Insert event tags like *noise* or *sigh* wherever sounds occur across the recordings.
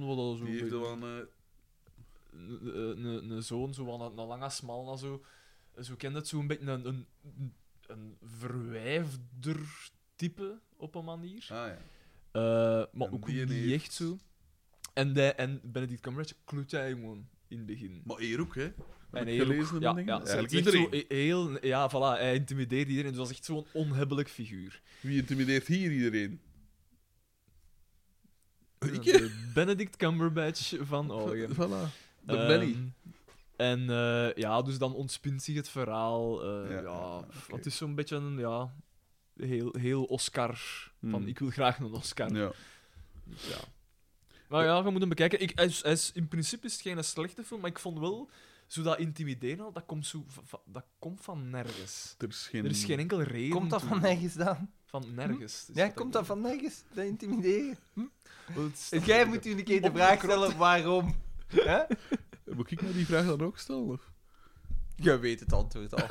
wat dat zo Die heeft een- wel een... eh, eh, een- een- een zoon, zo aan een, een lange smal, zo, zo kent het, zo'n beetje een, een, een verwijfder type op een manier. Ah ja. Eh, maar En ook die niet heeft- echt zo. En, die, en Benedict Cumberbatch kloot hij gewoon in het begin. Maar hier ook, hè. Heb en ik hij ook- gelezen en ja, dingen. ja, ze Eigenlijk is echt iedereen. Zo, he- heel, ja, voilà, hij intimideert iedereen. Dus dat is echt zo'n onhebbelijk figuur. Wie intimideert hier iedereen? Ik? De Benedict *laughs* Cumberbatch van Ogen. Voilà. De Ehm, Benny. En eh, ja, dus dan ontspint zich het verhaal. eh, Ja, ja, ja, pff, oké. Het is zo'n beetje een ja, heel, heel Oscar. Van Hmm. ik wil graag een Oscar. Ja. Dus ja. Maar ja, we moeten hem bekijken. Ik, hij is, hij is- in principe is het geen slechte film, maar ik vond wel zo dat intimideren al, dat komt, zo, va- va- dat komt van nergens. Er is geen... Er is geen enkele reden. Komt dat toe. van nergens dan? Van nergens. Dus is Ja, wat komt ik dat van nergens? Dat *laughs* intimideren? bedoel. Wel, het is dat Dus Jij ik- moet u een keer de vraag stellen waarom. Hè? Moet ik nou die vraag dan ook stellen? Of? Jij weet het antwoord al.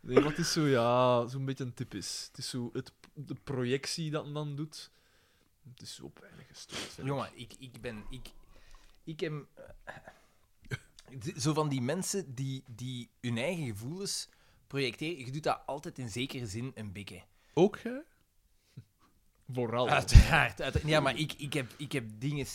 Nee, dat is zo, ja, zo'n beetje een typisch. Het is zo het, de projectie dat men dan doet. Het is zo op weinig gestoord. vind ik. *laughs* Jongen, ik, ik ben. Ik, ik heb. eh, Zo van die mensen die, die hun eigen gevoelens projecteren, je doet dat altijd in zekere zin een beetje. Ook jij? Vooral. Uiteraard. uiteraard. Ja, maar ik, ik, heb, ik heb dingen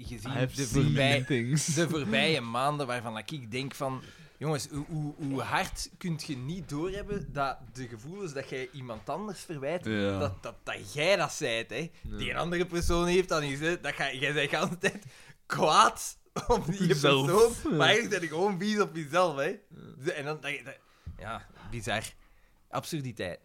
Ah, gezien de *laughs* voorbij, de voorbije maanden waarvan dat ik denk van... Jongens, hoe, hoe, hoe hard kunt je niet doorhebben dat de gevoelens dat jij iemand anders verwijt, Ja. dat, dat, dat jij dat zijt, hè. Die een andere persoon heeft dat niet, hè. Dat ga, jij bent de hele tijd kwaad op die Jezelf. persoon, maar eigenlijk ben je gewoon vies op jezelf, hè. En dan... Dat, dat- ja, bizar. Absurditeit.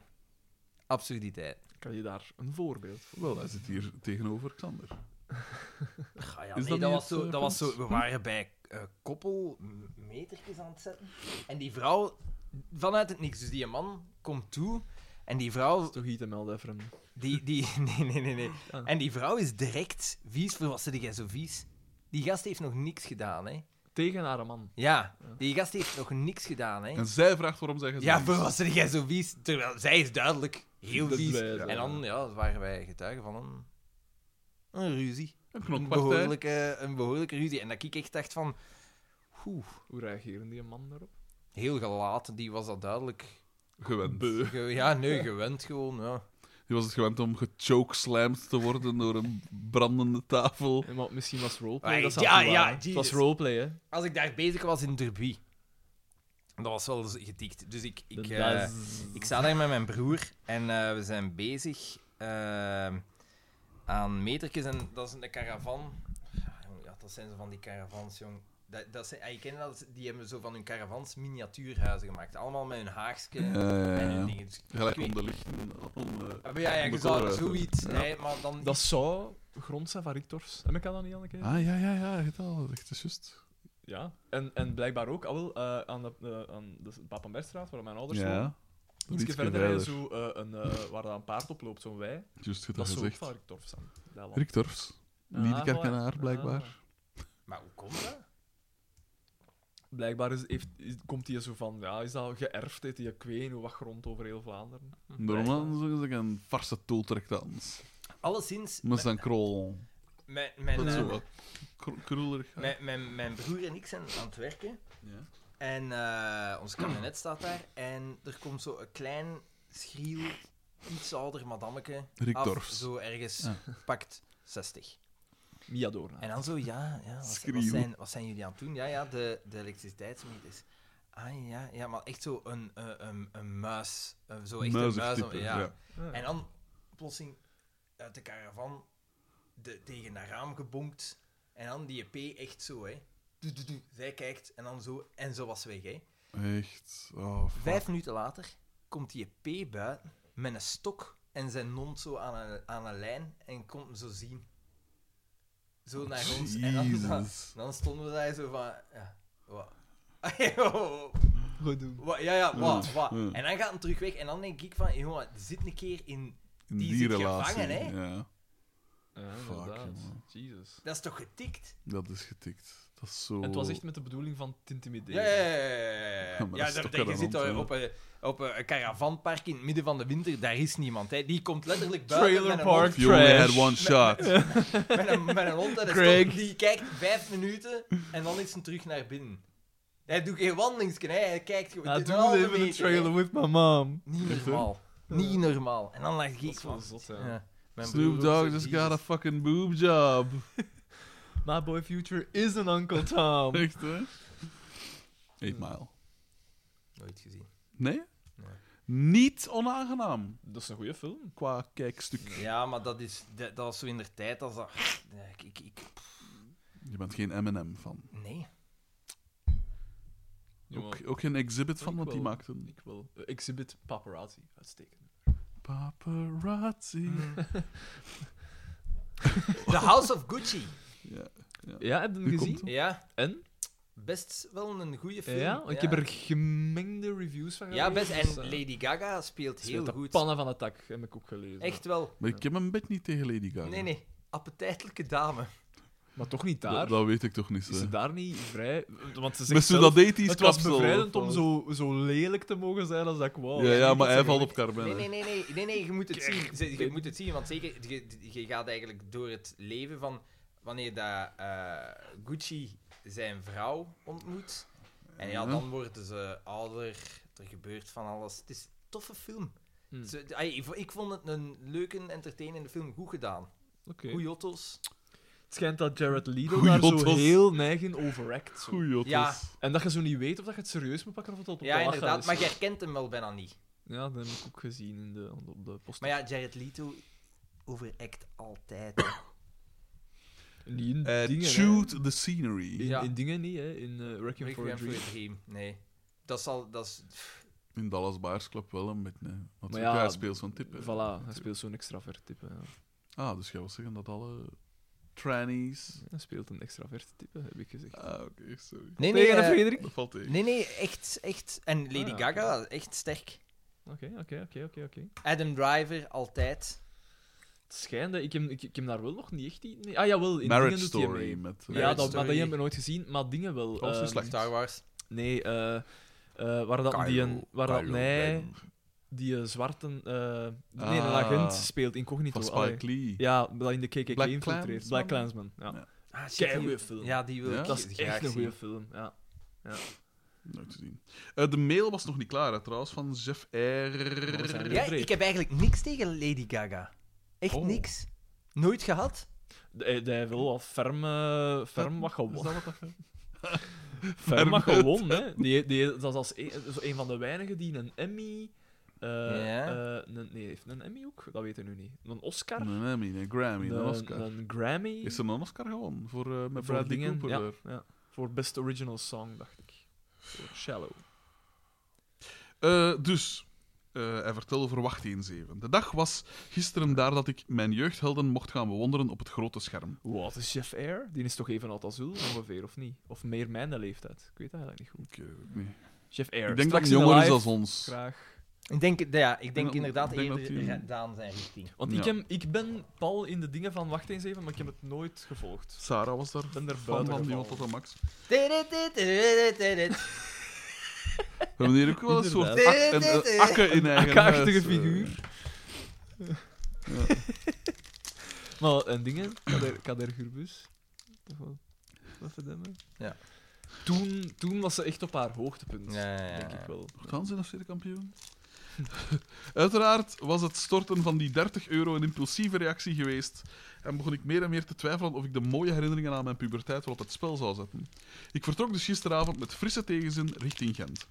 Absurditeit. Kan je daar een voorbeeld van? Wel, hij zit hier tegenover Xander. Ah Is ja, nee, dat dat, niet was het, zo, eh, dat was punt? zo. We waren bij eh koppel m- metertjes aan het zetten. En die vrouw, vanuit het niks, dus die man komt toe. En die vrouw, Dat is toch iets melden even. die, die, *laughs* nee, nee, nee, nee. Ah. En die vrouw is direct vies. Voor wat zit jij zo vies? Die gast heeft nog niks gedaan, hè? Tegen haar man. Ja, die gast heeft nog niks gedaan, hè? En zij vraagt waarom zij gezond Ja, is. voor wat zit jij zo vies? Terwijl zij is duidelijk heel Dat vies. wij- En dan, ja, waren wij getuigen van een, een ruzie. Een Een knokpartij. behoorlijke, een behoorlijke ruzie. En dat ik echt dacht van... Oeh, Hoe reageren die man daarop? heel gelaten. Die was dat duidelijk... Gewend. Beu. ge- ja, nee, gewend gewoon, ja. Die was het gewend om gechokeslamd te worden door een brandende tafel. Eh, maar misschien was roleplay. Ah, dat ze ja, aan het doen ja, waren. Het was Jesus. roleplay, hè? Als ik daar bezig was in derby... Dat was wel eens getikt. Dus ik... ik De eh, daz- Ik sta daar met mijn broer en eh, we zijn bezig eh, aan metertjes. En dat is een caravan. Ja, jong, ja, dat zijn zo van die caravans, jong. Dat, dat zijn, ah, je kent dat, die hebben zo van hun caravans miniatuurhuizen gemaakt. Allemaal met hun haagske Ja, ja, ja. en hun dingen. Dus ik Eh, Gelijk weet- onder lichten. om, eh, Ah, maar ja, ja, je Bekoren. zou zoiets. Ja. Nee, maar dan... Dat zou grond zijn van Rictors. Heb ik dat niet al een keer? Ah, ja, ja, ja. Het al. Echt, dat is juist. Ja. En, en blijkbaar ook, al wel, eh, aan de, eh, aan de Papenbergstraat, waar mijn ouders wonen. Ja. Ietsje Ietsje verder rijden, zo, eh, een, eh, waar dat een paard oploopt, zo'n wei. Juist goed Dat is zo ook gezegd. van Rictors dan. dat land. Rick Torfs. Liedekerk en haar, Ah, blijkbaar. Maar hoe komt dat? Blijkbaar is, heeft, is- komt hij zo van, ja, is dat geërfd, heeft hij een kween, hoe wat grond over heel Vlaanderen. Normaal zeggen ze een farse toeltrektans. Alleszins, Maar zijn krol. mijn, mijn, Dat is zo eh, wat kro- kroelerig. mijn, mijn, mijn broer en ik zijn aan het werken. Ja. En eh, ons kabinet staat daar. En er komt zo een klein, schriel, iets ouder madammeke Rick af. Dorfs. Zo ergens Ja. pakt 60. Mia Doorna. En dan zo, ja, ja wat, zijn- wat, Schriel. zijn, wat zijn jullie aan het doen? Ja, ja, de, de elektriciteitsmeters. Ah ja, ja, maar echt zo een, eh, een, een muis. Eh, Zo echt een Muizig muis. type, ja. ja. Ah, En dan plotseling uit de caravan de, tegen haar raam gebonkt. En dan die EP echt zo, hè. Doe, doe, doe. Zij kijkt en dan zo. En zo was weg, hè. Echt. Oh, fuck. Vijf minuten later komt die P buiten met een stok en zijn mond zo aan een, aan een lijn en komt hem zo zien. Zo naar ons. En dan, dan, Jezus. dan stonden we daar zo van... Ja, wat? *laughs* Ayo, Goed doen. wat- ja, ja, wat, wat? Ja. En dan gaat hem terug weg en dan denk ik van... Jongen, zit een keer in... In die die, zit relatie. gevangen, hè? Ja. Ja, Fuck, inderdaad. jongen. Jesus. Dat is toch getikt? Dat is getikt. Dat is zo... En het was echt met de bedoeling van te intimideren. Ja, ja, ja, ja, ja. maar dat Ja, is dat toch betekent, je zit relevant, daar ja. op een, op een caravanpark in het midden van de winter, daar is niemand. Hè. Die komt letterlijk buiten Trailer met een park If you only had trash. one shot. hond. Met een, met een hond en een Craig. stok, die kijkt vijf minuten en dan is hij terug naar binnen. Hij doet geen wandelingsken, hè. hij kijkt gewoon. I dit do is een halve live in a meter, hè. trailer with my mom. Niet normaal. Niet normaal. En dan lag Dat ik is wel van... zot, ja. Ja, mijn broer. Snoop Dogg dus just got a fucking boob job. My boy Future is an Uncle *laughs* Tom. Echt, hè? Eight Mile. Nooit gezien. Nee? Nee. Niet onaangenaam Dat is een goede film. qua kijkstuk. Ja, maar dat, is, dat, dat was zo in de tijd als dat... Ja, Ik, ik, ik, Je bent geen M&M van. nee. Jongen, Ook, ook geen exhibit van, Ik want die wel. maakten. ik wel. Eh, Exhibit Paparazzi, uitstekend. Paparazzi. Mm. The House of Gucci. Ja. Ja, heb je hem Nu gezien? komt Ja, En? best wel een goede film. Ja, ik heb er gemengde reviews van Ja, best. En dus, eh, Lady Gaga speelt heel speelt de goed. pannen van het dak, heb ik ook gelezen. Echt wel. Maar ik heb een bed niet tegen Lady Gaga. Nee, nee. Appetijtelijke dame. Maar toch niet Dat, daar. dat weet ik toch niet. Is Hè. ze daar niet vrij... Want ze Met zegt zo zelf, dat ethisch het was kapsel. bevrijdend of om wat? zo, Oh, zo lelijk te mogen zijn als dat ik wou. ja, ja, maar hij zeggen, valt hoor. op Carmen. Nee, hè. nee, nee, nee, nee, nee, je moet het Kerk. zien. Ze- Je moet het zien, want zeker, je, je gaat eigenlijk door het leven van wanneer dat, eh, Gucci zijn vrouw ontmoet. En ja, Ja. dan worden ze ouder, er gebeurt van alles. Het is een toffe film. Hmm. Ze- ai, ik vo- ik vond het een leuke, entertainende film. Goed gedaan. Oké. Goeie auto's. Het schijnt dat Jared Leto Goeie daar zo otto's. heel neigen overact. zo. Goeie Otto's. Ja. En dat je zo niet weet of dat je het serieus moet pakken of het op de Ja, lachen inderdaad. is. Maar je herkent hem wel bijna niet. Ja, dat heb ik ook gezien in de, op de post. Maar ja, Jared Leto overact *coughs* altijd. hè. Niet in Eh, dingen, hè. shoot the scenery. In, Ja. in dingen niet, hè. In eh Wrecking for a Requiem for Dream. a Dream. Nee. Dat zal... Dat is, pff, In Dallas Buyers Club wel een beetje. Nee. Want Maar ja, hij ja, speelt zo'n tip. hè. Voilà, hij speelt zo'n extravert type. Ja. Ah, dus jij wil zeggen dat alle trannies... Hij speelt een extravert type, heb ik gezegd. Ah, oké, sorry. nee, Tegen eh, hem, Frederik? Dat valt tegen. Nee, nee, echt, echt. En Lady Ah, ja, Gaga, echt sterk. Oké, oké, oké, oké, oké. Adam Driver, altijd. Het schijnt, hè, ik heb, ik, ik heb daar wel nog niet echt... iets mee- Ah, jawel, in Marriage dingen doet hij Story mee. met... eh, Ja, dat, maar Marriage dat Story. hebben we nooit gezien, maar dingen wel. was ehm, niet slecht. Star Wars. Nee, eh eh waar dat die een... Waar dat, Kylo nee, Ren die eh, zwarte... eh nee, een Ah. agent speelt incognito. Van allee. Spike Lee. Ja, dat in de KKK Black infiltreert. Klansman? Black Clansman. Ja. Ja. Ah, shit, Kei die- goeie film. Ja, die wil Ja? ik Dat is graag echt een zien. goede film. Ja. Nooit gezien. Eh, de mail was nog niet klaar, hè, trouwens, van Jeff we zijn R. weer- Ja, ik heb eigenlijk niks tegen Lady Gaga. Echt Oh. niks. Nooit gehad. D- Hij hij eh, wil al ferm, eh, ferm wat Is gewonnen. dat wat *laughs* dat gaat? Ferm wat Ferm het. gewonnen, hè. Die, die, dat is als een, zo een van de weinigen die een Emmy... eh, Ja. eh, een, nee, heeft een Emmy ook? Dat weten we nu niet. Een Oscar? Een Emmy, een Grammy, een Oscar. een Grammy? Is er een Oscar gewonnen voor, eh, met voor Bradley dingen, Cooper? ja, daar? ja. Voor Best Original Song, dacht ik. Voor Shallow. Eh, dus, eh, hij vertelde over Wacht 1-7. De dag was gisteren daar dat ik mijn jeugdhelden mocht gaan bewonderen op het grote scherm. Wat is Jeff Air? Die is toch even oud als u, ongeveer, of niet? Of meer mijn leeftijd? Ik weet dat eigenlijk niet goed. Ik, eh, nee. Jeff Air. ik denk dat Straks hij in de jonger is live. dan ons. Graag. Ik denk, nou ja, ik denk dat- inderdaad ik denk dat eerder die- ra- Daan zijn richting. *laughs* Want Ja. ik, heb, ik ben pal in de dingen van Wacht eens even, maar ik heb het nooit gevolgd. Sarah was daar Ik ben er fan buiten van gevallen. Niemand tot de Max. Tididididididididididididididididididididididididididididididididididididididididididididid. We hebben hier ook wel een soort Inderdaad. ak, een, een akke in eigen Een akachtige huis, eh. figuur. Ja. *laughs* Maar, en dingen, Kader, Kader Gurbus. Toch wel. Wat verdemmen. Ja. Toen, toen was ze echt op haar hoogtepunt. *laughs* Ja, ja, ja, Denk ja. ik wel. Gaan ze nog steeds kampioen? *laughs* Uiteraard was het storten van die 30 euro een impulsieve reactie geweest en begon ik meer en meer te twijfelen of ik de mooie herinneringen aan mijn puberteit wel op het spel zou zetten. Ik vertrok dus gisteravond met frisse tegenzin richting Gent.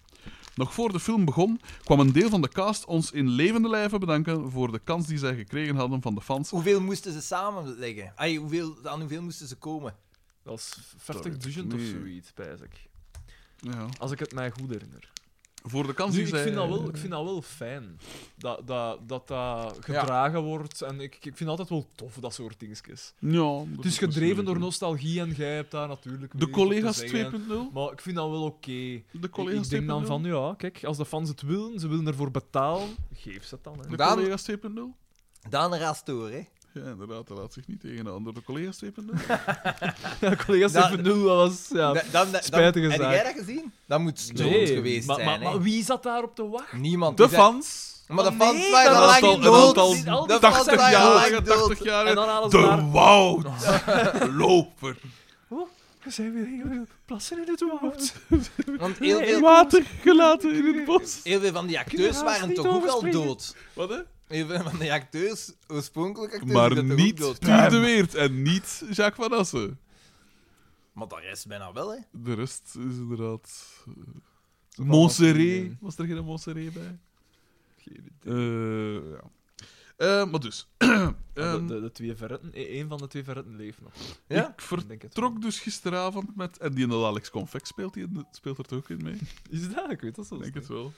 Nog voor de film begon, kwam een deel van de cast ons in levende lijven bedanken voor de kans die zij gekregen hadden van de fans. Hoeveel moesten ze samenleggen? Ai, hoeveel, aan hoeveel moesten ze komen? Dat is 50 Sorry. duizend of Nee. zoiets, pijs ik. Ja. Als ik het mij goed herinner. Voor de kans Nu, die ik, zij... vind dat wel, ik vind dat wel fijn. Dat dat, dat, dat gedragen wordt. En ik, ik vind altijd wel tof, dat soort dingetjes. Ja, dat Het is is misschien gedreven door wel. nostalgie en jij hebt daar natuurlijk... De weer wat te collega's 2.0? zeggen. Maar ik vind dat wel oké. De collega's Ik denk dan 2.0? van, ja, kijk, als de fans het willen, ze willen ervoor betalen, geef ze het dan. Hè. De Daan- collega's 2.0? Daan raast door, hè? Ja, inderdaad, hij laat zich niet tegen de andere collega's strepen. hè. Ja, collega's Dat- 7-0, dat was... Ja. Da- dan, dan, spijtige heb zaak. jij dat gezien? Dat moet stoned geweest maar, zijn. maar, hè. maar wie zat daarop te wachten? Niemand. De die zei- fans. Maar de Oh, fans nee, waren dat al was al- lang dat was dood. al De Die- fans 80 waren al lang jarige, dood. 80 En jarige. dan halen ze daar... De Wout. Loper. We zijn weer plassen in het hoofd. Want heel veel, Water gelaten in het bos. heel veel van die Kunnen acteurs we haast waren niet toch ook al overspringen? dood. Wat hè? Heel veel van die acteurs, oorspronkelijk acteurs, die Maar zijn toch niet ook dood. Puur de Weert en niet Jacques Van Assen. Maar de rest bijna wel, hè. De rest is inderdaad. eh, Montserrat. Was er geen Montserrat bij? Eh, ja. Eh, maar dus. *clears throat* de, Ehm, de, de twee verretten, e- één van de twee verretten leeft nog. Ja? ik vertrok denk het dus gisteravond met. En die Alex Convex speelt, die, in- speelt er toch ook in mee? Is dat? Ik weet dat zo. Ik denk het wel.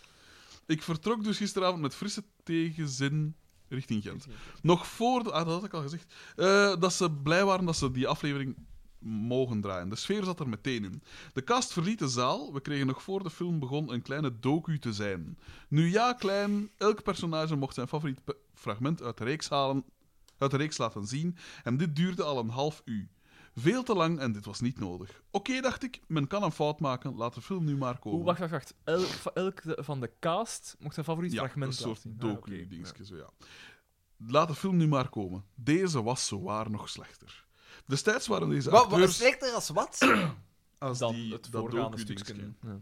Ik vertrok dus gisteravond met frisse tegenzin richting Gent. Nog voor... de- Ah, dat had ik al gezegd. Eh, dat ze blij waren dat ze die aflevering mogen draaien. De sfeer zat er meteen in. De cast verliet de zaal. We kregen nog voor de film begon een kleine docu te zijn. Nu ja, klein. Elk personage mocht zijn favoriet pe- fragment uit de reeks halen... Uit de reeks laten zien. En dit duurde al een half uur. Veel te lang en dit was niet nodig. Oké, dacht ik, men kan een fout maken. Laat de film nu maar komen. Oeh, wacht, wacht, wacht. Elk, va- elk de- van de cast mocht zijn favoriet fragment een soort laten zien. Ah, oké. docu-dingetje, zo ja. Laat de film nu maar komen. Deze was zowaar nog slechter. Destijds waren deze Wat, wat acteurs slechter als wat? als Dan die, het dat voorgaande docu-dingetje. stukje. Ja.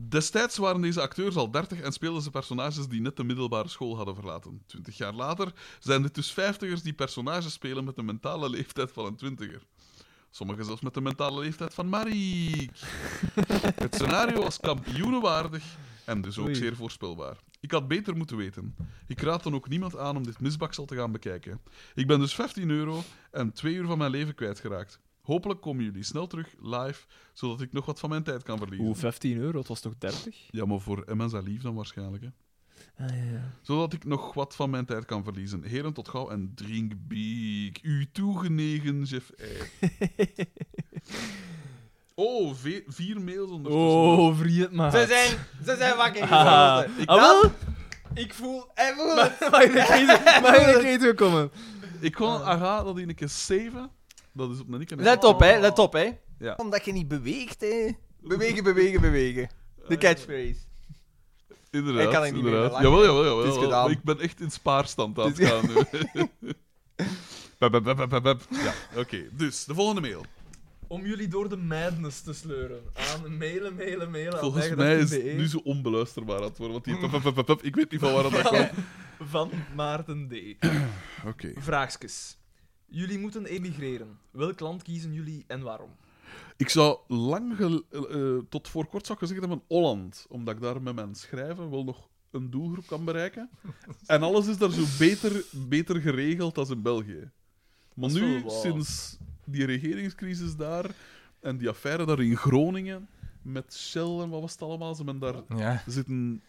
Destijds waren deze acteurs al 30 en speelden ze personages die net de middelbare school hadden verlaten. 20 jaar later zijn dit dus vijftigers die personages spelen met de mentale leeftijd van een twintiger. Sommigen zelfs met de mentale leeftijd van Mariek. Het scenario was kampioenenwaardig en dus ook Oei. zeer voorspelbaar. Ik had beter moeten weten. Ik raad dan ook niemand aan om dit misbaksel te gaan bekijken. Ik ben dus 15 euro en twee uur van mijn leven kwijtgeraakt. Hopelijk komen jullie snel terug live, zodat ik nog wat van mijn tijd kan verliezen. Oeh, 15 euro, het was toch 30? Ja, maar voor hem en zijn lief dan waarschijnlijk. Hè. Ah, ja, ja. Zodat ik nog wat van mijn tijd kan verliezen. Heren, tot gauw en drink biek. U toegenegen, Jeff I. *laughs* oh, ve- vier mails ondertussen. Oh, vriend, maar. Ze *laughs* zijn, ze zijn wakker Ah, geworden. ah, wel? Dan- Ik voel... En voel het. *laughs* Mag je *laughs* niet- mag je niet weten komen? Ik kon een aga dat in een keer 7. Dat is op een keer. Ah. Let op, hè. Let op, hè. Ja. Omdat je niet beweegt, hè. Bewegen, bewegen, bewegen. De catchphrase. Inderdaad. Ik kan het niet meer inderdaad. lachen. Jawel, jawel, jawel. Het is jawel. gedaan. Ik ben echt in spaarstand aan het Het is gaan nu. *laughs* Bep, bep, bep, bep, bep, bep. Ja, oké. Dus, de volgende mail. Om jullie door de madness te sleuren. Aan mailen, mailen, mailen. aan Volgens mij is het 38.be nu zo onbeluisterbaar aan het worden. Want *laughs* die... pep, pep, pep, pep, pep. Ik weet niet van waar dat komt. Van Maarten D. Oké. Vraagskes. Jullie moeten emigreren. Welk land kiezen jullie en waarom? Ik zou lang gel- eh, eh, tot voor kort zou ik gezegd hebben Holland, omdat ik daar met mijn schrijven wel nog een doelgroep kan bereiken. En alles is daar zo beter, beter geregeld dan in België. Maar Dat is nu, wel waar. sinds die regeringscrisis daar en die affaire daar in Groningen met Shell en wat was het allemaal, ze men daar Ja. zitten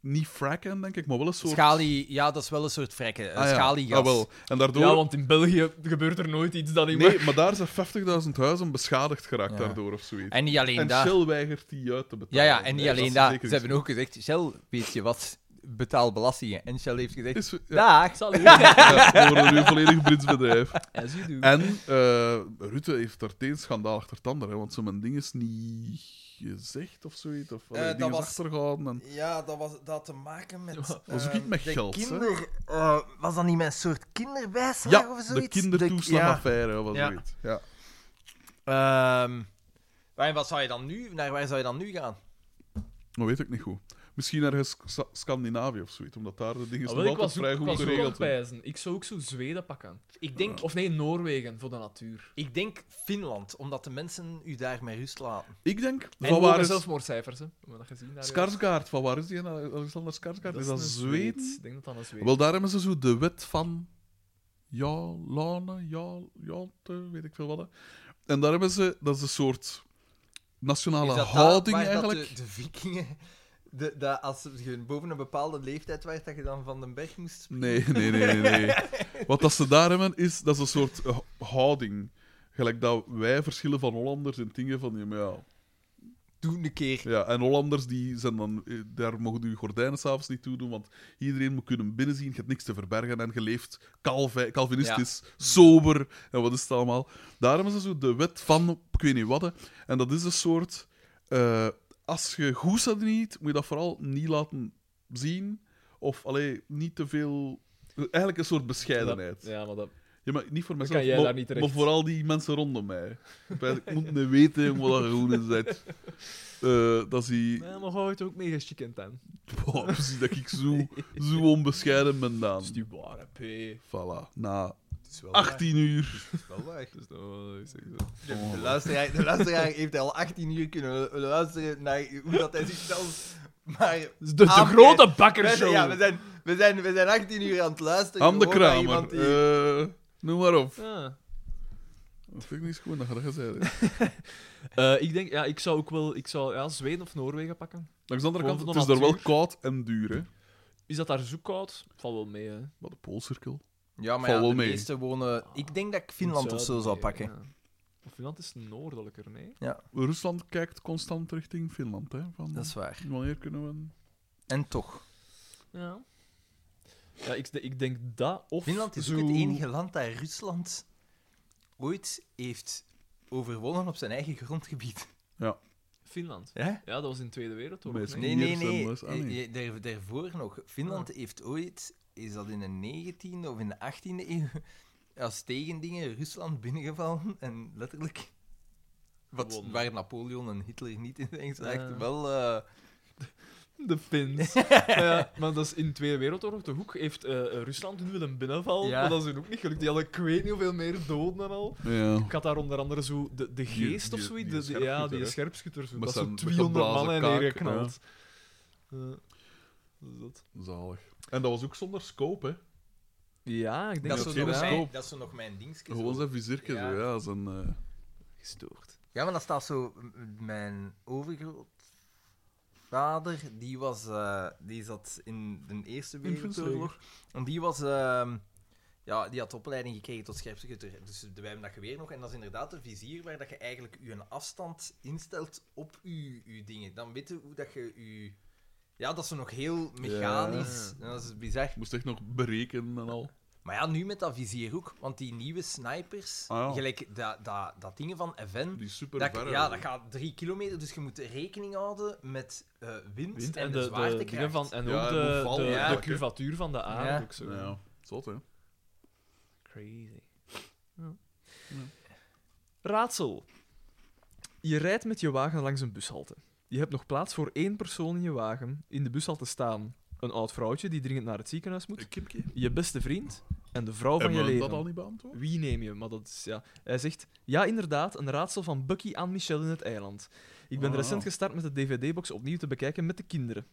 niet fracken, denk ik, maar wel een soort... Schalie... Ja, dat is wel een soort vrekken. Ah ja, Schaliegas. ah, wel. En daardoor... Ja, want in België gebeurt er nooit iets dat ik... Nee, maar daar zijn 50.000 huizen beschadigd geraakt Ja. daardoor of zoiets. En niet alleen En daar. Shell weigert die uit te Ja, betalen. ja, en niet Nee, alleen is daar. zeker Ze hebben niet ook gezegd, Shell, weet je wat, betaal belastingen. En Shell heeft gezegd, zo. Is, ja, dag. Zal je ja, we worden nu een volledig Brits bedrijf. As *laughs* you do. En eh, Rutte heeft daar het een schandaal achter het ander, hè, want zijn ding is niet gezegd of zoiets. Of Eh, uh, dat dingen was- achtergehouden. En... Ja, dat, was, dat had te maken met... Ja, was ook niet eh, met de geld, hè? Kinder, eh, was dat niet met een soort kinderwijsheid Ja, of de zoiets? ja. kindertoeslagaffaire of wat Ja. zoiets. Ja. Ehm, waar- wat zou je dan nu, naar waar zou je dan nu gaan? Dat Nou, weet ik niet goed. Misschien ergens Sc- Scandinavië of zoiets, omdat daar de dingen Ah, nog wel, ik altijd was ook, vrij ik goed was ook aan geregeld het zijn. pijzen. Ik zou ook zo Zweden pakken. Ik denk, Of nee, Noorwegen, voor de natuur. ik denk Finland, omdat de mensen u daar met rust laten. Ik denk, En van waar hoge is... zelfmoordcijfers, hè. We hebben dat gezien daar. Skarsgaard, van waar is die? Alexander Skarsgaard? Is dat een Zweed? Ik denk dat dat een Zweed Wel, daar hebben ze zo de wet van. Ja, Lane, ja, ja, te- weet ik veel wat. hè. En daar hebben ze, dat is een soort nationale Is dat houding daar waar dat eigenlijk. de, de vikingen... De, dat als je boven een bepaalde leeftijd werd, dat je dan van den berg moest... Nee, nee, nee, nee. *laughs* nee. wat dat ze daar hebben is, dat is een soort eh, houding. Gelijk dat wij verschillen van Hollanders en dingen van, ja, maar ja, Doe een keer. Ja, en Hollanders die zijn dan, eh, daar mogen je gordijnen s'avonds niet toe doen, want iedereen moet kunnen binnenzien. Je hebt niks te verbergen en je leeft calvi- calvinistisch, sober en wat is het allemaal. Daarom is dat zo de wet van, ik weet niet wat. hè. En dat is een soort, eh, als je goed zat niet, moet je dat vooral niet laten zien. Of allee, niet te veel, eigenlijk een soort bescheidenheid. Dat- Ja, maar dat... Ja, maar niet voor mezelf, kan jij maar, daar niet terecht. maar vooral die mensen rondom mij. Ik moet niet weten wat er goed in zit. Eh, dat is die... Nee, maar hou het ook mee, chicken ten. Boah, precies dat ik zo, zo onbescheiden ben dan. is die ware P. Voilà, na Het is wel 18 uur. waar. Het is wel waar. Dus dat is echt zo. De luisteraar, de luisteraar heeft al 18 uur kunnen luisteren naar hoe dat hij zichzelf maar Dus De, de Ah, grote We zijn, bakkershow. ja, we zijn, we, zijn, we zijn 18 uur aan het luisteren. Aan de gewoon naar kramer. iemand die- Eh, noem maar op. Ah. Dat vind ik niet schoon, dat ga je zeggen. Eh, ik denk, ja, ik zou ook wel ik zou, ja, Zweden of Noorwegen pakken. Langs de andere Gewoon kant, van het de is daar wel natuur. koud en duur, hè. Is dat daar zo koud? Valt wel mee, hè. Maar de Poolcirkel. Ja, maar Val ja, wel de mee. meeste wonen... Ik denk dat ik Finland In of het zo zuiden, zou nee, pakken. ja. Maar Finland is noordelijker, nee? Rusland kijkt constant richting Finland, hè. Van, Dat is waar. Wanneer kunnen we... En toch. Ja. Ja, ik, ik denk dat of... Finland is zo... ook het enige land dat Rusland ooit heeft overwonnen op zijn eigen grondgebied. Finland. Ja? Ja, dat was in de Tweede Wereldoorlog. Mensen. Nee. Dus Nee, Hier nee, zijn nee. we- ah, nee. Eh, eh, daar- daarvoor nog. Finland heeft ooit, is dat in de 19e of in de 18e eeuw, als tegendingen Rusland binnengevallen. En letterlijk, wat, Gewonnen. waar Napoleon en Hitler niet in zijn geslaagd, Ja. wel... eh, De *laughs* Fins. maar, ja, maar dat is in de Tweede Wereldoorlog. De hoek heeft eh, eh, Rusland hun willen binnenvallen, Ja. maar dat is hun ook niet gelukt. Die hadden ik weet niet hoeveel meer doden en al. Ja. Ik had daar onder andere zo de, de Die- geest of die- zoiets. die de- de- ja, die scherpschutter, hè? scherpschutter. Zo, Met dat is zijn zo 200 geblazen mannen kaak, neergeknald. Ja. Dat is dat. Zalig. En dat was ook zonder scope, hè. Ja, ik denk dat, dat, dat ze dat is zo geen nog nog is mijn, scope. dat is zo nog mijn dingetje. Gewoon zo. zijn vizierke, Ja. zo, ja. Zijn, eh, gestoord. Ja, maar dat staat zo. m- m- Mijn overgrootvader, die, was, eh, die zat in de Eerste Wereldoorlog. En die was. ehm, ja, die had opleiding gekregen tot scherpschutter. Dus wij hebben dat geweer nog. En dat is inderdaad een vizier waar dat je eigenlijk je een afstand instelt op je, je dingen. Dan weten hoe dat je je... Ja, dat is zo nog heel mechanisch. En Dat is bizar. moest echt nog berekenen en al. Maar ja, nu met dat vizier ook. Want die nieuwe snipers... Ah, ja. Gelijk dat, dat, dat dingen van FN... Die super Dat- ja, dat gaat drie kilometer, dus je moet rekening houden met eh, wind, Wind en, en de, de, de, zwaartekracht. dingen van, en ook Ja, en de, hoe vallen de, de eigenlijk, hè? curvatuur van de aarde. Ja. Ook zo. Ja, zot, hè. Crazy. Ja. Raadsel. Je rijdt met je wagen langs een bushalte. Je hebt nog plaats voor één persoon in je wagen. In de bushalte staan een oud vrouwtje die dringend naar het ziekenhuis moet. Een kipje. Je beste vriend en de vrouw van Hebben je we dat al leven. niet beantwoord? Wie neem je? Maar dat is, ja. Hij zegt, ja inderdaad, een raadsel van Bucky aan Michel in het eiland. Ik ben Ah. recent gestart met de DVD-box opnieuw te bekijken met de kinderen.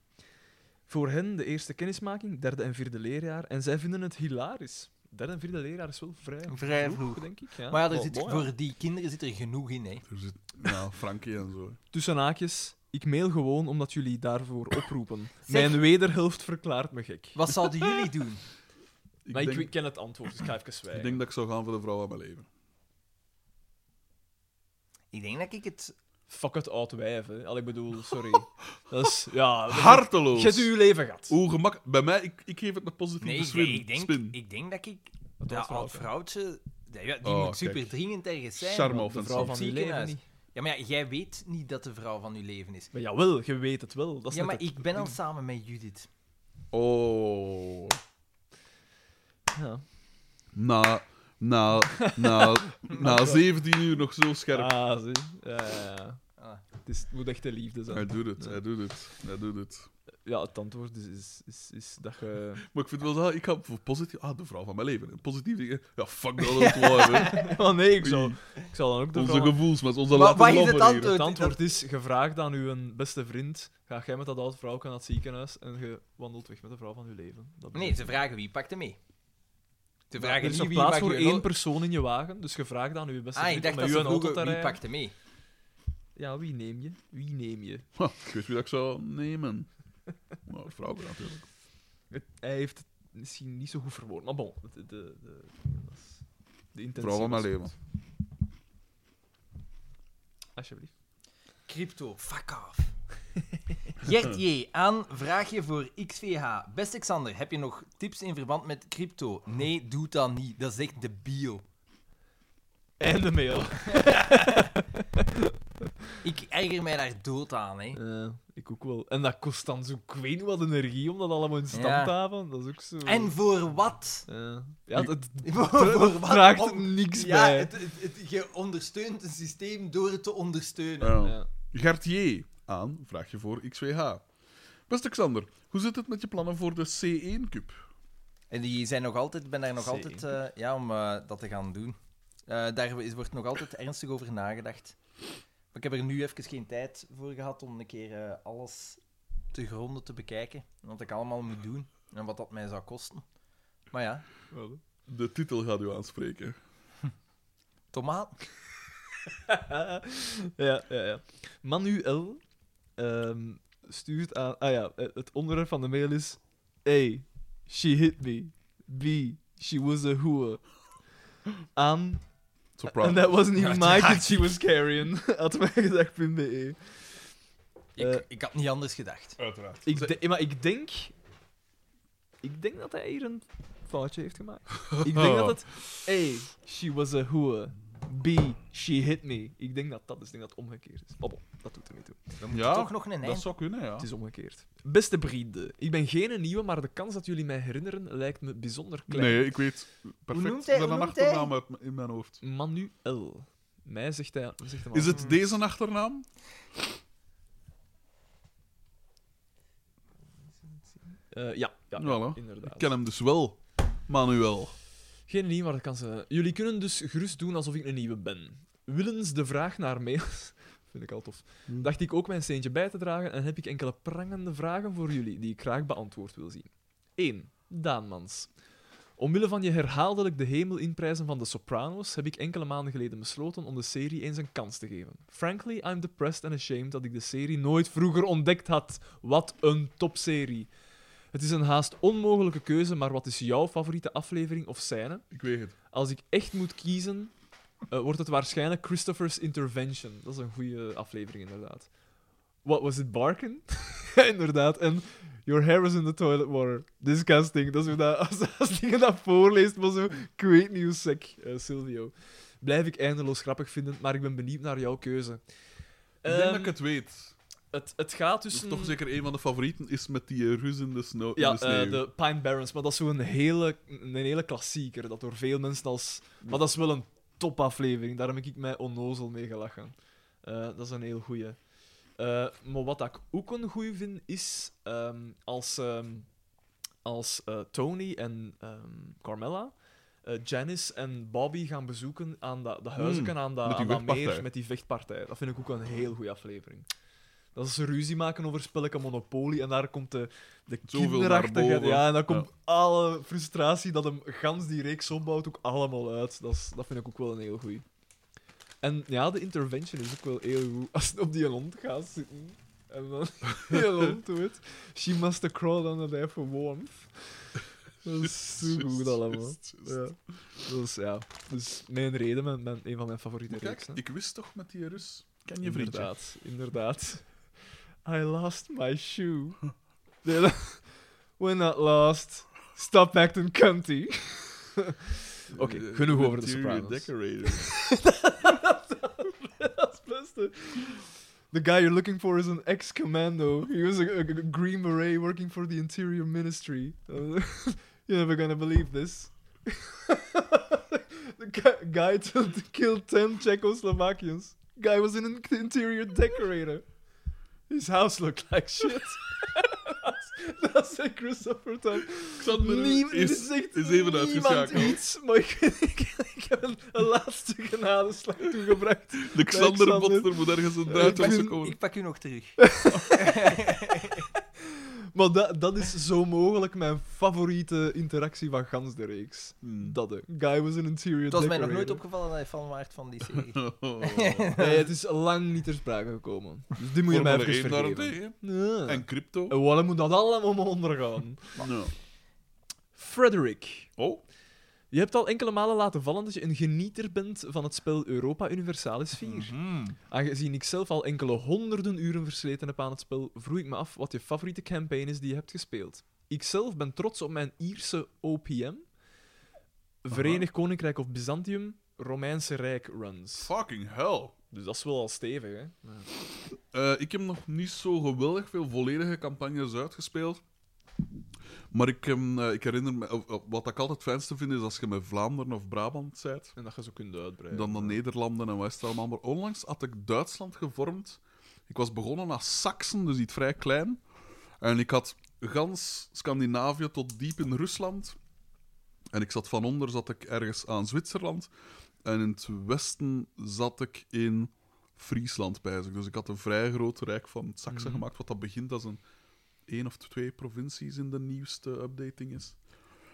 Voor hen de eerste kennismaking, derde en vierde leerjaar. En zij vinden het hilarisch. Derde en vierde leerjaar is wel vrij, Vrij vroeg. denk ik. Ja. Maar ja, er Wel zit, Oh, mooi, ja. voor die kinderen zit er genoeg in, hè. Er zit, Mm. ja, Frankie en zo. Tussen haakjes, ik mail gewoon omdat jullie daarvoor *laughs* oproepen. Mijn wederhelft verklaart me gek. Wat *laughs* zouden jullie doen? Ik, maar denk, ik ken het antwoord, dus ik ga even ik zwijgen. denk dat ik zou gaan voor de vrouw aan mijn leven. Ik denk dat ik het... Fuck het oud wijf, hè. Al, ik bedoel, *laughs* sorry. dat is, ja... Ah, dat- Je hebt Harteloos! uw leven gehad. Hoe gemak... Bij mij, ik, ik geef het een positieve Nee, ik, spin. ik denk, spin. ik denk dat ik... Dat Dat was oud vrouw. vrouwtje... dat- ja, die Oh, moet super kijk. dringend ergens zijn. Charme want- of De een vrouw van zin. uw leven Ziekenhuis. niet. Ja, maar ja, jij weet niet dat de vrouw van uw leven is. Maar jawel, je weet het wel. Dat is net Ja, maar het ik ben al ding. samen met Judith. Oh. Ja. Na, na, na, *laughs* na 17 uur nog zo scherp. Ah, zie. Ja, ja, ja. Ah. Het, is, het moet echt de liefde Hij zijn. doet het, hij doet het, hij doet het. Ja, het antwoord is, is, is, is dat je... *laughs* Maar ik vind wel zo, ik ga voor positief... Ah, de vrouw van mijn leven. hè. Positief dingen. Ja, fuck dat, dat is waar, *laughs* hè. Oh nee, ik zal- zal, ik zal dan ook de Onze vrouw... gevoels, met onze Maar laten wat is het labberen hier. antwoord? Het antwoord is, gevraagd aan uw beste vriend, ga jij met dat oud vrouwke naar het ziekenhuis en je wandelt weg met de vrouw van uw leven. Dat bedoel Nee, ik. ze vragen wie pakt hem mee. Ze Maar er vragen is niet nog wie plaats mag voor je één wel- persoon in je wagen, dus gevraagd aan uw beste Ah, ik vriend dacht om met dat u ze een auto te vroegen wie rijden. pakt hem mee. Ja, wie neem je? Wie neem je? Ha, *laughs* Ik weet wie dat ik zou *laughs* nemen. Nou, vrouwen natuurlijk. Het- hij heeft het misschien niet zo goed verwoord, maar bon. De, de, de, dat is- de intentie Vrouw van was mijn goed. leven. Alsjeblieft. Crypto, fuck *laughs* off. Gert J. aan vraagje voor XVH. Beste Xander, heb je nog tips in verband met crypto? Nee, doe dat niet. Dat is echt de bio. En de mail. Ik erger mij daar dood aan, hè. Eh, ik ook wel. En dat kost dan zo, ik weet niet wat energie om dat allemaal in stand Ja. te houden. Dat is ook zo. En voor wat? *laughs* Eh, ja, het Voor, *laughs* voor wat? draagt Om- niks ja, bij. het, het, het- je ondersteunt een systeem door het te ondersteunen. Ja. Ja. Gert J. aan, vraag je voor XWH. Beste Xander, hoe zit het met je plannen voor de C1 Cup? En die zijn nog altijd, ik ben daar nog Zeker. altijd eh, ja, om eh, dat te gaan doen. Eh, daar is- wordt nog altijd ernstig over nagedacht. Maar ik heb er nu even geen tijd voor gehad om een keer eh, alles te gronden te bekijken. Wat ik allemaal moet doen en wat dat mij zou kosten. Maar ja, De titel gaat u aanspreken. tomaat. *laughs* ja, ja, ja. Manuel ehm, stuurt aan. Ah ja, eh, het onderwerp van de mail is. A. She hit me. B. She was a whore. Aan. Soprano. And that wasn't Ja, even my kid she was carrying. *laughs* Had mij gezegd, E. .be. Ik, Eh. ik had niet anders gedacht. Uiteraard. Ik de- maar ik denk. Ik denk dat hij hier een foutje heeft gemaakt. Ik denk *laughs* dat Oh. het. A. She was a whore. B. She hit me. Ik denk dat dat is. Ik denk dat het omgekeerd is. Bobbel, dat doet er niet toe. Dan moet Ja, je toch nog een Dat eind. zou kunnen, ja. Het is omgekeerd. Beste vrienden, ik ben geen nieuwe, maar de kans dat jullie mij herinneren lijkt me bijzonder klein. Nee, ik weet perfect noemt hij- zijn hoe een noemt hij? achternaam uit m- in mijn hoofd. Manuel. Mij zegt hij. Zegt hij maar. Is het deze achternaam? Eh, ja, ja, Voilà. inderdaad. Ik ken hem dus wel. Manuel. Geen nieuwe, maar dat kan ze. Jullie kunnen dus gerust doen alsof ik een nieuwe ben. Willens de vraag naar mails. *laughs* Vind ik al tof. Hmm. Dacht ik ook mijn steentje bij te dragen en heb ik enkele prangende vragen voor jullie die ik graag beantwoord wil zien. 1. Daanmans. Omwille van je herhaaldelijk de hemel inprijzen van de Sopranos heb ik enkele maanden geleden besloten om de serie eens een kans te geven. Frankly, I'm depressed and ashamed dat ik de serie nooit vroeger ontdekt had. Wat een topserie. Het is een haast onmogelijke keuze, maar wat is jouw favoriete aflevering of scène? Ik weet het. Als ik echt moet kiezen, eh, wordt het waarschijnlijk Christopher's Intervention. Dat is een goede aflevering, inderdaad. What was it, barken? *laughs* inderdaad. En Your hair is in the toilet water. Disgusting. Dat is hoe dat, *laughs* als, als dingen dat voorleest, maar zo. Ik weet niet hoe sec, eh, Silvio. Blijf ik eindeloos grappig vinden, maar ik ben benieuwd naar jouw keuze. Ik denk Ehm, dat ik het weet. het, het gaat Dus tussen... toch zeker een van de favorieten is met die eh, rus in de sneeuw. in Ja, de, eh, sneeuw. de Pine Barrens. Maar dat is zo'n hele, een hele klassieker. Dat door veel mensen als. Maar dat is wel een topaflevering. Daar heb ik mij onnozel mee gelachen. Eh, dat is een heel goeie. Eh, maar wat ik ook een goeie vind is. ehm, als ehm, als eh, Tony en ehm, Carmella. eh, Janice en Bobby gaan bezoeken aan dat de huizen Hmm, aan dat met die aan dat meer vechtpartij. met die vechtpartij. Dat vind ik ook een heel goede aflevering. Dat ze ruzie maken over spelletje Monopoly en daar komt de, de Zoveel naar kinderachtige... boven. Ja, en dan Ja. komt alle frustratie dat hem gans die reeks opbouwt ook allemaal uit. Dat, is, dat vind ik ook wel een heel goeie. En ja, de intervention is ook wel heel goed. Als het op die hond gaat zitten en dan *laughs* die hond doet... She must have crawled under there for warmth. Dat is zo *laughs* Just, goed just, allemaal. just. Ja. Dus ja, dus mijn reden, mijn, mijn, een van mijn favoriete Kijk, reeksen. ik wist toch met die rus. Ken je vriendje? Inderdaad, inderdaad. *laughs* I lost my *laughs* shoe. Nee, *laughs* dat- We're not lost. Stop acting cunty. Oké, Eh, genoeg over de interior Sopranos. *laughs* decorator. Dat is het beste. The guy you're looking for is an ex-commando. He was a, a- a Green Beret working for the Interior Ministry. Uh, *laughs* you're never gonna believe this. *laughs* the guy, guy to, to kill 10 Czechoslovakians. Guy was an in- interior decorator. His house looked like shit. *laughs* Dat zei Christopher Tom. Xander Niem- is- dit zegt is even niemand uitgeschakeld. iets, maar ik, *laughs* ik, ik heb een, een laatste genadeslag toegebracht. De Xander Xander. Botster moet ergens een ik draad ben- tussen komen. Ik *laughs* pak u nog *laughs* terug. Maar dat, dat is zo mogelijk mijn favoriete interactie van gans de reeks. Hmm. Dat de guy was an interior Het was mij nog nooit decorator. opgevallen dat hij fan waart van die serie. Nee, het is lang niet ter sprake gekomen. Dus die moet je mij Formule even 1 vergeven. daarentegen. Ja. En crypto. En Oh. waarom moet dat allemaal ondergaan? Ja. Frederick. Oh, Je hebt al enkele malen laten vallen dat je een genieter bent van het spel Europa Universalis 4. Mhm. Aangezien ik zelf al enkele honderden uren versleten heb aan het spel, vroeg ik me af wat je favoriete campaign is die je hebt gespeeld. Ikzelf ben trots op mijn Ierse OPM, Verenigd Koninkrijk of Byzantium, Romeinse Rijk runs. Fucking hell. Dus dat is wel al stevig, hè? Eh, ik heb nog niet zo geweldig veel volledige campagnes uitgespeeld. Maar ik, heb, eh, ik herinner me, of- of wat ik altijd het fijnste vind, is als je met Vlaanderen of Brabant bent, En dat je zo kunt uitbreiden. dan de Nederlanden en West allemaal. Maar onlangs had ik Duitsland gevormd. Ik was begonnen als Saksen, dus iets vrij klein. En ik had gans Scandinavië tot diep in Rusland. En ik zat van onder zat ik ergens aan Zwitserland. En in het westen zat ik in Friesland bij Dus ik had een vrij groot rijk van Saksen Mhm. gemaakt, wat dat begint als een één of twee provincies in de nieuwste updating is.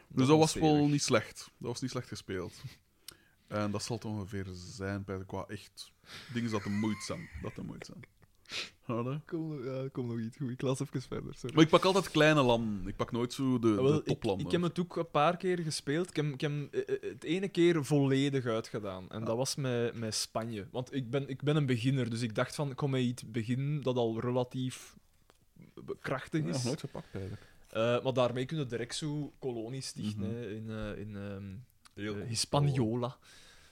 Dus dat, was was wel stevig. niet slecht. Dat was niet slecht gespeeld. En dat zal het ongeveer zijn bij de qua echt dingen dat te moeizaam. Dat te moeizaam. Hallo? Kom, ja, kom nog iets goed. Ik las even verder. Sorry. Maar ik pak altijd kleine landen. Ik pak nooit zo de, Wel, de ik, toplanden. ik heb het ook een paar keer gespeeld. Ik heb, ik heb eh, eh, het ene keer volledig uitgedaan. En dat was met, met Spanje. Want ik ben, ik ben een beginner, dus ik dacht van, ik kom met iets begin dat al relatief be- krachtig Ja, is. nog nooit gepakt eigenlijk. Eh, maar daarmee kun je direct zo kolonies stichten Mhm. hè, in, eh, in ehm, eh, Hispaniola.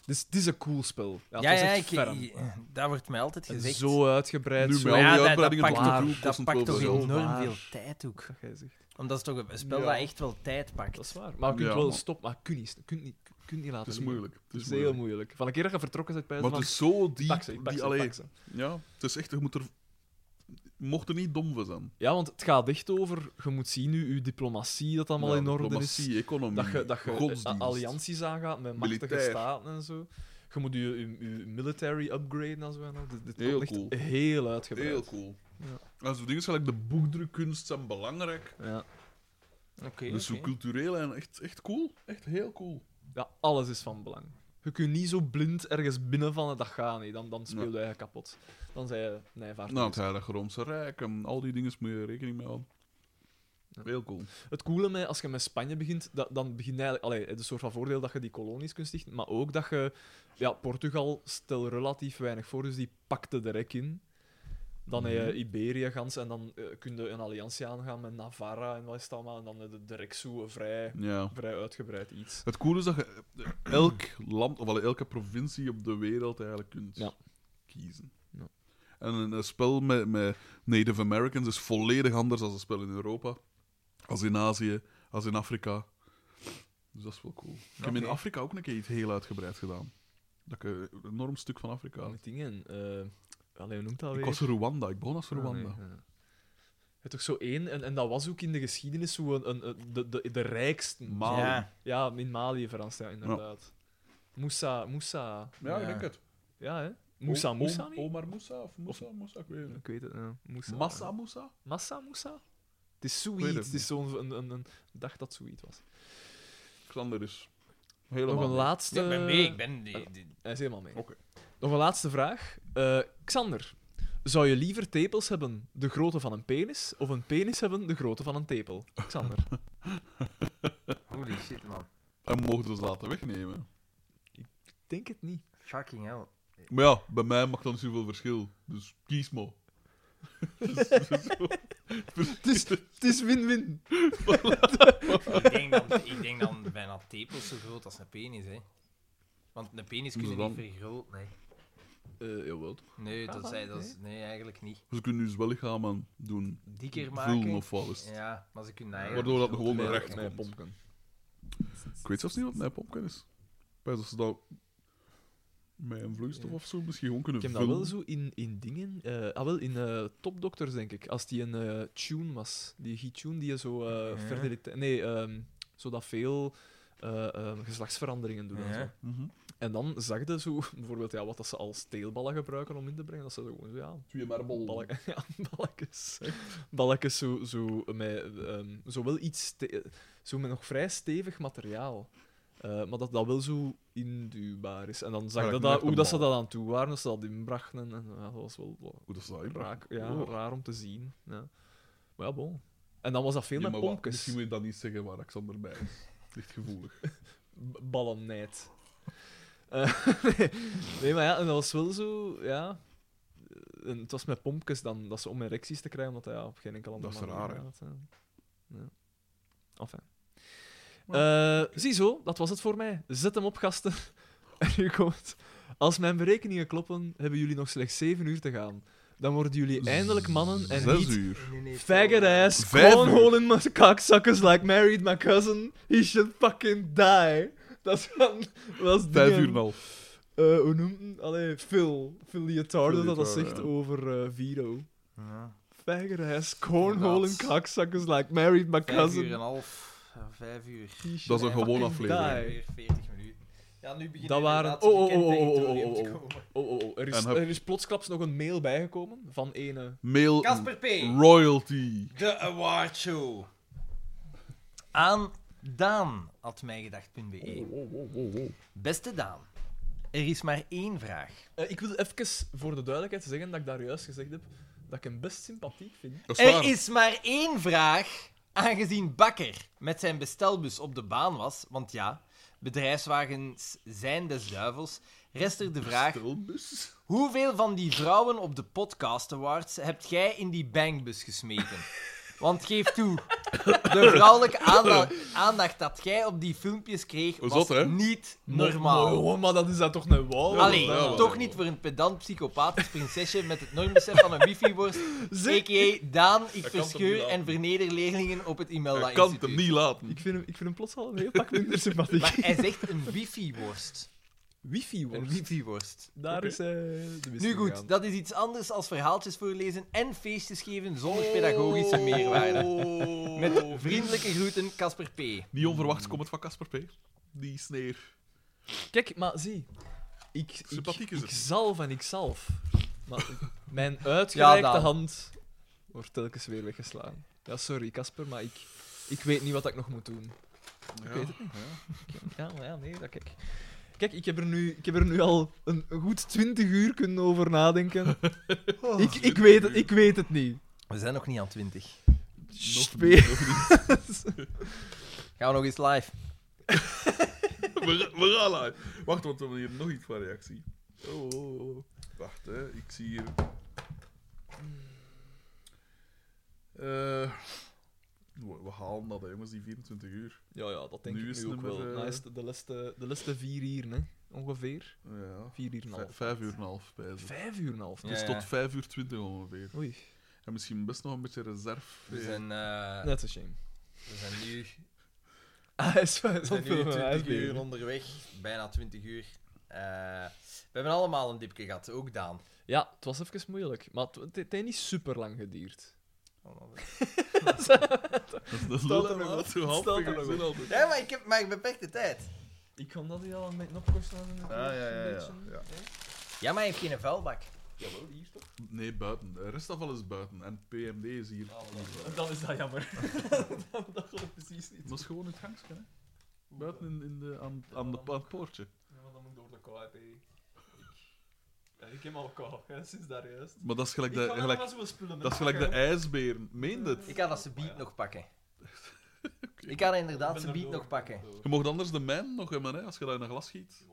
Dus het is een cool spel. Ja, Ja, het ja, was echt ik, ferm. ik- dat wordt mij altijd En gezegd. Zo uitgebreid. Nu zo... met al die Ja, dat- uitbreidingen dat tot pakt- de dat groep kost dat het pakt wel toch veel. heel- enorm waar. veel tijd ook. Dat jij zegt. Omdat het toch een spel Ja. dat echt wel tijd pakt. Dat is waar. Maar je kunt Ja, wel man. stop, maar kun niet, kun niet, kun niet laten Oh, Het is liggen. moeilijk. Het Het is is heel Dus moeilijk. moeilijk. dus Van een keer dat je vertrokken bent bij Maar van, het is zo diep. pak ze, ik pak die, ze, allee, pak ze. Ja, het is echt, je moet er... Mocht er niet dom van zijn. Ja, want het gaat echt over, je moet zien nu, je diplomatie dat allemaal Ja, in orde is. diplomatie, economie, Dat je, dat je godsdienst. eh, allianties aangaat met machtige Militair. staten en zo. Je moet je, je, je military upgraden en zo. En al. Dit, dit Heel wordt echt cool. heel uitgebreid. Heel cool. Ja. En zo'n dingen gelijk de boekdrukkunst zijn belangrijk. Ja. Oké, dus zo oké. cultureel en echt, echt cool. Echt heel cool. ja, alles is van belang. Je kunt niet zo blind ergens binnen van eh, dat gaat niet. Dan, dan speel Nee. je eigenlijk kapot. Dan zei je, nee, vaart Nou, niet. het Heilige Roomse Rijk en al die dingen moet je rekening mee houden. Heel cool. Het coole met, als je met Spanje begint, dat, dan begint eigenlijk allee, het is een soort van voordeel dat je die kolonies kunt stichten, maar ook dat je, ja, Portugal stel relatief weinig voor, dus die pakte de rek in. Dan heb je Iberië gans en dan eh, kun je een alliantie aangaan met Navarra en wat is het allemaal, en dan heb je direct zo een vrij, Ja. vrij uitgebreid iets. Het coole is dat je eh, elk land, of wel elke provincie op de wereld eigenlijk kunt Ja. kiezen. Ja. En een, een spel met, met Native Americans is volledig anders dan een spel in Europa, als in Azië, als in Afrika. Dus dat is wel cool. Ik heb in Oké. Afrika ook een keer iets heel uitgebreid gedaan. Dat ik een enorm stuk van Afrika had. Met dingen, eh allee, hoe noemt dat Ik weer? was Rwanda, ik begon als Ah, Rwanda. nee, ja. Het toch zo één, en, en dat was ook in de geschiedenis zo een, een, een- de, de, de rijkste. Mali. Ja. Ja, in Mali verrast, ja, inderdaad. Moussa, Moussa. Ja, ik Ja. denk het. Ja, hè? Moussa, O- Moussa Om- niet? Omar Moussa of Moussa, Moussa, ik weet het Ik weet het, ja. Moussa. niet. Massa Moussa? Massa, Moussa? Het is Ik weet zoiets. het Het is zo'n een, een, een dag dat zoiets was. Xander is. Nog Helemaal. een laatste... Ja, ik ben Eh. mee, ik ben... die- die- Hij is helemaal mee. Oké. Nog een laatste vraag. Eh, Xander, zou je liever tepels hebben de grootte van een penis, of een penis hebben de grootte van een tepel? *laughs* Xander. Holy shit, man. En mogen ze dus laten wegnemen. Ik denk het niet. Fucking hell. Maar ja, bij mij maakt dat niet zoveel verschil. Dus kies maar. Het is- Het is win-win. ik, denk dan, ik denk dan *laughs* bijna tepels zo groot als een penis, hè. Want een penis kun je Dus dan- niet vergroten, nee. Eh jawel. Nee, Kan dat dat? zei, dat is, nee, eigenlijk niet. Ze kunnen dus wel lichamen doen. Dikker Vullen maken. of wat is het. Ja, maar ze kunnen Ja. eigenlijk... Waardoor dat gewoon Met- weer recht met komt. pompen. Ik weet zelfs niet wat mijn pompken is. Bij dat ze dat met een vloeistof Ja. of zo misschien gewoon kunnen Ik heb dat vullen. wel zo in, in dingen. eh, ah, wel in eh, Topdokters, denk ik. Als die een eh, tune was. Die G-tune die je zo. eh Ja. fertiliteit- Nee, ehm, zodat veel eh, ehm, geslachtsveranderingen doen. En, Ja. zo. Mhm. en dan zag je zo *laughs* bijvoorbeeld ja, wat dat ze als teelballen gebruiken om in te brengen. Dat ze zo gewoon zo, ja, Twee marmol. balken, *laughs* ja, balkjes. Balkjes zo, zo met, ehm, zo wel iets ste- zo met nog vrij stevig materiaal. Eh, maar dat dat wel zo induwbaar is. En dan zag Ja, je dat dat, knapt hoe een dat ze bal. dat aan toe waren, dat ze dat inbrachten. En, en, ja, dat was wel wel Hoe dat ze dat inbraken. raak, ja, Oh. raar om te zien. Ja. Maar ja, bon. En dan was dat veel Ja, met maar wat- pompjes. Misschien moet je dat niet zeggen waar Alexander bij is. Ligt gevoelig. b- ballen nijt. Eh, *laughs* nee. nee, maar ja, en dat was wel zo, ja... En het was met pompjes dan, dat ze om erecties te krijgen, omdat hij ja, op geen enkele andere Dat is raar, hè? had, hè. Ja. Enfin. Eh, Ziezo, dat was het voor mij. Zet hem op, gasten. *laughs* En nu komt... Als mijn berekeningen kloppen, hebben jullie nog slechts 7 uur te gaan. Dan worden jullie eindelijk mannen en Zes niet uur. Faggot ass, Vijf clown uur. hole in my cocksuckers like married my cousin. He should fucking die. Dat is van... Dat is Vijf dingen. uur en een half. Eh, hoe noemt hem? Allee, Phil. Phil Leotardo Phil dat dat Leotardo, zegt ja. over eh Viro. Ja. Faggot ass, cornhole in Inderdaad. cocksuckers like married my Vijf uur en een cousin. half. Ja, Vijf uur. He Dat should is een fucking gewone aflevering. die. Weer 40 minuten. Ja, nu begint Dat waren- inderdaad oh, oh, de oh, oh, oh, bekende oh, territorium te oh, oh. komen. Oh, oh, oh. Er is, En hup. er is plotsklaps nog een mail bijgekomen van ene... Mail Casper P. royalty. De Award Show. Aan Daan, at Oh, mijgedacht.be. E. Beste Daan, er is maar één vraag. Eh, ik wil even voor de duidelijkheid zeggen dat ik daar juist gezegd heb dat ik hem best sympathiek vind. Dat is waar. Er is maar één vraag. Aangezien Bakker met zijn bestelbus op de baan was, want ja, bedrijfswagens zijn des duivels, rest er de vraag: Stelbus. hoeveel van die vrouwen op de Podcast Awards hebt jij in die bankbus gesmeten? Want geef toe, de vrouwelijke aandacht, aandacht dat jij op die filmpjes kreeg was Zot, hè? niet Maar, normaal. maar, maar dat is dat toch een wauw? Allee, Ja, wel. toch niet voor een pedant psychopathisch prinsesje met het normbesef van een *laughs* wifi-worst Zeg, A.k.a. Daan, Dat kan ik toch niet verscheur en laten? verneder leerlingen op het Imelda Ik kan het hem Instituut. niet laten. ik, vind hem, ik vind hem plots al een heel pak minder sympathiek. Maar hij zegt een wifi-worst. wifi Een wordt. wifi-worst. Daar Oké. is eh de mist Nu in goed, gegaan. dat is iets anders als verhaaltjes voorlezen en feestjes geven zonder pedagogische meerwaarde. Oh. Met vriendelijke groeten, Casper P. Niet onverwachts komt het van Casper P. Die sneer. Kijk, maar zie. Ik, ik, Sympathiek is ik het. zalf en ik zalf. *laughs* Maar mijn uitgereikte Ja, Daan. hand wordt telkens weer weggeslagen. Ja, sorry, Casper, maar ik, ik weet niet wat ik nog moet doen. Ja. weet het Ja, maar ja, nee, dat kijk. Kijk, ik heb, er nu, ik heb er nu al een goed twintig uur kunnen over *laughs* nadenken. ik, ik, weet het, ik weet het niet. We zijn nog niet aan 20. Nog Speel. niet, nog niet. Gaan we nog eens live? *laughs* We, gaan- we gaan live. Wacht, want we hebben hier nog iets van reactie. Oh, oh, oh. Wacht, hè. Ik zie hier... Eh, we we halen dat, hè, jongens, die 24 uur. Ja, ja, dat denk Nu ik is nu ook nummer, wel. eh, Nou, is het de, laatste, de laatste vier uur, hè? ongeveer. Ja. Vier uur en een half. Vijf, vijf uur en een half, bij ze. Vijf uur en een half. Ja. Dus tot vijf uur twintig ongeveer. Oei, En misschien best nog een beetje reserve. We zijn, eh, net een *laughs* shame. we zijn nu, Ah, is we *laughs* fijn. zijn Dat nu viel me 20 uit. uur onderweg. Bijna 20 uur. Eh, we hebben allemaal een dipje gehad, ook Daan. Ja, het was even moeilijk. Maar het- het het heeft niet super lang geduurd. *laughs* Dat is Stel dat er nog wat op. zo half Stel er nog op. altijd. Ja, maar ik heb maar beperkte tijd. Ik kan dat hier al met een opkosten hebben. Ja, ja, ja, ja, ja. Ja, maar hij heeft geen vuilbak. Jawel, hier toch? Nee, buiten. De restafval is buiten. En PMD is Oh. hier. *laughs* Dan is dat *laughs* jammer. dat dat geloof ik precies niet. Dat is gewoon in het gangske, hè? Buiten in, in de, aan, aan, de, aan het poortje. Ja, maar dan moet ik door de kou uit, hè. Ik- Ja, Ik heb al kou, hè, sinds daar juist. Maar dat is gelijk Ik de, kan gelijk, allemaal zoveel spullen dat is gelijk de ijsberen. Meen dit? Ik ga dat beat nog *laughs* pakken. Ik ga dat inderdaad zijn beat nog pakken. Je mocht anders de mijn nog hebben, hè, als je dat in een glas schiet.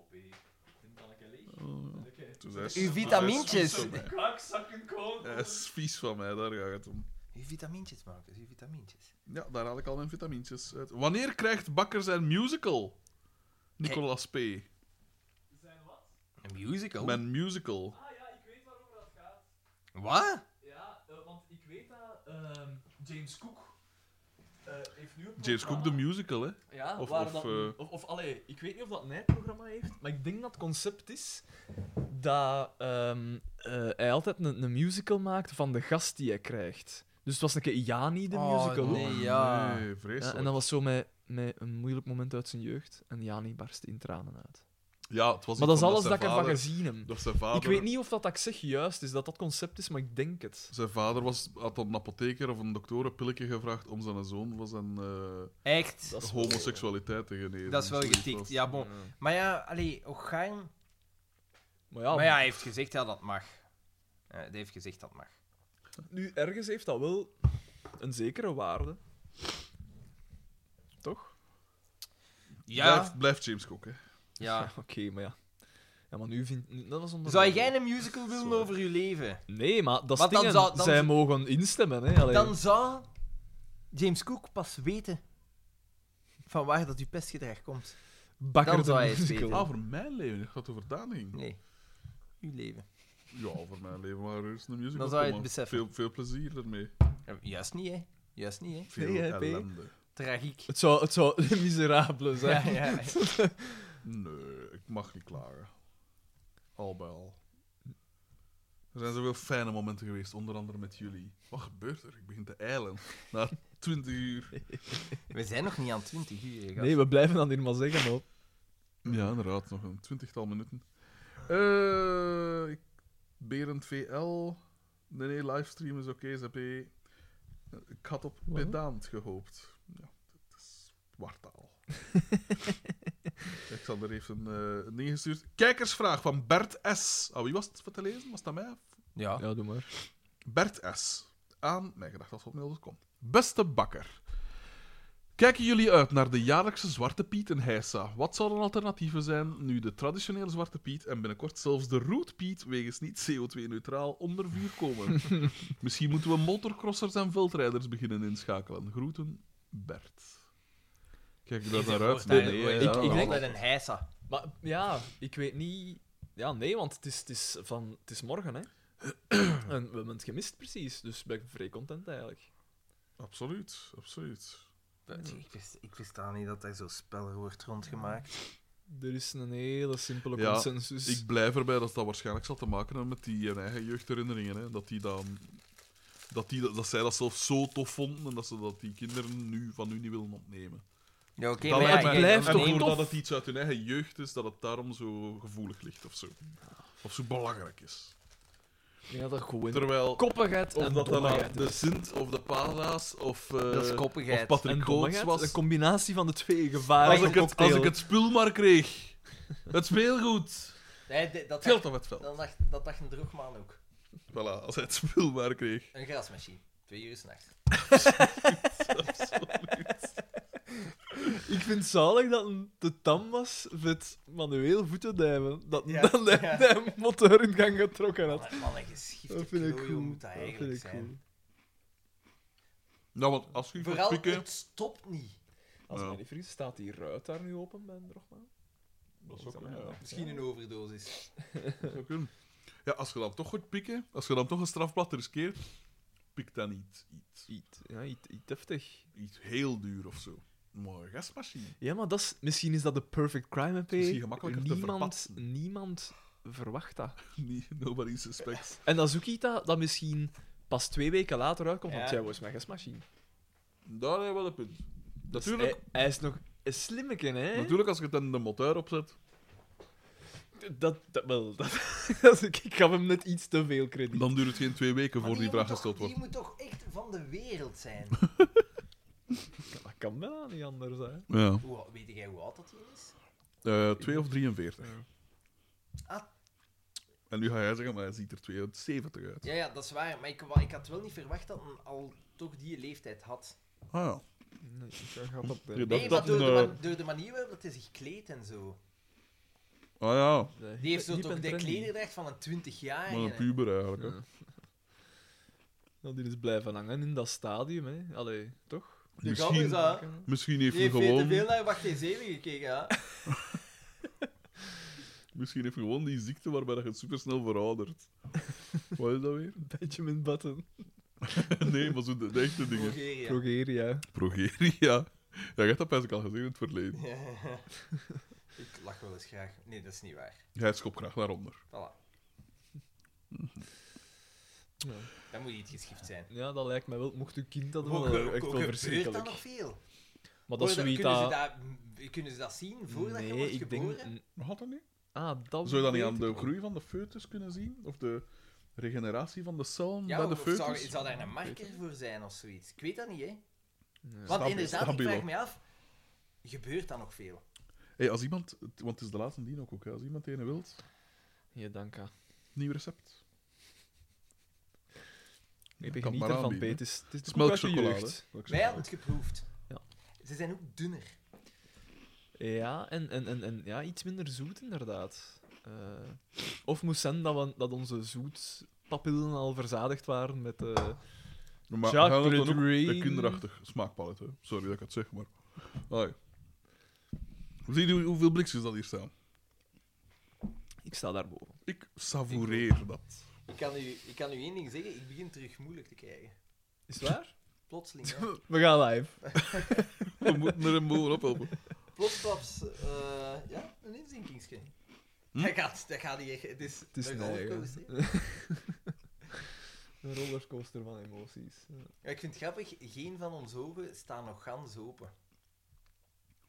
Oh, ja. Dus hij is- Uw hij is vitamintjes. vies van mij. Kakzakken komen. Hij is vies van mij, daar gaat het om. Uw vitamintjes, Marcus, uw vitamintjes. Ja, daar haal ik al mijn vitamintjes uit. Wanneer krijgt Bakker zijn musical? Nicolas P. Een musical? Mijn musical. Ah ja, ik weet waarover dat gaat. Wat? Ja, eh, want ik weet dat ehm, James Cook eh, heeft nu een James Cook, de programma- musical, hè? Ja, Of- of, waar of, dat, eh, of, of allee, ik weet niet of dat een programma heeft, maar ik denk dat het concept is dat ehm, eh, hij altijd een, een musical maakt van de gast die hij krijgt. Dus het was een keer Jani, de Oh, musical. nee, ja. Nee, Ja, vreselijk. Ja, en dat was zo met, met een moeilijk moment uit zijn jeugd. En Jani barst in tranen uit. het was Maar iets dat is van alles dat zijn ik ervan vader- gezien heb. Dat zijn vader... Ik weet niet of dat, dat ik zeg juist is, dat dat concept is, maar ik denk het. Zijn vader was, had een apotheker of een dokter een pilletje gevraagd om zijn zoon van zijn eh, Echt? Dat is wel- homoseksualiteit te genezen. Dat is wel Zoiets getikt, was- ja bon. Maar ja, allee, Ogaim... Maar ja, Maar ja, hij heeft gezegd dat dat mag. Eh, Hij heeft gezegd dat mag. nu ergens heeft dat wel een zekere waarde. Toch? Ja, Blijft, blijft James Cook, hè. ja. Oké, maar *laughs* ja. Ja, maar nu vind nu- dat was onder- Zou jij een musical willen Sorry. over je leven? Nee, maar dat is Want dan dingen. zou- dan Zij zou- mogen instemmen, hè. Allee. Dan zou James Cook pas weten van waar dat uw pestgedrag komt. Bakker dan de zou hij het musical. weten. Ah, voor mijn leven. Je gaat over Daan heen. Nee, uw leven. Ja, voor mijn leven. Maar er is een musical. Dan zou je het kom, beseffen. Veel, veel plezier ermee. Ja, Juist niet, hè? Juist niet, hè? Veel Nee, hè, P? ellende. Tragiek. Het zou, het zou *laughs* miserabele zijn. Ja, ja. *laughs* Nee, ik mag niet klagen. Al bij al. Er zijn zoveel fijne momenten geweest, onder andere met jullie. Wat gebeurt er? Ik begin te eilen. Na 20 uur. We zijn nog niet aan 20 uur. hè, gast. Nee, we blijven dan hier maar zeggen, hoor. Ja, inderdaad, nog een twintigtal minuten. Eh, ik- Berend VL. Nee, nee, livestream is oké, ZP. Ik had op Wat? pedaant gehoopt. Ja, dat is wartaal. Alexander heeft een eh, een ding gestuurd. Kijkersvraag van Bert S. Ah, wie was het voor te lezen? Was dat mij? Ja. Ja, doe maar. Bert S. aan mijngedachtas.mail.com. Beste bakker. Kijken jullie uit naar de jaarlijkse Zwarte Piet in Heisa? Wat zouden alternatieven zijn nu de traditionele Zwarte Piet en binnenkort zelfs de Rood Piet wegens niet CO2-neutraal onder vuur komen? Misschien moeten we motorcrossers en veldrijders beginnen inschakelen. Groeten, Bert. Kijk ik daar naar uit? Daar- nee, ik, ja, ik ja. denk dat een heisa. Maar ja, ik weet niet. Ja, nee, want het is, het is, van, het is morgen, *clears throat* hè? en we hebben het gemist, precies. Dus ben ik vrij content eigenlijk. Absoluut, absoluut. Ik wist, ik wist daar niet dat er zo spel wordt rondgemaakt. Er is een hele simpele Ja, consensus. Ik blijf erbij dat dat waarschijnlijk zal te maken hebben met die hun eigen jeugdherinneringen. Hè? Dat, die dan, dat, die, dat, dat zij dat zelf zo tof vonden en dat ze dat die kinderen nu, van nu niet willen opnemen. Ja, oké, dat maar ja, lijkt ik- mij- blijft en toch nee, tof? doordat het iets uit hun eigen jeugd is, dat het daarom zo gevoelig ligt of zo. Of zo belangrijk is. Ik denk dat dat gewoon Terwijl, koppigheid of en dat dan dommigheid de is. Sint of de Pada's of, eh, Dat is of koppigheid. En Patrick Goots dommigheid, was. een combinatie van de twee gevaren. Als ik, het, als ik het spul maar kreeg. Het speelgoed. Nee, dit- dat Het geld dacht, op het veld. dat, dacht, dat dacht een droogmaan ook. Voilà, als hij het spul maar kreeg. Een grasmachine. Twee uur s'nachts. Ik vind het zalig dat een te tam was met manueel voetendijmen. Dat Ja, dat hij ja. de motor in gang getrokken had. Wat een- wat een Dat geschifte vind ik klooi cool. moet dat Dat eigenlijk vind ik zijn. cool. Nou, want als je gaat Vooral, pikken... het stopt niet. Als Ja. ik me niet vergis, staat die ruit daar nu open bij een drogman? Dat is ook een, ja. Misschien een overdosis. Dat zou kunnen. Ja, als je dan toch goed pikken, als je dan toch een strafblad riskeert, pik dan iets, iets, Iets, ja, iets, iets heftig. iets heel duur of zo. Maar een gasmachine. *laughs* Ja, maar dat is, misschien is dat de perfect crime, MP. misschien gemakkelijker te niemand, verpatsen. niemand verwacht dat. Nee, nobody suspects. En dat is ook iets dat, dat misschien pas twee weken later uitkomt, Ja. want jij was mijn gasmachine. Daar heb je wel een punt. Dus Natuurlijk, hij, hij is nog een slimmeke, hè? eh? natuurlijk als je het in de motor opzet. Dat, dat, wel, *laughs* dat, dat is- ik gaf hem net iets te veel krediet. Dan duurt het geen twee weken Maar voor die moet vraag toch- gesteld wordt. Die moet toch echt van de wereld zijn? Dat kan wel niet anders, hè? Ja. Hoe, weet jij hoe oud dat hier is? Eh, twee of 43. Ah. En nu ga jij zeggen, maar hij ziet er 72 uit. Ja, ja, dat is waar. Maar ik, wa- ik had wel niet verwacht dat een al toch die leeftijd had. Ah ja. Nee, ik ga dat Ja, Nee, dat- maar door, de eh, man- door de manier waarop dat hij zich kleedt en zo. Ah ja, Die heeft zo toch de klederdracht van een 20 jaar. maar een puber eigenlijk. Hè. Ja. Nou, die is blijven hangen in dat stadium, hè? Allee, toch? De gal is Misschien, dat. misschien heeft Die hij heeft veel te veel gewoon, naar Wacht eens even gekeken, ja. misschien heeft hij gewoon die ziekte waarbij dat je het supersnel veroudert. *laughs* Wat is dat weer? *laughs* Benjamin Button. Nee, maar zo de, de echte dingen. Bulgaria. Progeria. Progeria. Ja, je hebt dat best al gezien in het verleden. *laughs* Ik lach wel eens graag. Nee, dat is niet waar. Hij schopt graag naar onder. Voilà. Ja. Dat moet niet geschift zijn. Ja, dat lijkt mij wel. Mocht uw kind dat Ook- eh, wel, eh, ook- echt ook wel gebeurt dat nog verschrikkelijk. veel? Maar dat is Worden- zoiets kunnen, ze dat... dat, m- kunnen ze dat zien voordat je wordt geboren? Had dat niet? Ah, dat Zou je dat niet aan weet de ik groei van de foetus kunnen zien? Of de regeneratie van de cellen Ja, bij de of zou, foetus? zou daar een marker voor zijn of zoiets? Ik weet dat niet, hè. Nee. Want Stabiel, inderdaad, stabiel. ik vraag me af, gebeurt dat nog veel? Hey, als iemand... Want het is de laatste dien ook, hè. Als iemand een wilt, Ja, dank je. nieuw recept. Ik kan het begin maar ervan, aanbieden. Peet. Het is, het is Het de is koek uit je melkchocolade. jeugd. Wij hadden Melkchocolade. het geproefd. Ja. Ze zijn ook dunner. Ja, en, en, en, en ja, iets minder zoet, inderdaad. Eh, of moest zijn dat, we, dat onze zoetpapillen al verzadigd waren met... eh, Maar Jacques gaan we dan ook Couture. een kinderachtig smaakpalet, hè? Sorry dat ik het zeg, maar... Allee. Zie je hoe- hoeveel blikjes dat hier staan? ik sta daarboven. Ik savoureer dat. Ik kan, u, ik kan u één ding zeggen, ik begin terug moeilijk te krijgen. Is *laughs* het waar? Plotseling, *laughs* ja. We gaan live. We moeten er een bovenop helpen. Plotsklaps, eh, ja, een inzinkingsje. Hm? Dat gaat, dat gaat niet echt. Het is, Het is een een eigen. rollercoaster. *laughs* Een rollercoaster van emoties. Ja. Ja, ik vind het grappig, geen van ons ogen staan nog gans open.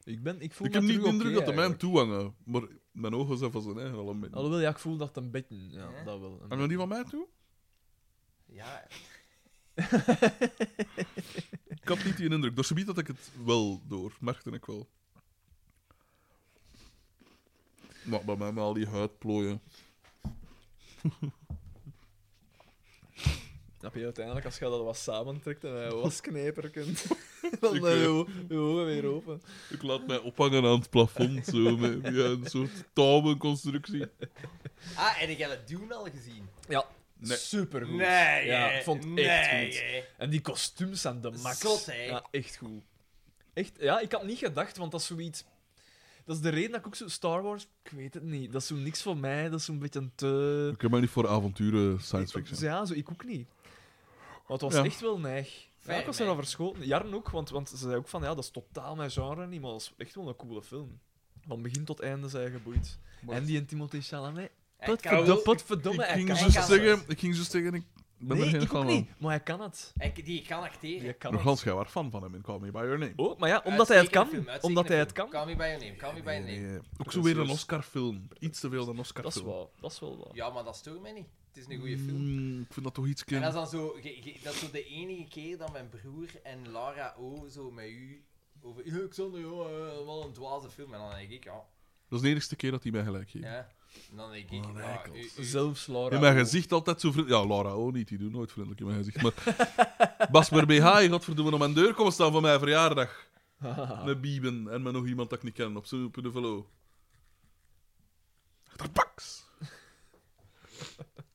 Ik, ben, ik voel Ik heb niet de de indruk dat de mijn toehangen, maar mijn ogen zijn van zijn eigen al een beetje. Alhoewel, ja, ik voel dat een beetje. Ja, Ja? dat wel. Een Hangen die van mij toe? Ja, Ik had niet die indruk. Door subiet had ik het wel door, merkte ik wel. Maar bij mij met al die huidplooien. beetje. Snap je, uiteindelijk, als je dat wat samentrekt en *laughs* een waskneper kunt, *laughs* dan Ik, zijn eh, je je ogen weer open. Ik laat mij ophangen aan het plafond, zo, met via een soort *laughs* touwenconstructie. Ah, en ik heb het doen al gezien. Ja, Nee. supergoed. Nee, ja, hè. ik vond het nee, echt goed. hè. En die kostuums aan de max. Zot, hè? Ja, echt goed. Echt, ja, ik had niet gedacht, want dat is zoiets... Dat is de reden dat ik ook zo... Star Wars, ik weet het niet. Dat is zo niks voor mij, dat is zo'n beetje een te... Ik heb mij niet voor avonturen science fiction. Ja, zo, ik ook niet. Maar het was Ja. echt wel neig. Ja, Fijn, ik was er hè? al verschoten. Jaren ook, want, want ze zei ook van, ja, dat is totaal mijn genre niet, maar dat is echt wel een coole film. Van begin tot einde zijn geboeid. Maar- En die en Timothée Chalamet. Hij kan Potverdomme, wel- potverdomme, hij Ik kan ging zo het. zo zeggen, ik ging zo zeggen, ik ben er Nee, ik geen ook fan van. niet. Maar hij kan het. hij- die kan acteren. Hij kan Nog het. gans, jij was fan van hem in Call Me By Your Name. Oh, maar ja, omdat hij het Uitstekende kan. film, uitstekende omdat hij film. het kan. Call me by your name, call me by your Nee, name. nee. Ook zo weer een Oscar-film. Iets te veel dan Dat is Oscar-film. wel, dat is wel waar. Ja, maar dat stoort mij niet. Het is een goede film. Mm, ik vind dat toch iets En dat klein. is dan zo, ge- ge- dat is zo de enige keer dat mijn broer en Lara O zo met u over. Ja, Xander, ja, eh, wat een dwaze film. En dan denk ik, ja. Dat is de enigste keer dat hij mij gelijk geeft. ja. En dan denk ik, Wat een ja, eikel. u- u- Zelfs Laura. In mijn ook. gezicht altijd zo vriendelijk. Ja, Laura ook niet, die doet nooit vriendelijk in mijn gezicht. Maar *laughs* Bas BH, godverdomme, aan mijn deur komen staan voor *laughs* mijn verjaardag. Met Bieben en met nog iemand dat ik niet ken op zo'n punt velo. Achterbaks!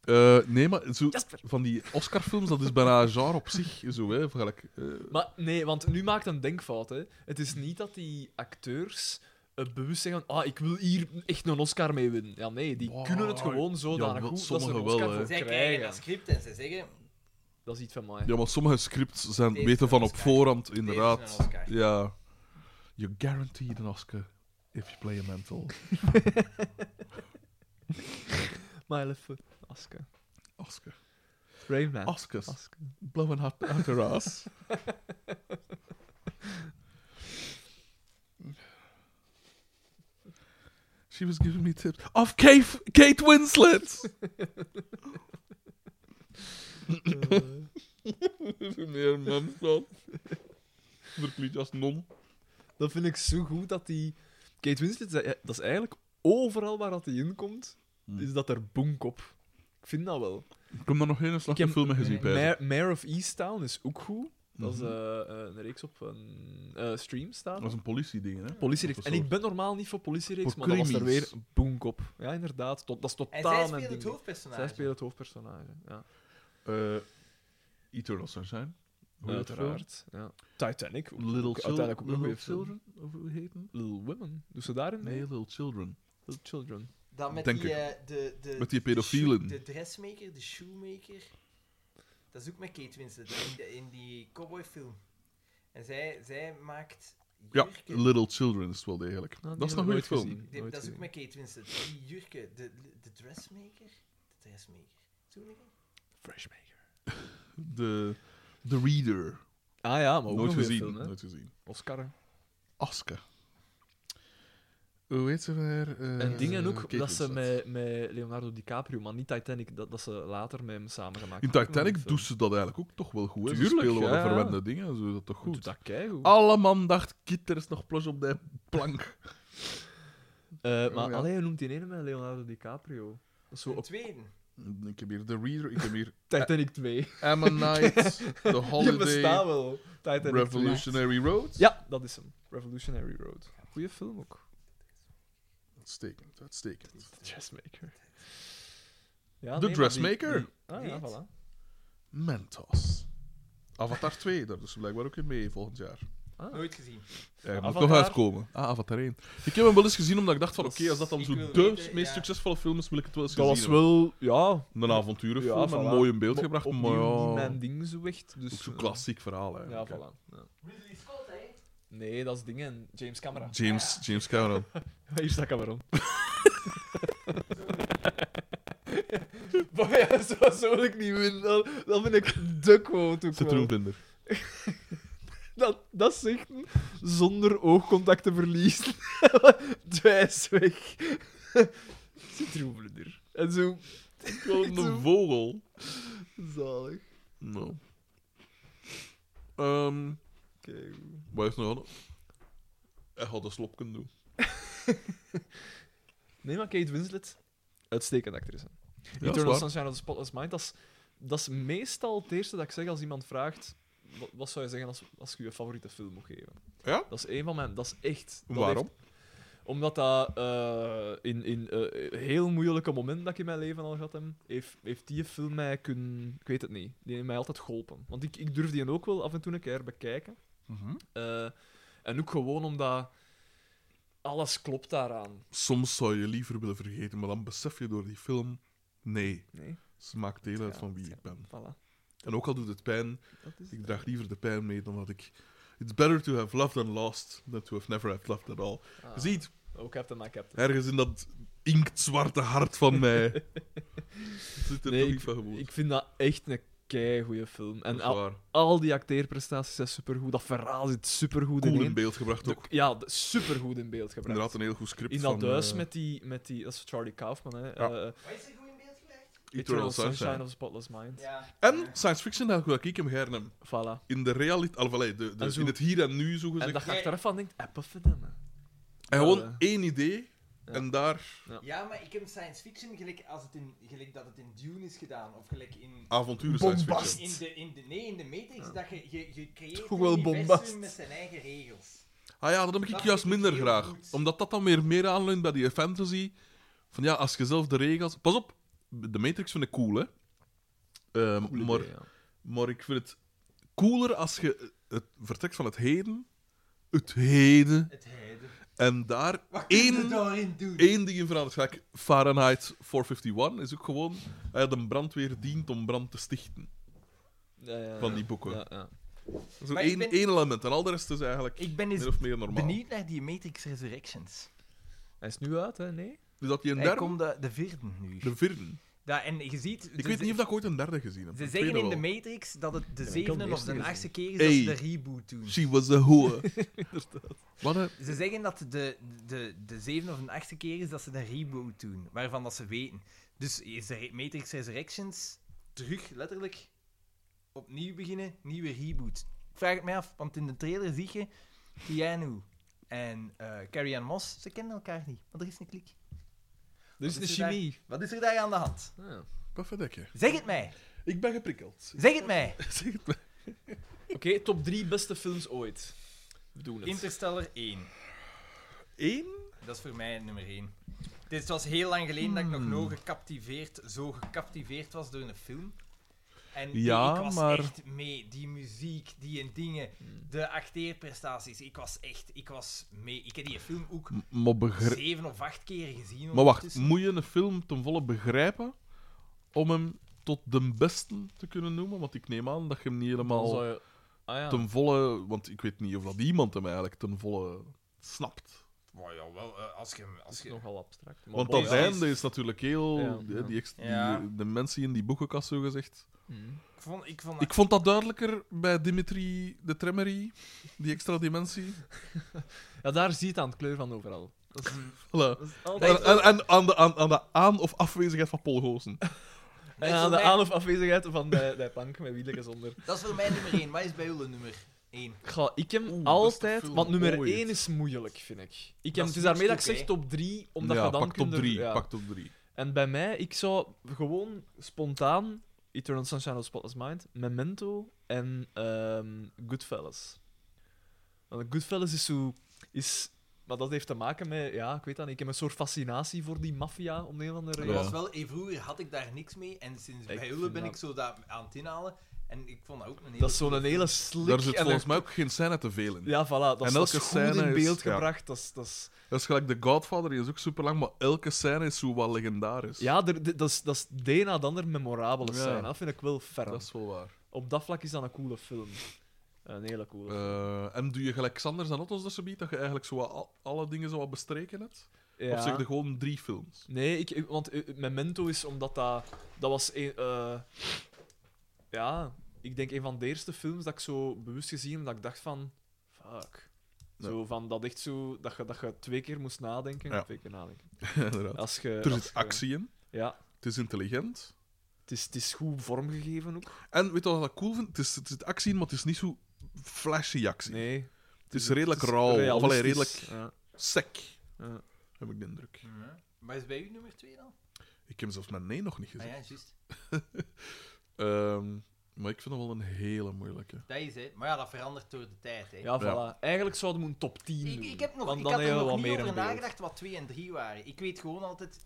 Eh nee, maar zo, Jasper. van die Oscar-films, dat is bijna een genre op zich. Zo, hè, gelijk, eh, Maar nee, want nu maakt een denkfout. Hè. Het is niet dat die acteurs eh, bewust zeggen: ah, ik wil hier echt een Oscar mee winnen. Ja, nee, die Wow. kunnen het gewoon zodanig Ja, wel, goed dat ze sommigen een wel, Oscar hè. voor Zij krijgen eh, krijgen. eh, dat script en ze zeggen, Dat is iets van mij. Ja, maar sommige scripts zijn Deze weten van een op Oscar. voorhand, een inderdaad. Oscar. Ja. You guaranteed an Oscar if you play a mental. Maar even, Aske. Oscar. Brave man. Oscars. Aske. Blowing hot out *laughs* her ass. She was giving me tips. Of Kate, Kate *laughs* Winslet! Eh, Meer memstad. Verkleed als non. Dat vind ik zo goed dat die. Kate Winslet, zei- dat is eigenlijk overal waar dat die inkomt, Hmm. is dat er bonk op. Ik vind dat wel. Ik heb daar nog geen Ik heb- slechte film mee gezien, Pijs. Mare, Mare of Easttown is ook goed. Dat is Mhm. eh, eh, een reeks op een eh, stream Dat staat. was een politieding, hè? Politiereeks. En ik ben normaal niet voor politiereeks, maar dat was er weer Pocrimies. boonk op. Ja, inderdaad. Tot, dat is En totaal zij mijn speelt ding. het Zij hoofdpersonage. speelt het hoofdpersonage. Ja. Eh, Eternal Sunshine. Hoe heet dat Uiteraard. Ja. Titanic. film? Little, ook, chil- uiteindelijk ook nog little weer film. Children? Of hoe heet het? Little Women. Doet ze daarin mee? Nee, Little Children. Little Children. Nou, Dan met Denk die, ik. eh, de, de, Met die de shoe- pedofielen. De dressmaker, de shoemaker. Dat is ook met Kate Winslet, in, de- in die cowboyfilm. En zij, zij maakt Ja, jurken. Little Children is het wel degelijk. Nou, die dat is heb ik nog een nooit goede film. gezien. Die- Nooit dat is ook gezien. met Kate Winslet. Die jurken, de, de dressmaker. De dressmaker. Zo heet die? Freshmaker. The, The Reader. Ah ja, maar ook Nooit nog weer gezien. film, hè? nooit Eh, gezien. Oscar. hè. Aske. Hoe heet ze weer? Eh, en dingen ook, Kate dat ze Winslet. met, met Leonardo DiCaprio, maar niet Titanic, dat, dat ze later met hem samen gemaakt In Titanic doet ze dat eigenlijk ook toch wel goed. Hè? Ze Tuurlijk, spelen wel ja, ja. verwende dingen, ze doen dat toch goed. Doet goed. Ah. dat keigoed. Alle man dacht, kit, er is nog plos op die *laughs* plank. Eh, maar Oh, ja. alleen je noemt die ene met Leonardo DiCaprio. Dat is zo De op tweede. Ik heb hier The Reader, ik heb hier Titanic *laughs* 2. Ammonite, Je The bestaat Eh, Holiday, wel. Titanic 2. Revolutionary Road. Ja, dat is hem. Revolutionary Road. Goeie film ook. Uitstekend, uitstekend. Dressmaker. Ja, De nee, maar die- Dressmaker? die- ah, ja, Weet. voilà. Mentos. Avatar 2, daar dus blijkbaar ook in mee volgend jaar. Ah. Nooit gezien. Ja, je moet Avatar- nog uitkomen. Ah, Avatar 1. Ik heb hem wel eens gezien omdat ik dacht van Dat oké, is- als dat dan ik zo wil de weten, meest ja. succesvolle film is, wil ik het wel eens Dat gezien was wel, ja. hebben. Een avonturenfilm, Ja, een voilà. mooi in beeld Op- gebracht, maar opnieuw niet ja, mijn ding zo echt. Dus, ook zo'n eh, klassiek verhaal eigenlijk. Ja, hè. voilà. Ja. Nee, dat is dingen. James Cameron. James, James Cameron. *laughs* Hier staat *laughs* Cameron. *laughs* Maar ja, zo, zo wil ik niet winnen. Dan, dan ben ik de quote ook Zit wel. er ook in. er. Dat, dat zegt hem zonder oogcontact te verliezen. *laughs* Dwijs weg. *laughs* Zit er ook in er. En zo Gewoon een vogel. zalig. Nou. Ehm, Kijk. hoe- wat is nog aan? Hij had een slop kunnen doen. Nee, maar Kate Winslet, uitstekende actrice. Ja, dat is Eternal waar. Sunshine of the Spotless Mind, dat is, dat is meestal het eerste dat ik zeg als iemand vraagt... wa- Wat, zou je zeggen als, als ik je favoriete film moet geven? Ja? Dat is een van mijn... Dat is echt... dat Waarom? heeft- omdat dat eh, in, in eh, heel moeilijke moment dat ik in mijn leven al gehad heb, heeft, heeft die film mij kunnen... Ik weet het niet. Die heeft mij altijd geholpen. Want ik, ik durf die ook wel af en toe een keer bekijken. Mhm. Eh, en ook gewoon omdat... Alles klopt daaraan. Soms zou je liever willen vergeten, maar dan besef je door die film... Nee, Nee, ze maakt deel uit Ja, van wie ja. ik ben. voilà. En ook al doet het pijn, Dat is Ik draag liever de pijn mee dan dat ik. It's better to have loved and lost than to have never have loved at all. Je Ah, ziet, Oh, Captain, my Captain. ergens in dat inktzwarte hart van *laughs* mij. zit er Nee, toch iets van gewoon. Ik vind dat echt een kei goede film. Dat En is al, waar. al die acteerprestaties zijn supergoed. Dat verhaal zit supergoed Cool in in. beeld gebracht ook. De- ja, de- supergoed in beeld gebracht. Inderdaad, een heel goed script. in dat van, huis eh, met, die, met die. Dat is Charlie Kaufman, hè? Ja. eh, Wat is er goed in beeld gelegd? Eternal Eternal Sunshine, Sunshine. of the Spotless Mind. Ja. En science fiction, dat ik hem graag heb. Voilà. In de realiteit, al de, de, En zo- in het hier en nu zo En gezegd. dat je Ja. achteraf van denkt: appen voor hem. hè. En gewoon Ja, één idee. Ja. En daar Ja, maar ik heb science fiction gelijk, als het in, gelijk dat het in Dune is gedaan. Of gelijk in... avonturen science Bombast. fiction. In de, in de, nee, in de Matrix. Dat je, je, je creëert Toch een wel universum bombast. met zijn eigen regels. Ah ja, dat heb ik Dat juist vind ik minder heel graag. goed. Omdat dat dan weer meer aanleunt bij die fantasy. Van ja, als je zelf de regels... Pas op, de Matrix vind ik cool, hè. Ehm, Cool maar, idee, ja. maar ik vind het cooler als je het vertrekt van het heden. Het heden. Het heiden. En daar Wat kun je één, daarin doen? één ding in verandert. Kijk, Fahrenheit 451 is ook gewoon... Hij had een brandweer dient om brand te stichten. Ja, ja, ja. Van die boeken. Ja, ja. Zo Maar ik één, ben- één element. En al de rest is eigenlijk Ik ben min eens of meer normaal. benieuwd naar die Matrix Resurrections. Hij is nu uit, hè? Nee? Dus dat je een Daar derde... komt de, de vierde nu. De vierde. Ja, en je ziet... dus Ik weet niet of dat ik ooit een derde gezien heb. Ze Ik zeggen weet in het de wel. Matrix dat het de heb zevende hem of de eerst achtste keer is Hey. dat ze de reboot doen. She was a *laughs* hoe. Wat een... Ze zeggen dat de, de, de zevende of de achtste keer is dat ze de reboot doen, waarvan dat ze weten. Dus is de Re- Matrix Resurrections terug, letterlijk, opnieuw beginnen, nieuwe reboot. Ik vraag het mij af, want in de trailer zie je Keanu en eh Carrie Ann Moss, ze kennen elkaar niet, want er is een klik. Er is is een er daar? chemie. Ah, Wat is er daar aan de hand? Ja. Wat verdek je? Zeg het mij! Ik ben geprikkeld. Zeg het mij! *laughs* Zeg het maar. Oké, top drie beste films ooit. We Doen het. Interstellar 1. Eén? Dat is voor mij nummer 1. Dit was heel lang geleden dat ik nog nooit gecaptiveerd, zo gecaptiveerd was door een film. En Ja, ik was maar- echt mee. Die muziek, die en dingen, de acteerprestaties. Ik was echt, ik was mee. Ik heb die film ook Maar, begri- zeven of acht keer gezien. maar wacht, ondertussen. moet je een film ten volle begrijpen om hem tot de beste te kunnen noemen? Want ik neem aan dat je hem niet Dan helemaal zou je- Ah ja. ten volle... Want ik weet niet of dat iemand hem eigenlijk ten volle snapt. Maar ja, wel, eh, als je... hem- Dat Als is je... nogal abstract. Maar Want bon, dat ja. einde is natuurlijk heel... Ja. hè, die ex- Ja. die, de mensen in die boekenkast, zo gezegd. Mhm. Ik vond, ik vond Ik vond dat duidelijker bij Dimitri de Tremery, die extra dimensie. Ja, daar zie je het aan het kleur van overal. Dat is, Voilà. dat is En, altijd... en, en aan, de, aan, aan de aan- of afwezigheid van Paul Goosen. En aan de aan- of afwezigheid van bij, bij Pank, met wielen *laughs* zonder. Dat is voor mij nummer 1. Wat is bij jullie nummer 1? Ga, ik hem Oeh, beste altijd... film Want nummer ooit. 1 is moeilijk, vind ik. ik Dat hem, is het is daarmee dat ik zeg niks goed, top 3, omdat ja, je dan pak top kunt er- 3. ja. Pak top 3. En bij mij, ik zou gewoon spontaan Eternal Sunshine of the Spotless Mind, Memento en ehm Goodfellas. Want Goodfellas is zo... Is, Maar dat heeft te maken met, ja, ik weet dat niet. Ik heb een soort fascinatie voor die maffia, om de een of andere Dat reden. was wel, eh, vroeger had ik daar niks mee en sinds Ik bij vind Ulle ben dat- ik zo dat aan het inhalen. En ik vond dat ook een hele... Dat is zo'n hele slik. Daar zit en volgens een- mij ook geen scène te veel in. Ja, voilà. Dat is, En dat is elke goed in scène is- beeld ja. gebracht. Dat is, dat is, Dat is gelijk The Godfather, die is ook super lang, maar elke scène is zo wat legendarisch. ja, er- d- dat is, dat is de een na de ander memorabele Ja. scène. Dat vind ik wel ferm. Dat is wel waar. Op dat vlak is dat een coole film. Een hele coole film. Eh, en doe je gelijk Xanders en Otto's dat ze biedt, dat je eigenlijk zo wat al- alle dingen zo wat bestreken hebt? Ja. Of zeg je gewoon drie films? *laughs* Nee, ik, ik- want eh, Memento is omdat dat... Dat was een... eh, ja, ik denk een van de eerste films dat ik zo bewust gezien heb, dat ik dacht van... Fuck. Ja. Zo van, dat echt zo... Dat je, dat je twee keer moest nadenken. Ja. Twee keer nadenken. Inderdaad. Als je... er als zit je- actie in, Ja. het is intelligent. Het is, het is goed vormgegeven ook. En weet je wat ik cool vind? Het, is, het zit actie in, maar het is niet zo flashy actie. Nee. het is redelijk het is rauw, of allee, redelijk realistisch. Ja. sec, Ja. heb ik de indruk. Mhm. Maar is bij u nummer twee dan? Ik heb hem zelfs mijn nee nog niet Ah gezien. ja, juist. Ehm, maar ik vind hem wel een hele moeilijke. Dat is het. Maar ja, dat verandert door de tijd. Hè. Ja, voilà. Eigenlijk zouden we een top 10 Ik, doen. ik heb nog, want ik dan had er hebben we nog wat niet meer over een beeld. nagedacht wat 2 en 3 waren. Ik weet gewoon altijd wat,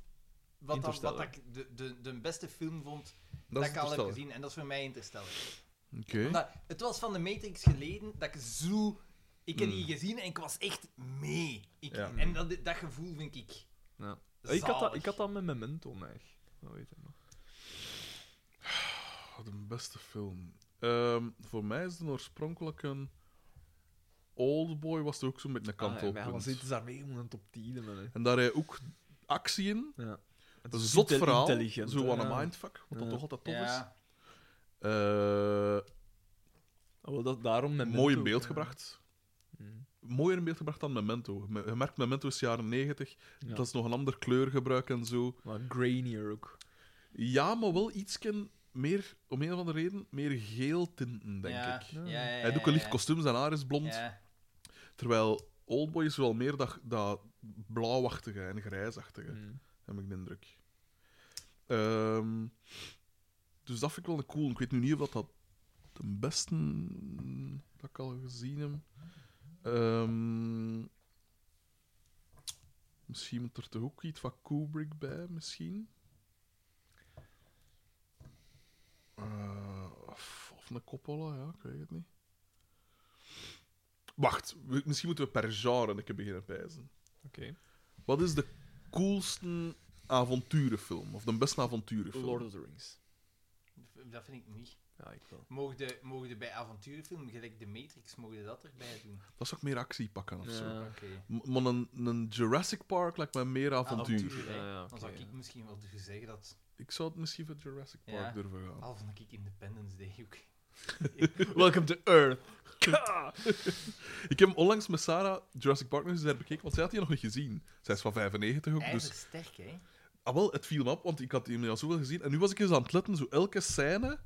dat, wat Interstellar. ik de, de, de beste film vond dat, Dat is ik al heb Interstellar. gezien. En dat is voor mij Interstellar. Oké. Omdat het was van de Matrix geleden dat ik zo... Ik heb Mm. die gezien en ik was echt mee. Ik, Ja. En dat, dat gevoel vind ik Ja. Ik had, dat, zalig. ik had dat met Memento, eigenlijk. Dat weet ik nog. Ah, de beste film. Ehm, voor mij is de oorspronkelijke Oldboy was er ook zo met een Ah, ja, kantelpunt. maar ja, want zitten ze daarmee om een top 10 te hebben. En daar heb je ook actie in. hè. Ja. Het Een is zot intel- verhaal. intelligent, Zo hè, aan een ja. mindfuck, wat dat Ja. toch altijd tof is. Ja. Eh, Ah, wel, dat, daarom met mooi in Memento, beeld ja. gebracht. Mm. Mooier in beeld gebracht dan Memento. Me- Je merkt, Memento is jaren 90. Ja. Dat is nog een ander kleurgebruik en zo. Maar grainier ook. Ja, maar wel iets meer, om een of andere reden, meer geel tinten, denk Ja. ik. Ja. Eh. Ja, ja, Hij doet ook een licht kostuum, zijn haar is blond. Ja. Terwijl Oldboy is wel meer dat, dat blauwachtige en grijsachtige, Mm. heb ik de indruk. Ehm, dus dat vind ik wel een cool. Ik weet nu niet of dat, dat de beste dat ik al gezien heb. Ehm, misschien moet er toch ook iets van Kubrick bij, misschien. Eh, of, of een Coppola, ja, ik weet het niet. Wacht, we- misschien moeten we per genre een keer beginnen pijzen. Oké. Wat is de coolste avonturenfilm? Of de beste avonturenfilm? Lord of the Rings. Dat vind ik niet. Ja, ik wel. Mogen de- mogen de bij avontuurfilm, gelijk de Matrix, mogen de dat erbij doen? Dat zou ik meer actie pakken of zo. Ja. Oké. M- Maar een, een Jurassic Park lijkt mij Ah, meer avontuur. Avontuur, hè. Ja, ja, oké, Dan zou ik ja. misschien wel durven zeggen dat... Ik zou het misschien voor Jurassic Park Ja. durven gaan. Al van ik Independence Day ook. Welcome to Earth. Ik heb onlangs met Sarah Jurassic Park nog eens herbekeken, want zij had die nog niet gezien. Zij is van 95 ook, dus... sterk, hè? Ah, wel, het viel me op, want ik had die al zoveel gezien. En nu was ik eens aan het letten, zo elke scène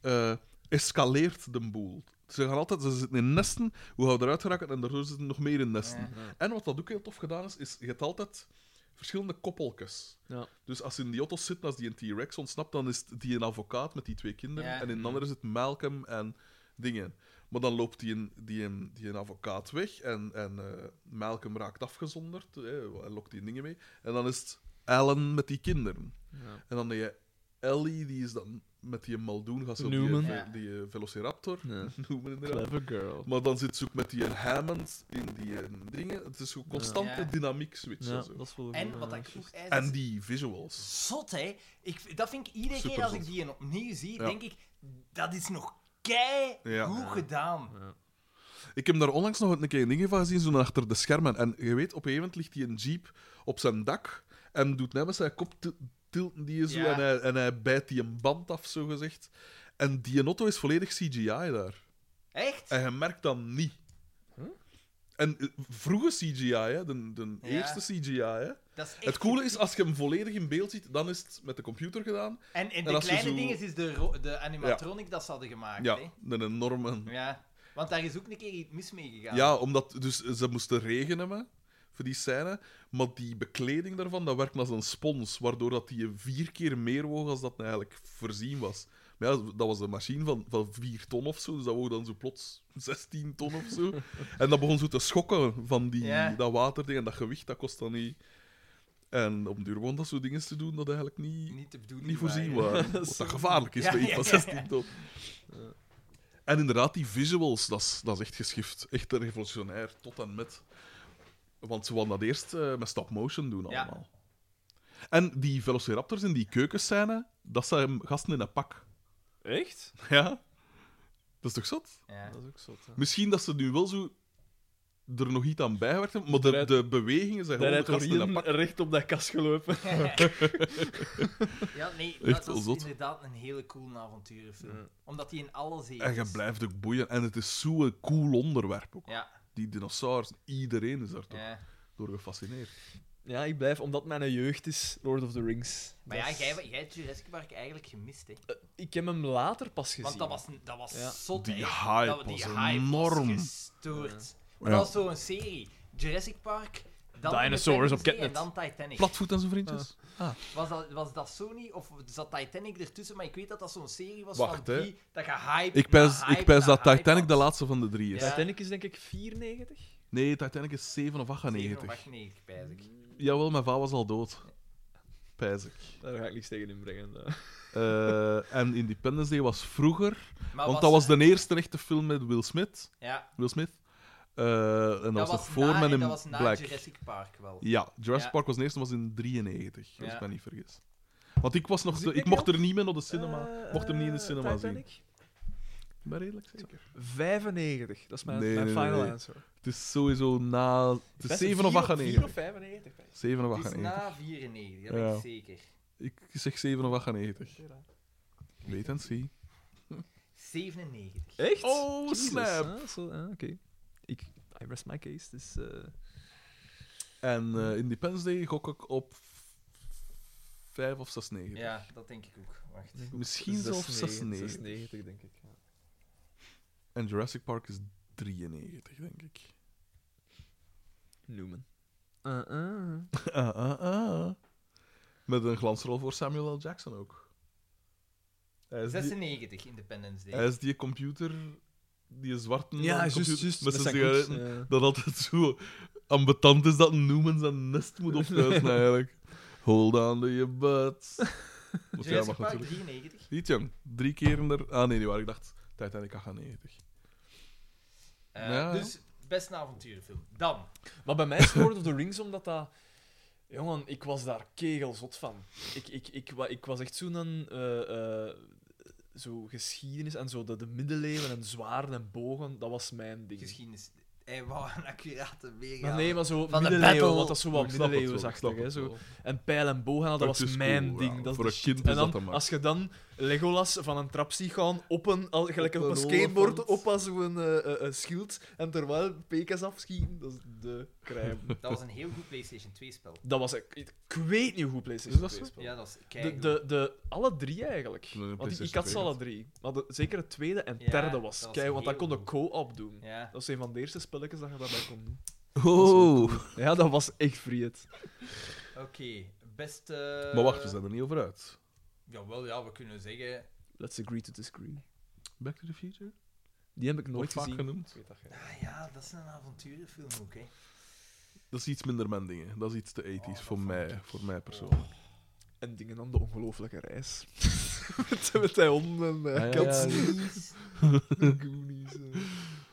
eh, escaleert de boel. Ze gaan altijd, ze zitten in nesten, hoe gaan we eruit geraken? En daardoor zitten nog meer in nesten. Ja. En wat dat ook heel tof gedaan is, is je hebt altijd verschillende koppeltjes. Ja. Dus als ze in die auto's zitten, als die een T-Rex ontsnapt, dan is het die een advocaat met die twee kinderen. Ja. En in de andere is het Malcolm en dingen. Maar dan loopt die een, die een, die een advocaat weg en, en eh, Malcolm raakt afgezonderd eh, en lokt die dingen mee. En dan is het Alan met die kinderen. Ja. En dan heb je Ellie, die is dan met die maldoen gaat zo Newman. die, Ja. eh, die eh, Velociraptor. *laughs* Ja. Newman inderdaad. Clever girl. Maar dan zit ze ook met die Hammond in die eh, dingen. Het is gewoon constante Ja. dynamiek switch. Ja, en, zo. dat is wel En goed, wat ja. ik vroeg, hij en is die visuals. zot, hè? Ik, v- dat vind ik iedere keer Superzot. als ik die een opnieuw zie, Ja. denk ik, dat is nog kei Ja. goed Ja. gedaan. Ja. Ik heb daar onlangs nog een keer een ding van gezien, zo achter de schermen. En je weet, op een gegeven moment ligt die een jeep op zijn dak en doet net met zijn kop til- tilten die zo Ja. en, hij, en hij bijt die een band af, zo gezegd. En die auto is volledig CGI daar. Echt? En je merkt dat niet. En eh, vroege CGI, hè, de, de Ja. eerste CGI. Hè. Dat is echt Het coole is, als je hem volledig in beeld ziet, dan is het met de computer gedaan. En, en de en als je kleine zo- dingen is de, ro- de animatronic dat ze hadden gemaakt, Ja, hè? een enorme... Ja. Want daar is ook een keer iets mis mee gegaan. Ja, omdat dus, ze moesten regen hebben voor die scène. Maar die bekleding daarvan, dat werkte als een spons. Waardoor dat die vier keer meer woog als dat eigenlijk voorzien was. Maar Maar ja, dat was een machine van, van 4 ton of zo, dus dat woog dan zo plots 16 ton of *laughs* zo. en dat begon zo te schokken van die, Ja. dat waterding en dat gewicht, dat kost dan niet. En op duur begon dat zo dingen te doen dat eigenlijk niet, Niet te bedoelen. niet voorzien waren. *laughs* waren. Wat dat gevaarlijk is Ja, bij iets ja, van ja, 16 ton. En inderdaad, die visuals, dat is, dat is echt geschift. Echt revolutionair, tot en met. Want ze wilden dat eerst eh, met stop-motion doen Ja. allemaal. En die velociraptors in die keukenscène, dat zijn gasten in een pak. *laughs* Echt? Ja? Dat is toch zot? Ja. Dat is ook zot. Hè. Misschien dat ze nu wel zo er nog iets aan bijgewerkt hebben, maar de, Daaruit- de bewegingen zijn Daar gewoon de rijdt gasten in een Orien pak. recht op dat kast gelopen. *laughs* ja, nee, Echt dat wel is zot. inderdaad een hele coole avonturenfilm. Ja. Omdat die in alles heeft. Mm. En je blijft ook boeien. En het is zo'n cool onderwerp ook. Ja, Die dinosaurus, iedereen is daar toch ja. door gefascineerd. Ja, ik blijf, omdat mijn jeugd is, Lord of the Rings. Maar Dat ja, is- jij, jij hebt Jurassic Park eigenlijk gemist, Eh, hè. Ik heb hem later pas gezien. Want dat was, dat was Ja. zot, Die hè. hype dat, die was hype enorm. was gestoord. Maar Ja. Dat was zo'n serie. Jurassic Park, dan Dinosaurs op Independence Day Catnet. En dan Titanic. Platvoet en zijn vriendjes. Was dat, was dat Sony of zat Titanic ertussen? Maar ik weet dat dat zo'n serie was Wacht, van hè. die, dat je hype Ik pijs, na ik hype pijs na dat hype Titanic had. de laatste van de drie is. Ja. Titanic Dus is denk ik 94. Nee, Titanic is 7 of 98. 97, pijs ik. Jawel, mijn vader was al dood. Pijs ik. Daar ga ik niks tegen inbrengen. brengen. Eh, en Independence Day was vroeger, Maar Mm. want dat was de eerste echte film met Will Smith. Ja, Will Smith. Eh, en dat, was nog voor na, Men en in dat was na Black. Jurassic Park wel. Ja, Jurassic Ja. Park was de eerste, was in 93, als Ja. ik me niet vergis. Want ik, was nog, Was te- ik ik mee mocht er niet meer naar de cinema. Eh, mocht hem niet in de eh, cinema Titanic? zien. Ik ben redelijk zeker. 95. Dat is mijn, Nee, mijn nee, final nee. answer. Het is sowieso na. Het is 7 of 4 of 98. 95. bij. 7 of Het is 98. na 94, dat ben Ja. ik zeker. Ik zeg 7 of 98. Wait and see. 97. Echt? Oh, Jezus, snap. hè? Zo, hè, Oké. Ik I rest my case. Dus, eh, En eh, Independence Day gok ik op 5 of 6, 9. Ja, dat denk ik ook. Wacht. Misschien zelfs 96. 96, denk ik. ja. En Jurassic Park is 93, denk ik. *laughs* Newman. Eh, eh. Ah, ah, ah. Met een glansrol voor Samuel L. Jackson ook. Hij is, die, 96, Independence Day. hij is die computer, die zwarte Ja, computer juist, juist. met met zijn zijn eh, koets, sigaretten, ja. dat altijd zo ambetant is dat een Newman zijn nest moet opluizen eigenlijk. Hold on to your *laughs* butt. Want jij Jurassic mag Park natuurlijk- 93. Niet jong. Drie keer er. Ah nee, die waar ik dacht. Titanic ah, 98. Eh, Ja, ja. Dus best een avonturenfilm. Dan. Maar bij mij is Lord of the Rings omdat dat. Jongen, ik was daar kegelzot van. Ik, ik, ik, wa- ik was echt zo'n. eh, eh, zo geschiedenis en zo de, de middeleeuwen en zwaarden en bogen, dat was mijn ding. Geschiedenis. Hij wou een accurate weergave. Maar nee, maar zo Van de middeleeuwen, battle. want dat is zo Ik wat snap het wel, middeleeuwsachtig. ik hè, snap het zo. wel. En pijl en boog, en al, dat Het was is mijn cool, ding. ja. Dat is Voor de een shit. kind is en dan, dat dan maar. als je dan Legolas van een trap ziet gaan, op een, al, gelijk Op op, een een skateboard, olifant. op als zo'n eh, eh, eh, schild, en terwijl pekers afschieten, dat is de crème. Dat was een heel goed PlayStation 2-spel. Dat was... Ik, ik weet niet hoe PlayStation Is dat 2 zo? speelt. Ja, dat is De, kijk. de, de, alle drie eigenlijk. Nee, de Want ik, ik PlayStation had ze alle drie. Maar de- zeker het tweede en Ja, derde was dat was kei, want dat heel kon de co-op doen. Ja. Dat was een van de eerste spelletjes dat je daarbij kon doen. Oh. eh, Ja, dat was echt vriend. Oké, beste... Maar wacht, we zijn er niet over uit. Jawel, ja, we kunnen zeggen... Let's agree to disagree. Back to the Future? Die heb ik Wordt nooit vaak gezien. genoemd. Ik weet dat jij- Ah ja, dat is een avonturenfilm ook, hè. Dat is iets minder mijn dingen. Dat is iets te 80s Oh, dat voor, vond mij, ik- voor mij persoonlijk. En dingen dan de ongelooflijke reis. *laughs* met, met die honden en Ah, ja, eh, katten. *laughs* Goonies. Goonies, eh.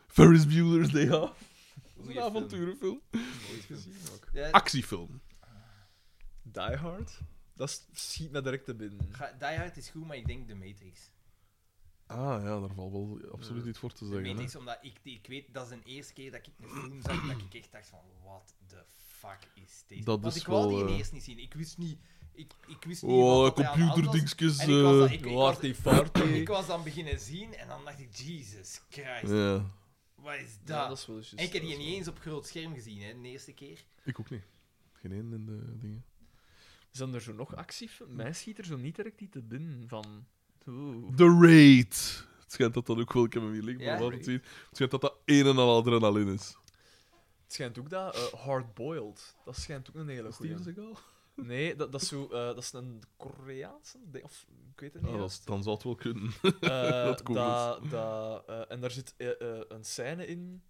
Ferris Bueller's Day Off. Dat is Goeie een film. avonturenfilm. Goeie film. ook. Ja, Actiefilm. Die Hard? Dat is- schiet me direct te binnen. ga- Die Hard is goed, maar ik denk The Matrix. Ah ja, daar valt wel absoluut iets voor te The zeggen. hè. Matrix, omdat ik, ik weet, dat is de eerste keer dat ik een film zag dat ik echt dacht van, what the fuck is dit? Dat Want is ik wou wel, die eh, ineens niet zien. Ik wist niet... Ik, ik wist niet wat Oh, dat hij aan de hand was. computerdingsjes. En ik was dat- eh, ik was- Waarty farty. *coughs* Ik was dan beginnen zien en dan dacht ik, Jesus Christ, Ja, wat is dat? Ja, dat is wel juist. en ik heb dat die is niet wel- eens op groot scherm gezien, hè, de eerste keer. ik ook niet. Geen één in de dingen. Zijn er zo nog actiefilms? Mij schiet er zo niet direct iets te binnen van... Oeh. The Raid. Het schijnt dat dat ook wel, ik heb hem hier liggen, Ja? maar wat het ziet. Het schijnt dat dat een en al adrenaline is. Het schijnt ook dat eh, Hard Boiled, dat schijnt ook een hele goede. Steven Seagal? Nee, dat, dat, is zo, eh, dat is een Koreaanse, ding, of ik weet het niet. Ah, dat, juist. is- dan zal het wel kunnen. *laughs* Eh, Dat komt dat- dat, eh, en daar zit eh, eh, een scène in,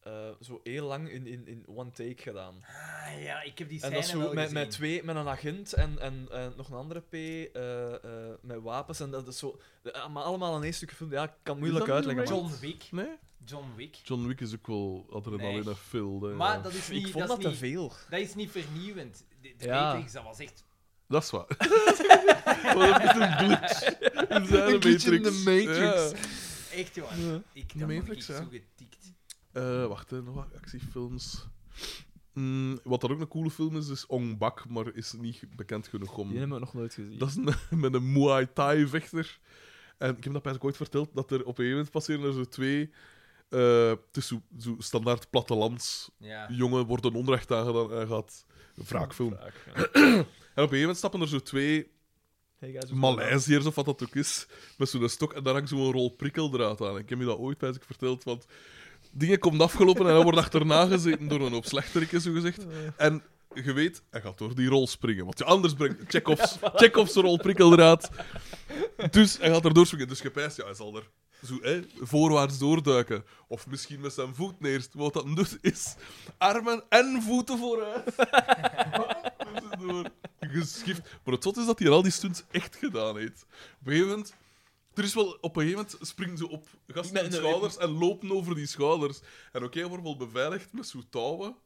eh, zo heel lang in, in, in one take gedaan. Ah ja, ik heb die En scène dat is zo wel met, gezien. met twee, met een agent en, en, en nog een andere P, eh, eh, met wapens. En dat is zo, eh, maar allemaal aan één stuk gefilmd. Ja, ik kan moeilijk dat niet uitleggen. maar- John Wick. Nee? John Wick. John Wick is ook wel adrenaline Nee. filled. hè, ja. Maar dat is ik niet... vond dat dat, is te niet veel. dat is niet vernieuwend. De, de Ja. Matrix, dat was echt... Dat is waar. *laughs* Wat is een glitch in zijn Een glitch in de Matrix. Ja. Echt, jongen. Ik De dat vond Matrix, ik ja. zo getikt. Eh, wacht, hè, nog wat actiefilms. Mm, wat er ook een coole film is, is Ong Bak, maar is niet bekend genoeg om... Die hebben we nog nooit gezien. Dat is een- *laughs* met een Muay Thai-vechter. En ik heb dat eigenlijk ooit verteld, dat er op een moment passeren er zo twee... eh het is zo, zo standaard plattelands. Ja. Jongen wordt een onrecht aangedaan en gaat... Een wraakfilm. En op Vaak, ja. een gegeven moment stappen er zo twee Hey, guys, what's going on? Maleisiërs of wat dat ook is, met zo'n stok en daar hangt zo'n rol prikkeldraad aan. Ik heb je dat ooit bij zich verteld, want dingen komt afgelopen en hij wordt achterna gezeten door een hoop slechterikken, zogezegd. En je weet, hij gaat door die rol springen, want je anders brengt Chekhov's, Chekhov's rol prikkeldraad. Dus hij gaat er doorspringen, dus gepijst, ja, hij zal er zo, hè, voorwaarts doorduiken. Of misschien met zijn voet neerst. Wat dat doet, is armen en voeten vooruit. *laughs* Door geschift. Maar het zot is dat hij al die stunts echt gedaan heeft. Op een gegeven moment... Er is wel, op een gegeven moment springen ze op gasten ben- hun schouders en lopen over die schouders. En oké, hij wordt wel beveiligd met zo'n touwen,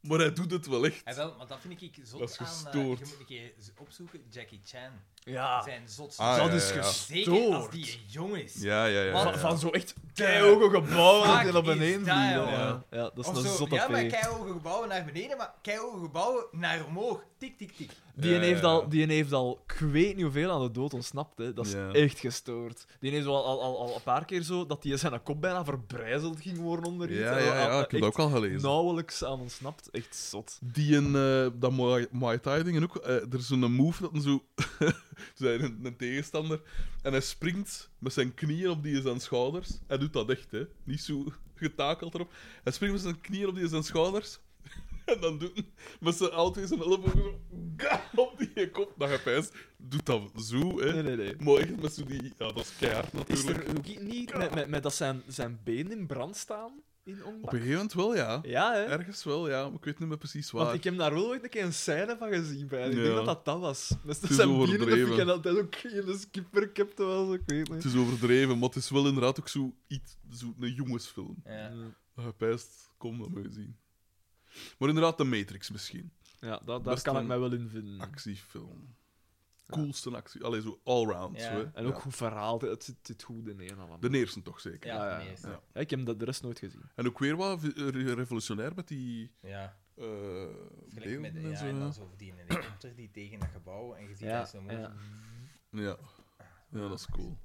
maar hij doet het wel echt. En Ah, wel, maar dat vind ik zot Dat is aan... eh, gestoord. je moet een keer z- opzoeken. Jackie Chan. Ja, Zijn zotste. Ah, dat ja, is ja, ja. gestoord. Zeker als die een jong is. Ja, ja, ja. Wat- ja. Van, van zo echt keihoge gebouwen Fuck die naar is beneden dat, vliegen. jongen. Ja. ja, dat is Of een zo, zotte ja, maar P. keihoge gebouwen naar beneden, maar keihoge gebouwen naar omhoog. Tik, tik, tik. Die Ja, ja, heeft ja. al, die heeft al, ik weet niet hoeveel aan de dood ontsnapt. Hè. Dat is Ja. echt gestoord. Die heeft al, al, al, al een paar keer zo dat hij zijn kop bijna verbrijzeld ging worden onder iets. Ja, En ja, dat- ja, dat ik heb dat ook al gelezen. Nauwelijks aan ontsnapt. Echt zot. Die een, eh, dat Muay, Muay Thai ding en ook, eh, er is zo'n move dat een zo, *laughs* zijn een, een tegenstander, en hij springt met zijn knieën op die zijn schouders. Hij doet dat echt, hè. Niet zo getakeld erop. Hij springt met zijn knieën op die zijn schouders. *laughs* En dan doet hij met zijn auto zijn ellebogen zo *laughs* ga, op die kop. Dan gaat hij doet dat zo, hè. Nee, nee, nee. Maar echt met zo die... Ja, dat is keihard Is natuurlijk. er ook i- niet met, met, met dat zijn, zijn benen in brand staan in Op Ongbak? een gegeven moment wel, ja. Ja, hè? Ergens wel, ja. Maar ik weet niet meer precies waar. Want ik heb daar wel ooit een keer een scène van gezien bij. Ik Ja. denk dat dat dat was. Dus dat is zijn bieren dat overdreven. ik en dat dat ook in de skipper capte was. Ik weet niet. Het is overdreven, maar het is wel inderdaad ook zo iets, zo een jongensfilm. Ja. Gepijst, kom, dat moet je zien. Maar inderdaad, de Matrix misschien. Ja, dat, daar Best kan ik een mij wel in vinden. Actiefilm. Coolste actie. Allee, zo allround. Ja. zo, hè. En ook Ja. goed verhaal. Het zit, zit goed in één allemaal. De eerste toch zeker. Ja, Ja, ten ja. eerste. Ja. Ja, ik heb dat de rest nooit gezien. En ook weer wat vi- eh, revolutionair met die... Ja. eh Gelijk met, beelden en ja, zo, en ja. dan zo die helikopter die tegen dat gebouw en je ziet Ja, dat zo mooi. ja. ja. Ja, dat is cool.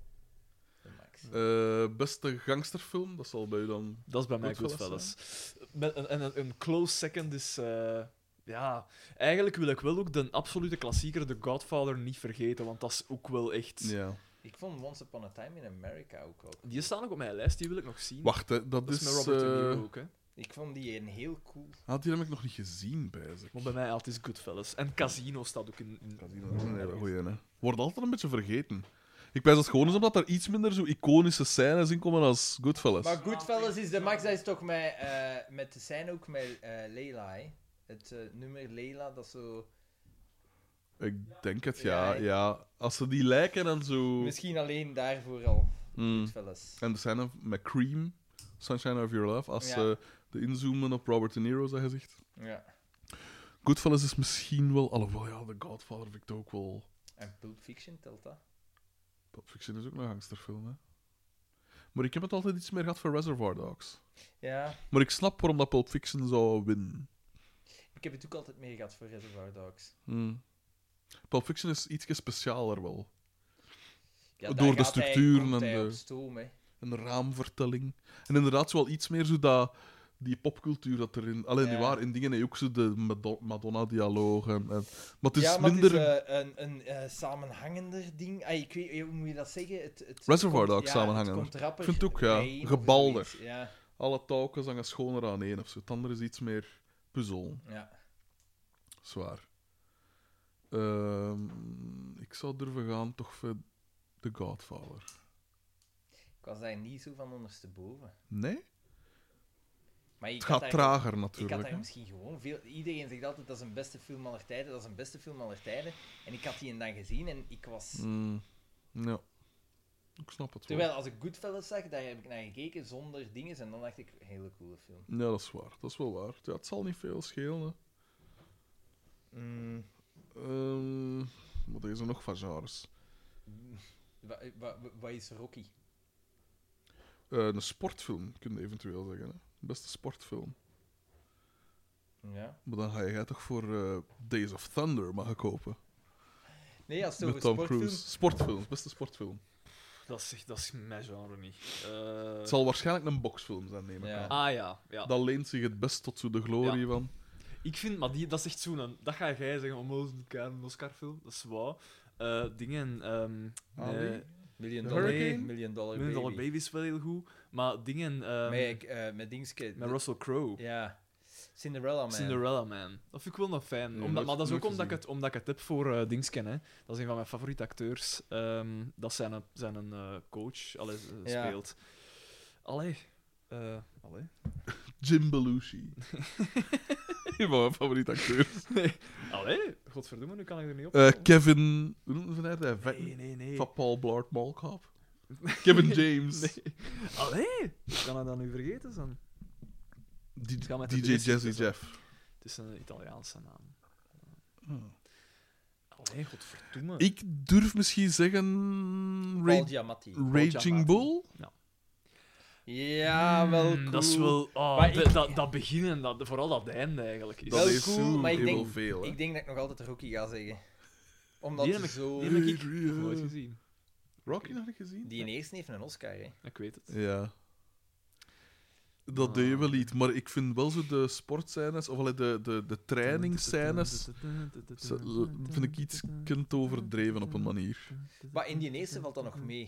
De max. Eh, beste gangsterfilm, dat zal bij u dan... Dat is bij mij Goodfellas, Goodfellas. Met een, en een, een close second is... eh, ja, eigenlijk wil ik wel ook de absolute klassieker The Godfather niet vergeten, want dat is ook wel echt... Ja. Ik vond Once Upon a Time in America ook wel. cool. Die staan ook op mijn lijst, die wil ik nog zien. Wacht, hè, dat, dat is, is... met Robert De eh, Niro ook, hè. Ik vond die een heel cool. ah, die heb ik nog niet gezien, bij zich. Maar bij mij altijd is Goodfellas. En Casino staat ook in... in- Casino is een hele goeie, hè. Wordt altijd een beetje vergeten. Ik pijs dat het gewoon is omdat er iets minder zo iconische scènes in komen als Goodfellas. Maar Goodfellas is de max, dat is toch met, eh, met de scène ook met eh, Leila, hè? Het eh, nummer Leila, dat zo... Ik denk het, ja. Ja, ja, Als ze die lijken en zo... Misschien alleen daarvoor al, Mm. Goodfellas. En de scène met Cream, Sunshine of Your Love, als Ja. ze de inzoomen op Robert De Niro, zijn gezicht. Ja. Goodfellas is misschien wel... Alhoewel, ja, The Godfather vind ik ook wel... En Pulp Fiction telt dat? Pulp Fiction is ook een gangsterfilm, hè. Maar ik heb het altijd iets meer gehad voor Reservoir Dogs. Ja. Maar ik snap waarom dat Pulp Fiction zou winnen. Ik heb het ook altijd mee gehad voor Reservoir Dogs. Hmm. Pulp Fiction is iets specialer wel. Ja, daar Door de gaat hij- structuren komt en hij de- op stoom, hè. Een raamvertelling. En inderdaad, wel iets meer zo dat, die popcultuur dat erin. Alleen Ja. nu waar, in dingen heb je ook zo de Mado- Madonna-dialogen. En, maar het is ja, maar minder. het is eh, een, een eh, samenhangender ding. Ah, ik weet, hoe moet je dat zeggen? Het, het, Reservoir het komt- Dogs ja, samenhangender. Het komt rapper Ik vind het ook, ja, bijeen of gebalder. zoiets. Ja, Alle touwtjes hangen schoner aan één of zo. Het andere is iets meer puzzel. ja. Zwaar. Ehm, ik zou durven gaan toch voor The Godfather. Ik was daar niet zo van ondersteboven. Nee? Maar ik Het had gaat daar- trager Ik had natuurlijk. daar hè. misschien gewoon veel... Iedereen zegt altijd, dat is een beste film aller tijden, dat is een beste film aller tijden. En ik had die dan gezien en ik was... Mm, ja. Ik snap het wel. Terwijl als ik Goodfellas zag, daar heb ik naar gekeken zonder dingen. En dan dacht ik, hele coole film. Ja, dat is waar. Dat is wel waar. Ja, het zal niet veel schelen. Hè. Mm. Ehm, wat is er nog van genres? Wa- wa- wa- Wat is Rocky? Eh, een sportfilm, kun je eventueel zeggen. Hè. Beste sportfilm. Ja. Maar dan ga jij toch voor eh, Days of Thunder mag ik kopen. Nee, als het Met over Tom sportfilm... Cruise. Sportfilm, beste sportfilm. Dat is, echt- dat is mijn genre niet. Het Eh, zal waarschijnlijk een boxfilm zijn, neem ik Ja. aan. Ah ja, ja. Dat leent zich het best tot zo de glorie Ja. van. Ik vind, maar die, dat is echt zo'n... Dat ga jij zeggen, onmogelijk kan een Oscarfilm. Dat is waar. Eh, dingen... ehm Ali? eh, Million The Dollar, Hurricane? million dollar Million Dollar Baby. Baby is wel heel goed. Maar dingen... ehm, Met, eh, met Dingske. met Russell Crowe. Ja. Cinderella Man. Cinderella Man. Dat vind ik wel nog fijn. Nee, Omdat- nooit- maar dat is nooit ook omdat ik, gezien. het, omdat ik het heb voor eh Dingsken. Hè. Dat is een van mijn favoriete acteurs. Ehm, dat zijn een, zijn een eh, coach allee, eh, Ja. speelt. Allee. eh, allee. *laughs* Jim Belushi. Een van mijn favoriete acteurs. Allee. Godverdomme, nu kan ik er niet op. Eh, Kevin... Hoe noemt hij dat? Van- nee, nee, nee. Van Paul Blart Mall *laughs* Cop. Kevin James. Nee. Allee. Ik kan ik dat nu vergeten? Dan? Die- Het gaat met de DJ dressing Jazzy te doen. Jeff. Het is een Italiaanse naam. Eh. Allee, godverdomme. Ik durf misschien zeggen... Ra- Paul Giamatti. Mm. Raging Bull? Ja, wel Hmm, cool. Dat is wel... oh, Maar de- ik- dat, dat begin en dat, vooral dat einde eigenlijk. Is Dat Wel is cool, zo maar ik heel denk- veel. hè. Ik denk dat ik nog altijd Rocky ga zeggen. Omdat Die *laughs* die heb ik- zo... die heb ik *laughs* nooit gezien. Rocky nog niet gezien? Die in eerste heeft een Oscar, hè. Ik weet het. Ja. Dat deed je Ah. wel iets, maar ik vind wel zo de sportscènes, of allee, de, de, de trainingsscènes, ze- l- eh, vind ik iets kind overdreven op een manier. Maar in die eerste valt dat nog mee.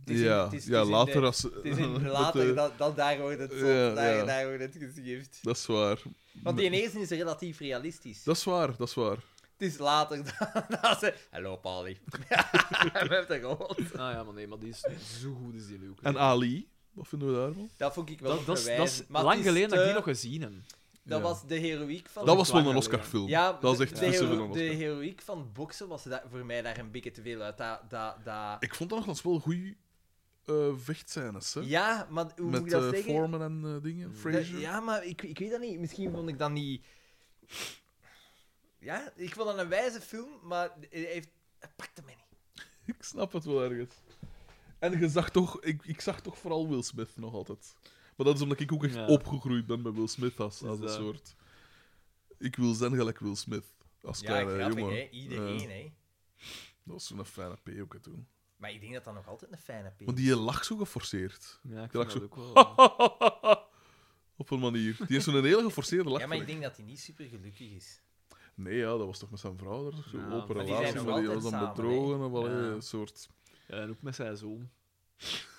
Het is in- Ja, het is- het ja is in later de- als... eh, Het *laughs* is in met later, de- dat, dat, daar wordt het zot, Ja, daar, ja. daar wordt het geschift. Dat is waar. Want die in eerste is relatief realistisch. Dat is waar, dat is waar. Het is later *laughs* dat, dat ze... Hallo, Pali. *laughs* We hebben het gehoord. Ah ja, maar nee, maar die is zo goed is die nu ook. En ah, niet. Ali, wat vinden we daarvan? Dat vond ik wel dat, nog dat is, dat is verwijzend, maar lang het is geleden dat ik te- die nog gezien heb. Dat Ja. was de heroïek van... Dat was was wel lang een geleden. Oscarfilm. Ja, dat was echt de, de, vissen hero- van een de Oscar. heroïek van boksen was daar voor mij daar een beetje te veel uit. Dat, dat, dat... Ik vond dat nog wel goede eh vechtscènes, hè? Ja, maar hoe moet Met ik dat eh, zeggen? Foreman en eh, dingen, Dat- Fraser. Dat- ja, maar ik, ik weet dat niet. Misschien vond ik dat niet... Ja, ik vond dat een wijze film, maar hij heeft... het pakte mij niet. Ik snap het wel ergens. En je zag toch, ik, ik zag toch vooral Will Smith nog altijd. Maar dat is omdat ik ook echt Ja. opgegroeid ben met Will Smith als, Dus als een dat- soort. Ik wil zijn gelijk Will Smith. Als Ja, kleine grappig, jongen. hè. Iedereen, Ja, hè. dat was zo'n fijne P ook hè, toen. Maar ik denk dat dat nog altijd een fijne P is. Want die lag zo geforceerd. Ja, ik Ja, vind ik dat zo- ook wel. Op een manier. Die heeft zo'n hele geforceerde lach. Ja, maar ik vind denk dat hij niet super gelukkig is. ik. Nee, ja, dat was toch met zijn vrouw. Daar was zo Ja, open maar die zijn relatie. nog Maar die was altijd dan samen, bedrogen. Of wel, eh, Ja. een soort. Ja, en ook met zijn zoon.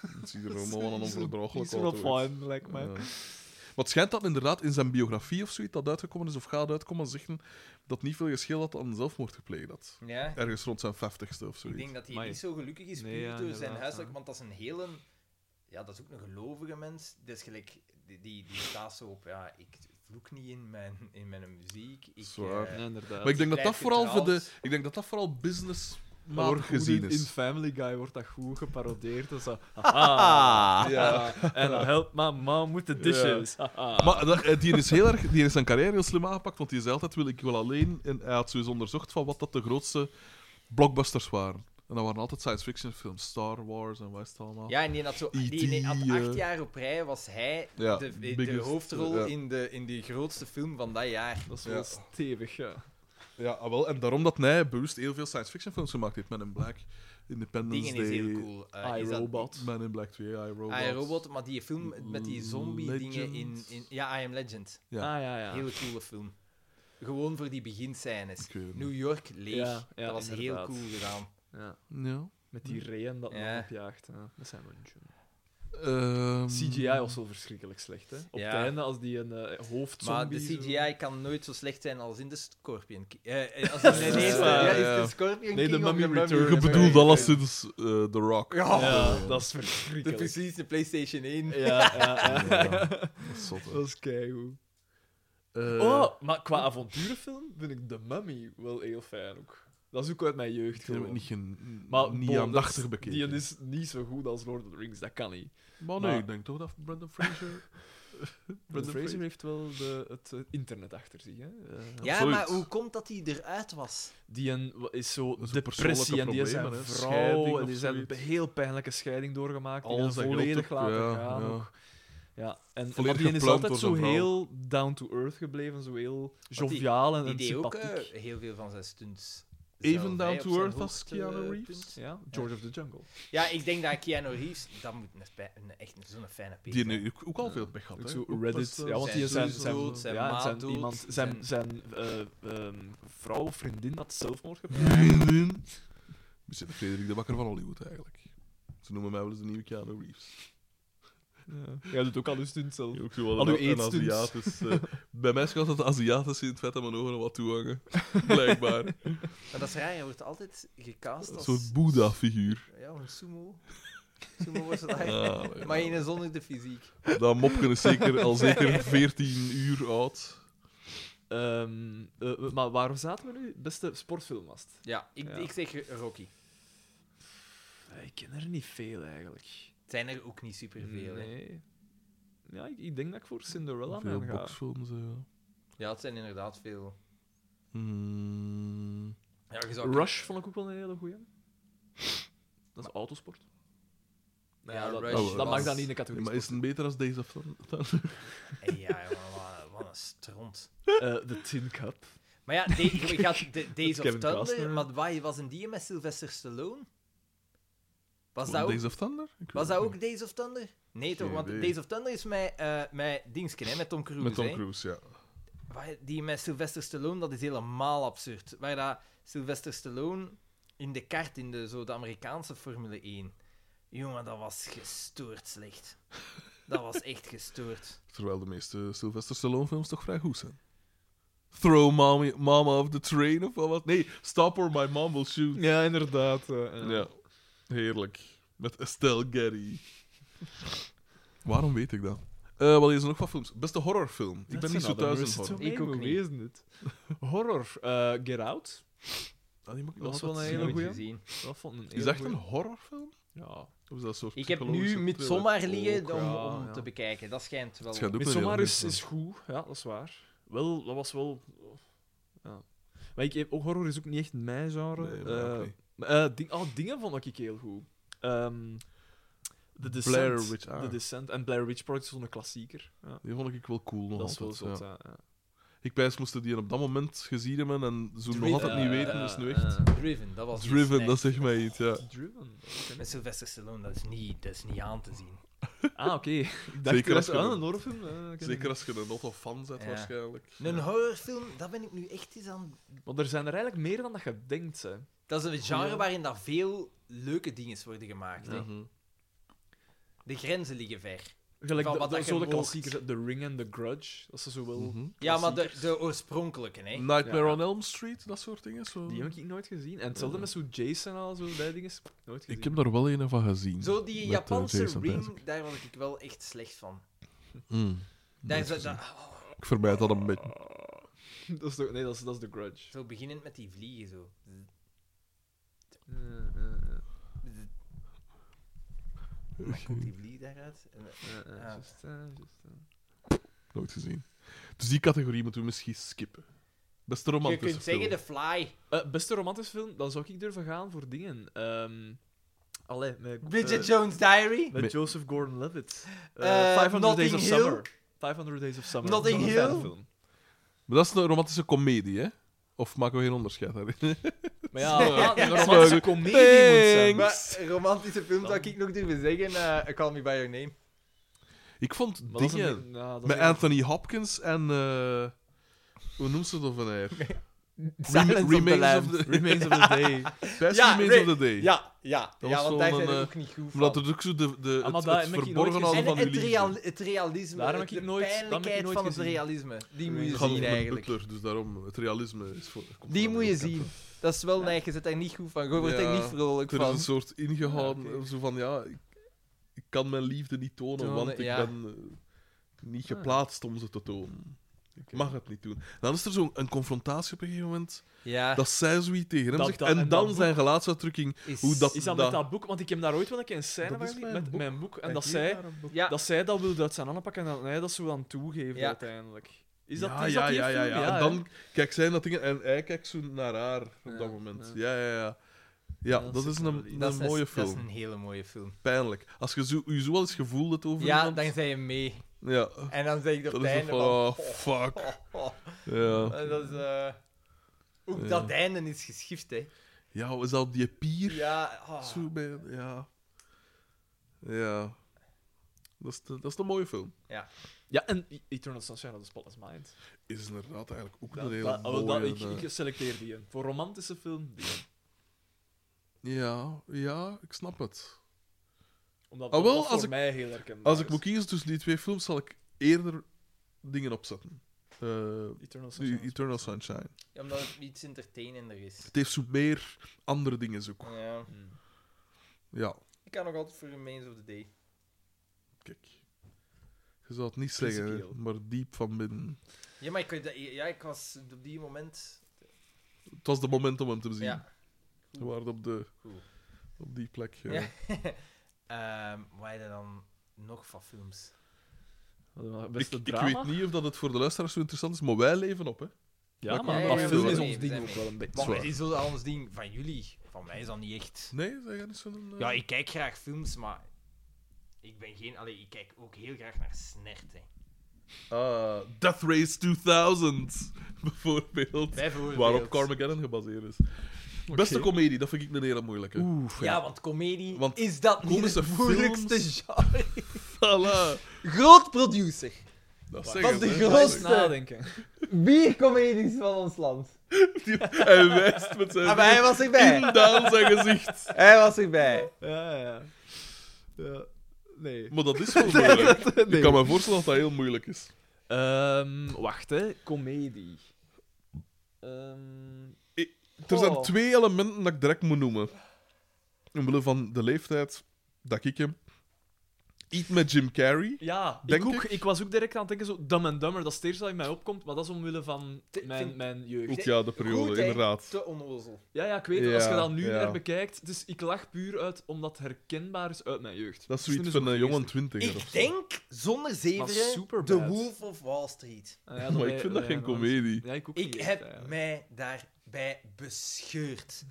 Het ziet er allemaal wel een onverdraaglijk uit. uit. Dat hoor. is wel fijn, lijkt mij. Ja. Maar het schijnt dat inderdaad in zijn biografie of zoiets dat uitgekomen is of gaat uitkomen, zeggen dat niet veel geschil had aan zelfmoord gepleegd had. Ja, Ergens rond zijn vijftigste of ik zoiets. denk dat hij Amai. niet zo gelukkig is Nee, puur ja, door zijn inderdaad, huiselijk... ja. Want dat is een hele... Ja, dat is ook een gelovige mens. Dat is gelijk... Die, die, die staat zo op... Ja, ik vloek niet in mijn, in mijn muziek. Ik, Zwaar. eh, Ja, inderdaad. Maar ik denk dat dat blijft vooral voor getrouwd. de, ik denk dat dat vooral business Maar wordt goed gezien in, is. in Family Guy wordt dat goed geparodeerd. Dus *laughs* dat, haha, Ja. En dan help my mom with the dishes. haha. Maar dat- eh, die is heel erg, die is zijn carrière heel slim aangepakt, want die zei altijd wil ik wil alleen en hij had sowieso onderzocht van wat dat de grootste blockbusters waren. En dat waren altijd science fiction films, Star Wars en wat is het Oh. allemaal. Ja, en die had, zo, die, die had E.T., acht eh. jaar op rij, was hij Ja, de, de biggest, eh, hoofdrol ja. in, de, in de grootste film van dat jaar. Dat is wel Ja. stevig, ja. Ja, ah, wel, en daarom dat hij bewust heel veel science fiction films gemaakt heeft. Men in Black, Independence Dingen is Day, heel cool. Eh, is dat- iRobot. Man in Black 2, iRobot. Ah, robot, maar die film met die zombie-dingen in, Legend. in... Ja, I Am Legend. Ja. Ah, ja, ja. Hele coole film. Gewoon voor die beginscènes. Ik weet het New York leeg. Ja, ja, dat was inderdaad. heel cool gedaan. Ja, Ja. Met die reën dat Ja. ja. opjaagt. Ja. Dat zijn we niet. Mm. Ehm, CGI was wel verschrikkelijk slecht, hè? Op Ja. het einde, als die een eh, hoofdzombie... Maar de zo- CGI kan nooit zo slecht zijn als in de Scorpion King. Eh, eh, als in de Ja, eerste. ja, Ja, is ja. de Scorpion Nee, de King of Mummy de Mummy Returns. Je bedoelt alleszins eh The Rock. Ja. Ja, Oh, dat is De, verschrikkelijk. precies, de PlayStation 1. Ja, ja, ja. Dat is zot, hè. Dat is keigoed. Eh, Oh, maar qua avonturenfilm vind ik The Mummy wel heel fijn ook. Dat is ook uit mijn jeugd. Ik heb het gewoon. niet, gen- Maar niet bon, dat- aandachtig bekeken. Die is niet zo goed als Lord of the Rings, dat kan niet. Maar nee, Maar- ik denk toch dat Brendan Fraser... *laughs* Brendan Fraser. Fraser heeft wel de, het eh, internet achter zich. Hè? Eh, Ja, Absoluut. maar hoe komt dat hij eruit was? die een, wa- is zo Dat is een depressie en die is persoonlijke zijn problemen, hè. Scheiding vrouw en of die zijn een zoiets. heel pijnlijke scheiding doorgemaakt. die Alles zijn dat volledig geloof ik, laten ja, gaan. ja. ook. Ja, en Volledig maar die is gepland altijd door zijn zo vrouw. heel down to earth gebleven, zo heel die- joviaal en, Die en deed ook sympathiek. eh, heel veel van zijn stunts. Even zelf, down hè, to op zijn earth als hoogte- Keanu Reeves? punt. ja, George of the Jungle. Ja, ik denk dat Keanu Reeves... Dat moet een, spij- een, echt een- zo'n fijne peet Die zijn. heeft ook, ook al veel pech gehad. Ook hè. zo Ook Reddit. best, eh, ja, want zijn die zijn, zus zijn, dood, zijn ja, ma zijn, dood, iemand, zijn, zijn- zijn eh, ehm, vrouw of vriendin had zelfmoord gepleegd. *laughs* Vriendin. We zitten Frederik de Bakker van Hollywood eigenlijk. Ze noemen mij wel eens de nieuwe Keanu Reeves. Ja. Jij doet ook al eens stunt zelf. Ook zo wel Al uw een, een eetstunts. Aziatisch. eh, *laughs* bij mij schat dat de Aziatisch in het vet aan mijn ogen wat toehangen. Blijkbaar. Maar *laughs* dat is raar, je wordt altijd gecast Een als... soort Boeddha-figuur. *laughs* Ja, een sumo. Sumo was het eigenlijk. Ah, ja. Maar in een zonder de fysiek. Dat mopje is zeker, *laughs* al zeker 14 uur oud. Ehm, eh, maar waar zaten we nu? Beste sportfilm was het? Ja, ik, Ja. ik zeg Rocky. Eh, Ik ken er niet veel eigenlijk. Het zijn er ook niet superveel. hè. Nee. Ja, ik, ik denk dat ik voor Cinderella Veel aan ga. boxfilms, eh, ja. Ja, het zijn inderdaad veel. Hmm. Ja, je zou- Rush vond ik ook wel een hele goeie. Dat is autosport. Ja, Ja, dat, Rush dat- dat mag was- dan niet in de Ja, categorie. Oh, maar is sport. het beter als Days of Thunder? Hey, ja, jongen, wat een, wat een stront. Eh, de Tin Cup. Maar ja, de, je gaat de, Days of Kevin Thunder, Costner. maar waar was een die met Sylvester Stallone? Was dat ook, Days of Thunder? Ik weet was het dat niet. ook Days of Thunder? Nee toch, Geen want idee. Days of Thunder is met, eh met Dingsken, hè, met Tom Cruise. Met Tom hè. Cruise, ja. Waar- Die met Sylvester Stallone, dat is helemaal absurd. Waar dat Sylvester Stallone in de kart, in de, zo de Amerikaanse Formule 1. Jongen, dat was gestoord slecht. Dat was echt gestoord. Terwijl de meeste Sylvester Stallone-films toch vrij goed zijn. Throw mommy, Mama off the train of wel wat? Nee, Stop or My Mom Will Shoot. *laughs* Ja, inderdaad. eh, eh. Ja, heerlijk. Met Estelle Getty. Waarom weet ik dat? Eh wel, hier zijn nog wat films. Beste horrorfilm. Ik ben niet zo thuis in horror. Ik ook niet. Dit. Horror. eh, Get Out. Ah, die moet ik Dat nog is wel altijd een zien. hele goeie. gezien. Dat vond een Is hele dat echt een goeie. horrorfilm? Ja. Of is dat een soort Ik heb nu psychologische Midsommar thriller? Oh, liggen Ook, om, ja, om ja. te bekijken. Dat schijnt wel... Het schijnt ook een Midsommar hele is, goeie is goed. Ja, dat is waar. Wel, dat was wel... Ja. Maar ik, heb- ook horror is ook niet echt mijn genre. film. Nee, maar Eh, oké. maar, eh, ding, oh, dingen vond ik heel goed. Ehm The Descent. Blair Witch, ah. The Descent. En Blair Witch Project is zo'n klassieker. Ja. Die vond ik wel cool nog dat is wel eh, altijd, Oh, ja. zot, ja. ja. Ik pijs moesten die op dat moment gezien hebben en zo nog Driven. altijd niet Eh, weten, eh, dus nu echt... eh, Driven, dat was... Driven, iets dat zegt mij iets, ja. Driven. oké. Met Sylvester Stallone, dat is niet, dat is niet aan te zien. Ah, oké. *laughs* Ik dacht Zeker Zeker als dat je ah, dat- een horrorfilm... eh, ik ken Zeker als je een Otto-fan bent, Ja. waarschijnlijk. Een horrorfilm, dat ben ik nu echt eens aan... Want er zijn er eigenlijk meer dan dat je denkt. Hè. Dat is een genre Ja. waarin dat veel leuke dingen worden gemaakt. hè. Mhm. De grenzen liggen ver. Gelijk Van de, wat de- dat je zo de moogt. klassiekers, hè, The Ring en The Grudge. Dat ze zo wel... Mhm. Ja, maar de, Klassiekers. de oorspronkelijke, hè. Nightmare Ja. on Elm Street, dat soort dingen. Zo. Die heb ik nooit gezien. En hetzelfde Ja. met zo Jason en al, zo die dingen. Nooit gezien. Ik heb daar wel een van gezien. Zo die Met, eh, Japanse Jason Isaac. ring, daar was ik wel echt slecht van. Mm. Daar Nooit is, dat, gezien. dat- oh, Ik vermijd dat een beetje. *laughs* dat is toch- nee, dat is, dat is The Grudge. zo beginnend met die vliegen, zo. Eh, eh, eh, Dan komt die vlieg daaruit. En, eh, eh, Ja. just, eh, just, eh. Nooit gezien. Dus die categorie moeten we misschien skippen. Beste je romantische kunt zeggen de fly. Eh, beste romantische film, dan zou ik durven gaan voor dingen. Ehm allee, met, Bridget eh, Jones Diary. met Met- Joseph Gordon-Levitt. Eh, Eh, 500 Days Notting of Hill. Summer. 500 Days of Summer. Notting Dat is een Hill. fijne *laughs* film. Maar dat is een romantische komedie, hè? Of maken we geen onderscheid daarin? *laughs* Maar ja, ja, een Dat is romantische wel- comedie moet Thanks. zijn. Maar romantische film zou ik nog durven zeggen, eh, Call Me By Your Name. Ik vond Maar dat is dingen een- ja, dat is met een- Anthony Hopkins en... eh, hoe noemt ze dat van haar? Silence of the Remains of Lambs. the- Remains of the *laughs* Day. Best Ja, Remains nee. of the Day. Ja, ja. Dat ja was want daar zo'n, zijn we eh, ook niet goed van. Omdat er ook zo de, de, Ah, maar daar het, het heb ik hier verborgen nooit houden gezien. van en het, jullie real- liefde. het realisme, Daar heb het- ik de nooit- daar heb ik pijnlijkheid nooit van gezien. het realisme, die moet Ik je ga zien nog met eigenlijk. Butler, dus daarom, het realisme is voor... komt Die van moet je Amerika. zien. Dat is wel neig, je zit daar niet goed van. Je wordt Ja. er niet vrolijk Er is van. een soort ingehouden, Ja, oké. zo van ja, ik, ik kan mijn liefde niet tonen, Tonen, want ik ja. ben eh, niet geplaatst om ze te tonen. Ik mag het niet doen. Dan is er zo'n een confrontatie op een gegeven moment, Ja, dat zij zoiets tegen hem Dat- zegt, dat- en, en dan dat zijn gelaatsuitdrukking, is- hoe dat... Is dat met dat boek? Want ik heb daar ooit wel een keer een scène Dat van is gezien, mijn met boek. mijn boek. En dat hier zij, daar een boek- Ja, dat zij dat wilde uit zijn handen pakken en dat hij dat zo aan toegeven Ja. uiteindelijk. Is dat, ja, is ja, dat die ja, ja, film? ja. hè? En dan kijkt zij dat dingen en hij kijkt zo naar haar op Ja, dat moment. ja. Ja, ja, ja. Ja, dat, dat is zit een, wel in. een dat is mooie Dat film. is een hele mooie film. Pijnlijk. Als je zo, je zo al eens gevoeld hebt over Ja, iemand... dan zijn je mee. Ja. En dan zeg ik op Dat het is einde van, van... oh, fuck. oh, Ja. eh, Dat is... eh, Ook Ja. dat einde is geschift, hè. Ja, wat is dat die pier? Ja, ah. Zo bij, ja. Ja. Dat is, de, dat is de mooie film. Ja, en E- Eternal Sunshine of the Spotless Mind. Is inderdaad eigenlijk ook Dat, een hele dat- ah, wel, dat- mooie. ik, eh, ik selecteer die. hè. Voor romantische film, die. eh, Ja, ja, ik snap het. Omdat Ah, wel, dat voor als ik- mij heel herkenbaar Als ik is. moet kiezen tussen die twee films, zal ik eerder dingen opzetten. Eh Eternal Sunshine. die Eternal Sunshine. Ja, Omdat het iets entertainender is. Het heeft zo meer andere dingen zoek. Ja. Hmm. Ja, Ik kan nog altijd voor Remains of the Day. kijk. Je zou het niet zeggen, Principieel. maar diep van binnen. Ja, maar ik, ja, ik was op die moment... Het was de moment om hem te zien. Ja. We waren op, de, Goed. op die plek. eh, Ja. *laughs* Ehm, wat heb je dan nog van films? Wat een Ik, Beste ik drama. weet niet of dat het voor de luisteraars zo interessant is, maar wij leven op, hè? Ja, Wat maar kan dat je film doen? is Nee, ons nee, ding ook nee. wel een beetje. Maar Zwaar. het is wel anders ding van jullie. Van mij is dat niet echt. Nee, zeg jij niet zo'n... eh, Ja, ik kijk graag films, maar ik ben geen. Allee, ik kijk ook heel graag naar snert. Hè. Ah, Death Race 2000, *laughs* bijvoorbeeld. Bijvoorbeeld. Waarop Carmageddon gebaseerd is. Beste komedie, dat vind ik een hele moeilijke. Oeh, Ja, want comedie Want is dat niet komische het moeilijkste films- genre. Voilà. *laughs* Groot producer. Dat Dat zeggen ze, is de hè. Goed grootste. nadenken. Bier comedies van ons land. Die- *laughs* Hij wijst met zijn Ah, Maar hij was vinger *laughs* erbij. Indaan zijn gezicht. Hij was erbij. Ja, ja. ja. Nee. Maar dat is wel moeilijk. Ik kan me voorstellen dat dat heel moeilijk is. Ehm, wacht, hè. Comedie. Ehm, Er zijn Goh. twee elementen dat ik direct moet noemen. Omwille van de leeftijd dat ik hem... Eat met Jim Carrey. ja, Denk ik, ook, ik. ik was ook direct aan het denken, zo Dumb and Dumber, dat is het eerste dat in mij opkomt, maar dat is omwille van Te- mijn, vind- mijn jeugd. Ook ja, de periode, Goed, hè? inderdaad. Te onnozel. Ja, ja, ik weet het, Ja, als je dat nu ja. weer bekijkt, dus ik lach puur uit omdat het herkenbaar is uit mijn jeugd. Dus Dat is niet zoiets meer van een zo jongen twintiger of Ik zo. denk zonder Maar zeveren Superbad. The Wolf of Wall Street. Ah, ja, dat *laughs* Maar wij- ik vind dat wij geen nog eens- komedie. Ja, ik ook Ik niet echt, heb eigenlijk. mij daarbij bescheurd.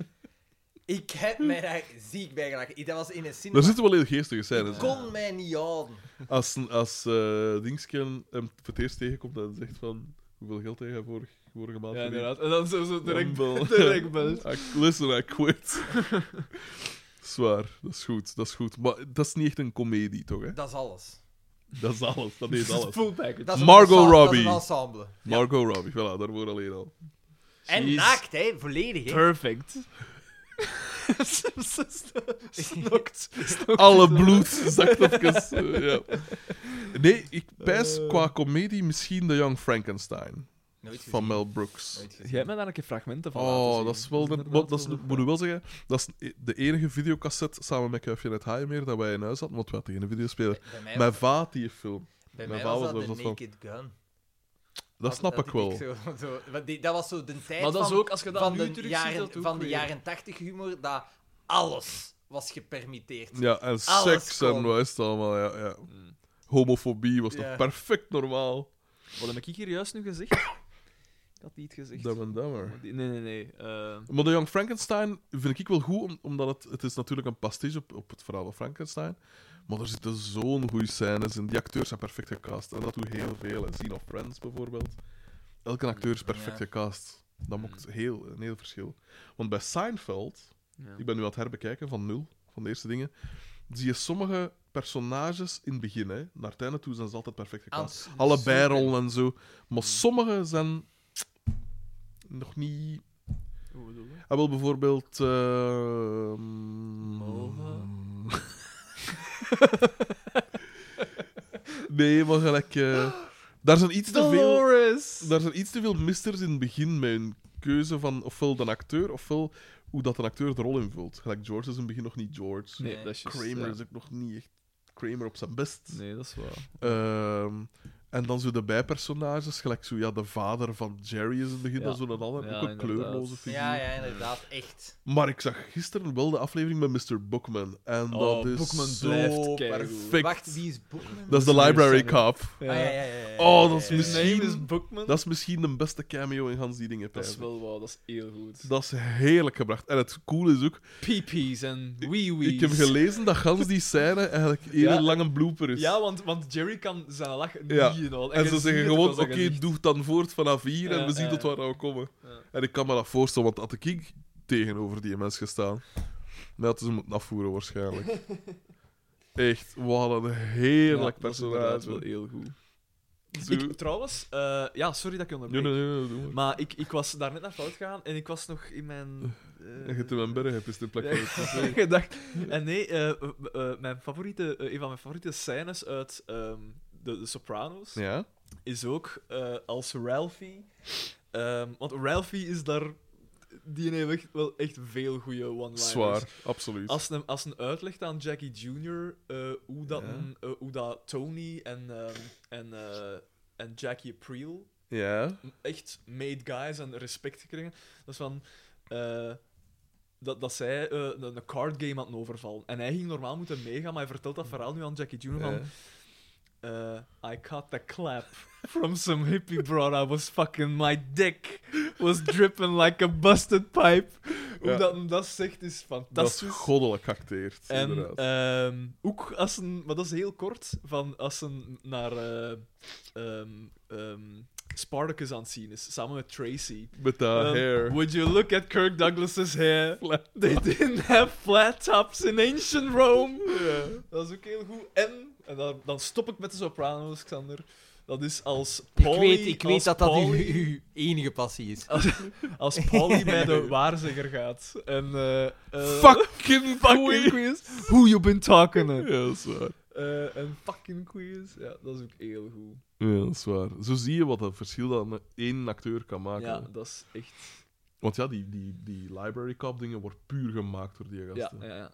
ik heb mij daar ziek bij gelachen. Dat was in een cinema. Daar zitten wel heel geestige scènes Ik in. kon mij niet houden. Als, als eh Dingsken hem voor het eerst tegenkomt en zegt van... Hoeveel geld heb jij vorige, vorige maand Ja, verdiend?" inderdaad. En dan zo, zo direct, Dumbbell. *laughs* direct belt. I- listen, I *laughs* quit. Zwaar, dat is goed, dat is goed. Maar dat is niet echt een komedie, toch? Hè? Dat is alles. Dat is alles, dat *laughs* is alles. Full package. Dat is een Margot ensemble- Robbie. Dat is een ensemble. Margot Robbie, voilà, daarvoor alleen al. *laughs* En Jeez. naakt, hè? Volledig, hè? Perfect. *laughs* Snokt. Alle bloed zakt even. eh, *laughs* ja. Nee, ik pijs qua komedie misschien de Young Frankenstein Nooit gezien. van Mel Brooks. Nooit gezien. Jij hebt mij daar een keer fragmenten van laten Oh, zien. dat is wel. De, inderdaad dat is, wel moet ik wel zeggen, dat is e- de enige videocassette samen met Kuifje en het Haaien dat wij in huis hadden, want we hadden geen videospeler. Bij mij, Mijn vaat die film. bij mijn mij vader was dat was de dat van- Naked Gun. Dat snap ik deed wel. zo- *laughs* zo- want die- dat was zo de tijd Maar dat is van, ook, als je dat van nu de terugziet, jaren, dat ook van de weer. jaren 80 humor, dat alles was gepermitteerd. Ja, en seks en kon. wat is het allemaal. Ja, ja. Mm. Homofobie was Ja. nog perfect normaal. Wat heb ik hier juist nu *coughs* gezegd? Ik had niet gezegd. Dumb and Dumber. Die- Nee, nee, nee. eh, Maar de Young Frankenstein vind ik wel goed, om- omdat het, het is natuurlijk een pastiche op, op het verhaal van Frankenstein. Maar er zitten zo'n goede scènes in. Die acteurs zijn perfect gecast. En dat doet heel veel. hè. Scene of Friends bijvoorbeeld. Elke acteur is perfect Ja. Mm. gecast. Dat maakt heel, een heel verschil. Want bij Seinfeld, ja. ik ben nu aan het herbekijken van nul, van de eerste dingen, zie je sommige personages in het begin, hè, naar het einde toe zijn ze altijd perfect gecast. Aan- Allebei super. rollen en zo. Maar sommige zijn nog niet. Hoe bedoel je? Hij wil bijvoorbeeld. eh, mm, Nova? *laughs* nee, maar gelijk. eh, daar, zijn iets te veel, Dolores! daar zijn iets te veel misters in het begin met hun keuze van ofwel de acteur ofwel hoe dat een acteur de rol invult. Gelijk George is in het begin nog niet George. Nee, Nee, dat is juist, Kramer ja. is ook nog niet echt Kramer op zijn best. Nee, dat is waar. Ehm, en dan zo de bijpersonages, gelijk zo, ja, de vader van Jerry is in het begin, Ja. dan zo'n ander, Ja, ook een inderdaad. kleurloze figuur. Ja, ja, inderdaad, echt. Maar ik zag gisteren wel de aflevering met Mr. Bookman. En Oh, dat is Bookman zo blijft keigoed. perfect. Wacht, wie is Boekman? dat is de Mr. library Simon. cop. Ah, ja, ja, ja, ja, Oh, dat is ja, ja, ja. His name misschien- is Bookman. Dat is misschien de beste cameo in Hans die dingen. Dat is pijzen. wel wauw, dat is heel goed. Dat is heerlijk gebracht. En het coole is ook, Peepees en wee-wees. ik heb gelezen dat Gans die scène eigenlijk heel Ja. lang een blooper is. Ja, want, want Jerry kan zijn lach niet dus. Ja. en al. En je ze ziet zeggen het gewoon, op oké, zijn gezicht. doe het dan voort vanaf hier en Ja, we zien ja, tot ja. waar we komen. Ja. En ik kan me dat voorstellen, want had ik tegenover die mens gestaan, dan hadden ze hem moeten *laughs* afvoeren waarschijnlijk. Echt, wat een Ja, heerlijk dat is inderdaad personage. wel heel goed. Zo- Ik, trouwens, eh, ja, sorry dat ik je Nee, onderbreek. nee, nee, doe maar. Maar ik, ik was daar net naar fout gegaan en ik was nog in *laughs* mijn... eh, En je hebt hem een berg hebt, is de plek van *laughs* het ja, gedacht. En nee, eh, eh, eh, mijn favoriete, eh, een van mijn favoriete scènes uit ehm, de, de Sopranos Ja? is ook eh, als Ralphie. ehm, want Ralphie is daar. Die heeft echt, wel echt veel goede one-liners. Zwaar, absoluut. Als een, als een uitlegt aan Jackie Jr. eh, hoe, dat, Ja. een- eh, hoe dat Tony en, ehm, en, eh, en Jackie April Ja? echt made guys en respect gekregen. Dat is van. eh, dat, dat zij eh, een, een card game aan het overvallen. En hij ging normaal moeten meegaan, maar hij vertelt dat verhaal nu aan Jackie Jr. van. Ja. eh, I caught the clap from some hippie broad. I was fucking. My dick was dripping like a busted pipe. Hoe Ja. dat hem dat zegt is Dat is fantastisch. goddelijk acteerd, En inderdaad. ehm, ook als ze, maar dat is heel kort, van als ze naar eh, ehm, ehm, Spartacus aan het zien is, samen met Tracy. Met dat Ehm, hair. Would you look at Kirk Douglas's *laughs* hair? They didn't have flat tops in ancient *laughs* Rome. Dat is ook heel goed. En, en dan, dan stop ik met de Sopranos, Xander. Dat is als Polly... ik weet, ik weet als dat dat uw, Polly- uw enige passie is. Als, als *laughs* Polly bij de waarzegger gaat. En, eh, eh, Fucking *laughs* fucking fucking... quiz. Who you been talking to? *laughs* Ja, dat is waar. Eh, en fucking quiz. Ja, dat is ook heel goed. Ja, dat is waar. Zo zie je wat een verschil dat een- één acteur kan maken. Ja, dat is echt. Want ja, die, die, die library cop dingen wordt puur gemaakt door die Ja, gasten. ja, ja.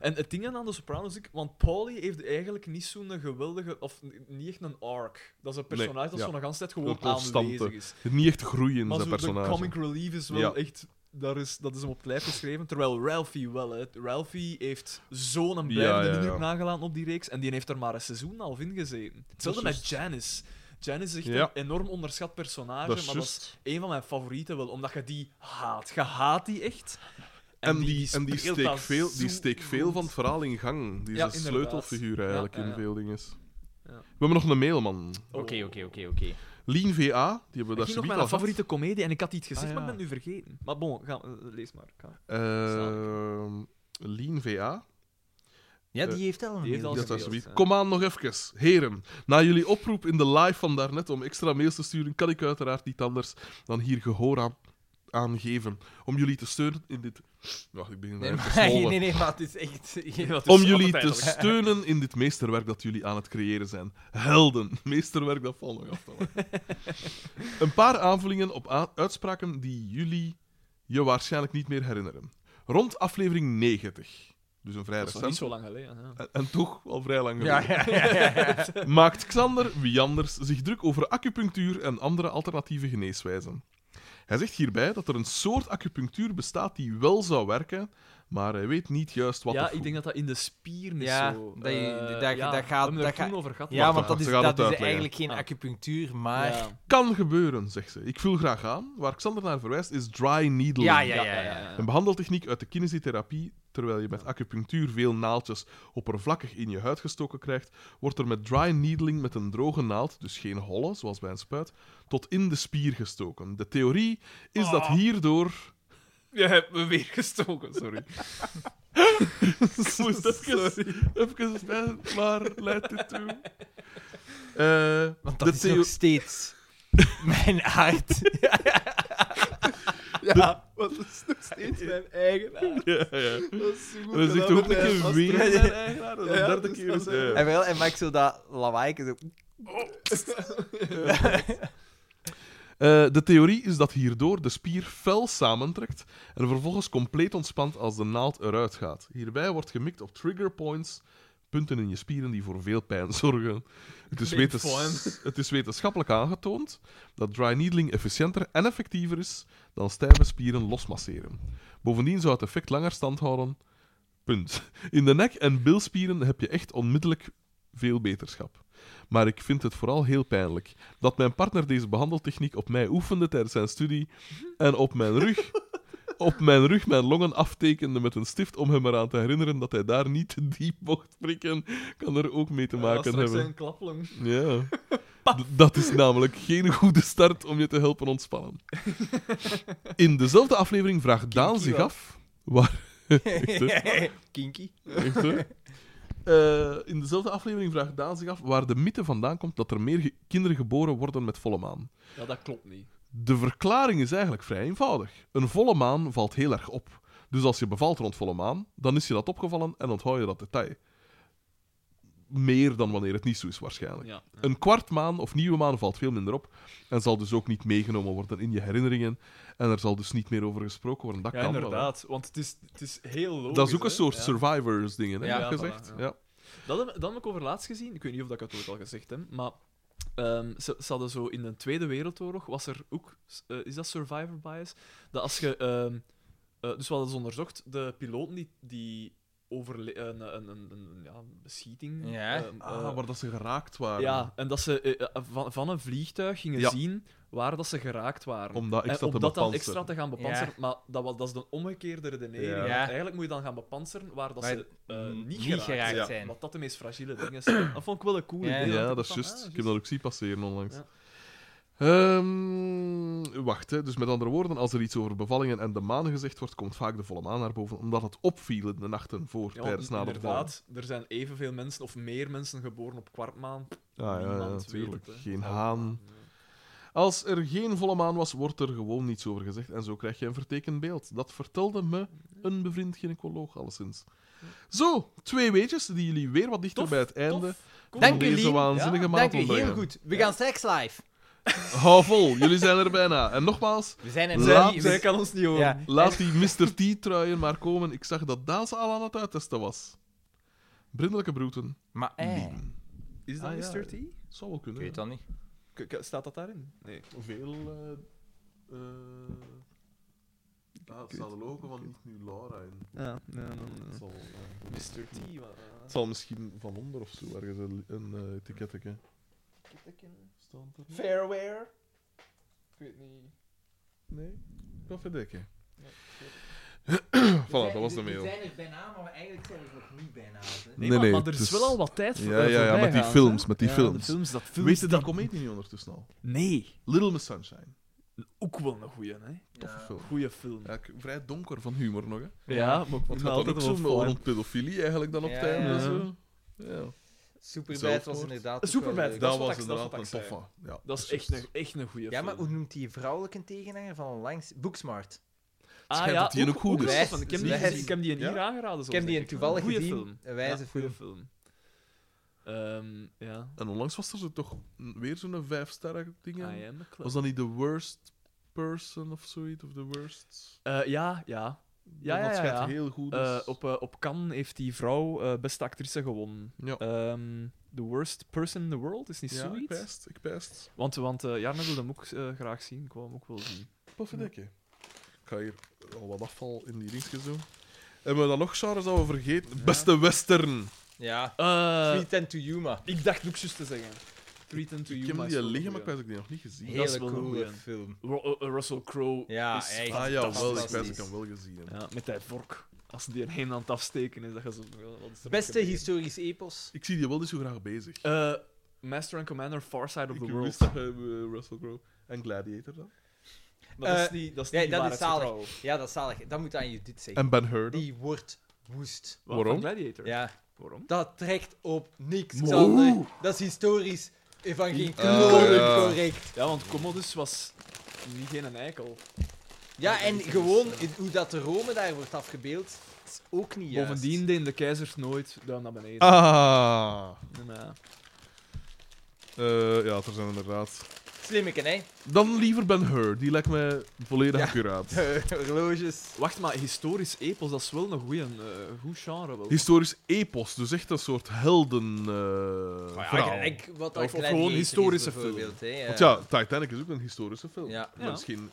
En het ding aan de Sopranos is ook, want Paulie heeft eigenlijk niet zo'n geweldige, of n- niet echt een arc. Dat is een personage dat ja. zo'n hele tijd Een gewoon constante. aanwezig is. Niet echt groeien in Maar zijn zo, de personage. comic relief is wel Ja. echt, daar is, dat is hem op het lijf geschreven. Terwijl Ralphie wel, hè. Ralphie heeft zo'n Ja, blijvende ja, ja. indruk nagelaten op die reeks en die heeft er maar een seizoen en een half in gezeten. Hetzelfde Dat met is Janice. Janice is echt Ja. een enorm onderschat personage, Dat is maar dat is juist. een van mijn favorieten wel, omdat je die haat. Je haat die echt. En die, en die speelt steekt dat veel, die zo steekt veel goed. van het verhaal in gang. Die is Ja, een inderdaad. sleutelfiguur eigenlijk Ja, ja, in ja. veel dingen. Ja. We hebben nog een mailman. Oh. Oké, oké, oké, oké. Lien VA, die hebben we Ik ging daar zometeen nog al mijn gehad. favoriete komedie en ik had die het gezegd, Ah, maar ik ja. ben het nu vergeten. Maar bon, ga, eh, lees maar. Ga. Ehm, Lien VA, Ja, Eh, die heeft al een die heeft mail. al Dat zijn was beeld, zoiets. ja. Kom aan nog even. Heren, na jullie oproep in de live van daarnet om extra mails te sturen, kan ik uiteraard niet anders dan hier gehoor aan, aan geven. Om jullie te steunen in dit... Wacht, ik begin Nee, even *laughs* maar, te *laughs* nee, snollen. nee, nee, maar het is *laughs* echt... Wat Om jullie te steunen in dit meesterwerk dat jullie aan het creëren zijn. Helden. *laughs* Meesterwerk dat valt nog af te wachten. *laughs* Een paar aanvullingen op a- uitspraken die jullie je waarschijnlijk niet meer herinneren. Rond aflevering 90, dus een vrij Dat is nog niet recent, zo lang geleden. Ja. en, en toch al vrij lang geleden, Ja, ja, ja, ja. *laughs* maakt Xander, wie anders, zich druk over acupunctuur en andere alternatieve geneeswijzen. Hij zegt hierbij dat er een soort acupunctuur bestaat die wel zou werken, maar hij weet niet juist wat ja, of ik hoe. denk dat dat in de spier is Ja, zo. dat je- Eh, dat- dat ja, gaat- we hebben er dat toen gaat- over gehad. ja, want wacht, dat is, ze gaat het dat is uitleggen. eigenlijk geen Ah. acupunctuur, maar... Ja. Kan gebeuren, zegt ze. Ik vul graag aan. Waar Xander naar verwijst is dry needling. Ja, ja, ja. ja, Een behandeltechniek uit de kinesietherapie. Terwijl je met acupunctuur veel naaltjes oppervlakkig in je huid gestoken krijgt, wordt er met dry needling met een droge naald, dus geen holle zoals bij een spuit, tot in de spier gestoken. De theorie is dat hierdoor. Je hebt me weer gestoken, *laughs* sorry. *laughs* Ik moest even, even spijzen, maar leidt dit toe. *laughs* Eh, Want de dat is *laughs* theo- nog steeds mijn aard. Ja, want dat is nog steeds mijn eigenaar. *laughs* Ja, ja. Dat is zo goed. We zitten gedaan ook een met mijn keer gast. weer Ja, zijn ja. eigenaar. De Ja, derde dus keer dat is is- ja. En, wel, en maak zo dat lawaai. Zo. Eh, de theorie is dat hierdoor de spier fel samentrekt en vervolgens compleet ontspant als de naald eruit gaat. Hierbij wordt gemikt op trigger points, punten in je spieren die voor veel pijn *laughs* zorgen. Het is, Big wetens- point. *laughs* het is wetenschappelijk aangetoond dat dry needling efficiënter en effectiever is dan stijve spieren losmasseren. Bovendien zou het effect langer stand houden. Punt. In de nek- en bilspieren heb je echt onmiddellijk veel beterschap. Maar ik vind het vooral heel pijnlijk dat mijn partner deze behandeltechniek op mij oefende tijdens zijn studie en op mijn rug, op mijn, rug mijn longen aftekende met een stift om hem eraan te herinneren dat hij daar niet te diep mocht prikken, kan er ook mee te maken Dat is hebben. een klappeling. Ja. D- Dat is namelijk geen goede start om je te helpen ontspannen. In dezelfde aflevering vraagt Daan zich wel. af waar. Echt, hè? *laughs* Kinky. Echt, hè? Eh, in dezelfde aflevering vraagt Daan zich af waar de mythe vandaan komt dat er meer ge- kinderen geboren worden met volle maan. Ja, dat klopt niet. De verklaring is eigenlijk vrij eenvoudig. Een volle maan valt heel erg op. Dus als je bevalt rond volle maan, dan is je dat opgevallen en onthoud je dat detail. Meer dan wanneer het niet zo is, waarschijnlijk. Ja. Een kwart maan of nieuwe maan valt veel minder op en zal dus ook niet meegenomen worden in je herinneringen. En er zal dus niet meer over gesproken worden. Dat Ja, kan wel, hè. inderdaad. Want het is, het is heel logisch. Dat is ook een hè. soort Ja. survivors-dingen, Ja, heb je voilà, gezegd. ja. Ja. Dat heb, dat heb ik overlaatst gezien. Ik weet niet of dat ik het ooit al gezegd heb, maar ehm, ze, ze hadden zo in de Tweede Wereldoorlog was er ook, eh, is dat survivor bias? Dat als je, ehm, eh, dus we hadden ze onderzocht, de piloten die, die overle- eh, een, een, een, een- ja, een beschieting. Ja. ehm, eh, Ah, waar dat ze geraakt waren. ja, en dat ze eh, eh, van, van een vliegtuig gingen Ja. zien waar dat ze geraakt waren. Om dat En extra Eh, om te dat dan bepanseren. extra te gaan bepanseren. Maar dat, was, dat is de omgekeerde redenering. Ja. want Ja. Eigenlijk moet je dan gaan bepanseren waar dat Waar ze eh, n- niet, niet geraakt, geraakt zijn. zijn. Want dat de meest fragile dingen zijn. Dat vond ik wel een cool Ja, idee. Ja, ik dat is van, juist. ah, Ik heb dat ook zien passeren onlangs. Ja. Ehm, wacht, hè. dus met andere woorden, als er iets over bevallingen en de maan gezegd wordt, komt vaak de volle maan naar boven, omdat het opviel in de nachten voor, Ja, want tijdens, na de bevalling. inderdaad, er zijn evenveel mensen of meer mensen geboren op kwartmaan. Ah, ja, ja, Niemand weet natuurlijk. het, hè. Geen haan. Als er geen volle maan was, wordt er gewoon niets over gezegd en zo krijg je een vertekend beeld. Dat vertelde me een bevriend gynaecoloog, alleszins. Zo, twee weetjes die jullie weer wat dichter Tof, bij het einde Cool. van Dank deze jullie. Ja, waanzinnige maand Dank u, heel ontbrengen. goed. We gaan straks live. Hou vol, jullie zijn er bijna. En nogmaals, We zijn er Zij- Laat niet. Zij we- kan ons niet horen. Ja. Laat die Mr. T-truien maar komen. Ik zag dat Daan ze al aan het uittesten was. Brindelijke broeten. Maar eh, Is dat Ah, ja. Mr. T? Zou wel ik kunnen. weet dat niet. K- k- Staat dat daarin? Nee. ja. Veel... eh eh daar staan de logo van niet nu Laura in. Ja, nee, nee, Het zal, eh, Mr. T. wat- het zal misschien van onder of zo ergens een, een eh, etiketje staan. er? Fairware? Ik weet niet. Nee? Koffiedekken. Ja, *clears throat* voilà, dat was de We mail. zijn er bijna, maar eigenlijk zijn we nog niet bijna. Nee, Nee, maar, nee, maar er het is is- wel al wat tijd voor Ja, ja, ja, voorbij met die gaan, films, hè? met die Ja, films. de films, dat films, Weet je die dat... comedie niet ondertussen al? Nee, Little Miss Sunshine. ook wel een goeie, hè. Toffe film. Goeie film. Ja, ik- vrij donker van humor nog, hè. Ja, maar ik Want vond het het gaat dan ook altijd wel zo'n fijn. rond pedofilie eigenlijk dan op Ja, het einde. ja. Zo. Ja. Superbad Zelfmoord. was inderdaad. ook Superbad, wel leuk. is wat Dat ik- was dat is inderdaad wat een ik zei. toffe. Ja, Dat is echt juist. een, echt een goeie Ja, maar hoe film. noemt die vrouwelijke tegenhanger van langs? Booksmart. schijnt dat die ook goed Ah, ook is. wel van- Ik heb die, Wijs. gezien, ik heb die in Ja? hier aangeraden. Ik heb die in toevallig goede gezien. Film. Een wijze ja, film. Goeie film. Ehm, ja. En onlangs was er zo toch weer zo'n vijfsterren ding. aan. I am a clown. Was dat niet The Worst Person of zoiets? Of The Worst? Eh, ja, ja. Ja, ja, dat ja, schijnt ja. heel goed. Eh, dus- op, eh, op Cannes heeft die vrouw eh, beste actrice gewonnen. Ja. Ehm, the worst person in the world, is niet ja, ik zoiets? pijst, ik pijst. Want, want eh Jarno wil hem ook eh, graag zien. Ik wou hem ook wel zien. Poffedekke. Ik ga hier al wat afval in die dingetjes doen. Hebben we dan nog genres dat we vergeten? Beste western. Ja. Eh, Sweet and to Yuma. ik dacht ook juist te zeggen. Treat and to Ik you, heb maar die is al wel liggen, een maar goeie. ik weet dat ik die nog niet gezien dat is Hele wel een coole goeie. film. Ru- eh, Russell Crowe Ja, is echt. Ah ja, wel, ik weet dat ik Fantastisch. hem wel gezien heb. Ja, met die vork. Als die een heen aan het afsteken is, dat je zo... wat is er Beste nog historisch epos. Ik zie die wel niet zo graag bezig. gebeurd? Eh, Master and Commander, Far Side of the ik World. wist dat hij, eh, Russell Crowe en Gladiator dan. Maar dat is Eh, niet, dat is nee, niet dat is waarheidsgetrouw. Ja, dat is zalig. Dat moet aan Judith zeggen. En Ben Hur dan. Die wordt woest. Wat, Waarom? van Gladiator. Ja, Waarom? dat trekt op niks. Moe. Xander, dat is historisch eh, van geen Ah, Eh. kloren ja. correct. Ja, want Commodus was niet geen eikel. Ja, en gewoon in- hoe dat de Rome daar wordt afgebeeld, is ook niet juist. Bovendien deden de keizers nooit duim naar beneden. Ah. Ja. Eh, ja, er zijn inderdaad. Slimmeken, *laughs* hè? Dan liever Ben Hur. Die lijkt mij volledig Ja. accuraat. Horloges. Wacht, maar historisch epos, dat is wel een goeie, eh, goed genre. Wel. Historisch epos, dus echt een soort helden. eh Maar ja, verhaal. gelijk wat Of- dat of Gladiator gewoon is, historische film. bijvoorbeeld, hè. Want ja, Titanic is ook een historische film. Ja. Maar Misschien.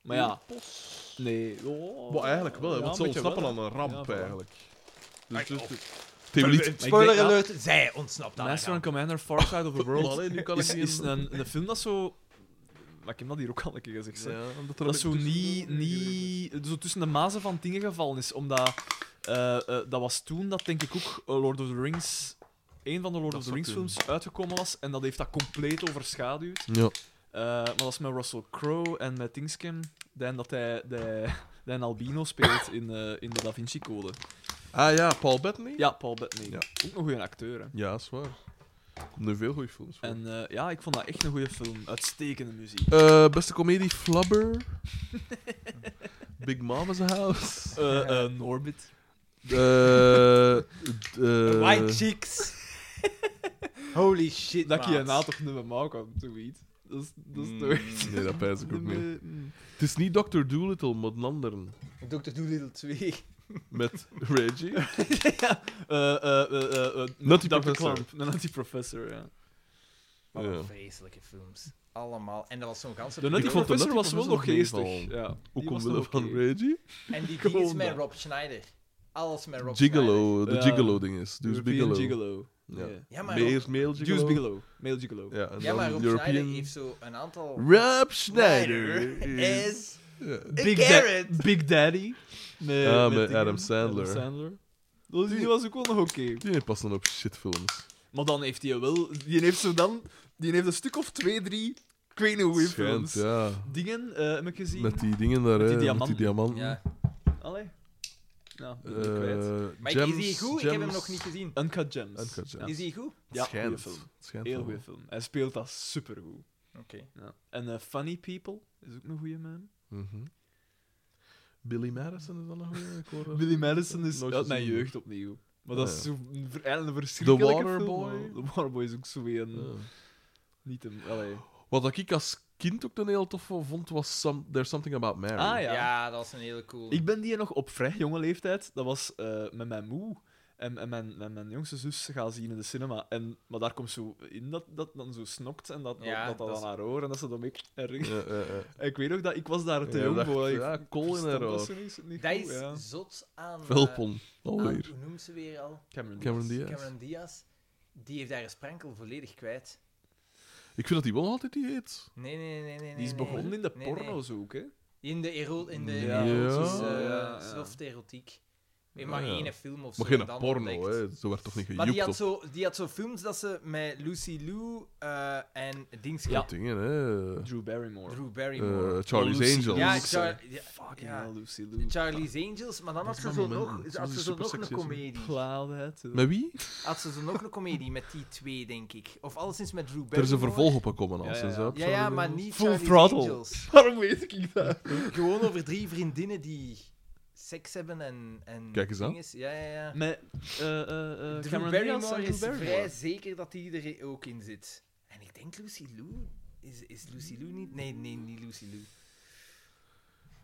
Maar ja. Nee. Oh, Maar eigenlijk wel, hè, ja, want ze een beetje ontsnappen wel, aan hè. een ramp Ja, voilà. eigenlijk. Dus, Kijk, dus, of- Tim Liet- dat- Spoiler alert, zij ontsnapt aan Master and elkaar. Commander Far Side *laughs* of the Maar, World hè, nu kan is, ik die is in- een, een film dat zo... Maar ik heb dat hier ook al een keer gezegd. hè. Ja, dus omdat er Dat zo een- niet, niet zo tussen de mazen van dingen gevallen is. Omdat eh, eh, dat was toen dat denk ik ook eh, Lord of the Rings, een van de Lord Dat of the zat Rings toen. films uitgekomen was. En dat heeft dat compleet overschaduwd. Ja. Eh, maar dat is met Russell Crowe en met Tingscam. Dan dat hij de, de Albino speelt in, eh, in de Da Vinci Code. Ah ja, Paul Bettany? Ja, Paul Bettany. Ja. Ook een goede acteur. Hè. Ja, is waar. Er komen nu veel goede films voor. En eh, ja, ik vond dat echt een goede film. Uitstekende muziek. Eh, beste komedie, Flubber. Big Mama's House. Eh, eh, Norbit. Eh, eh, White *laughs* chicks. Holy shit, Dat ik je maat. na toch nummer maken kan, zoiets. Dat is, dat is Mm. toch... Nee, dat pijs ik ook niet. Nee, mm. Het is niet Dr. Doolittle, maar een ander. Dr. Doolittle 2. Met Reggie. ja. eh, eh, eh, eh, eh, Nutty Dr. Professor. Clump. Een Nutty Professor, ja. *laughs* Wat Ja. een vreselijke films. Allemaal. En dat was zo'n ganse... De Nutty Ik vond de Professor Nutty was wel nog Professor nog geestig. Ja, Ook Die was omwille nog van oké. Reggie. En die ding is Gewoon met dat. Rob Schneider. Alles met Rob Schneider. Gigolo, de Ja. Gigolo ding is. Dus European Bigelow. Gigolo. Ja. Ja. Ja, maar Rob, Meer male Gigolo. Juice Bigelow. Male Gigolo. Ja, en ja, maar dan Rob European... Schneider heeft zo een aantal... *laughs* Rob Schneider is... is... Ja. Big, Een Da- carrot. Big Daddy. Met, Ah, met dingen. Adam Sandler. Adam Sandler. Dat was- Die was ook wel nog oké. Die past dan op shitfilms. Maar dan heeft hij wel... Die heeft zo dan... Die heeft een stuk of twee, drie... Ik weet niet hoe Schijnt, films. ja. Dingen eh, heb ik gezien. Met die dingen daar, Met die hè. Met die diamanten. diamanten. Ja. Allee. Nou, Eh, dat ben ik kwijt. Maar ik- is die goed? Ik heb hem nog niet gezien. Uncut Gems. Uncut Gems. Ja, Is die goed? ja goede Schijnt. film. Schijnt Heel wel. goede film. Hij speelt dat supergoed. Oké. Ja. En eh, Funny People is ook een goede man. Mhm. Billy Madison is dan nog weer. ik hoor dat- Billy Madison is Nooit uit mijn gezien. jeugd opnieuw. Maar dat Ah, is zo'n ver- eigenlijk een verschrikkelijke The Waterboy? film, hoor. The Waterboy is ook zo weer een... Ja. Niet een... Allee. Wat ik als kind ook een heel tof vond, was some, There's Something About Mary. Ah, Ja. Ja. dat is een hele cool. Ik ben die nog op vrij jonge leeftijd. Dat was eh, met mijn moe. En, en mijn, en mijn jongste zus gaan zien in de cinema. En, maar daar komt zo in dat dat dan zo snokt en dat Ja, dat, dat, dat is- aan haar oor en dat ze dan ik erg. Ja, ja, ja. Ik weet ook dat ik was daar te Ja, jong dacht, voor. Ik ja, kool in verstond haar dat oor. zo niet- niet Dat goed, is ja. zot aan... eh, Velpon, aan- alweer. Hoe noemt ze weer al? Cameron Diaz. Cameron Diaz. Ah, Cameron Diaz. Die heeft daar een sprankel volledig kwijt. Ik vind dat hij wel altijd die heet. Nee, nee, nee, nee. nee Die is nee. begonnen in de Nee, nee. porno's ook, hè? In de, ero in de Ja. erotische, Ja. eh, Ja. soft erotiek. In Ja, maar ja. één film of zo. Maar geen dan porno, ontdekt. hè. Zo werd toch niet Maar die gejoept had, op zo, die had zo films dat ze met Lucy Lou eh, en Dings Ja. dingen, hè. Drew Barrymore. Drew Barrymore. Eh, Charlie's Lucy. Angels. ja, Lucy. Char- ja, Fucking ja. hell, Lucy Lou. Charlie's Angels, maar dan had is ze dat zo moment? nog, Dat had is ze zo nog een supersexy, is het? komedie. Cloud, hè, toen. Met wie? Had ze zo nog een komedie met die twee, denk ik. Of alleszins met Drew Barrymore. Er is een vervolg op gekomen al Ja, ja, sinds ja. dat. Ja, ja, maar niet Full Charlie's Throttle. Angels. *laughs* Waarom weet ik dat? Gewoon over drie vriendinnen die seks hebben en... en Kijk eens aan. dinges. Ja, ja, ja. Met eh, eh, eh, Drew Cameron Diaz en Barrymore Drew is Barrymore. vrij zeker dat die er ook in zit. En ik denk Lucy Lou. Is, is Lucy Lou niet? Nee, nee, niet Lucy Lou.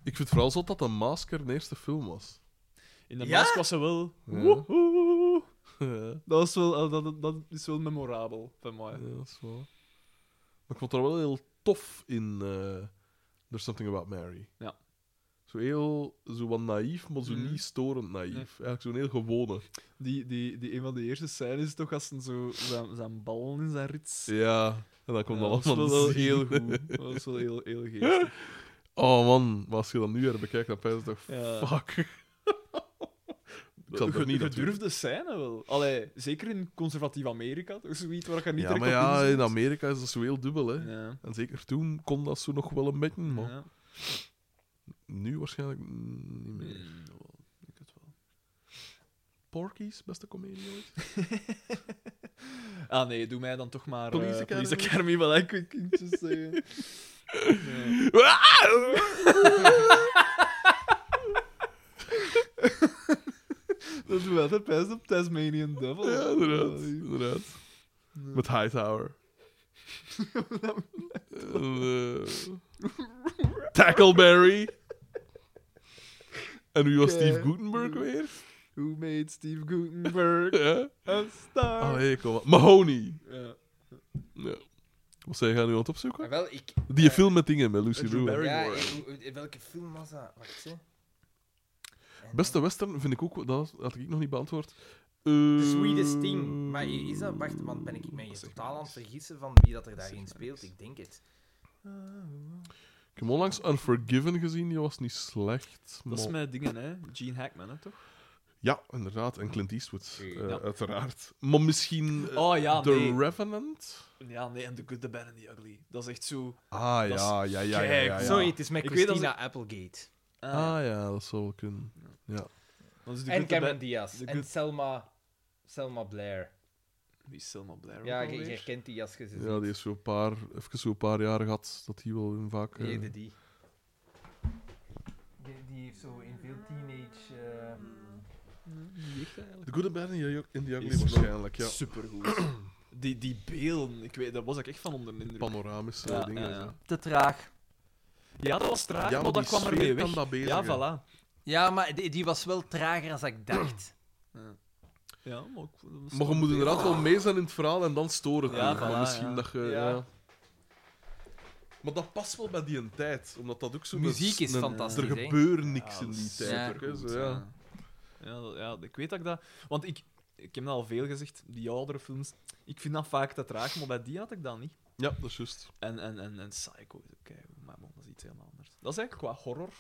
Ik vind vooral zot dat de Masker de eerste film was. *laughs* In de Ja? mask was ze wel. Ja. Woehoe. ja, Dat, is wel, eh, dat, dat is wel memorabel van mij. dat is wel. Maar ik vond er wel heel tof in eh There's Something About Mary. Ja. Zo heel, zo wat naïef, maar zo Mhm. niet storend naïef. Nee. Eigenlijk zo'n heel *laughs* gewone. Die, die, die een van de eerste scènes is toch als ze zo zijn, zijn ballen in zijn rits. Ja, en dan komt Ja, alles dat van is wel heel goed. Dat is wel heel, *laughs* heel geestig. Oh man, maar als je dat nu weer bekijkt, dan pijs je toch, Ja. fuck. *laughs* ik zal Ge- dat niet natuurlijk. gedurfde scène wel. Allee, zeker in conservatief Amerika, toch zoiets waar je niet Ja, direct maar op ja, in inzoomt. Amerika is dat zo heel dubbel, hè. Ja. En zeker toen kon dat zo nog wel een beetje, maar Ja. nu waarschijnlijk mm, niet meer. Hmm, wel, ik denk het wel. Porky's, beste comedie *laughs* ooit. Ah nee, doe mij dan toch maar... eh, Police Academy. eh. *laughs* Police Academy, wat ik ik- ik just zeggen. *laughs* Dat doet altijd best op Tasmanian Devil. Ja, inderdaad. inderdaad. Met *laughs* Hightower. En, eh, Tackleberry. En wie was Oké. Steve Gutenberg weer? Who made Steve Gutenberg Ja. a star? Allee, kom maar. Mahoney. Ja. Ja. Wat zijn jij nu aan het opzoeken? Ah, wel, ik... Die film met dingen, met Lucy Drew Liu. Eh. Barry. Ja, Barrymore. ik- hoe- hoe- welke film was dat? Wacht, hè. En- Beste western vind ik ook, dat had ik nog niet beantwoord. The Eh, Sweetest Thing. Maar is dat... Wacht, want ben ik mij hier totaal aan het vergissen van wie dat er daarin speelt? Ik denk het. Ik heb onlangs Unforgiven gezien, die was niet slecht. Dat is maar- met dingen, hè? Gene Hackman, hè, toch? Ja, inderdaad. En Clint Eastwood, eh, Ja. uiteraard. Maar misschien eh, Oh, ja, The nee. Revenant? Ja, nee, en The Good, The Bad and The Ugly. Dat is echt zo... Ah, Dat is ja, ja, ja, ja, kei ja, ja. goed. Sorry, het is met Ik weet dat Christina Applegate. Ah, Ah ja, dat zou wel kunnen. Dat is The En Good, The Cameron Bad- Diaz. The En Good- Selma... Selma Blair. Die is Selma Blair Ja, ook je, je alweer. herkent die als je ze Ja, die ziet. heeft zo'n paar, even zo'n paar jaren gehad dat hij wel in vaak... eh, Eerder die. Die, die heeft zo in veel teenage... eh, Hm, The Good, and Bad and the- and the Ugly Is wel- waarschijnlijk, ja. Supergoed. Die, die beelden, ik weet, daar was ik echt van onder de indruk. Panoramische Ja, dingen. ja, ja. zo. Te traag. Ja, dat was traag, Ja, maar die dat kwam sfeer ermee kan weg. dat ja, bezigen. voilà. Ja, maar die, die was wel trager dan *clears throat* ik dacht. Ja, maar ook, dat was- Maar je moet inderdaad wel mee zijn in het verhaal en dan storen. Ja, je. Maar voilà, misschien ja. dat je... Ja. ja. Maar dat past wel bij die tijd, omdat dat ook zo... Muziek is een- fantastisch, Er hè? gebeurt niks Ja, in dat die is tijd. ook, hè, supergoed, zo, ja. Ja, dat- ja, ik weet dat ik dat... Want ik, ik heb dat al veel gezegd, die oudere films, ik vind dat vaak te traag, maar bij die had ik dat niet. ja, dat is juist. En, en, en, en Psycho is ook keigoed, maar bon, dat is iets helemaal anders. Dat is eigenlijk qua horror.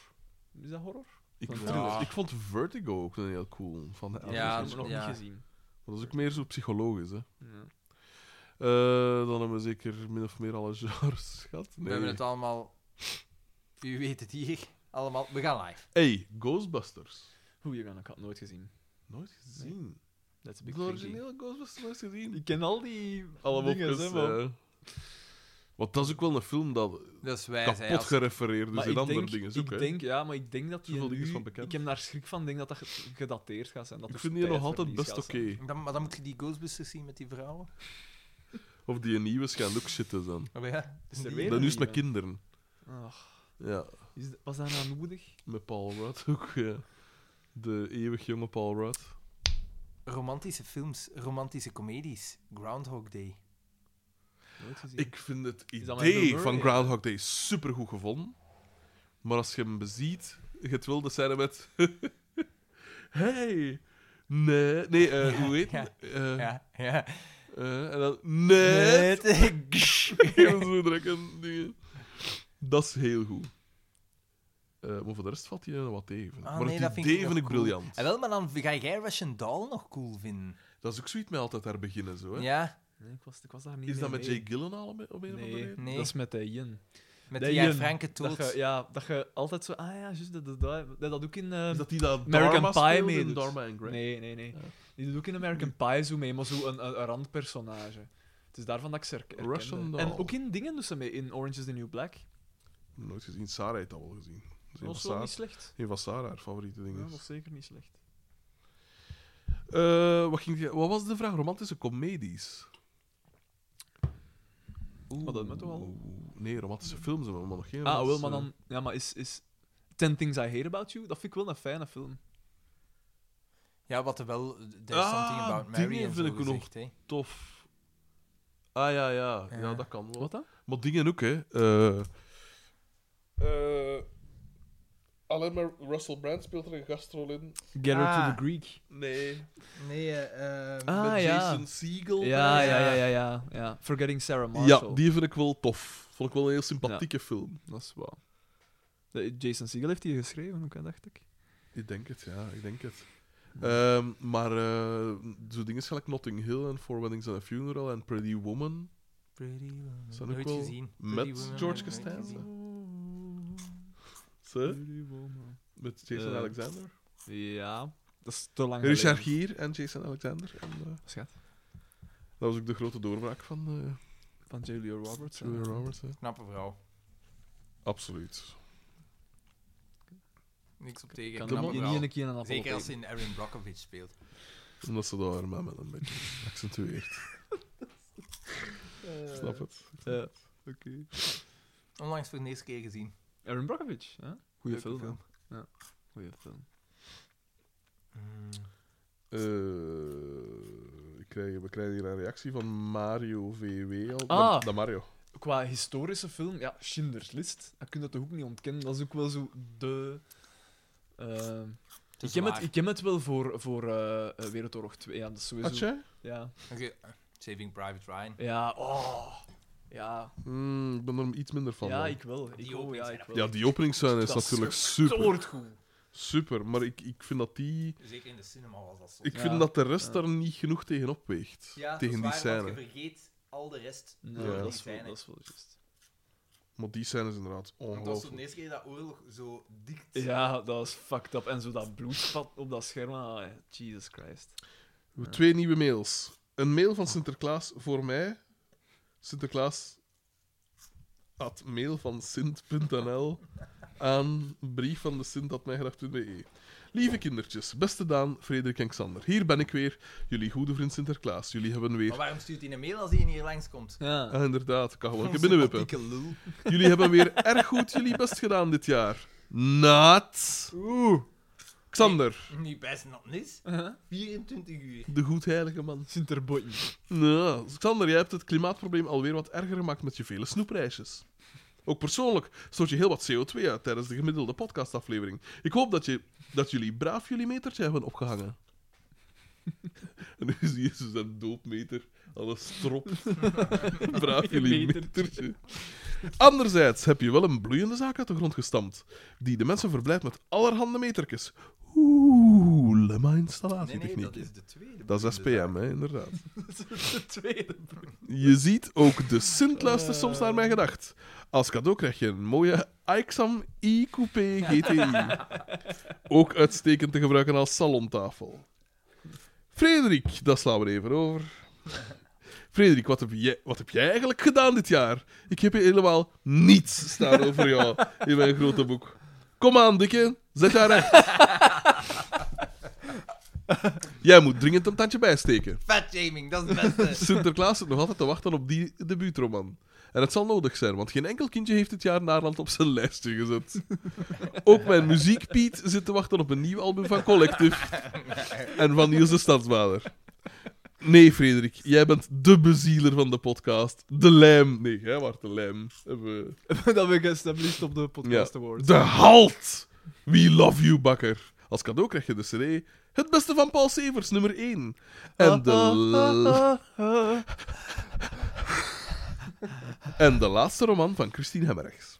Is dat horror? Ik, Van vond- thriller. ik vond Vertigo ook een heel cool. Van de Ja, dat Elvis. heb ik nog ja. niet gezien. Maar dat is ook meer zo psychologisch. Hè. Ja. Eh, dan hebben we zeker min of meer alle *laughs* genres gehad. We Nee. hebben het allemaal... U weet het hier. Allemaal. We gaan live. Hey, Ghostbusters. Goeie gang, ik had het nooit gezien. Nooit gezien. Dat is een De beetje originele Ghostbusters nooit gezien. Ik ken al die Allemaal dingen, kus, hè, man. eh. Want dat is ook wel een film dat Dus wij zijn kapot als... gerefereerd is Maar Dus ik in andere denk, dingen. ik Ook, hè. denk, ja, maar ik denk dat die Zoveel dingen nu, is van bekend. ik heb daar schrik van, ik denk dat dat ge- gedateerd gaat zijn. Dat ik er vind die nog altijd tijdverlies best gaat oké. zijn. Dan, maar dan moet je die Ghostbusters zien met die vrouwen. Of die nieuwe schijnt ook shit te zijn. Oh ja. Is er Die- weer Dan nu is een het met nieuwe? kinderen. Ach, Ja, is dat- was dat nou nodig? met Paul Rudd ook. ja. De eeuwig jonge Paul Rudd. Romantische films, romantische comedies. Groundhog Day. Nooit gezien. Ik vind het Is dat met Bill idee Murray, van ja? Groundhog Day supergoed gevonden. Maar als je hem beziet, je het wilde zijn met... *laughs* hey! Nee, nee, eh, hoe heet Ja, het? Eh, Ja, ja. eh, en dan... Nee! *laughs* Net. Zo drukken dingen. Dat is heel goed. Eh, maar voor de rest valt hij er wat tegen. vind ik. Ah, maar nee, het dat vind idee ik vind nog ik cool. briljant. En Eh, wel, maar dan ga jij Russian Doll nog cool vinden. Dat is ook zoiets met altijd daar beginnen, zo. Hè? Ja, nee, ik, was, ik was daar niet Is dat mee met mee. Jay Gyllenhaal op een op een of andere Nee, reden? Nee. dat is met de Jen. met Dat die jij je- Franke Dat dood. je, ja, dat je altijd zo... Ah ja, juist, dat, dat, dat, dat doet ook in... eh, Is dat die dat American Dharma Pie speelde in meedoet. Dharma and Grey? Nee, nee, nee. Ja. Die doet ook in *clears throat* American Pie zo mee, maar zo een, een, een randpersonage. Het is daarvan dat ik ze herk- herkende. Russian Doll. En ook in dingen dus ze mee, in Orange is the New Black. Nooit gezien. Sarah heeft dat wel gezien. Dat Een van was wel Sarah- niet slecht. een van Sarah haar favoriete Ja, dingen. dat was zeker niet slecht. Eh, wat, ging je- wat was de vraag? Romantische comedies? Maar dat met toch al? Oeh, Nee, romantische films hebben we maar nog geen. Ah, wel, romantische- maar dan... Ja, maar is, is Ten Things I Hate About You? Dat vind ik wel een fijne film. Ja, wat er wel... eh, There's Ah, something about Mary dingen en zo vind ik ook nog- gezegd, hè. Tof. Ah ja, ja. Ja, Ja. dat kan wel. Wat dan? Maar dingen ook, hè. Eh Eh, alleen maar Russell Brand speelt er een gastrol in. Get Her to Ah. the Greek. Nee. Nee, eh... ehm, Ah, Met ja. Jason Segel. Ja, ja, ja. ja, ja, ja, ja. Forgetting Sarah Ja, Marshall. die vind ik wel tof. Vond ik wel een heel sympathieke film. Dat is wel... De- Jason Segel heeft die geschreven, ook, hè, dacht ik. Ik denk het, ja, ik denk het. Ehm, maar eh zo dingen gelijk Notting Hill en Four Weddings and a Funeral en Pretty Woman. Pretty Woman. Zijn ook Nooit wel gezien. met Pretty Woman, George nooit Costanza. gezien. Ze? Met Jason Eh, Alexander. Ja, dat is te lang Richard geleden. Gier en Jason Alexander. En, eh, Schat. dat was ook de grote doorbraak van eh Van Julia Roberts. Julia Roberts. hè. Knappe vrouw. Absoluut. Niks op tegen. Kan knappe iemand vrouw. niet een keer een appel Zeker als ze opeten? in Aaron Brockovich speelt. Omdat ze dat haar met een beetje *laughs* accentueert. Eh. Snap het? Ja. Onlangs voor de eerste keer gezien. Aaron Brockovich, hè? Goeie Leuke film. film. hè? Ja, goeie film. Eh, ik krijg, we krijgen hier een reactie van Mario VW al. Ah. Da, da Mario. Qua historische film, ja, Schindler's List, dat kun je toch ook niet ontkennen. Dat is ook wel zo de... eh, ik, ken het, ik ken het wel voor, voor eh, eh, Wereldoorlog 2, ja, dat is sowieso... Had jij? Ja. Oké, eh, Saving Private Ryan. Ja, oh. Ja, Hmm, ik ben er iets minder van. ja dan. ik wel. Die Ik wel, opening ja, zijn ik dat- wel. ja, die openingsscène is Dat is natuurlijk super. Stoort goed. Super, maar ik, ik vind dat die... Zeker in de cinema was dat zo. Ik Ja. vind dat de rest Ja. daar niet genoeg tegen opweegt. ja, dat tegen is die waar, scène. Want je vergeet al de rest. Nee, Ja. door dat, die is wel, scène. dat is wel juist. Maar die scène is inderdaad Want dat is zo de ongelooflijk. eerste keer dat oorlog zo dicht... Ja, dat is fucked up. En zo dat bloedvat op dat scherm, ah, Jesus Christ. Ja. Twee nieuwe mails. Een mail van Sinterklaas voor mij. Sinterklaas at mail van sint.nl aan brief van de sint.mijgedacht.be. Lieve kindertjes, beste Daan, Frederik en Xander. Hier ben ik weer, jullie goede vriend Sinterklaas. Jullie hebben weer... Maar waarom stuurt hij een mail als hij hier langskomt? Ja. Ah, inderdaad, ik kan *laughs* gewoon een keer binnenwippen. Sympathieke lul. Jullie hebben weer erg goed jullie best gedaan dit jaar. Naat. Oeh. Xander, Nu best nog niet. 24 uur. de goedheilige man. Sinterbotje. Nou, Xander, jij hebt het klimaatprobleem alweer wat erger gemaakt met je vele snoepreisjes. Ook persoonlijk stoot je heel wat CO2 uit tijdens de gemiddelde podcastaflevering. Ik hoop dat, je, dat jullie braaf jullie metertje hebben opgehangen. *laughs* En nu zie je dus een doopmeter, alles *laughs* strop. braaf jullie metertje. Anderzijds heb je wel een bloeiende zaak uit de grond gestampt, die de mensen verblijft met allerhande metertjes. Oeh, mijn Nee, nee, installatietechniek. dat is de tweede. dat is boeiende SPM, hè, *laughs* inderdaad. De tweede. Eh. Je ziet ook de Sint luistert soms naar mijn gedacht. Als cadeau krijg je een mooie Aixam i-Coupé *laughs* GTI. Ook uitstekend te gebruiken als salontafel. Frederik, dat slaan we even over. Frederik, wat heb, jij, wat heb jij eigenlijk gedaan dit jaar? Ik heb hier helemaal niets staan over jou in mijn grote boek. Kom aan, dikke, zet haar recht. Jij moet dringend een tandje bijsteken. zaak. Fat shaming, dat is het *laughs* beste. Sinterklaas zit nog altijd te wachten op die debuutroman. En het zal nodig zijn, want geen enkel kindje heeft dit jaar Naarland op zijn lijstje gezet. Ook mijn muziekpiet zit te wachten op een nieuw album van Collective en van Niels de Stadsvader. Nee, Frederik, jij bent de bezieler van de podcast. De lijm. Nee, jij was de lijm. Hebben we- *laughs* dat ben ik established op de Podcast Awards. de halt! We love you, bakker. Als cadeau krijg je de CD Het Beste van Paul Severs, nummer 1. En de... Ah, *laughs* En de laatste roman van Christine Hemmerrechts.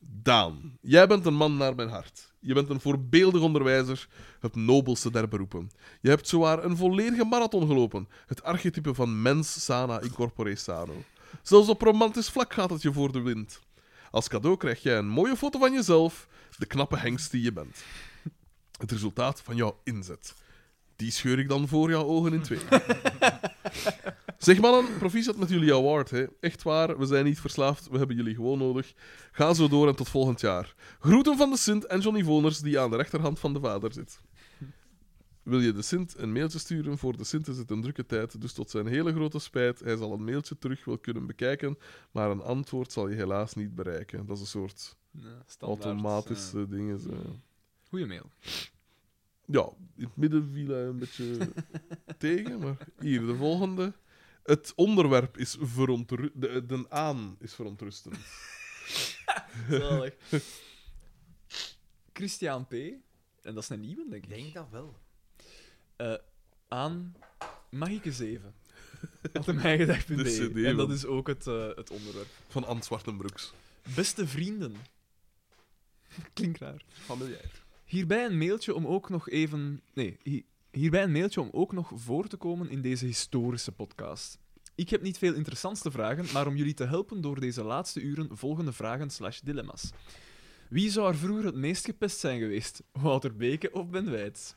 Daan, jij bent een man naar mijn hart. Je bent een voorbeeldig onderwijzer, het nobelste der beroepen. Je hebt zowaar een volledige marathon gelopen, het archetype van mens sana in corpore sano. Zelfs op romantisch vlak gaat het je voor de wind. Als cadeau krijg jij een mooie foto van jezelf, de knappe hengst die je bent. Het resultaat van jouw inzet. Die scheur ik dan voor jouw ogen in twee. Zeg mannen, proficiat met jullie award. Hè. Echt waar, we zijn niet verslaafd, we hebben jullie gewoon nodig. Ga zo door en tot volgend jaar. Groeten van de Sint en Johnny Voners, die aan de rechterhand van de vader zit. Wil je de Sint een mailtje sturen? Voor de Sint is het een drukke tijd, dus tot zijn hele grote spijt. Hij zal een mailtje terug wel kunnen bekijken, maar een antwoord zal je helaas niet bereiken. Dat is een soort Ja, standaard, automatische eh. dingen. Zo. eh, goeie mail. Ja, in het midden viel hij een beetje *laughs* tegen, maar hier, de volgende. Het onderwerp is verontrustend. De, de aan is verontrustend. Zalig. Christian P. En dat is een nieuwe, denk Ik ik. denk dat wel. Eh, aan Magieke 7. Had hem eigen De CD, En dat man. is ook het, eh, het onderwerp. Van Ant Zwartenbroeks. Beste vrienden. *laughs* Klinkt raar. Familiair. Hierbij een mailtje om ook nog even. Nee, hi- hierbij een mailtje om ook nog voor te komen in deze historische podcast. Ik heb niet veel interessants te vragen, maar om jullie te helpen door deze laatste uren volgende vragen slash dilemma's. Wie zou er vroeger het meest gepest zijn geweest? Wouter Beke of Ben Wijts?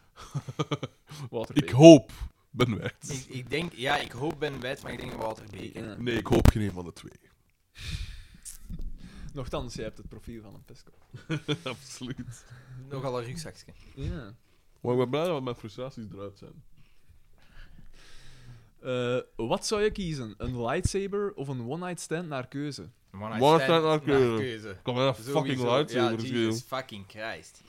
Wouter Ik Beke. hoop, ben wij. Ik, ik denk, ja, ik hoop Ben Wijs, maar ik denk Walter Beek. Ja. Nee, ik hoop geen een van de twee. Nochtans, jij hebt het profiel van een pesco. *laughs* Absoluut. Nogal een rugzakje. Ja. Maar ik ben blij dat mijn frustraties eruit zijn. Eh, wat zou je kiezen? Een lightsaber of een one-night stand naar keuze? One One night stand naar keuze. keuze. Kom maar, Sowieso. fucking Ja, lightsaber. Jesus Ja, fucking Christ.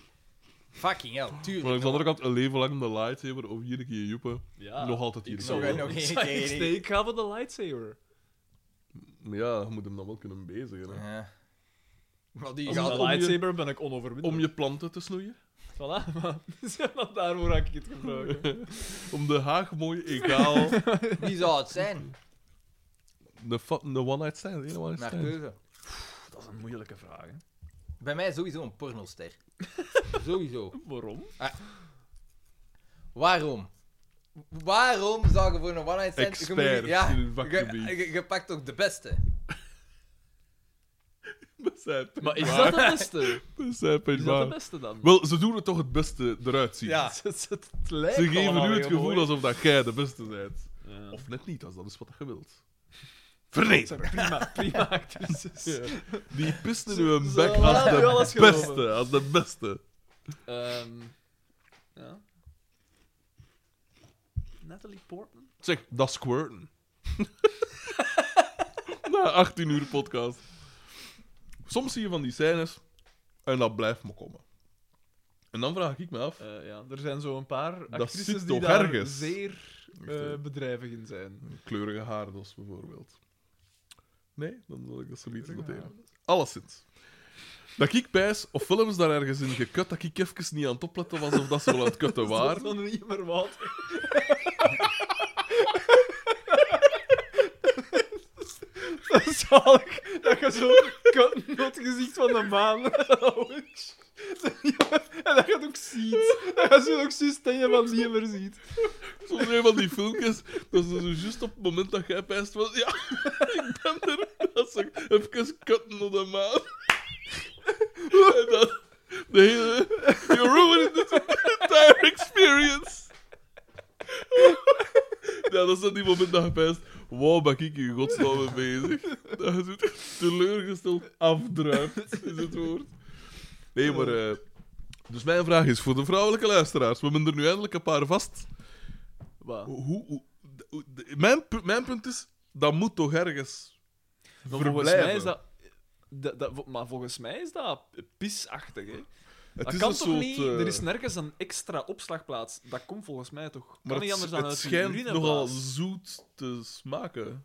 Fucking hell, maar aan tuurlijk. de andere kant, een leven lang de lightsaber of hier een keer joepen. Ja. Nog altijd hier. Ik Ah, zou zou wel *laughs* nog nog één keer in- Ik ga voor de lightsaber. Maar ja, je moet hem dan wel kunnen bezigen. Hè. Ja. Maar die Als gaat een om je- lightsaber ben ik onoverwinnelijk. Om je planten te snoeien. Voilà, *laughs* Dus maar dat daarvoor had ik het gebruikt. Om de haag mooi egaal. Wie zou het *laughs* zijn? de, fa- de one-night stand. de ene one-night Naar stand. keuze. *laughs* Dat is een moeilijke vraag, hè. Bij mij sowieso een pornoster. sowieso. Waarom? Waarom? Waarom zou je voor een one-night stand... je Expert moet- ja, in het je, vakgebied. je- je pakt ook de beste. Dat zijn Maar is dat de beste? Dat zijn Is dat de beste dan? *laughs* Wel, ze doen het toch het beste eruit zien. Ja. Het, het, het lijkt Ze geven allemaal nu het heel gevoel mooi. alsof dat jij de beste bent. Ja. Of net niet, als dat is wat je wilt. Het zijn *laughs* prima, prima actrices. Die pist in uw ze bek laten als u de alles geloven. beste. Als de beste. Ehm, ja. Natalie Portman? Zeg, dat squirten. *laughs* Na 18 uur podcast. Soms zie je van die scènes en dat blijft me komen. En dan vraag ik me af. Eh, ja, er zijn zo een paar Dat actrices zit die toch daar ergens? zeer eh, bedrijvig in zijn. Kleurige haardos bijvoorbeeld. Nee, dan wil ik dat zo niet Kleurige noteren. Alleszins. Dat ik pijs of films daar ergens in gekut, dat ik even niet aan het opletten was of dat ze wel aan het *laughs* kutten Waar? waren. Dan niet meer wat. Dat is zalig. Dat je zo kunt het gezicht van de maan. *laughs* En dat je het ook ziet. Dat je zo ook ziet dat je van niet meer ziet. *laughs* Soms een van die filmpjes, dat ze zo juist op het moment dat jij pijst wel ja, *laughs* ik ben er, dat ze even kutten op de maan. En dan de hele, you're ruining the entire experience. Ja, dat is dan die moment dat je pijst, wow, ben ik in godsnaam mee bezig. Dat je zo teleurgesteld afdruipt, is het woord. Nee, maar... eh, dus mijn vraag is, voor de vrouwelijke luisteraars, we hebben er nu eindelijk een paar vast. Wat? Hoe, hoe, hoe- de- mijn, pu- mijn punt is, dat moet toch ergens Volgens mij is verblijven. dat, dat, dat- Maar volgens mij is dat pisachtig, hè? Het dat is kan een toch soort, niet? eh, Er is nergens een extra opslagplaats. Dat komt volgens mij toch... Kan maar niet het, anders dan het uit een schijnt nogal urineblaas. zoet te smaken.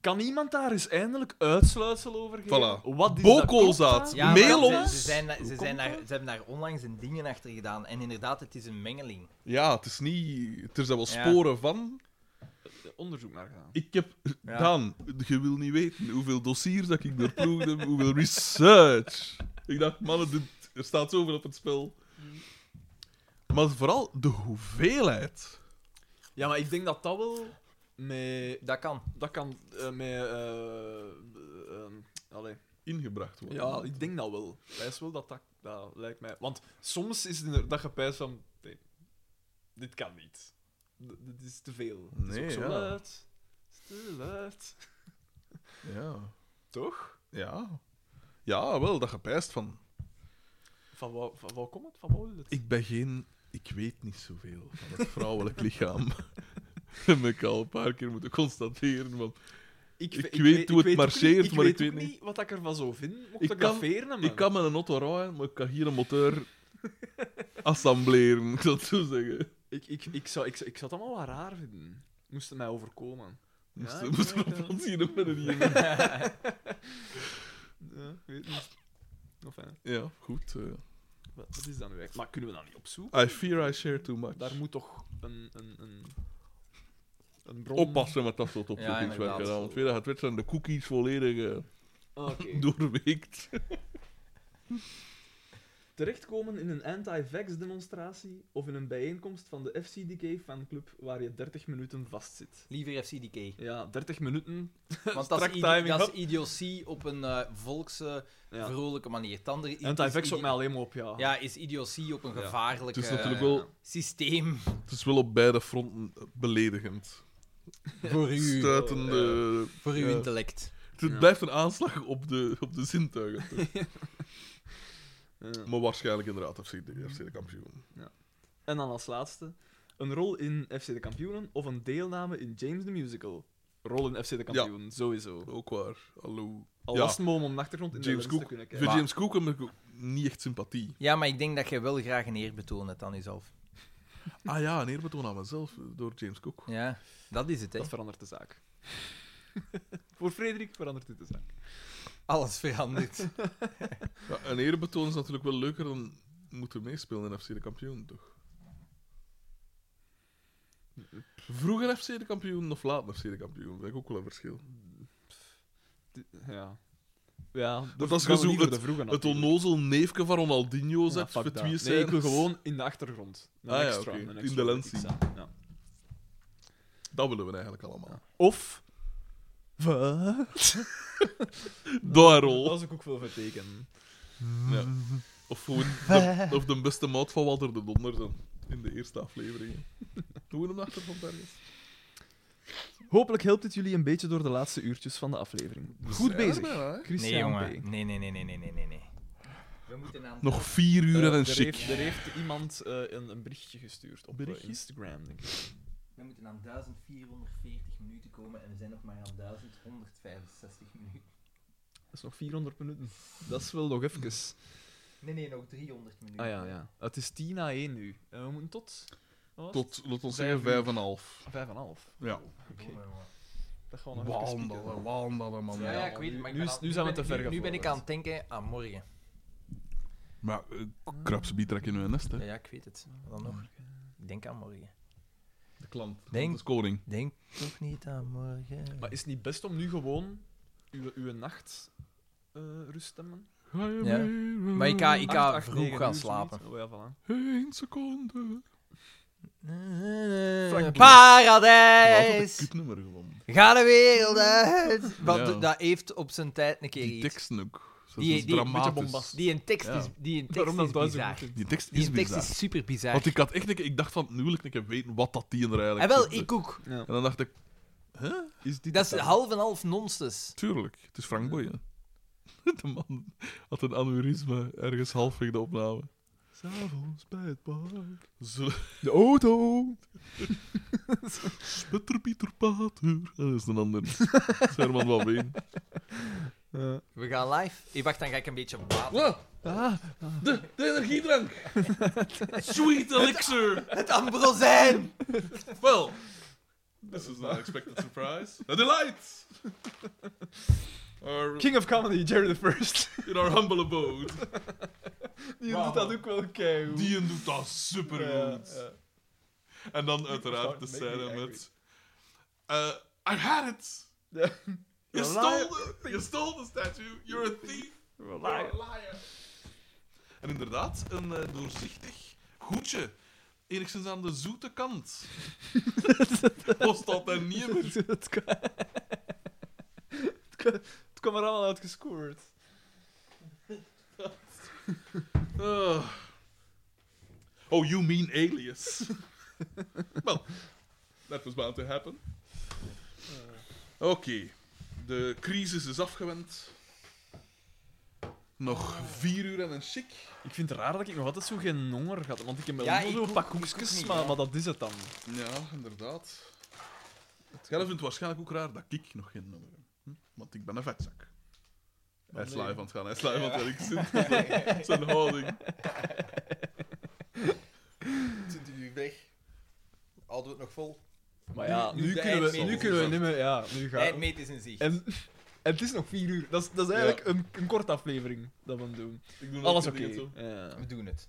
Kan iemand daar eens eindelijk uitsluitsel over geven? Voilà. Wat is Bokoolzaad. dat? Ja, maar Mail ze, ons. Ze, zijn, daar- ze, Hoe zijn komt daar, dat? ze hebben daar onlangs een dingen achter gedaan. En inderdaad, het is een mengeling. Ja, het is niet... Er zijn wel Ja. sporen van. Onderzoek naar gaan. Ik heb... Ja. Daan, je wil niet weten hoeveel dossiers dat ik doorploegd heb, hoeveel research. Ik dacht, mannen, dit- er staat zoveel op het spel. Maar vooral de hoeveelheid. Ja, maar ik denk dat dat wel met... Dat kan. Dat kan eh, met... eh, eh, allee. Ingebracht worden. Ja, ik denk dat wel. Pijs wel dat, dat dat lijkt mij... Want soms is het inderdaad dat je pijs van... Nee, dit kan niet. D- dit is te veel. Het is Nee, ook zo ja. luid. Het is te luid. Ja. Toch? Ja. Ja, wel, dat gepijst van... Van waar, van waar komt het? Van waar wil het? Ik ben geen... Ik weet niet zoveel van het vrouwelijk lichaam. *laughs* Dat heb ik al een paar keer moeten constateren. Want Ik ve- weet hoe het ook niet- marcheert, maar ik ook weet niet. wat ik ervan zou vinden. Mocht Ik ik, kan- dat veren, ik kan met een auto rijden, maar ik kan hier een motor assembleren, *laughs* moet ik dat zo zeggen. Ik, ik, ik, zou, ik, zou- ik zou het allemaal wel raar vinden. Moest het mij overkomen. Moest Ja, ik moest weet nog het. van zien hè, met een hier. Ja, ik weet niet. Of, hè, Ja, goed. eh. wat wat is dat nu eigenlijk? Maar kunnen we dat niet opzoeken? I fear I share too much. Daar moet toch een, een, een, een bron... Oppassen met dat soort Ja, opzoekingswerken. inderdaad. gedaan, want weer dat het werd zijn de cookies volledig eh, Ah, Oké. *laughs* doorweekt. Terechtkomen in een anti-vax-demonstratie of in een bijeenkomst van de FCDK-fanclub waar je 30 minuten vastzit. Liever *laughs* FCDK. Ja, 30 minuten. Want dat is, Strak ide- timing, dat hop. is idiotie op een eh, volkse, Ja. vrolijke manier. Het andere i- Anti-vax is ook ide- mij alleen maar op, ja. Ja, is idiotie op een Ja. Het gevaarlijke is natuurlijk wel, systeem. *laughs* het is wel op beide fronten beledigend. Voor u. Stuitende... Voor uw eh, Ja. intellect. Het Ja. blijft een aanslag op de, op de zintuigen. toch? *laughs* Ja. Maar waarschijnlijk inderdaad FC de, FC de kampioen. En dan als laatste, een rol in FC de Kampioenen of een deelname in James the Musical. Rol in FC de Kampioenen, sowieso. Ook waar. Hallo. Al Ja. was het maar om op de achtergrond in James de lens Cook. te kunnen Voor kijken. James Cook heb ik ook niet echt sympathie. Ja, maar ik denk dat je wel graag een eer betoont het aan jezelf. Ah ja, een eerbetoon aan mezelf eh, door James Cook. Ja, dat is het, hè. Dat verandert de zaak. *laughs* Voor Frederik verandert dit de zaak. Alles *laughs* verandert. Ja, een eerbetoon is natuurlijk wel leuker dan moeten meespelen in FC de kampioen, toch? Vroeger FC de kampioen of laat FC de kampioen, vind ik ook wel een verschil. Ja. Ja, de, dat is gaan we gezoek- niet voor de vroege Het natuurlijk. onnozel neefje van Ronaldinho Ja, zet fuck voor dat. twee Nee, ik wil scènes. gewoon in de achtergrond. Een Ah ja, extra, oké. een In extra de wil lens ik zien. staan, ja. Dat willen we eigenlijk allemaal. Of... Wat? Daar Dat rol. is ook ook veel vertekenen. Ja. Of, gewoon de, of de beste maat van Walter de Donder dan, in de eerste *laughs* aflevering. Gewoon hem achter van Bergens. Hopelijk helpt dit jullie een beetje door de laatste uurtjes van de aflevering. Goed zijn er bezig. bijna, hè? Christian nee, B. jongen. Nee, nee, nee, nee, nee, nee, nee, nee. We moeten aan... Nog vier uur en Eh, een er, chic. heeft, er heeft iemand eh, een, een berichtje gestuurd op eh, Berichtje? Instagram, denk ik. We moeten aan 1440 minuten komen en we zijn nog maar aan 1165 minuten. Dat is nog 400 minuten. Dat is wel nog even. Nee, nee, nog 300 minuten. Ah ja, ja. Het is 10 na 1 nu. En we moeten tot... wat was het? Tot, laat ons zeggen, vijf en een half. Vijf en half. Ja. Oké. Jongen, jongen. Dat gaan we nog even Waan dat, spieken. hè, waan dat, hè, man. Ja, ja, ik nu- weet het, maar ik nu ben is- aan- nu zijn we ben- te ver Nu, nu ben ik gevorderd. aan het denken aan morgen. Maar eh, krapsbiet trek in hun nest, hè. Ja, ja, ik weet het. Wat Dan nog. Ik denk aan morgen. De klant. Denk- Dat is koning. Denk toch niet aan morgen. Maar is het niet best om nu gewoon uw, uw nacht eh, rust te nemen? Ga je Ja. mee? Maar ik ga- ik Acht, ga acht, vroeg negen gaan uur, slapen. zoiets? Oh, ja, voilà. Eén seconde. Frankie. Dat is Paradijs! een nummer gewoon. Ga de wereld uit! Want Ja. dat heeft op zijn tijd een keer Die iets. tekst ook. Dat Die- is die- beetje dramatisch. bombast. Die een tekst Ja. is, die een tekst Daarom is dat Duits bizar. goed Die tekst Die is een tekst bizar. is super bizar. Want ik had echt... een keer- Ik dacht van, nu wil ik een keer weten wat dat die er eigenlijk En Ah, wel, zit. ik ook. Ja. En dan dacht ik, Is dit Dat is het dan? half en half nonsens. tuurlijk, het is Frank Boeien. *laughs* De man had een aneurysme ergens halfweg de opname. S'avonds bij het park. Zullen De *laughs* auto! Peter Pieter Pater. Dat is een *laughs* ander. Dat is Herman van Veen. Eh, We gaan live. Ik wacht, dan ga ik een beetje baten. Wow, ah, de, de *laughs* energiedrank. Sweet elixir. Het ambrosijn! Well, this is an unexpected surprise. A delight. Our, King of Comedy, Jerry the First. *laughs* in our humble abode. Die Wauw. doet dat ook wel keihard. Die doet dat super goed. Ja, ja. En dan uiteraard de Make me scène angry. met... eh, I had it. Ja. You You're stole, the, you stole the statue. You're a thief. Liar. En inderdaad, een eh, doorzichtig goedje. Enigszins aan de zoete *laughs* kant. Was dat dan niet meer? het, kwam, het, kwam, het kwam er allemaal uitgescoord. Ah. Oh, you mean alias. *laughs* well, that was bound to happen. Eh. Oké, de crisis is afgewend. Nog vier uur en een chic. Ik vind het raar dat ik nog altijd zo geen honger had, want ik heb wel Ja, ja, ik zo'n ook- pak ik ook koekjes, niet, maar, ja. maar dat is het dan. Ja, inderdaad. Jij vindt het waarschijnlijk ook raar dat ik nog geen nummer heb. Hm? Want ik ben een vetzak. Hij is Oh, nee. live aan het gaan, hij is live aan het werk. Zijn- Zijn houding. uur weg. Houden we het nog vol? Maar ja, Nu- nu, nu de kunnen, we, eindmeet nu is kunnen we in niet meer... Ja, nu gaan we. Eindmeet is in zicht. En, *laughs* en het is nog vier uur. Dat is, dat is Ja. eigenlijk een, een korte aflevering dat we hem doen. Ik doe Alles nog oké. dingen zo. Ja. We doen het.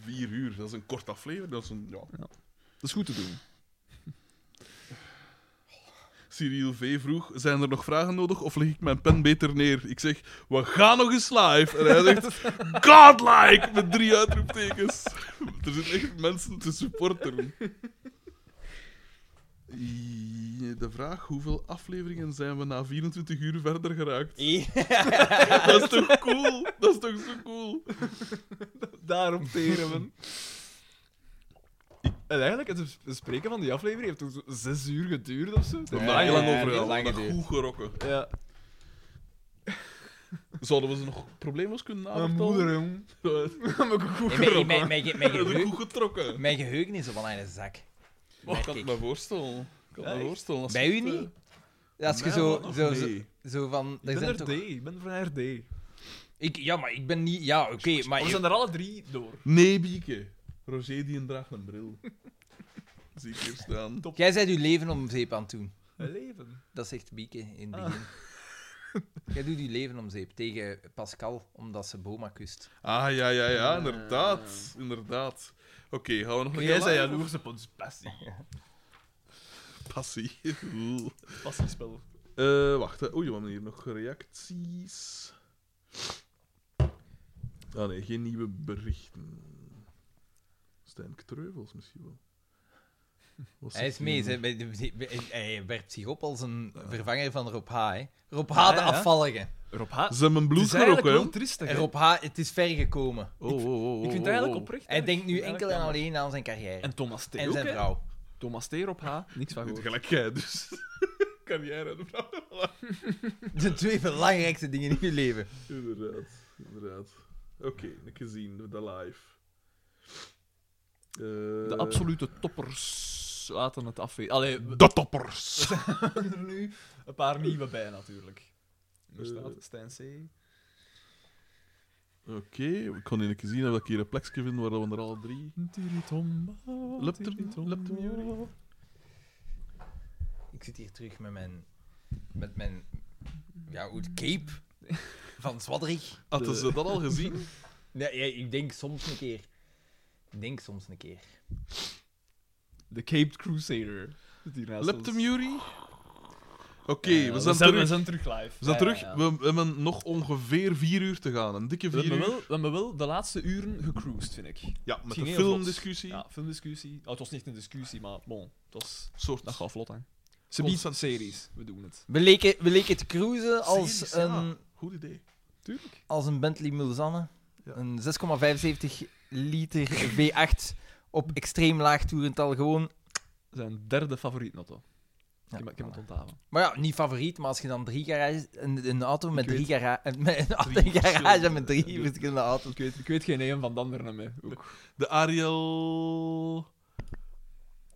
Vier uur, dat is een kort aflevering. Dat is een, ja. Dat is goed te doen. Cyril V. vroeg, zijn er nog vragen nodig of leg ik mijn pen beter neer? Ik zeg, we gaan nog eens live. En hij *laughs* zegt, godlike, met drie uitroeptekens. *laughs* er zitten echt mensen te supporteren. I- De vraag, hoeveel afleveringen zijn we na 24 uur verder geraakt? *laughs* Dat is toch cool? Dat is toch zo cool? *laughs* Daarom teren we. Ik En eigenlijk, het bespreken van die aflevering heeft toch zo zes uur geduurd of zo? Dat Ja, hebben we lang ja, over heel lang gedaan, geduurd. goed gerokken. Ja, Zouden we ze nog problemen kunnen mijn navertellen? moeder, jong. *laughs* Mijn koekoek Nee, erop, mijn- mijn- man. mijn- *laughs* mijn Dat is geheugen- goed getrokken. Mijn geheugen is wel aan de zak. Maar ik kan merk het ik. me voorstellen. Ik kan het Ja, me echt? voorstellen. Als Bij je u het, eh, niet? Als je mij zo, nog zo, zo, niet. zo van... Ik ben zijn RD, toch- ik ben van RD. Ik, ja, maar ik ben niet... Ja, oké, maar... Maar we je- zijn er alle drie door. Nee, Bieke. Roger die draagt een *laughs* bril. Zie ik hier staan. Jij bent je leven om zeep aan het doen. Een leven. Dat zegt Bieke in het Ah. begin. *laughs* Jij doet je leven om zeep tegen Pascal, omdat ze Boma kust. Ah, ja, ja, ja, inderdaad. Inderdaad. Oké, gaan we nog een Jij keer zei live? jaloers op ons passie. *laughs* Passie. *laughs* Passiespel. Eh, wacht, hè. oei, we hebben hier nog reacties. Ah nee, geen nieuwe berichten. Stijn Treuvels misschien wel. Wat Hij is zegt hij mee, nou? hè, bij de- bij- hij werpt zich op als een Ja. vervanger van Rob H. Hè. Rob H, Ah, de ja, ja. afvallige. Rob H. Ze hebben Het bloed is eigenlijk gerokken, hè? wel triestig, En hè? Rob H, het is ver gekomen. Oh, oh, oh, oh, Ik vind het oh, eigenlijk oh. oprecht. Hij erg. denkt nu Ik vind het enkel en eigenlijk alleen aan zijn carrière. jammer. En Thomas T. En ook, zijn hè? vrouw. *laughs* Thomas T, Rob H. Niks van Dit gehoord. Gelijk jij, dus. *laughs* Carrière de vrouw. De twee belangrijkste dingen in je leven. Inderdaad, inderdaad. Oké, ik gezien, de live. Eh, De absolute toppers laten het afweten. Allee, we De toppers! hebben er nu een paar nieuwe bij, natuurlijk. Er staat Stijn C. Oké, ik kon in keer zien dat ik hier een plekje vind waar we er alle drie. Tiritomba, Lupt hem- tiritomba. lupt hem, Juri? Ik zit hier terug met mijn... Met mijn... Ja, hoe het *laughs* cape van Zwadrig. Hadden ze dat al gezien? Nee, ja, ik denk soms een keer. Ik denk soms een keer. De Caped Crusader. Zit hier naast ons. Leptum Jury? Oké, Ja, ja, Eh, we zijn we terug. zijn terug live. We zijn Ja, ja, terug. ja. We we hebben nog ongeveer vier uur te gaan. Een dikke We vier hebben, uur. wel, we hebben wel de laatste uren gecruised, vind ik. Ja, met ging een heel filmdiscussie. Ja, filmdiscussie. Oh, het was niet een discussie, maar bon, het was... Soort. dat gaat vlot aan. Ze biedt Consensus. series, we doen het. We leken, we leken te cruisen als Series, ja. een... Goed idee. Tuurlijk. als een Bentley Mulsanne. Ja. Een 6,75 liter V8 op extreem laag toerental gewoon. Zijn derde favoriet auto. Ja, ik heb, ik heb het onthouden. Maar ja, niet favoriet, maar als je dan drie garage, een, een auto met weet- drie garage, *laughs* met een, auto- Drie een garage verschillende- met drie verschillende auto's. Ik weet, ik weet geen een van de anderen naar mij. Ook. De Ariel.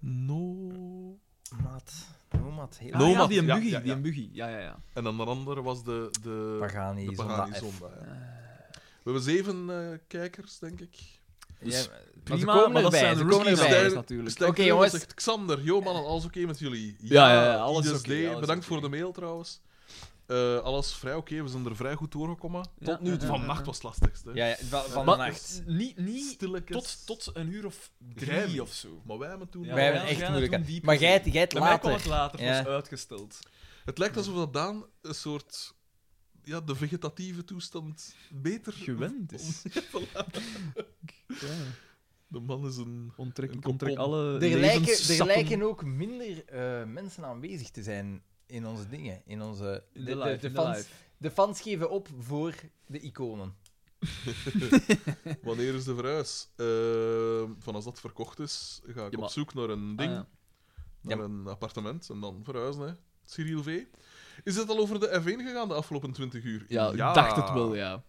No. Maat, nomad, heel Ah, No, ja, maar die die ja, een buggy, ja, die ja. een buggy. Ja, ja, ja. En dan de andere was de. de Pagani, de Pagani Zonda F. Zonda, ja. We hebben zeven eh, kijkers, denk ik. Ja, Dus maar ze Prima, komen maar dat erbij, zijn ze komen rookies erbij. daar Stijn- natuurlijk. Stijn Oké, Kreugel jongens. zegt, Xander, yo man, alles oké met jullie? Ja, ja, ja, alles ISD, oké, alles Bedankt oké. voor de mail trouwens. Eh, alles vrij oké, we zijn er vrij goed doorgekomen. Eh, Tot Ja, nu ja, toe. ja, ja. Vannacht was het lastigste. ja, ja, van, van de Maar- nacht. Niet, niet Stilletjes. tot, tot een uur of drie Grijp. of zo. Maar wij hebben toen... Ja, Wij hebben ja, echt ja, moeilijk. toen hè. die Maar jij, jij het Bij mij kwam later. het later, het Ja. was uitgesteld. Het lijkt alsof dat Daan een soort... Ja, de vegetatieve toestand beter... Gewend *laughs* is. ja. De man is een... Onttrek, Een onttrek kokon. alle Er lijken, er levenssappen. lijken ook minder eh, mensen aanwezig te zijn in onze dingen. In onze, In de live, in de fans, live. de fans geven op voor de iconen. Wanneer is de verhuis? Eh, van als dat verkocht is, ga ik Ja, op maar- zoek naar een Ah, ding. ja. naar Ja. een appartement en dan verhuizen, hè. Cyril V. Is het al over de F1 gegaan de afgelopen 20 uur? Ja, ik dacht het wel, ja.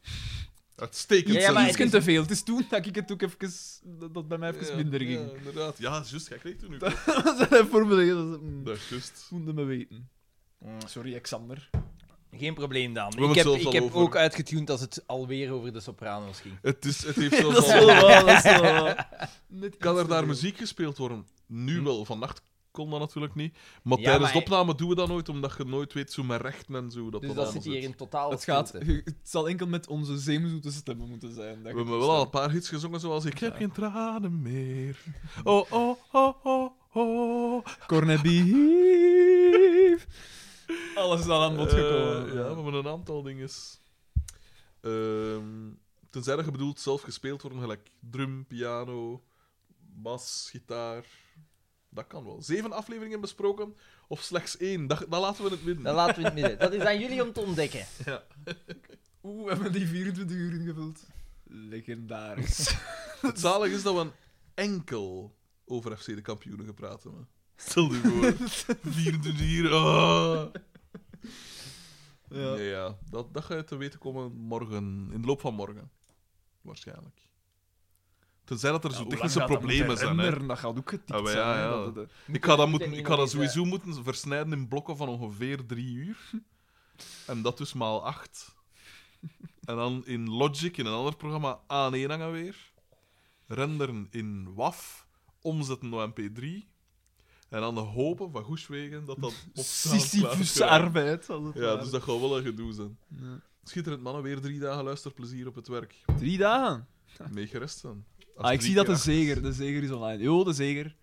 Uitstekend. Ja, Iets, ja, maar zelfs. iets het is- te veel. Het is toen dat ik het ook even... Dat, dat bij mij even Ja, minder ging. Ja, inderdaad. Ja, juist. Jij kreeg toen nu. *laughs* Dat zijn Formule 1. Dat is- mm, Dat is juist. moeten me weten. Mm. Sorry, Xander. Geen probleem, Daan. hebben Ik het heb, zelfs ik al heb over. ook uitgetuned als het alweer over de Sopranos ging. Het, is, het heeft *laughs* *laughs* zelfs Dat is al- wel waar, dat is wel waar. Net iets Kan er te daar veel. muziek gespeeld worden? Nu Hm. wel. Vannacht kon dat natuurlijk niet. Maar Ja, tijdens maar- de opname doen we dat nooit, omdat je nooit weet zo met rechten en zo. Dat Dus dat dat allemaal zit hier in totaal Het, gaat, stilte. je- het zal enkel met onze zeemzoete stemmen moeten zijn. We dat je hebben het wel al een verstaat. paar hits gezongen, zoals Ik heb geen tranen *laughs* meer. Oh, oh, oh, oh, oh. Cornet beef. *laughs* Alles is al aan bod Eh, gekomen. ja, we hebben een aantal dingen. Ehm, tenzij dat je bedoelt zelf gespeeld worden, gelijk drum, piano, bas, gitaar. Dat kan wel. Zeven afleveringen besproken, of slechts één. Dat, dat laten we in het midden. Dat laten we in het midden. Dat is aan jullie om te ontdekken. Oeh, we hebben die 24 uur *laughs* ingevuld. Legendarisch. Het zalig is dat we een enkel over FC de kampioenen gepraat hebben. Stel je voor. 24 hier. ah. Ja, Ja. ja. Dat, dat ga je te weten komen morgen. In de loop van morgen. Waarschijnlijk. Tenzij dat er zo technische problemen zijn. Hè. Dat gaat ook getikt Ah, maar zijn. ja, hè, ja. dat het, eh, *laughs* Ik ga dat, moet moeten, er ik ga dat iemand eens, sowieso moeten versnijden in blokken van ongeveer drie uur. En dat dus maal acht. En dan in Logic, in een ander programma, aan één hangen weer. Renderen in WAF. Omzetten naar MP3. En dan hopen van goeswegen dat dat *laughs* eh, op Sisyphus plaats krijgt. arbeid. als het Ja, ware. dus dat gaat wel een gedoe zijn. Ja. Schitterend, mannen. Weer drie dagen luisterplezier op het werk. Drie dagen. Meegerest dan. Ah, ik zie dat de zeger. De zeger is online. Jo, de zeger.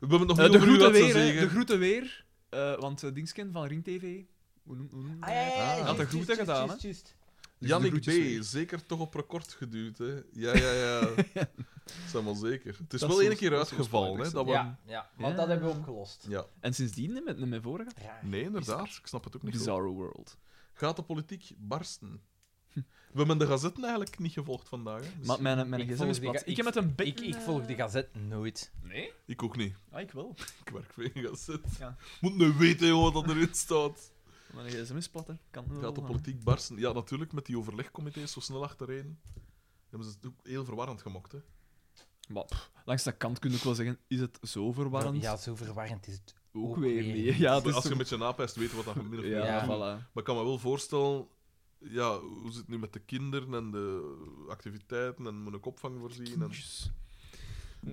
We hebben het nog Eh, niet de over uw groeten laatste weer, hè. zege. De groeten weer. Eh, want uh, Dingsken van Ring TV... Hoe noem, hoe noem- Ah, ja, ja, ja, Ah. juist, Had er juist, goed aan juist, gedaan, juist, juist. Dus de Jannik B. groetjes weer. Zeker toch op record geduwd, hè? Ja, ja, *laughs* ja. Dat is helemaal zeker. Het is Dat wel is één ons- keer dat is ons uitgevallen, hè? Dat we... Ja, ja, want Ja. dat hebben we opgelost. Ja. En sindsdien niet met, niet met vorige. Raar. Nee, inderdaad. Ik snap het ook niet zo. Bizarro World. Gaat de politiek barsten? We hebben de gazetten eigenlijk niet gevolgd vandaag. Hè? Dus Maar mijn, mijn Ik gsm volg is die plat. ga- Ik heb met een bek... Ik, ik volg de gazet nooit. Nee? Ik ook niet. Ah, ik wel. Ik werk veel in gazet. Ja. Moet nu weten, joh, wat erin staat. Mijn gsm is plat, hè. Kan wel, Gaat de hè. politiek barsten? Ja, natuurlijk, met die overlegcomité's zo snel achtereen. Hebben ze het ook heel verwarrend gemokt, hè? Maar pff, langs de kant kun je ook wel zeggen, is het zo verwarrend? Ja, zo verwarrend is het. ook, ook weer weer niet. niet. Ja, Als het is je zo- een beetje napijst, weet je wat dat min of meer ja, Ja. voilà. Maar ik kan me wel voorstellen, ja, hoe zit het nu met de kinderen en de activiteiten en moet ik opvang voorzien? En... Kindjes.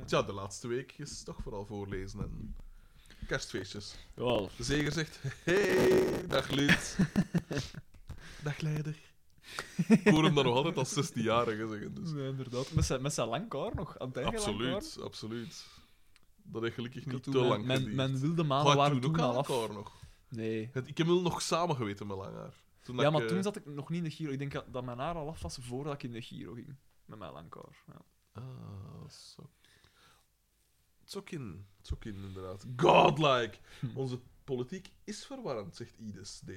Tja, de laatste week is toch vooral voorlezen en kerstfeestjes. Wel, De zeger zegt, hey, dag lid. dag leider. Ik hoor hem dan nog altijd als 16-jarige zeggen. Dus. ja, inderdaad. Met zijn, met zijn lang haar nog. Aan het einde lang haar. Absoluut, absoluut. Dat heeft gelukkig Ik had niet te toen mijn, lang mijn, geduurd. mijn wilde Ah, manen waren toen ook toen aan al af. elkaar nog. Nee. Het- Ik heb wel nog samen geweten met Langaar. Toen ja, ik, maar eh, toen zat ik nog niet in de Giro. Ik denk dat, dat mijn haar al af was voordat ik in de Giro ging. Met mijn lang haar. Ja. Ah, zo. Tsokin. Tsokin, inderdaad. Godlike. Hm. Onze politiek is verwarrend, zegt Ides D.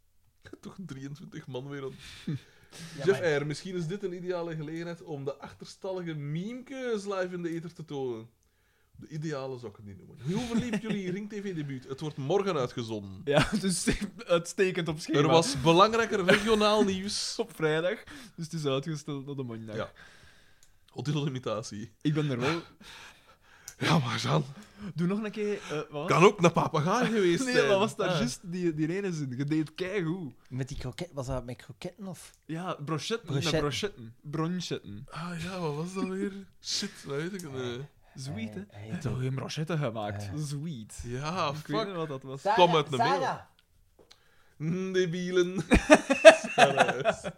*laughs* Toch 23 man weer aan. Ja, Jeff maar- R., misschien is dit een ideale gelegenheid om de achterstallige memekeus live in de ether te tonen. De ideale zou ik het niet noemen. Hoe *laughs* verliep jullie Ring TV-debuut? Het wordt morgen uitgezonden. ja, dus uitstekend op schema. Er was belangrijker regionaal nieuws. op vrijdag, dus het is uitgesteld naar de maandag. Ja. Odillo imitatie. Ik ben er wel. Ja, maar Jean, Doe nog een keer. eh, wat was- kan ook naar papegaai geweest Nee, zijn. dat was daar Ah. juist die, die ene zin. Je deed keigoed. Met die kroket, was dat met kroketten of? Ja, brochetten. Brochetten. Brochetten. brochetten. Bronchetten. Ah ja, wat was dat weer? Shit, dat weet ik niet. Ah. Sweet, hè? Eh, eh, Je hebt toch geen brochetten gemaakt? Sweet. Ja, ik weet fuck. niet wat dat was. Tom uit de *laughs* Mm, Debielen. Sarah is-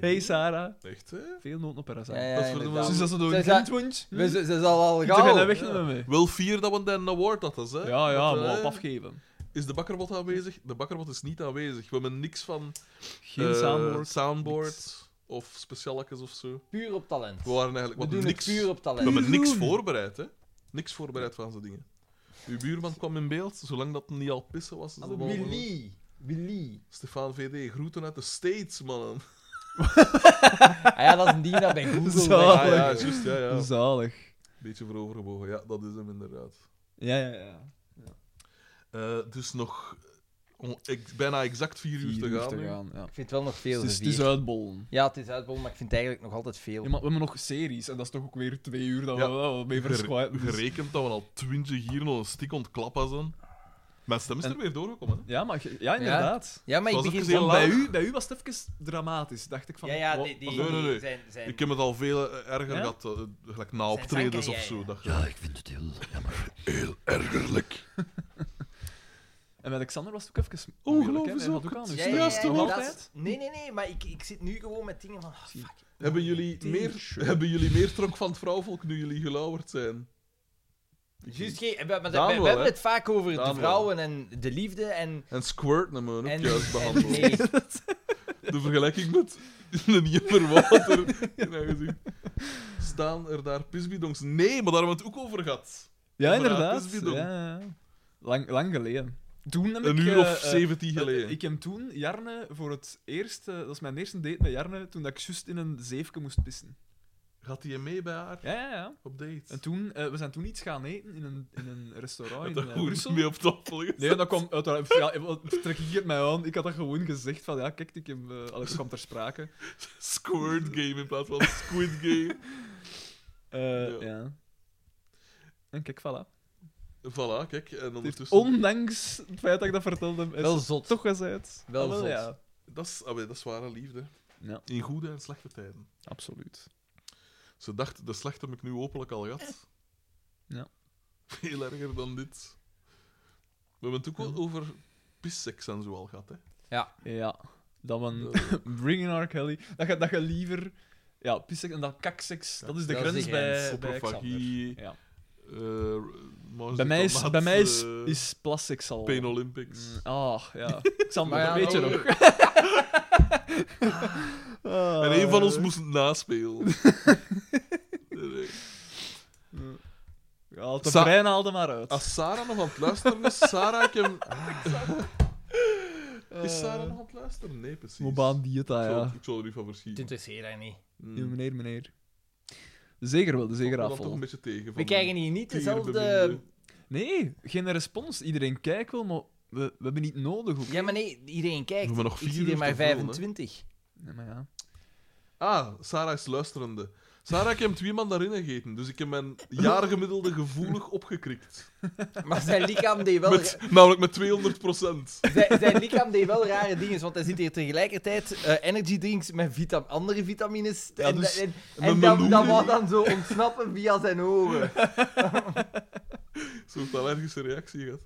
Hey Sarah, Echt, hè? veel nood op haar Ja, ja, zijn. verdomme. inderdaad. Dus dat ze door Ze een zijn- kind woont, We- Ze ze zal al ze gaan gauw. weg met mij. Wel vier dat we dan een award hadden, hè? Ja, ja, Dat, eh, maar op afgeven. Is de bakkerbot aanwezig? De bakkerbot is niet aanwezig. We hebben niks van Geen eh, samenwoord. soundboard niks. of specialekes of zo. Puur op talent. We waren eigenlijk We wat doen het niks. puur We op talent. hebben niks doen. voorbereid, hè? Niks voorbereid van zijn dingen. Uw buurman kwam in beeld, zolang dat niet al pissen was. is dat allemaal wel- Willy. Willy. Stefan VD, groeten uit de States, *laughs* mannen. Ah ja, dat is een die *laughs* dat bij Google Zo. Ah, weg. ja, juist, ja, Dus- ja. Zalig. Beetje voorovergebogen, ja, dat is hem inderdaad. Ja, ja, ja. Eh, dus nog on- ex- bijna exact vier uur te Vier gaan. nu. ja. Ik vind het wel nog veel. Dus Het is, de het is vier. uitbollen. Ja, het is uitbol, maar ik vind het eigenlijk nog altijd Ja, veel. maar we hebben nog series en dat is toch ook weer twee uur dat we Ja. wel mee Gere- verschuiven. dus- Gerekend dat we al twintig hier nog een stik ontklappen zijn. Mijn stem is En- er weer doorgekomen. hè. Ja, maar ge- ja, inderdaad. Ja, maar ik Zoals begin ik zei, wel- Want bij, u, bij u was het even dramatisch, dacht ik van. Ja, ja, wa- die, die, Nee, nee, nee. zijn... zijn... Ik heb het al veel eh, erger Ja? gehad, eh, gelijk na optredens zanker, of zo. ja, ja. Dat, ik vind het heel ergerlijk. En met Alexander was het ook even. Ongelooflijk moeilijk, hè. Hij had zoekend. ook aan, dus Ja, ja, dat- ja, Juist, ja, nog hoor. dat- altijd. Nee, nee, nee, maar ik, ik zit nu gewoon met dingen van... ah, fuck. Hebben jullie, meer, T-shirt. hebben jullie meer trok van het vrouwvolk nu jullie gelauwerd zijn? Juist, geen- we, we- we- we Daan wel, hebben hè? het vaak over Daan de vrouwen en de liefde en... En squirt hem ook en, juist en- behandeld. nee. De vergelijking met *laughs* een jumper water in haar gezicht. Staan er daar pisbidongs? Nee, maar daar hebben we het ook over gehad. Ja, Maar dat inderdaad. is bidon. Ja, ja. Lang, lang geleden. Toen heb Een ik, uur eh, of eh, zeventien eh, geleden. Ik heb toen Jarne voor het eerst, eh, dat is mijn eerste date met Jarne, toen dat ik juist in een zeefje moest pissen. Gaat hij mee bij haar Ja, ja, ja. op dates? En toen, eh, we zijn toen iets gaan eten in een, in een restaurant in dat eh, goed Brussel. mee op tafel gezet. Nee, dat kwam uiteraard... Ja, eh, wat trek ik het mij aan? Ik had dat gewoon gezegd van, ja, kijk, ik heb... eh, alles kwam ter sprake. Squirt Game in plaats van Squid Game. *laughs* Eh, Ja. ja. En kijk, voilà. voilà, kijk. En ondertussen... Ondanks het feit dat ik dat vertelde, is Wel het zot. toch gezegd. Wel Ah, zot. Ja, Dat, is, ah, wel, dat is ware liefde. Ja. In goede en slechte tijden. absoluut. Ze dacht, de slechte heb ik nu openlijk al gehad. Ja. Veel erger dan dit. We hebben het ook wel over pisseks en zo al gehad, Eh, hè. Ja, dat man... *laughs* Bring in R. Kelly. Dat je, dat je liever... Ja, pisseks en dan kakseks. dat is de dat is de grens, bij, grens. bij Xander. Propagie, Ja. eh, Mars Bij mij is, Diplomaat, bij mij is, eh, is plastic al... Pain Olympics. Mm, Ah, *laughs* ja. Xander, Maar ja, dat weet je nou, nog. eh, En een van ons moest het naspelen. *laughs* Nee, nee. Ja, het Sa- brein haalde maar uit. Als Sarah nog aan het luisteren is, Sarah, ik hem... Is Ah, Sarah nog aan het luisteren? Nee, precies. Hoe baan die het, ah, Ik zal- ja. Ik zal er niet van Het verschieten. interesseert haar niet. Mm. Ja, meneer, meneer. Zeker wel, de Ik zeker vond dat toch afval. een beetje tegen. van We krijgen hier niet een dezelfde... tierbeminde. Nee, geen respons. Iedereen kijkt wel, maar we, we hebben niet nodig. oké? Ja, maar nee, iedereen kijkt. We hebben nog Ik vier zie er uur maar te vullen, hè. 25. Nee, maar ja. Ah, Sarah is luisterende. Sarah, ik heb twee man daarin gegeten, dus ik heb mijn jaargemiddelde gevoelig opgekrikt. Maar zijn lichaam deed wel... Met, namelijk met 200 Zijn, zijn lichaam deed wel rare dingen, want hij zit hier tegelijkertijd eh, energy drinks met vitam andere vitamines. Ja, en dus en, met en dat, meloen. dat wou dan zo ontsnappen via zijn oren. Een soort allergische reactie gehad.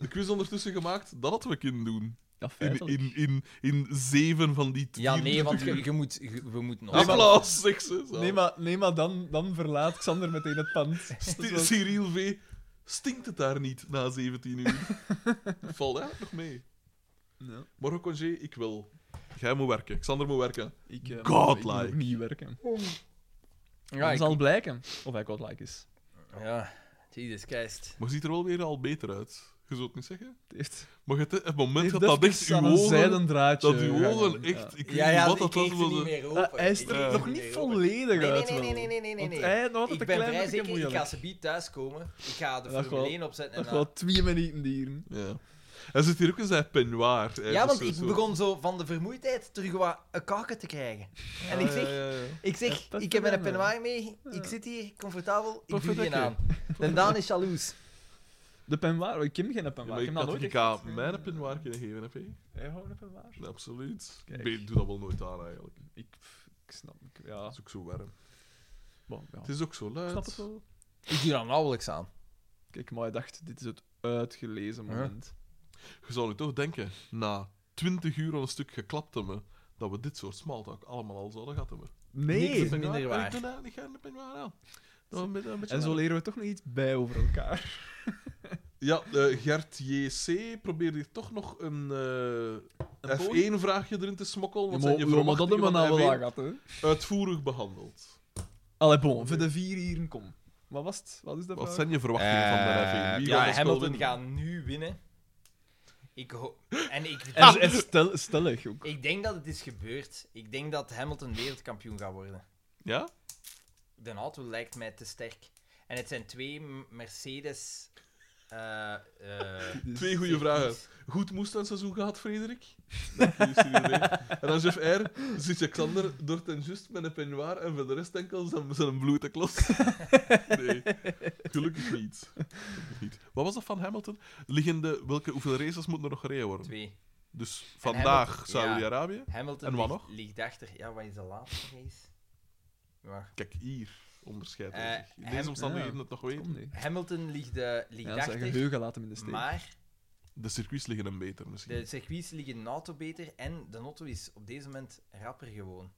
De quiz ondertussen gemaakt, dat hadden we kunnen doen. Ja, In, feitelijk. in, in, in zeven van die Ja, nee, want 24 *laughs* je, uur. je moet, je- we moeten nog... Applaus, seksen. Nee, maar, nee, maar dan, dan verlaat Xander meteen het *laughs* pand. Dat is wel- Cyril V. Stinkt het daar niet na 17 uur? *laughs* Valt eigenlijk nog mee. Ja. Morgen congé, ik wil. Jij moet werken. Xander moet werken. Ik, eh, Godlike. ik moet ook niet werken. Ja, dan ik- zal blijken of hij godlike is. ja, Jesus Christ. Maar je ziet er wel weer al beter uit. Je zult het niet zeggen. Het heeft, Maar het, het moment heeft dat dat echt even uw aan een ogen... zijden draadje Dat uw ogen gehangen. Ja. echt... Ik weet Ja, ja, niet ik wat dat kreeg was. ze maar niet ze- meer open. Ah, hij is er Ik kreeg Ja. nog ze niet meer open. volledig Nee, nee, uit. nee, wel. nee, nee, nee, nee, nee. Want hij had altijd Ik een ben klein vrij beetje zeker, ik moeilijk. ga ze biet thuiskomen. Ik ga de Dat Formule wel. 1 opzetten en Dat dan... gaat twee minuten dieren. Ja. Hij zit hier ook in zijn peignoir. Hij Ja, is want zo- ik zo- begon zo van de vermoeidheid terug wat een kaken te krijgen. En ik Ja, zeg, ja, ja. ik, Ja, zeg, dat ik heb mijn gedaan, peignoir mee, ik zit hier, comfortabel, ik duw die Perfect, aan. *laughs* En Daan is jaloers. De penwaar, ik ken geen Ja, penwaar. maar ik ik heb dat had nooit ik echt... ga mijn peignoir kunnen geven, heb je? Jij houdt een penwaar? Ja, Absoluut. Kijk. Ik doe dat wel nooit aan, eigenlijk. Ik, pff, ik snap, ik, ja. Het is ook zo warm. Bon, ja. Het is ook zo Ah. Ik luid. snap het wel. Ik doe dat nauwelijks aan. Kijk, maar ik dacht, dit is het uitgelezen Ja. moment. Je zou nu toch denken, na 20 uur aan een stuk geklapt hebben, dat we dit soort smalltalk allemaal al zouden gehad hebben. Niks Nee! is minder Ik ben waar. daar- Ik ben daar- ik ga er niet waar aan. Dat we een beetje- een beetje En zo waar. leren we toch nog iets bij over elkaar. Ja, eh, Gert JC probeert hier toch nog een, eh, F1-vraagje erin te smokkelen. Want zijn je dat verwachtingen hebben we van nou wel F1 gehad, hè. uitvoerig behandeld. Allee, bon, voor de vier hier, kom. Wat was het? Wat is dat Wat vraag? zijn je verwachtingen van de Eh, F1? Wie gaat ja, het spel Hamilton winnen? gaat nu winnen. Ik ho- en ik, En, en stel, stellig ook. ik denk dat het is gebeurd. Ik denk dat Hamilton wereldkampioen gaat worden. Ja? De auto lijkt mij te sterk. En het zijn twee M- Mercedes... eh, eh, Dus- *laughs* Twee goede vragen. Goed moestuinseizoen gehad, Frederik? Dank je, Cyril Rey. en dan Jeff R. zit je Xander door ten just met een peignoir en voor de rest enkel zijn, zijn blote klos. nee, gelukkig niet. Gelukkig niet. Wat was dat van Hamilton? Liggende, welke, hoeveel races moeten er nog gereden worden? Twee. Dus vandaag Hamilton, ja. Saudi-Arabië. Hamilton En wat ligt, nog? ligt achter. Ja, wat is de laatste race? Wacht. Kijk, hier onderscheidt Eh, hij zich. In deze Ham- omstandigheden ja. het nog Kom, weten. nee. Hamilton ligt, eh, ligt Ja, zijn achter, geheugen laat hem in de steek. maar De circuits liggen hem beter misschien. de circuits liggen een auto beter en de auto is op deze moment rapper gewoon.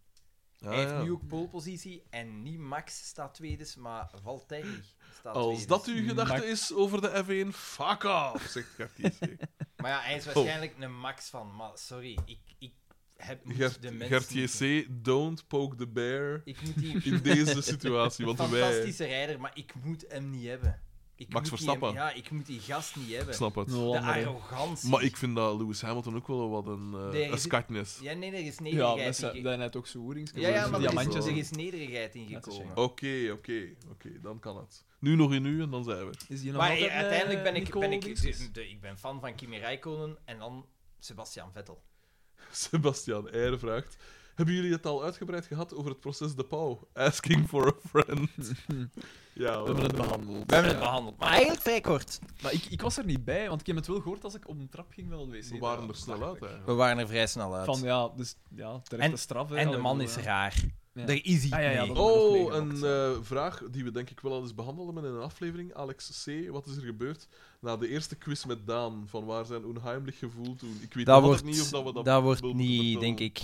Ah, Hij heeft ja. nu ook polepositie en niet Max staat tweede, maar Valtteri staat Als tweede. dat uw gedachte Max- is over de F1, fuck off, zegt Gert JC. Maar ja, hij is Oh. waarschijnlijk een Max van. Maar sorry, ik, ik heb moet Gert, de mens Gert niet- JC, don't poke the bear Ik moet die *laughs* in deze situatie. *laughs* Want wij... fantastische rijder, maar ik moet hem niet hebben. Ik ik Max moet die Verstappen. hem- ja, ik moet die gast niet hebben. Ik snap het. Nul De andere. arrogantie. Maar ik vind dat Lewis Hamilton ook wel wat een, eh Nee, een is- skatje is. Ja, nee, er is Ja, nederigheid dat in ge- zijn net ook zo hoerings. Ja, ja, zo'n maar er is, diamantjes. er Is, is nederigheid Ja, in dat is Oh, gekomen. jammer. Oké, oké, oké, dan kan het. Nu nog in u en dan zijn we. die nog Maar altijd, eh, uiteindelijk ben ik, Nicole ben ik, Dinges? de- de- ik ben fan van Kimi Räikkönen en dan Sebastian Vettel. *laughs* Sebastian Eyre vraagt... Hebben jullie het al uitgebreid gehad over het proces De Pauw? Asking for a *laughs* friend. ja, We wel. hebben het behandeld. We hebben het behandeld, maar eigenlijk vrij kort. Maar ik, ik was er niet bij, want ik heb het wel gehoord als ik op een trap ging wel wc. we waren Ja, er snel dacht uit, ik. eigenlijk. We waren er vrij snel uit. Van ja, dus ja, terechte En- straf. hè. en de Allee, man ik is bedoel, raar. ja. Er is iets Ah, ja, ja, mee. dat- Oh, nog een meegemaakt. eh, vraag die we denk ik wel al eens behandeld hebben in een aflevering. Alex C., wat is er gebeurd na de eerste quiz met Daan? Van waar zijn onheimlich gevoel toen? Ik weet dat nog altijd wordt, niet of dat we dat... dat wordt wel moeten niet, vertellen. denk ik,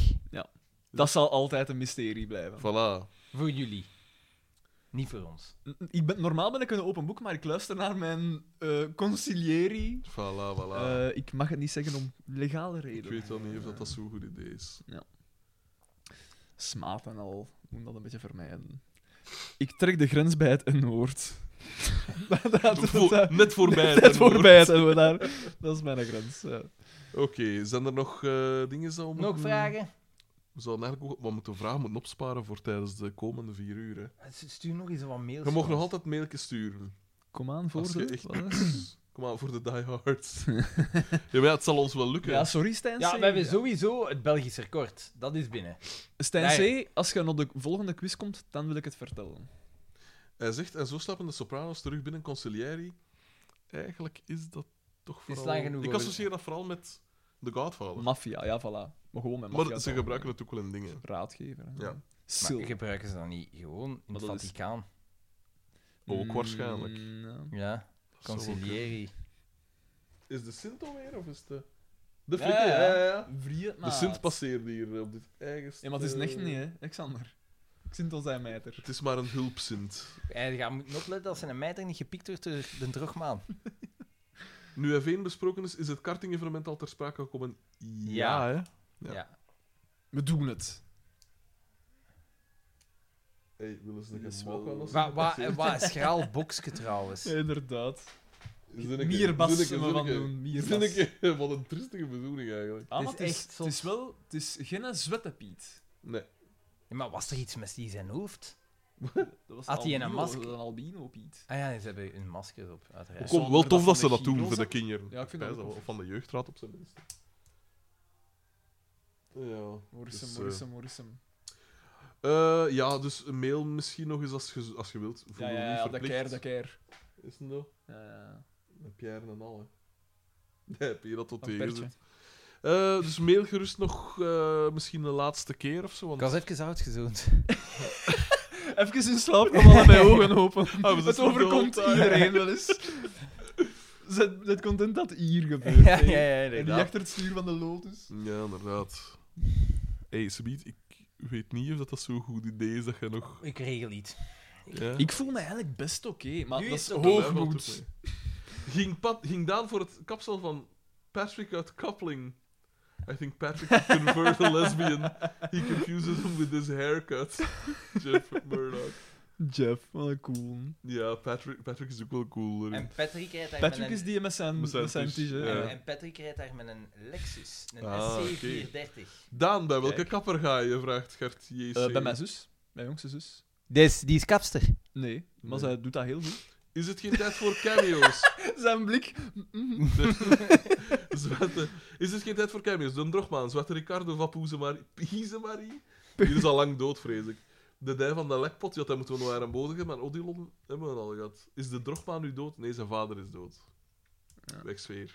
Dat zal altijd een mysterie blijven. Voilà. voor jullie. Niet voor ons. N- Ik ben, normaal ben ik een open boek, maar ik luister naar mijn eh conciliëring. Voilà, voilà. Eh, ik mag het niet zeggen om legale ik redenen. weet wel niet of dat, dat zo'n goed idee is. Smaad en al. Ik Moet dat een beetje vermijden. Ik trek de grens bij het N-woord. dat, *laughs* dat, Voor- dat- net *laughs* *laughs* voorbij. net dan, hoor. voorbij het N-woord. daar. Dat is mijn grens. ja. Oké, zijn er nog eh, dingen zo? Nog vragen? We zouden eigenlijk ook wat moeten vragen moeten opsparen voor tijdens de komende vier uur. Hè. Stuur nog eens wat mails. Je mag nog altijd mailtjes sturen. Kom aan, voor Als je de... echt- wat is- *clears throat* Kom maar, voor de diehards. *laughs* ja, maar ja, het zal ons wel lukken. Ja, sorry, Stijn Ja, C. we hebben sowieso het Belgisch record. Dat is binnen. Stijn C, als je naar de volgende quiz komt, dan wil ik het vertellen. Hij zegt, en zo slapen de Sopranos terug binnen Conciliari. Eigenlijk is dat toch is vooral... lang genoeg ik over- associeer dat vooral met The Godfather. Maffia, ja, voilà. Maar gewoon met maffia. maar ze gebruiken het ook wel in dingen. Raadgever. hè. Ja. Sil. Maar gebruiken ze dan niet gewoon in Maar het dat is- Vaticaan? Ook waarschijnlijk. Mm, ja. Ja, Dat zou wel conciliëri. Is de Sint alweer, of is de... De Ja, flikker, ja, ja, ja. ja. ja. Vrie het De maat. Sint passeerde hier eh, op dit eigen... Ja, maar het is eh, echt niet, hè, Alexander. Ik zit al zijn mijter. Het is maar een hulpsint. En je gaat moeten opletten dat zijn mijter niet gepikt wordt door de drogmaan. Nu F1 besproken is, is het karting-evenement al ter sprake gekomen? Ja. hè? Ja. Ja. We doen het. Hey, willen ze Dat een is smoke wel- aan ons? Wat wa, *laughs* wa, een schraal boksje trouwens. inderdaad. Zin ik- Mierbas zin ik- zullen we zin van ik- doen, mierbas. zin ik- Wat een triestige bedoeling, eigenlijk. Ah, maar Het is het, is, echt het is zot. wel... Het is geen zwette Piet. Nee. Ja, maar was er iets met die zijn hoofd? Dat was Had hij een albino- masker? Een albino Piet. Ah ja, ze hebben hun masker op, uiteraard. Kom, Zonder wel Kom, wel dat tof tof dat dat van ze de dat doen gyros- voor de kinderen. Ja, ik vind dat Bij ze- ook. Of van de jeugdraad, op zijn minst. Ja. Morrison, Dus, eh, Morrison, Morrison. Eh, ja, dus een mail misschien nog eens als je, als je wilt. Voel Ja, je ja, niet ja, dat verplicht. keer, dat keer. Is het nou? Ja, ja. Een Pierre en al, hè. *laughs* Nee, heb je dat tot Een tegen pertje. zit. Eh, dus mail gerust nog eh, misschien de laatste keer of zo. Want... Ik was even uitgezoend. Even in slaap komen, alle *laughs* mijn ogen open. Ah, we het zitten op de overkomt hoogte. iedereen wel *laughs* eens. *laughs* Zet, zet content dat *laughs* hier gebeurt. ja, ja, hè. ja, en die inderdaad. achter het stuur van de Lotus. Ja, inderdaad. Hé, hey, Sabiet, ik weet niet of dat, dat zo'n goed idee is dat je nog... Ik regel iets. Ja? Ik voel me eigenlijk best oké, maar Nu dat is is het oké. hoogmoed. Ging, Pat, ging Daan voor het kapsel van Patrick uit Coupling. I think Patrick could *laughs* convert a lesbian. He confuses him with his haircut. Jeff Murdoch. Jeff, wat een cool. Ja, Patrick, Patrick is ook wel cool. hè. En Patrick rijdt daar Patrick met is een... die met zijn, Met zijn met zijn Eh, tige, tige, ja. ja. En, en Patrick rijdt daar met een Lexus, een Ah, SC430. Daan, bij welke Kijk. kapper ga je? Vraagt Gert JC. Eh, bij mijn zus, mijn jongste zus. Dus die is kapster. Nee, maar Nee. zij doet dat heel goed. Is het geen tijd voor cameo's? *laughs* Zijn blik. Zwarte. Is het geen tijd voor cameo's? De Drogman, Zwarte Ricardo, Vapoeze Marie. Pieze Marie? Die is al lang dood, vrees ik. De dij van de lekpot, ja, dat moeten we nog aan bodig hebben. Maar Odilon hebben we al gehad. Is de Drogman nu dood? Nee, zijn vader is dood. Ja. Wegsfeer.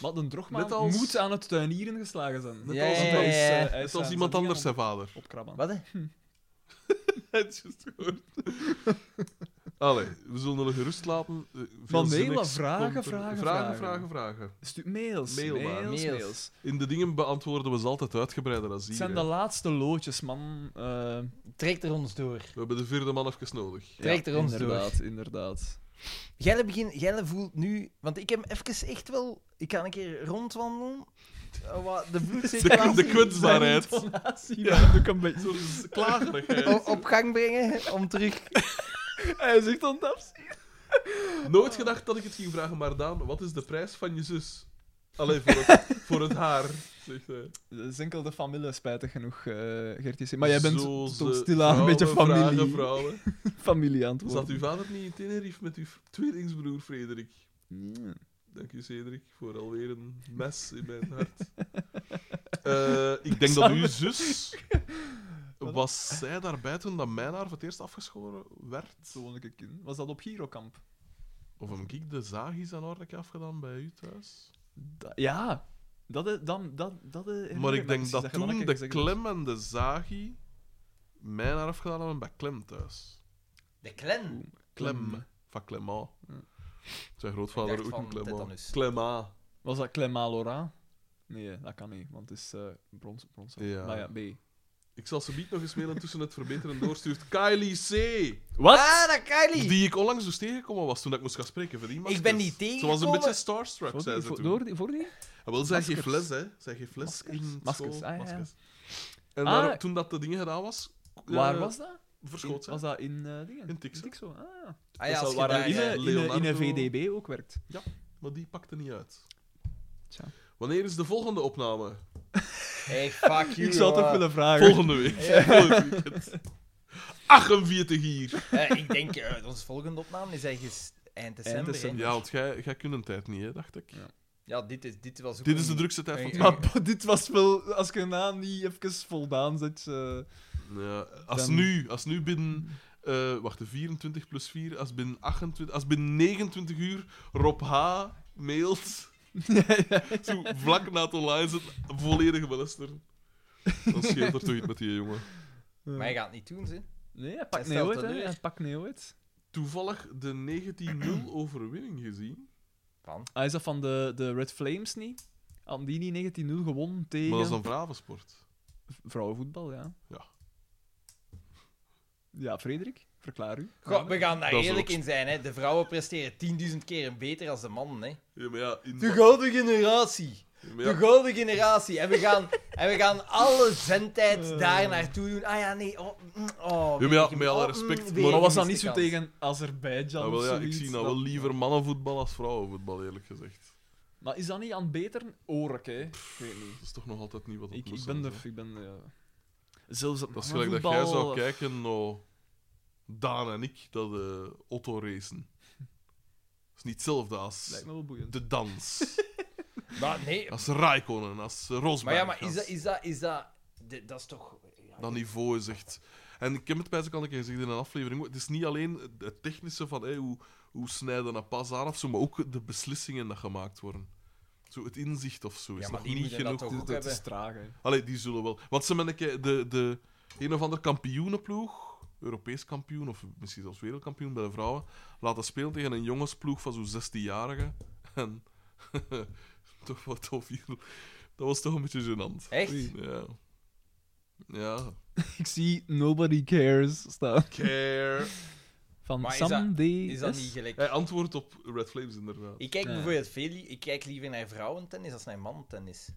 Maar de drogman Net als- moet aan het tuinieren geslagen zijn. Ja, ja, ja, ja. eh, hij Net is Het zijn- was zijn iemand dingen anders aan- zijn vader. Opkrabben. Wat? hè? Het is juist gehoord. Allee, we zullen hem gerust laten. Eh, veel Maar nee, zinnigs maar vragen, komt er- vragen, vragen. vragen. Vragen, vragen. Stu- mails, Mail mails, maar. mails, Mails. In de dingen beantwoorden we ze altijd uitgebreider dan Het hier. zijn hè. de laatste loodjes, man. Eh, Trekt er ons door. We hebben de vierde man even nodig. Trekt er ons door. inderdaad, Inderdaad, Jelle, begin, Jelle voelt nu... Want ik heb even echt wel... Ik kan een keer rondwandelen. Eh, wat- De *laughs* De, bloedcirculatie de *laughs* *laughs* kwetsbaarheid. inderdaad. Ja, doe ik een beetje. Oh, Zo'n klagerigheid. o- op gang brengen om terug... Hij zegt dan dat. Nooit gedacht dat ik het ging vragen, maar Daan, wat is de prijs van je zus? Allee, voor *laughs* het, voor het haar, zegt hij. Dat Eh, is enkel de familie, spijtig genoeg, eh Gertje. Maar jij bent Zo toch ze stilaan een beetje vrouwen familie, vragen, vrouwen. familie aan het Zat worden. uw vader niet in Tenerife met uw tweelingsbroer Frederik? Ja. Dank u, Cedric, voor alweer een mes in mijn hart. *laughs* Eh, ik denk dat Samen- uw zus... Was zij daarbij toen dat mijn haar voor het eerst afgeschoren werd? Zo woon ik een kind. Was dat op Girokamp? Of heb ik de zaagjes aan orde afgedaan bij u thuis? Da- ja. Dat, is- dan, dat, dat is- herinner Maar me ik denk precies, dat je dan een toen keer de gezegd hebt. klem en de zagie mijn haar afgedaan hebben bij Klem thuis. De Klen. Klem. Van Clema. Zijn Ik grootvader ook dacht een van Clema. tetanus. Clema. Was dat Clemalorin? Nee, dat kan niet, want het is eh brons. brons Ja. Maar ja, B. Ik zal ze nog eens mailen tussen het verbeteren en *laughs* doorstuurt. Kylie C. Wat? Ah, dat Kylie! Die ik onlangs dus tegengekomen was toen ik moest gaan spreken. Voor die Ik maskers. ben niet Ze was een tegengekomen. beetje starstruck, Voor zei die, ze voor, toen. door die, voor die? Ah, wel, zij Maskers. geeft les, hè. Zij geeft les Maskers. in Maskers, school. ah, ja, ja. Maskers. En Ah. daar- toen dat de dingen gedaan was... eh, Waar was dat? Verschoot was zij. dat in eh dingen? In Tixo. Ah, ja. Ah ja, dat als is je waar daar, Ine eh, in, Leonardo- in een VDB ook werkt. Maar die pakte niet uit. Tja. Wanneer is de volgende opname? Hey, fuck you. Ik zou toch jongen. willen vragen. *laughs* Volgende week. Volgend weekend. 48 hier. Eh, ik denk, eh, onze volgende opname is ergens eind december. hè. december. Ja, want jij, jij kunt een tijd niet, hè, dacht ik. Ja. Ja, dit, is, dit was ook Dit is de een- drukste tijd van het Hey, *laughs* jaar. Maar bo- dit was wel, als je na niet even voldaan zit. *laughs* eh, Ja, als, Dan- nu, als nu binnen... eh, wacht, de 24 plus 4. Als binnen, 28, als binnen 29 uur Rob H. mailt... *laughs* Zo vlak na het online zit, volledig belasteren. Dan scheelt er toch iets met die jongen. Maar hij gaat het niet doen, ze. Nee, hij Hij pakt stelt Neeuwit, dat nu hè? Hij echt. pakt Neeuwit. Toevallig de 19-0 overwinning gezien. Van. Hij Ah, is dat van de, de Red Flames niet? Hadden die niet 19-0 gewonnen Maar dat is tegen dan Bravensport. v- vrouwenvoetbal, ja. Ja. Ja, Frederik, verklaar u. Goh, we gaan daar Dat is eerlijk ook- in zijn, hè. De vrouwen presteren 10.000 keer beter als de mannen, hè. Ja, maar ja, in De gouden generatie. maar ja, De gouden generatie. En we gaan, *laughs* en we gaan alle zendtijd daar naartoe doen. Ah ja, nee. Oh, mm, oh, Ja, maar ja, weer- met alle oh, respect, mm, maar- weer Maar was dat niet gemiste zo kans. tegen Azerbeidzjan? Ah, wel, of ja, ik zoiets? zie nou wel liever mannenvoetbal als vrouwenvoetbal, eerlijk gezegd. Maar is dat niet aan het beter? Ork, hè? Ik weet niet. Dat is toch nog altijd niet wat het Ik, moest ik ben de... zijn, hè. Ik ben de ja. Zelfs dat Dat is gelijk dat jij zou kijken naar Daan en ik, dat eh auto racen. Dat is niet hetzelfde als Lijkt me wel boeiend. *laughs* de dans. Maar nee. als Raikkonen, als Rosberg. Maar ja, maar is als- dat... Is dat, is dat, de- dat is toch... ja, Dat niveau is echt... En ik heb het bij kan ik gezegd in een aflevering. ook, Het is niet alleen het technische van hey, hoe, hoe snijden een pas aan of zo, maar ook de beslissingen die gemaakt worden. Zo het inzicht of zo is Ja, maar nog die niet moeten dat genoeg. toch ook Het is- Het is hebben. traag, hè. Allee, die zullen wel. Want ze hebben een keer de, de een of ander kampioenenploeg, Europees kampioen of misschien zelfs wereldkampioen bij de vrouwen, laten spelen tegen een jongensploeg van zo'n 16-jarige. *laughs* En toch wat tof hier. Dat was toch een beetje gênant. Echt? Oei. Ja. Ja. Ik zie Nobody Cares staan. Care. Van Maar is dat- Someday. Is dat S. niet gelijk? Hij antwoordt op Red Flames, inderdaad. Ik kijk Ja. bijvoorbeeld veel... li- Ik kijk liever naar vrouwentennis als naar mannentennis.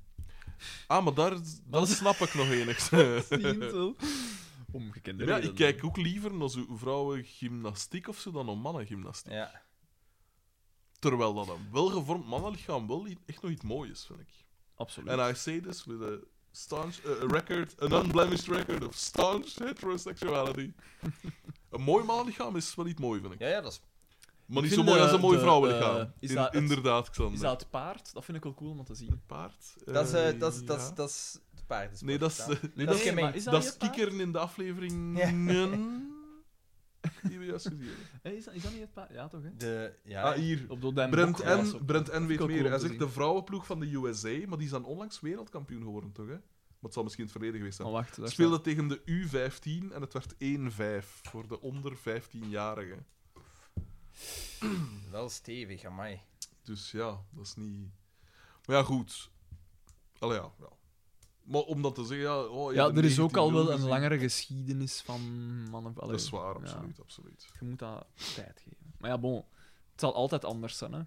Ah, maar daar, dat snap ik nog *laughs* enigszins. Zien, *laughs* zo. Omgekende Ja, ik redenen. kijk ook liever naar zo'n vrouwengymnastiek of zo dan naar mannengymnastiek. Ja. Terwijl dat een welgevormd mannenlichaam wel i- echt nog iets moois is, vind ik. Absoluut. En I say this with a staunch eh, a- a record, an unblemished record of staunch *laughs* heterosexuality. een mooi mannenlichaam is wel iets mooi, vind ik. Ja, ja, dat is... Maar niet Ik zo vind mooi als de- een mooi de, vrouwenlichaam. eh, is In- dat het- inderdaad, Xander. Is dat het paard? Dat vind ik wel cool om dat te zien. het paard? Dat is, eh, Eh, dat is, dat is, ja. dat is het paard. Nee, dat is, eh, Nee, dat is gemengd. maar is dat, dat je is paard? kikkeren in de aflevering. *laughs* Die we juist gezien hebben. Hé, Is dat, is dat niet het paard? Ja, toch, hè? de, ja, Ah, hier. Op dat Brent N, Brent N ook weet cool meer. om Hij te zegt zien. de vrouwenploeg van de USA, maar die is dan onlangs wereldkampioen geworden, toch? Hè? Maar het zal misschien in het verleden geweest Maar zijn. wacht, daar Speelde tegen de U15 en het werd 1-5 voor de onder 15-jarigen. wel stevig, amai. Dus ja, dat is niet. Maar ja, goed. Allee, ja, ja. Maar om dat te zeggen, ja. Oh, staat- je hebt Ja, de er is ook al 19-0 wel een gezien. langere geschiedenis van mannen... Dat is Allee, waar, ja. absoluut. absoluut. Je moet dat tijd geven. Maar ja, bon. Het zal altijd anders zijn, hè.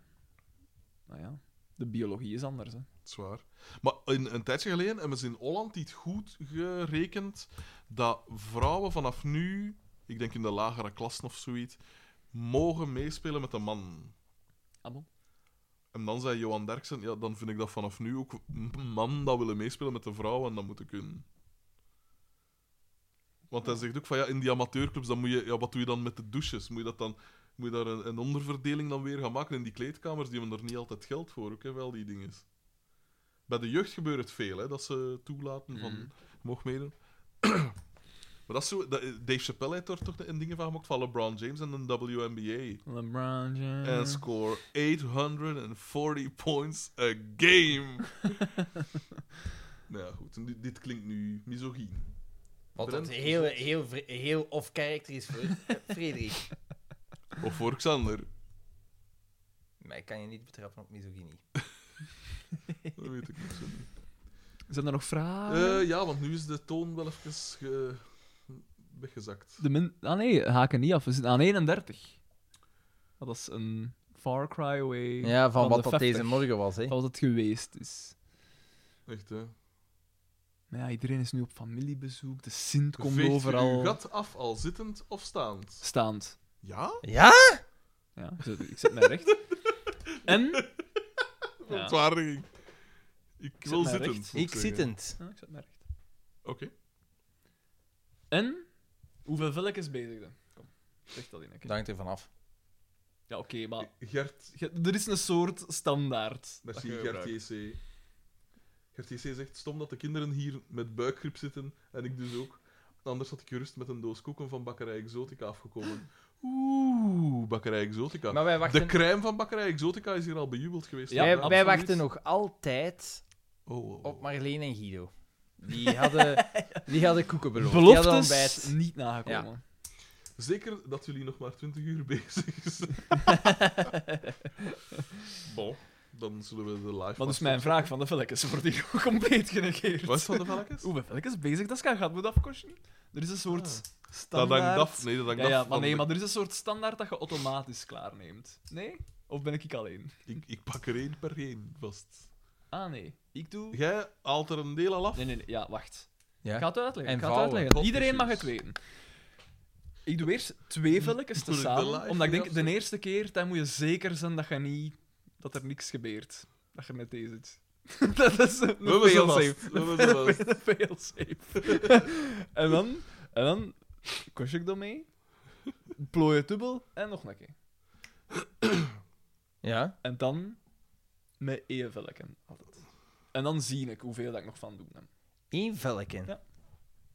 Nou ja, de biologie is anders, hè. Zwaar. Maar een, een tijdje geleden hebben ze in Holland iets goed gerekend dat vrouwen vanaf nu, ik denk in de lagere klassen of zoiets, mogen meespelen met de man. Ah, bon. En dan zei Johan Derksen, ja, dan vind ik dat vanaf nu ook een man dat willen meespelen met de vrouw en dat moeten kunnen. Want hij zegt ook van ja, in die amateurclubs, dan moet je, ja, wat doe je dan met de douches? Moet je, dat dan, moet je daar een, een onderverdeling dan weer gaan maken in die kleedkamers? Die hebben er niet altijd geld voor, ook hè, wel die dingen. Bij de jeugd gebeurt het veel, hè, dat ze toelaten van, Mhm. mocht meedoen. *clears throat* maar dat is zo, dat, Dave Chappelle heeft er toch een dingen van gemaakt van LeBron James en een WNBA. LeBron James. and score 840 *laughs* points a game. nou ja, goed. En dit, dit klinkt nu misogyn. Wat Brent, dat heel, heel, vre- heel off-character is voor *laughs* eh, Frederik. Of voor Xander. *laughs* Maar ik kan je niet betrappen op misogynie. Dat weet ik niet zo. niet. Zijn er nog vragen? Eh, ja, want nu is de toon wel even ge- weggezakt. De min... Ah nee, haken niet af. We zitten aan 31. Dat is een Far Cry Away. Ja, van wat de dat 50. deze morgen was, hè. Dat was het geweest is. Echt, hè. Maar ja, iedereen is nu op familiebezoek. De Sint komt Veegt je overal. uw gat af, al zittend of staand? Staand. Ja? Ja? Ja, ik zet- ik zet mij *laughs* recht. En... Ja. Ontwaardiging. Ik wil mij zittend. recht. moet Ik zeggen. zittend. Ja, ik zet mij recht. Oké. En... Hoeveel velkens bezigde? Kom, zeg dat in een keer. Dank ervan af. Ja, oké, maar... Gert, je- Er is een soort standaard. dat Merci, je Gert gebruikt. JC. Gert JC zegt, stom dat de kinderen hier met buikgriep zitten, en ik dus ook. Anders had ik gerust met een doos koeken van Bakkerij Exotica afgekomen. Oeh, Bakkerij Exotica. Maar wij de wachten, crème van Bakkerij Exotica is hier al bejubeld geweest. Nou, Ja, wij, vandaag. wij absoluut. wachten nog altijd Oh, oh, oh. op Marleen en Guido. Die *laughs* hadden, die hadden koeken beloofd. Die hadden ontbijt. Beloftes niet nagekomen. Zeker dat jullie nog maar 20 uur bezig *laughs* *laughs* zijn. bon, dan zullen we de live... Maar dus mijn vraag van de velkens wordt hier ook compleet genegeerd. Wat is van de velkens? Hoeveel velkens bezig dat gaat, gaat moet afkosten. Er is een soort Ah. Dat standaard... hangt af. Nee, dat hangt ja, ja, af maar van nee, de- maar er is een soort standaard dat je automatisch klaarneemt. Nee? Of ben ik ik alleen? Ik, ik pak er één per één vast. Ah, nee. Ik doe... Jij haalt er een deel al af. Nee, nee, nee. Ja, wacht. Ik ga Ja. het uitleggen. En ik ga het vouwen. uitleggen. Pot Iedereen mag het issues. weten. Ik doe eerst twee velkens Moet ik de tezamen, live omdat ik hier denk, de eerste keer, dan moet je zeker zijn dat, je niet, dat er niks gebeurt. Dat je net deze zit. *laughs* dat is een We hebben ze failsafe. vast. We hebben ze *laughs* vast. Een failsafe. *laughs* en dan, en dan kost ik dat mee, plooi het dubbel en nog een keer. ja. En dan met één velken. Altijd. En dan zie ik hoeveel dat ik nog van doe. heb. Eén velken. Ja.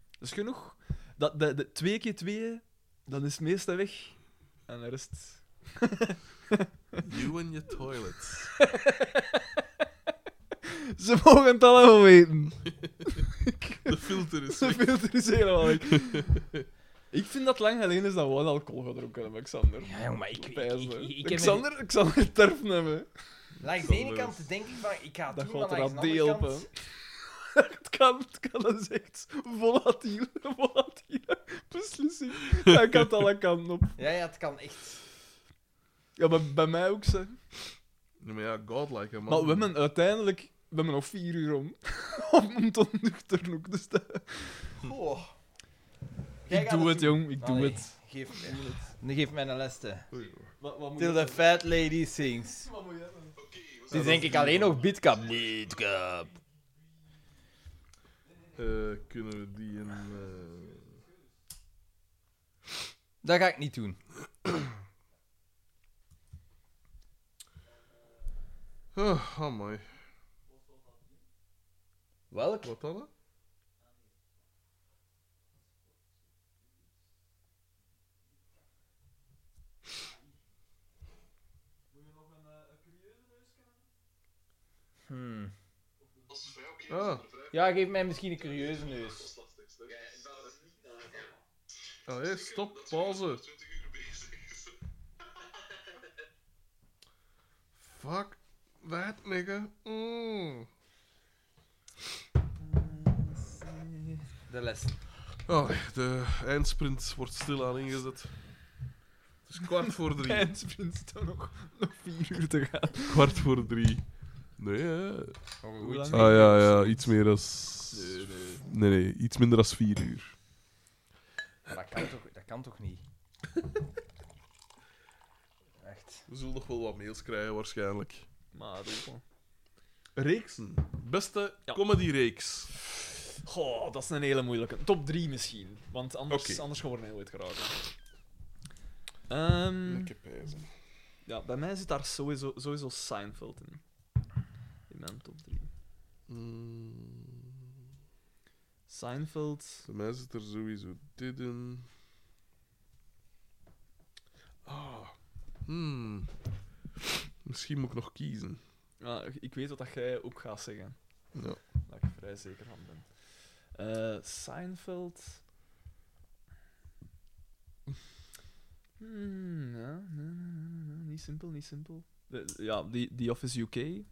Dat is genoeg. Dat, de, de, twee keer twee, dan is het meeste weg. En de rest... You and your toilets. Ze mogen het allemaal weten. De filter *laughs* is Ze weg. filter is helemaal weg. Ik vind dat lang geleden is dat we al alcohol gedronken hebben, Xander. Ja, jongen, maar ik- ik- Pijs, hè. ik- ik heb- Xander, Xander terf hebben. Langs de Zal ene wel kant denk ik van, ik ga het Dat doen, gaat maar er langs aan de andere deel op, kant... Het kan, het kan, dat is echt volatiele, *laughs* volatiele beslissing. Hij kan het alle kanten op. Ja, ja, het kan echt. Ja, maar bij mij ook, ze. Nee, maar ja, godlike, hè, man. Maar we hebben uiteindelijk we hebben nog vier uur om, *laughs* om, om te ontnuchteren ook. Dus dat- Oh. ik doe het, jong. Ik doe het. Geef, mij- geef mij een les te. Oei, oei. Wat, wat moet Till the fat lady sings. Dus denk ik alleen nog Beatcap. Beatcap. Eh, kunnen we die in... eh, Dat ga ik niet doen. Oh, amai. Welk? Wat dan? hè? Hmm. Ah, Ja, geef mij misschien een curieuze neus. allee, Ah, stop, pauze. Fuck that, nigga. Mm. De les. Allee, Oh, de eindsprint wordt stilaan ingezet. Het is kwart voor *laughs* drie. En sprint dan nog, nog vier uur te gaan. Kwart voor drie. Nee, hè. Hoe lang? Ah ja, ja, iets meer als. Nee, nee. Nee, nee, iets minder als vier uur. *laughs* Dat kan toch, dat kan toch niet? We zullen nog wel wat mails krijgen, waarschijnlijk. Maar opa. Reeksen. Beste Ja. comedy-reeks. Goh, dat is een hele moeilijke. Top 3 misschien. Want anders, Oké. anders gaan we er nooit geraken. Ehm, Lekker pijzen. ja, bij mij zit daar sowieso, sowieso Seinfeld in. In mijn top 3. Seinfeld. Bij Mm. mij zit er sowieso dit in. Ah. Hmm. Misschien moet ik nog kiezen. Ja, ik weet wat dat jij ook gaat zeggen. Ja. Daar ik vrij zeker van ben. Eh, Seinfeld. Hmm, ja, nee, nee, nee, nee, niet simpel, niet simpel. De- ja, die, die Office UK.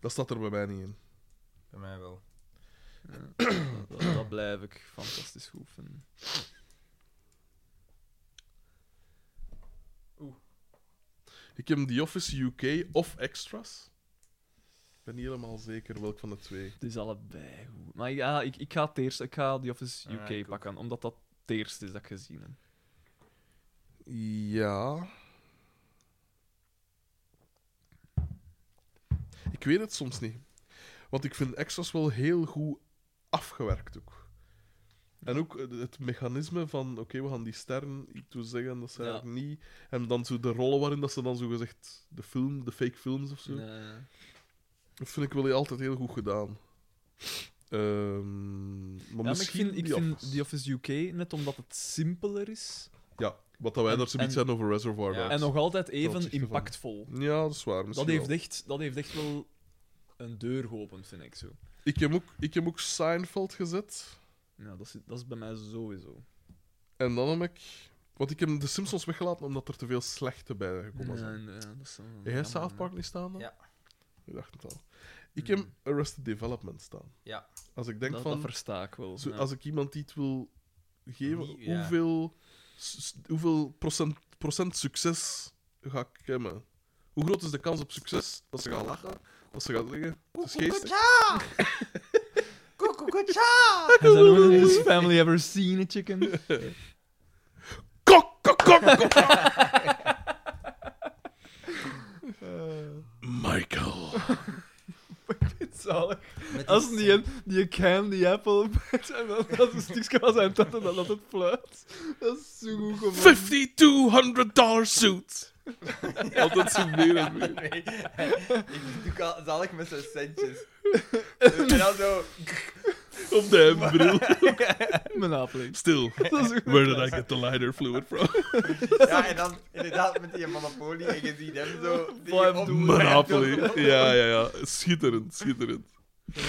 Dat staat er bij mij niet in. Bij mij wel. Ja, dat, dat blijf ik fantastisch goed vinden. Ik heb The Office UK of Extras. Ik ben niet helemaal zeker welk van de twee. Het is allebei goed. Maar ja, ik, ik ga het eerst, ik ga die Office Ah, UK ik ook. pakken, omdat dat het eerste is dat ik gezien heb. Ja. Ik weet het soms niet. Want ik vind Extras wel heel goed afgewerkt ook. En ook eh, het mechanisme van, oké, we gaan die sterren iets toe zeggen, dat zijn Ja. eigenlijk niet. En dan zo de rollen waarin dat ze dan zo gezegd de film, de fake films of zo. Nee. Dat vind ik wel altijd heel goed gedaan. Ehm, maar Ja, maar ik misschien vind, ik The vind Office. die Office UK, net omdat het simpeler is, Ja, wat dat wij En- daar zoiets en- zijn over Reservoir Ja. Dogs. en nog altijd even opzichte van- impactvol. Ja, dat is waar. Dat misschien heeft, wel. echt, dat heeft echt wel een deur geopend, vind ik zo. Ik, heb ook, ik heb ook Seinfeld gezet. Ja, dat is, dat is bij mij sowieso. En dan heb ik... Want ik heb de Simpsons weggelaten omdat er te veel slechte bij gekomen zijn. Nee, nee, eh, dat is een- Heb jij jammer, South hè. Park niet staan dan? Ja. Ik dacht het al. Ik heb Hmm. Arrested Development staan. Ja. Als ik denk dat, van... dat versta ik wel. zo- ja. *laughs* Als ik iemand iets wil geven, Niet- ja. hoeveel, s- s- hoeveel procent, procent succes ga ik hebben? Hoe groot is de kans op succes dat ze gaan lachen? Dat ze gaan zeggen, het is geestig. Has anyone in this family ever seen a *laughs* chicken? Kok, kok, kok, kok. Michael. Zalig. *laughs* Met Als die die, een- die candy apple *laughs* pakt en dan dat een stukje was zijn tanden en dan dat het fluit. Dat is zo goed gevonden. $5,200 suit. Altijd zo meer en meer. *laughs* Nee, ik doe al, zal ik met zijn *laughs* centjes. en dan zo... Op de hembril. Mijn apeling. Still, where did I get the lighter fluid from? Ja, en dan inderdaad met die monopolie en je ziet hem zo... Blijf op- doen. Monopoly. Ja, ja, ja. Schitterend, schitterend. Ja.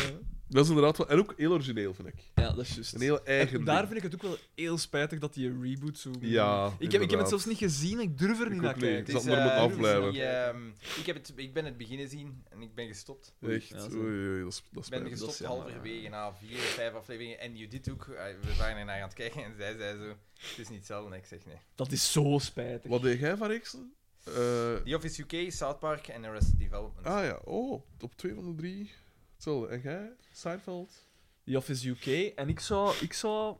Dat is inderdaad wel... En ook heel origineel, vind ik. Ja, dat is juist. Een heel eigen Daar ding. vind ik het ook wel heel spijtig dat die reboot zo... Ja, ik, heb, ik heb inderdaad. het zelfs niet gezien, ik durf er Ik niet ook naar niet. kijken. Ik zal Het is, maar eh, moeten afblijven. die, ehm, ik, heb het, ik ben het beginnen zien en ik ben gestopt. Echt, Ja, zo. oei, oei, dat is, dat is Ik ben pijnlijk. dat is gestopt jammer, halverwege na vier, vijf afleveringen. En Judith ook. eh, We waren ernaar aan het kijken en zij zei zo... Het is niet hetzelfde. En ik zeg nee. Dat is zo spijtig. Wat deed jij van Reeksen? Eh, The Office UK, South Park en Arrested Development. ah ja, oh, op twee van de drie. Hetzelfde. En jij? Seinfeld? The Office UK. En ik zou... Ik zou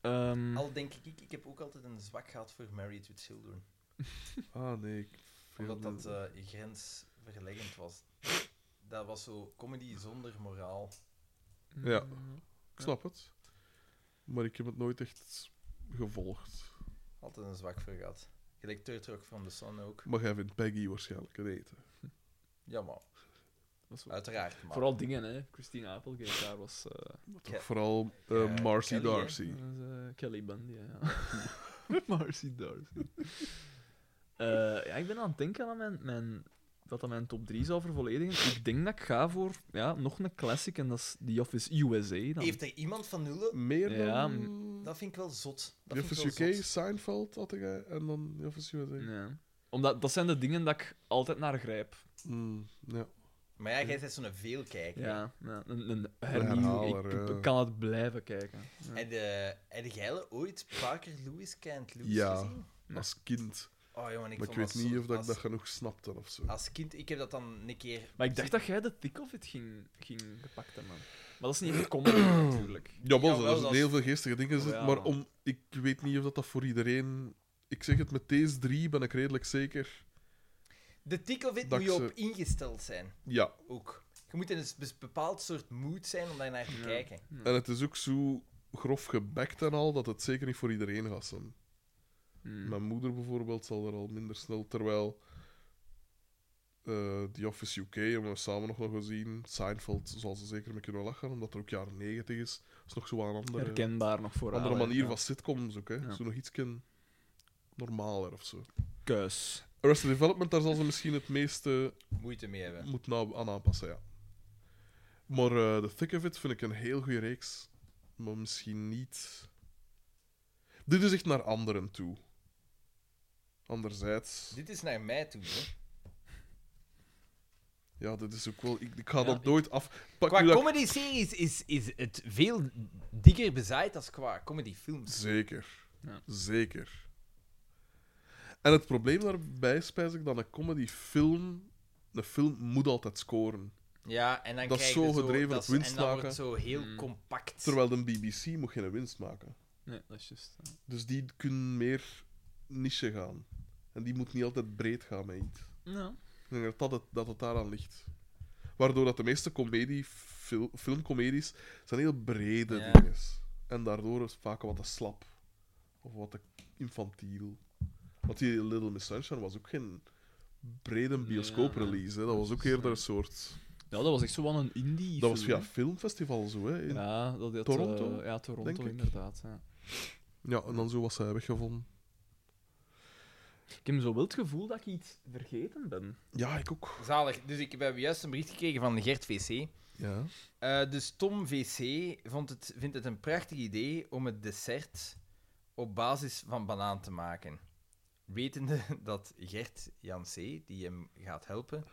ehm, Al denk ik, ik heb ook altijd een zwak gehad voor Married with Children. Ah, nee. ik- veel Omdat dat minder. eh grensverleggend was. Dat was zo comedy zonder moraal. Ja. Mm. Ik snap het. Maar ik heb het nooit echt gevolgd. Altijd een zwak voor gehad. Gelijk Turtrok van de Sun ook. Maar jij vindt Peggy waarschijnlijk een eten. Ja, maar dat is wel- uiteraard. Maar. Vooral dingen, hè. Christine Applegate, daar was... eh, Ja. Toch vooral eh Ja, Marcy Kelly, hè. Darcy. Dat is, eh, Kelly Bundy, ja. *laughs* Marcy Darcy. Eh, ja, ik ben aan het denken aan mijn, mijn, dat dat mijn top 3 zou vervolledigen. Ik denk dat ik ga voor ja, nog een classic, en dat is The Office USA. Dan. Heeft er iemand van nullen? Meer Ja, dan... Dat vind ik wel zot. The Dat vind ik Office wel UK, zot. Seinfeld had ik eh, en dan The Office USA. Ja. Omdat dat zijn de dingen dat ik altijd naar grijp. Mm, ja. Maar ja, jij bent zo'n veelkijker. Ja, ja, een, een eh. hernieuwing. herhaler, Ik, ja. ik kan het blijven kijken. Ja. En de, heb jij ooit Parker Lewis Kent Lewis Ja. gezien? Als kind. Oh jongen, ik maar ik vond weet dat niet zo- of dat ik als, Ah. dat genoeg snapte of zo. als kind, ik heb dat dan een keer... Maar ik dacht dat jij de thick of it ging, ging gepakt hebben. Maar dat is *clears throat* niet echt comedy, natuurlijk. Jawel, Jawel, er dat zijn is- Oh, heel veel geestige dingen. zitten, Ja, maar man. om, ik weet niet of dat, dat voor iedereen... ik zeg het, met deze drie ben ik redelijk zeker. De tick of it Dat moet je ik ze- op ingesteld zijn, Ja, ook. Je moet in een bes- bepaald soort mood zijn om daar naar te kijken. en het is ook zo grof gebekt en al dat het zeker niet voor iedereen gaat zijn. Mijn moeder bijvoorbeeld zal er al minder snel, terwijl eh The Office UK hebben we samen nog wel gezien. Seinfeld zal ze zeker mee kunnen lachen, omdat er ook jaren 90 is. Dat is nog zo een andere, Herkenbaar nog voor andere haar, manier ja. van sitcoms ook. Hè. Ja. Zo nog iets normaler of zo. Kuis. Arrested Development, daar zal ze misschien het meeste Moeite mee hebben. moet nou aan aanpassen, ja. Maar eh The Thick of It vind ik een heel goede reeks. Maar misschien niet... Dit is echt naar anderen toe. Anderzijds... Dit is naar mij toe, hè. Ja, dit is ook wel... Ik, ik ga Ja, dat nooit af... Pak nu Qua dat... comedy-series is, is het veel dikker bezaaid als qua comedy-films. Zeker. Ja. Zeker. En het probleem daarbij is, spijs ik, dat een comedyfilm... Een film moet altijd scoren. Ja, en dan Dat is krijg zo je gedreven dat op is- En dan winstlagen. wordt het zo heel Mm. compact. Terwijl de BBC moet geen winst maken. Nee, dat is juist. ja. Dus die kunnen meer niche gaan. En die moet niet altijd breed gaan met iets. Ja. Ik denk dat dat het, dat het daaraan ligt. Waardoor dat de meeste comedie, fil- filmcomedies zijn heel brede Ja. dingen. En daardoor is het vaak wat te slap. Of wat te infantiel. Want die Little Miss Sunshine was ook geen brede Nee, bioscooprelease. hè. Dat was ook is, eerder eh, een soort... ja, dat was echt zo wel een indie Dat was film, via filmfestival zo, hè. hè. In- Ja, dat had, Toronto, eh, ja, Toronto, denk ik. inderdaad. Ja. Ja, en dan zo was hij weggevonden. Ik heb zo wel het gevoel dat ik iets vergeten ben. Ja, ik ook. Zalig. Dus ik heb juist een bericht gekregen van Gert VC. Ja. Eh, dus Tom VC vond het, vindt het een prachtig idee om het dessert op basis van banaan te maken. Wetende *laughs* dat Gert Jan C., die hem gaat *laughs* helpen,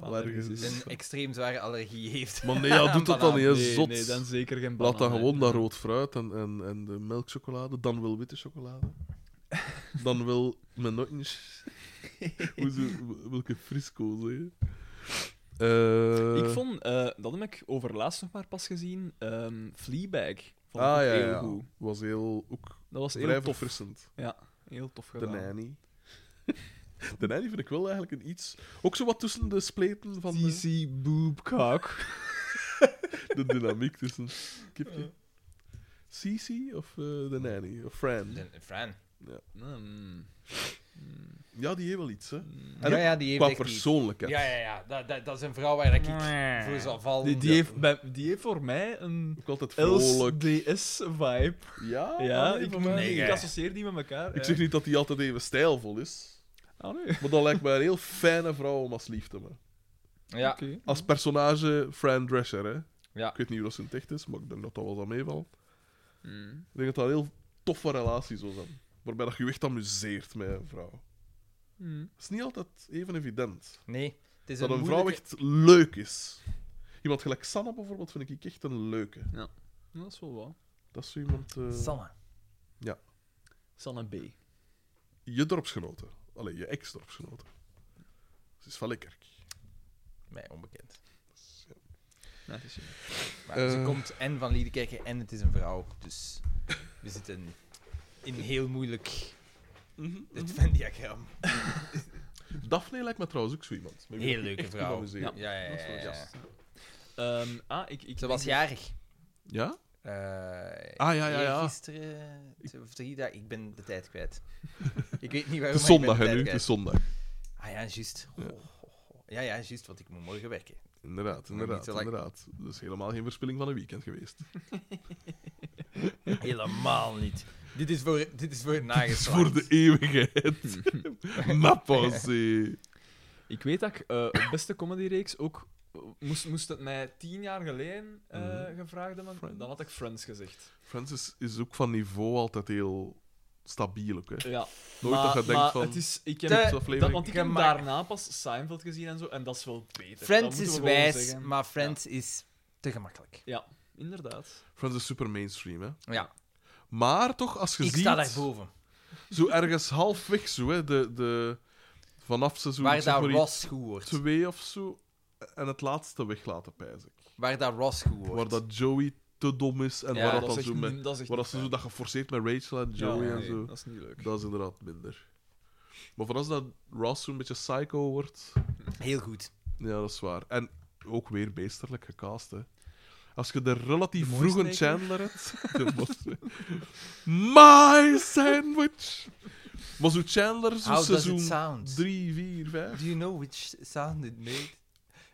Allergisch is- een extreem zware allergie heeft. Maar nee, *laughs* ja, doet dat dan niet, hè, Ah, nee, zot. nee, dan zeker geen Laat banaan, dan hè. gewoon dat rood fruit en, en, en de melkchocolade, dan wel witte chocolade. *laughs* Dan wel menotjes. Hoe ze- welke frisco zeggen. Eh, Ik vond, eh, dat heb ik overlaatst nog maar pas gezien, ehm Fleabag. Vond ik ah, ook ja, heel ja. goed. was heel, ook Dat was vrij heel tof. verfrissend. Heel tof De gedaan. nanny. *laughs* De nanny vind ik wel eigenlijk een iets... Ook zo wat tussen de spleten van de, TC Boob Cock. de dynamiek tussen kipje. Cici of eh, de nanny? Of Fran? De- Fran. Hmm. Mm. Mm. Ja, die heeft wel iets, hè. En Ja, ook ja, die heeft Qua echt iets. persoonlijkheid. Ja, ja, ja. Dat, dat, dat is een vrouw waar ik voor zal vallen. Die, die, Ja. heeft bij- die heeft voor mij een Ook altijd vrolijk. LSDS-vibe. Ja, ja, nee, ik, voor mij ik niet. Oh, Nee, ja. associeer die met elkaar. Ik zeg niet dat hij altijd even stijlvol is, Ah, nee. maar dat lijkt mij een heel fijne vrouw om als lief te hebben. Ja. Oké. Als personage Fran Drescher, hè. Mhm. Ja. Ik weet niet hoe dat zijn echt is, maar ik denk dat dat wel aan meevalt. Mm. Ik denk dat dat een heel toffe relatie zou zijn, waarbij dat je je echt amuseert met een vrouw. Mm. Dat is niet altijd even evident. Nee. Het is dat een een vrouw moeilijke- echt leuk is. Iemand gelijk Sanne bijvoorbeeld vind ik echt een leuke. Dat is wel wat. Nou, Dat is zo iemand... eh, Sanne. Sanne B. je dorpsgenoten. Allee, je ex-dorpsgenoten. Ze is van Lekkerk. Mij onbekend. Ja, het is hier. Maar Eh. ze komt en van Liedekerken en het is een vrouw. Dus we zitten in een heel moeilijk *laughs* het Venn-diagram. Dus Daphne lijkt me trouwens ook zo iemand. Met wie Heel ik me leuke echt vrouw. kan amuseren. Ja, ja, ja. Dat is wel ja, ja. juist, ja. Ehm, ah, ik, ik Ze was denk dat- jarig. Ja? Eh Ah, ja, ja, ja. Gisteren, twee of drie dagen. Ik ben de tijd kwijt. ik weet niet waarom. maar ik ben Het is zondag, hè, de tijd nu. Het kwijt. is zondag. Ah ja, juist. Oh, oh, oh. Ja, ja, juist, want ik moet morgen werken. Inderdaad, niet inderdaad, zo lang. inderdaad. Dat is helemaal geen verspilling van een weekend geweest. Helemaal niet. Dit is voor, dit *laughs* is voor het Het is nageslacht. voor de *laughs* eeuwigheid. Ma *laughs* pensée. Ik weet dat ik eh, op beste comedyreeks ook... eh, Moest, moest het mij tien jaar geleden eh, Mhm. gevraagd hebben, Friends. dan had ik Friends gezegd. Francis is ook van niveau altijd heel stabiel, ook, hè. Ja. Nooit maar, dat je denkt maar van... Het is, ik heb, Te- "Zo'n dat, aflevering." want ik heb Gemak. daarna pas Seinfeld gezien en zo, en dat is wel beter. Dat Friends moeten we is gewoon wijs, zeggen. maar Friends is te gemakkelijk. Inderdaad. Francis is super mainstream, hè. Ja, Maar toch, als je ik ziet... sta daarboven. Zo ergens halfweg, zo, hè. De, de, vanaf seizoen Waar ik zeg dat maar, Ross goed wordt. twee of zo. En het laatste weglaten, pijs ik. Waar dat Ross goed wordt. Waar dat Joey te dom is en Ja, waar dat, dat dan is zo echt met... niet- dat is echt Waar dat niet ze zo fijn. dat geforceerd met Rachel en Joey Ja, en nee, zo. Dat is niet *laughs* leuk. Dat is inderdaad minder. Maar vooral als dat Ross zo'n beetje psycho wordt... Heel goed. Ja, dat is waar. En ook weer beesterlijk gecast, hè. Als je de relatief De vroege mooiste eigenlijk. Chandler hebt... *laughs* de mooiste. My sandwich! Maar zo Chandler, zo How does it seizoen sound? 3, 4, 5... Do you know which sound it made?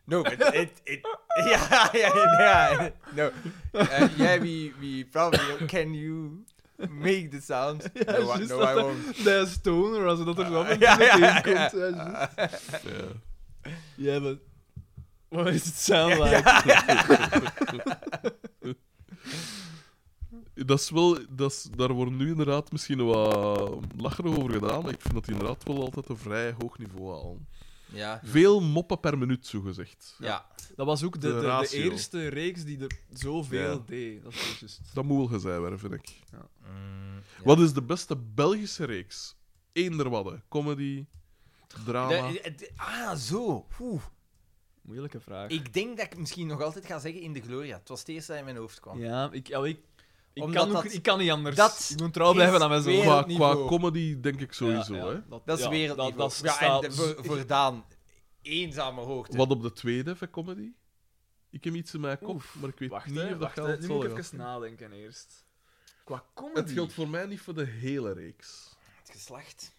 No, but it... it *laughs* ja, ja, ja. No. Uh, yeah, we, we probably... Can you make the sound? no, I- juist no, dat I dat- won't. De stoner, als dat er dan Ah, meteen ja, ja, ja, komt. ja. ja, juist. Ja. Ja, maar... Wat is het sound Ja, like? *laughs* Dat is wel, dat is, daar wordt nu inderdaad misschien wat lachen over gedaan, maar ik vind dat die inderdaad wel altijd een vrij hoog niveau halen. Ja. Veel moppen per minuut, zogezegd. Ja. Dat was ook de, De de, de ratio. eerste reeks die er zoveel Ja. deed. Dat is juist. Dat moet wel gezegd worden, vind ik. Mm, ja. Wat is de beste Belgische reeks? Eender wadde. Comedy, drama. De- de- de- ah, zo. Oeh. Moeilijke vraag. Ik denk dat ik misschien nog altijd ga zeggen in de Gloria. Het was het eerste dat in mijn hoofd kwam. Ja, ik, ja, ik, ik, Omdat kan ook- dat- ik kan niet anders. dat ik moet trouw blijven is aan mijn zoon. weer- Qua, wereldniveau. qua comedy denk ik sowieso. Ja, ja, hè. Dat is ja, weer dat, dat ja, staat- en de- voor, voor Daan, eenzame hoogte. Wat op de tweede van comedy? Ik heb iets in mijn kop, Oef, maar ik weet Wacht, niet hè, of dat wacht, geldt. hè. Nu Zal moet ik wel even nadenken eerst. Qua comedy... Het geldt voor mij niet voor de hele reeks. Het geslacht.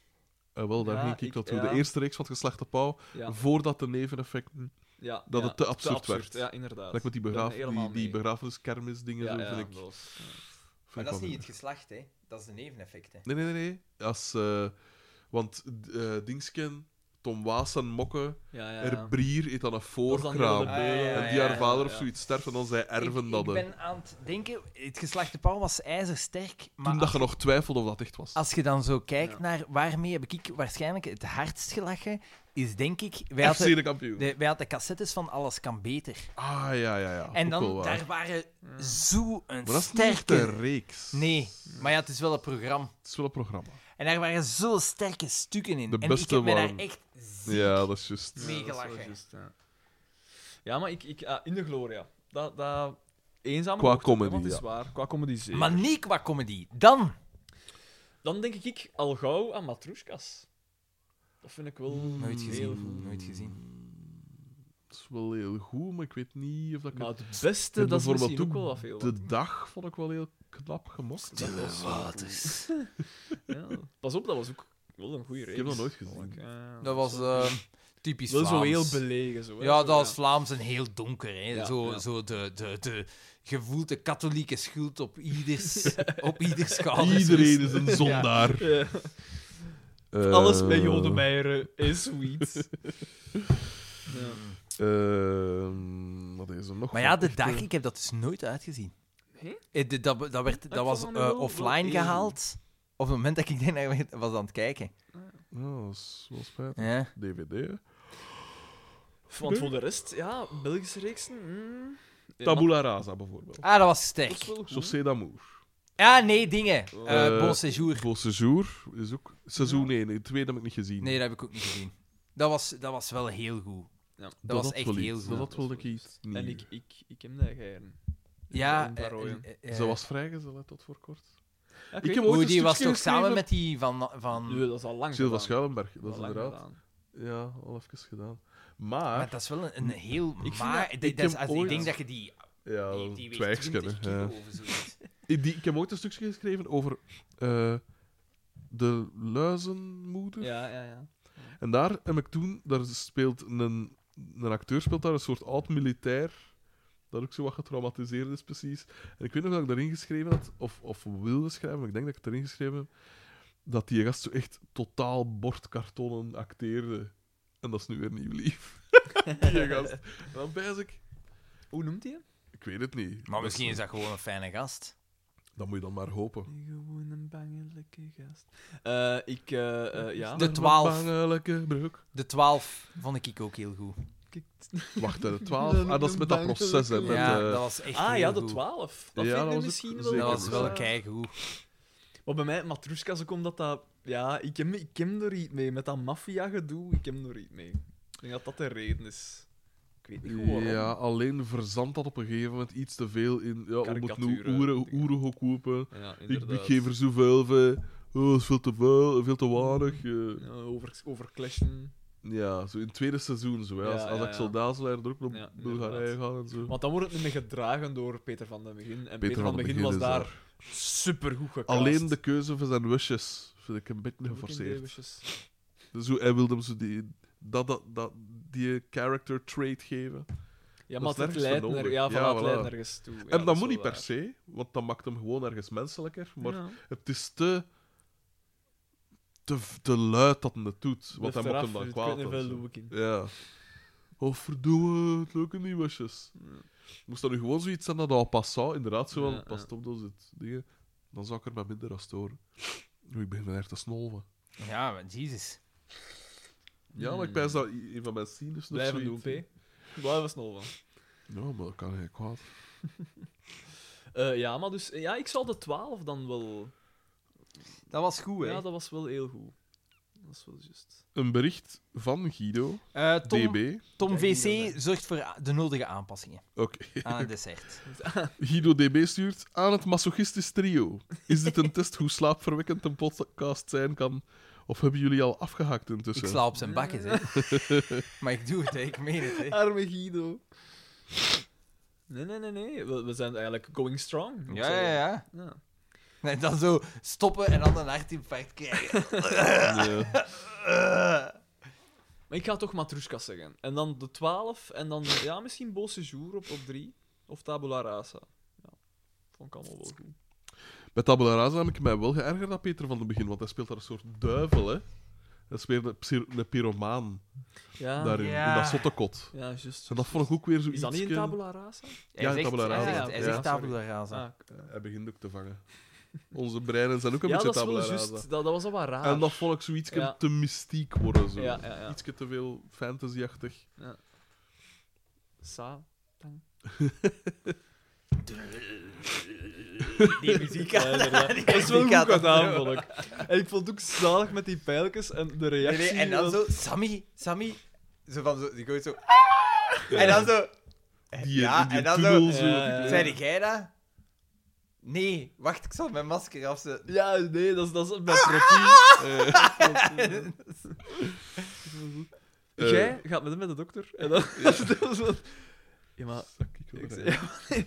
Eh, wel, daar Ja, ging ik ik- dat toe. ja. De eerste reeks van het geslacht op pauw, Ja, voordat de neveneffecten... ja, dat ja, het te absurd werd. Ja, inderdaad. Like met Ik die, ben begraaf, er helemaal die, die mee. begrafeniskermisdingen, Ja, zo, ja, vind ik... dat was- vind Maar ik dat is wel niet het minder. geslacht, hè. Dat is de neveneffect, hè. Nee, nee, nee. nee. Als, eh, want eh Dingsken, Tom Waas en Mokke, Ja, ja, ja. Erbrier eet dan een Dat is dan heel voorkraam. de Ah, beulen. ja, en die haar vader of zoiets sterft en dan zij erven ik, dat. Ik eh. ben aan het denken... Het geslacht de Pauw was ijzersterk, maar... Toen dat je nog twijfelde of dat echt was. Als je dan zo kijkt Ja. naar waarmee heb ik waarschijnlijk het hardst gelachen, is denk ik... Wij FC hadden de kampioen. de, wij hadden cassettes van Alles kan beter. Ah, ja, ja, ja. en Ook wel dan, waar. daar waren zo een Maar dat is niet echt sterke... een reeks. Nee, maar ja, het is wel een programma. Het is wel een programma. En daar waren zo sterke stukken in. De en ik beste heb mij waren- daar echt ziek... Ja, dat is juist. Ja, Mee dat is wel gelachen. juist, ja. Ja, maar ik, ik, ah, in de Gloria. Dat, dat eenzame Qua hoogte, hè, comedy, want het is ja. waar. Qua comedy zeker. Maar niet qua comedy. Dan... Dan denk ik al gauw aan Matroeskas. Dat vind ik wel Hmm, Nooit heel gezien. goed. Nooit gezien. Het Mm, is wel heel goed, maar ik weet niet of dat ik... Maar het- het beste, En dat is bijvoorbeeld misschien ook ook wel wat veel. De dag vond ik wel heel knap gemokt. Dat was wel waters. goed. Ja. Pas op, dat was ook wel een goede reeks. heb dat nooit gezien. vond ik. Ja, Dat was eh, typisch Wel zo Vlaams. heel belegen. Zo, hè. Ja, Zo, dat was Vlaams en heel donker. Hè. Ja, zo ja. zo de, de, de gevoelde katholieke schuld op *laughs* ieders, op ieders schouders. Iedereen Ah, *laughs* is een zondaar. Eh, Alles bij Eh, Jodemeyer is *laughs* sweet. ja. ehm, wat is er nog? Maar ja, de Echt, dag, eh, ik heb dat dus nooit uitgezien. Nee? Eh, de- dat, dat, werd, ik dat was vond dat wel- eh, wel offline heel- gehaald. Op het moment dat ik daarnaar was aan het kijken. ja, dat is wel spijtig. Ja. DVD, hè. Want voor de rest, ja, Belgische reeksen... Mm. Ja, Tabula Rasa, bijvoorbeeld. Ah, dat was maar- dat is sterk. wel goed. José d'Amour. Ah, nee, dingen. Eh Eh, bon séjour. Voor Sejour is ook... Seizoen 1, de tweede heb ik niet gezien. Nee, dat heb ik ook niet gezien. Dat was, dat was wel heel goed. Ja. Dat, was had echt wel iets. heel Dat goed. had wel een iets nieuw. En ik, ik, ik heb dat geëren. Ja, Jeroen van eh, Rooyen. eh, eh, Ze was vrijgezel, hè, tot voor kort. Ja, ik Ik weet heb het. ooit Oeh, een die was stukje toch samen geschreven- met die van... van... Nee, dat is al lang Silva gedaan. Schuilenberg, dat is Al lang inderdaad... gedaan. Ja, al even gedaan. Maar... Maar dat is wel een, een heel... Ik vind maar, dat- dat- ik dat is- heb als- ooit- Oh, ik denk dat je die... Ja, die, dat die is weegt twijgsken, 20 hè. kilo of zoiets. Ik, die, ik heb ooit een stukje geschreven over eh, de luizenmoeder. Ja, ja, ja. En daar heb ik toen, daar speelt een, een acteur speelt daar een soort oud militair. Dat ook zo wat getraumatiseerd is, precies. En ik weet nog dat ik daarin geschreven had, of, of wilde schrijven, maar ik denk dat ik het erin geschreven heb, dat die gast zo echt totaal bordkartonnen acteerde. En dat is nu weer niet lief. *laughs* die gast. En dan bijs ik, Hoe noemt hij hem? ik weet het niet. Maar Dat is- misschien is dat gewoon een fijne gast. Dat moet je dan maar hopen. Gewoon een bangelijke gast. Eh, ik, eh, eh, ja. De twaalf. 12. Bangelijke broek. De 12 vond ik ook heel goed. Wacht, hè, de *laughs* 12. Ah, dat is met dat proces, hè. Met, Ja, eh, dat was echt Ah heel ja, de goed. 12. Dat Ja, vind dat ik was misschien ook wel. zeker Dat was wel eh, keigoed. Maar bij mij, Matroeskas ook omdat dat. Ja, ik heb, ik heb er iets mee. Met dat maffia-gedoe, ik heb er iets mee. Ik denk dat dat de reden is. Ik weet niet goed waarom. Ja, alleen verzandt dat op een gegeven moment iets te veel in. Ja, we moeten nu Karikaturen, oeren, dingen. oeren gaan kopen. Ja, Ik, ik inderdaad. geef er zoveel van. Oh, dat is veel te veel, veel te weinig. eh. Ja, over, overclashen. Ja, zo in het tweede seizoen. Zo, hè. Ja, Als, als ja, Axel ja. Dazelijn er ook naar Ja, Bulgarije inderdaad. gaat en zo. Want dan wordt het niet meer gedragen door Peter van den Begin. En Peter, Peter van den Begin was is daar supergoed gecast. Alleen de keuze van zijn wishes vind ik een beetje geforceerd. geforceerd. Dus hoe, hij wilde hem zo die, dat, dat, dat, die character trait geven. Ja, Dat maar is het nergens leidt, voor naar, nodig. ja, voilà, Ja, het voilà. leidt nergens toe. Ja, en dat, is moet wel niet per waar. se, want dat maakt hem gewoon ergens menselijker. Maar Ja. het is te, te, te luid dat hij het doet. Want hij Blijft Dus maakt eraf, hem dan het kwaad. kunnen en veel zo. loeken. Ja. Oh, verdomme, het lukken die wasjes. Moest dat nu gewoon zoiets zijn dat al passant, inderdaad, zo van, Ja, ja. past op dat het dingen, dan zou ik er maar minder aan storen. Oei, ik begin me echt te snolven. Ja, maar Jesus. Ja, maar ik Mm. ben dat i- een van mijn sinus nog Blijven doen, zoiets- P. Blijven snel van. Ja, maar dat kan geen kwaad. Eh, ja, maar dus... Ja, ik zal de 12 dan wel... Dat was goed, hè? Ja, dat was wel heel goed. Dat is wel juist. Een bericht van Guido, Eh, Tom, DB. Tom Kijk, hier VC dan, zorgt voor a- de nodige aanpassingen Oké. aan het dessert. Guido DB stuurt aan het masochistisch trio. Is *laughs* dit een test hoe slaapverwekkend een podcast zijn kan? Of hebben jullie al afgehakt Ik intussen? sla op zijn bakjes, hè. *laughs* maar ik doe het, hè. Ik meen het, hè. Arme Guido. Nee, nee, nee, nee. We, we zijn eigenlijk going strong. moet ik Ja, ja, zeggen. ja. Ja. En dan zo stoppen en dan een hartinfarct krijgen. Ja. Maar ik ga toch Matrushka zeggen. En dan de 12 en dan ja, misschien Beau Séjour op, op 3. Of Tabula Rasa. Ja, vond ik allemaal wel goed. Met Tabula Rasa heb ik mij wel geërgerd aan Peter van het begin, want hij speelt daar een soort duivel, hè. Dat is weer een, psy- een pyromaan Ah, Ja, daarin, Ja. in dat zottekot. ja juist. En dat vond ik ook weer zoiets... eh, Is dat niet in Tabula Rasa? Hij Ja, zegt- tabula Hij rasa. zegt, hij Ja, zegt sorry. tabula rasa. Ah, k- Hij begint ook eh, te vangen. Onze breinen zijn ook een ja, beetje dat is Tabula wel Rasa. juist. Dat, dat was al wat raar. En dat vond ik zoiets Ja. te mystiek worden, zo. Ja, ja, ja. Ietsje te veel fantasyachtig. *laughs* Sa. tang. Die muziek Ja, inderdaad. *laughs* die dat is wel muziek goed aan dat gedaan, doen. vond ik. En ik vond het ook zalig met die pijltjes en de Nee, reactie. nee, en dan was- zo, Sammy, Sammy. Zo van zo, die gooit zo. En dan zo. Die, ja, in die en dan tunnel, zo. zo. Ja, ja, ja. Zei jij dat? Nee, wacht, ik zal mijn masker afzetten. Ja, nee, dat is, dat is Ah! mijn *laughs* profiel. Eh. Jij gaat met hem met de dokter. *laughs* En dan... dat was wel- ja, maar... Ik wil Ik er zei- eigenlijk- ja, maar-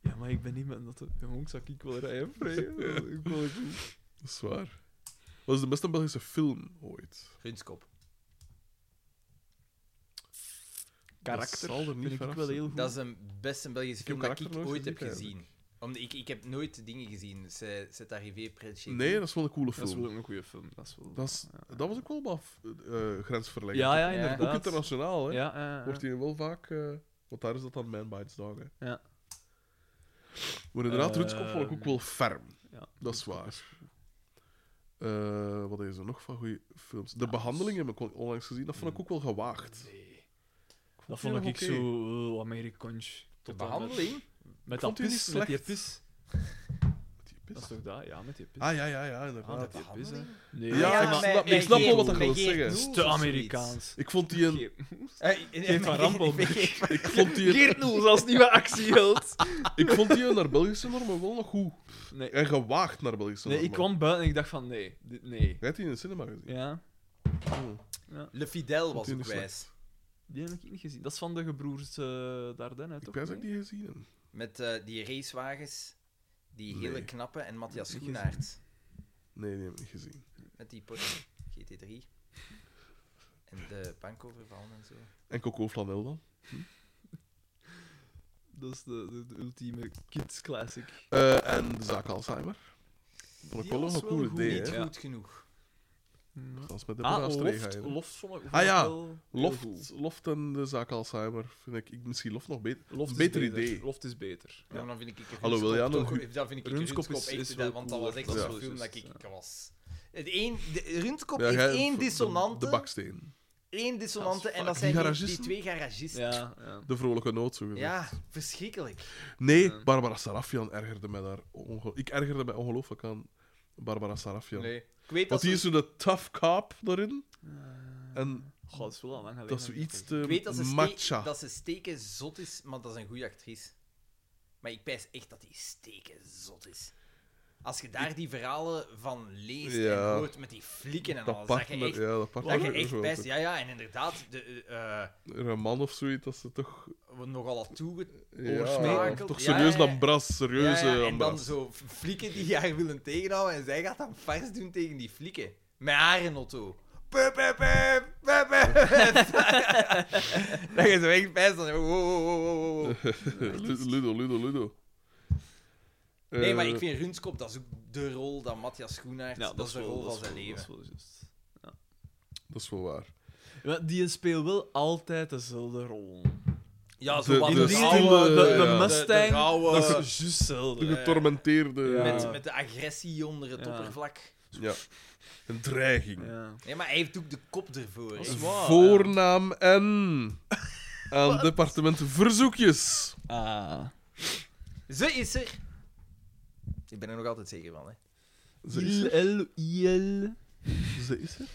*laughs* ja, maar ik ben niet met dat... Jong, ik zou ik wel rijden, *laughs* vrij. Ik wil het goed. Dat is waar. Wat is de beste Belgische film ooit? Gunskop. Karakter zal er niet vind ik ook verrassen. wel heel goed. Dat is een best een Belgische film dat karakter ik nooit ooit heb gezien, gezien. Omdat ik, ik heb nooit dingen gezien. C'est c'est arrivé près de chez Nee, vous. dat is wel een coole Dat is film. wel Dat, ook een goede film. Dat is wel... is, dat was ook wel maf, eh, grensverleggend. Ja, ja, Ja. inderdaad. Ook internationaal, hè. Ja, eh, ja, ja. Wordt hier wel vaak... eh, want daar is dat dan Man Bites Dog, hè. Ja. Maar inderdaad, Ehm, Rutskop vond ik ook wel ferm. Ja. Dat is waar. Eh, wat is er nog van goede films? Ah, De behandeling dus- heb ik on- onlangs gezien. Dat vond ik ook Hmm. wel gewaagd. Dat vond ik die nog oké. zo eh, Amerikaans. De Tot aan behandeling? Met vond dat die niet pis, met die slecht. pis. Met die Dat is pis. toch dat? Ja, met die pis. Ah, ja, ja, ja, Ah, inderdaad. dat die pis, hè. Nee, Ja, maar- ik maar- snap- maar- ik snap wel Geert- wat dat wil zeggen. Het is te Amerikaans. Ik vond die een... Eh, Geert van *laughs* Rampel. Ik vond die een... Geert Noels als nieuwe actieheld. *laughs* Ik vond die naar Belgische normen wel nog goed. Nee. En gewaagd naar Belgische nee, normen. ik kwam buiten en ik dacht van nee, dit- nee. Jij hebt die in de cinema gezien. Ja, Oh. Le Fidel was ook Natuurlijk wijs. die heb ik niet gezien. Dat is van de gebroers eh Dardenne, hè, Ik toch? ben Nee? ook niet gezien. heb. Met eh, die racewagens. Die Nee. hele knappe en Matthias Nee, Schoenaerts. Nee, die heb ik niet gezien. Met die Porsche GT3. En de bankovervallen en zo. En Coco Flanel dan? Dat is de, de, de ultieme kids classic. Eh, en de zaak Alzheimer. Vond ik wel nog een cool idee, Niet hè. Ja. goed genoeg. Als met de Ah, Braas Loft, Trega, hè. Loft vond ik vond Ah, ik ja. wel heel goed. Loft, Loft en de zaak Alzheimer vind ik, ik misschien Loft nog beter. Loft is Beter beter. idee. Loft is beter. Ja. maar dan vind ik ik Alhoewel, ja, Runskop nog toch- dan vind ik Runskop Runskop is- echt, is dat- wel want dat cool, was echt dat zo'n is film dat juist, ik, ja. ik was. Het één, de, Runskop Ja, jij- heeft één de- dissonante, De baksteen. één dissonante Dat is en dat fuck. zijn Die die, die garagisten? twee garagisten. Ja, Ja, ja. De vrolijke nood, zo gezegd. verschrikkelijk. Nee, Ja. Barbara Sarafian ergerde mij daar onge- Ik ergerde mij ongelooflijk aan Barbara Sarafian. Nee. Ik weet dat Want die ze- is zo de tough cop daarin. Eh, En Goh, dat is wel al lang geleden. Dat is zoiets te Ik weet dat ze, matcha. ste- dat ze steken zot is, maar dat is een goede actrice. Maar ik pijs echt dat die steken zot is. Als je daar die verhalen van leest Ja. en hoort met die flikken en Dat alles, dat je partner, echt, ja, dat dat partner. je echt pijst. Ja, ja, en inderdaad, de, eh, eh, Een man of zoiets, dat ze toch... nogal al toege... Ja, Oorsmakeld. toch Ja, serieus ja, ja. dan bras, serieus Ja, ja, eh, en dan dan bras. zo flikken die haar willen tegenhouden en zij gaat dan vast doen tegen die flikken. Met haar in auto. Pup, pup, pup, pup, *laughs* pup. Dat je zo echt pijst oh, dan... Wow, wow, wow, wow, wow. Eh. *laughs* Lu- Ludo, Ludo, Ludo. Nee, maar Eh, ik vind Runskop, dat is ook de rol dat Matthias Schoenaert, dat, is de wel- rol dat van zijn wel- leven. Dat is wel juist. Dat is wel waar. Maar die speelt wel altijd dezelfde rol. ja, de- zo wat de de, stille- rauwe- de- de Mustang, de rauwe- dat is juist Eh, hetzelfde. De getormenteerde... Ja. met, met de agressie onder het Ja. oppervlak. Ja. Een dreiging. Ja. Nee, maar hij heeft ook de kop ervoor. hè. Dat Een is waar, Voornaam *laughs* en... Aan departement verzoekjes. Ah. Ze is er. Ik ben er nog altijd zeker van, hè. Ze is er. Il-il-il. Ze is er.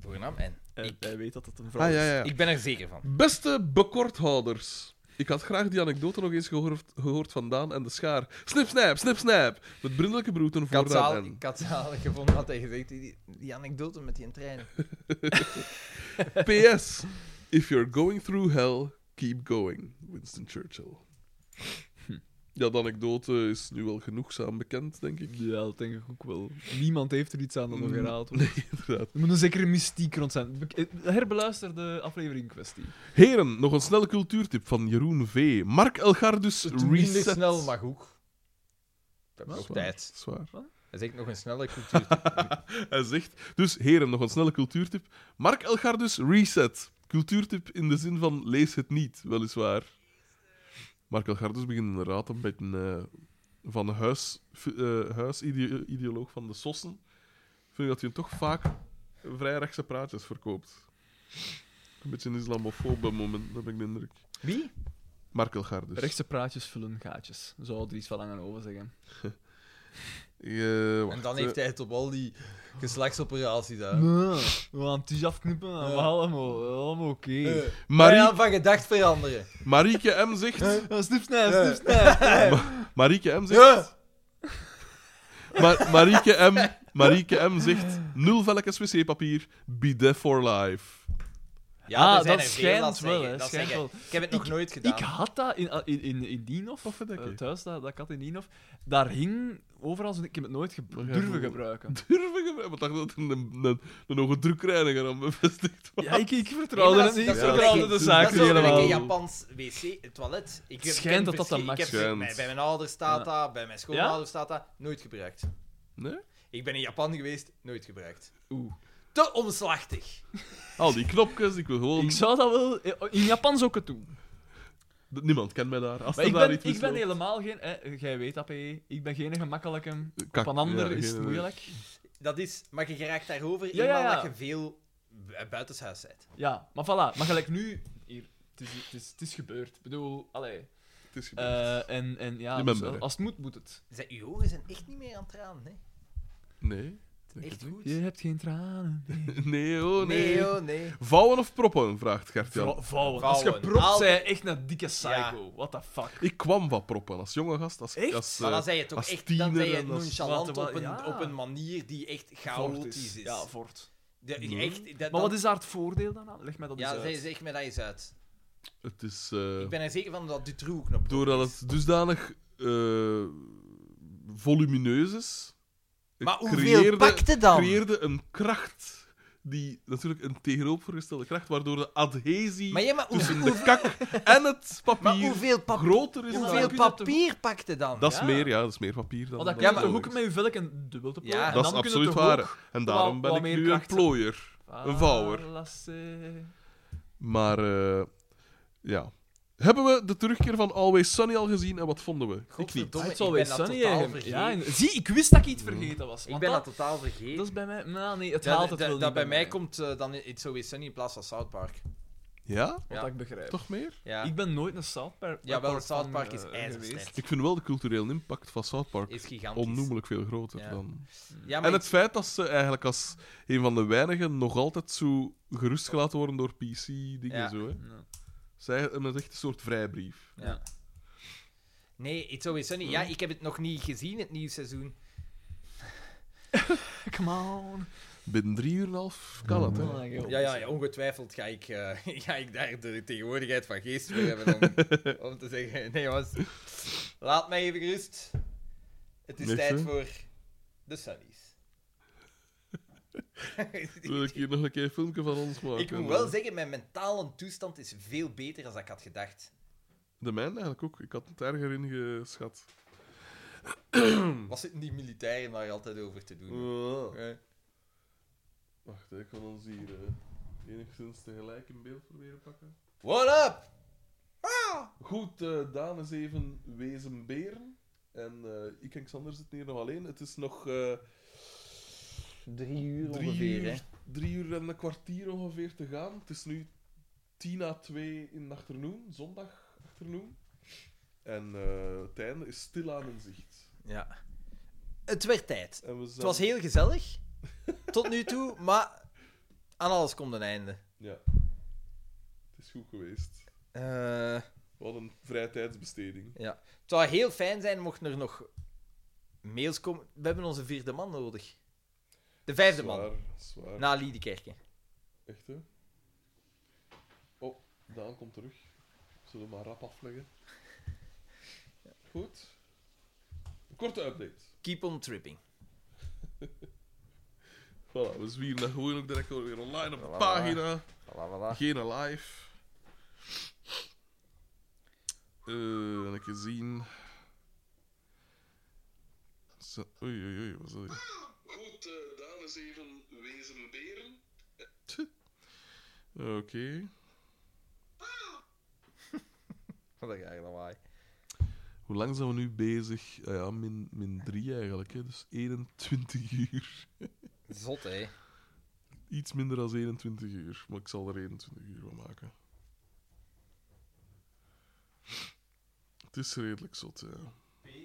Voornaam en. Hij Ik, hij weet dat het een vrouw Ah, ja, is. ja. ik ben er zeker van. Beste bekorthouders. Ik had graag die anekdote nog eens gehoord, gehoord van Daan en de schaar. Snip, snap, snip, snap. Met brindelijke broeten Ik had voornaam zaal- en... ik had zaal gevonden wat hij gezegd die, die anekdote met die trein. PS. If you're going through hell, keep going. Winston Churchill. Ja, de anekdote is nu wel genoegzaam bekend, denk ik. Ja, dat denk ik ook wel. Niemand heeft er iets aan dat nog Mm. herhaald wordt. Nee, inderdaad. Er moet een zekere mystiek rond zijn. Bek- eh, Herbeluister de aflevering in kwestie. Dus- Heren, nog een snelle cultuurtip van Jeroen V. Mark Elgardus Minder *laughs* Reset. snel, maar ook. Dat Dat is is nog waar, tijd. dat is waar. Hij zegt nog een snelle cultuur. *laughs* Hij zegt, dus heren, nog een snelle cultuurtip. Mark Elgardus Reset. Cultuurtip in de zin van lees het niet, weliswaar. Mark Elgardus begint inderdaad een beetje eh, van de huis, eh, huisideoloog van de Sossen. Vind ik dat hij toch vaak vrij rechtse praatjes verkoopt. Een beetje een islamofobe moment, dat heb ik de indruk. Wie? Mark Elgardus. Rechtse praatjes vullen gaatjes. Zou er iets van aan over zeggen. Eh, wacht, En dan eh. heeft hij het op al die geslachtsoperaties daar. Nee, we gaan het dus afknippen. en we Ja. Allemaal, allemaal oké. Eh, Marie- wij gaan van gedacht veranderen. Marieke M. zegt... Ah, snip, snij, Eh. snip, snij. Ma- Marieke M. zegt... Ja. *laughs* Ma Marieke, M, Marieke M. zegt... Nul velkens wc-papier. Bidet for life. *laughs* Ah, er zijn dat er veel schijnt zeggen, wel, hè, dat schijnt zeggen. Ik heb het nog nooit gedaan. Ik had dat in, in, in, in Dienhof, Wat vind ik? eh, thuis, dat, dat ik had in Dienhof. Daar hing overal zo'n... Ik heb het nooit ge- Maar jij durven moet- gebruiken. Durven gebruiken. Wat dacht je dat er een, een, een hoge drukreiniger aan bevestigd was? Ja, ik, ik Nee, vertrouwde maar het niet. Ik dat is- dat is vertrouwde wel de een- zaak niet Dat is wel een helemaal. Japans wc-toilet. Ik heb- Schijnt ik dat dat heb dan verschi- max ik heb, schijnt. bij, bij mijn ouders staat dat, bij mijn schoonouders staat dat. Nooit gebruikt. *laughs* Nee? Ik ben in Japan geweest, nooit gebruikt. Oeh. Te omslachtig. Al die knopjes, ik wil gewoon... Ik zou dat wel... eh, In Japan zou ik het doen. D- Niemand kent mij daar. Als Maar er ik daar ben, iets ik ben misloopt. helemaal geen... Hè, jij weet dat, PE. Ik ben geen gemakkelijke. Kak- Op een ander ja, is het geen- moeilijk. Dat is, maar je geraakt daarover Ja, ja, eenmaal ja. dat je veel bu- buitenshuis bent. Ja, maar voilà. Maar gelijk nu... Hier, het, is, het, is, het is gebeurd. Ik bedoel, allee. Het is gebeurd. Eh, en, en ja, Je bent dus blij. als het moet, moet het. Zij- Uw ogen zijn echt niet meer aan het tranen, hè? Nee. *laughs* Echt goed. Je hebt geen tranen. Nee, oh nee. Nee, oh nee. Vouwen of proppen, vraagt Gert-Jan. Vrouwen. Als je Vrouwen. propt, Altijd. zij echt een dikke psycho. Ja. What the fuck. Ik kwam van proppen, als jonge gast. Als, Echt? Als, Maar eh, dan zei je toch als echt dan tiener zei je en Wat- als- nonchalant wat- op een, ja. op een manier die echt Fort chaotisch is. Ja, fort. De- Nee. echt, dat, Maar wat dan- is daar het voordeel dan aan? Leg mij dat eens Ja, uit. zeg, zeg me dat eens uit. Het is... eh, Ik ben er zeker van dat Dutroux ook nog pro Doordat is. het dusdanig eh, volumineus is. het Maar hoeveel pakte dan? creëerde een kracht. Die natuurlijk een tegenovergestelde kracht, waardoor de adhesie Maar, ja, maar, hoe- tussen hoe- de kak en het *laughs* maar papier hoeveel, pap- groter is. maar hoeveel dan- dan. papier pakte dan? Dat is Ja. meer, ja, dat is meer papier dan. Want dan dan kun je maar Oh, toch logisch. ook met je velk een dubbel te plooien. Ja. En Dat is dan kun je absoluut toch waar. ook- En daarom wat- ben wat ik meer nu een krachten. plooier. Een vouwer. Ah, lasse. Maar eh, ja. Hebben we de terugkeer van Always Sunny al gezien en wat vonden we? Ik niet. Godverdomme, Het ik zal ben weer dat sunny totaal eigenlijk. vergeten. Ja, en- zie, ik wist dat ik Mm. iets vergeten was. Ik want ben dat dat, totaal vergeten. dat is bij mij... Nou, nee, het Dat- haalt het dat- wel dat niet bij mij komt eh, dan It's Always Sunny in plaats van South Park. Ja? Wat Ja. ik begrijp. Toch meer? Ja, Ik ben nooit een South Park. ja wel, Park fan, South Park is eh, ijzerslecht. Ik vind wel de culturele impact van South Park Is gigantisch. onnoemelijk veel groter Ja. dan... Ja, maar En het feit dat ze eigenlijk als een van de weinigen nog altijd zo gerustgelaten worden door PC-dingen Ja. zo, hè. Ja. Zij hebben het echt een soort vrijbrief. ik- ja. Nee, It's Always Sunny. Ja, Hmm. ik heb het nog niet gezien, het nieuwe seizoen. Come on. Binnen drie uur en een half kan het, Oh hè. Ja, dus, ja, ja, eh, ongetwijfeld ga ik, eh, *laughs* ga ik daar de tegenwoordigheid van geest voor hebben *laughs* om, om te zeggen... Nee, jongens, laat mij even gerust. Het is Niks, tijd hè? voor de *laughs* Sunnies. *laughs* Wil ik hier nog een keer een filmpje van ons maken? ik moet wel zeggen, mijn mentale toestand is veel beter dan ik had gedacht. De mijne eigenlijk ook. Ik had het erger ingeschat. Hmm. Was het die militairen daar altijd over te doen? Eh, Wacht, hè, ik kan ons hier eh, enigszins tegelijk in beeld proberen pakken. What up? Goed, eh Daan is even Wezenberen. En eh, ik en Xander zitten hier nog alleen. Het is nog eh, Drie uur drie, ongeveer, hè? uur, drie uur en een kwartier ongeveer te gaan. Het is nu tien na twee in de achternoon, zondag achternoon. En eh, het einde is stilaan in zicht. Ja. Het werd tijd. En we Het was heel gezellig, tot nu toe, maar aan alles komt een einde. Ja. Het is goed geweest. Eh, Wat een vrije tijdsbesteding. ja. Het zou heel fijn zijn mochten er nog mails komen. We hebben onze vierde man nodig. De vijfde man, Zwaar, zwaar. na Liedekerke. Echt, hè? Oh, Daan komt terug. Zullen we maar rap afleggen. Goed. Een korte update. Keep on tripping. Voilà, we zwieren dat gewoon ook direct weer online op de pagina. Voilà, voilà. Geen live. Eh, en ik heb zien. Zo, oei, oei, oei, wat is dat hier? Goed, eh, Daan is even wezen beren. Oké. Wat een raar lawaai. Hoe lang zijn we nu bezig? Ah ja, min, min 3 eigenlijk, hè? dus 21 uur. *laughs* Zot, hè? Iets minder dan 21 uur, maar ik zal er 21 uur van maken. Het is redelijk zot, ja. eh,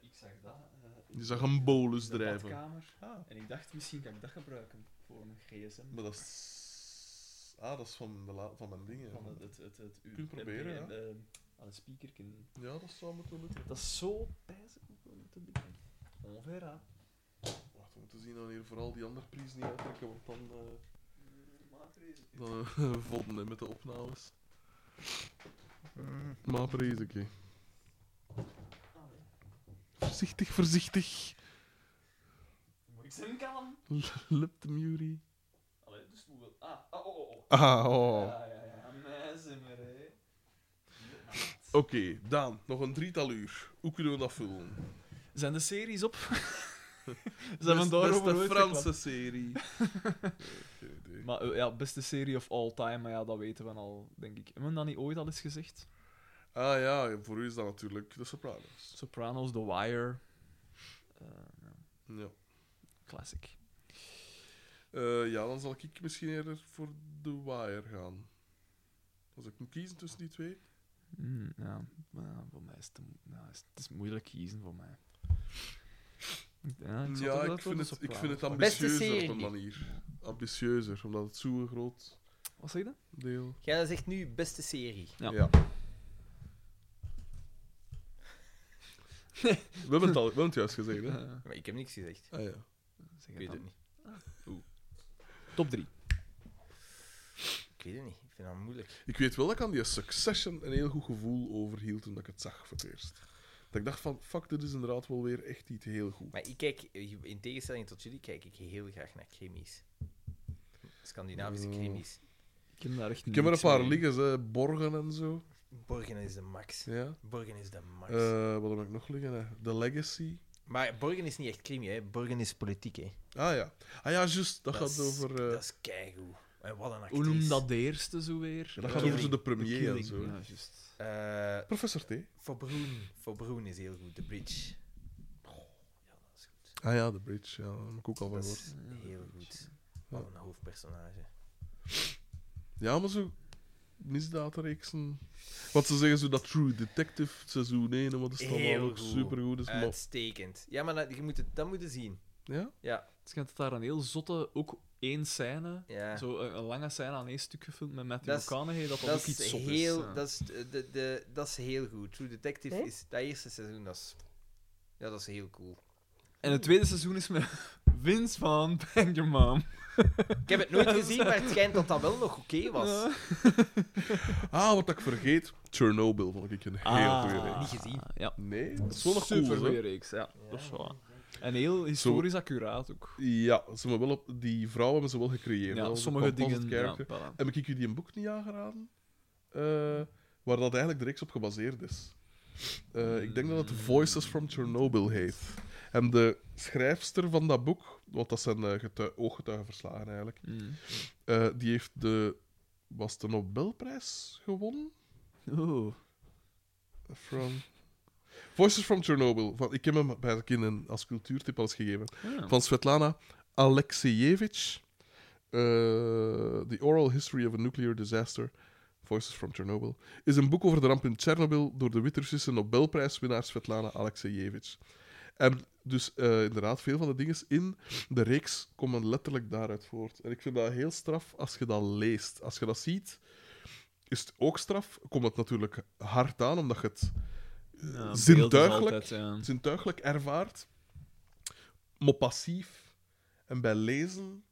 ik zag dat. eh, Je zag een bolus drijven. badkamer. En ik dacht, misschien kan ik dat gebruiken voor een gsm. Maar dat is... Ah, dat is van, de la- van mijn dingen. Van het, het, het, het u- Kun je proberen, eh, eh, aan de speaker. kunnen- Ja, dat zou moeten lukken. Dat is zo pijzig om te doen. Ongeveer, hè. Wacht, we moeten zien dat we hier vooral die andere prijs niet uittrekken, want dan... *laughs* eh, Dan eh, *laughs* vonden hè, met de opnames. Maar vrees ik. hè. Voorzichtig, voorzichtig. Moet ik zin kan? Lip de Muri. Allee, dus moet wel. Ah, oh, oh, oh. Ah, oh. Oké, Ja, ja, ja. Amazing, hè. Daan, nog een drietal uur. Hoe kunnen we dat vullen? Zijn de series *laughs* op? Zijn Dat we is daarover de ooit Franse *laughs* serie. Geen idee. Maar eh, ja, beste serie of all time, maar ja, dat weten we al, denk ik. Hebben we dat niet ooit al eens gezegd? ah ja, voor u is dat natuurlijk de Sopranos. Sopranos, The Wire. Eh, ja, Ja. classic. Eh, ja, dan zal ik misschien eerder voor The Wire gaan. Als ik moet kiezen tussen die twee. Mm, ja, maar ja, voor mij is het, te mo- ja, is- het is moeilijk kiezen voor mij. Ja, ik, zou toch Ja, dat ik vind, voor het, de ik Sopranos vind het pakken. Beste ambitieuzer op een serie. manier. Ambitieuzer, omdat het zo'n groot Wat zeg je dan? deel... Jij zegt nu beste serie. Ja. We hebben het al, we hebben het juist gezegd, hè? Eh, Maar ik heb niks gezegd. Ah ja. zeg Hm. Ik het weet dan. het niet. Top 3. Ik weet het niet. Ik vind dat moeilijk. Ik weet wel dat ik aan die Succession een heel goed gevoel overhield toen ik het zag voor het eerst. Dat ik dacht van, fuck, dit is inderdaad wel weer echt iets heel goed. Maar ik kijk, in tegenstelling tot jullie, kijk ik heel graag naar krimis. Scandinavische Oh. krimis. Ik heb daar echt Ik heb er een niks paar mee. liggen, hè. Borgen en zo. Borgen is de max. Ja. Borgen is de max. Eh, wat heb ik nog liggen? Hè? The Legacy. Maar Borgen is niet echt crime, hè. Borgen is politiek, hè. Ah ja. Ah ja, juist. Dat, is- gaat over... eh, Dat is keigoed. En wat een actrice. Hoe noem dat de eerste zo weer? dat gaat Eh, over zo de The premier en Killing. zo. Ja, juist. Eh, Professor T. Verbroen. Verbroen is heel goed. The Bridge. ja, dat is goed. Ah ja, The Bridge. Ja, daar heb ik ook al van Dat gehoord. is heel goed. Wat een hoofdpersonage. Ja, maar zo misdaadreeksen. Wat ze zeggen, zo dat True Detective seizoen 1, en wat is dat Heel allemaal ook goed. supergoed dus is. Maar... Uitstekend. Ja, maar dat, je moet het, dat moeten zien. Ja? Ja, Het schijnt dat daar een heel zotte, ook één scène, ja. zo een, een lange scène aan één stuk gefilmd met Matthew Dat is- McConaughey, dat dat, Dat ook is, iets zot heel, is. ja. dat, is, de, de, dat is heel goed. True Detective Hè? is dat eerste seizoen, dat is, ja, dat is heel cool. En het tweede seizoen is met *laughs* Vince van Bang Your Mom. Ik heb het *laughs* nooit gezien, maar het schijnt dat dat wel nog oké was. Ah, wat ik vergeet. Chernobyl vond ik een heel Ah. goede reeks. Niet gezien. Ja. Nee, dat is wel nog cool, Super hè? goede reeks, ja. Dat is wel. En heel historisch accuraat ook. Ja, ze hebben wel op, die vrouwen hebben ze wel gecreëerd. Ja, hè, als een sommige composite dingen. Ja, character. voilà. Heb ik u die een boek niet aangeraden? Eh, waar dat eigenlijk de reeks op gebaseerd is. Eh, ik denk dat het Voices from Chernobyl heet. En de schrijfster van dat boek, want dat zijn eh, getu- ooggetuigenverslagen eigenlijk, Mm. eh, die heeft de, was de Nobelprijs gewonnen? Oeh. From... Voices from Chernobyl. Van, ik heb hem bij de kinderen als cultuurtip al eens gegeven. Ja. van Svetlana Alexievich. eh, The Oral History of a Nuclear Disaster, Voices from Chernobyl, is een boek over de ramp in Tsjernobyl door de Wit-Russische Nobelprijswinnaar Svetlana Alexievich. En dus eh, inderdaad, veel van de dingen in de reeks komen letterlijk daaruit voort. En ik vind dat heel straf als je dat leest. Als je dat ziet, is het ook straf. Komt het natuurlijk hard aan, omdat je het Ja, beeld is zintuigelijk altijd, ja. zintuigelijk ervaart, maar passief. En bij lezen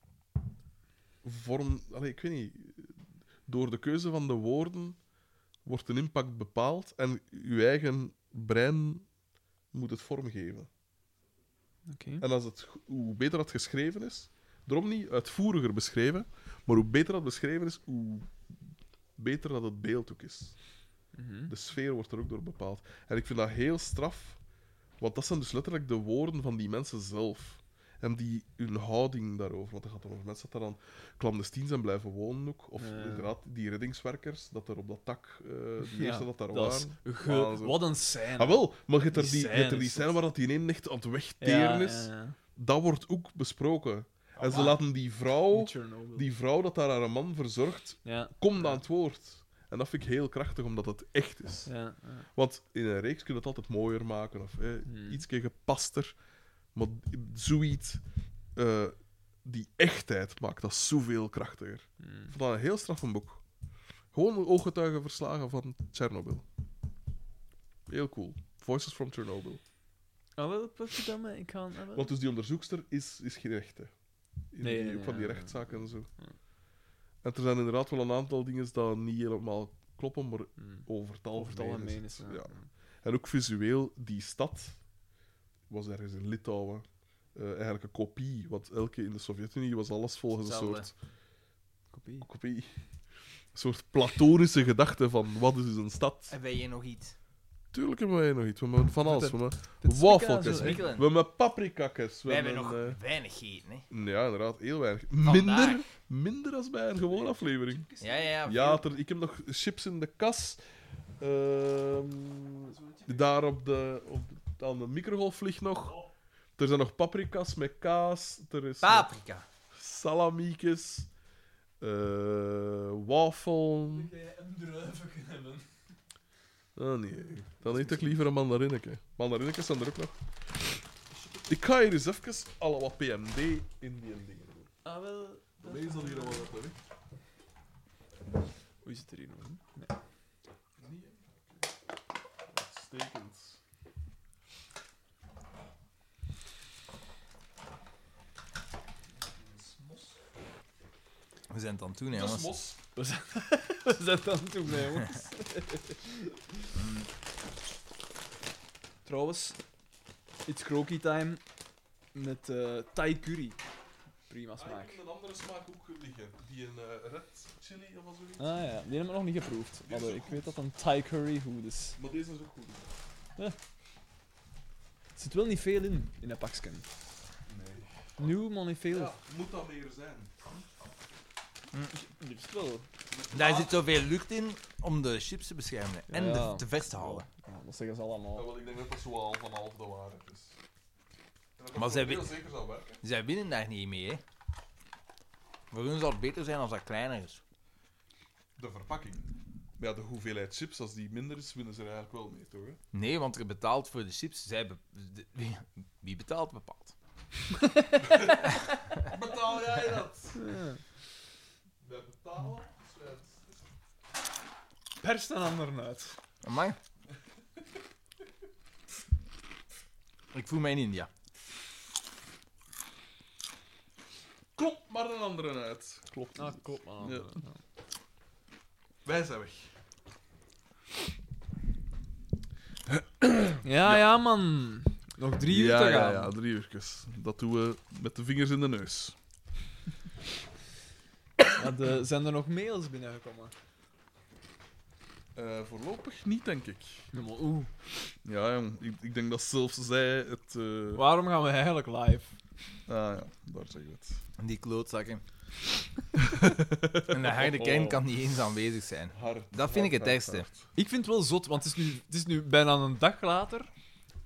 vorm... Allee, ik weet niet. Door de keuze van de woorden wordt een impact bepaald en je eigen brein moet het vormgeven. Oké. En als het, go- hoe beter dat geschreven is, daarom niet uitvoeriger beschreven, maar hoe beter dat beschreven is, hoe beter dat het beeld ook is. Mhm. De sfeer wordt er ook door bepaald. En ik vind dat heel straf, want dat zijn dus letterlijk de woorden van die mensen zelf. En die hun houding daarover. Want dat gaat dan over mensen dat daar dan clandestien zijn blijven wonen ook. Of Ja. inderdaad, die reddingswerkers, dat er op dat dak, eh die Ja, eerste dat daar dat is waren. ge- waanzin. Wat een scène. Ah wel, maar je hebt er Die die, je hebt er die scènes, scène dat- waar dat die een echt aan het wegteren Ja, is. ja, ja. Dat wordt ook besproken. en Ah. ze laten die vrouw, Chernobyl. Oh. die vrouw dat daar haar man verzorgt, Ja, komt aan het woord. En dat vind ik heel krachtig, omdat het echt is. ja, ja. Want in een reeks kun je het altijd mooier maken of eh, Hmm. iets gepaster. Maar zoiets, eh, die echtheid maakt dat zoveel krachtiger. Mm. Ik vond dat een heel straffen boek. Gewoon de ooggetuigenverslagen van Tsjernobyl. Heel cool. Voices from Chernobyl. Ah, wel, potverdomme, ik ga... ah, wel. Want dus die onderzoekster is, is geen echte. In Nee, die, nee, nee, van die nee, rechtszaken en zo. Ja. En er zijn inderdaad wel een aantal dingen die niet helemaal kloppen, maar Mm. over het Over het algemeen, algemeen Oh, is is het- ja. ja. En ook visueel, die stad was ergens in Litouwen. eh, eigenlijk een kopie, want elke in de Sovjet-Unie was alles volgens een Hetzelfde. soort Kopie. kopie. Een soort platonische gedachte van wat is dus een stad. En ben je nog iets? Tuurlijk hebben wij nog iets. We hebben van alles. dat- We hebben Dit is wafeltjes. Picasso, hè? We Wikkelen. hebben paprikakjes. We hebben nog hebben, weinig gegeten, hè? eh, ja, inderdaad, heel weinig. Vandaag. Minder, minder als bij een gewone aflevering. Ja, ja, ja. Ja, veel. ter- ik heb nog chips in de kas. Ehm, daar op de, op, aan de microgolf ligt nog. Er zijn nog paprika's met kaas. Er is nog Paprika. salamiekes. eh wafel. Oh nee, dan eet ik liever een mandarineke. Mandarinnetjes zijn er ook nog. Ik ga hier eens even alle wat PMD in die dingen doen. Ah, wel... dat- Lees dat hier allemaal uit, hè. Hoe zit er hier nog? in? Nee. Uitstekend. We zijn het aan het doen, hè, Dat is jongens. mos. Wat is dat dan toen, nee, *laughs* jongens? Trouwens, it's croaky time met eh Thai curry. Prima Ah, ik smaak. heb een andere smaak ook liggen. Die een eh, red chili of zoiets. Ah ja, die hebben we nog niet geproefd. Maar eh, ik weet dat een Thai curry goed is. Maar deze is ook goed. Er zit wel niet veel in, in dat pakje. Nee. Nieuw, maar niet veel. Ja, moet dat meer zijn. Er is wel. Daar zit zoveel lucht in om de chips te beschermen en Ja. de, te vers te houden. Ja, Ah, dat zeggen ze allemaal. wel, ik denk dat dat zo al van half de waarheid is. En dat Maar dat zij heel wi- zeker zal werken. Zij winnen daar niet mee, hè? Voor hun zal het beter zijn als dat kleiner is. De verpakking. Maar ja, de hoeveelheid chips, als die minder is, winnen ze er eigenlijk wel mee, toch? Hè? Nee, want er betaalt voor de chips. Zij be- de- wie- Wie betaalt, bepaalt. *laughs* Betaal jij dat? Oh. Wij betalen. dus Pers een ander uit. Amai. Ik voel mij in India. Klopt maar een andere uit. Klopt. Ah, klopt, man. Ja. Wij zijn weg. Ja, ja, man. Nog drie uur ja, te ja, gaan. ja, drie uurtjes. Dat doen we met de vingers in de neus. Maar de- zijn er nog mails binnengekomen? Eh, voorlopig niet, denk ik. Ja, maar oeh. Ja, jong. Ik, ik denk dat zelfs zij het... eh, Waarom gaan we eigenlijk live? Ah ja, daar zeg je het. Die klootzakken. en de harde kern kan niet eens aanwezig zijn. Hard, Dat vind ik het ergste. Ik vind het wel zot, want het is nu, het is nu bijna een dag later.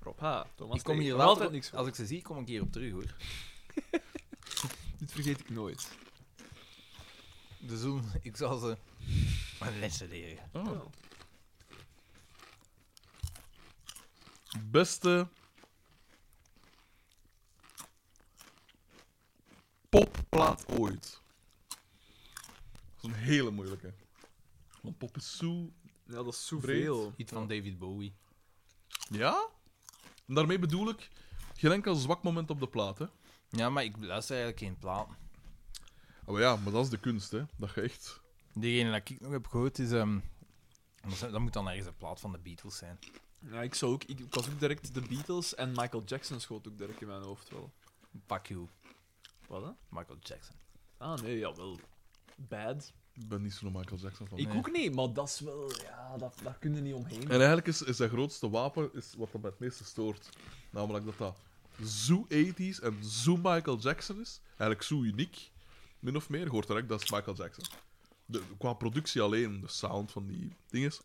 Rob H. Thomas Ik kom T. hier Nog later, altijd niks van. als ik ze zie, kom ik hier op terug hoor. Dit vergeet ik nooit. Dus toen- *laughs* ik zal ze een lesje leren. Oh. Beste popplaat ooit. Dat is een hele moeilijke. Want pop is zo... Ja, dat is zoveel. zoveel. Iets van David Bowie. Ja? En daarmee bedoel ik geen enkel zwak moment op de plaat, hè. Ja, maar ik luister eigenlijk geen plaat. Ah, Maar ja, maar dat is de kunst, hè. Dat je echt... Degene dat ik nog heb gehoord is. ehm, dat zijn- dat moet dan ergens een plaat van de Beatles zijn. Ja, ik, zou ook, ik, ik was ook direct de Beatles en Michael Jackson schoot ook direct in mijn hoofd wel. Fuck you, Wat hè? Michael Jackson. Ah nee, jawel. Bad. Ik ben niet zo'n Michael Jackson van. Ik Nee. ook niet, maar dat is wel... Ja, dat, daar kun je niet omheen. En eigenlijk is, is zijn grootste wapen is wat dat mij het meeste stoort. Namelijk dat dat zo 80s en zo Michael Jackson is. Eigenlijk zo uniek, min of meer. Je Hoort direct dat is Michael Jackson. De, qua productie alleen, de sound van die dinges.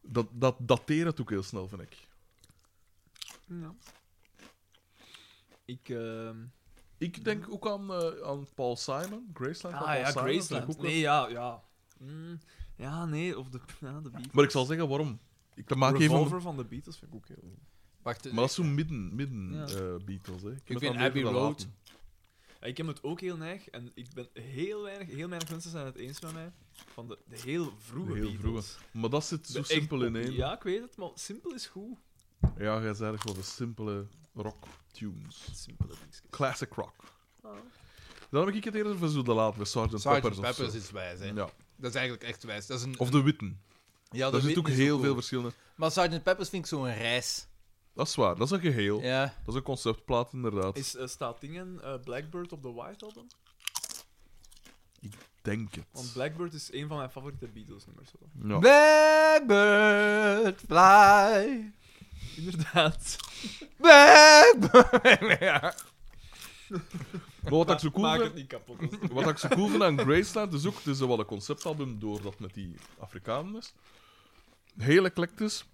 Dat, dat dateert het ook heel snel, vind ik. Ja. Ik... ehm Ik denk ook aan, eh, aan Paul Simon, Graceland. Ah van Paul ja, Simon, vind ik Graceland. ook wel- Nee, ja, ja. Mm, ja, nee, of de, *laughs* ja, de Beatles. Maar ik zal zeggen waarom. Ik maak even. Revolver Maar van de Beatles vind ik ook heel... Wacht, eh, dat is zo'n midden, midden Ja. eh, Beatles. Hè. Ik heb het vind aan David Abbey al Road laten. Ja, ik heb het ook heel neig en ik ben heel weinig, heel weinig mensen zijn het eens met mij van de, de heel vroege De heel Beatles. Maar dat zit zo De echt simpel in poppy. één. Ja, ik weet het, maar simpel is goed. Ja, jij is eigenlijk wel de simpele rock tunes. Simpele dingetjes. Classic rock. Ah. Dan heb ik het eerder voor zo de laat met Sgt. Sgt. Peppers, of zo. Peppers is wijs, hè. Ja. Dat is eigenlijk echt wijs. Dat is een, Of de witten. ja, Daar de zit ook Whitney is heel veel cool. verschillende... Maar Sgt. Peppers vind ik zo'n reis. Dat is waar, dat is een geheel. Ja. Dat is een conceptplaat, inderdaad. Is, eh, staat dingen eh, Blackbird op de White Album? Denk het. Want Blackbird is een van mijn favoriete Beatles-nummers. *laughs* hoor. Ja. Blackbird fly. Inderdaad. Blackbird. *laughs* ja. Maar wat ik zo Ma- cool Maak vind... het niet kapot. *laughs* als het- Wat ik zo cool vind aan Graceland is ook, het is wel een conceptalbum door dat met die Afrikanen is. Heel eclectisch.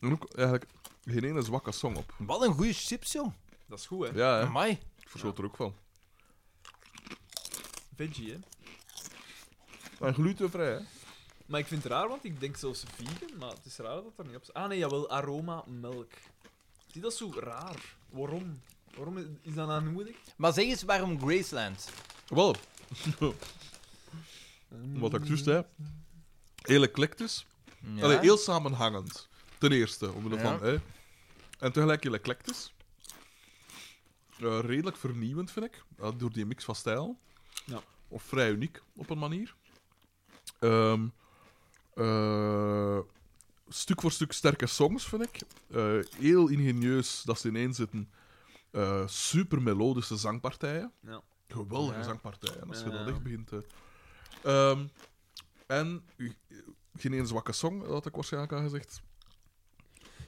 En ook eigenlijk geen ene zwakke song op. Wat een goede chips, joh. Dat is goed, hè? Ja, hè. Amai. ik verschoot er ook van. Veggie, hè? En glutenvrij, hè. Maar ik vind het raar, want ik denk zelfs vegan, maar het is raar dat er niet op staat. Ah nee, jawel, aroma melk. Zie, dat is zo raar. Waarom? Waarom is- is dat aanmoedigd? Maar zeg eens waarom Graceland? Wel, wat ik Mm. juist zei. Heel eclectisch. Ja. Allee, heel samenhangend. Ten eerste, omwille Ja. van... Hè. En tegelijk heel eclectisch. Eh, redelijk vernieuwend, vind ik. eh, door die mix van stijl. Ja. Of vrij uniek, op een manier. Ehm, eh, stuk voor stuk sterke songs, vind ik. Eh, heel ingenieus dat ze ineen zitten. Eh, super melodische zangpartijen. Ja. Geweldige Ja. zangpartijen, als je Ja. dat echt begint te... Ehm, en geen één zwakke song, dat had ik waarschijnlijk al gezegd.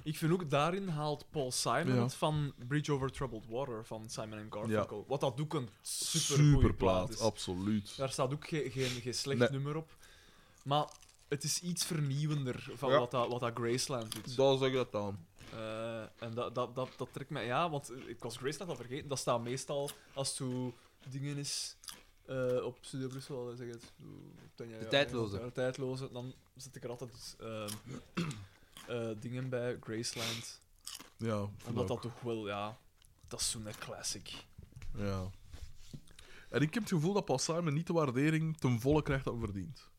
Ik vind ook daarin haalt Paul Simon Ja. het van Bridge Over Troubled Water van Simon en Garfunkel. Wat dat ook een super plaat is. absoluut. Daar staat ook geen, geen, geen slecht Nee. nummer op. Maar het is iets vernieuwender van Ja. wat, dat, wat dat Graceland doet. Dat zeg ik dat dan. Eh, en dat, dat, dat, dat trekt mij... Ja, want eh, ik was Graceland al vergeten. Dat staat meestal als zo dingen is eh, op Studio Brussel, al zeg het. De tijdloze. De tijdloze. Dan zit ik er altijd ehm, *clears throat* eh, dingen bij, Graceland. Ja, Omdat voilà. dat toch wel, ja... Dat is zo'n classic. Ja. En ik heb het gevoel dat Paul Simon niet de waardering ten volle krijgt dat hij verdient.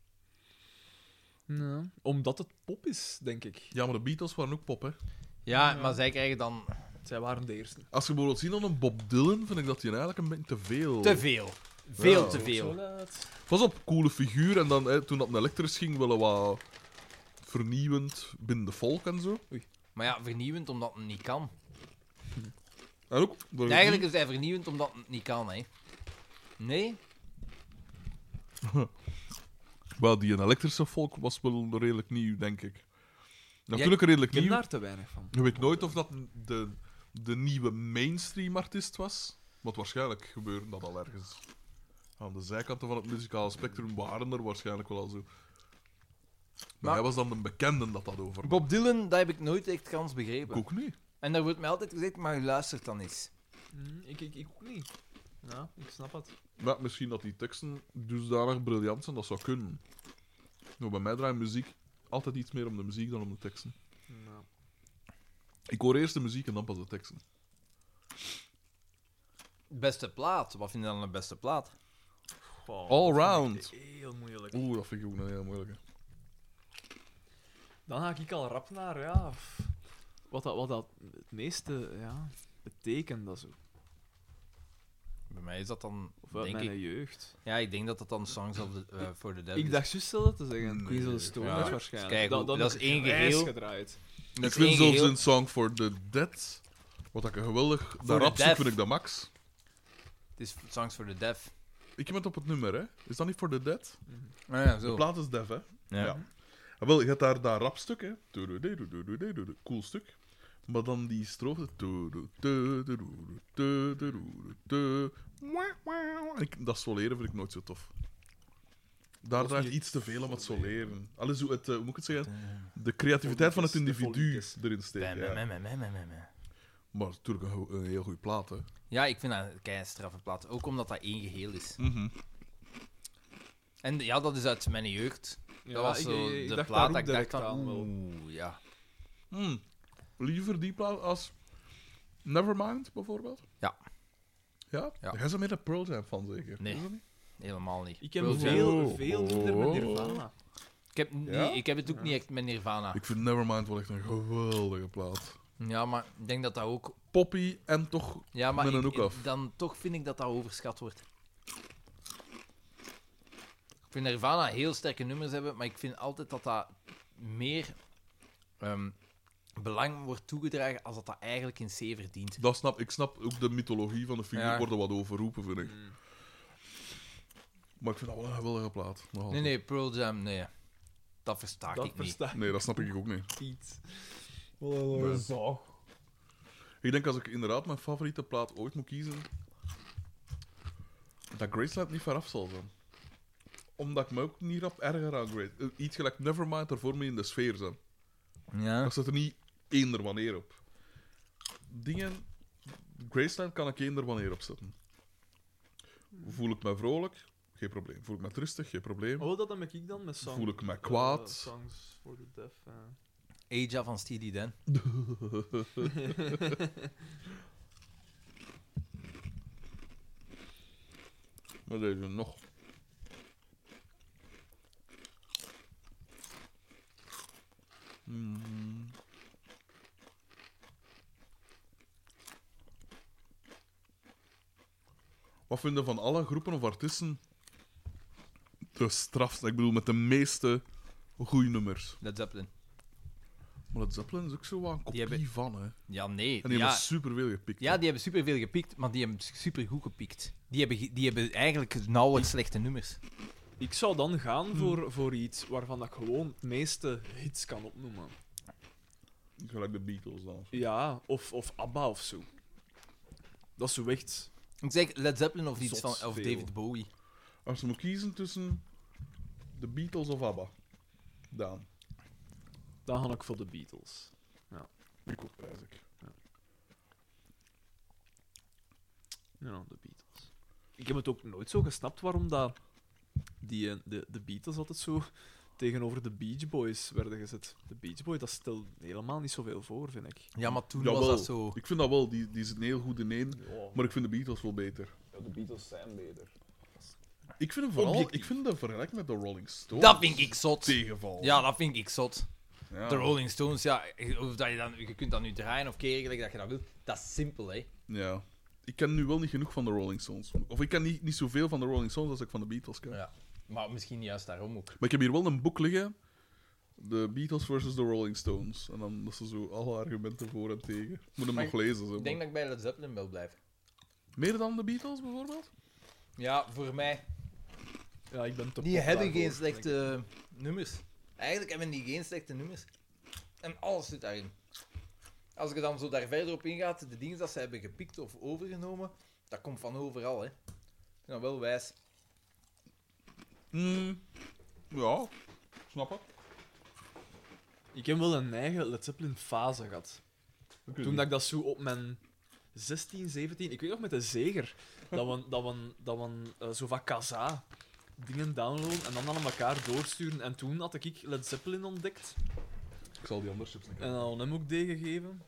Omdat het pop is, denk ik. Ja, maar de Beatles waren ook pop, hè. Ja, maar zij krijgen dan Zij waren de eerste. Als je bijvoorbeeld ziet aan een Bob Dylan, vind ik dat hij eigenlijk een beetje te veel... te veel. Veel Ja. te Zo veel. laat. Pas op, coole figuur. En dan, hè, toen dat naar elektrisch ging, wel wat vernieuwend binnen de folk en zo. Maar ja, vernieuwend omdat het niet kan. En ook... dat je Eigenlijk is hij vernieuwend omdat het niet kan, hè. Nee? niet- Wel, die elektrische folk was wel redelijk nieuw, denk ik. Natuurlijk redelijk Ik heb nieuw. daar te weinig van. Je weet nooit of dat de, de nieuwe mainstream artiest was. Want waarschijnlijk gebeurde dat al ergens. Aan de zijkanten van het muzikale spectrum waren er waarschijnlijk wel al zo. Maar, Maar- hij was dan de bekende dat dat over. Bob Dylan, dat heb ik nooit echt kans Ik begrepen. ook niet. En daar wordt mij altijd gezegd, maar u luistert dan eens. Mm, ik, ik, ik ook niet. Ja, ik snap het. Maar misschien dat die teksten dusdanig briljant zijn, dat zou kunnen. Nou, bij mij draait muziek altijd iets meer om de muziek dan om de teksten. Ja. Ik hoor eerst de muziek en dan pas de teksten. Beste plaat. Wat vind je dan de beste plaat? Goh, All dat round. vind ik Heel moeilijk. Oeh, dat vind ik ook een hele moeilijke. Dan haak ik al rap naar, ja. f- Wat dat, wat dat het meeste ja, betekent, dat zo. Bij mij is dat dan, Of uit denk mijn ik... jeugd. Ja, ik denk dat dat dan Songs of the, eh, for the Dead Ik is. dacht juist zelf dat te zeggen. Nee. Queens of the Stone Ja. Age waarschijnlijk. Kijk, hoe- dat heb is ik één grijs geheel. gedraaid. Dat ik is vind één zelfs geheel. een Song for the Dead, wat ik een geweldig... the Daar Deaf. vind ik dat max. Het is Songs for the Deaf. Ik heb het op het nummer, hè. Is dat niet for the Dead? Ah ja, De zo. plaat is Dev, hè. Ja. Ja. En wel, je hebt daar dat rapstuk, hè. Tudu-dudu-dudu-dudu-dudu. Cool stuk. Maar dan die strofe... tudu, tudu, tudu, tudu, tudu. Mwah, mwah. Ik, dat soleren vind ik nooit zo tof. Daar Of draait niet iets te veel om het soleren. Alles hoe, het, eh, hoe moet ik het zeggen? De creativiteit van het De volkjes, de individu volkjes. erin steken. Bam, bam, Ja. bam, bam, bam, bam, bam. Maar natuurlijk een, go- een heel goede plaat, hè. Ja, ik vind dat een kei straffe plaat. Ook omdat dat één geheel is. Mhm. En ja, dat is uit mijn jeugd. Ja, dat was ik- zo ik- ik dacht de daar plaat ook dat ik dacht direct oh, van... aan, wel. Oeh, ja. Hmm. Liever die plaat als Nevermind, bijvoorbeeld? Ja. Ja? Jij Ja. bent meer een Pearl Jam van, zeker? Nee. Is dat niet? Helemaal niet. Ik heb Pearl Jam. veel, Oh. veel minder met Nirvana. Ik heb, niet- Ja? ik heb het ook niet echt met Nirvana. Ik vind Nevermind wel echt een geweldige plaat. Ja, maar ik denk dat dat ook... Poppy en toch... Ja, maar ben ik- er ook ik- af. dan toch vind ik dat dat overschat wordt. Ik vind Nirvana heel sterke nummers hebben, maar ik vind altijd dat dat meer ehm, belang wordt toegedragen als dat dat eigenlijk in C verdient. Dat snap, ik snap ook de mythologie van de figuur Ja. Hmm. wordt er wat overroepen, vind ik. Maar ik vind dat wel een geweldige plaat. Nog Nee, altijd. nee, Pearl Jam, nee. Dat versta Dat ik niet. versta ik Nee, dat snap ik ook niet. niet. Wat een Nee. zag. Ik denk als ik inderdaad mijn favoriete plaat ooit moet kiezen, dat Graceland niet veraf zal zijn. Omdat ik me ook niet rap erger aan Grace. eh, Iets gelijk Nevermind ervoor mee in de sfeer zijn. Ja. Daar zit er niet eender wanneer op. Dingen. Graceland kan ik eender wanneer op zetten. Voel ik me vrolijk? Geen probleem. Voel ik me rustig? Geen probleem. Oh, dat heb ik dan met songs. Voel ik me eh, kwaad? songs for the deaf. eh. Aja van Steely Dan. Maar deze nog. Hmm. Wat vinden van alle groepen of artiesten de strafste? Ik bedoel, met de meeste goede nummers. Led Zeppelin. Maar dat Zeppelin is ook zo wat een kopie Die hebben- van, hè. Ja, nee. En die ja, hebben superveel gepikt. ja, die hebben superveel gepikt, maar die hebben supergoed gepikt. Die hebben, ge- die hebben eigenlijk nauwelijks slechte nummers. Ik zou dan gaan voor, voor iets waarvan dat ik gewoon het meeste hits kan opnoemen. hè. Gelijk de Beatles dan. Ja, of, of ABBA of zo. Dat is zo echt... Ik zeg Led Zeppelin of iets Zot van... Of veel. David Bowie. Als je moet kiezen tussen de Beatles of ABBA, Daan. Dan ga ik voor de Beatles. Ik ook, prijs ik. Ja, de Beatles. ik heb het ook nooit zo gesnapt waarom dat die, eh, de, de Beatles altijd zo tegenover de Beach Boys werden gezet. De Beach Boys, dat stelt helemaal niet zoveel voor, vind ik. Ja, maar toen Jawel. was dat zo. Ik vind dat wel, die, die zitten heel goed in één. Maar ik vind de Beatles wel beter. de Beatles zijn beter. Ik vind hem vooral, Objectief. ik vind hem vergelijking met de Rolling Stones. Dat vind ik zot. tegenval. Ja, dat vind ik zot. Ja. De Rolling Stones, ja, of dat je, dan, je kunt dat nu draaien of keren gelijk dat je dat wilt. Dat is simpel, hè. Ja. Ik ken nu wel niet genoeg van de Rolling Stones. Of ik ken niet, niet zoveel van de Rolling Stones als ik van de Beatles ken. Ja. Maar misschien juist daarom ook. Maar ik heb hier wel een boek liggen. De Beatles versus de Rolling Stones. En dan dat ze zo alle argumenten voor en tegen. Ik moet hem Maar nog lezen. Zo. Ik denk dat ik bij Led Zeppelin wil blijven. Meer dan de Beatles bijvoorbeeld? Ja, voor mij. Ja, ik ben te Die pop hebben daarvoor, geen vind ik. slechte nummers. Eigenlijk hebben die geen slechte nummers. En alles zit daarin. Als ik er dan zo daar verder op ingaat, de dingen dat ze hebben gepikt of overgenomen, dat komt van overal, hè. Ik vind dat wel wijs. Mm, Ja, snap het. Ik heb wel een eigen Led Zeppelin fase gehad. Toen dat ik dat zo op mijn 16, 17, ik weet nog met de zeger, dat we, dat we, dat we eh, zo van Kaza dingen downloaden en dan aan elkaar doorsturen. En toen had ik Led Zeppelin ontdekt Ik zal die andere chips niet en aan hem ook D gegeven.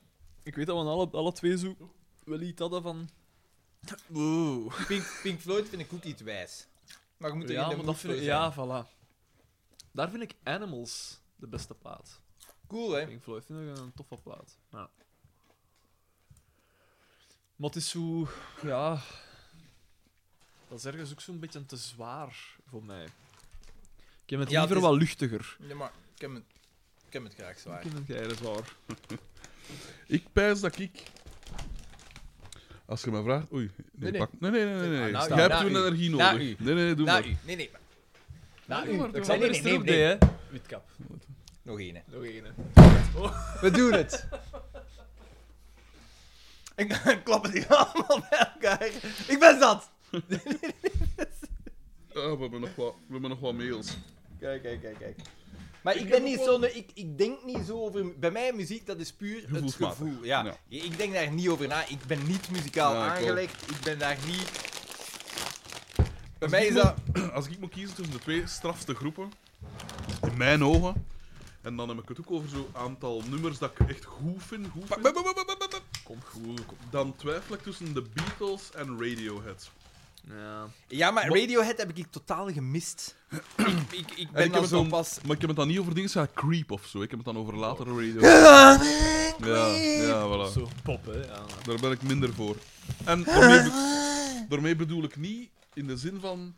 Ik weet dat we alle, alle twee zo wel iets hadden van. Wow. Pink, Pink Floyd vind ik ook iets wijs. Maar je moet er Ja, in de maar mood dat vind ik, voor zijn. ja, voilà. Daar vind ik Animals de beste plaat. Cool, hè. Pink Floyd vind ik een toffe plaat. Ja. Maar het is zo... Ja... Dat is ergens ook zo'n beetje te zwaar voor mij. Ik heb het Ja, het liever is- wat luchtiger. Ja, maar ik heb het, ik heb het graag Ik zwaar. heb het jij zwaar. Ik pijs dat ik. Als je me vraagt. Oei, nee, Nee, nee. pak. Nee, nee, nee. nee, nee. Ah, nou, Jij hebt na toen u. energie Na nodig. u. Nee, nee, doe Na maar. u. Nee, nee. maar- Na Nee, u. maar- Ik zal er nee, eens nee, terug nee. nee, hè. Witkap. Nog één, hè. Oh. Nog één, hè. We doen het. *laughs* Ik klap het hier allemaal bij elkaar. Ik ben zat. Ah, we, hebben nog wat, we hebben nog wat mails. Kijk, kijk, kijk, kijk. Maar ik, heb ben ook niet wel- zo'n... Ik, ik denk niet zo over... Bij mij, muziek, dat is puur het Gevoelsmatig. gevoel. Ja. Ja. Ik denk daar niet over na. Ik ben niet muzikaal Ja, ik wel. aangelegd. Ik ben daar niet... Bij Als mij ik is moet- dat... *clears throat* Als ik moet kiezen tussen de twee strafste groepen, in mijn ogen, en dan heb ik het ook over zo'n aantal nummers dat ik echt goed vind, goed vind, Kom goed. Kom. dan twijfel ik tussen de Beatles en Radiohead. Ja. Ja, maar Mo- Radiohead heb ik ik totaal *clears throat* gemist. ik, ik, ik ben ik dan heb zo het dan, pas... Oh. maar ik heb het dan niet over dingen zoals Creep of zo. Ik heb het dan over latere Radiohead. Ja, Ja, ja, voilà. Zo pop, hè. Ja. Daar ben ik minder voor. En daarmee, *laughs* be- daarmee bedoel ik niet in de zin van.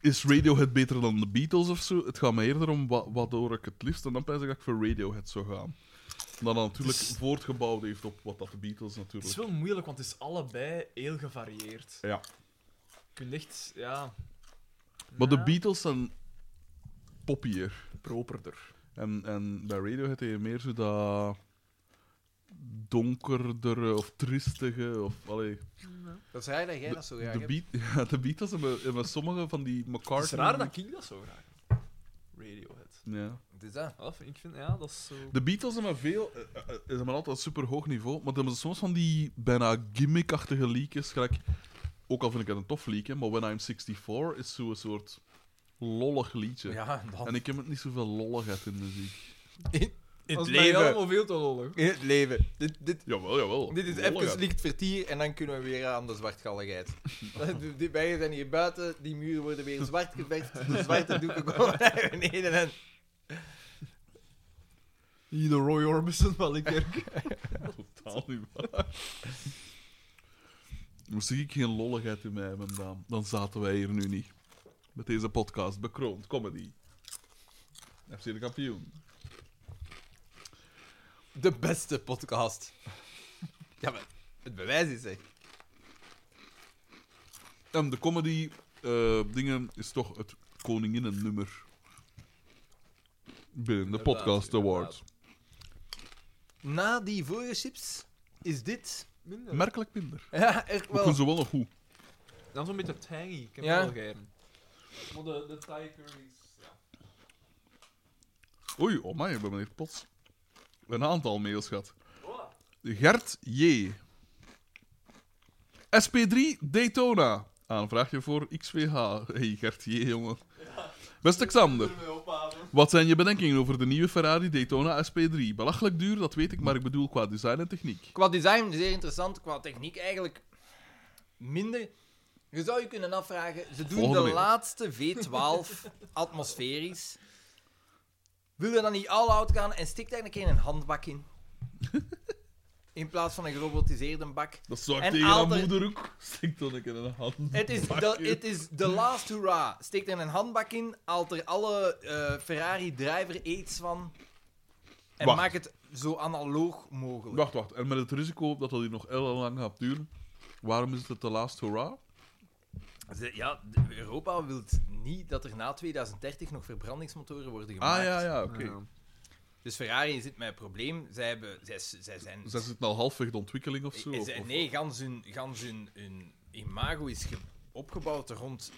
Is Radiohead beter dan de Beatles of zo? Het gaat me eerder om wa wat hoor ik het liefst. En dan pijs ik dat ik voor Radiohead zou gaan. Dat dat natuurlijk Het is- voortgebouwd heeft op wat dat de Beatles Het natuurlijk. is wel moeilijk, want het is allebei heel gevarieerd. Ja. Je kunt echt, ja... Maar de Ja. Beatles zijn poppier. Properder. En, en bij Radiohead heb je meer zo dat. donkerdere of tristige. Of, allee, Dat is raar dat jij dat zo graag de, hebt. Beat- *laughs* ja, de Beatles hebben, hebben sommige van die McCartney. Het is raar dat ik dat zo graag heb. Radiohead. Ja. Het is dat. Ja, dat vind ik vind, ja, dat is zo... De Beatles hebben veel, eh, eh, eh, ze hebben altijd super hoog niveau, maar ze hebben soms van die bijna gimmickachtige leakjes. Gelijk, ook al vind ik het een tof leak, hè, maar When I'm 64 is zo'n soort lollig liedje. Ja, dan. En ik heb het niet zoveel lolligheid in de muziek. In Dat is bij jou allemaal veel te lollig. In het leven. Dit, dit, Jawel, jawel. dit is Lolligheid. even licht vertier en dan kunnen we weer aan de zwartgalligheid. *laughs* Eh, Die- die bijen zijn hier buiten, die muren worden weer zwart geverfd, de zwarte doeken komen *laughs* naar beneden en... Hier de Roy Orbison van de *laughs* kerk. Totaal niet waar. Moest ik geen lolligheid in mij hebben, dan, dan zaten wij hier nu niet. Met deze podcast, bekroond, comedy. FC de kampioen. De beste podcast. Ja, maar het bewijs is zeg. En de comedy eh, dingen is toch het koninginnennummer. Binnen de Inderdaad, podcast awards. Na die vorige chips is dit... Minder. Merkelijk minder. Ja, echt Ik vind wel. ze wel nog goed. Dan zo'n beetje tangy. Ik heb Ja. het wel gegeven. Maar de, de Thai curry's... Ja. Oei, oh my, we hebben hier plots een aantal mails gehad. Gert J. SP3 Daytona. Aanvraagje voor XVH. Hey, Gert, jee, jongen. Beste Xander. Wat zijn je bedenkingen over de nieuwe Ferrari Daytona SP3? Belachelijk duur, dat weet ik, maar ik bedoel qua design en techniek. Qua design zeer interessant, qua techniek eigenlijk minder. Je zou je kunnen afvragen, ze doen Volgende de week. laatste V12 atmosferisch. Wil je dan niet all out gaan en stikt daar een keer een handbak in? In plaats van een gerobotiseerde bak. Dat zou ik En tegen haar Aalter- moeder *laughs* ook. Steek dan een keer in de hand. Het is, de, het is de last hurrah. Steek er een handbak in, haalt er alle eh, Ferrari driver aids van. En Wacht. maak het zo analoog mogelijk. Wacht, wacht. En met het risico dat dat hier nog heel lang gaat duren, waarom is het de last hurrah? Ze- Ja, de- Europa wil niet dat er na 2030 nog verbrandingsmotoren worden gemaakt. Ah, ja, ja, oké. Ja. Dus Ferrari zit met een probleem. Zij, hebben, zij, zij zijn... Ze zitten al halfweg de ontwikkeling of zo. Eh, of- zij- of- nee, gans hun, gans hun, hun imago is ge- opgebouwd rond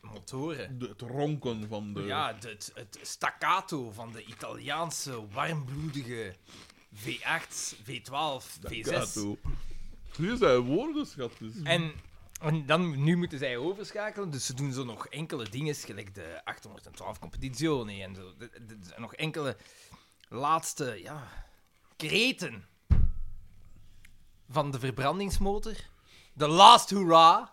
motoren. de- het ronken van de... Ja, de- het, het staccato van de Italiaanse warmbloedige V8, V12, V6. Kato. Nu zijn woorden, schat. Dus. En, en dan, nu moeten zij overschakelen, dus ze doen zo nog enkele dingen, gelijk de 812 competizione en zo. De- de- de- nog enkele laatste, ja, kreten van de verbrandingsmotor. De last hurrah.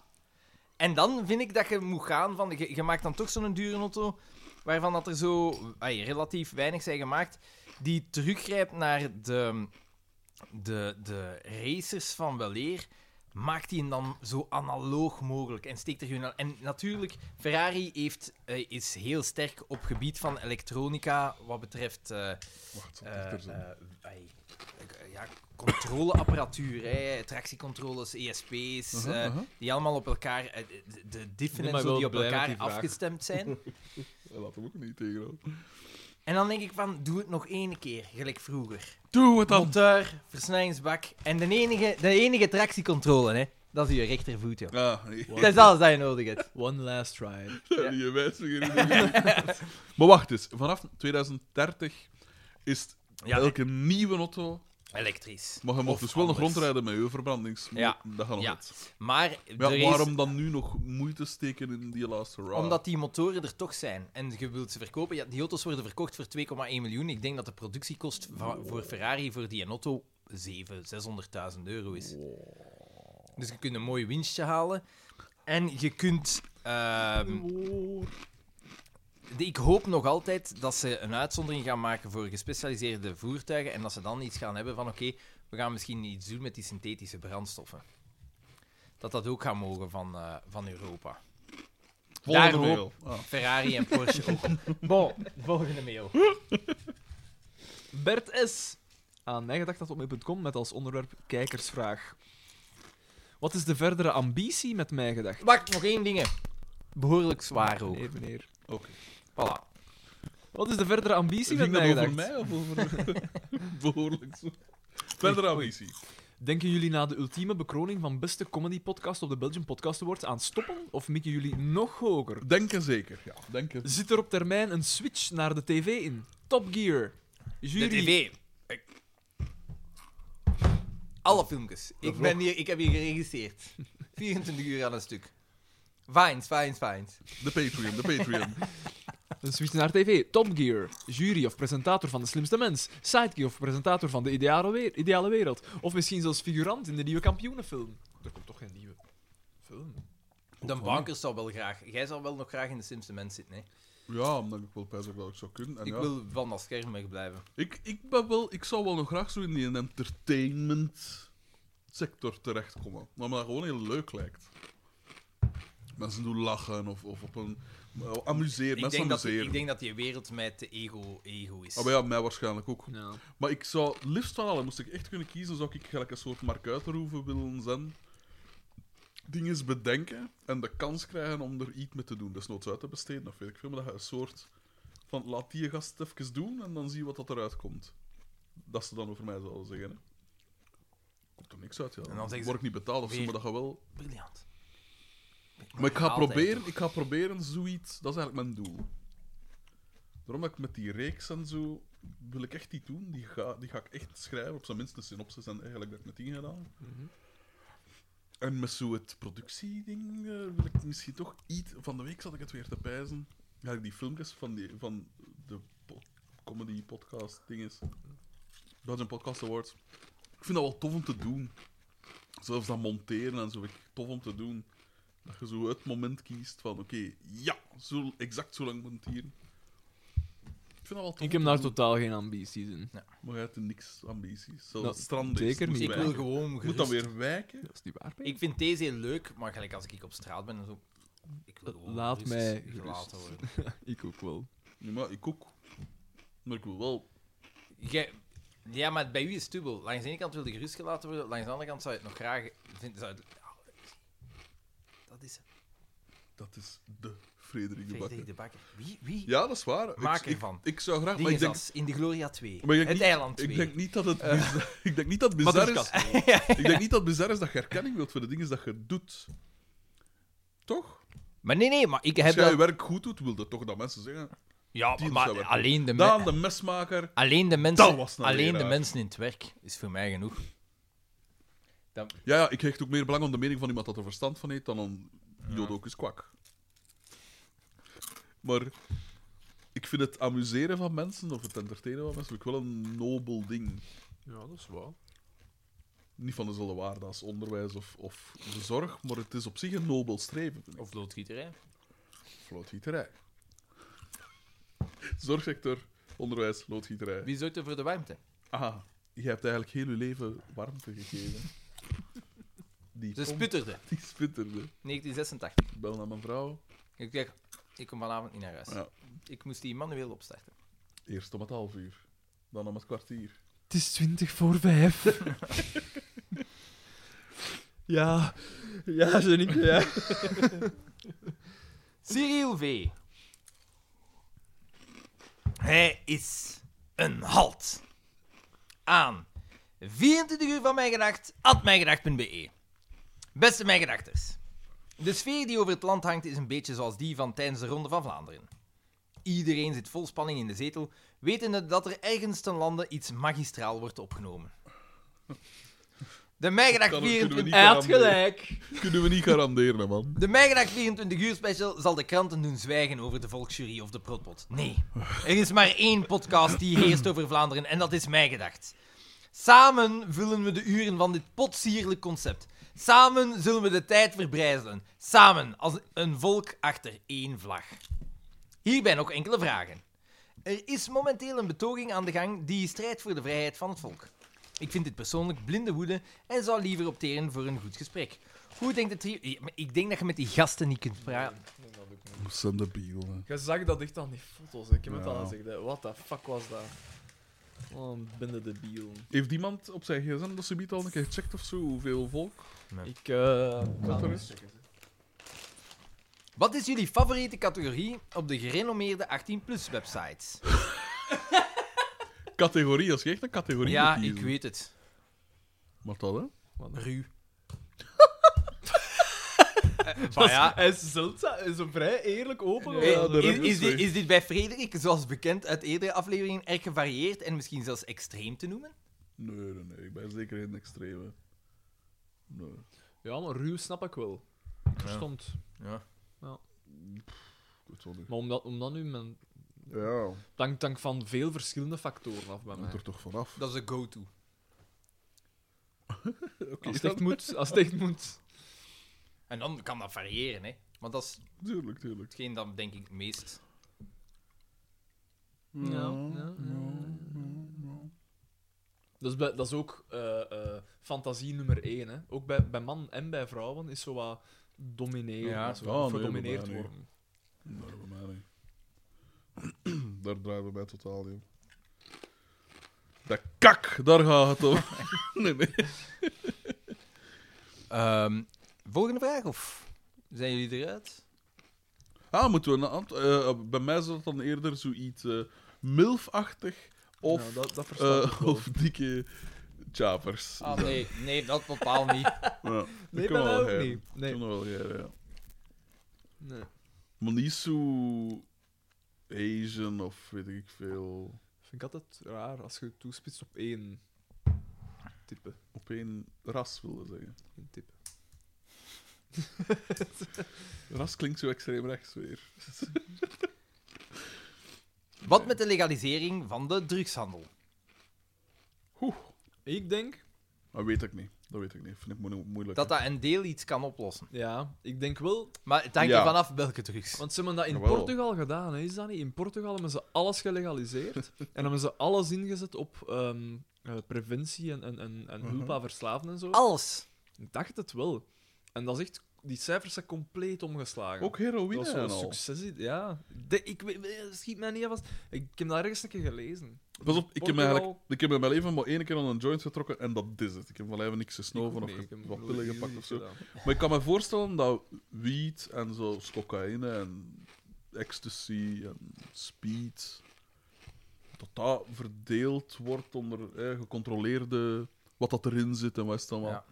En dan vind ik dat je moet gaan van, je, je maakt dan toch zo'n dure auto, waarvan dat er zo ai, relatief weinig zijn gemaakt, die teruggrijpt naar de, de, de racers van weleer maakt die hem dan zo analoog mogelijk en steekt er hun... En natuurlijk, Ferrari heeft, eh, is heel sterk op gebied van elektronica wat betreft... eh, Wacht, zal eh, dichter zijn. eh, ai, eh, ja, controleapparatuur, hè, tractiecontroles, ESP's, Aha, eh, aha. die allemaal op elkaar... eh, de, de diffen ben en mij zo wel die op blij met elkaar die vraag. afgestemd *laughs* zijn. eh. Laat hem ook niet tegenhouden. en dan denk ik van, doe het nog één keer, gelijk vroeger. Doe het dan! Motor, versnellingsbak en de enige, de enige tractiecontrole, hè. Dat is je rechtervoet, joh. Ah, nee. Wow. *laughs* Dat is alles dat je nodig hebt. One last try. Die wijziger in de- *laughs* maar wacht eens. Vanaf 2030 is het Ja, elke nieuwe auto... elektrisch. Maar je mag Of dus wel nog anders. rondrijden met je verbrandings. Ja. Dat gaat nog Sånn Ja. niet. Maar Ja, er is- waarom dan nu nog moeite steken in die last hurrah? omdat die motoren er toch zijn en je wilt ze verkopen. Ja, die auto's worden verkocht voor 2,1 miljoen. Ik denk dat de productiekost va- voor Ferrari voor die auto 700.000, 600.000 euro is. Dus je kunt een mooi winstje halen. En je kunt... ehm, de- ik hoop nog altijd dat ze een uitzondering gaan maken voor gespecialiseerde voertuigen en dat ze dan iets gaan hebben van oké, we gaan misschien iets doen met die synthetische brandstoffen. Dat dat ook gaat mogen van, eh, van Europa. Volgende Daarom- mail. Ah. Ferrari en *laughs* Porsche ook. Bon, volgende mail. Bert S. Ah, aan mijgedacht.com met als onderwerp kijkersvraag. Wat is de verdere ambitie met mijgedacht? Wacht, nog één ding. hè. Behoorlijk zwaar ook. Nee, meneer. Oké. Voilà. Wat is de verdere ambitie met Ging dat over mijgedacht? mij of over... *laughs* Behoorlijk zo. Verder ambitie. Denken jullie na de ultieme bekroning van beste comedy podcast op de Belgian Podcast Awards aan stoppen? Of mikken jullie nog hoger? Denken zeker, ja. Denken. Zit er op termijn een switch naar de tv in? Top Gear. De Jury. tv. Ik- Alle filmpjes. Ik, ben hier, ik heb hier geregistreerd. 24 uur aan een stuk. Vines, vines, vines. De Patreon, de Patreon. Een switch naar tv. Top Gear. Jury of presentator van De Slimste Mens. Sidekick of presentator van De Ideale, Weer- Ideale Wereld. Of misschien zelfs figurant in de nieuwe kampioenenfilm. Er komt toch geen nieuwe film? De bankers zou wel graag. Jij zou wel nog graag in de Sims de Mens zitten. Hè? Ja, omdat ik wel pijs dat ik zou kunnen. En Ik ja, wil van dat scherm wegblijven. ik, ik, ben wel, ik zou wel nog graag zo in die entertainment sector terechtkomen. Maar me dat gewoon heel leuk lijkt. Mensen doen lachen of, of op een... eh, Amuseer, Ik mensen denk, dat, amuseren. ik denk dat die wereld mij te ego, ego is. Ah, maar ja, mij waarschijnlijk ook. Ja. Maar ik zou liefst wel, al moest ik echt kunnen kiezen, zou ik gelijk een soort Mark Uiterhoeven willen zijn. Dingen bedenken en de kans krijgen om er iets mee te doen. Desnoods uit te besteden, of weet ik veel. Maar dat je een soort van laat die gast het even doen en dan zie je wat dat eruit komt. Dat ze dan over mij zouden zeggen. Hè. Komt er niks uit, ja. dan Dan, zeggen ze word ik niet betaald of zo, weer- maar dat gaat wel. Briljant. Maar ik ga, Altijd. proberen, ik ga proberen zoiets. Dat is eigenlijk mijn doel. Daarom dat ik met die reeks en zo. wil ik echt die doen. Die ga, die ga ik echt schrijven. Op zijn minst de synopsis en eigenlijk dat ik met die gedaan. En met zo het productieding eh, wil ik misschien toch iets... Van de week zat ik het weer te pijzen. Ga ik die filmpjes van, die, van de po- comedy podcast dinges. Belgian Podcast Awards. Ik vind dat wel tof om te doen. Zelfs dat monteren en zo vind ik tof om te doen. Dat je zo het moment kiest van, oké, ja, zo, exact zo lang monteren. Ik vind dat wel tof. Ik heb om daar te doen. totaal geen ambities in. Maar je hebt niks ambities. Dat Zelfs stranden. zeker niet. Ik wil gewoon moet dan gerust- weer wijken. Dat is niet waar, Ik vind deze heel leuk, maar gelijk als ik op straat ben en zo... Ik wil gewoon Laat gerust mij gelaten gerust. worden. ik ook wel. Ja, maar ik ook. Maar ik wil wel. Jij- ja, maar bij u is het dubbel. Langs de ene kant wil je gerust gelaten worden, langs de andere kant zou je het nog graag... Vind, zou je het- Ja, dat is Dat is de Frederik de Frederik Bakker. de Bakker. Wie? Wie? Ja, dat is waar. Maak ik, ik, ervan. Ik zou graag. Maar ik denk, Dingesas, in de Gloria 2. Maar ik denk het Eh, niet- eiland 2. ik denk niet dat het. bizar- *laughs* ik denk niet dat het bizar is. *laughs* ik denk niet dat het bizar is dat je herkenning wilt voor de dingen dat je doet. Toch? Maar nee, nee, maar ik Als heb jij je dat... werk goed doet, wil dat toch dat mensen zeggen. Ja, dienst maar zou werken. alleen de, me- Daan, de mesmaker. alleen de mensen... Dat was nou een alleen de leraar. mensen in het werk is voor mij genoeg. Dat, Ja, ja, ik hecht ook meer belang aan de mening van iemand dat er verstand van heeft dan aan Jodokus kwak. Maar ik vind het amuseren van mensen of het entertainen van mensen vind ik wel een nobel ding. Ja, dat is waar. Niet van dezelfde waarde als onderwijs of, of de zorg, maar het is op zich een nobel streven. Vind ik. of loodgieterij. Loodgieterij. *laughs* Zorgsector, onderwijs, loodgieterij. Wie zorgt er voor de warmte? Ah, je hebt eigenlijk heel je leven warmte *laughs* gegeven. Die, Ze pomp, sputterde. *laughs* die spitterde. 1986. Ik bel naar mijn vrouw. Ik zeg, ik kom vanavond niet naar huis. Ja. Ik moest die manueel opstarten. Eerst om het half uur, dan om het kwartier. *laughs* Het is 20 voor 5. *laughs* ja, ja, ik. Ja. Cyril V. Hij is een halt. Aan 24 uur van mijn gedacht, at mijngedacht.be. Beste mijn gedachters. De sfeer die over het land hangt is een beetje zoals die van tijdens de Ronde van Vlaanderen. Iedereen zit vol spanning in de zetel, wetende dat er ergens ten lande iets magistraal wordt opgenomen. De Mijgedacht Dat kunnen we 24 niet Hij had garanderen. gelijk. Kunnen we niet garanderen, hè, man. de Mijgedag 24 uur special zal de kranten doen zwijgen over de Volksjury of de Protpot. Nee, er is dus maar één podcast die heerst over Vlaanderen en dat is Mijgedacht. Samen vullen we de uren van dit potsierlijk concept. Samen zullen we de tijd verbrijzelen. Samen als een volk achter één vlag. Hierbij nog enkele vragen. Er is momenteel een betoging aan de gang die strijdt voor de vrijheid van het volk. Ik vind dit persoonlijk blinde woede en zou liever opteren voor een goed gesprek. Hoe denkt het hier? Ja, maar Ik denk dat je met die gasten niet kunt praten. Sam de Beal. hè. Je zag dat echt aan die foto's. hè. Ik heb het Ja. al gezegd. hè. What the fuck was dat? Oh, een bende debiel. Heeft iemand op zijn gsm dat ze biedt al een keer gecheckt of zo? Hoeveel volk? Ik eh kan er er is. Wat is jullie favoriete categorie op de gerenommeerde 18-plus websites? Categorie, als je echt een categorie Ja, moet ik kiezen. weet het. Maar dat, hè? *laughs* Ruw. Dat Maar is- ja, Hij is zeldzaam, hij is zo vrij eerlijk open. Ja, over Hey, dat. de is, rug is is, dit, weg. is dit bij Frederik, zoals bekend uit eerdere afleveringen, erg gevarieerd en misschien zelfs extreem te noemen? Nee, nee, nee. Ik ben zeker geen extreme. Nee. Ja, maar ruw snap ik wel. Ik verstond. Ja. Ik weet wel niet. Maar omdat, omdat nu men. Ja, Het hangt- het hangt van veel verschillende factoren af bij moet mij. er toch vanaf. Dat is een go-to. Oké, Als het dan- echt moet. Als het echt moet. En dan kan dat variëren, hè. Want dat is Tuurlijk, tuurlijk. hetgeen dat, denk ik, het meest... Ja, ja, ja. Dus bij- dat is ook eh, eh, fantasie nummer één. Hè. Ook bij, bij mannen en bij vrouwen is zo wat domineren. Ja. zo Ja, wat nee, verdomineerd bij mij worden. Daar bij mij niet. *clears throat* Daar draaien we bij totaal niet om. De kak, daar gaat het om. *laughs* nee, nee. Ehm, volgende vraag, of zijn jullie eruit? Ah, moeten we een ant- eh, bij mij is dat dan eerder zoiets eh milfachtig of, Ja, Nou, dat, dat versta ik eh, wel. *laughs* of dikke chapers. Ah, nee, nee, dat bepaal niet. Ja, Nee, dat kan bij mij wel ook gaan. niet. Dat Nee. kan wel gaan, ja. nee. Maar niet zo Asian of weet ik veel. Vind ik altijd raar als je toespitst op één type. Op één ras willen zeggen. Een type. Ras klinkt zo extreem rechts weer. Wat met de legalisering van de drugshandel? Oeh, Ik denk, dat Ah, weet ik niet. Dat weet ik niet. Vind ik moe- moeilijk. Dat dat een deel iets kan oplossen. ja, ik denk wel. Maar het hangt Ja. er vanaf welke drugs. Want ze hebben dat in Jawel. Portugal gedaan, hè? is dat niet? In Portugal hebben ze alles *laughs* gelegaliseerd en hebben ze alles ingezet op ehm, eh, preventie en, en, en, en hulp Mhm. aan verslaafden en zo. Alles. Ik dacht het wel. En dat is echt, die cijfers zijn compleet omgeslagen. Ook heroïne dat is zo'n en al. succes. Ja, De- ik weet- eh, schiet mij niet af. als- Ik heb daar ergens een keer gelezen. Pas op, ik heb, me Portugal- eigenlijk, ik heb in mijn leven maar één keer aan een joint getrokken en dat is het. Ik heb van even niks Ik ook gesnoven of niet, ge- ik heb wat nog pillen niet gepakt of iets zo. gedaan. Maar ik kan me voorstellen dat wiet en zo, als cocaïne en ecstasy en speed, dat dat verdeeld wordt onder eh, gecontroleerde, wat dat erin zit en wat is het allemaal. Ja.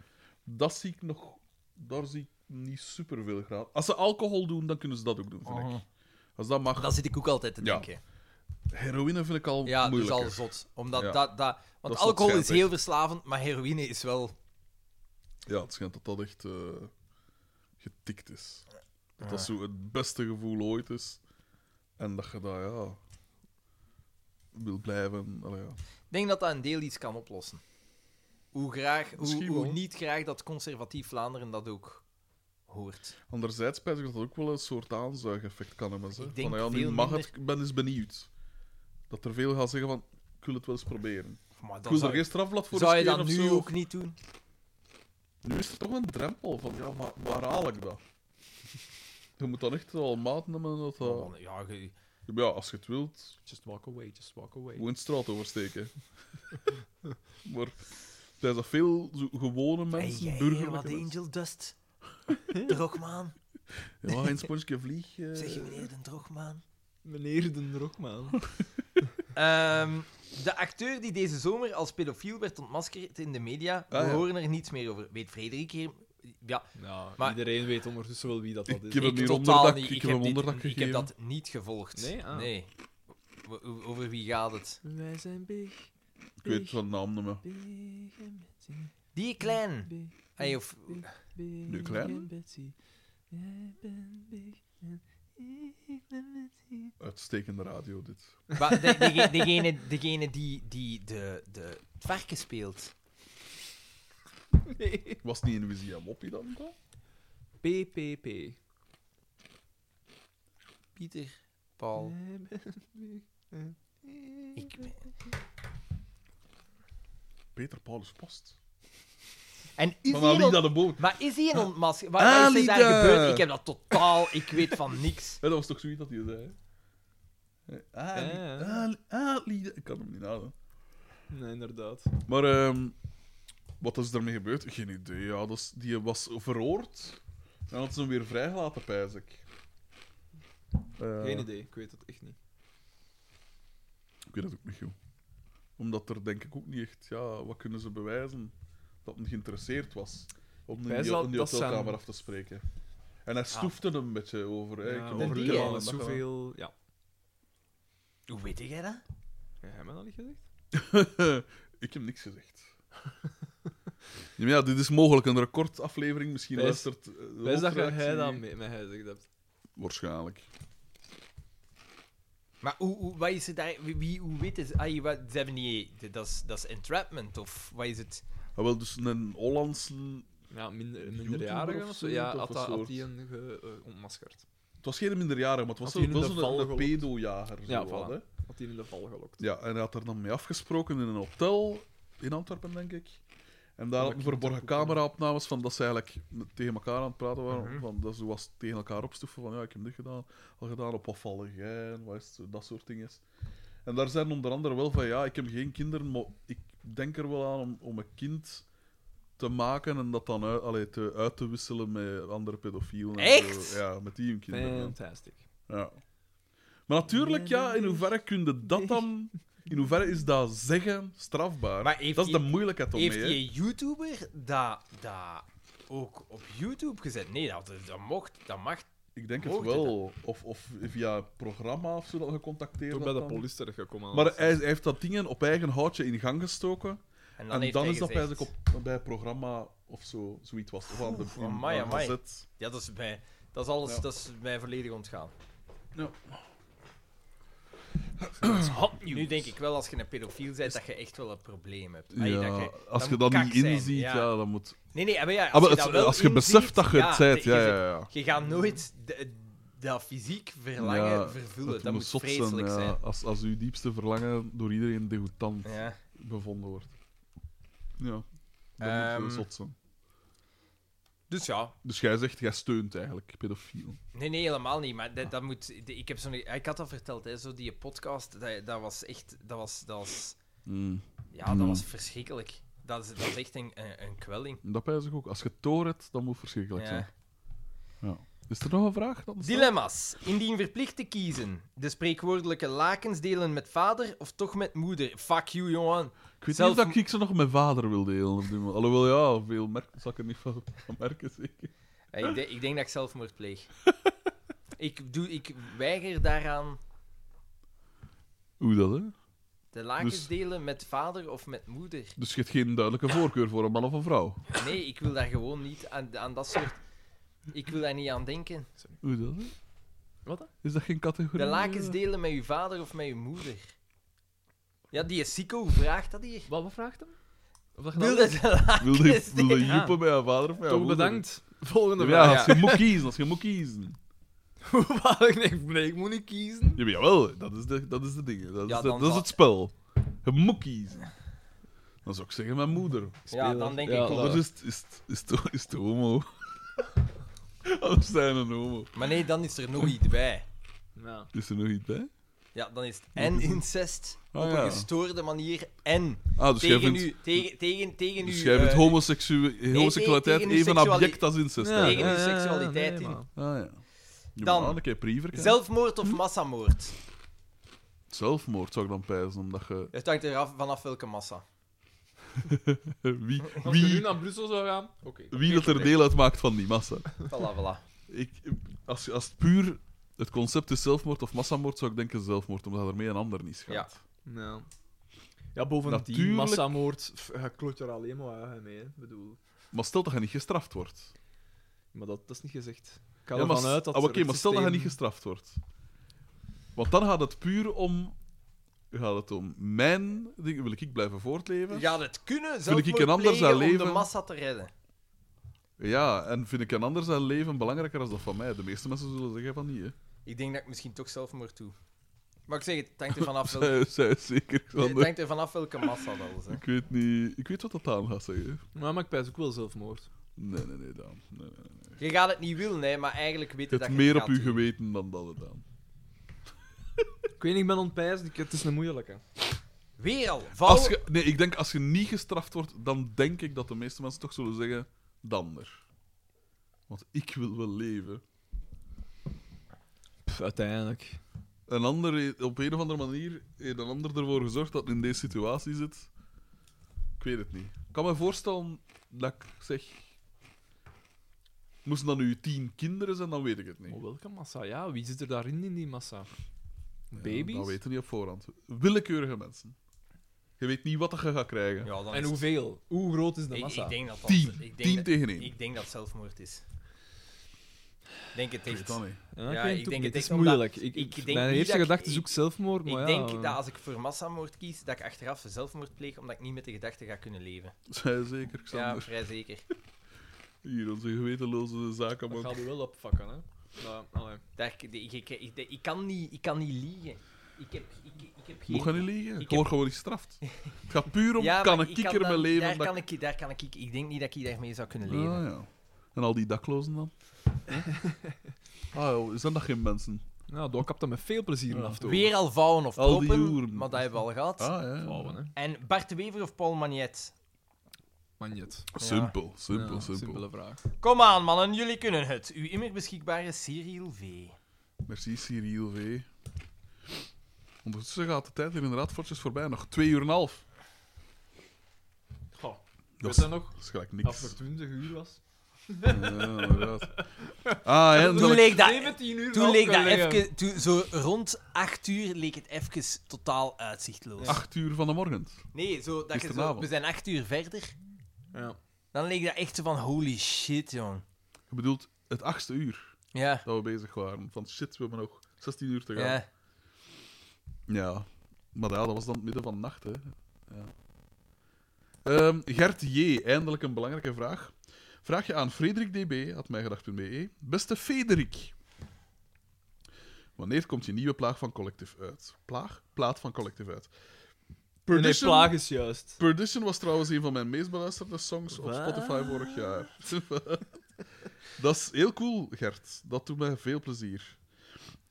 Dat zie ik nog, daar zie ik niet superveel graag. Als ze alcohol doen, dan kunnen ze dat ook doen, vind ik. Als dat mag. Mhm. Dat zit ik ook altijd te Ja. denken. Heroïne vind ik al Ja, dus moeilijker. al zot. Omdat Ja. dat, dat, want is alcohol wat is heel verslavend, maar heroïne is wel... Ja, het schijnt dat dat echt eh, getikt is. Dat Ah. dat zo het beste gevoel ooit is. En dat je dat, ja... Wil blijven. Allee, ja. Ik denk dat dat een deel iets kan oplossen. Hoe, graag, hoe, Misschien hoe wel. niet graag dat conservatief Vlaanderen dat ook hoort. Anderzijds spijt ik dat dat ook wel een soort aanzuigeffect kan hebben. Zeg. Ik denk van, ja, nu veel mag minder- het, ik ben eens benieuwd. Dat er veel gaan zeggen van, ik wil het wel eens proberen. Maar Ik dan wil er zou, geen strafblad voor zou je riskeren dat of nu zo. ook niet doen? Nu is er toch een drempel van, ja, maar waar haal ik dat? je moet dan echt al maat nemen dat dat... Want Oh, Ja, je- Ja, als je het wilt, Just walk away, just walk away. Gewoon straat oversteken. *laughs* maar zijn dat veel zo gewone Hey, mensen, jij hier wat burgerlijke mensen. Angel *laughs* Dust. Drogmaan. Ja, een sponsje vlieg. eh. Zeg je meneer de Drogmaan? Meneer de Drogman. *laughs* Ehm, de acteur die deze zomer als pedofiel werd ontmaskerd in de media, we Ah, ja. horen er niets meer over. Weet Frederik hier? Ja, Nou, Maar- iedereen weet ondertussen wel wie dat, dat Ik is. heb hem ik hier totaal onderdak- ik niet. Ik heb heb, hem dit- onderdak ik heb gegeven. dat niet gevolgd. Nee? Ah. O- o- Over wie gaat het? Wij zijn big, Ik weet van naam niet meer. big en Betsy. Die klein. Big, Hey, *laughs* of, big Hm. Nu klein? en Betsy. Jij bent big en ik ben Betsy. Uitstekende radio, dit. maar de- dege- degene, degene die, die de, de het varken speelt. Was het niet in Wizia Moppie dan? toch? PPP. Pieter, Paul. Jij bent big en ik Ik ben- Peter Paulus Post. En is Van die een ont- Alida de Boot. Maar is hij een ontmasker? Wat, Ah, wat is er daar Alida! gebeurd? Ik heb dat totaal... Ik weet van niks. Hè, dat was toch zoiets dat hij zei? hè? Eh, ah, Ja, ja. Ali- Ali- Alida. ah, Ik kan hem niet nadoen. Nee, inderdaad. Maar ehm, wat is ermee gebeurd? Geen idee. Ja, dat is- die was veroord en had ze hem weer vrijgelaten, pijs ik. Eh, Geen idee, ik weet het echt niet. Ik weet het ook niet, joh. Omdat er denk ik ook niet echt... Ja, wat kunnen ze bewijzen? Dat hem geïnteresseerd was om die, wijs die, al- om die dat zijn- hotelkamer af te spreken. En hij stoefde hem een beetje over. hè, ik Ja, heb over dit die, die gedaan hè. en alles dat gedaan. zoveel. Ja, Hoe weet jij dat? heb jij mij dat niet gezegd? dus *laughs* ik heb niks gezegd. *laughs* Ja, maar ja, dit is mogelijk een recordaflevering. Misschien Wij- luistert... eh, de Wij dat hoofdredactie- jij dat met mij gezegd hebt. Waarschijnlijk. Maar hoe, hoe, wat is er daar... Wie, wie- hoe weet het? Ah, je- wat, ze hebben niet... Dat is, dat is entrapment, of wat is het? Ah, wel, dus een Hollands... Ja, minder, YouTuber minderjarigen of of zo? zoiets, Ja, of had een dat- had soort- die een ge- eh, ontmaskerd. Het was geen minderjarige, maar het was Had hij wel in de val zo'n een gelokt? pedojager. Zo Ja, wat, voilà. hè. Had die in de val gelokt. Ja, en hij had er dan mee afgesproken in een hotel in Antwerpen, denk ik. En daar hadden verborgen cameraopnames van dat ze eigenlijk met- tegen elkaar aan het praten waren. van, dat ze was tegen elkaar opstoeven van ja, ik heb dit gedaan, al gedaan, op wat vallen jij en wat is het, dat soort dingen. En daar zijn onder andere wel van ja, ik heb geen kinderen, maar ik denk er wel aan om, om een kind te maken en dat dan uit, allee, te, uit te wisselen met andere pedofielen. en Echt? zo. Ja, met die hun kinderen. ja. Fantastic. Ja. Maar natuurlijk, ja, in hoeverre kun je dat dan... In hoeverre is dat zeggen strafbaar? Maar heeft dat is die- de moeilijkheid om Heeft mee, hè. die YouTuber dat, dat ook op YouTube gezet? Nee, dat, dat mocht. Dat mag. Ik denk het Mocht het wel. Of, of via programma of zo dat gecontacteerd Toen bij de politie terechtgekomen. Maar hij, hij heeft dat dingen op eigen houtje in gang gestoken. En dan, en heeft dan hij is dat gezegd- eigenlijk op, bij programma of zo, zoiets was. Of aan de in- amai, aan de amai. zet. Ja, dat is mij. Dat is alles, Ja. dat is mij volledig ontgaan. Ja. Nu denk ik wel, als je een pedofiel bent, dat je echt wel een probleem hebt. Ja, Allee, dat je- als dat je moet dat niet kak zijn, inziet, ja. ja. dan moet... Ah, Nee, nee, maar ja, als, Als, je, als, dat wel je inziet, beseft dat je het ja, bent, ja, je- ja, ja. Je gaat nooit de- dat fysiek verlangen Ja, vervullen. Dat, moet moet zot vreselijk zijn. ja. Als, als uw diepste verlangen door iedereen degoutant Ja. bevonden wordt. Ja, dat Ehm. moet heel zot zijn. Dus ja, Dus jij zegt, jij steunt eigenlijk pedofiel. Nee, nee, helemaal niet. Maar dat, dat moet, de- ik, heb zo'n, ik had al verteld, hè, zo die podcast, dat, dat was echt... Dat was, dat was, ja, dat Mm. was verschrikkelijk. Dat is, dat is echt een, een, een kwelling. Dat pijs ik ook. Als je toor hebt, dan moet het verschrikkelijk Ja. zijn. Ja. Is er nog een vraag? Dan Dilemma's. Indien verplicht te kiezen. De spreekwoordelijke lakens delen met vader of toch met moeder. Fuck you, jongen. Ik weet Zelf- niet of ik ze nog met vader wil delen. Op dit moment. Alhoewel, ja, veel merken zal ik er niet van van merken, zeker. Eh, Ik, de- ik denk dat ik zelfmoord pleeg. ik, doe, ik weiger daaraan Hoe dat, hè? de lakens Dus- delen met vader of met moeder. Dus je hebt geen duidelijke voorkeur voor een man of een vrouw. Nee, ik wil daar gewoon niet aan, aan dat soort... Ik wil daar niet aan denken. Hoe dat, hè? Wat dan? Is dat geen categorie? eh? De lakens delen met uw vader of met uw moeder. Ja, die Sico vraagt dat hier. Wat, wat vraagt hem? Of dat je Wil dat- dat de Wilde, lakens wilde delen? Ja. joepen bij haar vader of bij haar Toch moeder? bedankt. Volgende vraag. Ja, als je *laughs* moet kiezen, als je moet kiezen. Wat? Ik denk, nee, ik moet niet kiezen. Ja, maar jawel, dat is de, dat is de ding. hè. Dat, Ja, is, de- dan dat is zal- het spel. Je moet kiezen. Dan zou ik zeggen mijn moeder. Ja, dan denk Ja, ik dat- Anders is het, is, het- is, het- is het homo. *laughs* Anders zijn een homo. Maar nee, dan is er nog iets bij. Ja. Is er nog iets bij? Ja, dan is het en incest Ah, op ja. een gestoorde manier en Ah, dus jij tegen, vindt, u, tegen, tegen, tegen dus uw, jij vindt eh, homoseksu- homoseksualiteit tegen uw even seksuali- abject als incest. Ja, Tegen eigenlijk. uw ja, ja, ja, seksualiteit nee, in. maar- Ah, ja. Je Dan- moet een keer priever kijken. zelfmoord of massamoord. Zelfmoord zou ik dan pijzen, omdat je... *laughs* Het hangt eraf vanaf welke massa. Wie, Als je nu wie, naar Brussel zou gaan, oké. wie dat er deel uitmaakt van die massa. Voilà, voilà. Ik, als, als het puur het concept is zelfmoord of massamoord, zou ik denken zelfmoord, omdat daarmee een ander niet schaadt. Ja. Ja, bovendien, Natuurlijk- massamoord, pff, je kloot er alleen maar aan mee, hè. Ik bedoel. Maar stel dat je niet gestraft wordt. Maar dat, dat is niet gezegd. Ik ga Ja, maar, ervan uit dat... ah, oké, het maar stel dat je niet systeem- gestraft wordt. Want dan gaat het puur om... Gaat het om mijn ding? Wil ik blijven voortleven? Gaat het kunnen ik zelfmoord een ander plegen zijn om de leven- massa te redden? Ja, en vind ik een ander zijn leven belangrijker dan dat van mij? De meeste mensen zullen zeggen van niet, hè. Ah, Ik denk dat ik misschien toch zelfmoord doe. Maar ik zeg het, het hangt er *laughs* vanaf welke Zij, zij is zeker, Het Xander. hangt er vanaf welke massa dat is. Hè. Ik weet niet... Ik weet wat dat aan gaat zeggen. Maar, maar ik pijs ook wel zelfmoord. Nee, nee, nee, Daan. Nee, nee. Je gaat het niet willen, hè, maar eigenlijk weet je Het dat je meer het op gaat uw doen. geweten dan dat, het, Daan. Ik weet niet, ik ben ontpijs, het is een moeilijke. Weer al. Val... Als ge- nee, ik denk als je niet gestraft wordt, dan denk ik dat de meeste mensen toch zullen zeggen: dan er. Want ik wil wel leven. Pff, uiteindelijk. Een ander, he- op een of andere manier, heeft een ander ervoor gezorgd dat hij in deze situatie zit. Ik weet het niet. Ik kan me voorstellen dat ik zeg. Moesten dan nu tien kinderen zijn, dan weet ik het niet. Maar Oh, welke massa? Ja, wie zit er daarin in die massa? Ja, Baby's? dat weten we niet op voorhand. Willekeurige mensen. Je weet niet wat je gaat krijgen. Ja, dan en is- hoeveel? Hoe groot is de Ik, massa? ik denk dat dat... Tien. Ik denk Tien dat- tegen één. Ik denk dat het zelfmoord is. Ik denk het Ik weet echt. het dan niet. Ja, ik Ja, ik denk het, denk ook niet. het het is echt omdat- moeilijk. Ik, ik, ik denk mijn niet eerste dat ik- gedachte is ik- ook zelfmoord, maar ik ja... denk dat als ik voor massamoord kies, dat ik achteraf zelfmoord pleeg, omdat ik niet met de gedachte ga kunnen leven. Zij zeker, Xander. Ja, vrij zeker. Hier, onze gewetenloze Dat zakenman. gaat u wel opvakken, hè. Maar, allee. Daar, ik, ik, ik, ik- ik kan niet, ik kan niet liegen. Ik heb, ik, ik heb geen... Moet gaan niet liegen. Ik heb- word gewoon niet gestraft. Het gaat puur om, Ja, kan maar een ik kan kikker dan- mijn leven... Daar dat- kan ik, daar kan ik... Ik denk niet dat ik daarmee zou kunnen leven. Ah, ja. En al die daklozen *laughs* dan? ah, joh, zijn dat geen mensen? Nou, daar kapt dat met veel plezier Ja. in af te Weer al vouwen of Al die proppen, joeren. maar dat hebben we al gehad. Ah, ja. Vrouwen, hè. En Bart de Wever of Paul Magnet? Magnet. Simpel, simpel, Ja, simpel. Simpele vraag. Kom aan, mannen, jullie kunnen het. Uw immer beschikbare Cyril V. Merci, Cyril V. Ondertussen gaat de tijd hier inderdaad fortjes voorbij. Nog twee uur en een half. Goh, Dat weet is, dat nog? dat is gelijk Als niks. het 20 uur was. Ja, inderdaad. *laughs* Ah, Toen eindelijk. leek dat, 17 uur toen leek dat afgelegen. even, toen, zo rond 8 uur leek het even totaal uitzichtloos. Acht uur van de morgen. Nee, zo, dat je zo, Gisteravond. we zijn 8 uur verder. Ja. Dan leek dat echt zo van holy shit, jong. Je bedoelt het achtste uur Ja, dat we bezig waren. Van shit, we hebben nog 16 uur te gaan. Ja. ja. Maar ja, dat was dan het midden van de nacht, hè. Ja. Ehm, Gert J., eindelijk een belangrijke vraag. Vraag je aan frederikdb, at mijgedacht.be. E. Beste Frederik. Wanneer komt je nieuwe plaag van Collective uit? Plaag? Plaat van Collective uit. Nee, nee, Perdition- plaag is juist. Perdition was trouwens een van mijn meest beluisterde songs op Wat? Spotify vorig jaar. *laughs* dat is heel cool, Gert. Dat doet mij veel plezier.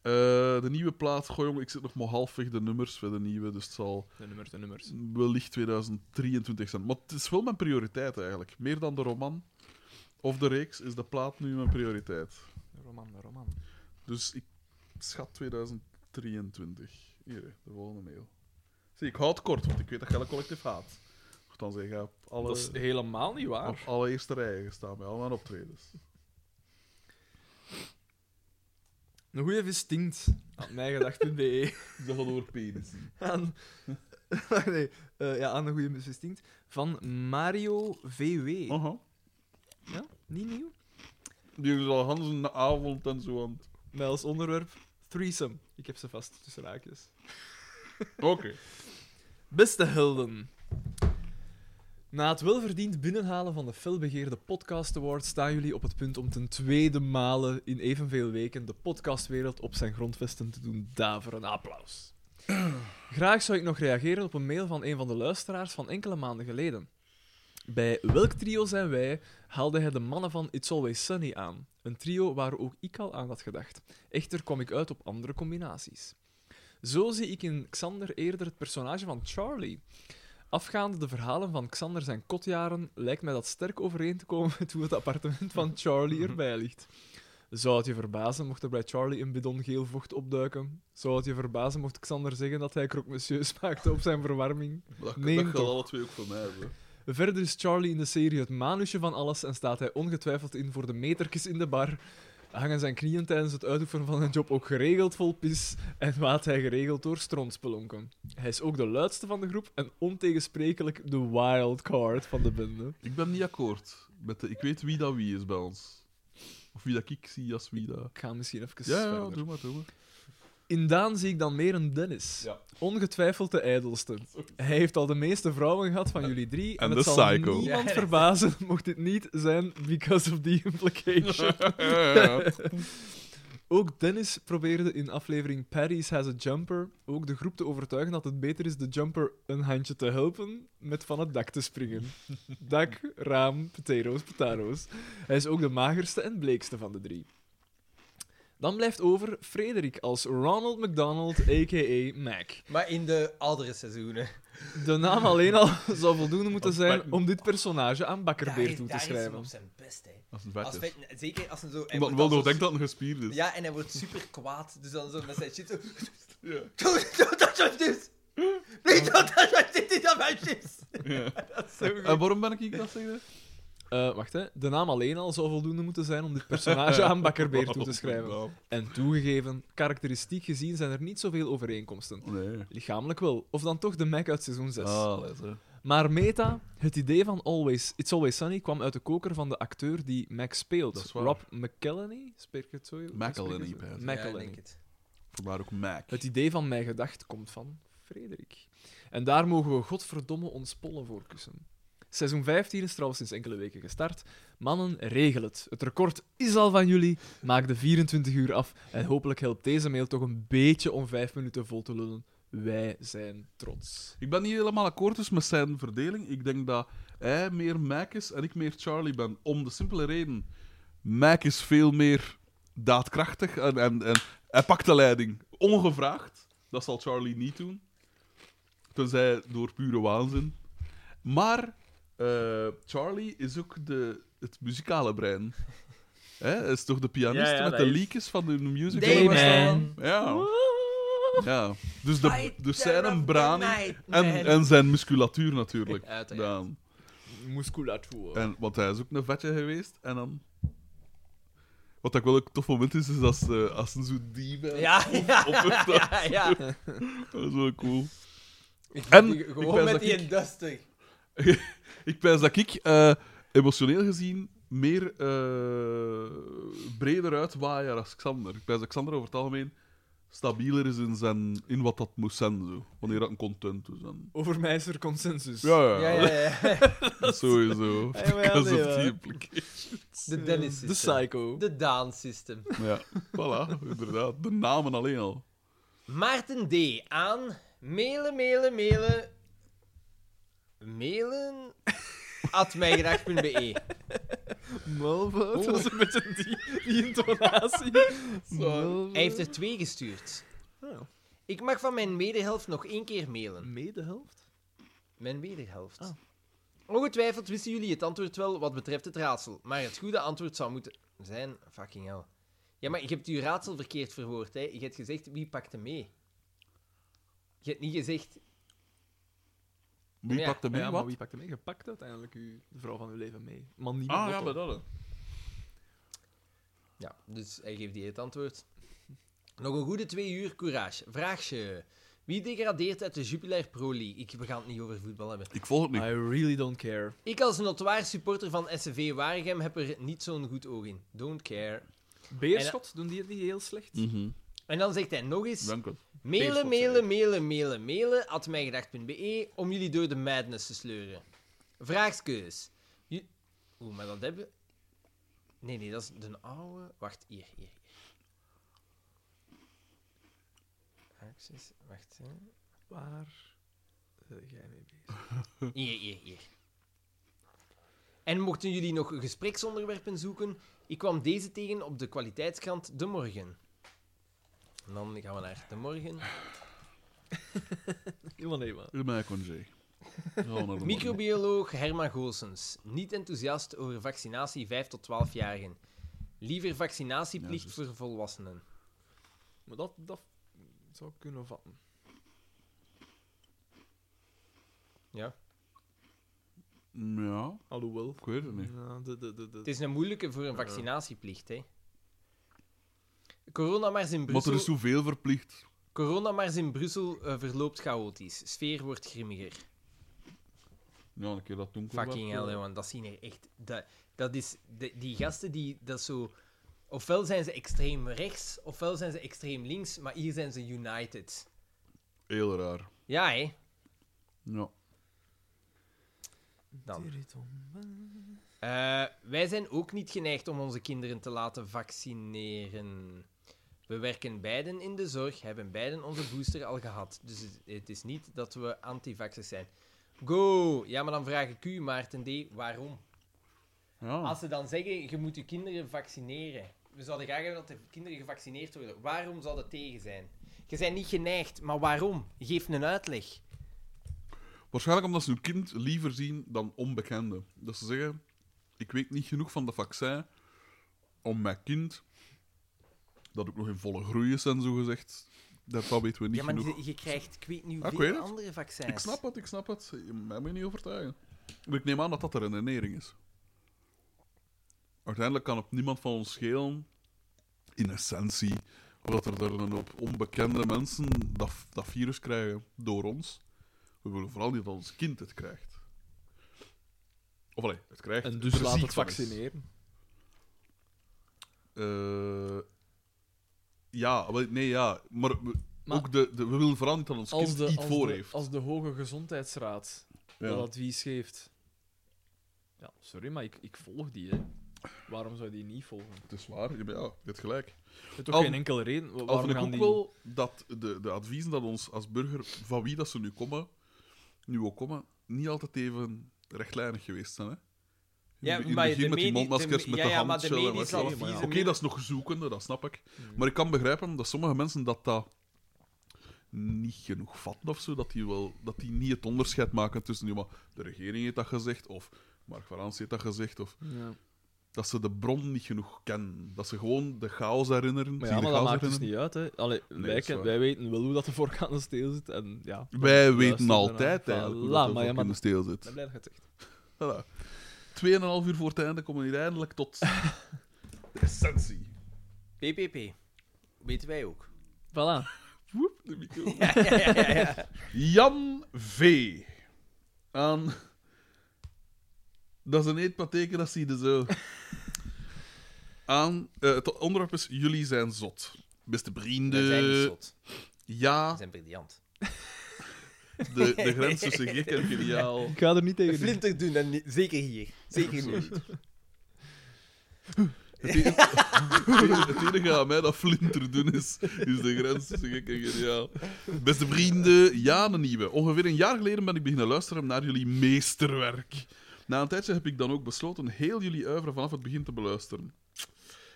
Eh, de nieuwe plaat, goh jongen, ik zit nog maar halfweg de nummers voor de nieuwe, dus het zal De nummers, de nummers. wellicht 2023 zijn. Maar het is wel mijn prioriteit eigenlijk. Meer dan de roman of de reeks is de plaat nu mijn prioriteit. De roman, de roman. Dus ik schat 2023. Hier, de volgende mail. Zie, ik hou het kort, want ik weet dat jij een collectief haat. Goed, dan zeg je op alle... Dat is helemaal niet Op waar. alle eerste rijen gestaan bij al mijn optredens. Een goede distinct. Aan mijgedacht.be. De over penis. Aan... *laughs* Wacht, nee. Eh, ja, aan een goede distinct. Van Mario VW. Aha. Ja, niet nieuw. Die al Hans een avond en zo aan. het- Met als onderwerp threesome. Ik heb ze vast tussen haakjes. Oké. Beste helden. Na het welverdiend binnenhalen van de felbegeerde Podcast Award staan jullie op het punt om ten tweede malen in evenveel weken de podcastwereld op zijn grondvesten te doen daveren. Applaus. Graag zou ik nog reageren op een mail van een van de luisteraars van enkele maanden geleden. Bij welk trio zijn wij haalde hij de mannen van It's Always Sunny aan. Een trio waar ook ik al aan had gedacht. Echter kwam ik uit op andere combinaties. Zo zie ik in Xander eerder het personage van Charlie. Afgaande de verhalen van Xander zijn kotjaren, lijkt mij dat sterk overeen te komen met hoe het appartement van Charlie erbij ligt. Zou het je verbazen mocht er bij Charlie een bidon geel vocht opduiken? Zou het je verbazen mocht Xander zeggen dat hij croque monsieur *laughs* maakte op zijn verwarming? Dat, Neem dat gaat toch. alle twee ook voor mij hebben. Verder is Charlie in de serie het manusje van alles en staat hij ongetwijfeld in voor de metertjes in de bar. Hangen zijn knieën tijdens het uitoefenen van zijn job ook geregeld vol pis en waat hij geregeld door strontspelonken. Hij is ook de luidste van de groep en ontegensprekelijk de wildcard van de bende. Ik ben niet akkoord. Met de, ik weet wie dat wie is bij ons. Of wie dat ik zie als wie dat... Ik ga misschien even Ja, ja, verder. doe maar, doe *laughs* maar. In Daan zie ik dan meer een Dennis. Ja. Ongetwijfeld de ijdelste. Hij heeft al de meeste vrouwen gehad van jullie drie. En, En het de zal psycho. Ja, niemand ja. verbazen mocht dit niet zijn because of the *laughs* implication. Ja, ja. Ook Dennis probeerde in aflevering Paddy's Has a Jumper ook de groep te overtuigen dat het beter is de jumper een handje te helpen met van het dak te *laughs* springen. Dak, raam, potatoes, potatoes. Hij is ook de magerste en bleekste van de drie. Dan blijft over Frederik als Ronald McDonald, a.k.a. Mac. Maar in de oudere seizoenen. De naam alleen *laughs* al zou voldoende moeten Als zijn Mac- om dit personage aan Daar Bakkerbeer is- toe te daar is hem schrijven. op zijn best, hè. Als een Als vet is. vet- zeker als hij zo... hij Omdat wordt wel dan zo- doordenkt dat het een gespierd is. Ja, en hij wordt super kwaad. Dus dan zo met zijn shit zo... Ja. Doe doe dat alsjeblieft! Nee, doe dat alsjeblieft! Dit is aan mijn shit! En waarom ben ik dat zeggen? Eh, wacht hè, de naam alleen al zou voldoende moeten zijn om dit personage aan Bakkerbeer *laughs* toe te schrijven. En toegegeven, karakteristiek gezien zijn er niet zoveel overeenkomsten. Nee. Lichamelijk wel, of dan toch de Mac uit seizoen 6. Ah, letter. Maar meta, het idee van Always, It's Always Sunny kwam uit de koker van de acteur die Mac Dat speelt. is waar. Rob McElhenney? Spreek ik het zo? McElhenney, Spreek ik het zo? bijna. Ja, ik McElhenney. denk het. Vandaar ook Mac. Het idee van mijn gedacht komt van Frederik. En daar mogen we godverdomme ons pollen voor kussen. Seizoen 15 is trouwens sinds enkele weken gestart. Mannen, regel het. Het record is al van jullie. Maak de 24 uur af. En hopelijk helpt deze mail toch een beetje om 5 minuten vol te lullen. Wij zijn trots. Ik ben niet helemaal akkoord dus met zijn verdeling. Ik denk dat hij meer Mac is en ik meer Charlie ben. Om de simpele reden. Mac is veel meer daadkrachtig en, en, en hij pakt de leiding. Ongevraagd. Dat zal Charlie niet doen. Tenzij door pure waanzin. Maar eh, Charlie is ook de, het muzikale brein. Hè, Hij is toch de pianist Ja, ja, met dat de is- liedjes van de musical? Nee, man. Ja. ja. Dus, de, dus zijn een brani Night, en, man. en zijn musculatuur natuurlijk. Uiteraard. Daan. musculatuur. En, want hij is ook een vetje geweest. En dan... Wat ik wel een tof moment is, is als, eh, als ze zo diep eh, Ja, ja, opper *laughs* staat. ja, ja. Dat is wel cool. *laughs* Ik, En- ik- ik gewoon wijs met dat die ik- duster. Ik pijs dat ik, eh, emotioneel gezien, meer eh, breder uitwaaier als Xander. Ik pijs dat Xander over het algemeen stabieler is in, zijn, in wat dat moet zijn, zo. wanneer dat een content is. En... Over mij is er consensus. Ja, ja, Ja, ja, ja, ja. sowieso. *laughs* Ja, wel, Because nee, of the hoor. implication. De Dennis De system. psycho. De Daan system. Ja, voilà, inderdaad. De namen alleen al. Maarten D. aan mailen, mailen, mailen. Mailen. at mijgedacht.be. Malvout, dat was een beetje die, die intonatie. Malvout. Hij heeft er twee gestuurd. Oh. Ik mag van mijn medehelft nog één keer mailen. Medehelft? Mijn wederhelft. Ah. Ongetwijfeld wisten jullie het antwoord wel wat betreft het raadsel. Maar het goede antwoord zou moeten zijn... Fucking hell. Ja, maar je hebt je raadsel verkeerd verwoord, hè. Je hebt gezegd, wie pakte mee? Je hebt niet gezegd... Wie Ja. pakt hem mee? ja, maar wat? wie pakt er mee? Je pakt uiteindelijk uw, de vrouw van uw leven mee. Maar niet Ah, met ja, Otto. bij dat. hè. Ja, dus hij geeft die het antwoord. Nog een goede twee uur, courage. Vraagje. Wie degradeert uit de Jupiler Pro League? Ik, we gaan het niet over voetbal hebben. Ik volg het Ah, niet. I really don't care. Ik als notoire supporter van SCV Waregem heb er niet zo'n goed oog in. Don't care. Beerschot, doen die het niet heel slecht? Mhm, En dan zegt hij nog eens... Dank u. Mailen, Peerschot, mailen, mailen, mailen, mailen, at mijgedacht.be om jullie door de madness te sleuren. Vraagskeus. Ju- Oeh, maar dat hebben... Nee, nee, dat is de oude... Wacht, hier, hier, hier. Vraagskeus, wacht. Hè. Waar eh, jij mee bezig? *laughs* Hier, hier, hier. En mochten jullie nog gespreksonderwerpen zoeken, ik kwam deze tegen op de kwaliteitskrant De Morgen. En dan gaan we naar De Morgen. Helemaal nee, man. Uw mij *laughs* congé. Ja, naar de morgen. Microbioloog Herman Goossens. Niet enthousiast over vaccinatie 5 tot 12-jarigen. Liever vaccinatieplicht Ja, dus- voor volwassenen. Maar dat, dat zou ik kunnen vatten. Ja. Mm, Ja, Alhoewel. ik weet het niet. Ja, de, de, de, de... Het is een moeilijke voor een Ja. vaccinatieplicht, hè. Corona maar in Maar er Brussel, is zoveel verplicht. corona maar in Brussel eh, verloopt chaotisch. Sfeer wordt grimmiger. Ja, een keer dat doen. Fucking eh, hell, jongen. Dat zien er echt... Dat, dat is... de- die gasten, die... Dat is zo... Ofwel zijn ze extreem rechts, ofwel zijn ze extreem links, maar hier zijn ze united. Heel raar. Ja, hè. Ja. Dan. Eh, wij zijn ook niet geneigd om onze kinderen te laten vaccineren. We werken beiden in de zorg, hebben beiden onze booster al gehad. Dus het- het is niet dat we antivaxers zijn. Go! Ja, maar dan vraag ik u, Maarten D., waarom? ja. Oh. Als ze dan zeggen, je moet je kinderen vaccineren. We zouden graag hebben dat de kinderen gevaccineerd worden. Waarom zou dat tegen zijn? Je bent niet geneigd, maar waarom? Geef een uitleg. Waarschijnlijk omdat ze hun kind liever zien dan onbekenden. Dat ze zeggen: Ik weet niet genoeg van de vaccin om mijn kind, dat ook nog in volle groei is en zo gezegd, daarvan weten we niet ja, maar genoeg. je, je krijgt, ik weet niet Ah, ik hoeveel weet het. andere vaccins. Ik snap het, ik snap het. Je- Mij moet je niet overtuigen. Maar ik neem aan dat dat de redenering is. Uiteindelijk kan het niemand van ons schelen, in essentie, omdat er er een hoop onbekende mensen dat, dat virus krijgen door ons. We willen vooral niet dat ons kind het krijgt. Of allee, het krijgt. En er dus laat ziek het van is. vaccineren. Eh, ja, wel, nee, ja. Maar, we- Maar- ook de, de, we willen vooral niet dat ons Als kind de, iets als, voor de, heeft. als de Hoge Gezondheidsraad Ja. dat advies geeft. Ja, sorry, maar ik, ik volg die, hè. Waarom zou je die niet volgen? Het is waar, ja, maar ja, je hebt gelijk. Er is toch Al- geen enkele reden wa- Al waarom vind ik gaan ook die... wel dat de, de adviezen dat ons als burger, van wie dat ze nu komen, nu ook komen, niet altijd even rechtlijnig geweest zijn. Hè? Ja, in het maar begin de met die medi- mondmaskers, de- met ja, de ja, maar de handgel en wat medische dan ook. adviezen Oké, meer- dat is nog zoekende, dat snap ik. Hmm. Maar ik kan begrijpen dat sommige mensen dat dat niet genoeg vatten of zo, dat die, wel, dat die niet het onderscheid maken tussen, ja, maar de regering heeft dat gezegd, of Mark Van Rans heeft dat gezegd, of Ja. dat ze de bron niet genoeg kennen. Dat ze gewoon de chaos herinneren. Maar zich ja, de maar dat chaos maakt dus herinneren. niet uit, hè. Allee, dat wij, is ken- waar. wij weten wel hoe dat de voorgaande steel zit, en ja... Wij weten Luister altijd daarnaar. eigenlijk Voilà, hoe dat maar er ja, ook maar- in de steel Ik zit. ben blij dat je het zegt. Voilà. Tweeënhalf uur voor het einde komen we hier eindelijk *laughs* tot de essentie. PPP. Weten wij ook. Voilà. Woep, de micro. *laughs* Ja, ja, ja, ja, ja. Jan V. Aan... Dat is een eetpatheken, dat zie je zo. Aan... eh, het onderwerp is Jullie zijn zot. Beste vrienden. Wij zijn niet zot. We Ja, zijn briljant. de, de grens tussen gek en *laughs* geniaal. Ik ga er niet tegen in. Flinter doen, en niet- zeker hier. Zeker nu. niet. Het enige, het enige aan mij dat flinter doen is, is de grens tussen gek en geniaal. Beste vrienden, ja, de nieuwe. Ongeveer een jaar geleden ben ik beginnen luisteren naar jullie meesterwerk. Na een tijdje heb ik dan ook besloten heel jullie uiveren vanaf het begin te beluisteren.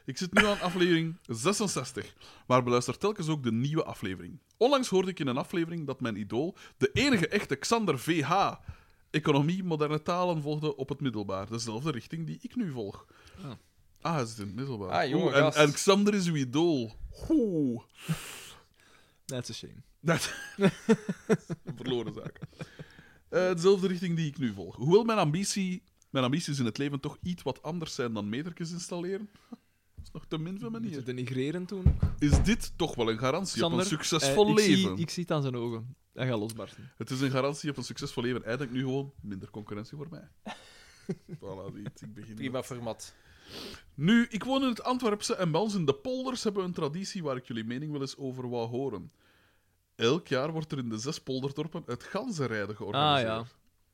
Ik zit nu aan aflevering 66, maar beluister telkens ook de nieuwe aflevering. Onlangs hoorde ik in een aflevering dat mijn idool, de enige echte Xander VH, economie, moderne talen volgde op het middelbaar. Dezelfde richting die ik nu volg. Ah. Ah, hij zit in het middelbaar. Ah, jonge Oeh, en, gast. en Xander is uw idool. Oeh. That's a shame. Dat... *laughs* een verloren zaak. Eh, dezelfde richting die ik nu volg. Hoewel mijn, ambitie, mijn ambities in het leven toch iets wat anders zijn dan metertjes installeren, *laughs* dat is nog te min van Niet te manier. denigreren toen. Is dit toch wel een garantie op Xander, een succesvol eh, ik leven? Zie, ik zie het aan zijn ogen. Hij gaat losbarsten. Het is een garantie op een succesvol leven. Eigenlijk nu gewoon minder concurrentie voor mij. *laughs* voilà, ziet, ik begin. Prima format. Nu, ik woon in het Antwerpse en bij ons in de polders hebben we een traditie waar ik jullie mening wel eens over wou horen. Elk jaar wordt er in de zes polderdorpen het ganzenrijden Ah georganiseerd. ja.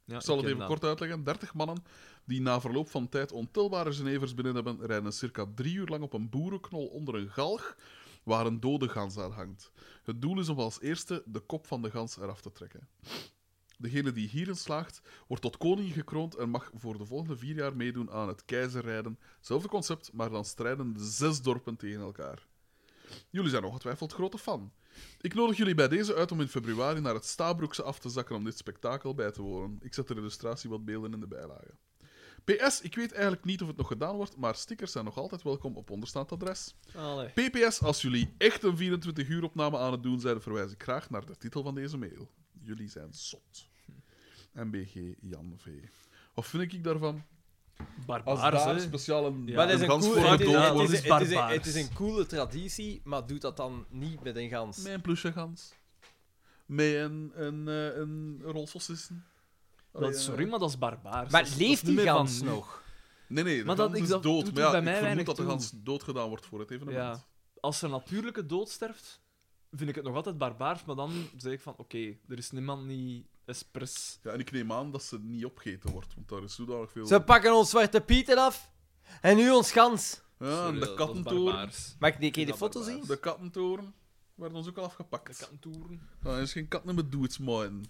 ja Ik zal ik het ken even dat. kort uitleggen. 30 mannen die na verloop van tijd ontelbare genevers binnen hebben, rijden circa drie uur lang op een boerenknol onder een galg waar een dode gans aan hangt. Het doel is om als eerste de kop van de gans eraf te trekken. Degene die hierin slaagt, wordt tot koning gekroond en mag voor de volgende vier jaar meedoen aan het keizerrijden. Zelfde concept, maar dan strijden de zes dorpen tegen elkaar. Jullie zijn ongetwijfeld grote fan. Ik nodig jullie bij deze uit om in februari naar het Stabroekse af te zakken om dit spektakel bij te wonen. Ik zet de illustratie wat beelden in de bijlage. PS, ik weet eigenlijk niet of het nog gedaan wordt, maar stickers zijn nog altijd welkom op onderstaand adres. Allee. PPS, als jullie echt een 24-uur opname aan het doen zijn, verwijs ik graag naar de titel van deze mail. Jullie zijn zot. MBG Jan V. Wat vind ik daarvan? Als Barbaars, daar hè? speciaal een, Ja. Maar dat een is een gans coole- voor uit het is- dood het wordt. doorwonen is- is het is een- barbaars. het is een coole traditie, maar doe dat dan niet met een gans. Met een plusje gans. Met een, een, eh, een rol saucissen. Allee, Dat, eh, sorry, maar dat is barbaars. Maar Dat is- dat is leeft niet die meer van gans nu. nog? Nee, nee, de Maar gans dat- ik- is dat dood. doet er Maar ja, bij ik mij vermoed weinig dat de toe. gans doodgedaan wordt voor het evenement. Ja. Als er natuurlijke dood sterft, vind ik het nog altijd barbaars, maar dan zeg ik van, oké, er is niemand die expres... Ja, en ik neem aan dat ze niet opgegeten wordt, want daar is zodanig veel... Ze pakken ons Zwarte Pieten af en nu ons gans. ja, en Sorry, de dat- dat is kattentoren. barbaars. Mag ik die keer de Dat foto zien? barbaars. De kattentoren werden ons ook al De afgepakt. kattentoeren. Er is geen kat nummer doe iets man.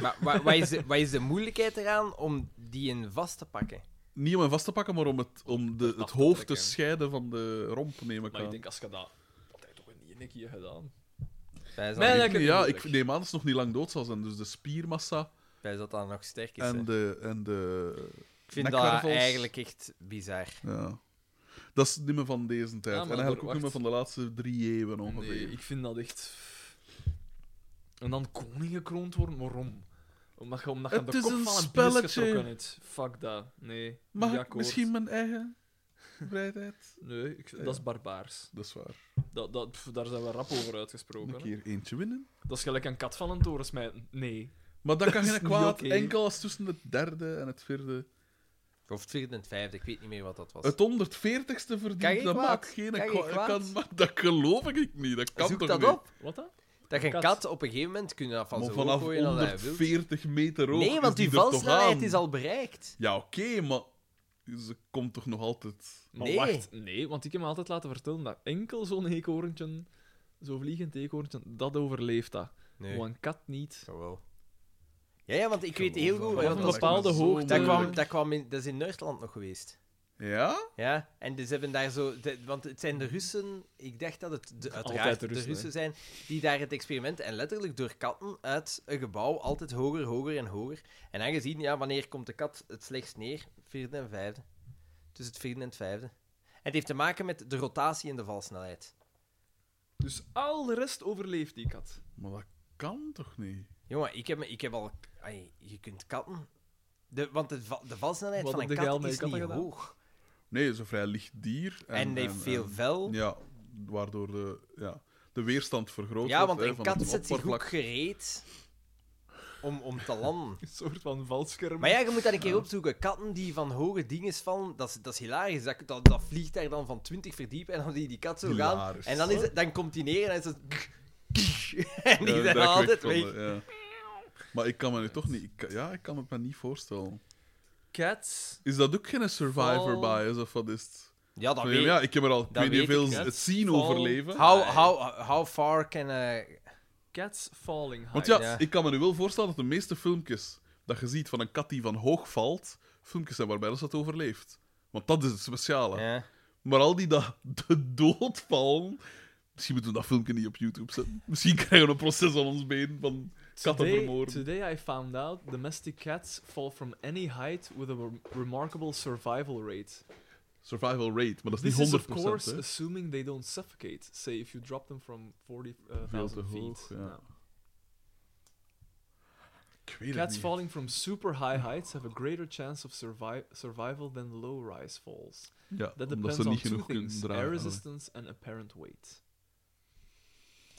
Maar wa- wat is, de, wat is de moeilijkheid eraan om die in vast te pakken? Niet om hem vast te pakken, maar om het, om de, Af het te hoofd te trekken. scheiden van de romp, neem ik Maar ik aan. denk, als je dat... Dat heb je toch niet één keer gedaan? Bij Mijn dat, lijkt het ja, moeilijk. ik neem aan dat ze nog niet lang dood zal zijn. Dus de spiermassa bij dat dat nog sterk is. hè. en de, en de... Ik vind dat nekwervels. eigenlijk echt bizar. Ja. Dat is niet meer van deze tijd. Ja, en maar eigenlijk ook wacht. niet meer van de laatste drie eeuwen ongeveer. Nee, ik vind dat echt... En dan koning gekroond worden, waarom? Omdat je, omdat je Het de is kop een van een spelletje. beest getrokken hebt. Fuck dat. Nee. Mag niet ik akkoord. misschien mijn eigen vrijheid? Nee, ik- dat is barbaars. Dat is waar. Dat, dat, pff, daar zijn we rap over uitgesproken. Een hè. keer eentje winnen. Dat is gelijk een kat van een toren smijten. Nee. Maar dat, kan *laughs* is geen niet kwaad. oké. Enkel als tussen het derde en het vierde. Of het vierde en het vijfde, ik weet niet meer wat dat was. Het 140ste Kan geen verdient, dat kwaad. maakt geen Kan geen kwaad. kwaad. Kan, maar dat geloof ik niet. Dat kan Zoek toch dat niet? op. Wat dan? Dat je een Kat. kat op een gegeven moment kunt af van Maar zijn vanaf hoofd gooien als hij wil. 140 meter hoog Nee, is want die er toch valsnelheid aan. is al bereikt. Ja, oké, maar ze komt toch nog altijd... Maar Nee. wacht, nee, want ik heb me altijd laten vertellen dat enkel zo'n eekhoorntje, zo'n vliegend eekhoorntje, dat overleeft dat. Nee, Maar een kat niet. jawel. Ja, ja, want ik weet heel goed... Op dat een Want dat, lijkt me bepaalde zo hoogte. dat, kwam, moeilijk. dat, kwam in, dat is in Nederland nog geweest. Ja? Ja, en dus hebben daar zo... de- want het zijn de Russen... Ik dacht dat het de, uiteraard de de Russen, Russen, zijn die daar het experiment... En letterlijk door katten uit een gebouw altijd hoger, hoger en hoger. En dan gezien, ja, wanneer komt de kat het slechtst neer? Vierde en vijfde. Tussen het vierde en het vijfde. En het heeft te maken met de rotatie en de valsnelheid. Dus al de rest overleeft die kat. *laughs* Maar dat kan toch niet? Jongen, ik heb, me- ik heb al... ai, je kunt katten De, want de, va- de valsnelheid Wat van heb een jij al kat met je is katten niet gedaan? hoog. Nee, het is een vrij licht dier. En, die heeft veel en- ehm, vel. Ja, Ja, waardoor de, ja, de weerstand vergroot wordt. want hè, een van kat het zet zich ook *laughs* oppervlak. gereed om, om te landen. Een soort van valscherm. *laughs* Maar ja, je moet dat een keer opzoeken. Katten die van hoge dingen vallen, dat is, dat is hilarisch. Dat, dat, dat vliegt daar dan van 20 verdiepen en dan zie je die kat zo Hilarisch. gaan. En dan, is het, dan komt die neer en dan is het... *laughs* En die Ja, zijn eh, dat ik altijd wegkomen, weg. ja. Maar ik kan me nu toch niet... Ik, kan- ja, ik kan het me niet voorstellen. Cats. Is dat ook geen survivor Val. bias of wat is het? Ja, Ah, dat Van, weet eh, ja, ik heb er al ik weet niet weet veel ik, hè. het zien Val. overleven. How, how, how far can... eh, Cats falling high. Want ja, Ah, Ja. ik kan me nu wel voorstellen dat de meeste filmpjes dat je ziet van een kat die van hoog valt, filmpjes zijn waarbij dat ze het overleeft. Want dat is het speciale. ja. Maar al die dat *laughs* de dood vallen... Misschien moeten we dat filmpje niet op YouTube zetten. Misschien krijgen we een proces aan ons been van katten Today, vermoorden. today I found out domestic cats fall from any height with a rem- remarkable survival rate. Survival rate, maar dat is This is niet 100%. of course hè. assuming they don't suffocate. Say if you drop them from Veel te 40,000 feet. hoog, ja. Ja. Ik weet het Cats niet. falling from super high heights have a greater chance of survi survival than low-rise falls. Ja, That omdat depends ze on niet two genoeg kunnen things: air draaien. resistance and apparent weight.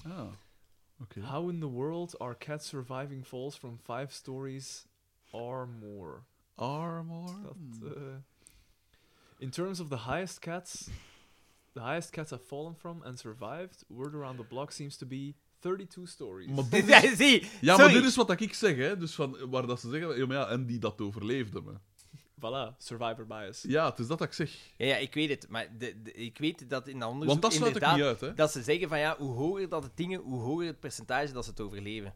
Ah, oké. How in the world are cats surviving falls from five stories or more? Armor? Dat, eh, in terms of the highest cats, the highest cats have fallen from and survived. Word around the block seems to be 32 stories. Maar *laughs* dit is- Ja, zie, Ja, maar sorry. dit is wat ik zeg, hè. Dus van, waar dat ze zeggen... Ja, maar ja, en die dat overleefde, me. Voilà, survivor bias. Ja, het is dat dat ik zeg. Ja, ja, ik weet het. Maar de, de- ik weet dat in de onderzoek Want dat sluit ik Dus inderdaad niet uit, hè. dat ze zeggen van ja, hoe hoger dat het dingen, hoe hoger het percentage dat ze het overleven.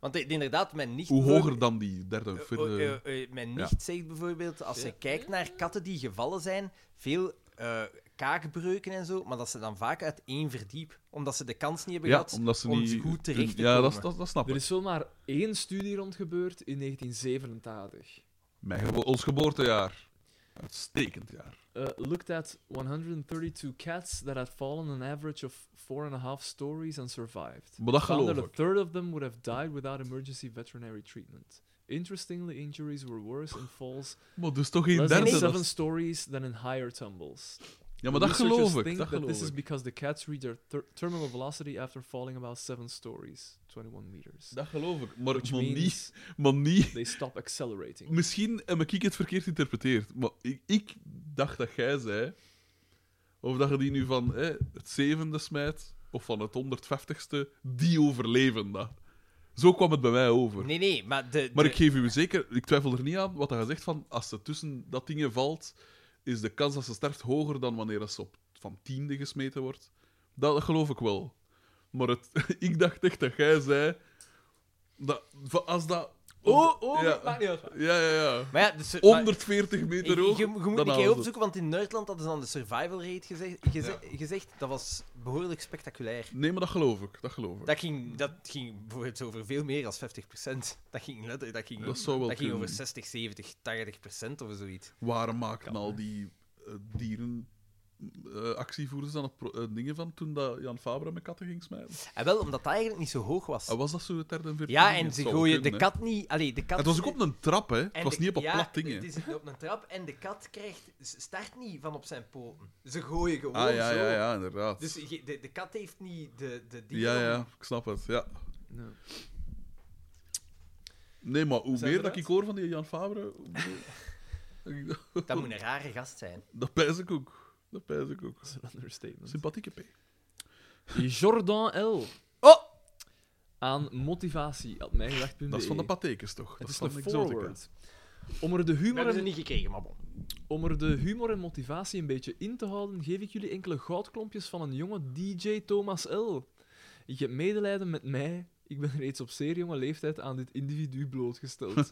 Want i- inderdaad, mijn nicht... Hoe hoger bijvoorbeeld- dan die derde of eh, vierde... eh, eh, eh, mijn ja. nicht zegt bijvoorbeeld, als Ja. ze kijkt naar katten die gevallen zijn, veel eh, kaakbreuken en zo, maar dat ze dan vaak uit één verdiep, omdat ze de kans niet hebben ja, gehad omdat ze om niet... goed terecht te ja, komen. dat, dat, dat snap Er ik. is zomaar één studie rond gebeurd in 1987. Mijn gebo- ons geboortejaar. Uitstekend jaar. uh, looked at 132 cats that had fallen an average of four and a half stories and survived. Maar dat Found geloof that a ik. third of them would have died without emergency veterinary treatment. Interestingly, injuries were worse in falls Maar dus toch geen less than derde. seven dat- stories than in higher tumbles. Ja, maar dat Researchers geloof ik. think Dat that geloof this is ik. because the cats reach their ter- terminal velocity after falling about seven stories, 21 meters. Dat geloof ik. Maar, which maar niet... means Maar niet... they stop accelerating. Misschien heb ik het verkeerd geïnterpreteerd, maar ik, ik dacht dat jij zei. Of dat je die nu van hè, het zevende smijt, of van het 150ste, die overleven dat. Zo kwam het bij mij over. Nee, nee, maar de... Maar de- ik geef u zeker, ik twijfel er niet aan wat dat je zegt van als ze tussen dat dingen valt, is de kans dat ze sterft hoger dan wanneer ze op van tiende gesmeten wordt. Dat geloof ik wel. Maar het, *laughs* ik dacht echt dat jij zei dat van als dat. Oh, oh, Ja. dat maakt niet uit. Ja, ja, ja. Maar ja, dus, maar- 140 meter Je- hoog. Je, je moet dan een houden keer ze opzoeken, want in Nederland hadden ze dan de survival rate gezegd, geze- gezegd. Dat was behoorlijk spectaculair. het. Nee, maar dat geloof ik. Dat geloof ik. Dat ging, dat ging bijvoorbeeld over veel meer dan 50%. Dat ging letterlijk, dat ging, Dat zou wel dat ging kunnen. over 60, 70, 80% of zoiets. Waarom maakten al die eh, dieren eh, actievoerders dan het pro- eh, dingen van toen dat Jan Fabra met katten ging smijten? En wel, omdat dat eigenlijk niet zo hoog was. En was Ah, dat zo het derde en vierde? ja, ding? en Het ze zou gooien kunnen, de hè. kat niet... Allee, de kat... Het was ook op een trap, hè? Het en was de- niet op een ja, plat ding. hè. het is op een trap en de kat krijgt, ze start niet van op zijn poten. Ze gooien gewoon Ah, ja, zo. ja, ja, inderdaad. Dus je- de, de kat heeft niet de, de dingen Ja, om- ja, ik snap het. Ja. No. Nee, maar hoe Zijn meer we dat ik eruit? hoor van die Jan Fabra, hoe meer- *laughs* Dat moet een rare gast zijn. dat pijs ik ook. Dat pijs ik ook. Dat is een understatement. Sympathieke P. Jordan L. Oh! Aan motivatie, had mij gedacht. Dat is van de patekens, toch? Het dat is van een Exotica. forward. Om er, de We humor hebben ze en, niet gekregen, maar bon. om er de humor en motivatie een beetje in te houden, geef ik jullie enkele goudklompjes van een jonge DJ Thomas L. Ik heb medelijden met mij. Ik ben reeds op zeer jonge leeftijd aan dit individu *laughs* blootgesteld.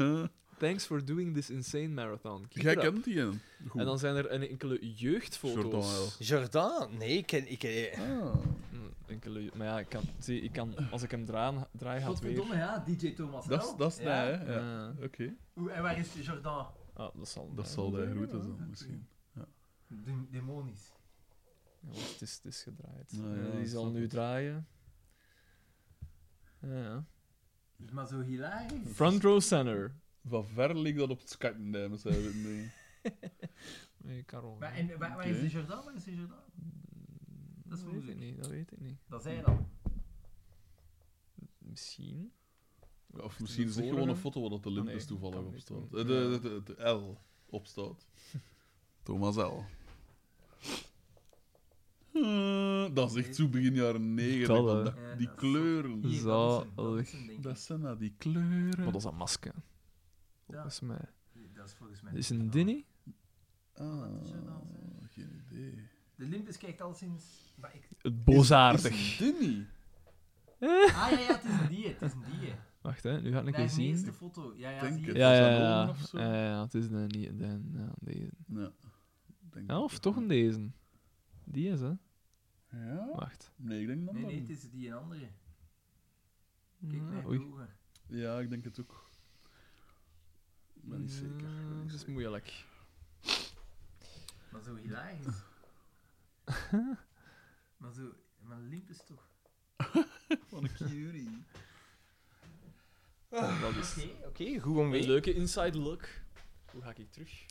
Thanks for doing this insane marathon. Keep Jij it up. kent die, en Goed. En dan zijn er een enkele Jordan L. jeugdfoto's. Jordan? Nee, ik ken... Ik, ken- Ah. Mm, enkele, maar ja, ik kan, zie, ik kan, als ik hem draai, draai gaat het weer. ja, DJ Thomas Dat is, dat is Ja. nij, hè? Ja. Eh, Oké. En waar is Jordan? ah, dat zal, Dat zal de groeten zijn, misschien. demonisch. Ja, want het, is, het is gedraaid. Nou Eh, ja, die ik zal snap nu het. draaien. Ja, ja. Maar zo hilarisch. Front row center. Van ver leek dat op het skatten, zei Nee, Karel. Maar en, waar, waar is de Jordaan? Waar is de Jordaan? dat dat, is weet ik moeilijk. niet, dat weet ik niet. Dat zijn al. Misschien. Of misschien is het vorige? gewoon een foto waar dat de lint Nee, is toevallig kan op niet. staat. Eh, De, de, de, de L op *laughs* staat. Thomas L. Eh, Dat is echt zo begin jaren 90. Dat, want hè. dat- Ja, die dat is- kleuren. Hier, dat is hem, dat is Dat zijn dat, die kleuren. Maar dat is een masker. Volgens mij. Dat is volgens mij. Is een Dinny? Ah, dat is het dan, hè? geen idee. De Limpus kijkt al sinds. Maar ik... Het Is boosaardig. dit niet? Ah ja, ja, het is een die. Het is een die. Wacht, hè, nu ga ik een Nee, keer de zien. eerste foto. Ja, ja, Denk zie je. het. Ja, ja, Is dat een ja. oven of zo? Ja, ja, het is een, niet een, ja, deze. Ja. Denk Ja, dat of het toch wel- een deze. Die is, hè. Ja? Wacht. Nee, ik denk dat Nee, dat nee, het niet. is die en andere. Kijk, Ja, mijn Mm, Oei. ogen. Ja, ik denk het ook. Ik ben niet zeker. ik ben Ja, niet Mm, Dat is zeker. moeilijk. Maar zo hilarisch. *laughs* maar zo. Maar Limpus toch? Wat een curie. Dat is Oké, oké. goed om een leuke inside look. Hoe ga ik terug?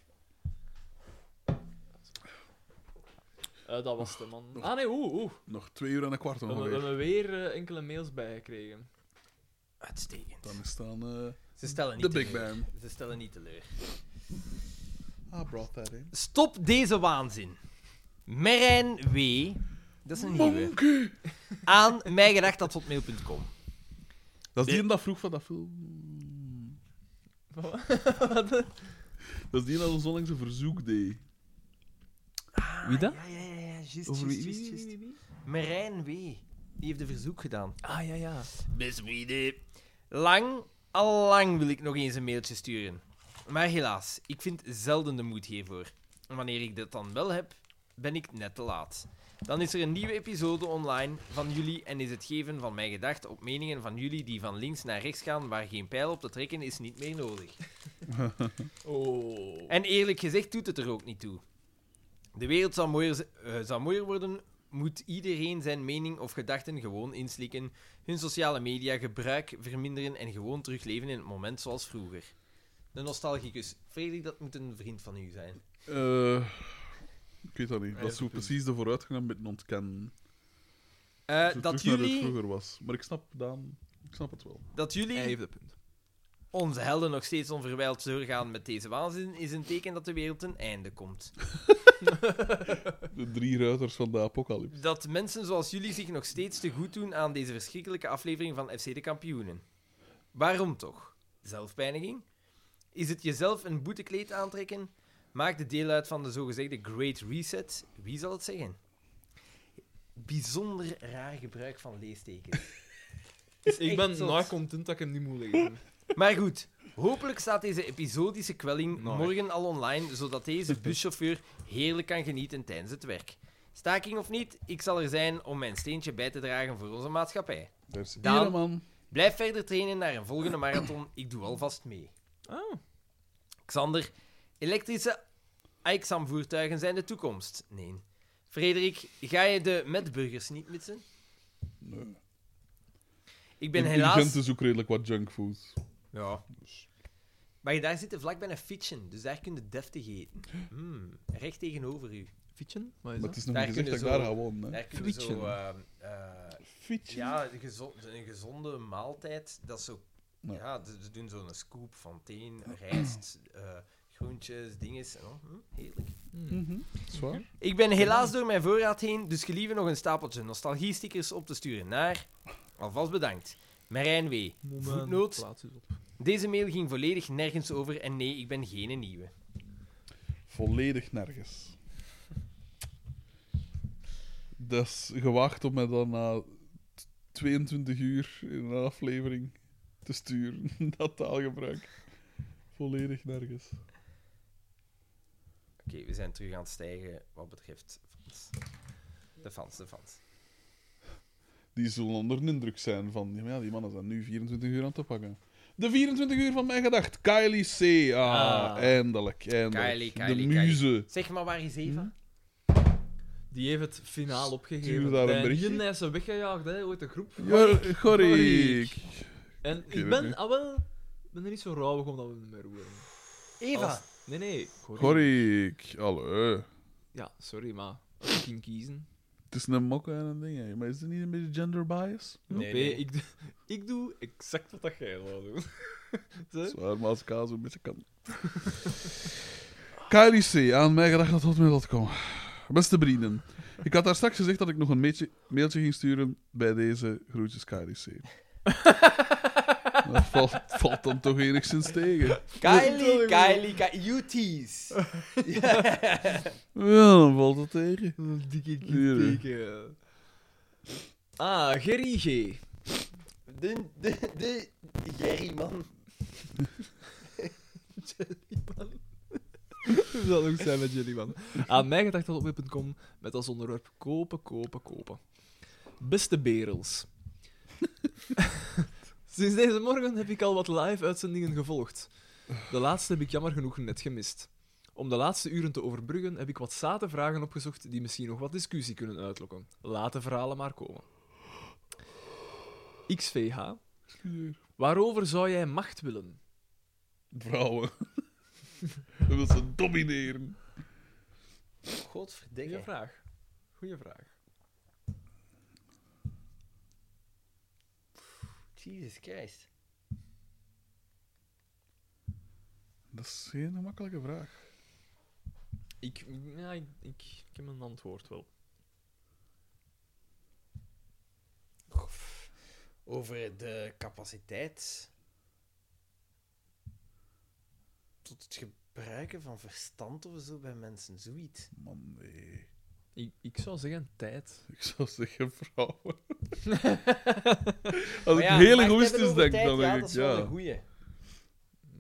Eh, dat was de man. Ah nee, oeh, oeh. Nog twee uur en een kwart We hebben- we ongeveer. hebben weer eh, enkele mails bijgekregen. Uitstekend. Dan is dan... eh, Ze stellen De niet Big teleur. Bang. Ze stellen niet teleur. I brought that in. Stop deze waanzin. Merijn W. Dat is een nieuwe. Aan mijgedacht.hotmail.com. Dat is die en dat vroeg van dat film. *laughs* Dat is die dat ons onlangs een verzoek deed. Wie dat? Ah, Ja, ja, ja, ja. Just, Over just, wie? just, wie- just. wie- wie- Merijn W. Die heeft een verzoek gedaan. wie? Ah ja, ja. Best Lang, al lang wil ik nog eens een mailtje sturen. Maar helaas, ik vind zelden de moed hiervoor. En Wanneer ik dat dan wel heb, ben ik net te laat. Dan is er een nieuwe episode online van jullie en is het geven van mijn gedachten op meningen van jullie die van links naar rechts gaan, waar geen pijl op te trekken is niet meer nodig. Oh. En eerlijk gezegd doet het er ook niet toe. De wereld zal mooier, z- eh, zal mooier worden, moet iedereen zijn mening of gedachten gewoon inslikken, hun sociale media gebruik verminderen en gewoon terugleven in het moment zoals vroeger. De nostalgicus. Frederik, dat moet een vriend van u zijn. Eh, ik weet dat niet. Ja, Dat is zo precies de vooruitgang met een ontkennen. Eh, Zo dat, terug naar hoe het jullie, vroeger was. Maar ik snap, Daan, ik snap het wel. dat Hij jullie heeft een punt. onze helden nog steeds onverwijld doorgaan met deze waanzin, is een teken dat de wereld ten einde komt. De drie ruiters van de apocalypse. Dat mensen zoals jullie zich nog steeds te goed doen aan deze verschrikkelijke aflevering van FC de Kampioenen. Waarom toch? Zelfpijniging? Is het jezelf een boetekleed aantrekken? Maakt het deel uit van de zogezegde Great Reset? Wie zal het zeggen? Bijzonder raar gebruik van leestekens. Is Ik echt ben zot. na content dat ik hem niet moet lezen. Maar goed, hopelijk staat deze episodische kwelling Mooi. morgen al online, zodat deze buschauffeur heerlijk kan genieten tijdens het werk. Staking of niet, ik zal er zijn om mijn steentje bij te dragen voor onze maatschappij. Daar is Daan. Iedereen, man. Blijf verder trainen naar een volgende marathon, ik doe alvast mee. Oh. Xander, elektrische Aixam-voertuigen zijn de toekomst. Nee. Frederik, ga je de metburgers niet missen? Nee. Ik ben In- in helaas... Gent is ook redelijk wat junkfood. Ja. Maar daar zit vlak bij een fietsen, dus daar kun je deftig eten. Mm, recht tegenover u. Fietsen? Wat is Maar dat? het is nog Daar niet gezegd dat kunnen ik zo- daar ga wonen. Hè. Daar kun je zo... Fietsen. eh, eh, Fietje. ja, een, gezo- een gezonde maaltijd, dat is zo... Ja. Ja, ze ze doen zo'n scoop van teen, rijst, eh, groentjes, dinges. en dan, mm, heerlijk. Hmm. Mhm. Zwaar. Ik ben helaas door mijn voorraad heen, dus gelieve nog een stapeltje nostalgie-stickers op te sturen naar... Alvast bedankt. Marijn W. Moment, Voetnoot. plaats is op. Deze mail ging volledig nergens over en nee, ik ben geen nieuwe. Volledig *laughs* nergens. Dat is gewaagd om mij dan na t- 22 uur in een aflevering te sturen. *laughs* Dat taalgebruik. Volledig nergens. Oké, we zijn terug aan het stijgen wat betreft fans. De fans, de fans. Die zullen onder de indruk zijn van... Ja, maar ja, die mannen zijn nu 24 uur aan te pakken. De 24 uur van mijn gedacht. Kylie C. Ah, Ah. eindelijk. eindelijk. Kylie, Kylie, de Kylie. muze. Zeg maar, waar is Eva? Die heeft het finaal Stuur opgegeven. daar een Bij berichtje. Rien is ze weggejaagd, hè, ooit een groep. Jor- Gorik. En weet ik ben, niet. ah wel, ben er niet zo rauwig omdat we hem meer roeren. Eva. Als- Nee, nee. Corrie. Gorik, hallo. Ja, sorry, maar als ik ging kiezen... Het is een mokka en een ding, hè. maar is het niet een beetje gender bias? Nee, nee. Ik, doe- ik doe exact wat dat jij zou doen. *laughs* Zo. Zwaar, maar als kaas een beetje kan. *laughs* KRIC, aan mij gedacht dat hotmail.com. Beste vrienden, ik had daar straks gezegd dat ik nog een meetje- mailtje ging sturen bij deze groetjes KRIC. dat valt, valt dan toch enigszins tegen. Kylie, Kylie, Kylie, UT's. Ja, dan valt het tegen. Een dikke Hier. kritiek. eh. Ah, Gerry G. De, de, de, Jerry, man. *laughs* Hoe zal het ook zijn met jullie, man? Aan mij gedacht op web.com met als onderwerp kopen, kopen, kopen. Beste Berels. *laughs* Sinds deze morgen heb ik al wat live-uitzendingen gevolgd. De laatste heb ik jammer genoeg net gemist. Om de laatste uren te overbruggen heb ik wat zate vragen opgezocht die misschien nog wat discussie kunnen uitlokken. Laat de verhalen maar komen. XVH. Waarover zou jij macht willen? Vrouwen. *laughs* Dat wil ze domineren. Goeie Godverdikke. vraag. Goeie vraag. Jesus Christ. Dat is geen gemakkelijke vraag. Ik, ja, ik, ik, ik heb een antwoord wel. Over de capaciteit tot het gebruiken van verstand of zo bij mensen, zoiets. Man, nee. Ik, ik zou zeggen tijd. Ik zou zeggen *laughs* vrouwen. Als ik Maar heel ja, macht hebben egoïstisch over denk, tijd, dan denk ja, ik dat is wel ja. een goeie.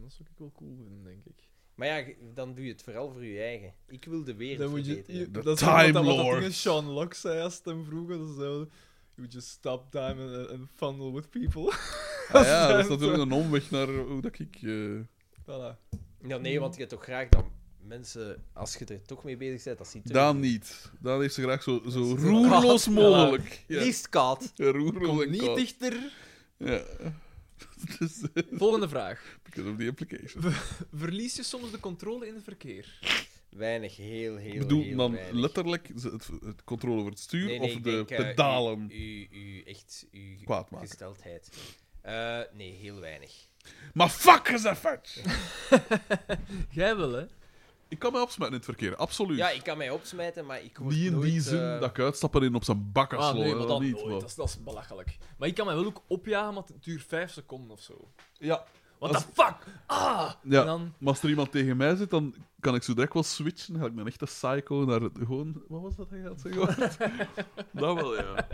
Dat zou ik wel cool vinden, denk ik. Maar ja, ge- dan doe je het vooral voor je eigen. Ik wil de wereld Dan moet je, verbeteren. De dat is Time wat, dat- wat dat Lord. tegen Sean Locke zei als het hem vroeg. Dat is zo, you just stop time and, and funnel with people. *laughs* Ah *laughs* ja, dat is natuurlijk een omweg naar hoe dat ik... eh, voilà. Ja, nee, want je hebt toch graag dat mensen, als je er toch mee bezig bent, dat ziet er Daan niet. Daan heeft ze graag zo, zo is- roerloos Ja. *laughs* mogelijk. Ja, Liefst koud. Ja, roerloos en Niet koud. dichter. Ja. *laughs* Dus, eh, Volgende vraag. because of the implication. Verlies je soms de controle in het verkeer? Weinig, heel, heel, Ik bedoel heel dan weinig. letterlijk ze- het, het controle over het stuur Nee, nee, of ik de denk, eh, pedalen U, u, u- echt, u Hm. kwaad maken. Dus gesteldheid. Eh, nee, heel weinig. Maar fuck is dat vet! Jij wel, hè? Ik kan mij opsmetten in het verkeer, absoluut. Ja, ik kan mij opsmijten, maar ik word niet in nooit... die zin eh, dat ik uitstappen in op zijn bakken Ah, nee, slaan, maar dat dan niet, nooit. maar- Dat, is, dat is belachelijk. Maar ik kan mij wel ook opjagen, maar het duurt vijf seconden of zo. Ja, What Als- the fuck? Ah! ja. En dan... Maar als er iemand tegen mij zit, dan kan ik zo direct wel switchen. Dan ga ik een echte psycho naar het- gewoon... Wat was dat dat je had zeggen? *laughs* dat wel, ja.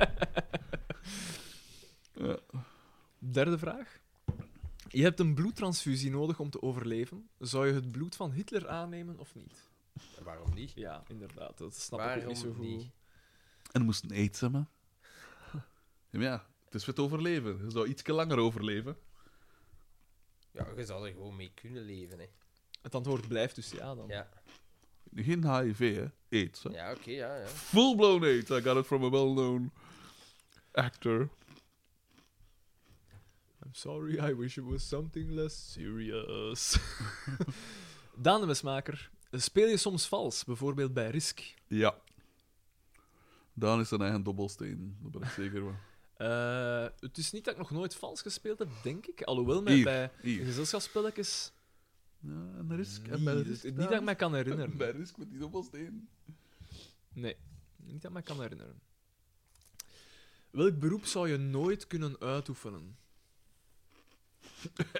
ja. Derde vraag. Je hebt een bloedtransfusie nodig om te overleven. Zou je het bloed van Hitler aannemen of niet? Waarom niet? Ja, inderdaad. Dat snap ik ook Waarom niet zo goed. niet? En moest een aids hebben. Ja, maar ja, het is voor het overleven. Je zou ietsje langer overleven. Ja, je zou er gewoon mee kunnen leven, hè. Het antwoord blijft dus ja dan. Ja, Geen HIV, hè. Aids, hè. ja oké, ja, ja. Full-blown AIDS. I got it from a well-known actor. I'm sorry, I wish it was something less serious. *laughs* Daan de Mesmaker. Speel je soms vals, bijvoorbeeld bij Risk? Ja. Daan is zijn eigen dobbelsteen. Dat ben ik zeker van. Eh, het is niet dat ik nog nooit vals gespeeld heb, denk ik. Alhoewel, mij Hier, bij hier. gezelschapsspelletjes... Ja, en risk. Niet, En bij risk, niet dat Daan? ik mij kan herinneren. Bij risk met die dobbelsteen. Nee, niet dat ik me kan herinneren. Welk beroep zou je nooit kunnen uitoefenen?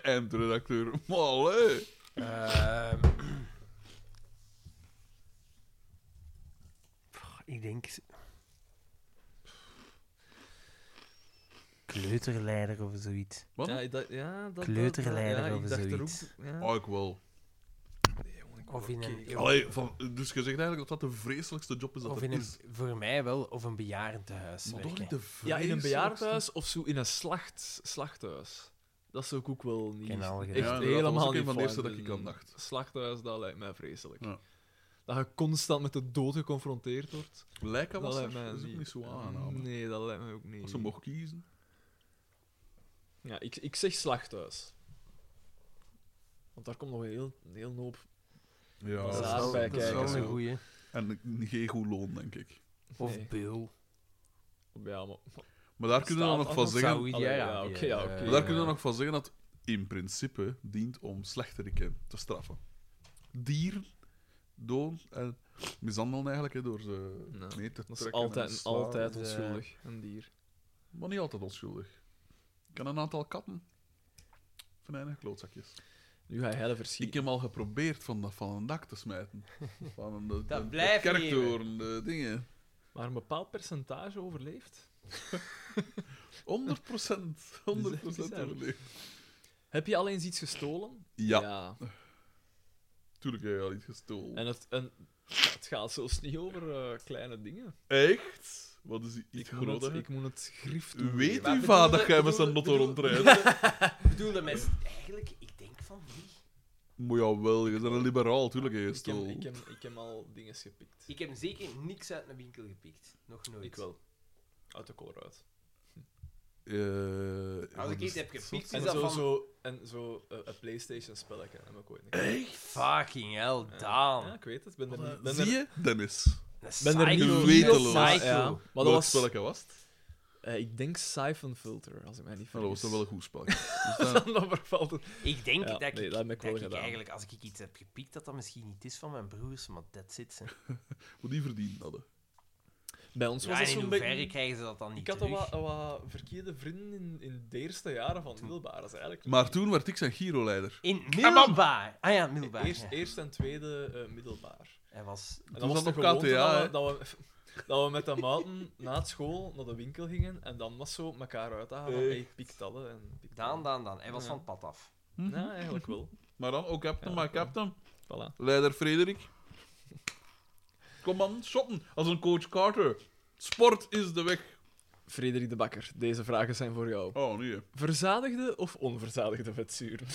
En de redacteur. Maar allee. Ehm. Pff, Ik denk... Kleuterleider of zoiets. Wat? Ja, dat, ja, dat, Kleuterleider ja, ik of dacht er zoiets. ook- ja. Ah, ik wel. Ehm, Of in een... Allee, van, dus je zegt eigenlijk dat dat de vreselijkste job is dat Of er in een, is. voor mij wel, of een bejaardentehuis Maar toch werken. niet de ja, in een vreselijkste? bejaardenhuis of zo in een slacht, slachthuis. Dat zou ik ook wel niet. Ken al echt gedaan. inderdaad, Ja, dat was helemaal ook een niet van de fijn eerste dat ik vinden. aan dacht. Slachthuis, dat lijkt mij vreselijk. Ja. Dat je constant met de dood geconfronteerd wordt. Lijken Dat was lijkt er, mij dat is ook niet zo aangenaam. Mm, Nee, dat lijkt mij ook niet. Als ze mocht kiezen. Ja, ik, ik zeg slachthuis. Want daar komt nog een heel, een heel hoop. Ja, Dat is dat is- wel- dat is kijken, wel zo. een een goeie. goeie. En een- geen goed loon, denk ik. Of Nee. Bill. Ja, maar. Maar daar kunnen we dan Staat nog van dat zeggen... Zou- Allee, ja, oké, ja, oké. Eh, Maar daar kunnen we nog van zeggen dat in principe dient om slechteriken te straffen. Dieren dood en mishandelen eigenlijk hè, door ze Nee, mee te Dat is trekken en altijd, te slaan. altijd de- onschuldig, een dier. Maar niet altijd onschuldig. Ik ken een aantal katten. Venijnige klootzakjes. Nu ga jij de Ik verschieten. heb al geprobeerd van, dat- van een dak te *laughs* smijten. Van een, de, de, blijft de kerktoren, de dingen. Maar een bepaald percentage overleeft. 100 *laughs* procent. 100 procent bizar. overleefd. Heb je alleen eens iets gestolen? Ja, tuurlijk heb je al iets gestolen. En het, en het gaat zelfs niet over eh, kleine dingen. Echt? Wat is iets Ik moet, groter? het, ik moet het grief U doen. Weet Maar uw bedoelde- vader dat jij met zijn bedoelde- *laughs* lotto bedoelde- rondrijdt? Ik bedoelde mensen eigenlijk, ik denk van niet. Moet jou wel, je bent een liberaal, tuurlijk heb je Ik heb, gestolen. ik, heb, ik heb al dingen gepikt. Ik heb zeker niks uit mijn winkel gepikt. Nog nooit. Ik wel. Uit de kolor uit. Eh, ja, Als ik dus iets heb dat gepikt, soort- En dat zo, van- zo, en zo eh, een PlayStation-spelletje heb ik ooit niet. Fucking hell, Ja, Daan. ik weet het. Ben er, niet- ben Zie er, je, Dennis? ben er niet Psycho. weteloos. Psycho. Ja. Maar dat Welk was, spelletje was het? eh, ik denk Siphon Filter, als ik mij niet Nou, dat vergis. was dan wel een goed spelletje. Dus dan- *laughs* dat vervalt het. Ik denk Ja, dat ik, nee, dat heb ik wel dat ik gedaan. eigenlijk, als ik iets heb gepikt, dat dat misschien niet is van mijn broers, maar dat zit ze. Hoe die verdiend hadden. Bij ons was Ja, het en in zo'n hoeverre beetje... krijgen ze dat dan niet Ik had al terug? wat, wat verkeerde vrienden in, in de eerste jaren van het middelbaar. Dat is eigenlijk... Maar toen werd ik zijn Giro-leider. In het middelbaar. Ah ja, middelbaar. Ah, Eerst, ja. eerst en tweede eh, middelbaar. Hij was... En Toen dan was zat het op gewoon KTA, dat, hè? we- dat, we, *laughs* dat we met de maten na het school naar de winkel gingen en dan was zo elkaar uitdagen Eh. van hey, pik dat, hè, en pik dat. Daan, Daan, Daan. Hij was Ja. van het pad af. Ja, eigenlijk wel. Maar dan, oh captain, Ja, maar captain. Voilà. Leider Frederik. Kom man, shotten. Als een coach Carter. Sport is de weg. Frederik de Bakker, deze vragen zijn voor jou. Oh, nee. Verzadigde of onverzadigde vetzuren?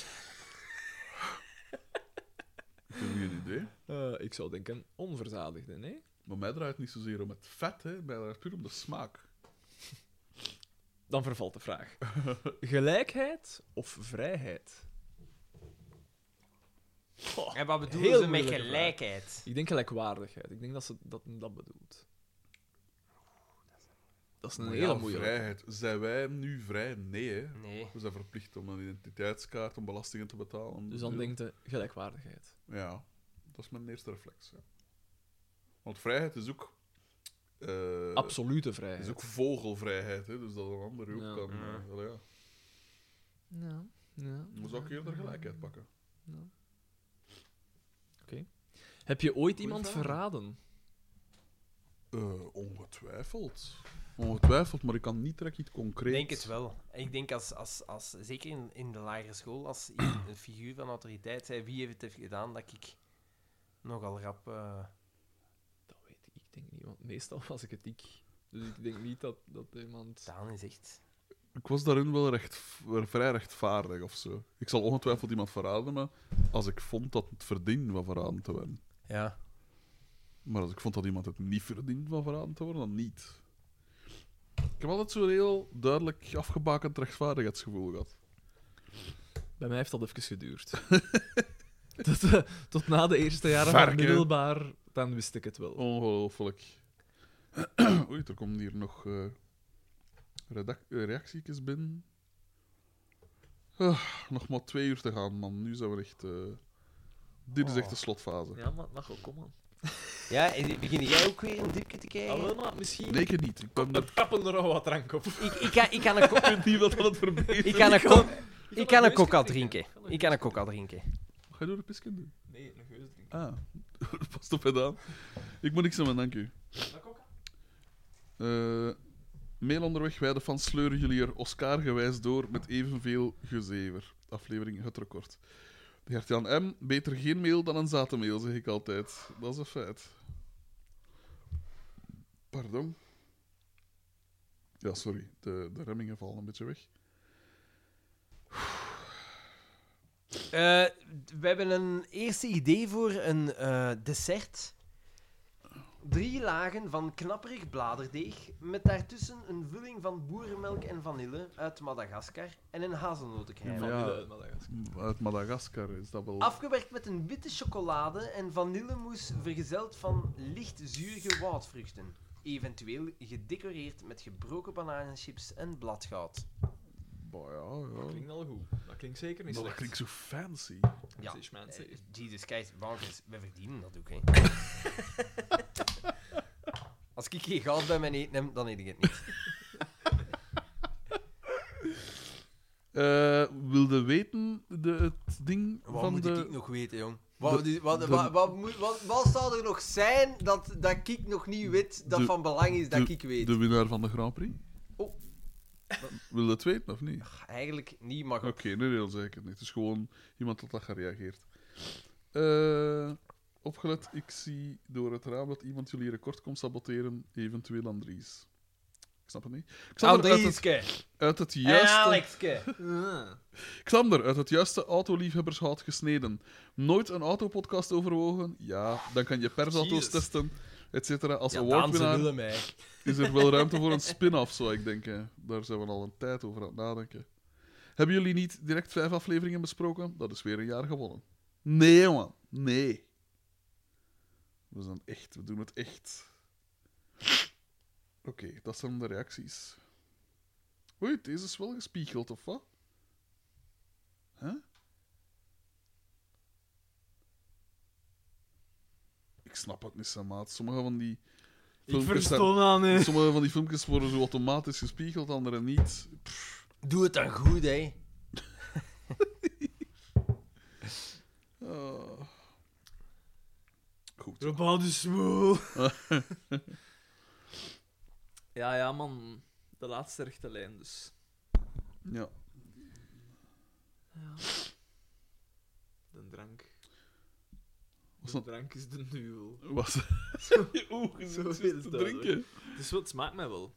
Ik heb geen idee. Eh, ik zou denken onverzadigde, nee? Maar mij draait het niet zozeer om het vet, hè. Mij draait het puur om de smaak. Dan vervalt de vraag. *laughs* Gelijkheid of vrijheid? Goh, En wat bedoelen Oh, heel ze met moeilijke vraag. gelijkheid? Ik denk gelijkwaardigheid. Ik denk dat ze dat, dat bedoelt. Dat is een Maar hele ja, moeilijke. vrijheid. Zijn wij nu vrij? Nee, hè. Nee. We zijn verplicht om een identiteitskaart, om belastingen te betalen. Dus dan denkt je gelijkwaardigheid. Ja, dat is mijn eerste reflex. Ja. Want vrijheid is ook. eh, Absolute Is vrijheid. ook vogelvrijheid, hè? dus dat een ander ook Ja. kan. Ja. eh, wel, ja. Ja. ja. Dan zou ik eerder gelijkheid pakken. Heb je ooit Goeie iemand vraag. verraden? Eh, ongetwijfeld. Ongetwijfeld, maar ik kan niet direct iets Ik concreets. denk het wel. Ik denk als, als, als zeker in, in de lagere school, als i- een figuur van autoriteit zei wie heeft het gedaan, dat ik nogal rap. eh, Dat weet ik, ik denk niet, want meestal was ik het ik. Dus ik denk niet dat, dat iemand... Daan is echt. Ik was daarin wel recht, wel vrij rechtvaardig of zo. Ik zal ongetwijfeld iemand verraden, maar als ik vond dat het verdiende van verraden te werden. Ja. Maar als ik vond dat iemand het niet verdient van verraden te worden, dan niet. Ik heb altijd zo'n heel duidelijk afgebakend rechtvaardigheidsgevoel gehad. Bij mij heeft dat even geduurd. *laughs* tot, eh, tot na de eerste jaren Varken. van middelbaar, dan wist ik het wel. Ongelooflijk. *clears throat* Oei, er komen hier nog eh redac- eh, reactiekes binnen. Ah, nog maar twee uur te gaan, man. Nu zijn we echt... eh, Dit is echt de slotfase. Ja, maar het mag wel komen. Ja, en begin jij ook weer een dipje te Ah, krijgen? wel, maar misschien... Nee, Oh. ik niet. Ik ben er... Kappen er al wat drank op. Ik, ik, kan, ik kan *laughs* een, ko- niet wat aan het verbeteren. ik kan een, ko- ik kan een neusje coca drinken. drinken. Ik kan een coca drinken. Ga je door de pisken doen? Nee, een geus drinken. Ah, *laughs* pas op gedaan. Ik moet niks aan mijn dank u. Eh, mail onderweg, wij de fans sleuren jullie er Oscar-gewijs door met evenveel gezever. Aflevering het record. Gert-Jan M. Beter geen mail dan een zatenmail, zeg ik altijd. Dat is een feit. Pardon. Ja, sorry. De, de remmingen vallen een beetje weg. Eh, d- we hebben een eerste idee voor een eh, dessert. Drie lagen van knapperig bladerdeeg met daartussen een vulling van boerenmelk en vanille uit Madagaskar en een hazelnotencrème. Ja. Vanille uit Madagaskar. Uit Madagaskar is dat wel. Afgewerkt met een witte chocolade en vanillemousse vergezeld van licht zuurige woudvruchten. Eventueel gedecoreerd met gebroken bananenchips en bladgoud. Bah, ja, Dat ja. klinkt al goed. Dat klinkt zeker niet Maar dat slecht. klinkt zo fancy. Ja. Zeg, man, zeg. Eh, Jesus Christ, Wouters, we verdienen dat *laughs* ook, hè. Als ik geen goud bij mijn eten heb, dan eet ik het niet. Eh, wilde weten de, het ding Wat van moet de. ik nog weten, jong? Wat, de- wat, de- wat, wat, moet- wat, wat zou er nog zijn dat, dat ik nog niet weet, dat De- van belang is dat de- ik weet? De winnaar van de Grand Prix? Oh. Wil dat weten of niet? Eigenlijk niet, maar Oké, goed. nee, heel zeker niet. Het is gewoon iemand dat dat gereageerd. Eh, opgelet, ik zie door het raam dat iemand jullie record komt saboteren, eventueel Andries. Ik snap het niet. Xander, uit het, Andrieske uit het en juiste, *laughs* Alexke. Ah. Xander, uit het juiste autoliefhebbershout gesneden. Nooit een autopodcast overwogen? Ja, dan kan je persauto's Jezus. testen, et cetera. Als Ja, Daan, ze awardwinnaar willen mij. is er wel ruimte voor een spin-off, zou ik denken. Daar zijn we al een tijd over aan het nadenken. Hebben jullie niet direct vijf afleveringen besproken? Dat is weer een jaar gewonnen. Nee, man. Nee. We zijn echt. We doen het echt. Oké, dat zijn de reacties. Oei, deze is wel gespiegeld, of wat? Huh? Ik snap het niet, zo, maat. Sommige van die... Ik filmpjes zijn- verstond aan, *laughs* hè. Sommige van die filmpjes worden zo automatisch gespiegeld, andere niet. Doe het dan goed, hè. Ah. Goed. Bepaalde smoel. *laughs* ja, ja, man. De laatste rechte lijn, dus. Ja. De drank. Was De dat- drank is de duivel. *laughs* Was Oeh, zo te drinken? Ah. Dus wat smaakt mij wel.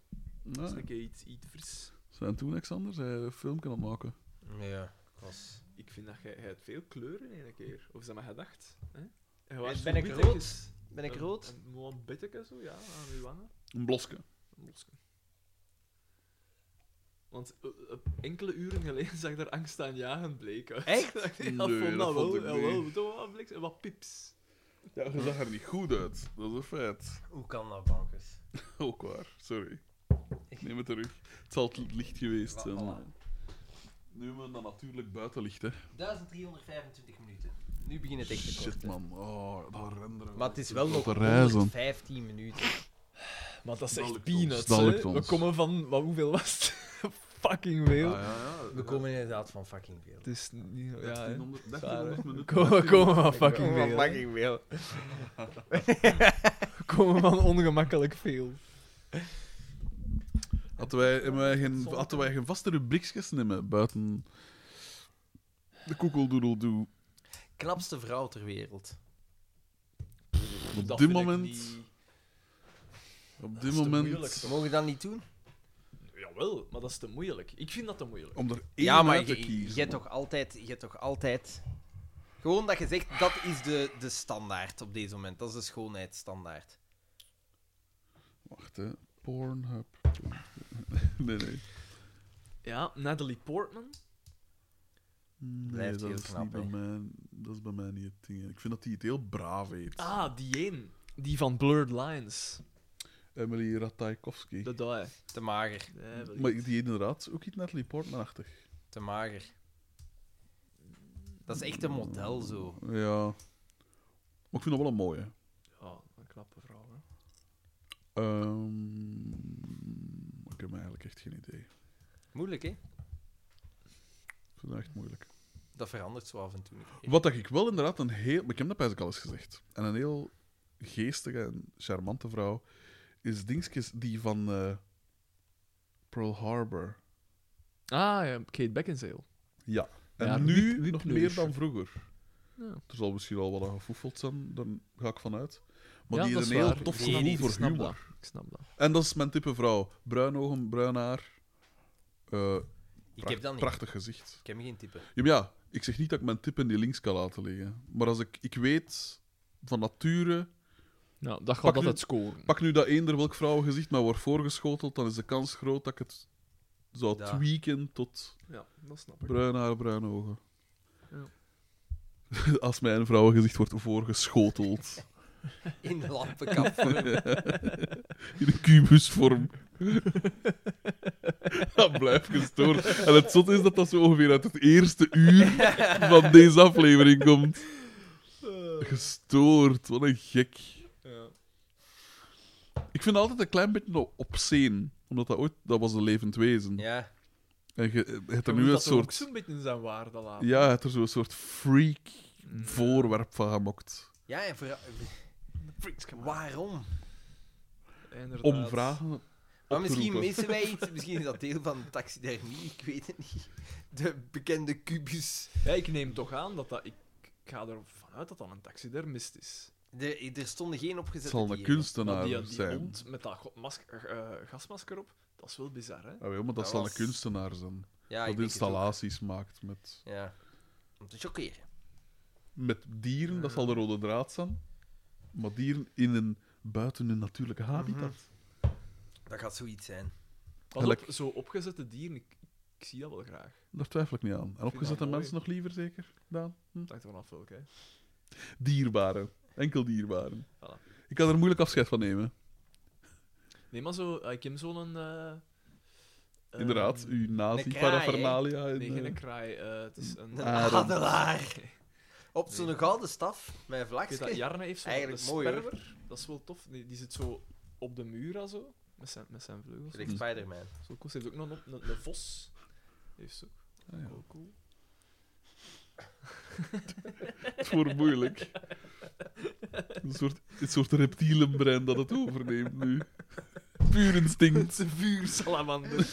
Als Nee. ik iets, iets fris. Zijn toen Alexander zijn een filmpje aan het maken. Ja, ik was... Ik vind dat jij, jij hebt veel kleuren in één keer. Of is dat maar gedacht? Hè? Jij was Ben zo ik rood? wittekes. Ben ik Een- rood? Een mooi bitteke zo, ja, aan uw wangen. Een bloske. Een boske. Want eh, eh, enkele uren geleden *laughs* zag ik daar angstaanjagend bleek uit. Echt? ja, Nee, vond dat, dat vond wel. ik ja, niet. wel, toch wel bliks- en wat pips. Ja, je zag er niet goed uit. Dat is een feit. *laughs* Hoe kan dat, bankers? Ook waar. Sorry. Ik neem het terug. Het zal het licht geweest zijn. maar- Nu hebben we dat natuurlijk buiten licht, hè. 1325 minuten. Nu begint het echt te Shit, korten. man. Oh, dat renderen. Maar het is wel nog te reizen. 115 minuten. Maar dat is Dat echt lukt ons, peanuts, dat hè. lukt We ons. komen van, wat, hoeveel was het? *laughs* Fucking veel. Ah, ja, ja. We komen inderdaad van fucking veel. Het is niet... Ja, hè. 1300 Zwaar, hè. 1300 We minuten. komen, we komen *laughs* van fucking veel. hè. veel. We komen van ongemakkelijk veel. Hadden wij, hebben wij geen, hadden wij geen vaste rubriekjes nemen buiten de koekeldoedeldoe? Knapste vrouw ter wereld. Op Dat dit vind ik moment- niet- Op is dit te moment. moeilijk, toch? Mogen we dat niet doen? Jawel, maar dat is te moeilijk. Ik vind dat te moeilijk. Om er één Ja, maar uit te je kiezen. je hebt toch altijd... Je hebt toch altijd... Gewoon dat je zegt, dat is de, de standaard op deze moment. Dat is de schoonheidsstandaard. Wacht, hè. Pornhub. *laughs* Nee, nee. Ja, Natalie Portman. Nee, Blijft dat heel is, knap, niet bij hè. mij, dat is bij mij niet het ding. Ik vind dat hij het heel braaf heet. Ah, die één. Die van Blurred Lines. Emily Ratajkowski. De die. Te mager. Maar die heet inderdaad ook iets Natalie Portman-achtig. Te mager. Dat is echt een model, zo. Ja. Maar ik vind dat wel een mooie. Ja, een knappe vrouw. Hè. Ehm, ik heb eigenlijk echt geen idee. Moeilijk, hè? Ik vind dat echt moeilijk. Dat verandert zo af en toe. niet. Wat dat ik wel inderdaad een heel... maar Ik heb dat bijzonder al eens gezegd. En een heel geestige en charmante vrouw is dingetjes die van eh, Pearl Harbor. Ah, ja, Kate Beckinsale. Ja. En Ja, nu Wiep- Wiep nog Neusje. meer dan vroeger. Ja. Er zal misschien al wat aan gefoefeld zijn, daar ga ik vanuit. Maar Ja, die dat is is een heel waar. tof Nee, gevoel die- ik voor snap humor. dat. Ik snap dat. En dat is mijn type vrouw. Bruin ogen, bruin haar. Oh, Eh, Ik pracht- heb dat niet. Prachtig gezicht. Ik heb geen type. Ja, maar ja, ik zeg niet dat ik mijn tip in die links kan laten liggen. Maar als ik, ik weet van nature Nou, dat Pak gaat nu- altijd scoren. Pak nu dat eender welk vrouwengezicht maar wordt voorgeschoteld, dan is de kans groot dat ik het zou Ja. tweaken tot Ja, dat snap bruin haar, bruine ogen. Ja. *laughs* Als mijn vrouwengezicht wordt voorgeschoteld. *laughs* In de lampenkap. *laughs* In een kubusvorm. *laughs* dat blijft gestoord. En het zot is dat dat zo ongeveer uit het eerste uur van deze aflevering komt. Gestoord, wat een gek. Ik vind altijd een klein beetje obscene. Omdat dat ooit, dat was een levend wezen. ja. En je, je hebt er nu een ook soort, zo'n beetje in zijn waarde laten. Mm, ja, je hebt er zo'n soort freak voorwerp van gemokt. Ja, en voor... Waarom? Inderdaad. Om vragen. Maar misschien opgeroepen. missen wij iets. Misschien is dat deel van de taxidermie. Ik weet het niet. De bekende kubus. Ja, ik neem toch aan dat dat... Ik, ik ga ervan uit dat dat een taxidermist is. De, er stonden geen Het opgezette zal een dieren. Maar kunstenaar die, die zijn. hond met dat go- mask- eh, eh, gasmasker op, dat is wel bizar, hè? Ah, ja, maar dat, Dat zal was- een kunstenaar zijn. Ja, dat ik denk het ook. installaties maakt met, Ja. Om te chockeren. met dieren. Dat zal de rode draad zijn. Maar dieren in een, buiten hun natuurlijke habitat. Dat gaat zoiets zijn. Pas op, Gelijk. zo opgezette dieren, ik, ik zie dat wel graag. Daar twijfel ik niet aan. En opgezette dat mooi. mensen nog liever, zeker? Daan? Hm? Het hangt er vanaf welke, hè. Dierbaren. Enkel dierbaren. Voilà. Ik kan er moeilijk afscheid van nemen. Nee, maar zo... eh, Ik heb zo'n... eh, eh, Inderdaad, uw nazi-parafernalia. en, Nee, eh, Ah, geen kraai. eh, het is een... Een Arend. adelaar. Op zo'n Nee. gouden staf, *laughs* mijn Ik weet dat vlakje. Jarne heeft zo'n Eigenlijk een mooi, hoor. sperwer. Dat is wel tof. Die, die zit zo op de muur en zo. Met zijn, met zijn vleugels. Dus- Gelijk Spider-Man. Zo cool. Ze heeft ook nog een, een, een vos. Heeft ze ook. ah, ja. Wel cool. *laughs* Het wordt *laughs* moeilijk. Een soort, een soort reptielenbrein dat het overneemt nu. Puur instinct. Zijn *laughs* vuursalamander.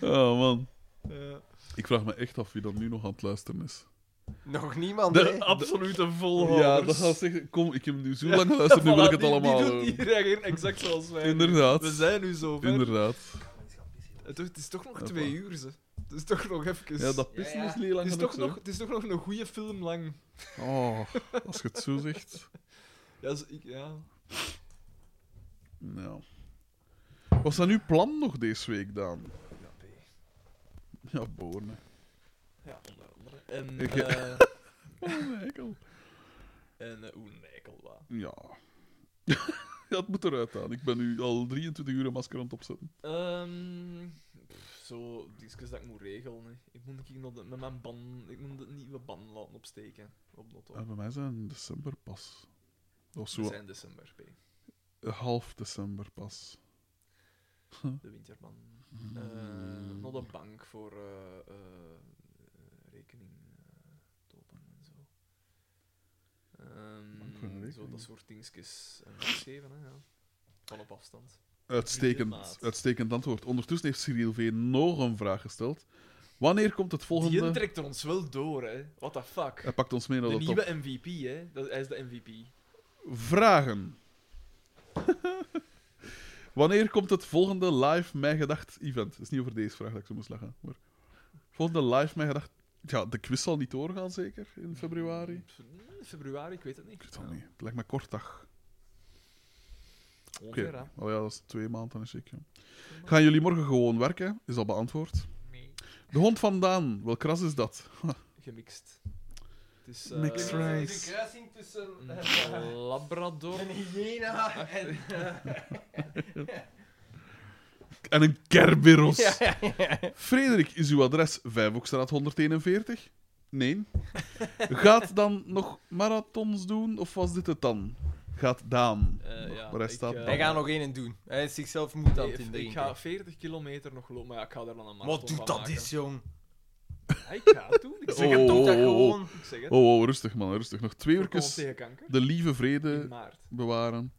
Oh man. Eh, Ik vraag me echt af wie dan nu nog aan het luisteren is. Mm. Nog niemand, hè? de absolute volhouders. Ja, dat gaat zeggen. Kom, ik heb nu zo *laughs* lang geluisterd, nu wil ik het allemaal Die, die, horen. reageren exact zoals wij. *laughs* We Inderdaad. zijn nu zo ver. Inderdaad. Het, het is toch nog Hoppa. twee uur, ze. Het is toch nog even... Ja, dat Ja, pissen ja. is heel het, lang is genoeg, toch zo. nog, het is toch nog een goede film lang. Oh, als je het zo zegt. Ja, ze- ik, ja. Nou. Was dat nu plan nog deze week, Daan? Ja, boorne. Ja, onder andere. En, Ik- eh, Oh, hekel. en eh, oeh, nee, ik al wat. Ja. *laughs* ja, het moet eruit aan. Ik ben nu al 23 uur een masker aan het opzetten. Ehm, pff, zo, dingetjes dat ik moet regelen. hè. Ik moet ik nog de- met mijn ban, ik moet de nieuwe ban laten opsteken op Lotto. En bij mij zijn in december pas. Of We Ah, zo, zijn december, P. half december pas. De winterban. Mm-hmm. Eh nog de bank voor eh, eh, eh, rekening eh, topen en zo. Ehm, Bank voor een zo rekening. dat soort dingetjes eh, afgeven, hè, ja. Van op afstand. Uitstekend, Maat. uitstekend antwoord. Ondertussen heeft Cyril V. nog een vraag gesteld. Wanneer komt het Die volgende... trekt ons wel door, hè. What the fuck. Hij pakt ons mee naar De de, top. nieuwe MVP, hè. Dat, hij is de MVP. Vragen. *laughs* Wanneer komt het volgende live Mijn Gedacht event? Het is niet over deze vraag dat ik zo moest lachen. Maar... Volgende live Mijn Gedacht... Ja, de quiz zal niet doorgaan, zeker? In februari? Mm, Februari, ik weet het niet. Ik weet het al niet. Het lijkt me kort dag. Oké. Ongeveer, hè. Oh ja, dat is twee maanden en ik. ja. Gaan jullie morgen gewoon werken? Is al beantwoord. Nee. De hond vandaan. Welk ras is dat? Gemixt. Het is Mixed eh, race. De kruising tussen eh, een *laughs* Labrador. een *laughs* hyena en... eh, En een kerberos. Ja, Frederik, is uw adres Vijfhoekstraat 141? Nee. Gaat dan nog marathons doen, of was dit het dan? Gaat Daan. Eh, ja, maar hij ik, staat eh, dan. *laughs* Hij gaat nog één doen. Hij is zichzelf moed aan Nee, het ik indrinken. ga 40 kilometer nog lopen, maar ja, ik ga daar dan een marathon Wat doet van dat maken. eens, jong? Ja, ik ga het doen. Ik zeg *laughs* Oh, het oh, toch. Doe dat oh, oh. *laughs* gewoon. Ik zeg het. Oh, oh, rustig man, rustig. Nog twee Voorkomen uurtjes tegen kanker. de lieve In vrede maart. bewaren.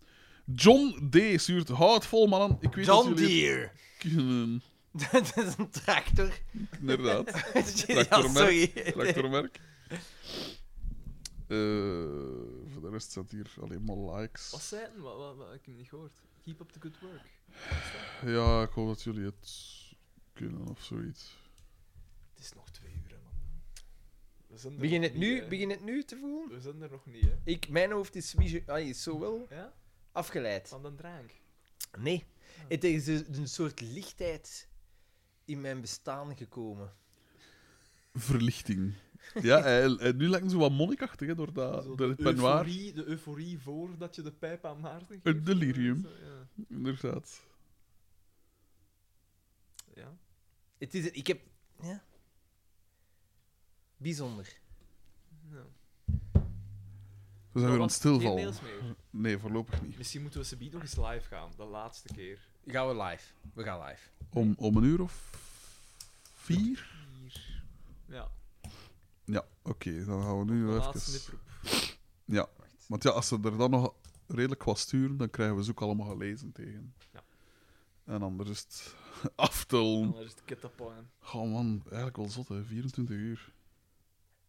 John D. stuurt, houd vol mannen. Ik weet John dat jullie het Deere. kunnen. *laughs* Dat is een *laughs* tractor. *laughs* Inderdaad. ja, sorry. Tractormerk. Eh, voor de rest staat hier alleen maar likes. Wat zei het? Wat, wat, wat- ik heb het niet gehoord. Keep up the good work. Ja, ik hoop dat jullie het kunnen of zoiets. Het is nog twee uur, hè, man. We zijn er Begin nog het niet, nu, hè. begin het nu te voelen? We zijn er nog niet, hè. Ik, mijn hoofd is, visu- ah, is zo wel Ja? afgeleid. Van de drank. Nee, het is dus een, een soort lichtheid in mijn bestaan gekomen. Verlichting. Ja, hij- hij- nu lijken ze wat monnikachtig hè, door dat, Zo door het de, peignoir. euforie, de euforie voordat je de pijp aan Maarten geeft. Een delirium. Zo, ja. Inderdaad. Ja. Het is, ik heb... Ja. Bijzonder. Nou. We zijn weer aan het Geen stilvallen. mails meer. Nee, voorlopig niet. Misschien moeten we Sabine nog eens live gaan. De laatste keer. Gaan we live. We gaan live. Om, om een uur of vier? Hier. Ja, Ja, oké. dan gaan we nu de laatste even... niproep. Ja, want ja, als ze er dan nog redelijk wat sturen, dan krijgen we ze ook allemaal gelezen tegen. Ja. En anders is het *laughs* aftellen. Dan is het ketapon. Oh man, eigenlijk wel zot, hè. 24 uur.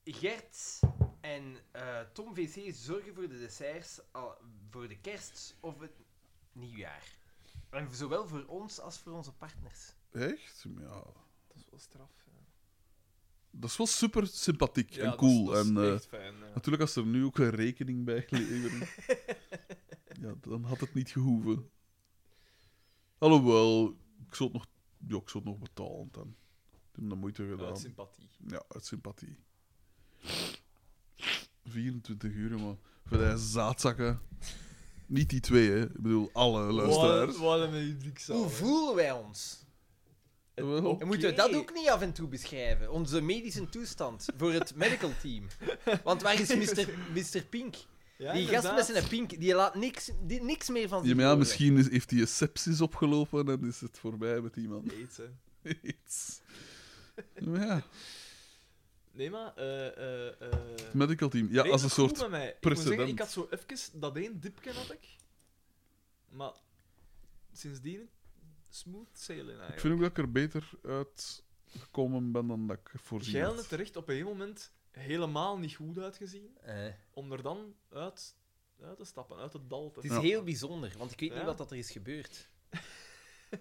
Gert en eh, Tom VC zorgen voor de desserts al, voor de kerst of het nieuwjaar. En zowel voor ons als voor onze partners. Echt? Ja. Dat is wel straf. Ja, Dat is wel super sympathiek Ja, en dat is- cool. Dat is, en, eh, echt fijn. ja. Natuurlijk, als er nu ook een rekening bij geleverd *laughs* ja, dan had het niet gehoeven. Alhoewel, ik zou het nog, ja, ik zou het nog betalen dan. Ik heb de moeite gedaan. Uit sympathie. Ja, uit sympathie. 24 uur, man. Voor die zaadzakken. Niet die twee, hè. Ik bedoel, alle luisteraars. Wat, wat een publiek zaal, Hoe hè. voelen wij ons? Het- Wel. oké. En moeten we dat ook niet af en toe beschrijven? Onze medische toestand voor *laughs* het medical team. Want waar is Mr. Mr. Pink? Ja, die gast inderdaad. met zijn pink, die laat niks, die, niks meer van Ja, zich maar ja, horen. misschien is- heeft hij een sepsis opgelopen en is het voorbij met iemand. *laughs* Aids, hè. Iets. Maar ja, Nee, maar... eh, eh, eh, het medical team. Ja, nee, als een het is goed soort... met mij. Ik moet precedent. zeggen, ik had zo even... Dat één dipje had ik. Maar sindsdien... Smooth sailing, Ik eigenlijk. vind ook dat ik er beter uitgekomen ben dan dat ik voorzien Geil het had. terecht op een gegeven moment helemaal niet goed uitgezien. Eh, Om er dan uit, uit te stappen, uit het dal te het is Ja. heel bijzonder, want ik weet Ja. niet wat dat er is gebeurd.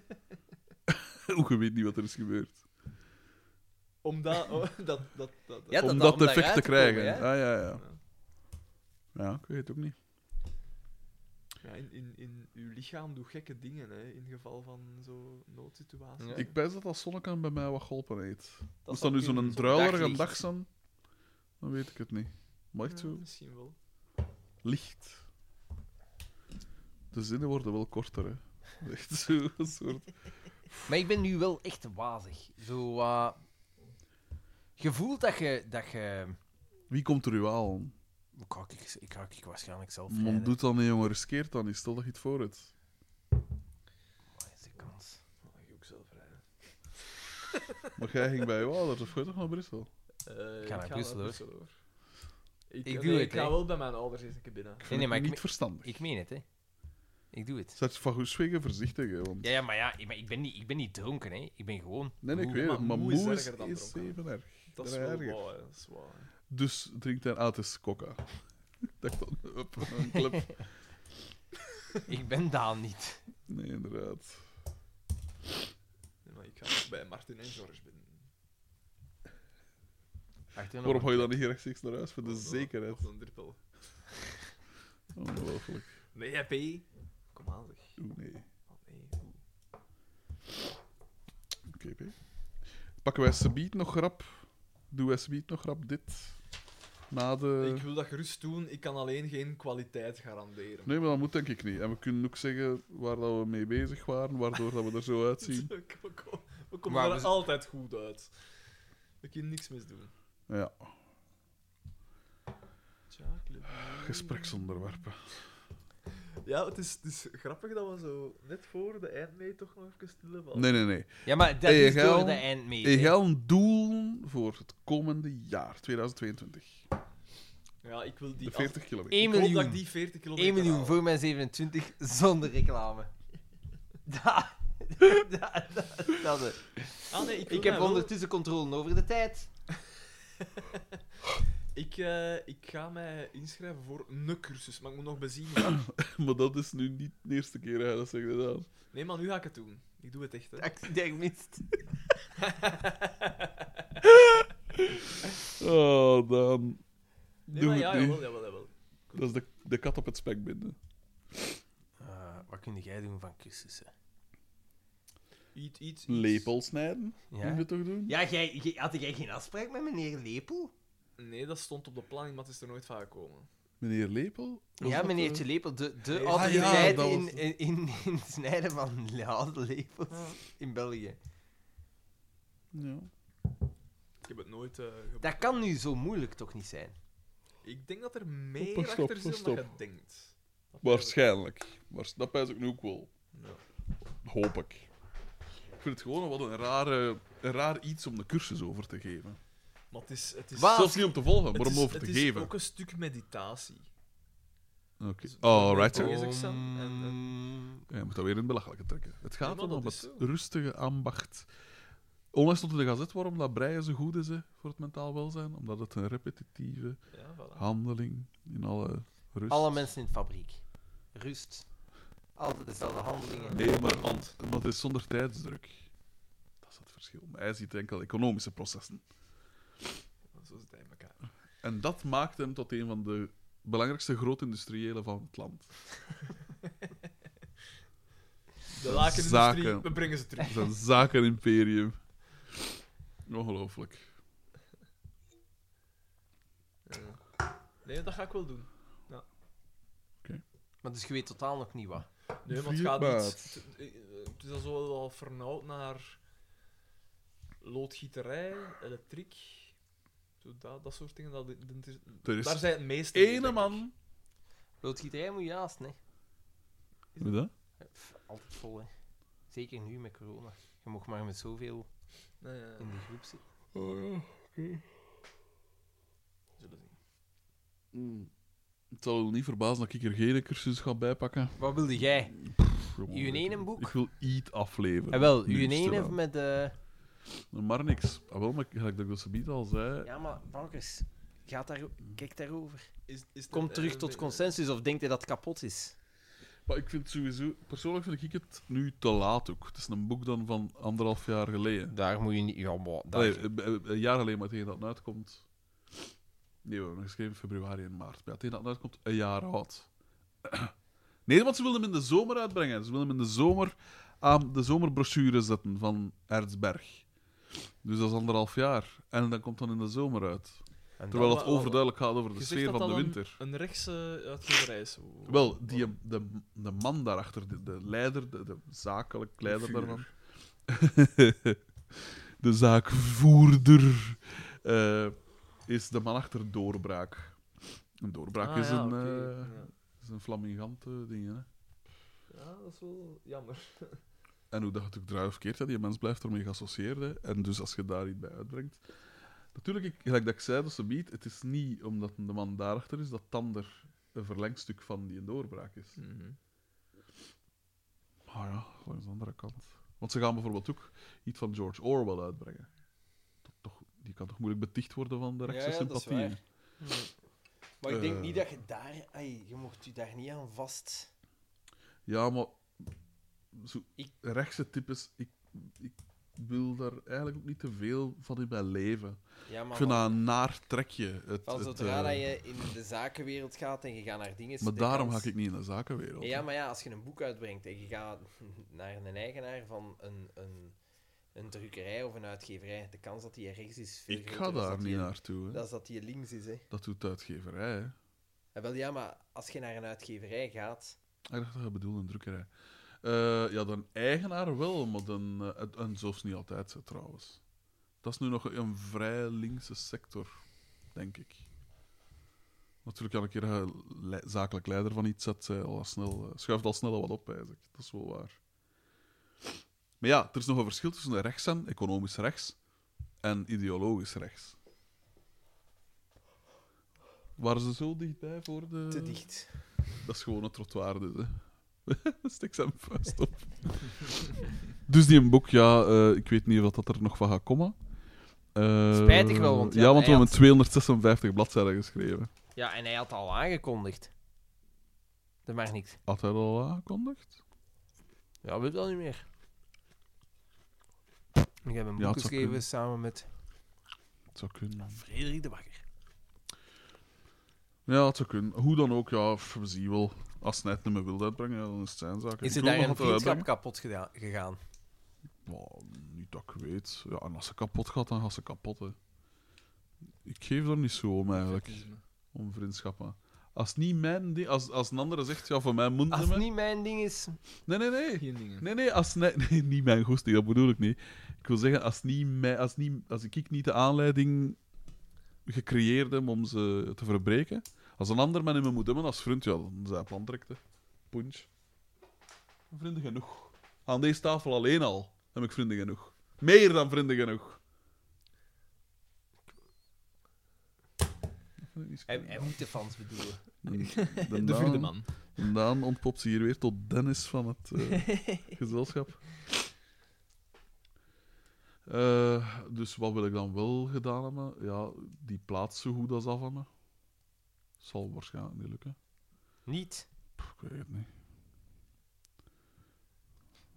*laughs* Ook je weet niet wat er is gebeurd. Omdat... oh, *laughs* dat, dat, dat, dat- Ja, dat- om dat- dat om daar effect te uit te komen, krijgen. hè? ah, ja, ja. Ja, ik weet het ook niet. Ja, in, in, in uw lichaam doet gekke dingen, hè, in geval van zo'n noodsituatie. Ja. Ik pijs dat dat zonnekaan bij mij wat geholpen heeft. Moest dat zou nu zo'n kunnen. druilerige daglicht. dag zijn, dan weet ik het niet. Maar echt Ja, zo, misschien wel. licht. De zinnen worden wel korter, hè. *laughs* Echt zo, een soort... Maar ik ben nu wel echt wazig. Zo, eh, je voelt dat je... Dat je Wie komt er u aan? Ik ga ik, ik, ga ik waarschijnlijk zelf Man, rijden. doet dat niet, jongen. Riskeert dat niet. Stel dat je het voor hebt. Wat Oh, is de kans? Mag je Ah, ook zelf rijden. Maar jij ging bij je ouders, of ga je toch naar Brussel? Eh, ik naar Brussel, hoor. hoor. Ik, Ik ik, doe nee, het, ik ga hè. wel bij mijn ouders eens een keer binnen. Ik Nee, vind nee, het maar ik, niet me- verstandig. ik meen het, hè. Ik doe het. Zet van Goeswegen voorzichtig, hè, want... Ja, ja, maar ja, ik ben, ik, ben niet, ik ben niet dronken, hè. Ik ben gewoon... *laughs* Nee, nee, ik Moe, weet het, maar maar moe is moe is, erger dan is dronken. even erg. Dat is Daar wel erger. waar, hè, dat is waar. hè. Dus drinkt hij uit de coca. *laughs* Ik dacht dan, op een club. Ik ben Daan niet. Nee, inderdaad. Nee, maar ik ga ook bij Martin en George binnen. Waarom ga je dan niet rechtstreeks naar huis? Voor de Of zo, zekerheid. Of een drippel. Ongelooflijk. Nee, happy. Kom aan, zeg. Oeh, nee. Oh, nee. Oké, P. Pakken wij subiet nog grap? Doen wij subiet nog grap dit? Na de... Ik wil dat gerust doen, ik kan alleen geen kwaliteit garanderen. Nee, maar dat moet denk ik niet. En we kunnen ook zeggen waar dat we mee bezig waren, waardoor dat we er zo *laughs* uitzien. we komen- we komen Maar er we z- altijd goed uit. We kunnen niks misdoen. Ja, Tja, club. gespreksonderwerpen. Ja, het is, het is grappig dat we zo net voor de eindmee toch nog even stil hebben. Nee, nee, nee. Ja, maar dat Hey, is Gaal. door de eind mee. Ik heb een doel voor het komende jaar, 2022. Ja, ik wil die... De af- 40 kilometer. 1 Ik hoop dat ik miljoen. die 40 kilometer 1 miljoen haal. voor mijn 27 zonder reclame. *laughs* Da, da, da, dat is het. Ah, nee, ik, wil Ik heb mij wel- ondertussen controle over de tijd. Ik, eh, ik ga mij inschrijven voor een cursus, maar ik moet nog bezien. waar. Maar dat is nu niet de eerste keer dat hij dat zegt gedaan. Nee, maar nu ga ik het doen. Ik doe het echt, hè. Ik denk minst. Oh, maar *laughs* dan... Nee, Doe maar het ja, niet. jawel, jawel, jawel. Dat is de, de kat op het spek binden. Eh, wat kun jij doen van kussens? Iets, iets, iets. Lepel snijden, moet Ja? je toch doen? Ja, jij, jij- had jij geen afspraak met meneer Lepel? Nee, dat stond op de planning, maar het is er nooit van gekomen. Meneer Lepel? Was ja, dat, eh, meneertje Lepel, de, de ja, autoriteit dat was in, het. in, in, in het snijden van lade lepels in België. eh, Ja. Ik heb het nooit... eh, ge- Dat kan nu zo moeilijk toch niet zijn? Ik denk dat er meer Pas op, achter zit pas dan op. je denkt. Dat- Waarschijnlijk. Waars- Dat pijs ik nu ook wel. Ja. Hoop ik. Ik vind het gewoon wat een, rare, een raar iets om de cursus over te geven. Maar het is... Het is Wat? Ah, Zelfs niet om te volgen, het maar om is- over te Het is geven. ook een stuk meditatie. Oké. Dus- Alright, Zo zeg. is het zo. En- eh, Ja, je moet dat weer in het belachelijke trekken. Het Ja, gaat maar dan om dat het is zo. rustige ambacht. Onlangs stond in de gazet waarom dat breien zo goed is hè, voor het mentaal welzijn. Omdat het een repetitieve Ja, voilà. handeling in alle rust... Alle mensen in de fabriek. Rust. Altijd dezelfde handelingen. Nee, maar, want, maar het is zonder tijdsdruk. Dat is het verschil. Maar hij ziet enkel economische processen. Zo zit hij in elkaar. En dat maakt hem tot een van de belangrijkste grootindustriëlen van het land. De lakenindustrie, Zaken. we brengen ze terug. Zijn zakenimperium. Ongelooflijk. Ja. Nee, dat ga ik wel doen. Maar dus je weet totaal nog niet wat. Nee, want het gaat niet... Het, eh, het is al zo wel al vernauwd naar loodgieterij, elektriek, zo dat, dat soort dingen. Dat, dat is- Er daar is zijn het meeste... in, denk ene ik. man... Loodgieterij moet je haast, nee. Hoe dat? Pff, Altijd vol, hè. Zeker nu met corona. Je mag maar met zoveel Nee, nee, in nee. de groep zitten. We zullen zien. Hmm. Het zal je niet verbazen dat ik er geen cursus ga bijpakken. Wat wilde jij? Gewoon, Uw ik- ene boek? Ik wil iets afleveren. En wel, Nu u is het ene eraan. met... eh Maar niks. Ah, wel, maar gelijk dat ik dat zo niet al zei... Ja, maar bankers, gaat daar, kijk daarover. Is, is Kom dat- terug eh, tot eh, consensus of denkt hij dat het kapot is? Maar ik vind sowieso... Persoonlijk vind ik het nu te laat ook. Het is een boek dan van anderhalf jaar geleden. Daar moet je niet... Ja, maar... Nee, eh, eh, een jaar alleen maar tegen dat het uitkomt. Nee, we hebben hem geschreven in februari en maart. Maar ja, tegen dat het uitkomt, een jaar oud. *clears throat* Nee, want ze wilden hem in de zomer uitbrengen. Ze wilden hem in de zomer aan de zomerbrochure zetten van Erzberg. Dus dat is anderhalf jaar. En dan komt dan in de zomer uit. Terwijl het wa- wa- overduidelijk gaat over de je zegt sfeer dat van de dat een- winter. Een rechtse uitgeverij is. Ah, Wel, die, de, de man daarachter, de, de leider, de, de zakelijk leider Vuurder. daarvan. *laughs* de zaakvoerder eh, is de man achter Doorbraak. Een doorbraak Ah, is, ja, een, oké, eh, ja. is een flamingante ding. Hè? Ja, dat is wel jammer. En hoe dat het ook draait of keert, hè, die mens blijft ermee geassocieerd. hè. En dus als je daar iets bij uitbrengt. Natuurlijk, ik, gelijk dat ik zei, dat ze biedt, het is niet omdat de man daarachter is dat Tander een verlengstuk van die doorbraak is. Maar Ah ja, langs de andere kant. Want ze gaan bijvoorbeeld ook iets van George Orwell uitbrengen. Dat toch, die kan toch moeilijk beticht worden van de rechtse ja, dat is sympathieën? waar. Maar ik denk Eh. niet dat je daar... ai, je mocht u daar niet aan vast... Ja, maar zo, Ik- rechtse types, ik, ik wil daar eigenlijk ook niet te veel van in mijn leven. Ja, Ik maar vind dat een naar trekje. Het, van het, zodra eh, dat je in de zakenwereld gaat en je gaat naar dingen... is maar de daarom kans- ga ik niet in de zakenwereld. Ja, maar ja, als je een boek uitbrengt en je gaat *laughs* naar een eigenaar van een, een, een drukkerij of een uitgeverij, de kans dat die rechts is veel ik groter ga is daar dat niet die- naartoe. Hè. Dat is dat die links is, hè. Dat doet de uitgeverij. Hè. Ja, wel, ja, maar als je naar een uitgeverij gaat... Ah, Ik dacht dat je bedoelde een drukkerij. Eh, ja, de eigenaar wel, maar dan, eh, het- en zelfs niet altijd zo, trouwens. Dat is nu nog een vrij linkse sector, denk ik. Natuurlijk, elke keer dat je eh, le- zakelijk leider van iets zet, zij al snel, eh, schuift al snel wat op, eigenlijk. Dat is wel waar. Maar ja, er is nog een verschil tussen de rechts en economisch rechts en ideologisch rechts. Waren ze zo dichtbij voor de... Te dicht. Dat is gewoon een trottoir, dus. Hè. *laughs* Stik zijn vuist op. dus die een boek, ja, eh, ik weet niet wat dat er nog van gaat komen. Eh, Spijtig wel, want ja, ja, want we hij hebben had- 256 bladzijden geschreven. Ja, en hij had al aangekondigd. Dat mag niet. Had hij dat al aangekondigd? Ja, weet wel niet meer. Ik heb Ja, een boek het zou geschreven kunnen. samen met Het zou kunnen. Frederik de Bakker. Ja, het zou kunnen. Hoe dan ook, ja, pff, we zien wel. Als hij het niet meer wil uitbrengen, ja, dan is het zijn zaak. Ik Is wil er daar nog een wat vriendschap uitbrengen. kapot gedaan, gegaan? Maar, niet dat ik weet. Ja, en als ze kapot gaat, dan gaat ze kapot, hè. Ik geef er niet zo om, eigenlijk. Om vriendschappen. Als het niet mijn ding... Als, als een andere zegt, ja, voor mij moet Als het het niet... niet mijn ding is... meer. Nee, nee, nee. Geen dingen. Nee, nee, als nee, *laughs* nee, niet mijn goesting, dat bedoel ik niet. Ik wil zeggen, als, niet mij, als, niet, als ik niet de aanleiding gecreëerd heb om ze te verbreken, als een ander mij niet meer moet hebben als vriend, ja, dan zijn plan trekt, hè. Punch. Vrienden genoeg. Aan deze tafel alleen al heb ik vrienden genoeg. Meer dan vrienden genoeg. Hij, hij moet de fans bedoelen. *laughs* Dan- De vierde dan- man. en Daan ontpopt ze hier weer tot Dennis van het *laughs* eh, gezelschap. Eh, dus wat wil ik dan wel gedaan hebben? Ja, die plaats zo goed als af hebben. Zal waarschijnlijk niet lukken. Niet. Pff, ik weet het niet.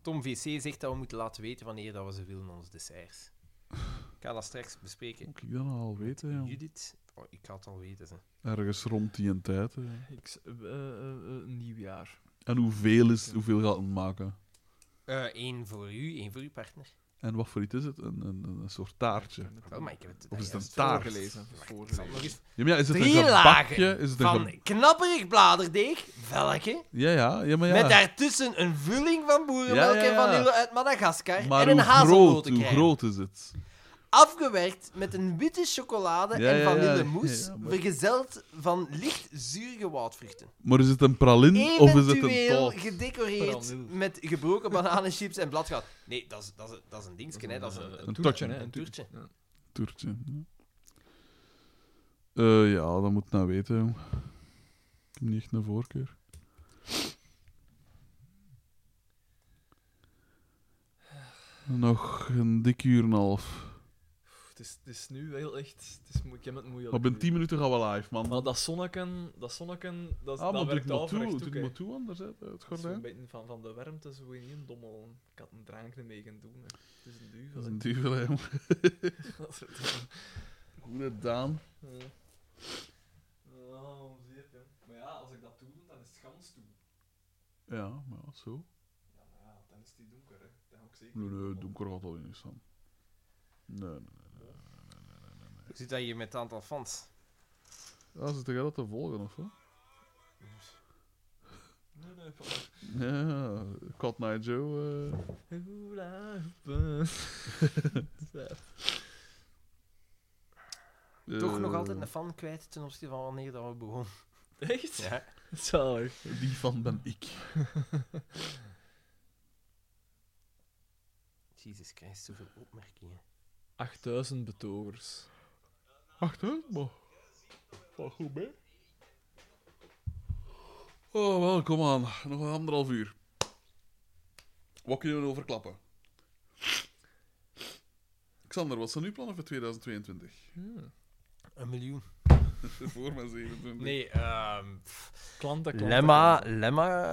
Tom VC zegt dat we moeten laten weten wanneer dat we ze willen, onze desserts. Ik ga dat straks bespreken. Moet ik dat nou al weten? Ja. Judith, oh, ik had het al weten. Ze. Ergens rond die een tijd. hè. Ik, s- eh, eh, eh, nieuwjaar. En hoeveel, is, hoeveel gaat het maken? Eh, één voor u, één voor uw partner. En wat voor iets is het? Een, een, een soort taartje. Ja, Oh, maar ik heb het Of is het juist een taart? voorgelezen. Voorgelezen. Ik zal het nog eens- maar ja, is het een Drie gebakje? lagen Is het een ge- van knapperig bladerdeeg, velken, ja, ja, ja, maar ja. met daartussen een vulling van boerenmelk Ja, ja, ja. en vanille uit Madagaskar maar en een hoe, groot, hoe hazelnotencrème. groot is het? Afgewerkt met een witte chocolade Ja, ja, en ja, vanillemousse, ja, maar- vergezeld van licht zurige woudvruchten. Maar is het een pralin of is het een Eventueel taart? Vooral gedecoreerd nu. met gebroken bananenchips en bladgoud. Nee, dat is, dat is, dat is een dingetje, hè. Dat is een, eh, een een toertje. toertje, hè? Een toertje. Ja. Toertje. Eh, ja, dat moet ik nou weten. jong. Ik heb niet echt een voorkeur. Nog een dik uur en een half. Pff, Het is, het is nu heel echt. Het is, moe- ik heb het moeilijk. Maar binnen 10 minuten gaan we live, man. Ah, Maar dat zonneken, dat zonneken, dat, is- dat ah, maar doe werkt het maar toe. averechts Doe ook, het hè. maar toe anders, hè, het Dat is zo'n gordijn. beetje van, van de warmte zo in één dommel. Ik had een drankje mee gaan doen. hè. Het is een duivel. Dat is hè. een duivel, hè, jong. *laughs* Dat is het. Goede Daan. Ja. Oh, zeep, hè. Maar ja, als ik dat doe, dan is het gans toe. Ja, maar ja, zo. Ja, maar ja, dan is die donker, hè. Dan ook zeker. Nee, nee, donker gaat al in staan. Nee, nee. Ik zit daar hier met het aantal fans. Ja, zit jij dat te volgen, of wat? Nee, nee, van- Ja, Cat Night Joe. eh. Hoera, hoepa. Toch nog Eh, altijd een fan kwijt ten opzichte van wanneer dat we begonnen. *laughs* Echt? Ja. *laughs* Zalig. Die van ben ik. Jezus Christus, zoveel opmerkingen. 8000 betogers. Wacht, hè? Maar... Wat goed mee. Oh, wel, kom aan. Nog een anderhalf uur. Wat kunnen we overklappen? Xander, wat zijn uw plannen voor 2022? Een miljoen. *laughs* voor mijn 27. Nee, ehm... Klanten, klanten. Lemma, lemma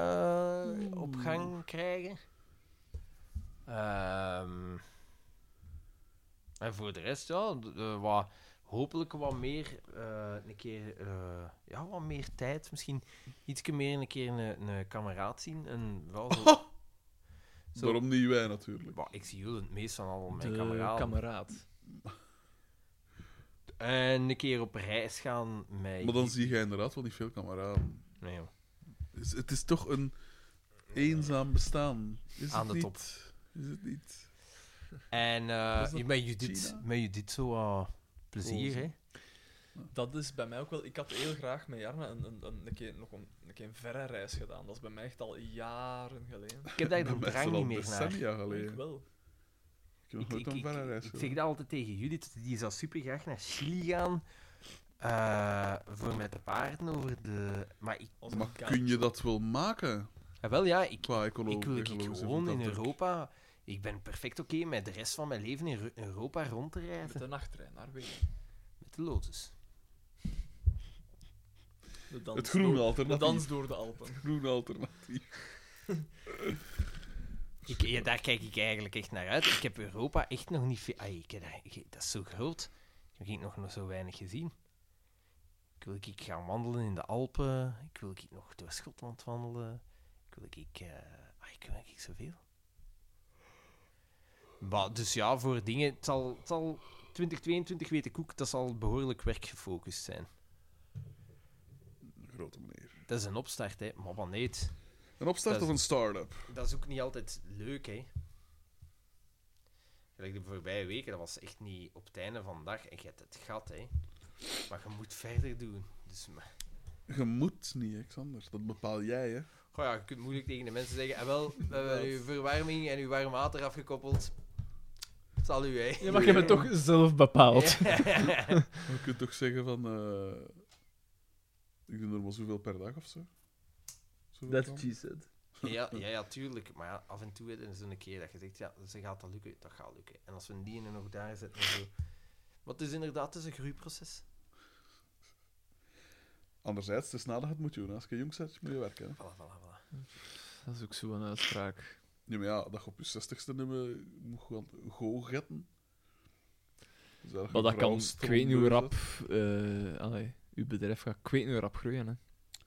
eh, op gang krijgen. Ehm, en voor de rest, ja, d- eh, wat, hopelijk wat meer, eh, een keer, eh, ja, wat meer tijd. Misschien iets meer een keer een, een kameraad zien. En wel *laughs* zo, zo- Waarom niet wij, natuurlijk. Bah, ik zie jullie het meest van al mijn De kameraden. kameraad. En een keer op reis gaan met... Maar dan zie jij inderdaad wel niet veel kameraden. Nee, joh. Dus het is toch een eenzaam bestaan. Is Aan het de niet? top. Is het niet? En Was eh dat met, Judith, Gina? met Judith zo eh, plezier, Roze. hè. Dat is bij mij ook wel... Ik had heel graag met Jarne een, een, een, een keer, nog een, een keer een verre reis gedaan. Dat is bij mij echt al jaren geleden. *laughs* Ik heb daar de Bij mij is dat drang niet al meer naar. decennia Ik geleden. wel. Ik heb nog nooit een verre reis ik gedaan. zeg dat altijd tegen Judith, die zou super graag naar Chili gaan. eh, voor met de paarden over de... Maar ik... Als Maar een kaart. kun je dat wel maken Ah, wel, ja, ik, qua ecologie? ik wil ik gewoon in Europa... Ik ben perfect oké met de rest van mijn leven in Ru- Europa rond te Met reizen. de nachttrein naar Wenen. Met de Lotus. De dans Het groene door- De dans alternatief. door de Alpen. Het groene *laughs* alternatief. Ik, ja, daar kijk ik eigenlijk echt naar uit. Ik heb Europa echt nog niet veel. ai, ik heb daar- ik- dat is zo groot. Ik heb ik nog, nog zo weinig gezien. Ik Ik wil ik gaan wandelen in de Alpen. Ik wil ik nog door Schotland wandelen. Ik wil ik... eh, ah, ik wil ik zoveel. Maar, dus ja, voor dingen... Het zal, het zal 2022 weet ik ook, dat zal behoorlijk werkgefocust zijn. Een grote meneer. Dat is een opstart, hè. Maar wat niet. Een opstart Dat of is- een start-up? Dat is ook niet altijd leuk, hè. Gelijk de voorbije weken, dat was echt niet op het einde van de dag. En je hebt het gat, hè. Maar je moet verder doen. Dus, maar... Je moet niet, hè, Xander. Dat bepaal jij, hè. Goh ja, je kunt moeilijk tegen de mensen zeggen... En wel, we hebben uw verwarming en uw warm water afgekoppeld. Zal u, hè. Ja, maar je hebt het *laughs* toch zelf bepaald. Maar je kunt toch zeggen van... eh, ik doe normaal zoveel per dag of zo. Zoveel That's dan? what she said. Ja, ja, ja, tuurlijk. Maar ja, af en toe is het een keer dat je zegt, ja, ze gaat dat lukken, dat gaat lukken. En als we die en nog daar zetten en zo. Maar het is inderdaad, het is een groeiproces. Anderzijds, het is nadat je het moet doen. hè. Als je jong bent, moet je werken. Hè. Voilà, voilà, voilà. Dat is ook zo'n uitspraak. Ja, maar ja, dat je op je zestigste nummer moet gaan googetten. Dus daar Maar dat je vrouw kan, ik weet niet hoe stroom rap... eh allee, uw bedrijf gaat, ik weet niet hoe rap groeien, hè.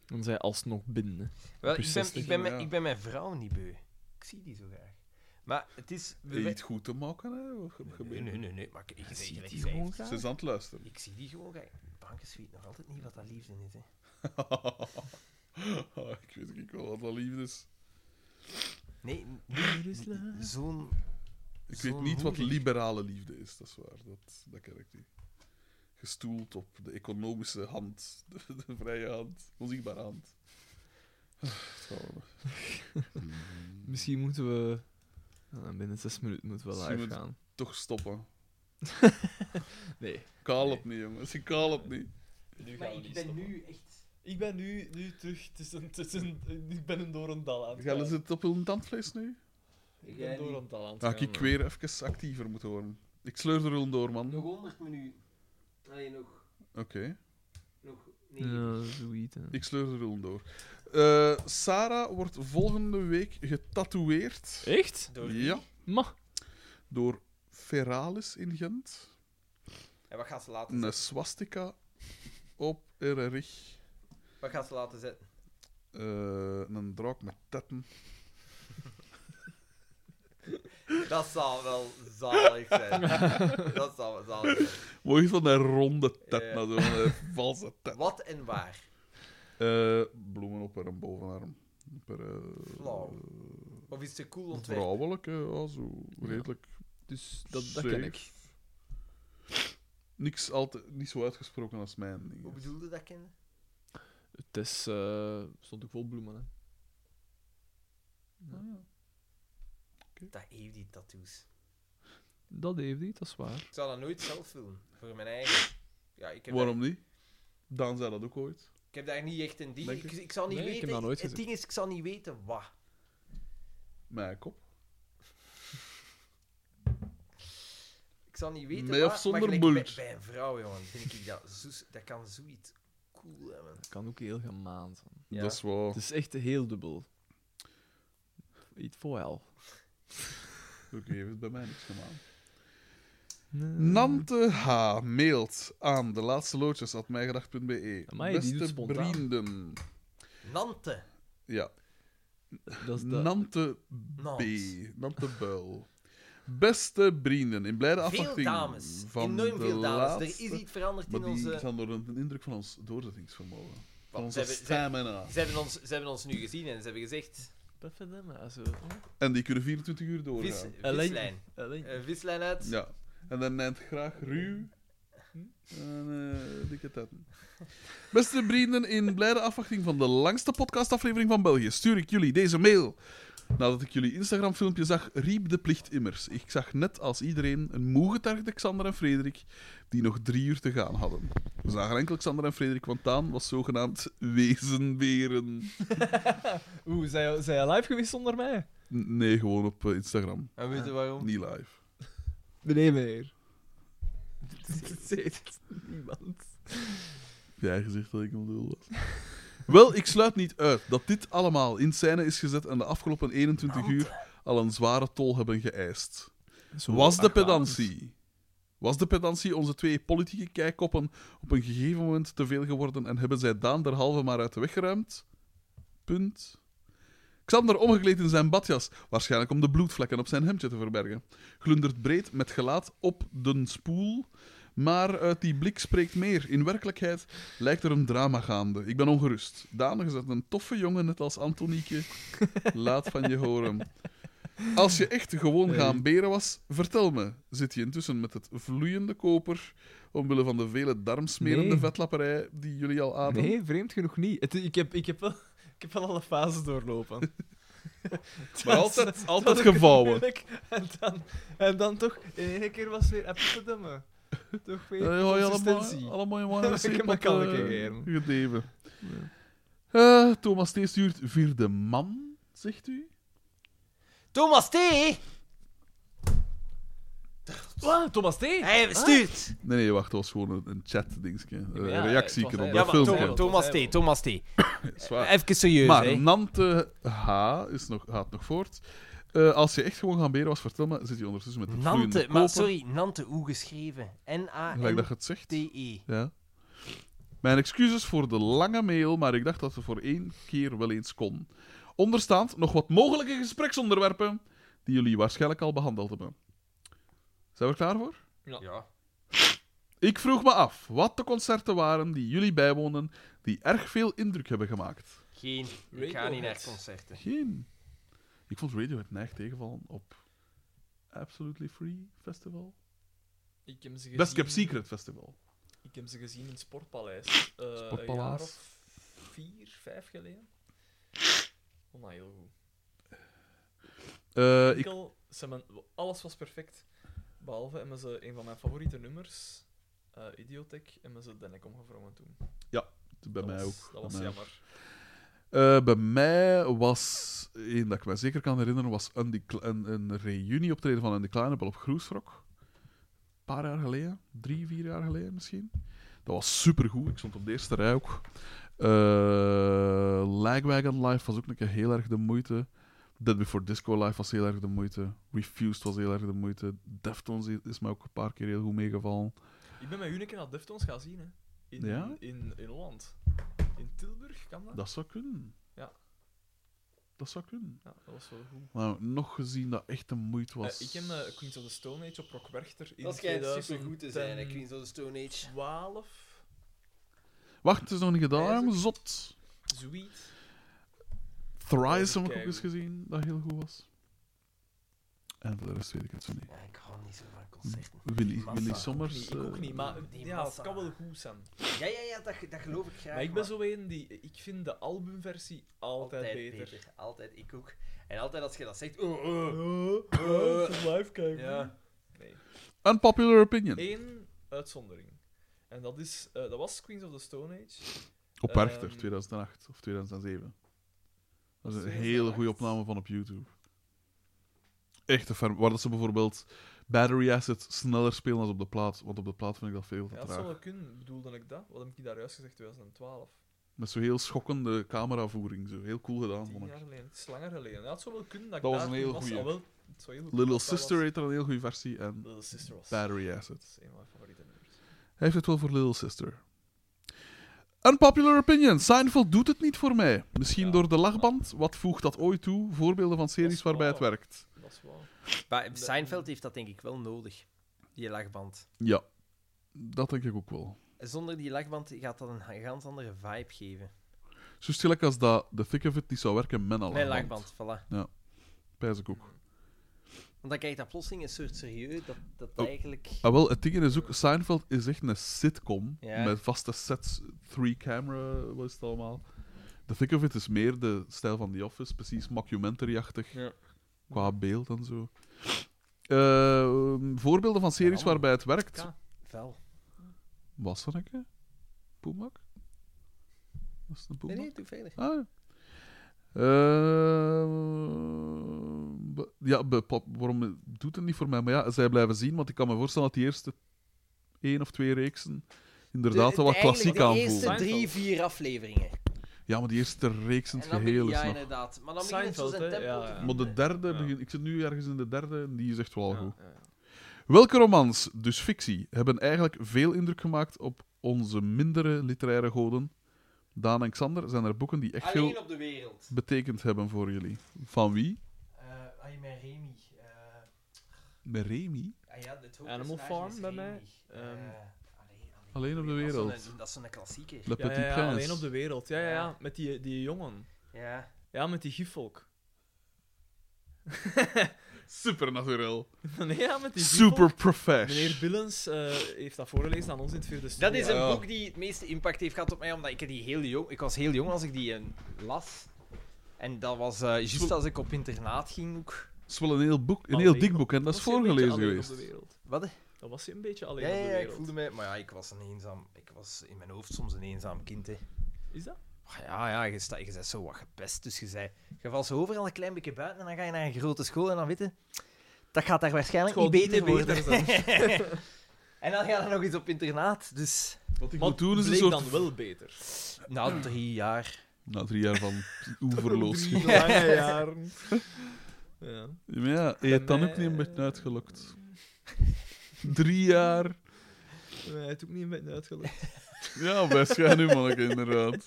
Dan zij alsnog binnen, hè. Wel, ik, ben, Precies, ik, ben ja. mijn, ik ben mijn vrouw niet beu. Ik zie die zo graag. Maar het is... we- door zet. Iets goed te maken, hè. Wat je- je nee, bent- nee, nee, nee, maar ik, ik, Zie zeg, je ik, die zeg- gewoon graag? Ze is aan het luisteren. ik zie die gewoon graag. Bankensuite, nog altijd niet wat dat liefde is, hè. *laughs* ik weet ook niet wel wat dat liefde is. Nee, n- Hier is la- zo'n... Ik Zo'n weet niet wat moeilijk. liberale liefde is, dat is waar. Dat, dat ken ik niet. Gestoeld op de economische hand, *laughs* de, de vrije hand, onzichtbare hand. *sighs* Het gaat wel, hè. Misschien moeten we... Ah, binnen zes minuten moeten we Misschien live moet- gaan. Toch *laughs* stoppen. Nee. Ik Kaal het niet, jongens. Ik kaal het niet. nu echt... Ik ben nu, nu terug tussen, tussen... Ik ben een door een dal aan Gaan ze het op hun tandvlees nu? Ik ben door een dal aan Ja, ik weer even actiever moeten worden. Ik sleur de rul door, man. Nog Oké. 100 minuten. Allee, nog... Nog... Ja, zoiets, hè. Ik sleur de rul door. Eh, Sarah wordt volgende week getatoeëerd. Echt? Ja, Ma. door Feralis in Gent. En wat gaat ze laten Een swastika op haar rug. Wat gaat ze laten zetten? Eh, een draak met tetten. Dat zal wel zalig *laughs* zijn. dat zal wel zalig zijn. Mooi van een ronde tetten, Ja. zo van een valse tet. Wat en waar? Eh, bloemen op haar bovenarm. Op haar, eh, Flauw. Of is het een cool ontwerp? vrouwelijk, hè, ja, zo redelijk Dus dat, dat ken ik. Niks altijd, niet zo uitgesproken als mijn ding. Hoe bedoelde dat, kind? Het is... eh, stond ook vol bloemen, hè. Dat heeft die tattoos. Dat heeft hij, dat is waar. Ik zou dat nooit zelf doen. Voor mijn eigen. Ja, ik heb, Waarom niet? Daan zei dat ook ooit. Daar, ik heb daar niet echt een ding. Denk Ik, ik zal niet Nee, ik heb weten. dat nooit het gezien. ding is, ik zal niet weten wat. Mijn kop. Ik zal niet weten Met wat. of zonder maar gelijk bult? Bij, bij een vrouw, jongen, vind ik dat, zo, dat kan zoiets cool hebben. Dat kan ook heel gemaand zijn. Ja. Dat is wel. Het is echt heel dubbel. Iets voor wel. Oké, heeft het bij mij niks gedaan. *laughs* Nante H. mailt aan de laatste loodjes at mijgedacht.be. Amai, die doet E. Beste spontaan. vrienden. Nante. Ja, Dat is dat. Nante B. Nante Buil. Beste vrienden, in blijde Veel afwachting dames. van Enorm de veel dames. laatste... Er is iets veranderd Maar in die onze... gaan door een indruk van ons doorzettingsvermogen. Van Want onze ze hebben- ze- stamina. Ze hebben, ons, ze hebben ons nu gezien en ze hebben gezegd... Dat vind ik maar zo. En die kunnen 24 uur Vis, doorgaan. Alleen- vislijn. Alleen- Eh, vislijn uit. Ja. En dan neemt graag ruw en eh, dikke tetten. Beste vrienden, in blijde afwachting van de langste podcastaflevering van België stuur ik jullie deze mail. Nadat ik jullie Instagram-filmpje zag, riep de plicht immers. Ik zag net als iedereen een moegetergde Xander en Frederik die nog drie uur te gaan hadden. We zagen enkel Xander en Frederik, want Daan was zogenaamd *laughs* wezenberen. Oeh, zijn jij- zijn jij live geweest zonder mij? N- Nee, gewoon op eh, Instagram. En weet je waarom? Niet live. Nee, *laughs* meer. Dat zegt niemand. Heb jij gezegd dat ik een lul was? Wel, ik sluit niet uit dat dit allemaal in scène is gezet en de afgelopen 21 uur al een zware tol hebben geëist. Was de pedantie, Was de pedantie onze twee politieke kijkkoppen op een gegeven moment te veel geworden en hebben zij Daan derhalve maar uit de weg geruimd? Punt. Xander omgekleed in zijn badjas, waarschijnlijk om de bloedvlekken op zijn hemdje te verbergen. Glundert breed met gelaat op den spoel, maar uit die blik spreekt meer. In werkelijkheid lijkt er een drama gaande. Ik ben ongerust. Daan is dat een toffe jongen, net als Antonieke. Laat van je horen. Als je echt gewoon gaan beren was, vertel me. Zit je intussen met het vloeiende koper, omwille van de vele darmsmerende Nee. vetlapperij die jullie al ademen? Nee, vreemd genoeg niet. Het- ik, heb, ik, heb wel, ik heb wel alle fases *laughs* doorlopen. Maar Dat- altijd, dat altijd is gevouwen. moeilijk. En dan, en dan toch, in één keer was weer Amsterdam. Toch weer Ja, ja, allemaal, consistentie. allemaal in *laughs* mijn Ik heb mijn kalken gegeven. Gedeven. Eh, Thomas T. stuurt vierde man, zegt u? Thomas T. Wat? Thomas T? Hij stuurt. Nee, nee, wacht, dat was gewoon een, een chat-dingetje. Een ja, reactie het was hij. op dat Ja, Ja, maar filmpje. Tho- Thomas T. Thomas T. Zwaar. Even serieus, Maar hè. Nante H. Is nog, gaat nog voort. Eh, als je echt gewoon gaan beren was, vertel me, zit je ondertussen met een vloeiende Nante, koper, maar sorry, Nante, hoe geschreven? Gelijk dat je N-A-N-T-E. het zegt. Ja. Mijn excuses voor de lange mail, maar ik dacht dat ze voor één keer wel eens kon. Onderstaand nog wat mogelijke gespreksonderwerpen die jullie waarschijnlijk al behandeld hebben. Zijn we er klaar voor? Ja. Ik vroeg me af wat de concerten waren die jullie bijwoonden die erg veel indruk hebben gemaakt. Geen. Ik ga niet naar concerten. Geen. Ik vond Radiohead neig tegenvallen op Absolutely Free Festival. Ik heb ze gezien, Best Kept Secret Festival. Ik heb ze gezien in het Sportpaleis. eh, Een Sportpaleis. jaar of vier, vijf geleden. Oh, nou, heel goed. Eh, ik, Enkel, ze hebben- alles was perfect. Behalve hebben ze een van mijn favoriete nummers, eh Idiotech, hebben ze de nek omgevrongen toen. bij dat was, mij ook. Dat bij was mij ook. jammer. Eh, bij mij was, één dat ik me zeker kan herinneren, was Andy Kle- een, een reunieoptreden van Andy Kleinebel op Groesrock. Een paar jaar geleden, drie, vier jaar geleden misschien. Dat was supergoed, ik stond op de eerste rij ook. Eh Lagwagon Live was ook een keer heel erg de moeite. Dead Before Disco Live was heel erg de moeite. Refused was heel erg de moeite. Deftones is mij ook een paar keer heel goed meegevallen. Ik ben met u een keer naar Deftones gaan zien, hè. In, Ja? in, in Holland. In Tilburg, kan dat? Dat zou kunnen. Ja. Dat zou kunnen. Ja, dat was wel goed. Nou, nog gezien dat echt de moeite was. Eh, ik heb eh, Queens of the Stone Age op Rock Werchter in Dat schijnt supergoed te zijn, hè, Queens of the Stone Age. 2012. Wacht, het is nog niet gedaan, Nee, hè, is maar zot. Sweet. Thrice heb ik ook Keigoed. eens gezien, dat heel goed was. En voor de rest weet ik het zo niet. Ja, ik hou niet zo van concerten. Willy, massa. Willy Ik ook Sommers. niet, ik ook eh, niet, maar die ja, het massa. kan wel goed zijn. Ja, ja, ja, dat, dat geloof ik graag. Mm. Maar ik maar ben zo een die... Ik vind de albumversie altijd, beter. Eh, Altijd, ik ook. En altijd als je dat zegt... Oh, Eh, oh. Oh, live kijken. Ja. Unpopular opinion. Eén uitzondering. En dat is... eh, dat was Queens of the Stone Age. Op Werchter, ehm, 2008 of 2007. Dat is een 2008. hele goede opname van op YouTube. Echt een ferm. Waar dat ze bijvoorbeeld Battery Acid sneller spelen dan op de plaat. Want op de plaat vind ik dat veel te Ja, dat traag. zou wel kunnen. Bedoelde ik dat? Wat heb ik daar juist gezegd? 2012. Met zo'n heel schokkende cameravoering. Zo. Heel cool gedaan, vond Tien ik. jaar geleden. Het is langer geleden. Ja, het zou wel kunnen dat, Oh, Dat ik was daar een toen heel goeie. ah, wel, het zou heel goed Little kunnen dat dat Sister was- heeft er een heel goede versie. En Little Sister was... Battery Acid. Dat is een van mijn favoriete nummers. Hij heeft het wel voor Little Sister. Unpopular opinion. Seinfeld doet het niet voor mij. Misschien Ja. door de lachband. Wat voegt dat ooit toe? Voorbeelden van Dat series is waarbij het waar. werkt. Dat is wel... Maar Seinfeld heeft dat denk ik wel nodig. Die lachband. Ja, dat denk ik ook wel. Zonder die lachband gaat dat een ganz andere vibe geven. Zo stil als dat The Thick of It niet zou werken met een Nee, lachband. lachband, voilà. Pijs ik ook. Want dan krijgt dat plotseling een soort serieus dat, dat Oh. eigenlijk... Ah, wel, het ding is ook... Seinfeld is echt een sitcom. Ja. Met vaste sets. Three camera, wat is het allemaal? The Thick of It is meer de stijl van The Office. Precies mockumentary-achtig. Ja. Qua beeld en zo. Eh, voorbeelden van series waarbij het werkt. Ja. Vel. Wasserneke? Poemak? Was het een poemak? Nee, nee, doe verder. Ah, ja. Ehm, be- ja, be- pop, waarom doet het niet voor mij? Maar ja, zij blijven zien, want ik kan me voorstellen dat die eerste één of twee reeksen inderdaad wel wat klassiek aan De aanvoelen. eerste drie, Seinfeld. vier afleveringen. Ja, maar die eerste reeks in het dan geheel begin- is ja, nog... inderdaad. Maar dan begint het zo Seinfeld, zijn hè, tempo ja, te ja. Maar de vinden. derde, Ja. begin, ik zit nu ergens in de derde, en die is echt wel goed. Welke romans, dus fictie, hebben eigenlijk veel indruk gemaakt op onze mindere literaire goden? Daan en Xander, zijn er boeken die echt veel Alleen op de wereld. betekend hebben voor jullie? Van wie? Eh ah, je mijn Remy. eh, Met Remy. ah ja, het hoofdpersonage Animal Farm is bij Remy. mij. Eh, Ehm, alleen, Alleen op de Dat wereld. is zo'n- dat is zo'n klassieker. Le Ja, Petit ja, ja, Prince. alleen op de wereld. Ja, ja, ja. Ja. Met die, die jongen. Ja. Ja, met die gifvolk. Supernatural. *laughs* nee, ja, met die gifvolk. Super Meneer profesh. Billens eh, heeft dat voorgelezen aan ons in het vierde Dat studie. is Ja, een ja. boek die het meeste impact heeft gehad op mij, omdat ik die heel jong... Ik was heel jong als ik die eh, las. En dat was eh juist als ik op internaat ging ook. Dat is wel een heel, boek, een Alleen heel op- dik boek, en dat is Was hij een beetje voorgelezen alleen op de geweest. wereld? Wat? Dat was hij een beetje alleen Ja, op ja, de ja, ik wereld. voelde mij... Maar ja, ik was een eenzaam... Ik was in mijn hoofd soms een eenzaam kind, hè. Is dat? Ah, Ja, ja, je, sta, je bent zo wat gepest, dus je, zei, je valt zo overal een klein beetje buiten en dan ga je naar een grote school en dan weet je, dat gaat daar waarschijnlijk Het niet gaat beter niet beter worden. *laughs* en dan ga je nog eens op internaat, dus... Wat ik Maar moet doen is een bleek soort... dan wel beter. *laughs* Na drie jaar... Na drie jaar *laughs* van oeverloos. Drie *laughs* lange jaren. Ja. Maar ja, hij heeft dan ook eh, niet een beetje *laughs* uitgelokt. Drie jaar. Nee, het ook niet een beetje *laughs* uitgelegd. Ja, best gaan nu, manneke, inderdaad.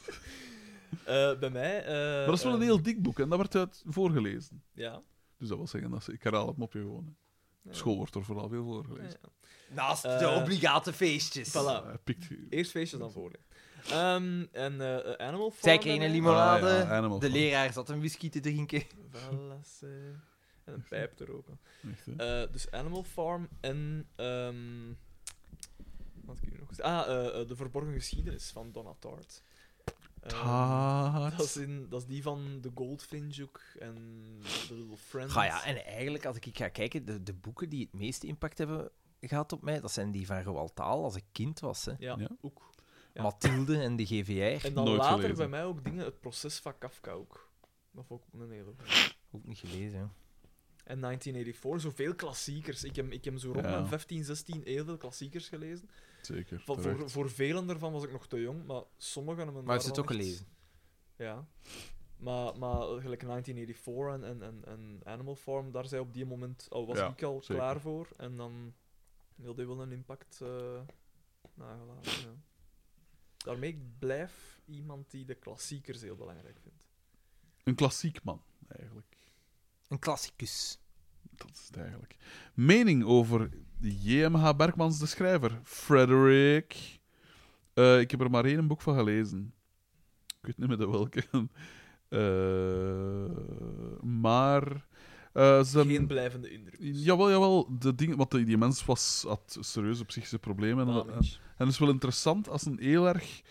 Eh, bij mij... eh, Maar dat is wel een ehm, heel dik boek, en dat werd uit voorgelezen. Ja. Dus dat wil zeggen, dat ze, ik herhaal het mopje gewoon. hè. Op school wordt er vooral veel voorgelezen. Naast de Eh, obligate feestjes. Voilà. Hij pikt... Farm, Eerst feestjes dan voor. Ehm en eh, eh, Animal Farm... Zij kregen een limonade, Ah, ja, Animal de Farm. leraar zat een whisky te drinken. Valas, eh, En een pijp te roken. Echt, hè. Eh, dus Animal Farm en... ehm, wat heb ik hier nog? gezien? Ah, eh, eh, De Verborgen Geschiedenis van Donna Tartt. Ehm, Taart. dat, is in, dat is die van The Goldfinch ook en The Little Friends. Ga ja, en eigenlijk, als ik ga kijken, de, de boeken die het meeste impact hebben gehad op mij, dat zijn die van Roald Dahl, als ik kind was. Hè. Ja, Ja. ook. Ja. Mathilde en de GVR, En dan Nooit later gelezen. bij mij ook dingen, het proces van Kafka ook. Dat vond ik ook een hele. ook niet gelezen. hè. En 1984, zoveel klassiekers. Ik heb, ik heb zo rond Ja. mijn 15, 16 heel veel klassiekers gelezen. Zeker. Voor, terecht. voor, voor velen daarvan was ik nog te jong, maar sommigen hebben Maar daar je hebt wel echt- het ook gelezen. Ja. Maar, maar eh, gelijk 1984 en, en, en, en Animal Farm, daar zei op die moment al was Ja, ik al zeker. klaar voor. En dan wilde hij wel een impact eh, nagelaten. Ja. Daarmee ik blijf iemand die de klassiekers heel belangrijk vindt. Een klassiek man, eigenlijk. Een klassicus. Dat is het eigenlijk. Mening over J.M.H. Bergmans, de schrijver. Frederick. Eh, ik heb er maar één boek van gelezen. Ik weet niet meer de welke. *laughs* Eh, maar... eh, zijn... Geen blijvende indruk. Jawel, jawel. De ding, want die die mens was, had serieuze psychische problemen. Ah, En, en, Damage. en het is wel interessant als een heel erg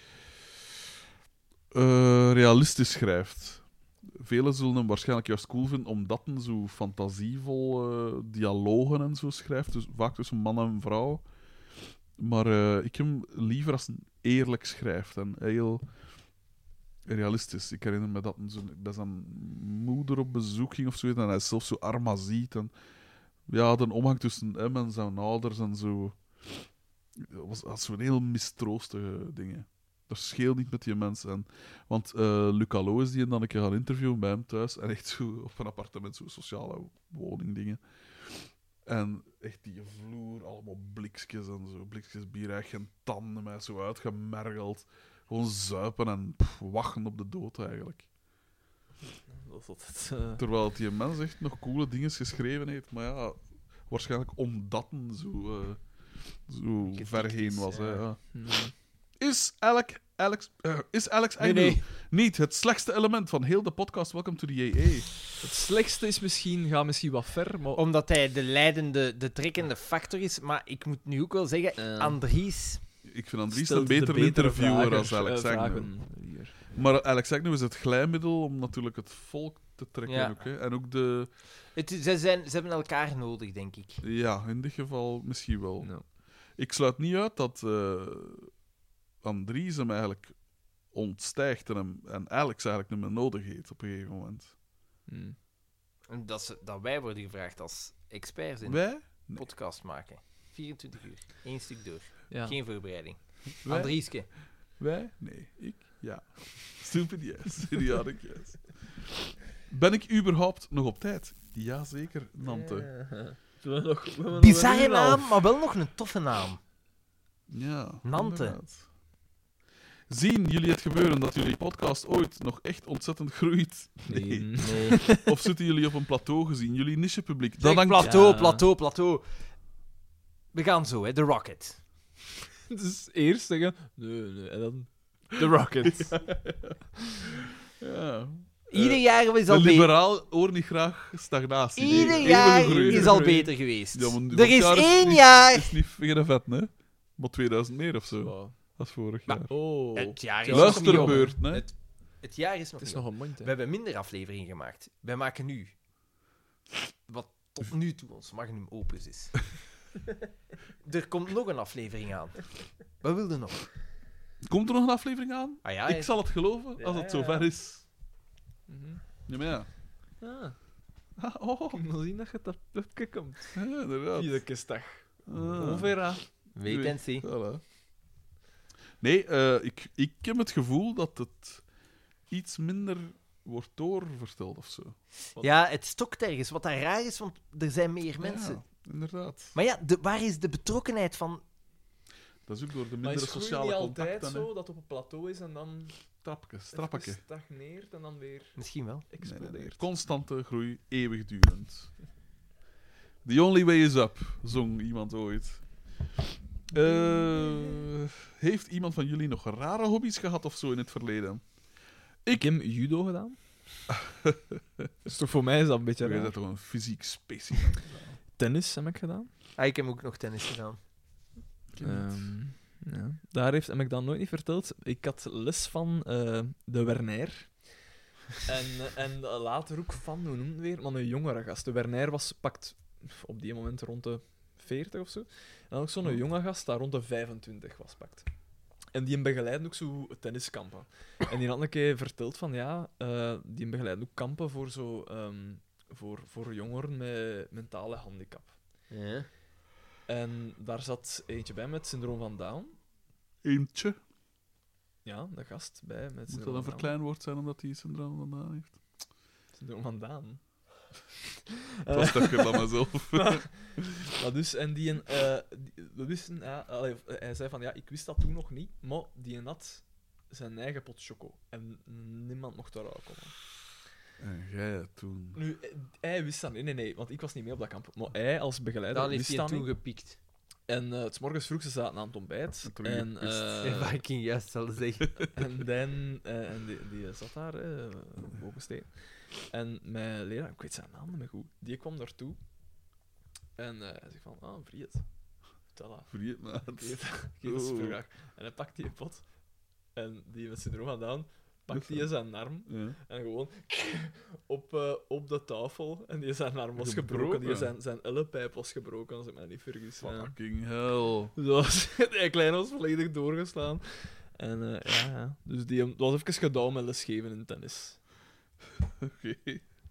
eh, realistisch schrijft. Velen zullen hem waarschijnlijk juist cool vinden omdat hij zo fantasievol eh, dialogen en zo schrijft. Dus vaak tussen man en vrouw. Maar eh, ik hem liever als een eerlijk schrijft en heel realistisch. Ik herinner me dat hij zo bij zijn moeder op bezoek ging of zo. En hij zelf zo arma ziet. En ja, de omgang tussen hem en zijn ouders en zo. Dat was, dat was zo'n heel mistroostige dingen. Dat scheelt niet met die mensen. En, want eh Luca Lo is die en dan een keer gaan interviewen bij hem thuis. En echt zo op een appartement, zo'n sociale woningdingen. En echt die vloer, allemaal blikjes en zo. Blikjes bier, echt geen tanden mij zo uitgemergeld. Gewoon zuipen en pff, wachten op de dood eigenlijk. Dat is altijd, eh, Terwijl het die mens echt nog coole dingen geschreven heeft. Maar ja, waarschijnlijk omdat hij zo, eh, zo Getikt ver is, heen was. ja. Hè, ja. hmm. Is Alex, Alex, eh, is Alex Agnew nee. niet het slechtste element van heel de podcast Welcome to the JA? Het slechtste is misschien, gaat misschien wat ver, Oh, maar... Omdat hij de leidende, de trekkende factor is. Maar ik moet nu ook wel zeggen, Eh. Andries... Ik vind Andries stelt een de beter betere interviewer vragen, als Alex eh, Agnew. vragen hier. Maar Alex Agnew is het glijmiddel om natuurlijk het volk te trekken. Ja. Ook, hè. En ook de... Het, is- ze, zijn, ze hebben elkaar nodig, denk ik. Ja, in dit geval misschien wel. Ja. Ik sluit niet uit dat eh, Andries hem eigenlijk ontstijgt en, hem, en Alex eigenlijk niet meer nodig heeft op een gegeven moment. Hmm. En Dat, ze, dat wij worden gevraagd als experts in Wij? een podcast maken. 24 uur, één stuk door. Ja. Geen voorbereiding. Wij? Andrieske. Wij? Nee. Ik? Ja. *laughs* Stupid yes. *laughs* Idiotic yes. Ben ik überhaupt nog op tijd? Jazeker, Nante. Eh, *laughs* We hebben nog- we hebben nog een uur Bizarre en een half. naam, maar wel nog een toffe naam. Ja. Nante. inderdaad. Zien jullie het gebeuren dat jullie podcast ooit nog echt ontzettend groeit? *laughs* Nee. *laughs* Nee. Of zitten jullie op een plateau gezien? Jullie nichepubliek. Dat Dat hangt... plateau, Ja. plateau, plateau. We gaan zo, hè. The Rocket. Dus eerst zeggen, nee, nee, en dan... The Rocket. Ja. Ieder jaar is Eh, De al beter. liberaal hoor niet graag stagnatie. Ieder Eeuwige jaar groei. is al beter geweest. Ja, maar dit er is jaar is één niet- jaar... is niet geen vet, hè? Maar 2000 meer of zo. Wow. Dat is vorig Maar- jaar. Oh. Het jaar is nog niet om. Luisterbeurt, hè? Het, het jaar is nog Het is nog niet om. een mond, hè. We hebben minder afleveringen gemaakt. Wij maken nu... Wat tot nu toe ons magnum opus *laughs* is. er komt nog een aflevering aan. Wat wilde nog? Komt er nog een aflevering aan? Ah ja, Ik zal het geloven als Ja, het ja. zover is. Mhm. Ja, maar ja. *laughs* Ah, Ah, Oh, ik wil zien dat je dat plukje komt. ja, inderdaad. Iedere kerstdag. Ah. Onvera. Wait and see. Voilà. Nee, eh, ik, ik heb het gevoel dat het iets minder wordt doorverteld of zo. Ja, het stokt ergens. Wat daar raar is, want er zijn meer mensen. Ja, inderdaad. Maar ja, de, waar is de betrokkenheid van... Dat is ook door de Maar is minder groei niet sociale altijd contacten. zo, dat op een plateau is en dan Trapje, strappetje. even stagneert en dan weer Misschien wel. Nee, nee, nee. explodeert. Constante groei, eeuwigdurend. The only way is up, zong iemand ooit. Eh, heeft iemand van jullie nog rare hobby's gehad of zo in het verleden? Ik heb judo gedaan. *laughs* dus toch voor mij is dat een beetje Jij raar. bent toch een fysiek specimen? Tennis heb ik gedaan. Ah, ik heb ook nog tennis gedaan. Ehm, ja. Daar heeft heb ik dan nooit niet verteld. Ik had les van eh, de Werner. En, eh, en later ook van, hoe noemt het weer? Maar een jongere gast. De Werner was pakt op die moment rond de 40 of zo. En dan ook zo'n jonge gast daar rond de 25 was pakt. En die hem begeleidde ook zo tenniskampen. En die had een keer verteld van ja, eh, die hem begeleidde ook kampen voor, zo, ehm, voor, voor jongeren met mentale handicap. Ja. En daar zat eentje bij met syndroom van Down. Eentje. Ja, de gast bij met Moet dat syndroom een van Down. verkleinwoord zijn omdat hij syndroom vandaan heeft? Syndroom van *laughs* *laughs* Down. Dat was toch *laughs* dan mezelf. Maar dus, en die, een, eh, die- we wisten, ja, allee, eh, hij zei van ja, ik wist dat toen nog niet, maar die een had zijn eigen pot choco. En niemand mocht daaruit komen. En jij toen. Nu, eh, hij wist dat niet, nee, nee, want ik was niet mee op dat kamp. Maar hij als begeleider Dan heeft wist hij dat toen niet. gepiekt. En eh, 's morgens vroeg, ze zaten aan het ontbijt. En toen En, gepist. eh, ik ging juist al zeggen. En, dan, eh, en die, die zat daar, eh, boven steen. En mijn leraar, ik weet zijn naam niet meer goed, die kwam daartoe. En eh, hij zegt van, ah, een vriet. Voilà. Vergeet me. Ik eet dat. Ik eet dat Oeh. supergraag. En hij pakt die een pot. En die met syndroom van Down, pakt die zijn arm Ja. en gewoon *laughs* op, eh, op de tafel. En die zijn arm was gebroken. Die Gebroken. zijn, zijn ellepijp was gebroken, als ik me niet vergis. Ja. Fucking hell. Dus *laughs* dat was, die kleine was volledig doorgeslaan. En eh, ja, ja, dus die hem- dat was even gedaan met lesgeven in tennis. Oké.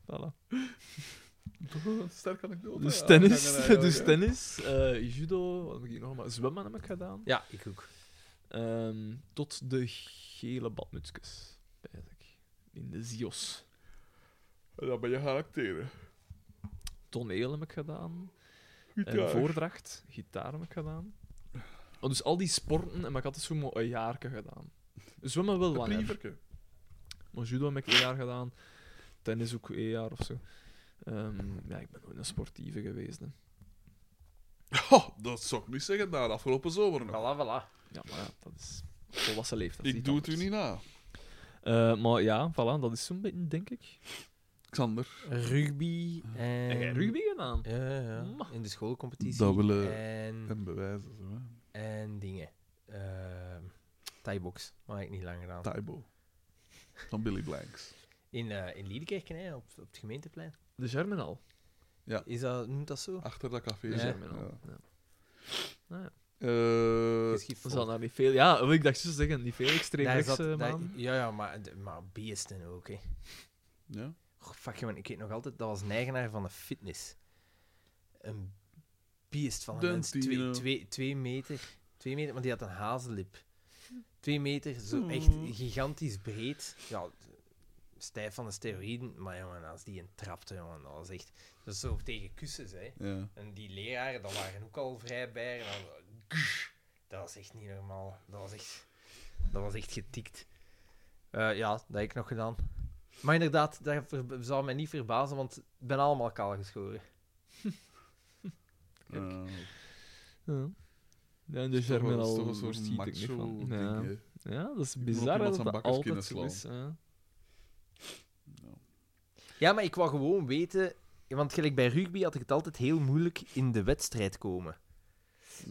Voilà. Sterk Sterke anekdote. Dus Ja, tennis, ja, ja, ja, *laughs* dus ja. tennis eh, judo, wat heb ik hier nog maar? Zwemmen heb ik gedaan. Ja, ik ook. Ehm, tot de gele badmutsjes, eigenlijk. In de Zios. Dat ben je gaan acteren. Toneel heb ik gedaan. Goed En jaar. voordracht, gitaar heb ik gedaan. Oh, dus al die sporten, en ik had het zo maar een jaarke gedaan. Zwemmen wel Een langer. *laughs* prieverke. Maar judo heb ik één jaar gedaan. Tennis ook één jaar of zo. Ehm, ja, ik ben nooit een sportieve geweest. Hè. Ha, Oh, dat zou ik niet zeggen na de afgelopen zomer nog. Voilà, voilà. Ja, maar ja, dat is volwassen leeftijd. ik iets doe het u anders. niet na. Eh, maar ja, voilà, dat is zo'n beetje, denk ik. Xander. Eh, Rugby en... Heb jij rugby gedaan? Ja, ja, ja. Ma. In de schoolcompetitie. Dat willen- En, En bewijzen zo, hè. en dingen. Ehm Thaibox. Maar heb ik niet lang gedaan. Taibo. Van Billy Blanks. In, eh, in Liedekerken, hè, op, op het gemeenteplein. De Germinal. Is dat, noemt dat zo? Achter dat café. De Ja. Germinal. Ja. Ja. Uh, Eh, Dat zal daar niet veel... Ja, wil ik dacht zo zeggen, niet veel extreem Daar rechts, zat- eh, daar- man. ja, ja, maar, de- maar beesten ook, hè. ja. Oh, fuck, jongen, ik weet nog altijd, dat was een eigenaar van de fitness. Een beest van een mens. Twee, Dentino. twee, twee meter. Twee meter, maar die had een hazellip. Twee meter, zo Oh. echt gigantisch breed. Ja, d- stijf van de steroïden. Maar jongen, als die een trapte, jongen, dat was echt... Dat is zo tegen kussens, hè. Ja. En die leraren, dat waren ook al vrij bij. En dan, zo, dat was echt niet normaal. Dat was echt, dat was echt getikt. Eh, ja, dat heb ik nog gedaan. Maar inderdaad, dat ver- zou mij niet verbazen, want ik ben allemaal kaal geschoren. Ja. Ja. Ja, en dus de Dat is Germen toch al een soort voorziet ik niet macho van. ding, Ja. hè. ja, dat is moet bizar iemand hè, dat zijn dat bakkers altijd zo kunnen is. hè. Ja, maar ik wou gewoon weten... Want gelijk bij rugby had ik het altijd heel moeilijk in de wedstrijd komen.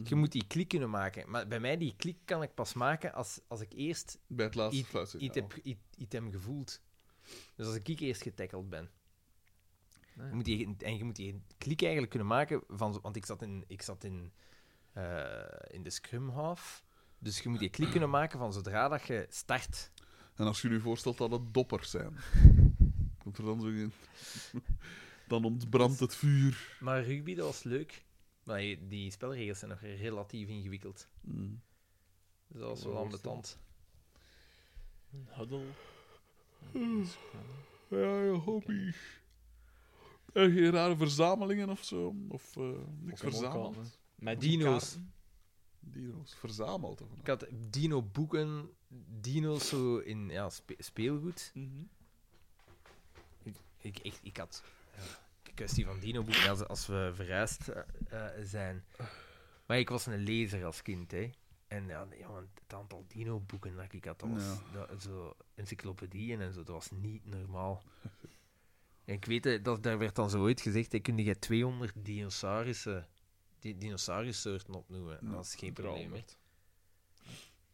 Je moet die klik kunnen maken. Maar bij mij, die klik kan ik pas maken als, als ik eerst Bij het laatste iets fluitje. iets heb, iets- iets heb gevoeld. Dus als ik eerst getackeld ben. Nee. Je moet die, en je moet die klik eigenlijk kunnen maken. Van, zo- want ik zat in, ik zat in, eh, in de scrum half. Dus je moet die klik kunnen maken van zodra dat je start. En als je je voorstelt dat het doppers *laughs* zijn, komt er dan zo in. *laughs* Dan ontbrandt het vuur. Maar rugby, dat was leuk. Maar je- die spelregels zijn nog relatief ingewikkeld. Hmm. Dus dat was wel Ja, ambetant. Hm. Een huddle. Ja, je hobby. En geen rare verzamelingen of zo. Of eh, niks verzameld. Met Dino's. kaarten. Dino's. Verzameld. Of Ik had dino-boeken, dino's zo in ja, spe- speelgoed. Mhm. Ik, ik, ik had ja, de kwestie van dino-boeken als, als we verhuisd eh, eh, zijn. Maar ik was een lezer als kind, hè. En ja, nee, jongen, het aantal dino-boeken dat ik had, dat was Ja. dat, zo encyclopedieën en zo, dat was niet normaal. En ik weet, eh, dat, daar werd dan zo ooit gezegd, hè, kun je 200 dinosaurussen, di dinosaurussoorten opnoemen. Ja, dat is geen probleem, hè.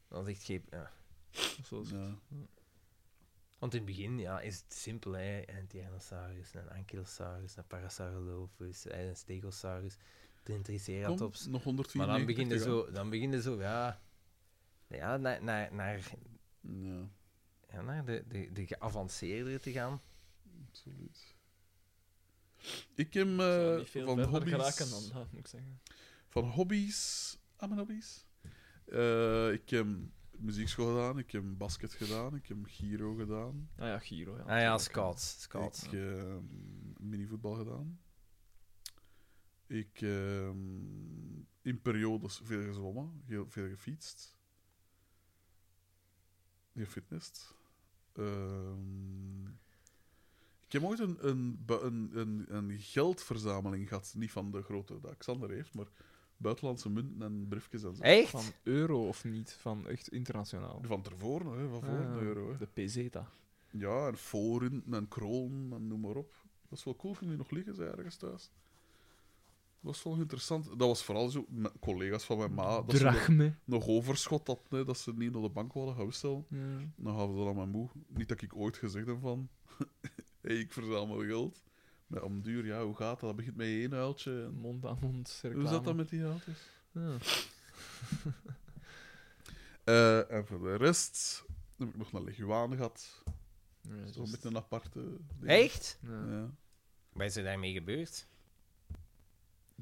Dat is echt geen... Ja. Of zo. Ja. Want in het begin ja, is het simpel, hè. Een Tyrannosaurus, een Ankylosaurus, een Parasaurolophus, hè, een Stegosaurus, een Kom, Triceratops. nog Maar 194. dan begin je ja. zo, dan begin je zo ja, ja naar, naar, naar, Ja, ja, naar de, de, de geavanceerdere te gaan. absoluut. Ik heb eh, Zou niet veel van verder hobby's... geraken dan dat, moet ik zeggen. van hobby's aan mijn hobby's. Eh, ik heb muziekschool gedaan, ik heb basket gedaan, ik heb Giro gedaan, Ah ja, Giro. Ja, Ah ja, natuurlijk. scouts, scouts. ik heb minivoetbal gedaan. Ik heb in periodes veel gezwommen, heel veel gefietst, gefitnessd. Ehm, ik heb ooit een, een, bu- een, een, een geldverzameling gehad, niet van de grote dat Xander heeft, maar buitenlandse munten en briefjes en zo. Echt? Van euro of niet? Van echt internationaal. Van tevoren, hè, van voor Ah, de euro. Hè. De PZ. Ja, en foren en kroon en noem maar op. Dat is wel cool, kunnen die nog liggen, zei ergens thuis. Dat was wel interessant. Dat was vooral zo met collega's van mijn ma. Dat ze nog, Drachme. nog overschot hadden, hè, dat ze niet naar de bank wilden gaan wisselen. Ja. Dan gaven ze dat aan mijn moe. Niet dat ik ooit gezegd heb van... *laughs* hey, ik verzamel geld. Maar om duur, ja, hoe gaat dat? Dat begint met één uiltje. en- Mond aan mond. Hoe zat dat met die uiltjes? Ja. Eh, en voor de rest heb ik nog naar Leguaan gehad. Ja, Dat is wel dus- een beetje een aparte... ding. Echt? ja. Ja. Wat is er daarmee gebeurd?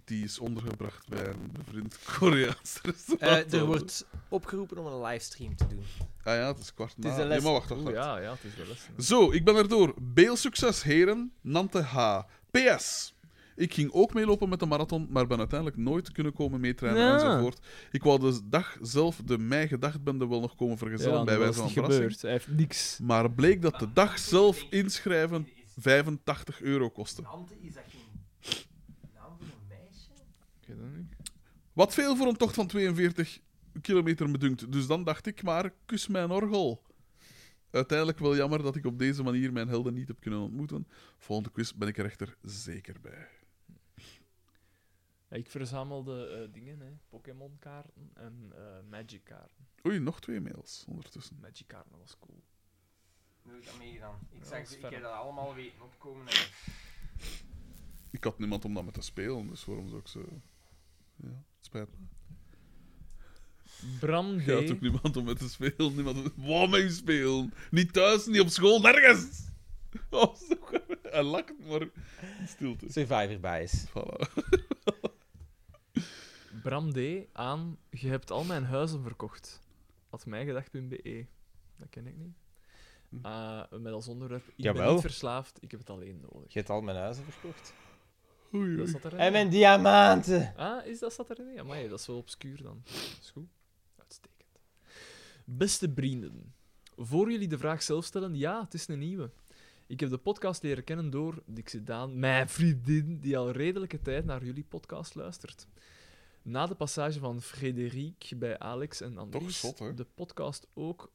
Die is ondergebracht bij een bevriend Koreaans restaurant. Eh, er wordt opgeroepen om een livestream te doen. Ah ja, het is kwart na. is een Nee, les. maar wacht, wacht, Oeh, wacht. Dus ja, ja, het is wel eens. Zo, ik ben erdoor. Beel succes, heren. Nante H. PS. Ik ging ook meelopen met de marathon, maar ben uiteindelijk nooit kunnen komen meetrainen Ja. enzovoort. Ik wou de dag zelf de mij gedachtbende wel nog komen vergezellen bij wijze van verrassing. Hij heeft niks. Maar bleek dat de dag zelf inschrijven 85 euro kostte. Nante, is dat geen naam voor een meisje? Ik weet het niet. Wat veel voor een tocht van 42 kilometer me dunkt. Dus dan dacht ik maar, kus mijn orgel. Uiteindelijk wel jammer dat ik op deze manier mijn helden niet heb kunnen ontmoeten. Volgende quiz ben ik er echter zeker bij. Ja, ik verzamelde eh, dingen, hè. Pokémon-kaarten en eh, Magic-kaarten. Oei, nog twee mails ondertussen. Magic-kaarten was cool. Doe dat meegedaan. Ja, zag dat is ze- ik ver. heb dat allemaal weten opkomen. Ik had niemand om dat met te spelen, dus waarom zou ik zo... Ja, spijt me. Bram D. Je had ook niemand om met te spelen, niemand om... Wou mee spelen! Niet thuis, niet op school, nergens! *laughs* Oh, zo... *laughs* Hij lacht, maar... in Stilte. Survivor bias. Voilà. Bram D. aan Je hebt al mijn huizen verkocht. Atmijgedacht.be. Dat ken E. ik niet. Hm. eh, met als onderwerp: Ik ben Jawel. niet verslaafd, ik heb het alleen nodig. Je hebt al mijn huizen verkocht. Dat staat erin. En mijn diamanten. Ah, is dat staat erin? Amai, dat is wel obscuur dan. Is goed. Uitstekend. Beste vrienden, voor jullie de vraag zelf stellen, ja, het is een nieuwe. Ik heb de podcast leren kennen door Dixie Daan, mijn vriendin, die al redelijke tijd naar jullie podcast luistert. Na de passage van Frédéric bij Alex en Andries, zot, hè? de podcast ook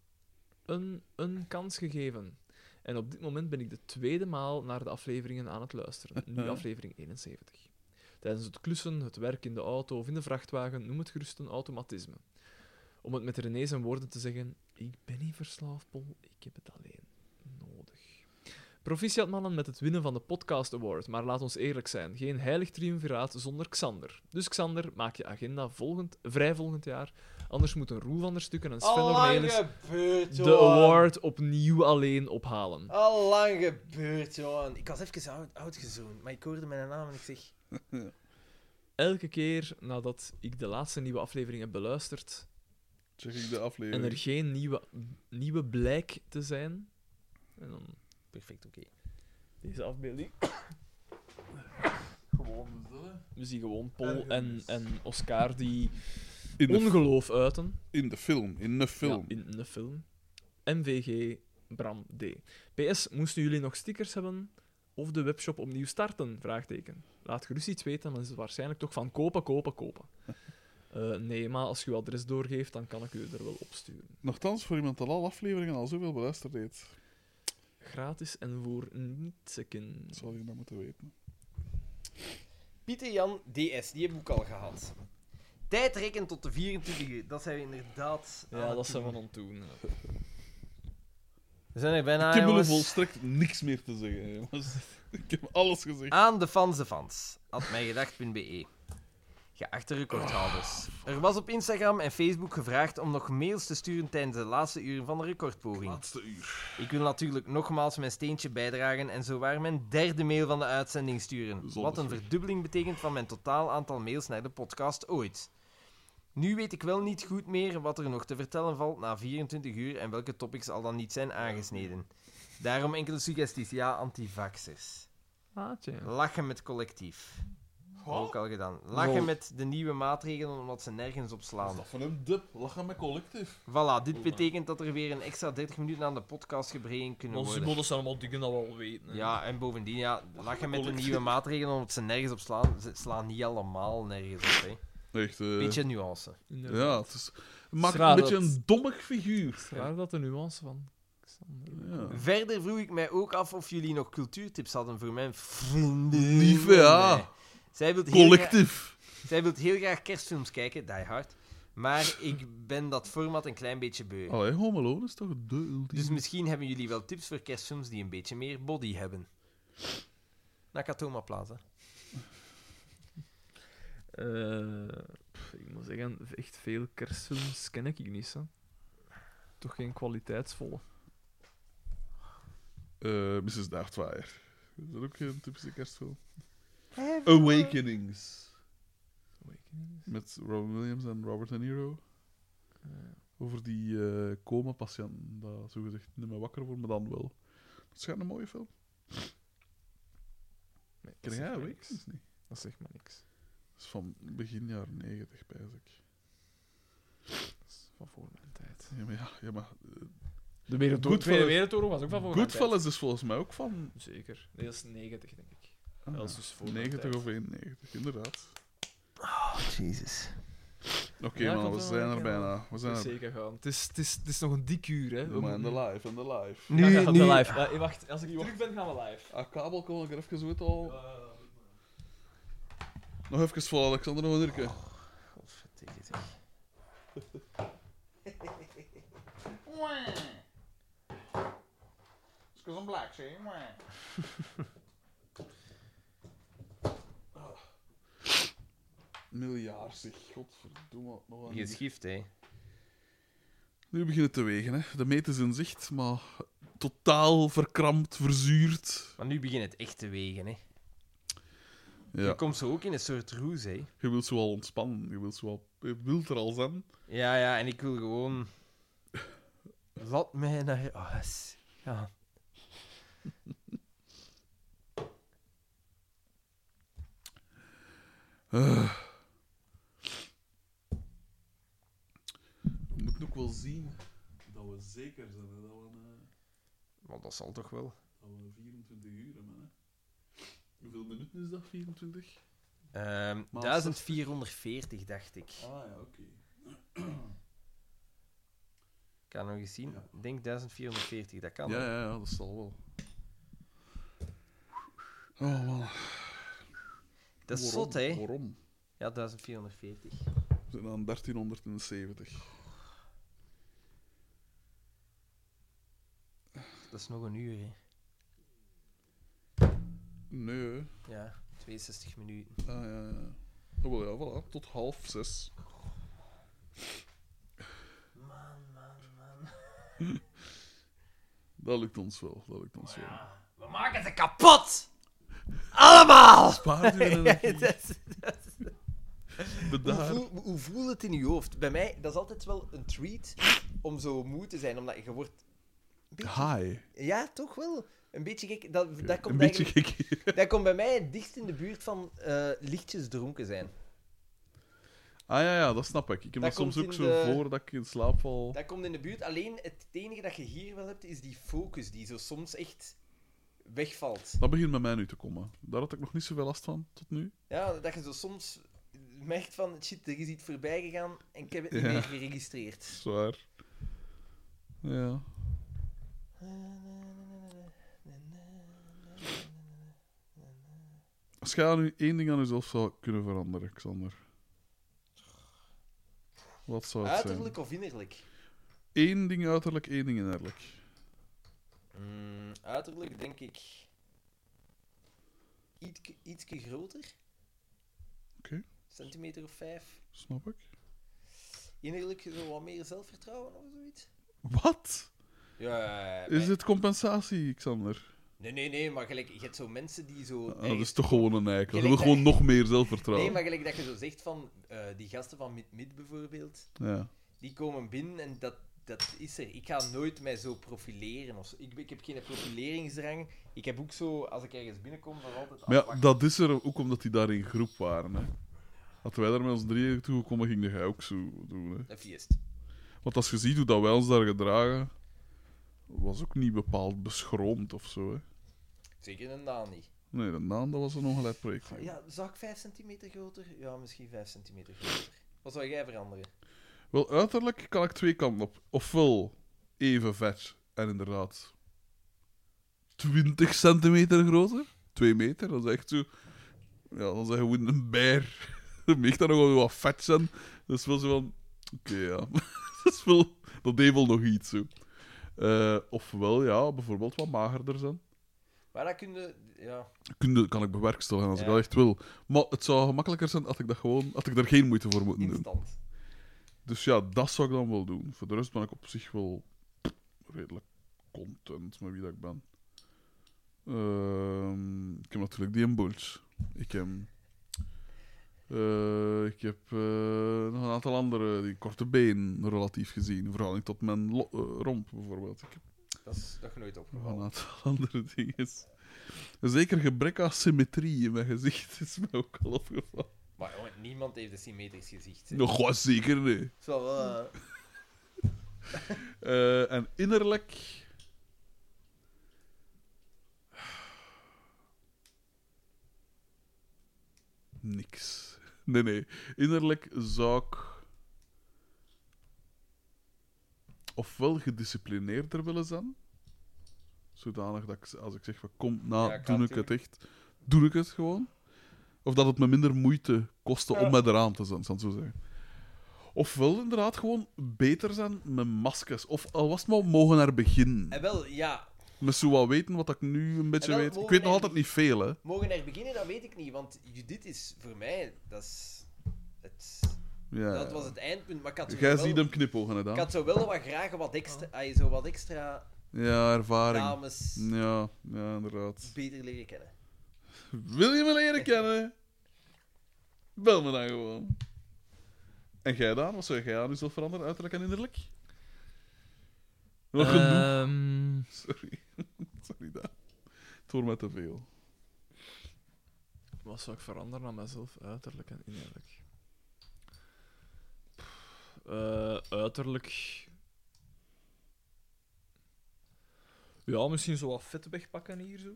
een, een kans gegeven. En op dit moment ben ik de tweede maal naar de afleveringen aan het luisteren. Nu aflevering 71. Tijdens het klussen, het werk in de auto of in de vrachtwagen, noem het gerust een automatisme. Om het met René zijn woorden te zeggen: Ik ben niet verslaafd, Paul, ik heb het alleen nodig. Proficiat mannen met het winnen van de Podcast Award, maar laat ons eerlijk zijn: geen heilig triumviraat zonder Xander. Dus Xander, maak je agenda volgend, vrij volgend jaar. Anders moeten Roel van der Stukken en Sven Oh, Ornelis gebeurd, de award opnieuw alleen ophalen. Al lang gebeurd, Johan. Ik was even oud, oud gezoend, maar ik hoorde mijn naam en ik zeg... Elke keer nadat ik de laatste nieuwe aflevering heb beluisterd, Check ik de en aflevering. er geen nieuwe, nieuwe blijk te zijn. En dan perfect oké. Deze afbeelding. Gewoon, dus dat, hè. We zien gewoon Paul en, en Oscar die in, de, ongeloof uiten. in de film. In de film. Ja, in de film. MVG Bram D. PS, moesten jullie nog stickers hebben of de webshop opnieuw starten? Vraagteken. Laat gerust iets weten, dan is het waarschijnlijk toch van kopen, kopen, kopen. *laughs* Eh, nee, maar als je uw adres doorgeeft, dan kan ik u er wel opsturen. Nochtans, voor iemand dat al afleveringen al zoveel beluisterd heeft, Gratis en voor nietsekken. zou je dat moeten weten. Pieter Jan DS, die heb ik ook al gehad. Tijd rekenen tot de 24e, dat zijn we inderdaad... aan Ja, het dat zijn we doen. aan het doen. We zijn er bijna, ik heb jullie Ah, jongens. volstrekt niks meer te zeggen. hè, jongens. *laughs* ik heb alles gezegd. Aan de fans de fans. Had mijgedacht.be. E. Geachte recordhouders. Er was op Instagram en Facebook gevraagd om nog mails te sturen tijdens de laatste uren van de recordpoging. Laatste uur. Ik wil natuurlijk nogmaals mijn steentje bijdragen en zo waar mijn derde mail van de uitzending sturen. Zonder Wat een schrik. verdubbeling betekent van mijn totaal aantal mails naar de podcast ooit. Nu weet ik wel niet goed meer wat er nog te vertellen valt na 24 uur en welke topics al dan niet zijn aangesneden. Daarom enkele suggesties. Ja, antivaxers. Maatje. Lachen met collectief. Goh, Ook al gedaan. Lachen Lol. met de nieuwe maatregelen omdat ze nergens op wat is slaan. dat Oh, voor een dub? Lachen met collectief. Voilà, dit betekent dat er weer een extra 30 minuten aan de podcast gebreken kunnen Onze worden. boden zijn allemaal dingen dat we al weten. hè. Ja, en bovendien, ja, lachen met de collectief. nieuwe maatregelen omdat ze nergens op slaan. Ze slaan niet allemaal nergens op. Hè. Echt, eh, Beetje nuance. Ja, het is... Maakt Raar een beetje dat- een dommig figuur. Het is raar dat de nuance van Xander. Ja. Verder vroeg ik mij ook af of jullie nog cultuurtips hadden voor mijn vrienden. Lieve, ja. Nee. Zij wil heel graag- Collectief. zij wil heel graag kerstfilms kijken, Die Hard. Maar ik ben dat format een klein beetje beu. Allee, Home Alone is toch de ultieme... Dus misschien hebben jullie wel tips voor kerstfilms die een beetje meer body hebben. Nakatoma Plaza. Eh, pff, ik moet zeggen, echt veel kerstfilms ken ik niet. Hè. Toch geen kwaliteitsvolle. Eh, Mrs. Doubtfire. Is dat ook een typische kerstfilm? Awakenings. Awakenings. Met Robin Williams en Robert De Niro. Eh, Over die eh coma-patiënten. Dat zogezegd niet meer wakker worden, maar dan wel. Dat schijnt een mooie film. nee, dat Ken zegt jij me Awakenings niks. niet? Dat zegt maar niks. Dat is van begin jaren negentig, pijs ik. Dat is van voor mijn tijd. Ja, maar ja, ja maar... eh, De Wereldoorlog, Goodfellas- Tweede Wereldoorlog was ook van voor Goodfellas is volgens mij ook van... mijn tijd. Zeker. Nee, dat is 90, denk ik. Ah, Dat is dus voor mijn 90 tijd. of 91, inderdaad. Jezus. Oké, Ja, man, klopt we wel, zijn er ja. bijna. We zijn Dat is er... Zeker gaan. Het is, het, is, het is nog een dik uur, hè. Ja, maar in de live, in de live. nu, Nu, nu. live. Eh, wacht, als ik terug ben, gaan we live. Ah, kabel kon ik er even zo uit al... Nog even voor Alexander en Wanderke. Oh, Godverdikke zeg. Because I'm black, see? Mwah. Miljard, Ah. zeg. Godverdomme. Nog Je een... schift, hè. Nu beginnen te wegen, hè. De meet is in zicht, maar totaal verkrampt, verzuurd. Maar nu begint het echt te wegen, hè. Je Ja, komt zo ook in een soort roes, hè. je wilt zo al ontspannen. Je wilt, zo al... je wilt er al zijn. Ja, ja, en ik wil gewoon... Laat mij naar... Oh, s- Ja. Eh. We moeten ook wel zien dat we zeker zijn. hè, Dat we, eh, Maar dat zal toch wel. dat we 24 uur hebben. Hè. Hoeveel minuten is dat? 24? Ehm, Maar 1440, dacht ik. Ah ja, oké. Ik kan nog eens zien. Ja. Ik denk 1440, dat kan. Ja, ja, ja, dat zal wel. Oh man. Dat is Waarom? zot, hè? Waarom? Ja, 1440. We zijn aan 1370. Dat is nog een uur, hè? Nee. hè. Ja, 62 minuten. Ah ja, ja. Oh, wel, ja, voilà. Tot half zes. Man, man, man. Dat lukt ons wel. Dat lukt ons *laughs* wel. We maken ze kapot! Allemaal! Spaar je *laughs* energie. Hoe Bedaar. voel, hoe voel het in je hoofd? Bij mij, dat is altijd wel een treat om zo moe te zijn, omdat je wordt... een beetje- Hi. Ja, toch wel. Een beetje gek. Dat, dat, Een komt, beetje eigenlijk- gek. dat komt bij mij het dichtst in de buurt van eh, lichtjes dronken zijn. Ah ja, ja, dat snap ik. Ik heb dat, Dat soms komt ook in zo de- voor dat ik in slaap val. Dat komt in de buurt. Alleen het enige dat je hier wel hebt, is die focus die zo soms echt wegvalt. Dat begint bij mij nu te komen. Daar had ik nog niet zoveel last van tot nu. Ja, dat je zo soms merkt van, shit, er is iets voorbij gegaan en ik heb het niet Ja. meer geregistreerd. Zwaar. Ja. Als jij nu één ding aan jezelf zou kunnen veranderen, Xander. Wat eh? zou het zijn? Uiterlijk of innerlijk? Eén ding uiterlijk, één ding innerlijk. Mm, uiterlijk denk ik ietske, ietske groter. Oké. Centimeter of vijf. Snap ik. Innerlijk zo wat meer zelfvertrouwen of zoiets. Wat? Ja, ja, ja, Is maar- dit compensatie, Xander? Nee, nee, nee, maar gelijk, je hebt zo mensen die zo... Ah, dat ergens- is toch gewoon een eikel. Ze Gelijk wil gewoon nog meer zelfvertrouwen. Nee, maar gelijk dat je zo zegt van eh, die gasten van Mid-Mid bijvoorbeeld, Ja. die komen binnen en dat, dat is er. Ik ga nooit mij zo profileren. Of zo. Ik, ik heb geen profileringsdrang. Ik heb ook zo, als ik ergens binnenkom, dat is altijd Maar ja, afwachten. dat is er ook omdat die daar in groep waren. Hè. Hadden wij daar met ons drieën toe gekomen, ging jij ook zo doen. Hè. Dat fiest. Want als je ziet hoe dat wij ons daar gedragen, was ook niet bepaald beschroomd of zo. Hè. Zeker een Daan niet. Nee, de naam dat was een ongelijk project. Ja, zag ik 5 centimeter groter? Ja, misschien 5 centimeter groter. Wat zou jij veranderen? Wel, uiterlijk kan ik twee kanten op. Ofwel even vet en inderdaad 20 centimeter groter. 2 meter, dat is echt zo. Ja, dan zeg je gewoon een beer. *laughs* Dan mag dat nog wel wat vet zijn. Dat is wel zo van. Oké, ja. *laughs* dat is wel. Dat deed wel nog iets zo. Eh, ofwel, ja, bijvoorbeeld wat magerder zijn. Maar dat kun je... Ja. Kunde kan ik bewerkstelligen als ik Ja. dat echt wil. Maar het zou gemakkelijker zijn als ik dat gewoon. had ik daar geen moeite voor moeten doen. Instant. Dus ja, dat zou ik dan wel doen. Voor de rest ben ik op zich wel redelijk content met wie dat ik ben. Ehm, ik heb natuurlijk die Bulls. Ik heb, eh, ik heb eh, nog een aantal andere, die korte been relatief gezien. In verhouding tot mijn lo- eh, romp bijvoorbeeld. Ik heb Dat is nog nooit nog een opgevallen. aantal *laughs* andere dingen. Een zeker gebrek aan symmetrie in mijn gezicht is mij ook al opgevallen. Maar jongen, niemand heeft een symmetrisch gezicht. hè. Nog was zeker, nee. Zo, wel, eh, Eh, en innerlijk. Niks. Nee, nee. Innerlijk zou ik. Ofwel gedisciplineerder willen zijn. Zodanig dat ik, als ik zeg van kom, nou, Ja, doe kan ik het echt. Doe ik het gewoon. Of dat het me minder moeite kostte om met eraan te zijn, zal ik zo zeggen. Ofwel inderdaad gewoon beter zijn met maskers. Of al was het maar mogen naar beginnen. En wel, ja. Met zo wat weten wat ik nu een beetje En wel weet. Ik mogen weet nog en- altijd niet veel, hè. Mogen er beginnen, dat weet ik niet. Want Judith is voor mij, dat is. Het, Ja, dat was ja. het eindpunt. Maar ik had zo Jij wel, ziet hem knipogen ik gedaan. had zo wel wat graag wat extra, ah, zo wat extra Ja, ervaring. dames Ja, ja, inderdaad. beter leren kennen. Wil je me leren kennen? Bel me dan gewoon. En jij dan? Wat zou jij aan Eh, jezelf veranderen, uiterlijk en innerlijk? Wat genoeg. Ehm, *laughs* Sorry. voor mij te veel. Wat zou ik veranderen aan mezelf, uiterlijk en innerlijk? Pff, eh, uiterlijk. Ja, misschien zo wat vet wegpakken hier zo.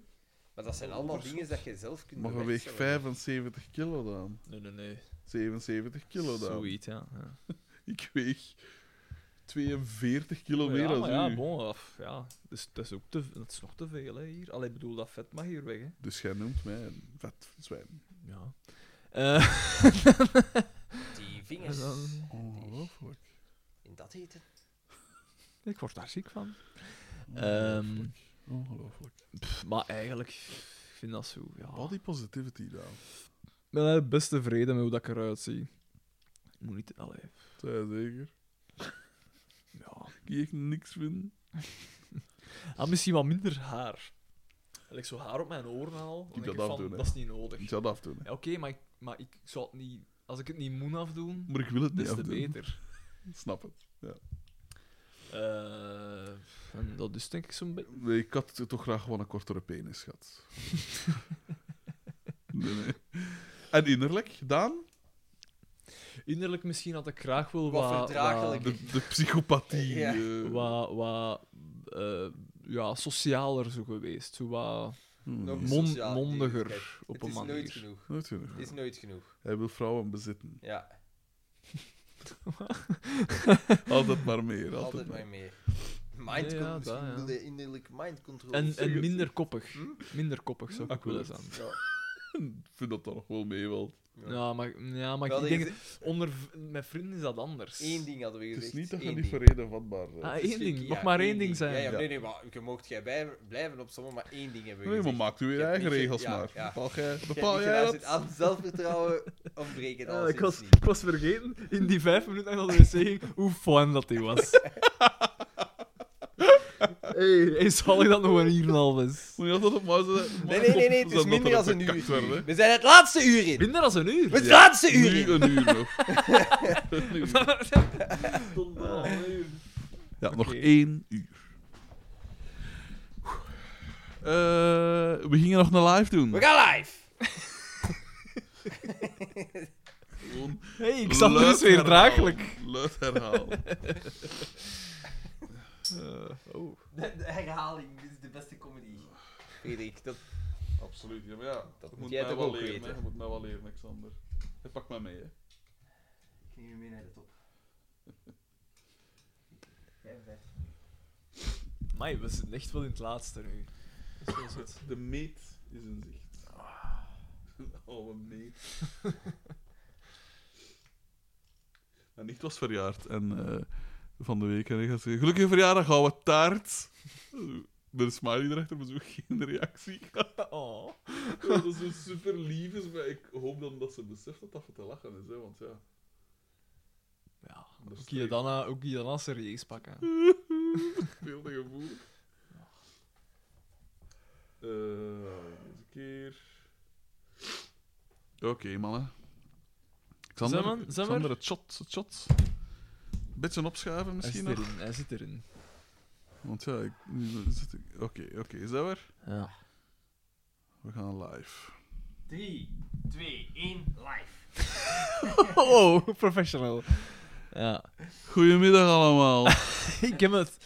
Maar dat zijn allemaal dingen dat je zelf kunt Maar je bewerkstelligen. weegt 75 kilo dan. Nee, nee, nee. 77 kilo dan. Zoiets, ja. ja. Ik weeg 42 kilo meer Oh ja, dan maar u. ja, bon, af, ja. Dus, dat, is ook te, dat is nog te veel hè, hier. Allee, ik bedoel, dat vet mag hier weg. Hè. Dus jij noemt mij een vet zwijn. Ja. Eh, Die vingers. Dan- Ongelooflijk. In dat eten. ik word daar ziek van. Ehm, Ongelooflijk. Ongelooflijk. pff, maar eigenlijk, ik vind dat zo. Ja. Ah. Body positivity dan. Ik ben eigenlijk best tevreden met hoe dat ik eruit zie. Ik moet niet... Allee. Zij zeker. Ja. Die ik niks vind. Ah, misschien wat minder haar. Ik zo haar op mijn oren haal. dan dat denk ik van, afdoen, hè. dat is niet nodig. Ik zou dat afdoen. hè. Ja, Oké, maar, ik, maar ik zou het niet... Als ik het niet moet afdoen, Maar ik wil het niet des te afdoen. beter. Snap het. Eh, en dat is denk ik zo'n beetje... Nee, ik had toch graag gewoon een kortere *laughs* penis gehad. nee, nee. En innerlijk, Daan? Innerlijk misschien had ik graag wel Wat wat... verdraaglijk. De, de psychopathie. Ja. eh. Wat, wat, wat, eh, ja, socialer zo geweest. Zo wat Hmm. Nog mon- sociaal mondiger dierlijkheid. op Het een is manier. nooit genoeg. Nooit genoeg. Het is nooit genoeg. Hij wil vrouwen *laughs* bezitten. Ja, Altijd maar meer. Altijd, altijd maar maar meer. Mind Ja, ja, control. misschien dat, ja. bedoelde je innerlijk mind control. En, zeg het. en minder koppig. Minder koppig zou ik willen Akkoord. zijn. Ik vind dat dat nog wel mee wel. Ja, maar, ja, maar Wel, ik er denk, is onder v- met vrienden is dat anders. Eén ding hadden we Het gezegd. is niet dat je één niet ding. voor reden vatbaar bent. Ah, Het is één geen- ding. ja, Mag maar één ding zijn. Ja, ja, Ja. Nee, nee, maar je mocht jij bij, blijven op sommige, maar één ding hebben we nee, maar gezegd. maak je je hebt eigen niet ge- regels ja, maar. ja. Bepaal jij, Jij hebt bepaal niet jij geluisterd. dat? Aan zelfbreekend ontbreken Eh, al ik, was, sindsdien. ik was vergeten in die vijf minuten dat ik naar de wc ging hoe fun dat die was. *laughs* hey, hey, zal ik dat nog een hier en een half is? Moet je altijd op mij zetten? Nee, nee, nee, nee, het Zodat is er minder dan een bekakt werd, hè. *laughs* uur. We zijn het laatste uur in. Minder dan een uur. Het laatste uur Nu in. een uur *laughs* nog. Een uur. Ja, nog één uur. Eh, we gingen nog een live doen. We gaan live. Gewoon *laughs* Hey, ik zat er luid dus weer herhalen. draaglijk. Luid herhalen. De, de herhaling is de beste comedy. Frederik, dat... Absoluut, ja, maar ja. Dat je moet jij mij toch wel ook leren, weten? hè. Je moet mij wel leren, Alexander. Hé, Pak mij mee, hè. Ik neem je mee naar de *laughs* top. Jij bent vijf. Mai, we zitten echt wel in het laatste nu. De meet is in zicht. Ah. *laughs* Oh, een meet. Mijn nicht was verjaard en eh, van de week en ik had ze gelukkige verjaardag, ouwe taart. Met een smiley erachter, maar zo geen reactie. *laughs* *laughs* Oh. dat is zo super lief is, maar ik hoop dan dat ze beseft dat dat voor te lachen is, hè, want ja. Ja, Dat is ook hier dan, eh, ook hier dan serieus pakken. Veel te gevoelig. Eh, deze keer. Oké, mannen. Xander, Zijn we- zijn we Xander, het shot, het shot. Beetje opschuiven Hij misschien zit nog. erin, hij zit erin. Want ja, ik- nu zit ik- oké, oké, is dat weer? Ja. We gaan live. 3, 2, 1, live. *laughs* Oh, professional. Ja. Goedemiddag *laughs* allemaal. Dus Ik heb het.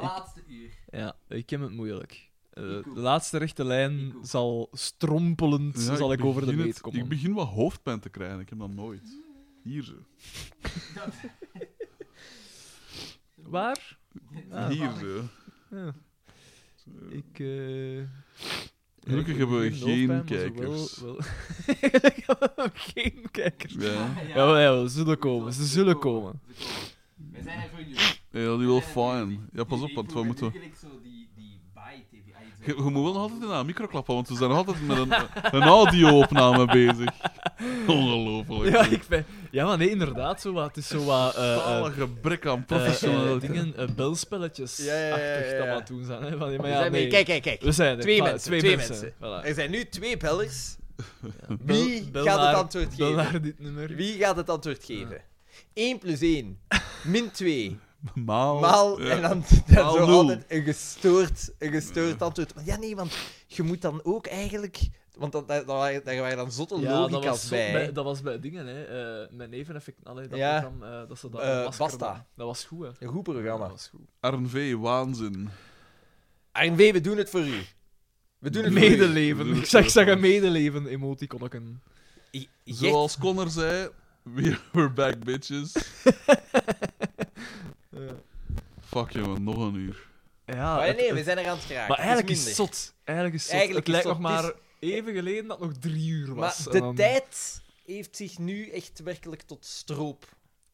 Laatste uur. Ja, ik heb het moeilijk. Eh, Ik ook. de laatste rechte lijn Ik ook. zal strompelend Ja, zal ik, over de begin meet het- komen. Ik begin wat hoofdpijn te krijgen, ik heb dat nooit. Hier zo. Waar? Ah, Hier zo. Ja. Zo. Ik, eh Gelukkig ik- hebben we ik- geen hoofdpijn, maar zo kijkers. Wel, wel... *laughs* Gelukkig hebben we geen kijkers. Ja, Ja, ja, ze zullen komen, ze zullen komen. *laughs* We zijn er voor jullie. ja dat is wel fijn. Ja, pas op, want we moeten... Ik zo die, die *laughs* tv Je, je moet wel nog altijd in een micro klappen, want we zijn nog altijd met een, een audio-opname bezig. Ongelooflijk. Ja, ik ben... ja, maar nee, inderdaad, zo wat. Het is zo wat. eh, eh, Totale gebrek aan eh, eh, professionaliteit. dingen, eh, belspelletjes. Ja, ja, ja, ja, Achtig dat ja. we aan het doen zijn. Hè? Van, ja, maar We ja, zijn mee. nee. Kijk, kijk, kijk. We zijn er. Twee Va- mensen, Twee, twee mensen. Voilà. Er zijn nu twee *laughs* bellers. Bel- Wie bel gaat het naar- antwoord bel geven? naar dit nummer. Wie gaat het antwoord geven? 1 plus 1, min 2, Maal. eh, maal Ja. en dan, *laughs* dan Maal zo nul. altijd een gestoord, een gestoord antwoord. Want ja, nee, want je moet dan ook eigenlijk... Want dat, dat, dat waren- daar waren dan zotte dat logica's was, zo- bij. hè. dat was bij dingen, hè. eh mijn neveneffect, allee, dat Ja. programma, eh, dat ze dat Eh, masker Basta. doen. Dat was goed, hè. Een goed programma. Dat was goed. RNV, waanzin. RNV, we doen het voor u. We doen het voor u. Medeleven. Ik zag, zag een medeleven emoticonneken. I- Gert- Zoals Connor zei, we- we're back, bitches. Fuck jongen, nog een uur. Ja, Maar het- nee, het- we zijn er aan het geraken. maar Het eigenlijk is minder. het zot. Eigenlijk is het zot. Eigenlijk het is lijkt het nog zot. maar Het even geleden dat het nog drie uur Maar was. ehm, en de dan- tijd heeft zich nu echt werkelijk tot stroop.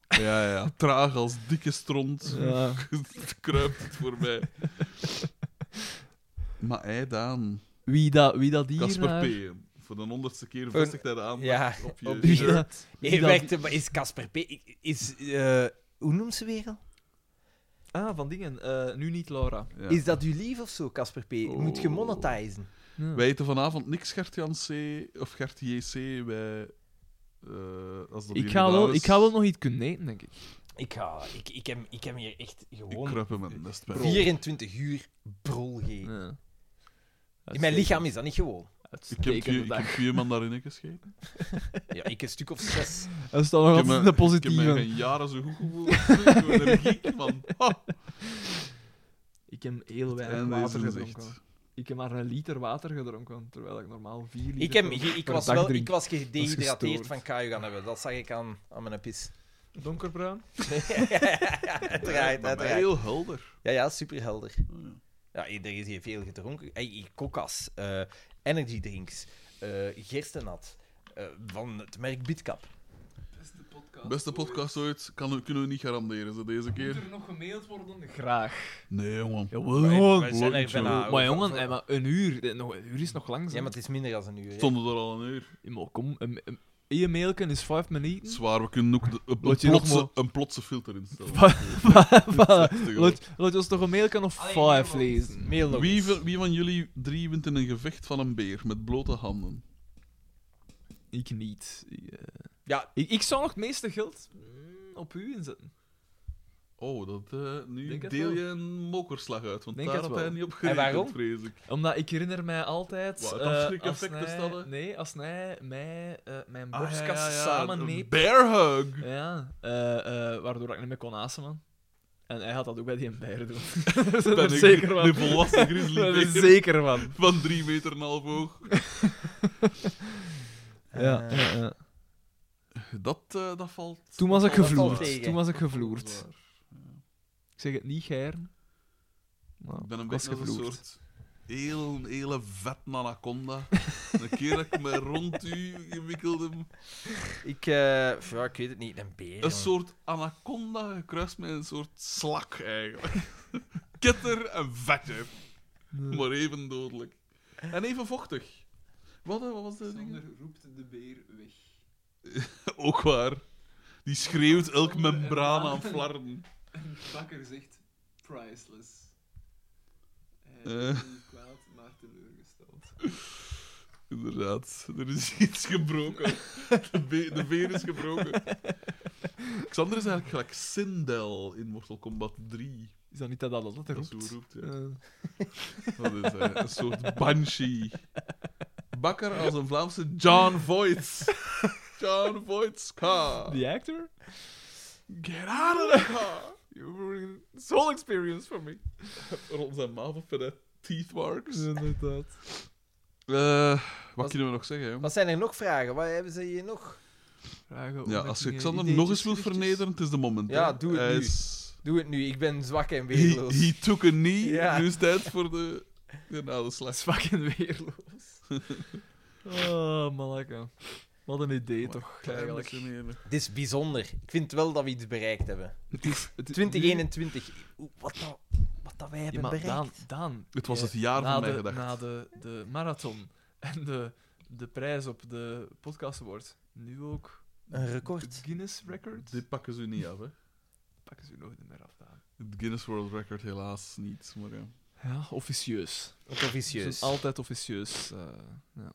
Ja, ja. Traag als dikke stront. Ja. kruipt *laughs* het voor mij. maar hij, Daan. Wie dat, wie dat hier eh, Casper naar- P. Voor de honderdste keer vestigt hij de aandacht ja, *laughs* op je op Wie shirt. dat- Nee, Wie dat- werkte- maar is Casper P. Is, eh, hoe noemt ze weer al? Ah, van dingen. Eh, nu niet Laura. Ja. Is dat u lief of zo, Casper P? Moet je Oh. monetizen? Ja. Wij eten vanavond niks Gert-Jan C. of Gert-JC. Wij... eh, als dat Ik hier ga, gedaan wel, is, ik ga wel nog iets kunnen eten, denk ik. Ik, ga, ik, ik, heb, ik heb hier echt Ik gewoon kruip hem een nest bij. 24 uur brol gegeten. Ja. In mijn lichaam is dat niet gewoon. Ik heb, vier, Uitstekende ik dag. heb vier mandarijnen gescheten. Ja, *laughs* ik een stuk of zes. *laughs* Dat is dan nog ik heb altijd de Ik heb mij positieve. geen jaren zo goed gevoeld. Ik ben een *laughs* geek, man. Ha. Ik heb heel weinig En water deze is gedronken. echt... Ik heb maar een liter water gedronken, terwijl ik normaal vier liter Ik, heb, per- ik, ik per was dag wel, drink. ik was Dat is gedehydrateerd gestoord. van kaju gaan hebben. Dat zag ik aan, aan mijn *laughs* pis. Donkerbruin? uiteraard, maar uiteraard. Heel helder. Ja, ja, superhelder. Oh, ja. Ja, er is hier veel gedronken. Ey, hier Coca's, eh energydrinks, eh gerstenat, eh, van het merk Bitcap. Beste podcast ooit, kan, kunnen we niet garanderen ze deze keer. nog gemaild worden? Graag. Nee, jongen. Jawel. Wij zijn er bijna. Maar jongen, eh, maar een uur, eh, nog- een uur is nog lang. Ja, maar het is minder dan een uur. hè. Stonden er al een uur. Ja, maar kom, een, een, een mailken is vijf *laughs* minuten. Zwaar, we kunnen ook de- een, Laat je nog plotse, maar- een plotse filter *laughs* instellen. Laat laat ons nog een mailken of vijf lezen. Mail nog Wie, eens. ver- wie van jullie drie wint in een gevecht van een beer met blote handen? Ik niet. Ik, eh, Ja. Ik, ik zou nog het meeste geld mm, op u inzetten. Oh, dat, eh, nu Denk het deel wel. je een mokerslag uit, want Denk daar het had wel. hij niet op gerekend, waarom? vrees ik. Omdat ik herinner mij altijd... Wat, het eh, afschrik-effect als is hij- dat, hè? Nee, als hij mij, eh, mijn Ah, borstkast ja, ja, ja, samen een neemt. Bear hug! *laughs* Ja, eh, eh, waardoor ik niet meer kon asemen. En hij had dat ook bij die bijer *laughs* doen. *laughs* Ben Daar ben ik ik zeker van. De volwassen grizzly Daar ben ik bear zeker van. van drie meter en een half hoog. Ja, Eh, ja, ja. Dat, eh, dat valt... Toen was ik dat valt tegen. gevloerd. Toen was ik Dat is gevloerd. waar. Ik zeg het niet, Geiren. Maar Ik ben een ik was beetje als een gevloerd. soort heel, hele vet anaconda. een keer dat ik me rond u gewikkeld heb. Ik, eh, pff, ja, ik weet het niet, een beer. Een jongen. soort anaconda gekruist met een soort slak, eigenlijk. *laughs* Kitter en vetter. Maar even dodelijk. En even vochtig. Wat, eh, wat was dat ding? roept de beer weg. *laughs* Ook waar. Die schreeuwt elk membraan aan flarden. En bakker zegt priceless. Eh. is niet kwaad, maar teleurgesteld. *laughs* Inderdaad. Er is iets gebroken. De, be- de veer is gebroken. Xander is eigenlijk gelijk Sindel in Mortal Kombat 3. Is dat niet dat dat altijd Dat is roept? hoe hij roept, ja. Eh, Dat is eh, een soort banshee. Bakker als een Vlaamse John Voight. John Voight ka. the actor? Get out of the car. You're ruining this whole experience for me. Rond zijn maaf op met de teeth marks. *laughs* Inderdaad. Eh, wat kunnen we nog zeggen, jongen? Wat zijn er nog vragen? Wat hebben ze hier nog? Vragen, Ja, opmerkingen, als je Xander eh, ideetjes, nog eens wilt gedichtjes? vernederen, het is de moment. Ja, hè. doe het Hij nu. is- Doe het nu, ik ben zwak en He, weerloos. he took a knee. Ja. Nu is het tijd voor de, de nadeslag. Zwak en weerloos. oh, malaka. Wat een idee toch, eigenlijk. Dit is bijzonder. Ik vind wel dat we iets bereikt hebben. Het is, *laughs* het, 2021, Oeh, wat, nou, wat dat wij hebben Ja, maar bereikt. Daan, Daan, Het was eh, het jaar na van de, mijn gedachten. Na de, de marathon *laughs* en de, de prijs op de podcast award, nu ook Een record. de Guinness record. Dit pakken ze niet af, hè? pakken ze u nooit meer af, Daan. Het Guinness World Record helaas niet. Maar ja. Ja, officieus. Ook Ze officieus. zijn altijd officieus. eh, ja.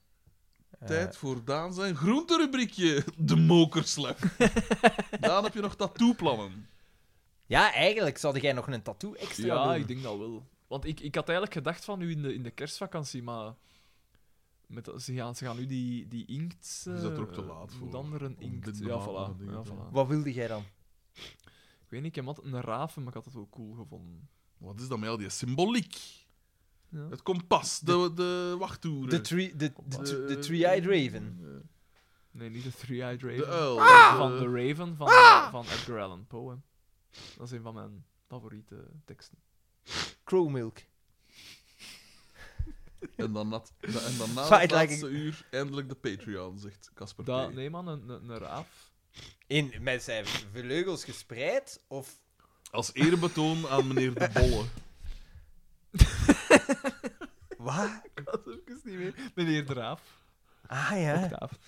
Eh, Tijd voor Daan zijn groenterubriekje, de mokerslag. Daan, heb je nog tattoo-plannen? Ja, eigenlijk zou jij nog een tattoo extra Ja, doen. ik denk dat wel. Want ik, ik had eigenlijk gedacht van nu in de, in de kerstvakantie, maar met, dat- ze, gaan, ze gaan nu die, die inkt... Is dat er ook te eh, laat moet voor? andere Om dit inkt. te Ja, maken en voilà. dingen ja, te- voilà. Wat wilde jij dan? Ik weet niet, ik heb altijd een raven, maar ik had het wel cool gevonden. Wat is dat met al die symboliek? Ja. Het kompas, de, de wachttoeren. Eh, De three- de- de- de- eh, de Three-Eyed Raven. Nee, niet de Three-Eyed Raven. De uil. Ah! Van de- Ah! The Raven van, van Edgar Allan Poe. hè. Dat is een van mijn favoriete teksten. Crowmilk. *laughs* En dan, nat, da- en dan na Feit het lijkt laatste uur eindelijk de Patreon, zegt Casper P. Da, nee man, een, een, een raaf. In, met zijn vleugels gespreid? Of... Als eerbetoon aan meneer De Bolle. Wat? Dat is ook eens niet meer. Meneer de Raaf. Ah ja. Octaaf.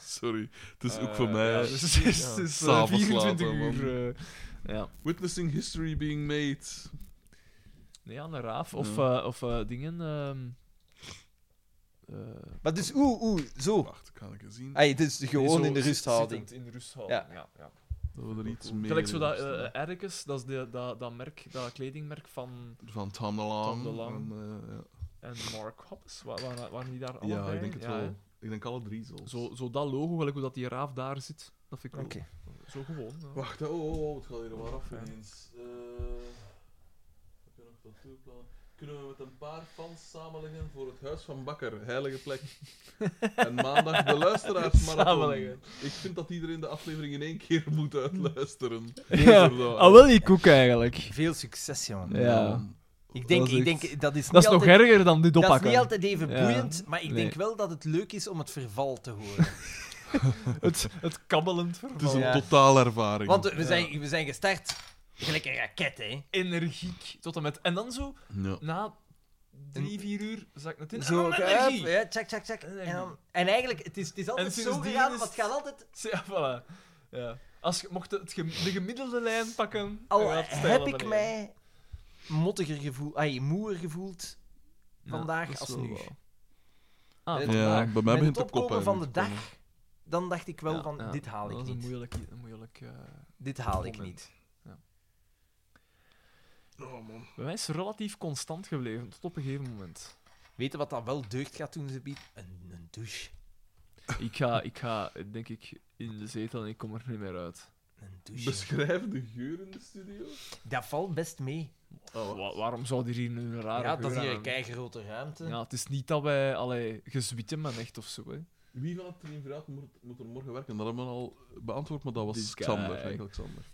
Sorry, het is ook Eh, voor mij. ja, dus het is, het is, eh, S'avonds 24 later, man. uur. eh, ja. Witnessing history being made. Nee, aan de raaf. Of, Ja. eh, of eh, dingen. ehm, eh, Maar dus, oeh, oeh, zo. Wacht, ik ga even zien. Ay, dus gewoon zo in de zit- rusthouding. zittend In de rusthouding. Ja, ja. Dat we er iets meer. Gelijk zo in dat hebben staan. eh Ericus, dat is de, dat, dat merk, dat kledingmerk van Van Tom de Tom Lang. de Lang. En, eh, ja. en Mark Hoppes. Wa- wa- waren die daar allebei? ja, ik denk het hè? wel. Ik denk alle drie zelfs. Zo, zo dat logo, gelijk hoe dat die raaf daar zit. Dat vind ik wel. Oké. Zo gewoon. ja. Wacht, oh, oh, oh, het gaat hier waar af Ja. ineens. Eh, Heb je nog tattoo plannen? Kunnen we met een paar fans samenleggen voor het Huis van Bakker, heilige plek? en maandag de luisteraarsmarathon. Samenleggen. Ik vind dat iedereen de aflevering in één keer moet uitluisteren. Ja, al Ah, wel die koek eigenlijk. Veel succes, jongen. eh, Ja. Ik denk, Dat is ik echt- denk dat is Dat niet is nog altijd... erger dan dit Dat is niet oppakken. altijd even Ja. boeiend, maar ik Nee. denk wel dat het leuk is om het verval te horen. *laughs* Het, het kabbelend Het is verval. een Ja. totaal ervaring. Want we zijn, we zijn gestart gelijk een raket, hè. Energiek tot en met. En dan zo, Ja. na drie, vier uur, zak het in. Zo, Ah, hup, energie! ja, check, check, check. Energie. En, dan, en eigenlijk, het is, het is altijd zo sindsdien gegaan, is maar het gaat altijd... *laughs* Ja, voilà. Ja. Als je mocht het gem- de gemiddelde lijn pakken, dan Al gaat het stijl heb naar ik beneden. mij mottiger gevoeld, ai, moeer gevoeld Ja, vandaag Eh, dat is als wel nu. waar. Ah, Ja, vandaag. bij mij Met begint het de kop opkomen uit van te de dag, komen. dan dacht ik wel Ja, van, ja. dit haal ik Dat is een niet. moeilijk... Een moeilijk eh, Dit haal ik moment. niet. Bij mij is het relatief constant gebleven, tot op een gegeven moment. Weet je wat dat wel deugd gaat doen, ze biedt? Een, een douche. Ik ga, ik ga, denk ik, in de zetel en ik kom er niet meer uit. Een douche. Beschrijf de geur in de studio. Dat valt best mee. Oh, Wa- waarom zou die hier nu een rare Ja, dat is geur hier aan- een keigrote ruimte. Ja, het is niet dat wij allee, gezwitten men echt of zo. Hè. Wie van het team vooruit moet, moet er morgen werken? Dat hebben we al beantwoord, maar dat was This guy. Xander. Eigenlijk Xander.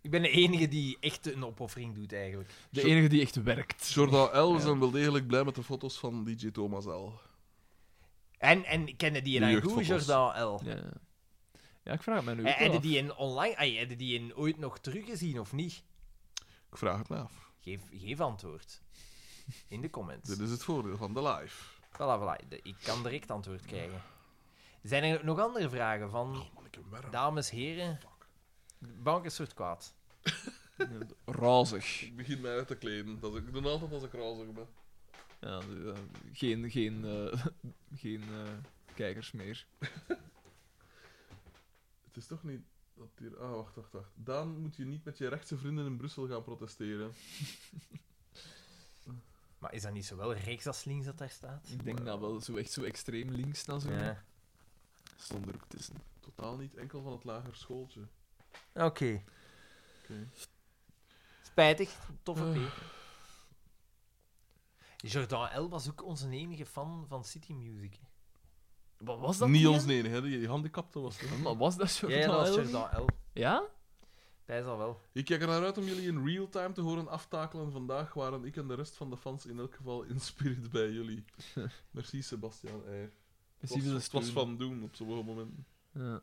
Ik ben de enige die echt een opoffering doet, eigenlijk. De Zo- enige die echt werkt. Jordan L. we zijn wel degelijk blij met de foto's van DJ Thomas L. En, en kennen die De een jeugdfoto's. goed Jordan L? Ja. ja, ik vraag het mij nu ook Eh, wel Hebben af. die in online, ay, hebben die in ooit nog teruggezien of niet? Ik vraag het me af. Geef, geef antwoord. In de comments. Dit is het voordeel van de live. Voilà, voilà. De- ik kan direct antwoord krijgen. Zijn er nog andere vragen van Oh man, ik heb werm. dames, heren? Bouw ik een soort kwaad. Razig. Ik begin mij uit te kleden. Dat is- ik doe altijd als ik razig ben. Ja, de- eh, geen geen, eh, *laughs* geen eh, kijkers meer. Het is toch niet dat hier... Ah, wacht, wacht, wacht. Daan moet je niet met je rechtse vrienden in Brussel gaan protesteren. Maar is dat niet zowel rechts als links dat daar staat? Ik denk dat wel zo echt zo extreem links dan zo. Ja. Stond er ook tussen. Totaal niet enkel van het lager schooltje. Oké. Oké. Spijtig. Toffe P. Jordan L. was ook onze enige fan van City Music. hè. Wat was dat? Niet die, ons hè? nee, hè. Die die handicapte was het. Maar was dat zo? Ja, ja, dat was *laughs* Jordan L. Ja? Dat is al wel. Ik kijk er naar uit om jullie in real time te horen aftakelen. Vandaag waren ik en de rest van de fans in elk geval in spirit bij jullie. Merci, Sebastian Eier. Het was, het was van doen op sommige momenten. Ja.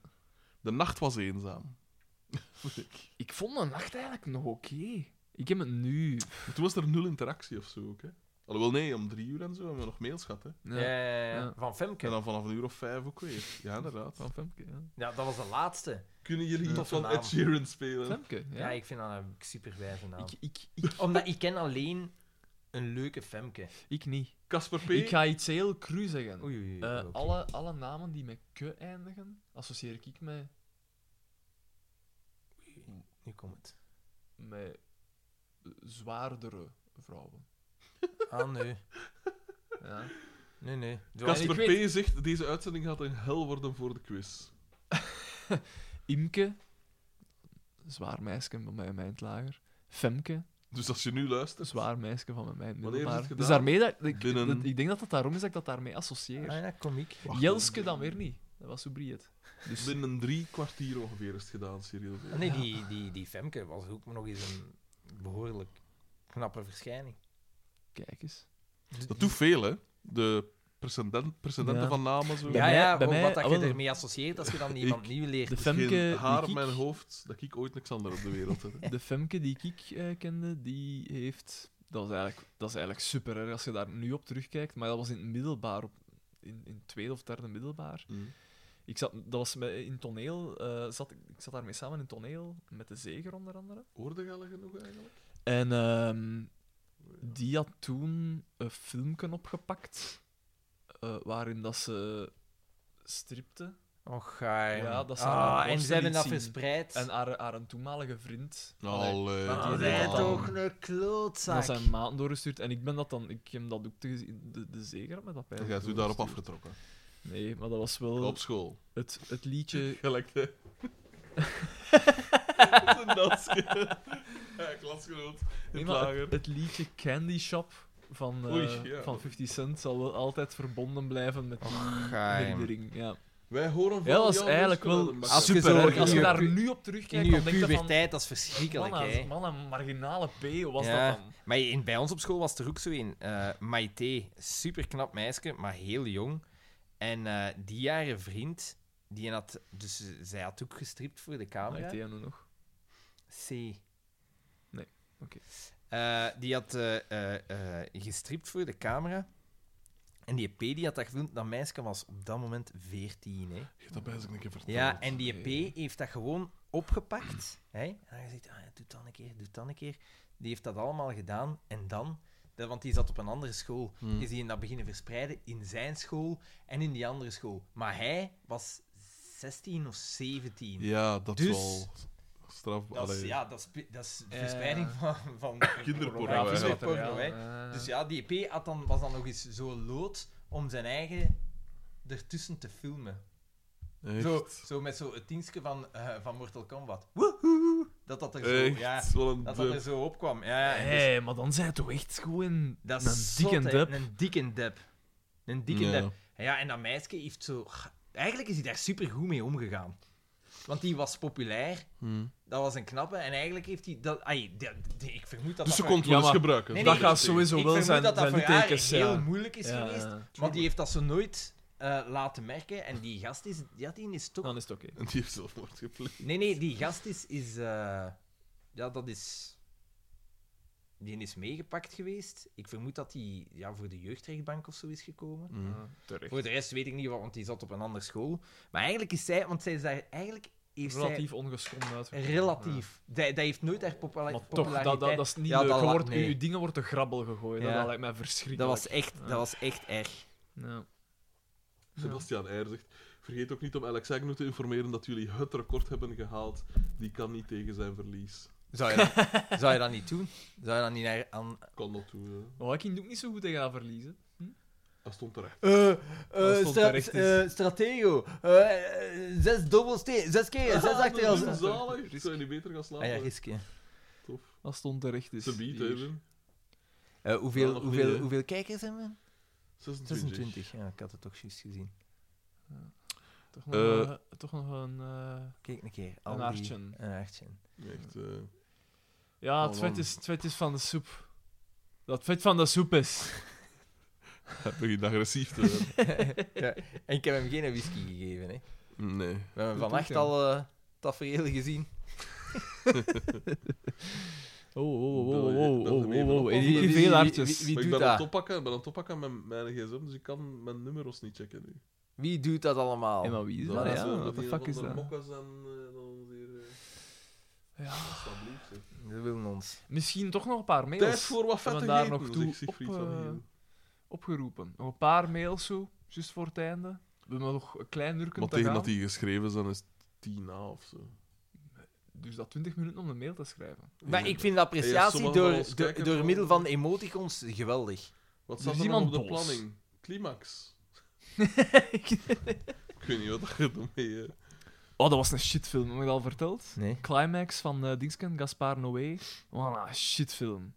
De nacht was eenzaam. Vond ik. Ik vond de nacht eigenlijk nog oké. Ik heb het nu. Maar Toen was er nul interactie of zo ook, hè? Alhoewel, nee, om drie uur en zo hebben we nog mails gehad, hè? Ja. Ja. Van Femke. En dan vanaf een uur of vijf ook weer. Ja, inderdaad. Van Femke, ja. Ja, dat was de laatste. Kunnen jullie iets Toffe van naam. Ed Sheeran spelen? Femke, Ja, ja. ik vind dat een superwijze naam. Ik, ik, ik, Omdat ik ken alleen een leuke Femke. ik niet. Casper P. Ik ga iets heel cru zeggen. Oei, oei, oei, Eh, oké. alle, alle namen die met ke eindigen, associeer ik met Nu komt het. met zwaardere vrouwen. Ah, nee. *laughs* Ja. Nee, nee. Zo- Casper ik weet- P. zegt, deze uitzending gaat een hel worden voor de quiz. Imke, zwaar meisje bij mij in mijn lager. Femke, Dus als je nu luistert... zwaar meisje van mijn Wanneer is het middelbaar. Dus gedaan? daarmee dat ik, Binnen- dat- ik denk dat het daarom is dat ik dat daarmee associeer. Ah, ja, komiek. Jelske dan weer niet. Dat was Soubriet. Dus Binnen drie kwartier ongeveer is het gedaan, serieus. Ah, nee, die, die, die Femke was ook nog eens een behoorlijk knappe verschijning. kijk eens. Dus Dat doet veel, hè? De precedent, precedenten Ja. van namen, zo. Ja, mij- ja, bij wat- mij- wat dat ah, je wel. ermee associeert als je *laughs* dan iemand Ik- nieuw leert. De Het is dus geen Femke, haar die mijn ik, hoofd dat ik ooit niks ander op de wereld *laughs* heb. hè. de Femke die ik eh, kende, die heeft... Dat is eigenlijk, dat is eigenlijk super erg als je daar nu op terugkijkt. Maar dat was in het middelbaar, op, in, in het tweede of derde middelbaar. Mm. Ik zat, dat was met, in toneel, eh, zat, ik ik zat daarmee samen in toneel, met de Zeger onder andere. Hoorde je al genoeg eigenlijk? En ehm, die had toen een filmpje opgepakt eh, waarin dat ze stripte. Och, ga je. Ja, dat zijn haar ah, en borsten ze hebben niet dat zien. verspreid. En haar, haar een toenmalige vriend. Oh. Allee. Ah, Ah, die- zij die- toch een klootzak. Dat zijn maand doorgestuurd. En ik ben dat dan... Ik heb dat ook de, de, de zeker met dat pijl Dan gaat u daarop afgetrokken. Nee, maar dat was wel Op school. het, het liedje... *laughs* Gelijk, *laughs* hè? Dat is een dansje. Ja, klasgenoot. In Nee, het maar lager. het, het liedje Candy Shop van, eh, Oei, ja. van 50 Cent zal wel altijd verbonden blijven met die herinnering. Ja. Wij horen van Ja, dat is Jan eigenlijk Ruskelen wel en Max. als Als je, je super. zo erg- Als je in je daar pu- nu op In terugkijkt, je dan denk je van... puberteit, dat is verschrikkelijk, hè. Man, man, een marginale P, hoe was Ja. dat dan? Maar in, bij ons op school was er ook zo een. eh Maite, superknap meisje, maar heel jong. En eh, die jaren vriend, die had... Dus eh, zij had ook gestript voor de camera. Maite en hoe nog. C. Nee, oké. Eh, die had eh, eh, eh, gestript voor de camera. En die P die had dat gefilmd. Dat meisje was op dat moment 14. Hè. Je hebt dat bij zich een keer verteld. Ja, en die nee. P heeft dat gewoon opgepakt. Hè? En hij zegt, ah, ja, doe dat een keer, doe dat een keer. Die heeft dat allemaal gedaan. En dan, dat- want die zat op een andere school, Hmm. is die in dat beginnen verspreiden in zijn school en in die andere school. Maar hij was 16 of 17. Ja, dat is Dus- wel straf. Dat is, Allee. ja, dat is, pi- dat is verspreiding van, van *laughs* Kinderporno, Ja, hè. kinderporno, hè. Dus ja, die EP had dan, was dan nog eens zo lood om zijn eigen ertussen te filmen. Echt. Zo, zo met zo het dienstje van, eh, van Mortal Kombat. Woehoe! Dat dat er zo, Echt, ja, wel een dat dat er dub. zo opkwam. Ja, ja, en dus- Hé, maar dan zijn het toch echt gewoon dat een is dikke zot, hè. dub. Een dikke dub. Een dikke Ja. dub. Ja, en dat meisje heeft zo... Eigenlijk is hij daar supergoed mee omgegaan. Want die was populair, Hmm. dat was een knappe, en eigenlijk heeft hij... Dat, ai, die- die- ik vermoed dat Dus ze dat... kon het Ja, wel eens maar- gebruiken. Nee, dat nee, gaat is het sowieso ik wel vermoed zijn, dat dat zijn voor haar littekens. heel ja. moeilijk is Ja, geweest. ja. Want die heeft dat ze nooit eh, laten merken. En die gast is... Ja, die is toch... Dan is het oké. En die heeft zelfmoord gepleegd. Nee, nee, die gast is... is eh, ja, dat is... Die is meegepakt geweest. Ik vermoed dat die ja, voor de jeugdrechtbank of zo is gekomen. Hmm. Mm. Terecht. Voor de rest weet ik niet, wat, want die zat op een andere school. Maar eigenlijk is zij... Want zij is daar... Eigenlijk heeft Relatief ongeschonden uit. zij... Relatief. Dat Dat heeft nooit haar popula- Maar toch, dat, populariteit... dat, dat is niet Ja, leuk. dat Je la- wordt- nee. Je dingen wordt te grabbel gegooid. Ja. Dat lijkt mij verschrikkelijk. dat, was echt, dat was echt erg. Ja. Sebastian Eier zegt... Vergeet ook niet om Alex Agnew te informeren dat jullie het record hebben gehaald. Die kan niet tegen zijn verlies. Zou je, dat, zou je dat niet doen? Zou je dat niet naar, aan, Kan dat toe, hè. Maar ik ging ook niet zo goed tegen haar verliezen. Dat stond terecht. Eh, Als het eh, stra- onterecht is. eh, Stratego. Eh, eh, zes dobbelsteen. Zes keer. Zes achter Dat als... is Ah zalig. Zou je niet beter gaan Ah slapen? ja, riske. Tof. Dat stond terecht. Is Ze biedt, hè, hier. Wim. Eh, Ja, hoeveel, nog hoeveel, niet, hè. hoeveel kijkers hebben we? 26. 26. Ja, ik had het toch juist gezien. Toch nog, Eh. eh, toch nog een... eh, Kijk een keer. Al Een die- hartje. Een hartje. Echt, eh, *laughs* Ja, Oh, het vet, man. is, het vet is van de soep. Dat het vet van de soep is. Hij begint agressief te worden. *laughs* ja. En ik heb hem geen whisky gegeven. Hè. Nee. We Dat hebben vannacht doet hij. al eh tafereelen gezien. Oh, oh, oh, Dat- oh, dat oh, is oh, even oh, oh. oppassen. En hier Wie- wie- veel wie- hartjes. wie- maar ik doet ben aan, het dat? oppakken, ik ben aan het oppakken met mijn gsm, dus ik kan mijn nummers niet checken nu. Wie doet dat allemaal? En maar wie is Dat dat? is, Ja, eh, met wat de die fuck is van de dat? mokka's en eh, dan weer... eh, Ja. alsjeblieft, zeg. Ze willen ons. Misschien toch nog een paar mails. Tijd voor wat Hebben vettig we daar eten, nog zegt toe op, Siegfried van eh, Heel. opgeroepen. Nog een paar mails zo, juist voor het einde. We hebben nog een klein uur Maar kunnen tegen gaan. dat die geschreven zijn is 10 na of zo. dus dat 20 minuten om een mail te schrijven. Maar ik vind de appreciatie sommige van door, ons door, kijken door wel- middel van emoticons geweldig. Wat Er staat is er nog iemand op de boos. planning? *laughs* Climax. ik weet niet wat dat je ermee... eh. Oh, dat was een shitfilm, heb ik dat al verteld? Nee. Climax van eh Dingsken, Gaspar Noé. Wat een shitfilm.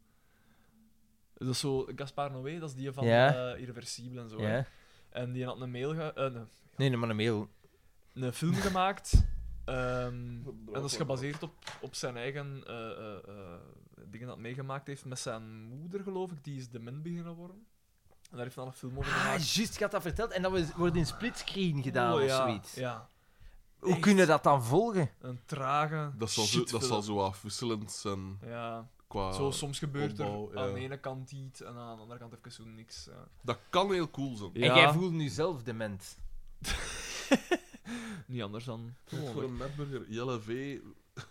Dat is zo, Gaspar Noé, dat is die van Ja. eh, Irreversibel en zo. hè. Ja? En die had een mail, ge- eh, een- Nee, nee, maar een mail. een film gemaakt. *laughs* ehm, en dat is gebaseerd op, op zijn eigen eh, eh, eh, dingen dat hij meegemaakt heeft met zijn moeder, geloof ik. Die is dement beginnen worden. En daar heeft hij dan een film over Ah, gemaakt. juist, ik had dat verteld. En dat was- wordt in splitscreen gedaan Oh, of ja, zoiets. Ja, Hoe Echt? kunnen dat dan volgen? een trage Dat zal, zo, dat shitfilm. zal zo afwisselend zijn Ja, qua... Oh, zo soms gebeurt opbouw, er ja. aan de ene kant iets en aan de andere kant even zo niks. ja. Dat kan heel cool zijn. Ja, En jij voelt nu zelf dement. niet anders dan Voor gewoon. een metburger, Jelle V, *laughs*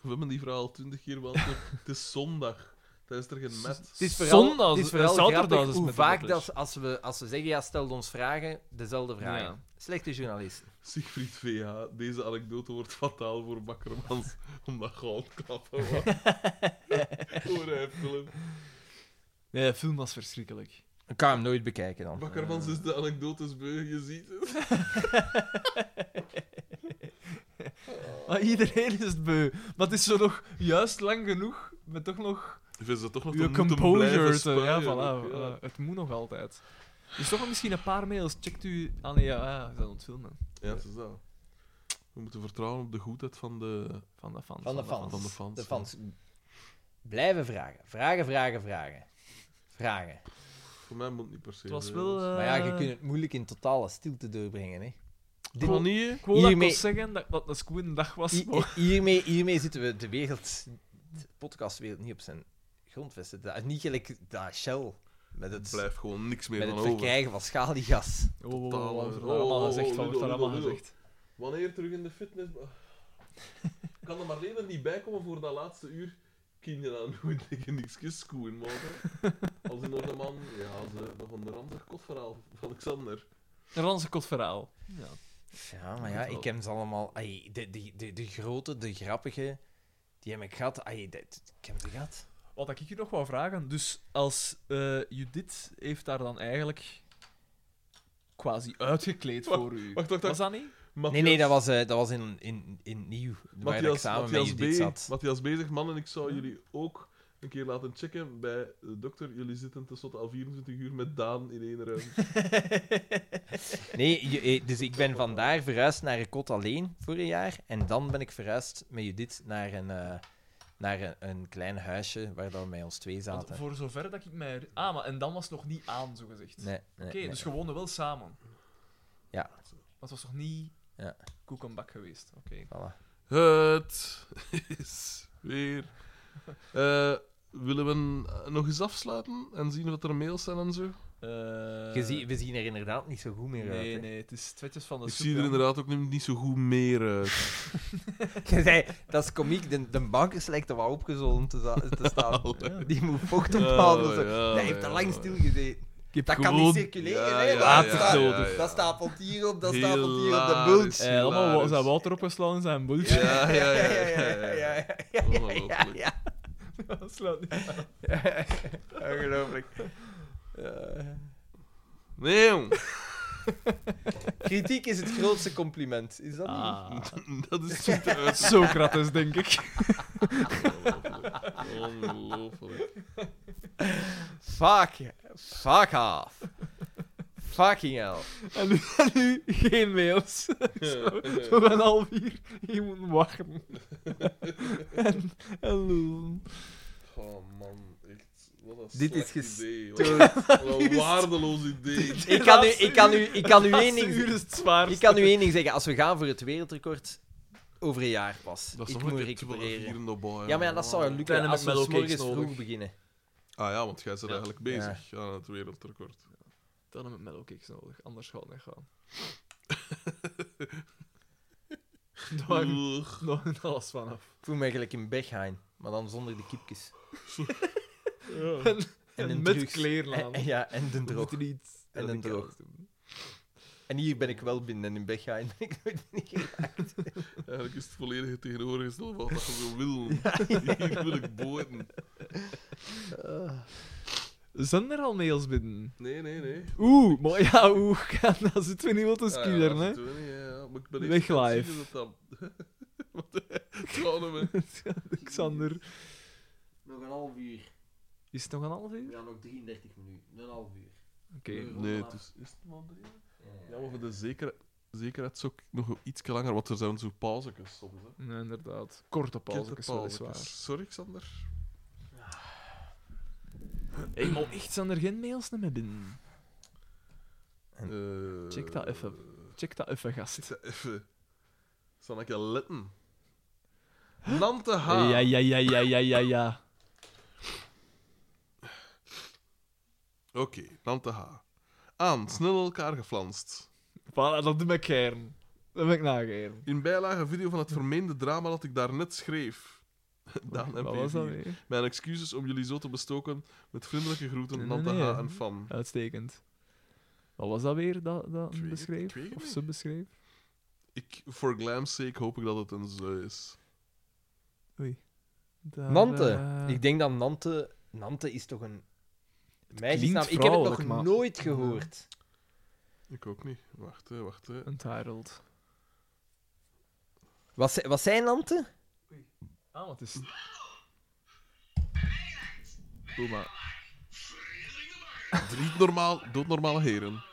we hebben die verhaal twintig keer *laughs* beantwoord. het is zondag. Dan is er geen met. Het is vooral, Zondag, het eh, is vooral zaterdag grappig is hoe met de vaak Dopplers. dat als we, als we zeggen, ja, stel ons vragen, dezelfde vragen. Ja. Slechte journalisten. Siegfried VH, deze anekdote wordt fataal *laughs* voor Bakkermans, omdat goudkappen was. Hoor hij film. Nee, de film was verschrikkelijk. Ik kan hem nooit bekijken dan. Bakkermans is de anekdotes beu, je ziet het. Maar Ah, iedereen is het beu. Maar het is zo nog juist lang genoeg, met toch nog Ik vind ze toch nog Je te moeten blijven composure. te- spuien, Ja, ook, voilà. ja. voilà. Het moet nog altijd. Dus toch misschien een paar mails. Checkt u... Ah nee, ja, ja, we zijn aan het filmen. Ja, het is dat. We moeten vertrouwen op de goedheid van de... Van de fans. Van de Van de fans. fans, De fans. Blijven vragen. Vragen, vragen, vragen. Vragen. Voor mij moet het niet per se. Het was zijn. wel... eh, Maar ja, je kunt het moeilijk in totale stilte doorbrengen. Hè. Ik Dit, wil, ik wil dat hiermee- ik wil zeggen dat dat een goede dag was. hi- maar- *laughs* hiermee, hiermee zitten we de wereld, de podcastwereld, niet op zijn grondvesten. Dat is niet gelijk dat Shell met het, Blijf gewoon niks meer met van het over. verkrijgen van schaliegas. Oh, oh, oh, Totaal, wat wordt eh, er allemaal oh, gezegd? Wat oh, wordt er Ludo, allemaal Ludo. gezegd? Wanneer terug in de fitness... Oh. Ik kan er maar even niet bij komen voor dat laatste uur. Kinderen aan ik *laughs* dikke niks scoen, man. Als in nog een man... Ja, ze, nog een ranzig kotverhaal van Alexander. Een ranzig kot verhaal. Ja. Ja, maar ja, Goed wel. ik heb ze allemaal... ai, de, de, de, de grote, de grappige, die heb ik gehad. Ai, dat- ik heb ze gehad. Wat ik je nog wou vragen, dus als eh, Judith heeft daar dan eigenlijk quasi uitgekleed Wacht, voor u. wacht, wacht, Was dat niet? Nee, nee, dat was, eh, dat was in, in, in Nieuw, waar ik Matthias, samen Matthias, met Judith B, zat. Matthias Bezig, man, en ik zou jullie ook een keer laten checken bij de dokter. Jullie zitten tenslotte al 24 uur met Daan in één ruimte. Nee, je- eh, dus ik ben vandaar verhuisd naar een kot alleen voor een jaar. En dan ben ik verhuisd met Judith naar een, eh, naar een, een klein huisje waar dan wij ons twee Want zaten. voor zover dat ik mij... Ah, maar en dan was het nog niet aan, zo gezegd. Nee, nee, Oké, nee. dus gewoon wel samen. Ja. Dat was nog niet Ja. koekenbak geweest. Oké. Voilà. *laughs* Het is weer. Eh, willen we een- nog eens afsluiten en zien wat er mails zijn en zo? Eh, Je zie- we zien er inderdaad niet zo goed meer uit. Nee, hè. nee, het is twijfels van de ik soep, zie er ja. inderdaad ook niet zo goed meer *laughs* uit. *laughs* Je zei, dat is komiek, de, de bankers lijkt er wel opgezollen te, za- *laughs* te staan. Die moet vocht ophalen. of zo. Oh, ja, dat heeft te ja, lang ja. stilgezeten. Dat kan gewoon- niet circuleren, Ja, hè. ja, want ja, dat sta- ja, ja. Dat stapelt hierop, dat stapelt hier op de Hilarisch. bulk. Eh, allemaal wa- Hilarisch. zijn water opgeslagen in zijn bultje. Ja, ja, ja. *laughs* ja, ja, ja, ja, ja, ja, ja, Ongelooflijk. ja. Dat slaat niet. *laughs* Ongelooflijk. Eh, Nee, jong. kritiek is het grootste compliment, is dat *laughs* niet? Ah, Dat is zoet uit. Socrates, denk ik. Ongelooflijk. Ongelooflijk. Fuck, fuck off. Fucking *laughs* hell. *laughs* En nu, en nu geen mails. zo, zo van half vier. Je moet *laughs* wachten. en, en lullen. Oh man, echt. Wat een Dit slecht is ges- idee. Wat een, Toen- wat *laughs* een waardeloos idee. Ik kan u, ik kan u, ik kan u één Laatste ding uur is het zwaarst. Ik kan nu één ding zeggen. Als we gaan voor het wereldrecord, over een jaar pas. Dat is ik nog moet een keer recupereren. 204 erbij, Ja, maar ja, dat zou man. lukken Kleine als we Mac s Mellowcakes morgens nodig. vroeg beginnen. Ah ja, want jij bent eigenlijk bezig aan het wereldrecord. Dan heb ik mellowcakes nodig, anders gaat het niet *laughs* gaan. Daar heb Ugh. ik nog niet alles van af. Ik voel me eigenlijk in Berghain, maar dan zonder de kiepjes. En, En, en een met drugs. kleerlaan. En, en ja, en de We droog. moeten niet- En dat een ik droog. alles doe. En En hier ben ik wel binnen en in bed gaan ben *laughs* ik nooit binnen geraakt. Eigenlijk is het volledige tegenovergestelde van wat je wil. Hier wil ik boten. Eh. Zijn er al mails binnen? Nee, nee, nee. Ah, Oeh, maar ja, oeh, *laughs* dat zitten we niet wat te skieren, ja, hè? dat doen we niet, ja, ja. Maar ik ben Weg eerst aan het live. zien dat dat- *laughs* eh, Wat de- Tranen, man. Xander, Nog een half uur. is het nog een half uur? Ja, nog 33 minuten. Een half uur. Oké. Nee, het is, is het maar drie? Ja. Ja, maar voor de zeker, zekerheid zou ik nog iets langer, want er zijn zo pauzekes soms. Hè. Nee, inderdaad. Korte pauze, is weliswaar. Sorry, Xander. Hé, maar echt, zijn er geen mails meer binnen? Eh, Check dat even. Check dat even, gast. Check dat even. Zal ik je letten? Nante H. Ja, ja, ja, ja, ja, ja, ja. Oké, Nante H. Aan, snel elkaar geflanst. Voilà, dat doe ik kern. Dat ben ik nageren. In bijlage een video van het vermeende drama dat ik daarnet schreef. *laughs* Daan en Wat was dat P4. weer? Mijn excuses om jullie zo te bestoken. Met vriendelijke groeten, Nee, nee, Nante nee, eh, H. hè. en Fan. Uitstekend. Wat was dat weer dat, dat Ik weet het- ik beschreef? weet het Of niet. ze beschreef? Ik, voor glam's sake hoop ik dat het een zo is. Daar, Nante. eh, Ik denk dat Nante... Nante is toch een... klinkt Meisjesnaam. Ik heb het nog vrouwelijk, maar- nooit gehoord. Ik ook niet. Wacht, hè, wacht. Hè. Untitled. Wat, ze- wat zijn Nante? *laughs* Ah, wat is... Doe maar. Drie normaal, doodnormale heren.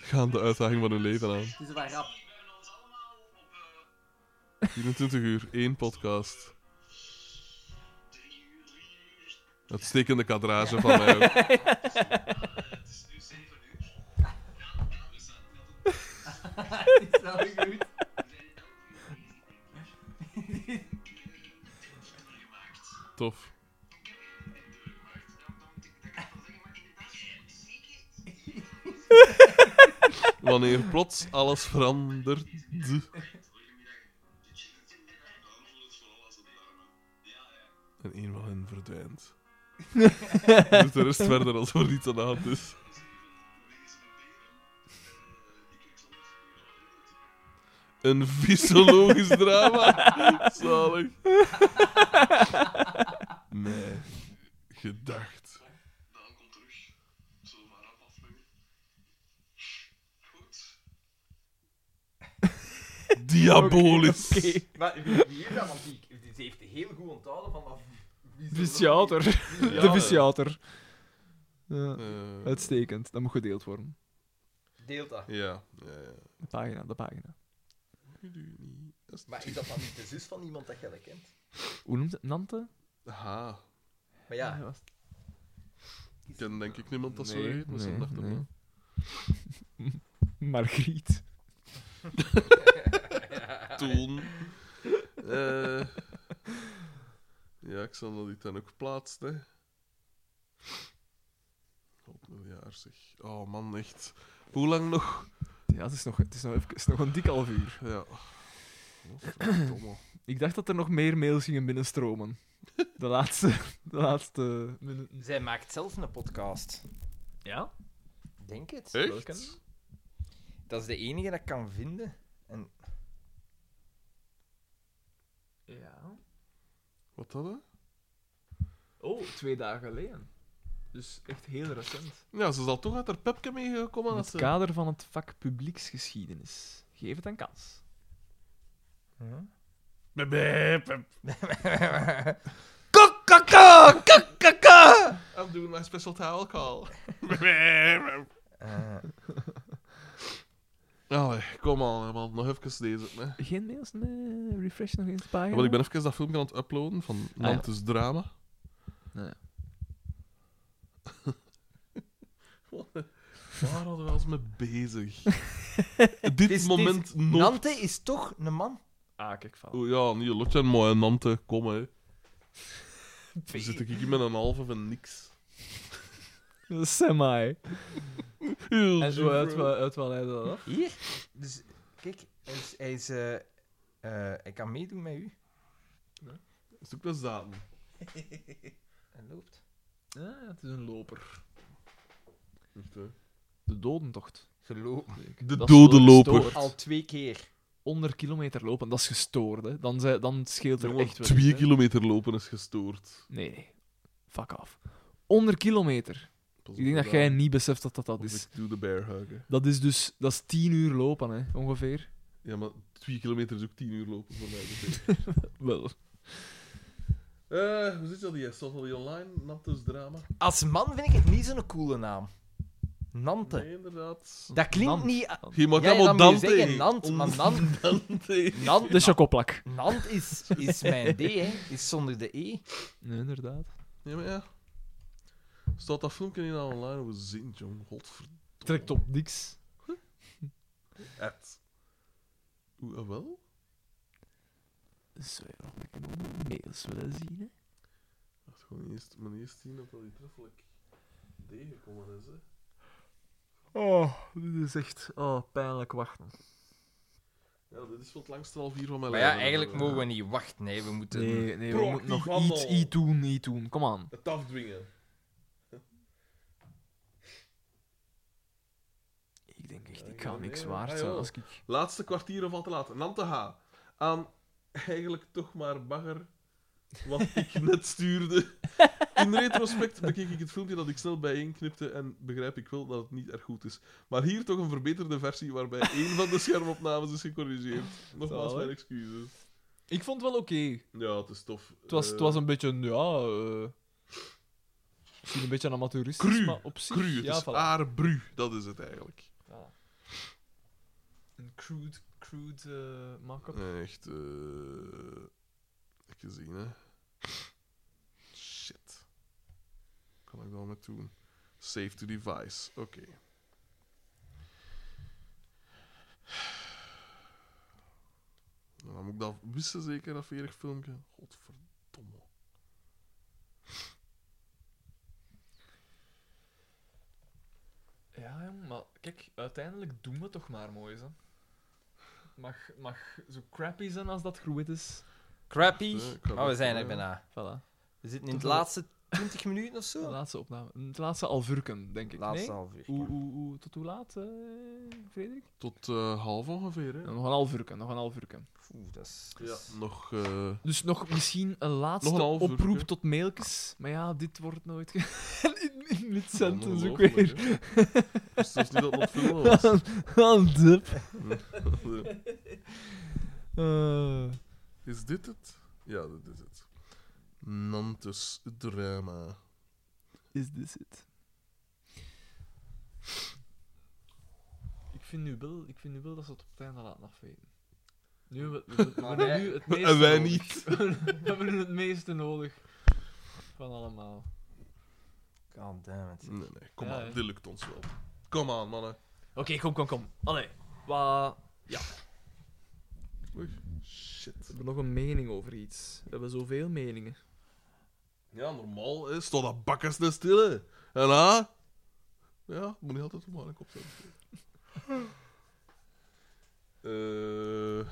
Gaan de uitdaging van hun leven aan. Het is wel rap. 24 uur, één podcast. Uitstekende kadrage van mij. ook. *laughs* Het is wel goed. Tof. Wanneer plots alles verandert. En een van hen verdwijnt. Doet de rest verder als er niets aan de hand is. Een fysiologisch drama. Zalig. Nee. Gedacht. Diabolisch. Maar wie wie is dat? Want die, die heeft heel goed onthouden van dat... Viciator. De Ja, viciator. Ja, eh, uitstekend. Dat moet gedeeld worden. Deelt dat. ja, ja, ja. De pagina, de pagina. Maar is dat dan niet de zus van iemand dat jij kent? Hoe noemt het? Nante? Aha. Maar ja, was- Ik ken denk ik niemand dat zo Nee, heet, maar ze nee, dachten nee. wel. Margriet. Toen. *laughs* Eh, ja, ik zal dat dit dan ook plaatsen, hè. Op miljard, zeg. Oh man, echt. Hoe lang nog? Ja, het is nog, het is nog, even, het is nog een dik half uur. Ja. Oh, verdomme. Ik dacht dat er nog meer mails gingen *laughs* binnenstromen. De laatste, de laatste minuten. zij maakt zelf een podcast. Ja? Denk het. Welke? Echt? Dat is de enige dat ik kan vinden. Ja. Wat dat, hè? Oh, twee dagen geleden. Dus echt heel recent. Ja, ze zal toch uit haar pepke meegekomen In dat het ze... kader van het vak publieksgeschiedenis. Geef het een kans. *laughs* Bep, bep, bep. Kakaka! Kakaka! I'm doing my special towel call. Eh. Allee, kom aan, hè, man. Nog even deze, hè. Geen mails? Nee, refresh nog eens de pagina. Ja, want ik ben even dat filmpje aan het uploaden van Ah, Nantes Drama. Nee. *laughs* Wat een- Waar hadden we ons mee *laughs* bezig? Dit is- moment nog... Nante is toch een man? Ah, kijk, van. Oh, ja, niet Lotje en mooi Nante, kom hè. Dan zit ik hier met een halve van niks. Semi. Heel En zo uit, bro. wel- uit wel hij dat af. Hier? Dus, kijk, hij, is, hij, is, eh, eh, hij kan meedoen met u. Zoek naar zaden. Hij loopt. Ja, het is een loper. Echt, hè. De dodentocht. gelopen. De Dat is dode wel loper. gestoord. Al twee keer. 100 kilometer lopen, dat is gestoord. Hè. Dan, zij- dan scheelt er echt wel iets, Twee hè. kilometer lopen is gestoord. Nee, nee. Fuck af. 100 kilometer. Pas Ik denk op dat jij daar. niet beseft dat dat, dat Of is. Ik doe de bear hug, hè. Dat is dus dat is 10 uur lopen, hè, ongeveer. Ja, maar twee kilometer is ook tien uur lopen voor mij. dus, hè. Wel. Eh, hoe zit dat hier? Staat dat hier online? Naptus drama? Als man vind ik het niet zo'n coole naam. Nante. Nee, inderdaad. Dat klinkt Nant. niet... Je mag Ja, allemaal dan moet je Dante. zeggen Nant, maar Nant... *laughs* Dante. Nant, De chocoplak. Nant is, is mijn D, hè. Is zonder de E. Nee, inderdaad. Ja, maar ja. Staat dat filmpje niet al online? Hoe zin, jong? Godverdomme. Trekt op niks. Ed. Oeh, ah, wel? Zou je nog een keer de mails willen zien, hè? Wacht, gewoon eerst, maar eerst zien dat dat hier treffelijk tegengekomen is, hè. Oh, dit is echt oh, pijnlijk wachten. Ja, dit is wel het langste half uur van mijn Maar leven. ja, eigenlijk mogen we niet wachten, hè. We moeten... Nee, nee we Proactief moeten nog handel. iets, iets doen, iets doen. Kom aan. Het afdwingen. Ik denk echt, Ja, ik ga ja, niks nee, waard ah, zijn joh. als ik... Laatste kwartier of al te laat. Nante H. Aan eigenlijk toch maar bagger wat *laughs* ik net stuurde. In retrospect bekeek ik het filmpje dat ik snel bijeenknipte en begrijp ik wel dat het niet erg goed is. Maar hier toch een verbeterde versie waarbij één van de schermopnames is gecorrigeerd. Nogmaals Zalig. mijn excuses. Ik vond het wel oké. Ja, het is tof. Eh, Het, was, het was een beetje, ja... eh, misschien een beetje amateuristisch, Cru, maar op zich... cru. Het ja, is voilà. aardbru, dat is het eigenlijk. Een crude, crude eh, make-up. Echt, eh... Even zien, hè. Shit. Kan ik daar met doen? Save to device. Oké. Dan moet ik dat wissen, zeker, dat verig filmpje. Godverdomme. Ja, jong, maar kijk, uiteindelijk doen we toch maar mooi, hè. Het Mag, mag zo crappy zijn als dat groeit is. Crappy. Wacht, hè, ik ga Maar we dat- zijn ja. er bijna. Voilà. We zitten in het laatste 20 minuten of De zo. laatste opname. Het laatste alvurken, denk ik. Laatste nee? half uur. Hoe, hoe, hoe, tot hoe laat, eh, Frederik? Tot eh, half ongeveer, hè? Nog een alvurken, nog een alvurken. Oeh, dat is... dat Ja, is- nog... eh, Dus nog misschien een laatste Nog een half oproep uurke. tot mailtjes. Maar ja, dit wordt nooit... ge- *laughs* in in dit sentence ook ongelooflijk, weer. hè. Dus het is niet dat het nog filmen was. Aan de... Eh, Eh, Is dit het? Ja, dit is het. Nantes drama. is this it? Ik vind nu wel, ik vind nu wel dat ze het op het einde laten afweten. Nu hebben *laughs* we, we, we, hebben wij- nu het en meeste wij nodig. niet. *laughs* we hebben nu het meeste nodig van allemaal. God damn it. Nee, nee, kom Ja, aan, hè. dit lukt ons wel. Kom aan, mannen. Oké, kom, kom, kom. Allee, wat... Oei, shit. We hebben nog een mening over iets. We hebben zoveel meningen. Ja, normaal hè, staat dat bakkers te stille. En ha? Ja, moet niet altijd op mijn kop zetten. *laughs* Eh, eh,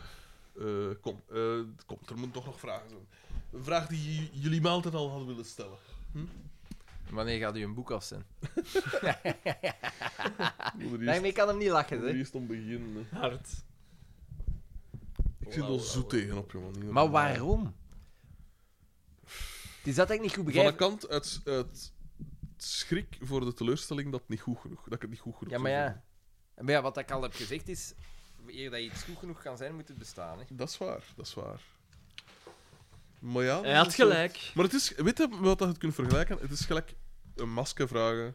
kom, eh, kom, er moeten toch nog vragen zijn. Een vraag die j- jullie me altijd al hadden willen stellen. Wanneer gaat u een boek afzetten? Ik moet er eerst- Daarmee kan hem Ah, niet lachen, moet er hè. eerst om beginnen. hè. Hard. Ik zit al zoet tegenop, jongen. niet Maar normaal. waarom? Het is dat ik niet goed Van begrijp. een kant uit, uit schrik voor de teleurstelling dat, het niet goed genoeg, dat ik het niet goed genoeg Ja, maar zou ja. vinden. Maar ja, wat ik al heb gezegd is, eer dat iets goed genoeg kan zijn, moet het bestaan. Hè. Dat is waar, dat is waar. Maar ja... Hij dat had is wel- gelijk. Maar het is... Weet je wat dat je het kunt vergelijken? Het is gelijk een masker vragen...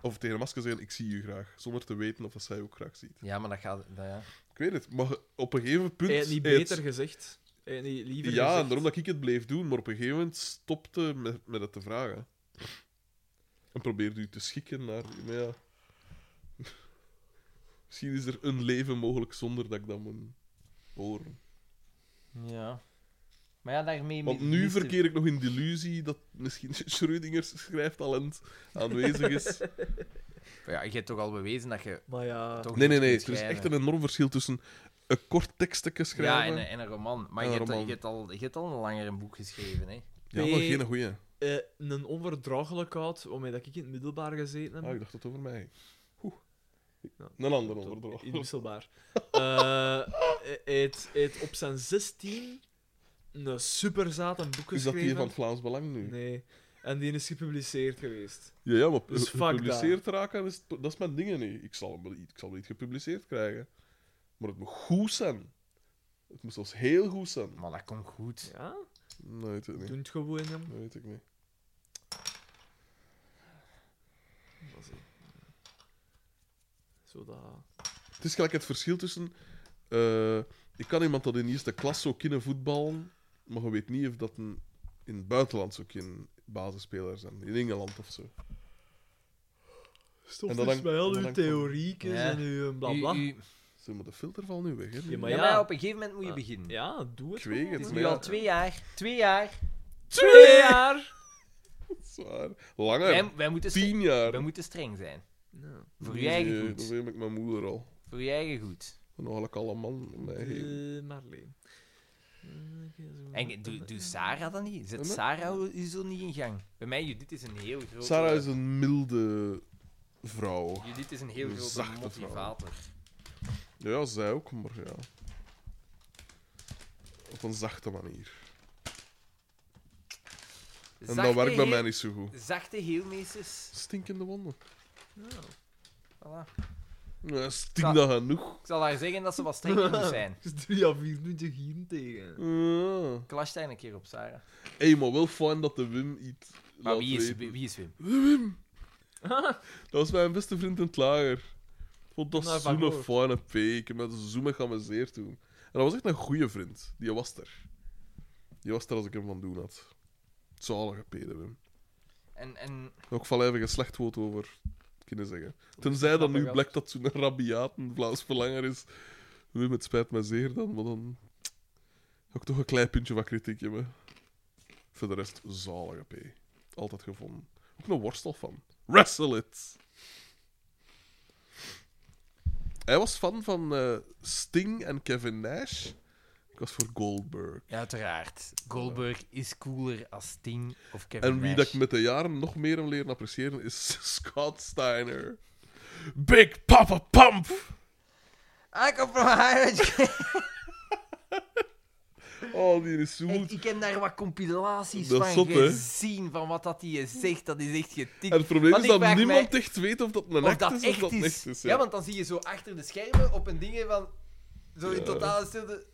Of tegen een masker zeggen, ik zie u graag. Zonder te weten of dat zij ook graag ziet. Ja, maar dat gaat... Dat, ja. Ik weet het, maar op een gegeven punt... Hij had niet hij het- beter gezegd. Hij had niet liever Ja, gezegd. en daarom dat ik het bleef doen. Maar op een gegeven moment stopte met, met het te vragen. En probeerde u te schikken naar... Maar ja... Misschien is er een leven mogelijk zonder dat ik dat moet horen. ja. Maar ja, daarmee... Want mis- nu mist de- verkeer ik nog in de illusie dat misschien *laughs* Schrödinger's schrijftalent aanwezig is. Ja, je hebt toch al bewezen dat je... Maar ja... Toch Nee, nee, goed nee. kunt Er is schrijven. echt een enorm verschil tussen een kort tekstje Ja, schrijven... en, een- en een roman. Maar En je, een hebt, al- roman. je, hebt al, je hebt al een langer een boek geschreven, hè. Ja, maar geen goeie. eh, een onverdraaglijkheid waarmee dat ik in het middelbaar gezeten heb. Ah, ik dacht dat het over mij ging. Oeh. Een ander onderdroog. Inwisselbaar. Eh, hij heeft- hij heeft op zijn 16 een super zate boek Is dat geschreven. die van het Vlaams Belang nu? Nee. En die is gepubliceerd geweest. Ja, ja, maar Dus dus fuck dat. gepubliceerd raken, is, het- dat is mijn ding nu. Ik zal, hem wel, ik zal hem niet gepubliceerd krijgen. Maar het moet goed zijn. Het moet zelfs heel goed zijn. Maar dat komt goed. Ja? Nee, weet ik niet. Doe het gewoon, jam. Dat weet ik niet. Zo dat... Het is gelijk het verschil tussen... eh, ik kan iemand dat in eerste klas zou kunnen voetballen, maar je weet niet of dat een, in het buitenland zou kunnen basisspeler zijn. In Engeland of zo. Stof En dat is hangt- mij al dat uw hangt van- theoriekjes Ja. en uw blabla. U- u- Zo, maar de filter valt nu weg, hè. Ja, maar ja, ja. maar op een gegeven moment moet je Ah. beginnen. Ja, doe het. Ik weet gewoon. het, Het is maar nu ja. al twee jaar. Twee jaar. Twee jaar! Zwaar. Langer. Wij, Tien wij, moeten, streng, jaar. wij moeten streng zijn. Ja. Voor je eigen Nee, goed. Dat weet ik mijn moeder al. Voor je eigen goed. Dan haal ik alle man in mij heen. De Marleen. Eh, En doe, *laughs* doe Sarah dan niet. Zet Wat? Sarah u zo niet in gang. Bij mij, Judith is een heel grote... Sarah is een milde vrouw. Judith is een heel een grote zachte vrouw. motivator. Ja, ja, zij ook, maar ja. Op een zachte manier. En dat werkt bij mij niet zo goed. Zachte heelmeesters. Stinkende wonden. Voilà. Ja, stinkt dat genoeg. Ik zal haar zeggen dat ze wat strenger moet zijn. Het is 3 à 24 hier tegen. Ja. Clash daar een keer op, Sarah. Hé, maar wel fijn dat de Wim iets Maar laat wie is, weten. wie wie is Wim? Dat was mijn beste vriend in het lager. Ik vond dat Nou, van zo'n gehoord. fijne peek. Ik heb met zo'n mee geamuseerd toen. En dat was echt een goede vriend. Die was er. Die was er als ik hem van doen had. Zalige pede, Wim. En, en Nog van even een slecht woord over kunnen zeggen. Tenzij dan nu blijkt dat zo'n rabiaat een Vlaams verlanger is. Wim, het spijt me zeer dan, maar dan... Ook toch een klein puntje van kritiek hebben. Voor de rest, zalige P. Altijd gevonden. Ook een worstel van. Wrestle it! Hij was fan van eh, Sting en Kevin Nash. Ik was voor Goldberg. Ja, uiteraard. Goldberg is cooler als Sting of Kevin En wie dat Nash. ik met de jaren nog meer heb leren appreciëren is *laughs* Scott Steiner. Big Papa Pump! I come from Ireland. Oh, die is zo Ik, goed. ik heb daar wat compilaties Dat van is zot, hè? gezien, van wat dat hij zegt. Dat is echt getikt. En het probleem Want is ik dat vraag mij niemand echt weet of dat een Of act dat is echt of dat is. niet echt is. ja. Ja. want dan zie je zo achter de schermen op een ding van... Zo Ja. in totale stilte...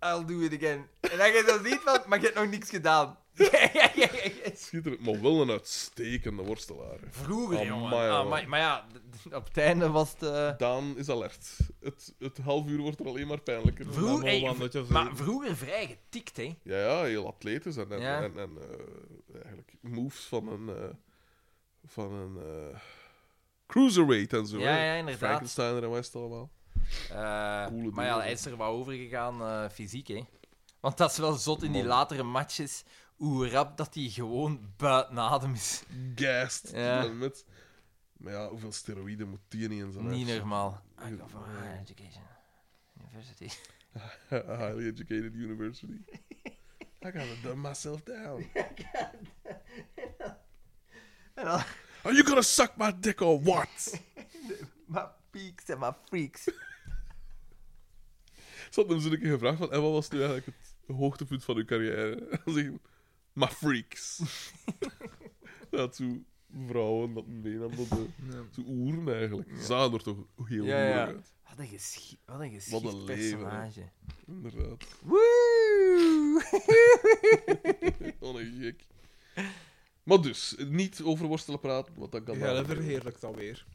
I'll do it again. En dan je dat niet van... Maar je hebt nog niks gedaan. *laughs* Schitterend, maar wel een uitstekende worstelaar. hè. Vroeger, Amai, jongen. jongen. Ah, maar, maar ja, d- d- op het einde was het... eh, Daan is alert. Het, het half uur wordt er alleen maar pijnlijker. Vroeger, wel hey, wat dat je maar zegt. vroeger vrij getikt, hè. Ja, ja, heel atletisch. En, en, Ja. en, en, eh, eigenlijk moves van een... eh, van een... eh, cruiserweight en zo. Ja, hè. ja, inderdaad. Frankensteiner en West allemaal. Eh, Coole maar ja, doel, hij is er wat overgegaan eh, fysiek, hè. Want dat is wel zot in die Man. latere matches, hoe rap dat hij gewoon buiten adem is. gast. Ja. Ja. Met... Maar ja, hoeveel steroïden moet die niet in zijn Niet lijf? normaal. Ja. I come from eh, higher education. University. *laughs* Highly Ah, educated university. I gotta dumb myself down. *laughs* En dan, Are you gonna suck my dick or what? my peaks en my freaks. Ze had hem zo'n keer gevraagd van, en wat was nu eigenlijk het hoogtepunt van uw carrière? *laughs* En zeggen, my freaks. *laughs* ja, zo vrouwen dat meenam dat de zo oeren eigenlijk. Zagen er toch heel Ja, ja. moeilijk uit. Wat een, geschi wat een geschikt Wat een leven, hè. personage. Inderdaad. *laughs* Woe! Wat een gek. Maar dus, niet over worstelen praten, want dat kan Ja, daar dat niet. verheerlijkt dat weer.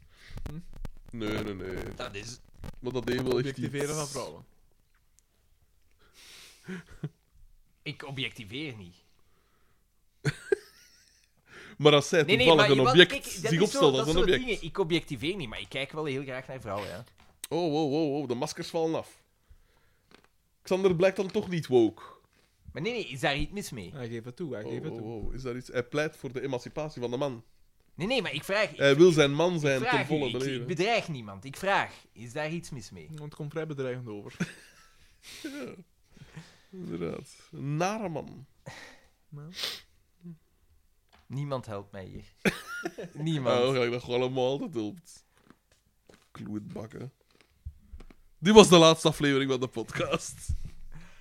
Nee, nee, nee. *laughs* dat is... Maar dat deed wel echt Objectiveren iets. van vrouwen. Ik objectiveer niet. Maar als zij Nee, nee, toevallig maar een jawel, object kijk, dat zich is zo, opstelt dat als een soort object. dingen. Ik objectiveer niet, maar ik kijk wel heel graag naar vrouwen, ja. Oh, wow, wow, wow, de maskers vallen af. Xander blijkt dan toch niet woke. Maar nee, nee, is daar iets mis mee? Hij geeft het toe, hij Oh, geeft het wow, toe. wow, is daar iets? Hij pleit voor de emancipatie van de man. Nee, nee, maar ik vraag... Ik, Hij wil zijn man ik zijn ten vraag u, volle ik, ik beleven. bedreig niemand. Ik vraag, is daar iets mis mee? Want het komt vrij bedreigend over. Inderdaad. Een nare man. Niemand helpt mij hier. Maar niemand. *laughs* Ah, oh, eigenlijk dat gewoon allemaal altijd helpt. klootbakken. Dit was de laatste aflevering van de podcast.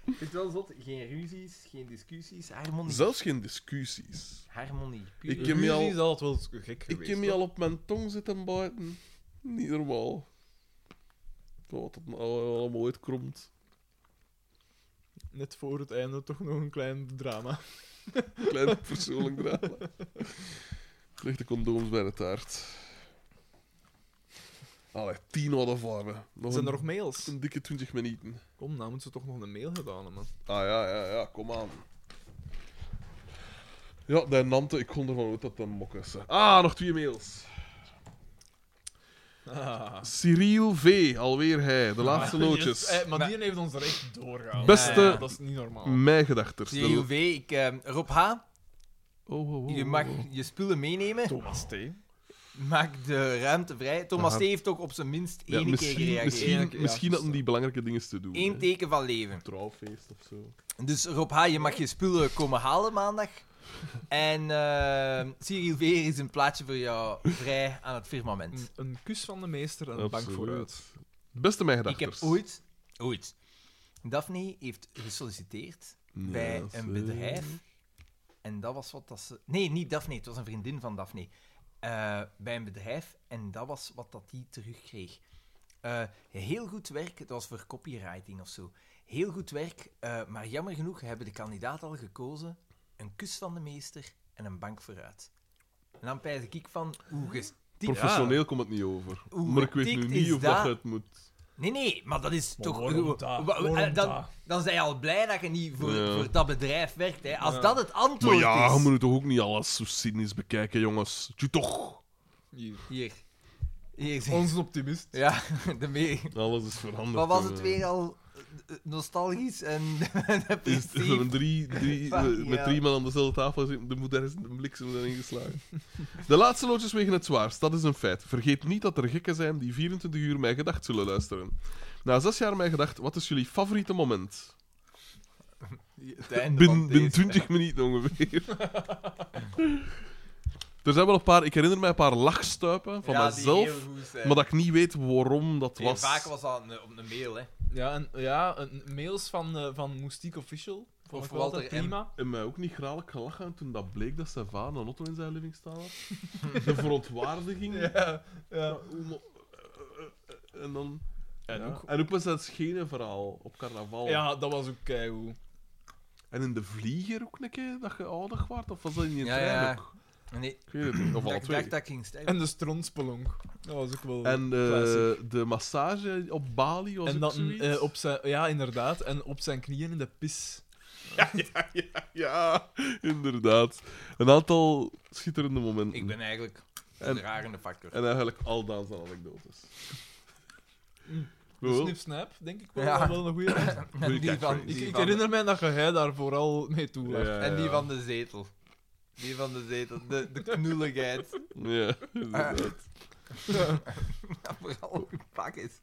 Vind het wel zot? Geen ruzies, geen discussies, harmonie. Zelfs geen discussies. Harmonie. puur. Ik heb me Ruzie al, is altijd wel gek ik geweest. heb me hoor. al op mijn tong zitten buiten. Niet normaal. Wat dat nou allemaal uitkromt. Net voor het einde toch nog een klein drama. Klein *laughs* persoonlijk drama. Ik Leg de condooms bij de taart. Allee, tien hadden varen. Nog Zijn een, er nog mails? een dikke 20 minuten. Kom, nou moeten ze toch nog een mail gedaan hebben. Ah ja, ja, ja, kom aan. Ja, de Nante, ik kon ervan uit dat de mokken ze. Ah, nog twee mails. Ah. Cyril V, alweer hij, de laatste loodjes. Yes. Eh, maar die heeft ons er echt doorgehaald. Beste- Ja, dat is niet normaal. Mijn gedachters. De- CUV, ik, eh, Rob H., Oh, oh, oh, je oh, mag oh. je spullen meenemen. Thomas T. Maak de ruimte vrij. Thomas Aha. T. heeft ook op zijn minst Ja, één keer misschien gereageerd. misschien, Ja, misschien ja, hadden die belangrijke dingen te doen. Eén hè. teken van leven. trouwfeest of zo. Dus Rob H., je mag je spullen komen halen maandag. En eh Cyril V. er is een plaatsje voor jou vrij aan het Een, firmament. een kus van de meester en een bank Absoluut. vooruit. Beste mijn Ik heb gedachters. ooit... Ooit. Daphne heeft gesolliciteerd Ja, bij zo. een bedrijf. En dat was wat dat ze... Nee, niet Daphne. Het was een vriendin van Daphne. Eh, bij een bedrijf. En dat was wat dat die terugkreeg. Eh, heel goed werk. Het was voor copywriting of zo. Heel goed werk. eh, maar jammer genoeg hebben de kandidaat al gekozen. Een kus van de meester en een bank vooruit. En dan pijs ik van... Hoe ges- Professioneel komt het niet over. Hoe maar ik weet nu getikt niet is of dat dat? je het moet. Nee, nee, maar dat is toch... waarom gewoon- dat? wa- eh, Waarom dan, dat? dan ben je al blij dat je niet voor, Ja. voor dat bedrijf werkt. Hè. Als Ja. dat het Maar antwoord ja, is... je moet toch ook niet alles zo cynisch bekijken, jongens. Je toch. Hier. Hier. Hier zeg- Onze optimist. Ja, *laughs* de me- Alles is veranderd. Wat was het jongen. weer al? eh, nostalgisch en *laughs* Is het- we *laughs* hebben depressief. drie, *laughs* drie, Fuck, we- met ja. drie man aan dezelfde tafel zitten, er moet ergens een bliksem zijn ingeslagen. De laatste loodjes wegen het zwaarst, dat is een feit. Vergeet niet dat er gekken zijn die 24 uur mijn gedacht zullen luisteren. Na zes jaar mijn gedacht, wat is jullie favoriete moment? Het einde Binnen van deze. binnen 20 minuten ongeveer. *laughs* *laughs* er zijn wel een paar, ik herinner mij een paar lachstuipen van Ja, die heel mezelf, goed zijn. maar dat ik niet weet waarom dat Nee, was. Vaak was dat een- op een mail, hè. Ja, en, ja een, mails van, eh, van Moustique Official. Vond Of ik wel altijd Walter M. prima. En mij ook niet graag gelachen toen dat bleek dat zijn vader een auto in zijn living staan had. De *laughs* verontwaardiging. Ja, Ja, ja. hoe mo- eh, eh, eh, En dan. En, Ja. ook, en ook was dat schenenverhaal op carnaval. ja, dat was ook keigoed. En in de vlieger ook een keer dat je ouder werd, of was dat in je Ja, trein ja. ook? Nee, Ik weet het niet, of alle dat ik twee. dacht dat ik ging sterven. En de stronspelonk. Dat was ook wel... En eh, Classic. de massage op Bali was en ook dan zoiets. eh, op zijn... Ja, inderdaad. En op zijn knieën in de pis. Ja, *laughs* inderdaad. Een aantal schitterende momenten. Ik ben eigenlijk En- een rarende factor. En eigenlijk al Daans aan anekdotes. De dus. Mm. Wel, snip-snap, denk ik wel. Ja. wel een goeie ik, En *laughs* die van, catchphrase. *laughs* die ik van- herinner mij dat je hij daar vooral mee toe was. ja, en die ja. van de zetel. Die van de zetel. De, de knoeligheid. Ja, Ah. inderdaad. *laughs* Dat vooral gepakt is.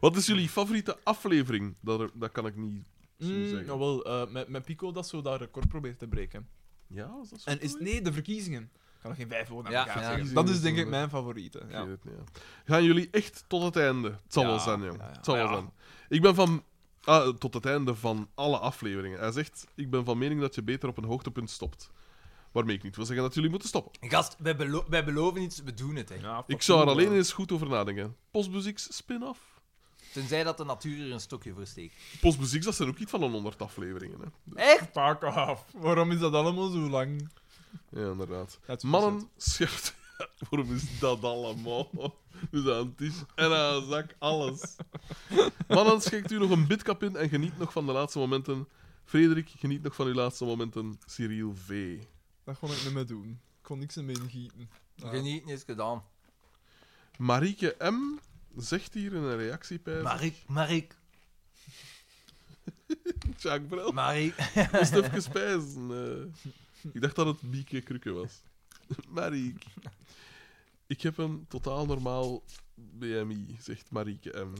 Wat is jullie favoriete aflevering? Dat, dat kan ik niet zo Mm, zeggen. nou wel, eh, met, met Pico dat zo dat record probeert te breken. Ja, was dat zo En is, goed? nee, de verkiezingen. Ik kan nog geen vijf woorden aan Ja, elkaar ja. zeggen. Verkiezingen Dat is is denk zo, ik hè. mijn favoriete. Ik Ja. weet het niet, ja. Gaan jullie echt tot het einde? Het zal wel Ja, zijn, jong. ja, ja. Het zal wel zijn. Ik ben van... ah, tot het einde van alle afleveringen. Hij zegt, ik ben van mening dat je beter op een hoogtepunt stopt. Waarmee ik niet wil zeggen dat jullie moeten stoppen. Gast, wij, belo- wij beloven iets, we doen het, hè. Ik zou er alleen eens goed over nadenken. Postmuzieks spin-off? Tenzij dat de natuur er een stokje voor steekt. Postmuzieks, dat zijn ook iets van een honderd afleveringen. Hè. Echt? Pak af. Waarom is dat allemaal zo lang? Ja, inderdaad. Dat is Mannen, scherpt. *laughs* Waarom is dat allemaal? Dus aan een tisch en aan een zak, alles. Mannen, schenkt u nog een bidkap in en geniet nog van de laatste momenten. Frederik, geniet nog van uw laatste momenten. Cyril V. Dat kon ik niet meer doen. Ik kon niks meer ingieten. Ja. Genieten is gedaan. Marieke M. zegt hier in een reactie bij Marik, Marik, Jacques Brel. *laughs* Marik. Moest even spijzen. eh. ik dacht dat het Bieke Krukke was. Marieke. Ik heb een totaal normaal BMI, zegt Marieke M.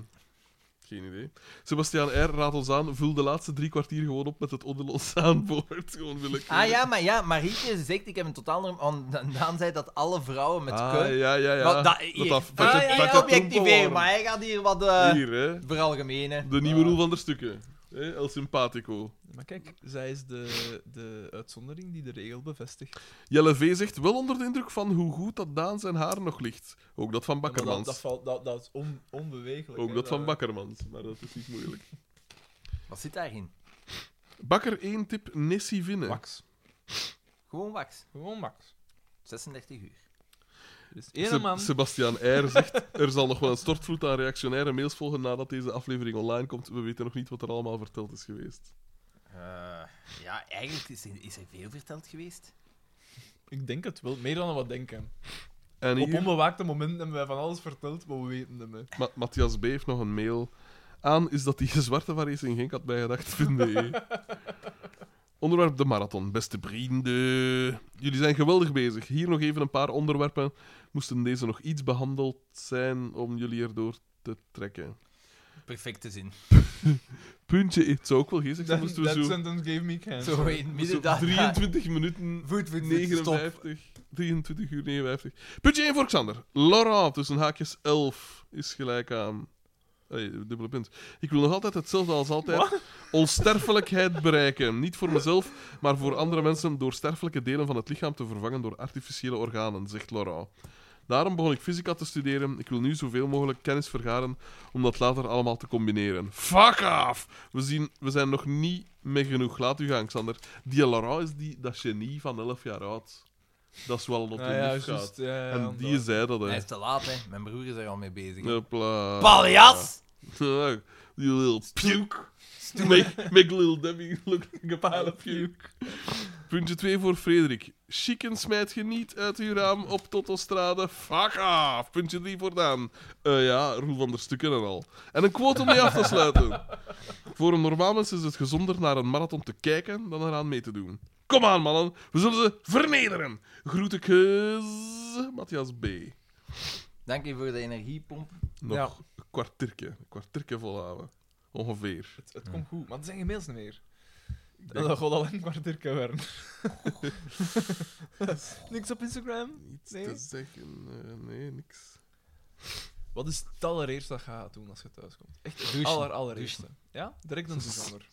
Geen idee. Sebastiaan R. raadt ons aan, vul de laatste drie kwartier gewoon op met het onder ons aanboord. Gewoon willekeurig. Ah ja, maar ja, Marietje zegt, ik heb een totaal andere... want Da- Daan zei dat alle vrouwen met Ah, keu... ja, ja, ja. Wat, dat, hier, dat ah, vette- ja, ja, vette objectiveer, troepen maar hij gaat hier wat waren. eh Hier, hè. veralgemenen. De nieuwe rol van der stukken. hè, El Simpatico. Maar kijk, zij is de, de uitzondering die de regel bevestigt. Jelle V. zegt, wel onder de indruk van hoe goed dat Daan zijn haar nog ligt. Ook dat van Ja, maar Bakkermans. dat, dat, valt, dat, dat is on, onbewegelijk. Ook hè, dat van Bakkermans, maar dat is niet *laughs* moeilijk. Wat zit daarin? Bakker 1 tip, Nessie Vinnen. Wax. Gewoon wax. Gewoon wax. 36 uur. Er is één Seb- man... Sebastiaan *laughs* R. zegt, er zal nog wel een stortvloed aan reactionaire mails volgen nadat deze aflevering online komt. We weten nog niet wat er allemaal verteld is geweest. Eh, ja, eigenlijk is er, is er veel verteld geweest. Ik denk het wel, meer dan we denken. En Op hier, onbewaakte momenten hebben wij van alles verteld, maar we weten het niet. Ma- Matthias B. heeft nog een mail aan, is dat hij de zwarte waar eens in Genk had bijgedacht, *laughs* vinden. hè. Onderwerp de marathon. Beste vrienden, jullie zijn geweldig bezig. Hier nog even een paar onderwerpen. Moesten deze nog iets behandeld zijn om jullie erdoor te trekken? Perfecte zin. Puntje, het zou ook wel geestig zijn, moesten we That zo... sentence gave me cancer. Zo in het Zo midden daar. 23 minuten *laughs* Voet, voet, voet, stop. 59. 23 uur 59. Puntje 1 voor Xander. Laurent tussen haakjes 11 is gelijk aan. Hey, dubbele punt. Ik wil nog altijd hetzelfde als altijd. Onsterfelijkheid bereiken. Niet voor mezelf, maar voor andere mensen door sterfelijke delen van het lichaam te vervangen door artificiële organen, zegt Laurent. Daarom begon ik fysica te studeren. Ik wil nu zoveel mogelijk kennis vergaren om dat later allemaal te combineren. Fuck off! We, zien, we zijn nog niet mee genoeg. Laat u gaan, Xander. Die Laurent is die, dat genie van 11 jaar oud. Dat is wel een op de Ah, ja, lief gaat. juist. Ja, ja, En inderdaad. die zei dat, Hij hè. is te laat, hè. Mijn broer is er al mee bezig. Hopla. *laughs* Paljas! You little puke. Make, make little Debbie look like a pile of puke. Puntje 2 voor Frederik. Chicken smijt je niet uit uw raam op Totostrade. Fuck off. Puntje 3 voor Daan. Eh, ja, Roel van der Stukken en al. En een quote om die af te sluiten. Voor een normaal mens is het gezonder naar een marathon te kijken dan eraan mee te doen. Kom aan, mannen. We zullen ze vernederen. Groeten, kus. Matthias B. Dank je voor de energiepomp. Nog Ja. een kwartiertje. Een kwartiertje volhouden. Ongeveer. Het, het komt goed, maar er zijn geen mails niet meer. Dat gaat al een kwartier *laughs* worden. Niks op Instagram? Niets Nee? te zeggen. eh, nee, niks. Wat is het allereerste dat je gaat doen als je thuis komt? Echt het Douchen. aller, allereerste. Ja? Direct een Susander.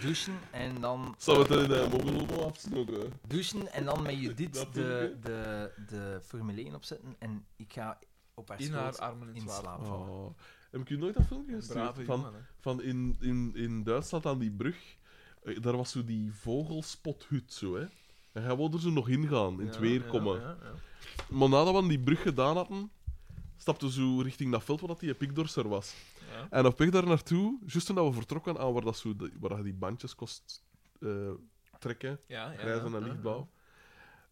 Douchen en dan... Zou het in de mobiel afsnoeken? Douchen en dan met je dit Dat de, doe de, de Formule 1 opzetten. En ik ga op haar In haar schoot armen in in het water. slaap vallen. Oh. Heb ik u nooit dat filmpje Brave gestuurd? Van, jongen, hè. van in, in, in Duitsland aan die brug. eh, Daar was zo die vogelspodhut zo, hè. En hij wilde er zo nog ingaan, in het Ja, weer ja, komen. ja, ja. Maar nadat we aan die brug gedaan hadden, stapten we zo richting dat veld waar dat die pikdorser was. Ja. En op weg daar naartoe, juist toen dat we vertrokken aan waar, dat zo, de- waar je die bandjes kost eh, trekken, Ja, ja, grijs ja, en ja, lichtblauw.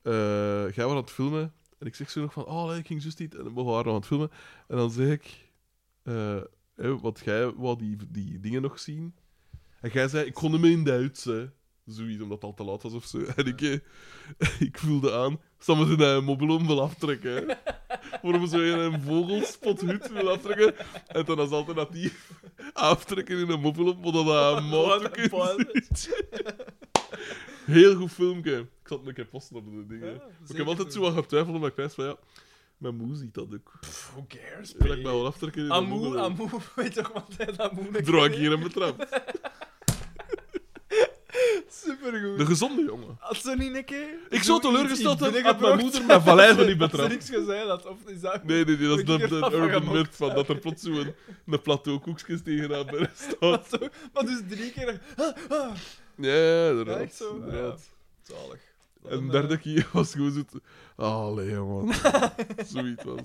Eh jij was aan het filmen en ik zeg zo nog van, oh nee, ik ging juist niet. En dan mogen we haar nog aan het filmen. En dan zeg ik, eh, hè, wat jij wou die, die dingen nog zien. En jij zei, ik kon hem in Duits, hè. Zoiets, omdat het al te laat was of zo. En ik, eh, *laughs* ik voelde aan, staan we zijn mobiel wil aftrekken. *laughs* hè. Waarom zou je een vogelspothoed wil aftrekken? En dan als alternatief *laughs* aftrekken in een mobiel, omdat dat een Wat een motorkist puil. Heel goed filmpje. Ik zal het een keer posten op de dingen. Ja, Maar ik heb zeker altijd zo doen. aan getwijfeld, omdat ik wist van ja, mijn moe ziet dat ook. Pff, Who cares? Dat ik mij wel aftrekken in de Amoe, moeder. Amoe, *laughs* weet toch wat hij dat moeilijk Draai ik hier een betrapt. Supergoed. De gezonde jongen. Had ze niet een keer... Ik zou Zo teleurgesteld iets- iets zijn dat mijn binnengebracht? moeder mijn vallei van niet *laughs* Had ze betrapt. niks gezegd had, of is dat... Nee, nee, nee, dat is Moet de, ik de hier af urban gaan myth van dat er plots zo'n een plateau koekjes tegenaan bij staat. Zo, maar dus drie keer... Ah, ah. Ja, Ja, inderdaad. echt zo. inderdaad. Ja. eh, Zalig. En de derde keer was gewoon zo... te- Allee, *laughs* man. Zoiets was.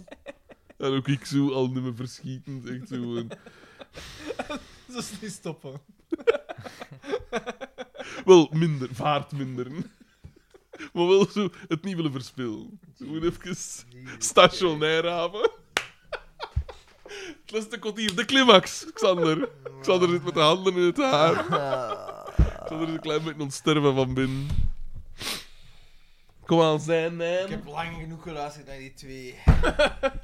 En ook ik zo al niet meer verschietend. Echt zo gewoon... eh, Ze is niet stoppen. Wel, minder. Vaart minder. *laughs* Maar wel zo het niet willen verspillen. Zo gewoon even stationair hebben. *laughs* Het laatste kwartier, de climax, Xander. Xander zit met de handen in het Ah. haar. Xander is een klein beetje ontsterven van binnen. Kom aan, zijn, Ik mijn. heb lang genoeg geluisterd naar die twee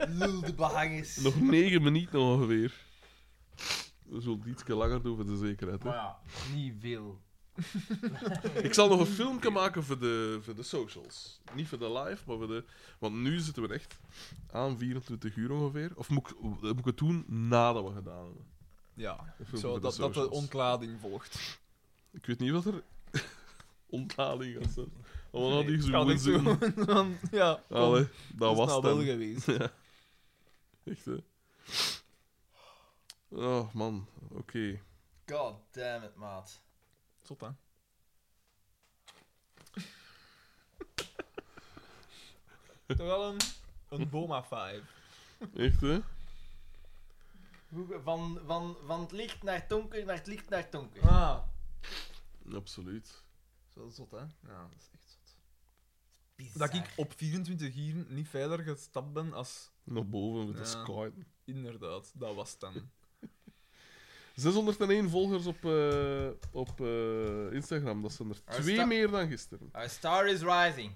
lulde behangers. Nog negen minuten ongeveer. We zullen iets langer doen voor de zekerheid. Hè? Maar ja, niet veel. Ik zal nog een filmpje maken voor de, voor de socials. Niet voor de live, maar voor de... Want nu zitten we echt aan 24 uur ongeveer. Of moet ik, moet ik het doen nadat we gedaan hebben? Ja, Een filmpje zo, voor dat, dat de socials. ontlading volgt. *laughs* Ik weet niet wat er... *laughs* Ontlading gaat zijn. Allemaal Nee, die ik kan gezoomd niet zitten. zoomen, want ja, kom, *laughs* Allee, dat is was nou het wel dan. geweest. Echt, hè. Oh, man. Oké. God damn it, maat. Zot, *laughs* hè? Toch wel een, een Boma 5. Echt, hè. Hoe- Van, van, van het licht naar het donker, naar het licht naar het donker. Ah, Absoluut. zo zot, hè? Ja, dat is echt zot. Bizar. Dat ik op 24 uur niet verder gestapt ben als... Nog boven met de Ja. sky. Inderdaad, dat was het dan. *laughs* 601 volgers op, eh, op eh, Instagram. Dat zijn er Ah, is twee dat- meer dan gisteren. Our star is rising.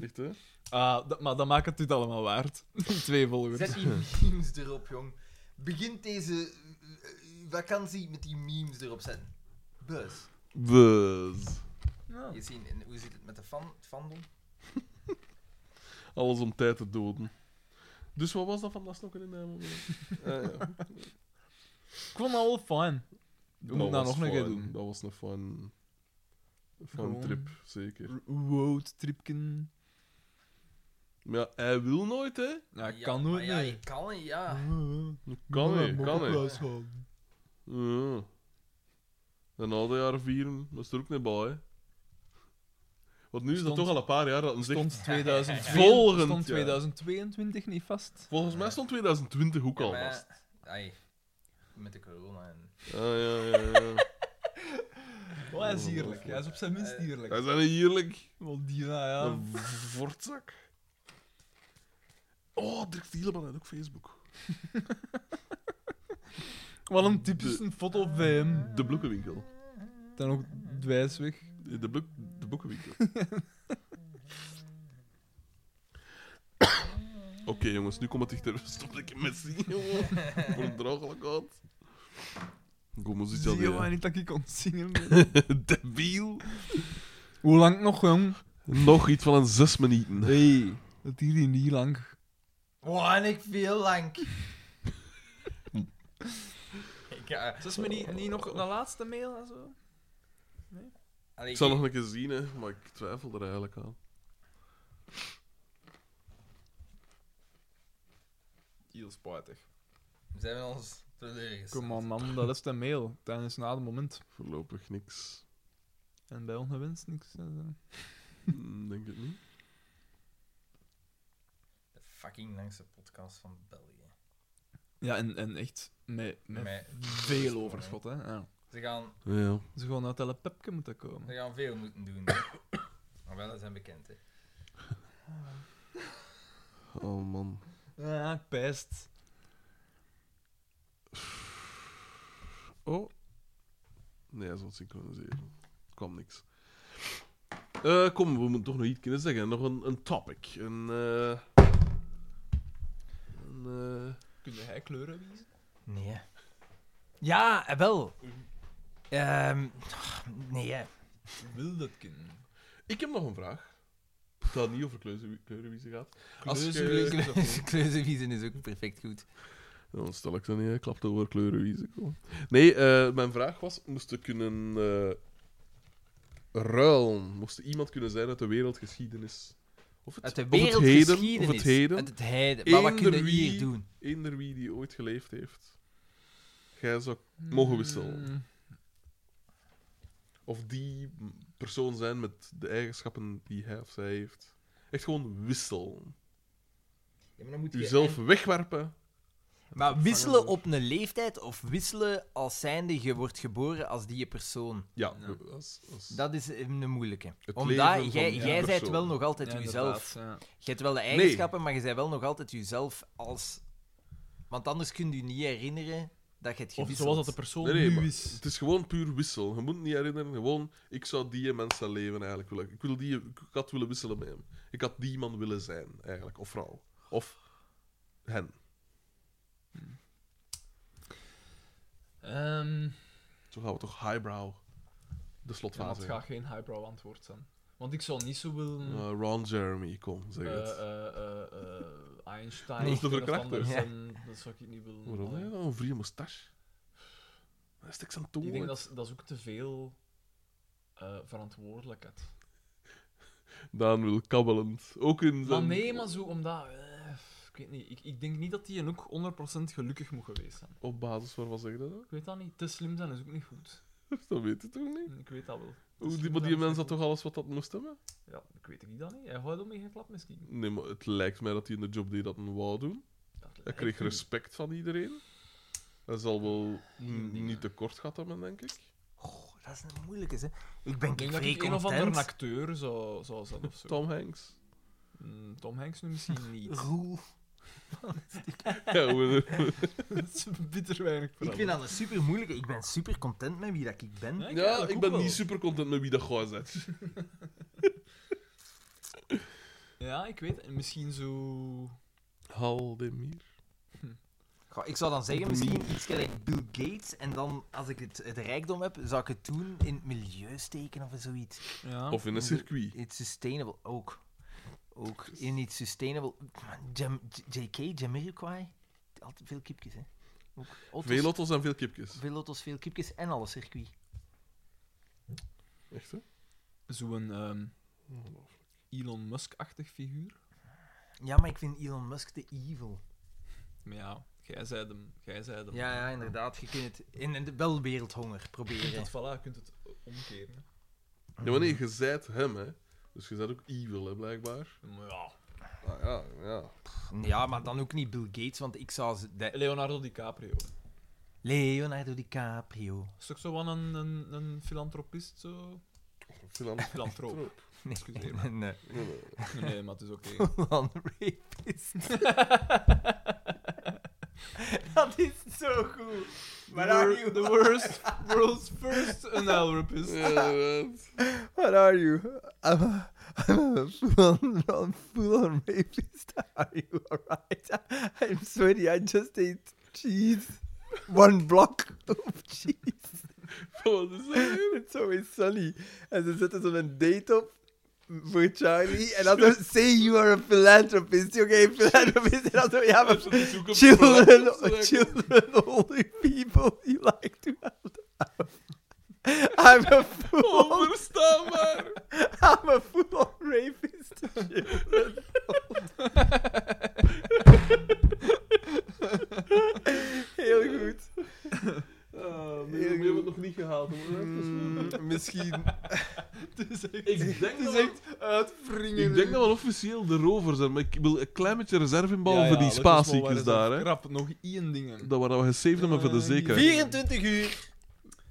Echt, hè. Ah, dat, maar dat maakt het dit allemaal waard. *laughs* Twee volgers. Zet die memes erop, jong. Begint deze eh, eh, vakantie met die memes erop zetten. Bus. Buzz. Oh. Je ziet, en hoe zit het met de fan, het fandom? Alles om tijd te doden. Dus wat was dat van dat snokken in de hemel? Ah, *laughs* ja. Ik vond dat wel fijn. moeten dat was nog een keer fijn. doen. Dat was een fun, fun Gewoon- trip, zeker. Roadtripken. Maar ja, hij wil nooit, hè? Ja, ik Ah. kan nooit maar Ja, meer. je kan niet, ja. Kan Ja, hij, mag kan ook wel hij. eens gaan. Ja. En na de jaren vieren was er ook niet bij, hè? Want nu is dat Stond- toch al een paar jaar dat een zegt... Stond 2002 Volgend jaar. stond 2022 niet vast. Volgens mij stond 2020 ook al Ja, maar- vast. ai, met de corona en... Ah, ja, ja, ja. Oh, hij is dierlijk. Hij is op zijn minst dierlijk. Hij is een heerlijk... Wel diera, ja. Een vortzak. Oh, Dirk Dieleman had ook Facebook. Wat een typisch een foto van hem. De bloekenwinkel. Dan ook dwijs weg. De, boek, de boekenwinkel. *coughs* Oké jongens, nu komt het dichter. Stop ik met zien, *laughs* jongen. Voor een draaglijk uit. Kom ons iets Zie je maar aan niet dat ik kon zingen. *laughs* Debiel. Hoe lang nog, jong? Nog iets van een zes minuten. Nee. Dat hier niet niet lang. Oh, en ik veel lang. ik, eh, Is me niet, niet nog de laatste mail en zo? allee, Ik zal nog een keer zien, hè, maar ik twijfel er eigenlijk aan. Heel spijtig. Zijn we ons teleurgesteld? Kom on, man, dat is de mail. Tijdens na het moment. Voorlopig niks. En bij ongewenst niks. eh, zo. Hmm, Denk ik niet. De fucking langste podcast van België. Ja, en, en echt met, met Met- veel overschot, hè. Ja. Ze gaan, Ja. Ze gewoon uit dat pepke moeten komen. ze gaan veel moeten doen. hè. *coughs* Maar wel zijn bekend, hè. Oh man. Ja, pest. Oh. Nee, hij zal het synchroniseren. Kwam niks. Eh, kom, we moeten toch nog iets kunnen zeggen. Nog een, een topic. Een, eh, een, eh, Kun jij kleuren wiezen? Nee. Ja, eh, wel. Ehm nee, hè. Wil dat kunnen? Ik heb nog een vraag. Dat niet over kleuze- kleurenwiezen gaat. Als je- *laughs* Kleuzenviezen is ook perfect goed. *laughs* Ja, Dan stel ik dan niet, hè. ik klapte over kleurenwiezen. Kom. Nee, eh, mijn vraag was, moest je kunnen eh, ruilen? Moest er iemand kunnen zijn uit de wereldgeschiedenis? Of het, Uit de of het heden, wereldgeschiedenis. Of het heden. Uit het heden. Maar wat Eender kunnen we hier wie- doen? eender wie die ooit geleefd heeft. Jij zou mogen wisselen. Hmm. Of die persoon zijn met de eigenschappen die hij of zij heeft. Echt gewoon wisselen. Ja, maar dan moet je- Uzelf wegwerpen. Maar wisselen op een leeftijd of wisselen als zijnde je wordt geboren als die persoon. Ja, als, als... Dat is een moeilijke. Het leven van Omdat jij, die jij bent persoon. wel nog altijd Ja, jezelf. inderdaad, ja. Je hebt wel de eigenschappen, maar je bent wel nog altijd jezelf als... Want anders kun je je niet herinneren dat je het Of gewisseld. zoals dat de persoon Nee, nee, maar- nu is. Het is gewoon puur wissel. Je moet niet herinneren, gewoon, ik zou die mensen leven eigenlijk willen. Ik, wil die, ik had willen wisselen met hem. Ik had die man willen zijn, eigenlijk. Of vrouw. Of hen. Ehm, Zo gaan we toch highbrow de ja, maar slotfase. het gaat geen highbrow antwoord zijn. Want ik zou niet zo willen... in. Eh, Ron Jeremy, kom, zeg Mm. eh, het. eh, eh, eh, Einstein... Dat is de of een of verkrachter. ander Ja. zijn- Dat zou ik niet willen. Waarom heb mm, Allee. je dan een vrije moustache? Dat is niks aan toe. Ik denk dat is, dat is ook te veel eh, verantwoordelijkheid. Daan wil kabbelend. Ook in Maar zijn... nee, maar zo omdat. eh, ik weet niet. Ik, ik denk niet dat die een ook 100% gelukkig moet geweest zijn. Op basis waarvan zeg je dat? Ik weet dat niet. Te slim zijn is ook niet goed. *laughs* Dat weet je toch niet? Ik weet Mm, dus dat wel. Hoe, die, Slim maar die zijn mens is had niet toch alles wat dat moest hebben? goed. Ja, ik weet ik dat niet. Hij houdt om geen klap misschien. Nee, maar het lijkt mij dat hij in de job deed dat een wou doen. Dat Hij lijkt kreeg me. respect van iedereen. Hij zal wel mm, Ah, dingen. niet tekort gehad hebben, denk ik. Goh, Oh, dat is een moeilijke, hè. Ik ben Ik denk dat vrij ik een of andere content. acteur zou, zou zijn of zo. Tom *laughs* Hanks. Mm, Tom Hanks nu misschien niet. *laughs* *laughs* Roel. Ja, we- dat is bitter weinig Ik vind dat een super moeilijke. Ik ben super content met wie dat ik ben. Nee, ja, ook ik ben wel. niet super content met wie dat gaat zet. *laughs* Ja, ik weet. Misschien zo. Haldemir. Goh, ik zou dan zeggen, misschien iets gelijk Bill Gates. En dan, als ik het, het rijkdom heb, zou ik het doen in het milieu steken of in zoiets. Ja. Of in een circuit. It's sustainable ook. Ook in iets sustainable. Jam, J- JK, Jamiroquai. Altijd veel kipjes, hè. Ook auto's, Veel auto's en veel kipjes. veel auto's, veel kipjes en alles circuit. Echt, hè? Zo'n ehm, Elon Musk-achtig figuur. Ja, maar ik vind Elon Musk te evil. Maar ja, jij zei hem. Jij zei hem. Ja, ja, inderdaad. Je kunt het in, in de wel wereldhonger Je kunt proberen. het, voilà, je kunt het omkeren. hè. Ja, maar nee, je zijt hem, hè. Dus je zijt ook evil, hè, blijkbaar. Maar ja, Ah, ja, ja. Ja, maar dan ook niet Bill Gates, want ik zou... ze- de- Leonardo DiCaprio. Leonardo DiCaprio. Is ook zo van een, een, een filantropist, zo? Filan- *laughs* Filantroop. Nee, Excuseer me. nee, nee. Nee, nee. Nee, maar het is *laughs* oké. Van rapist. dat is zo goed. What are wor- the you? worst, world's first analropist. Ja, inderdaad. What are you? I'm a, I'm a full-on full rapist. *laughs* Are you alright? *laughs* I'm sweaty. I just ate cheese. One block of cheese. Wat is dat? It's always sunny. En ze zetten zo'n date op voor Charlie. En dan zo, say you are a philanthropist. Oké, philanthropist. En dan zo, ja, maar Ze zoeken children, verlaten, ze- children, older people you like to have. I'm a fool. Onverstaanbaar! I'm a fool rapist. Children. Heel goed. Ah, nee, we hebben het nog niet gehaald. hoor. Hmm. Mm, dus- misschien. *laughs* Ik denk dat we- Uitvringen. Ik denk dat we officieel de rover zijn, maar ik wil een klein beetje reserve inbouwen voor die spatie spatiekjes daar. Hè. Krap, nog één ding. Dat waren we gesaved hebben voor de zekerheid. 24 uur.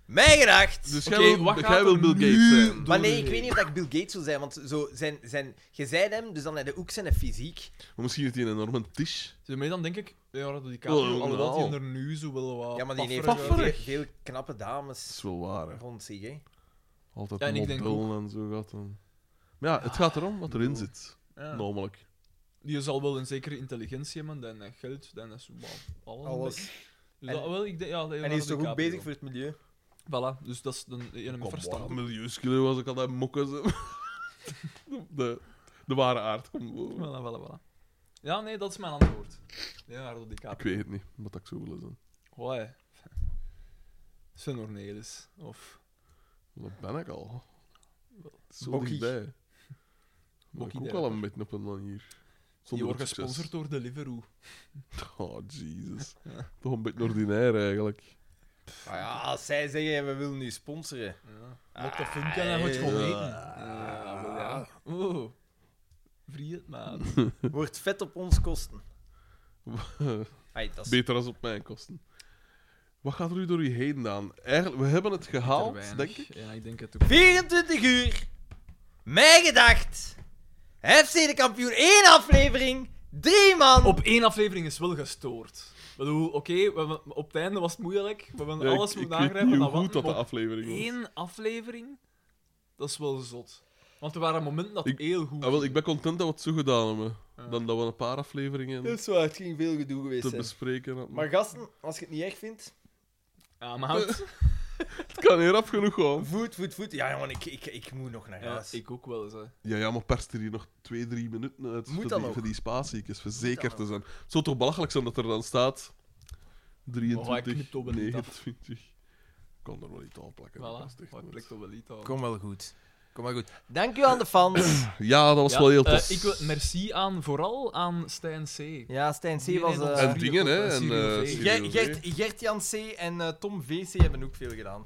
Mijn gedacht. Dus Oké, jij wil, wat jij gaat wil er Bill Gates nu zijn. door? Maar nee, ik weet niet of dat ik Bill Gates wil zijn, want zo zijn, zijn, je zei hem, dus dan heb je ook zijn fysiek. Maar misschien heeft hij een enorme tisch. Zie je, dan denk ik, Leonardo DiCaprio, Oh, alhoewel nou. die er nu zo wel wat Ja, maar die heeft pafferig- wel Pafferig. veel, veel knappe Dat dames is wel waar, hè. rond zich, hè. Altijd Ja, ja, en ik denk en zo gaat dan. Maar ja, het gaat erom wat erin zit, Ja. namelijk. Die zal wel een zekere intelligentie hebben, dan eh, geld, dan is wel alles. Alles. Dus dat En- wel, ik denk, ja, En die is toch ook bezig voor het milieu? Voilà, dus dat is de ene met Kom, verstand. milieuskilo was ik altijd mokken. zo. *laughs* De, de ware aard komt boven. Voilà, voilà, voilà. Ja, nee, dat is mijn antwoord. Leonardo Ik DiCaprio. weet het niet, wat ik zou willen zijn. Hoi. Sven Ornelis. Of... Dat ben ik al. Zo Bokkie. dichtbij. Maar ik Bokkie ook al een beetje op een manier. Die Zonder wordt het succes. gesponsord door Deliveroo. Oh, *laughs* Jesus. Toch een beetje ordinair eigenlijk. Ah ja, als zij zeggen, we willen nu sponsoren. Ja. Mocht dat filmpje en hij wordt gewoon eten. Ja, Ah. wel, ja. Oeh. Vriend, maat. Wordt vet op ons kosten. Ai, dat is... Beter als op mijn kosten. Wat gaat er nu door je heen, Daan? Eigenlijk, we hebben het gehaald, denk ik. Ja, ik denk het ook. 24 uur. Mijn gedacht. FC de kampioen, één aflevering. Drie, man! Op één aflevering is wel gestoord. Ik bedoel, oké, we hebben- op het einde was het moeilijk. We hebben Ja, ik- alles ik, moeten weet aangrijpen. niet maar hoe wat- goed dat de op aflevering was. één aflevering, dat is wel zot. Want er waren momenten dat het Ik- heel goed Ah, wel, ik ben content dat we het zo gedaan hebben. Dan dat we een paar afleveringen is waar, het ging veel gedoe te geweest bespreken hadden. Maar gasten, als je het niet erg vindt... Ja, *laughs* maar Het kan hier af genoeg gaan. Voet, voet, voet. Ja, jongen, ik, ik, ik moet nog naar ja, huis. ik ook wel eens. Hè. Ja, ja, maar pers er hier nog twee, drie minuten uit Moet voor dat die, ook? voor die spatiekjes, voor zeker dat te zijn. Het zou toch belachelijk zijn dat er dan staat Maar hij 23, knipt ook wel niet af. 29. Ik kan er wel niet aan plakken. dat is Voilà. echt Maar het nooit. blijkt toch wel niet al. Kom wel goed. Kom wel goed. Dank u aan de fans. *clears throat* Ja, dat was wel heel eh, tof. ik wil merci aan, vooral aan Stijn C. Ja, Stijn C. Nee, was... nee, eh, dat- en dingen, hè. En, Studio eh, V. Studio Ger- V. Gert- Gert-Jan C. en eh, Tom VC hebben ook veel gedaan.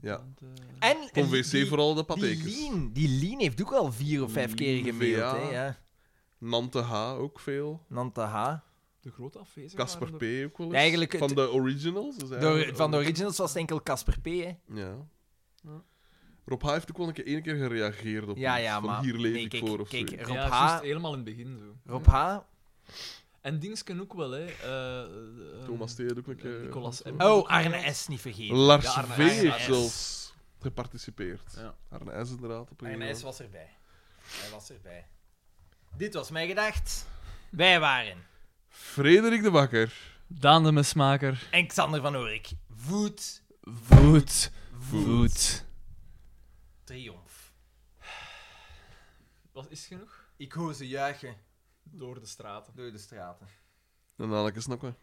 Ja. Want, eh, en Tom die- VC vooral de Die patekens. Lean, die Lean heeft ook al vier of vijf keer Lean, gemaild. VA. Hè, Mm, ja. Nante H ook veel. Nanta H. de grote afwezige. Casper waren er- P ook wel eens. Eigenlijk het- van de originals. Dus Door, eigenlijk- van de originals was het enkel Casper P. Hè. Ja. Rob H heeft ook wel een keer, één keer gereageerd op Ja, iets, ja, van maar... hier leef nee, ik kijk, voor of kijk, zo. Rob, Ja, H, juist helemaal in het begin zo. Rob H. En Dingsken ook wel, hè. eh, eh, Thomas T. had ook een eh, keer... Nicolas M. Oh, Arne S. niet vergeten. Lars Ja, Arne V IJs. heeft IJs. zelfs geparticipeerd. Ja. Arne S inderdaad. Op een En gegeven hij moment. was erbij. Hij was erbij. Dit was mijn gedacht. Wij waren. Frederik de Bakker. Daan de Mesmaker. En Xander van Oorik. Voet. Voet. Voet. Triomf. Wat is genoeg? Ik hoor ze juichen Door de straten. door de straten. En Anneke Snakken.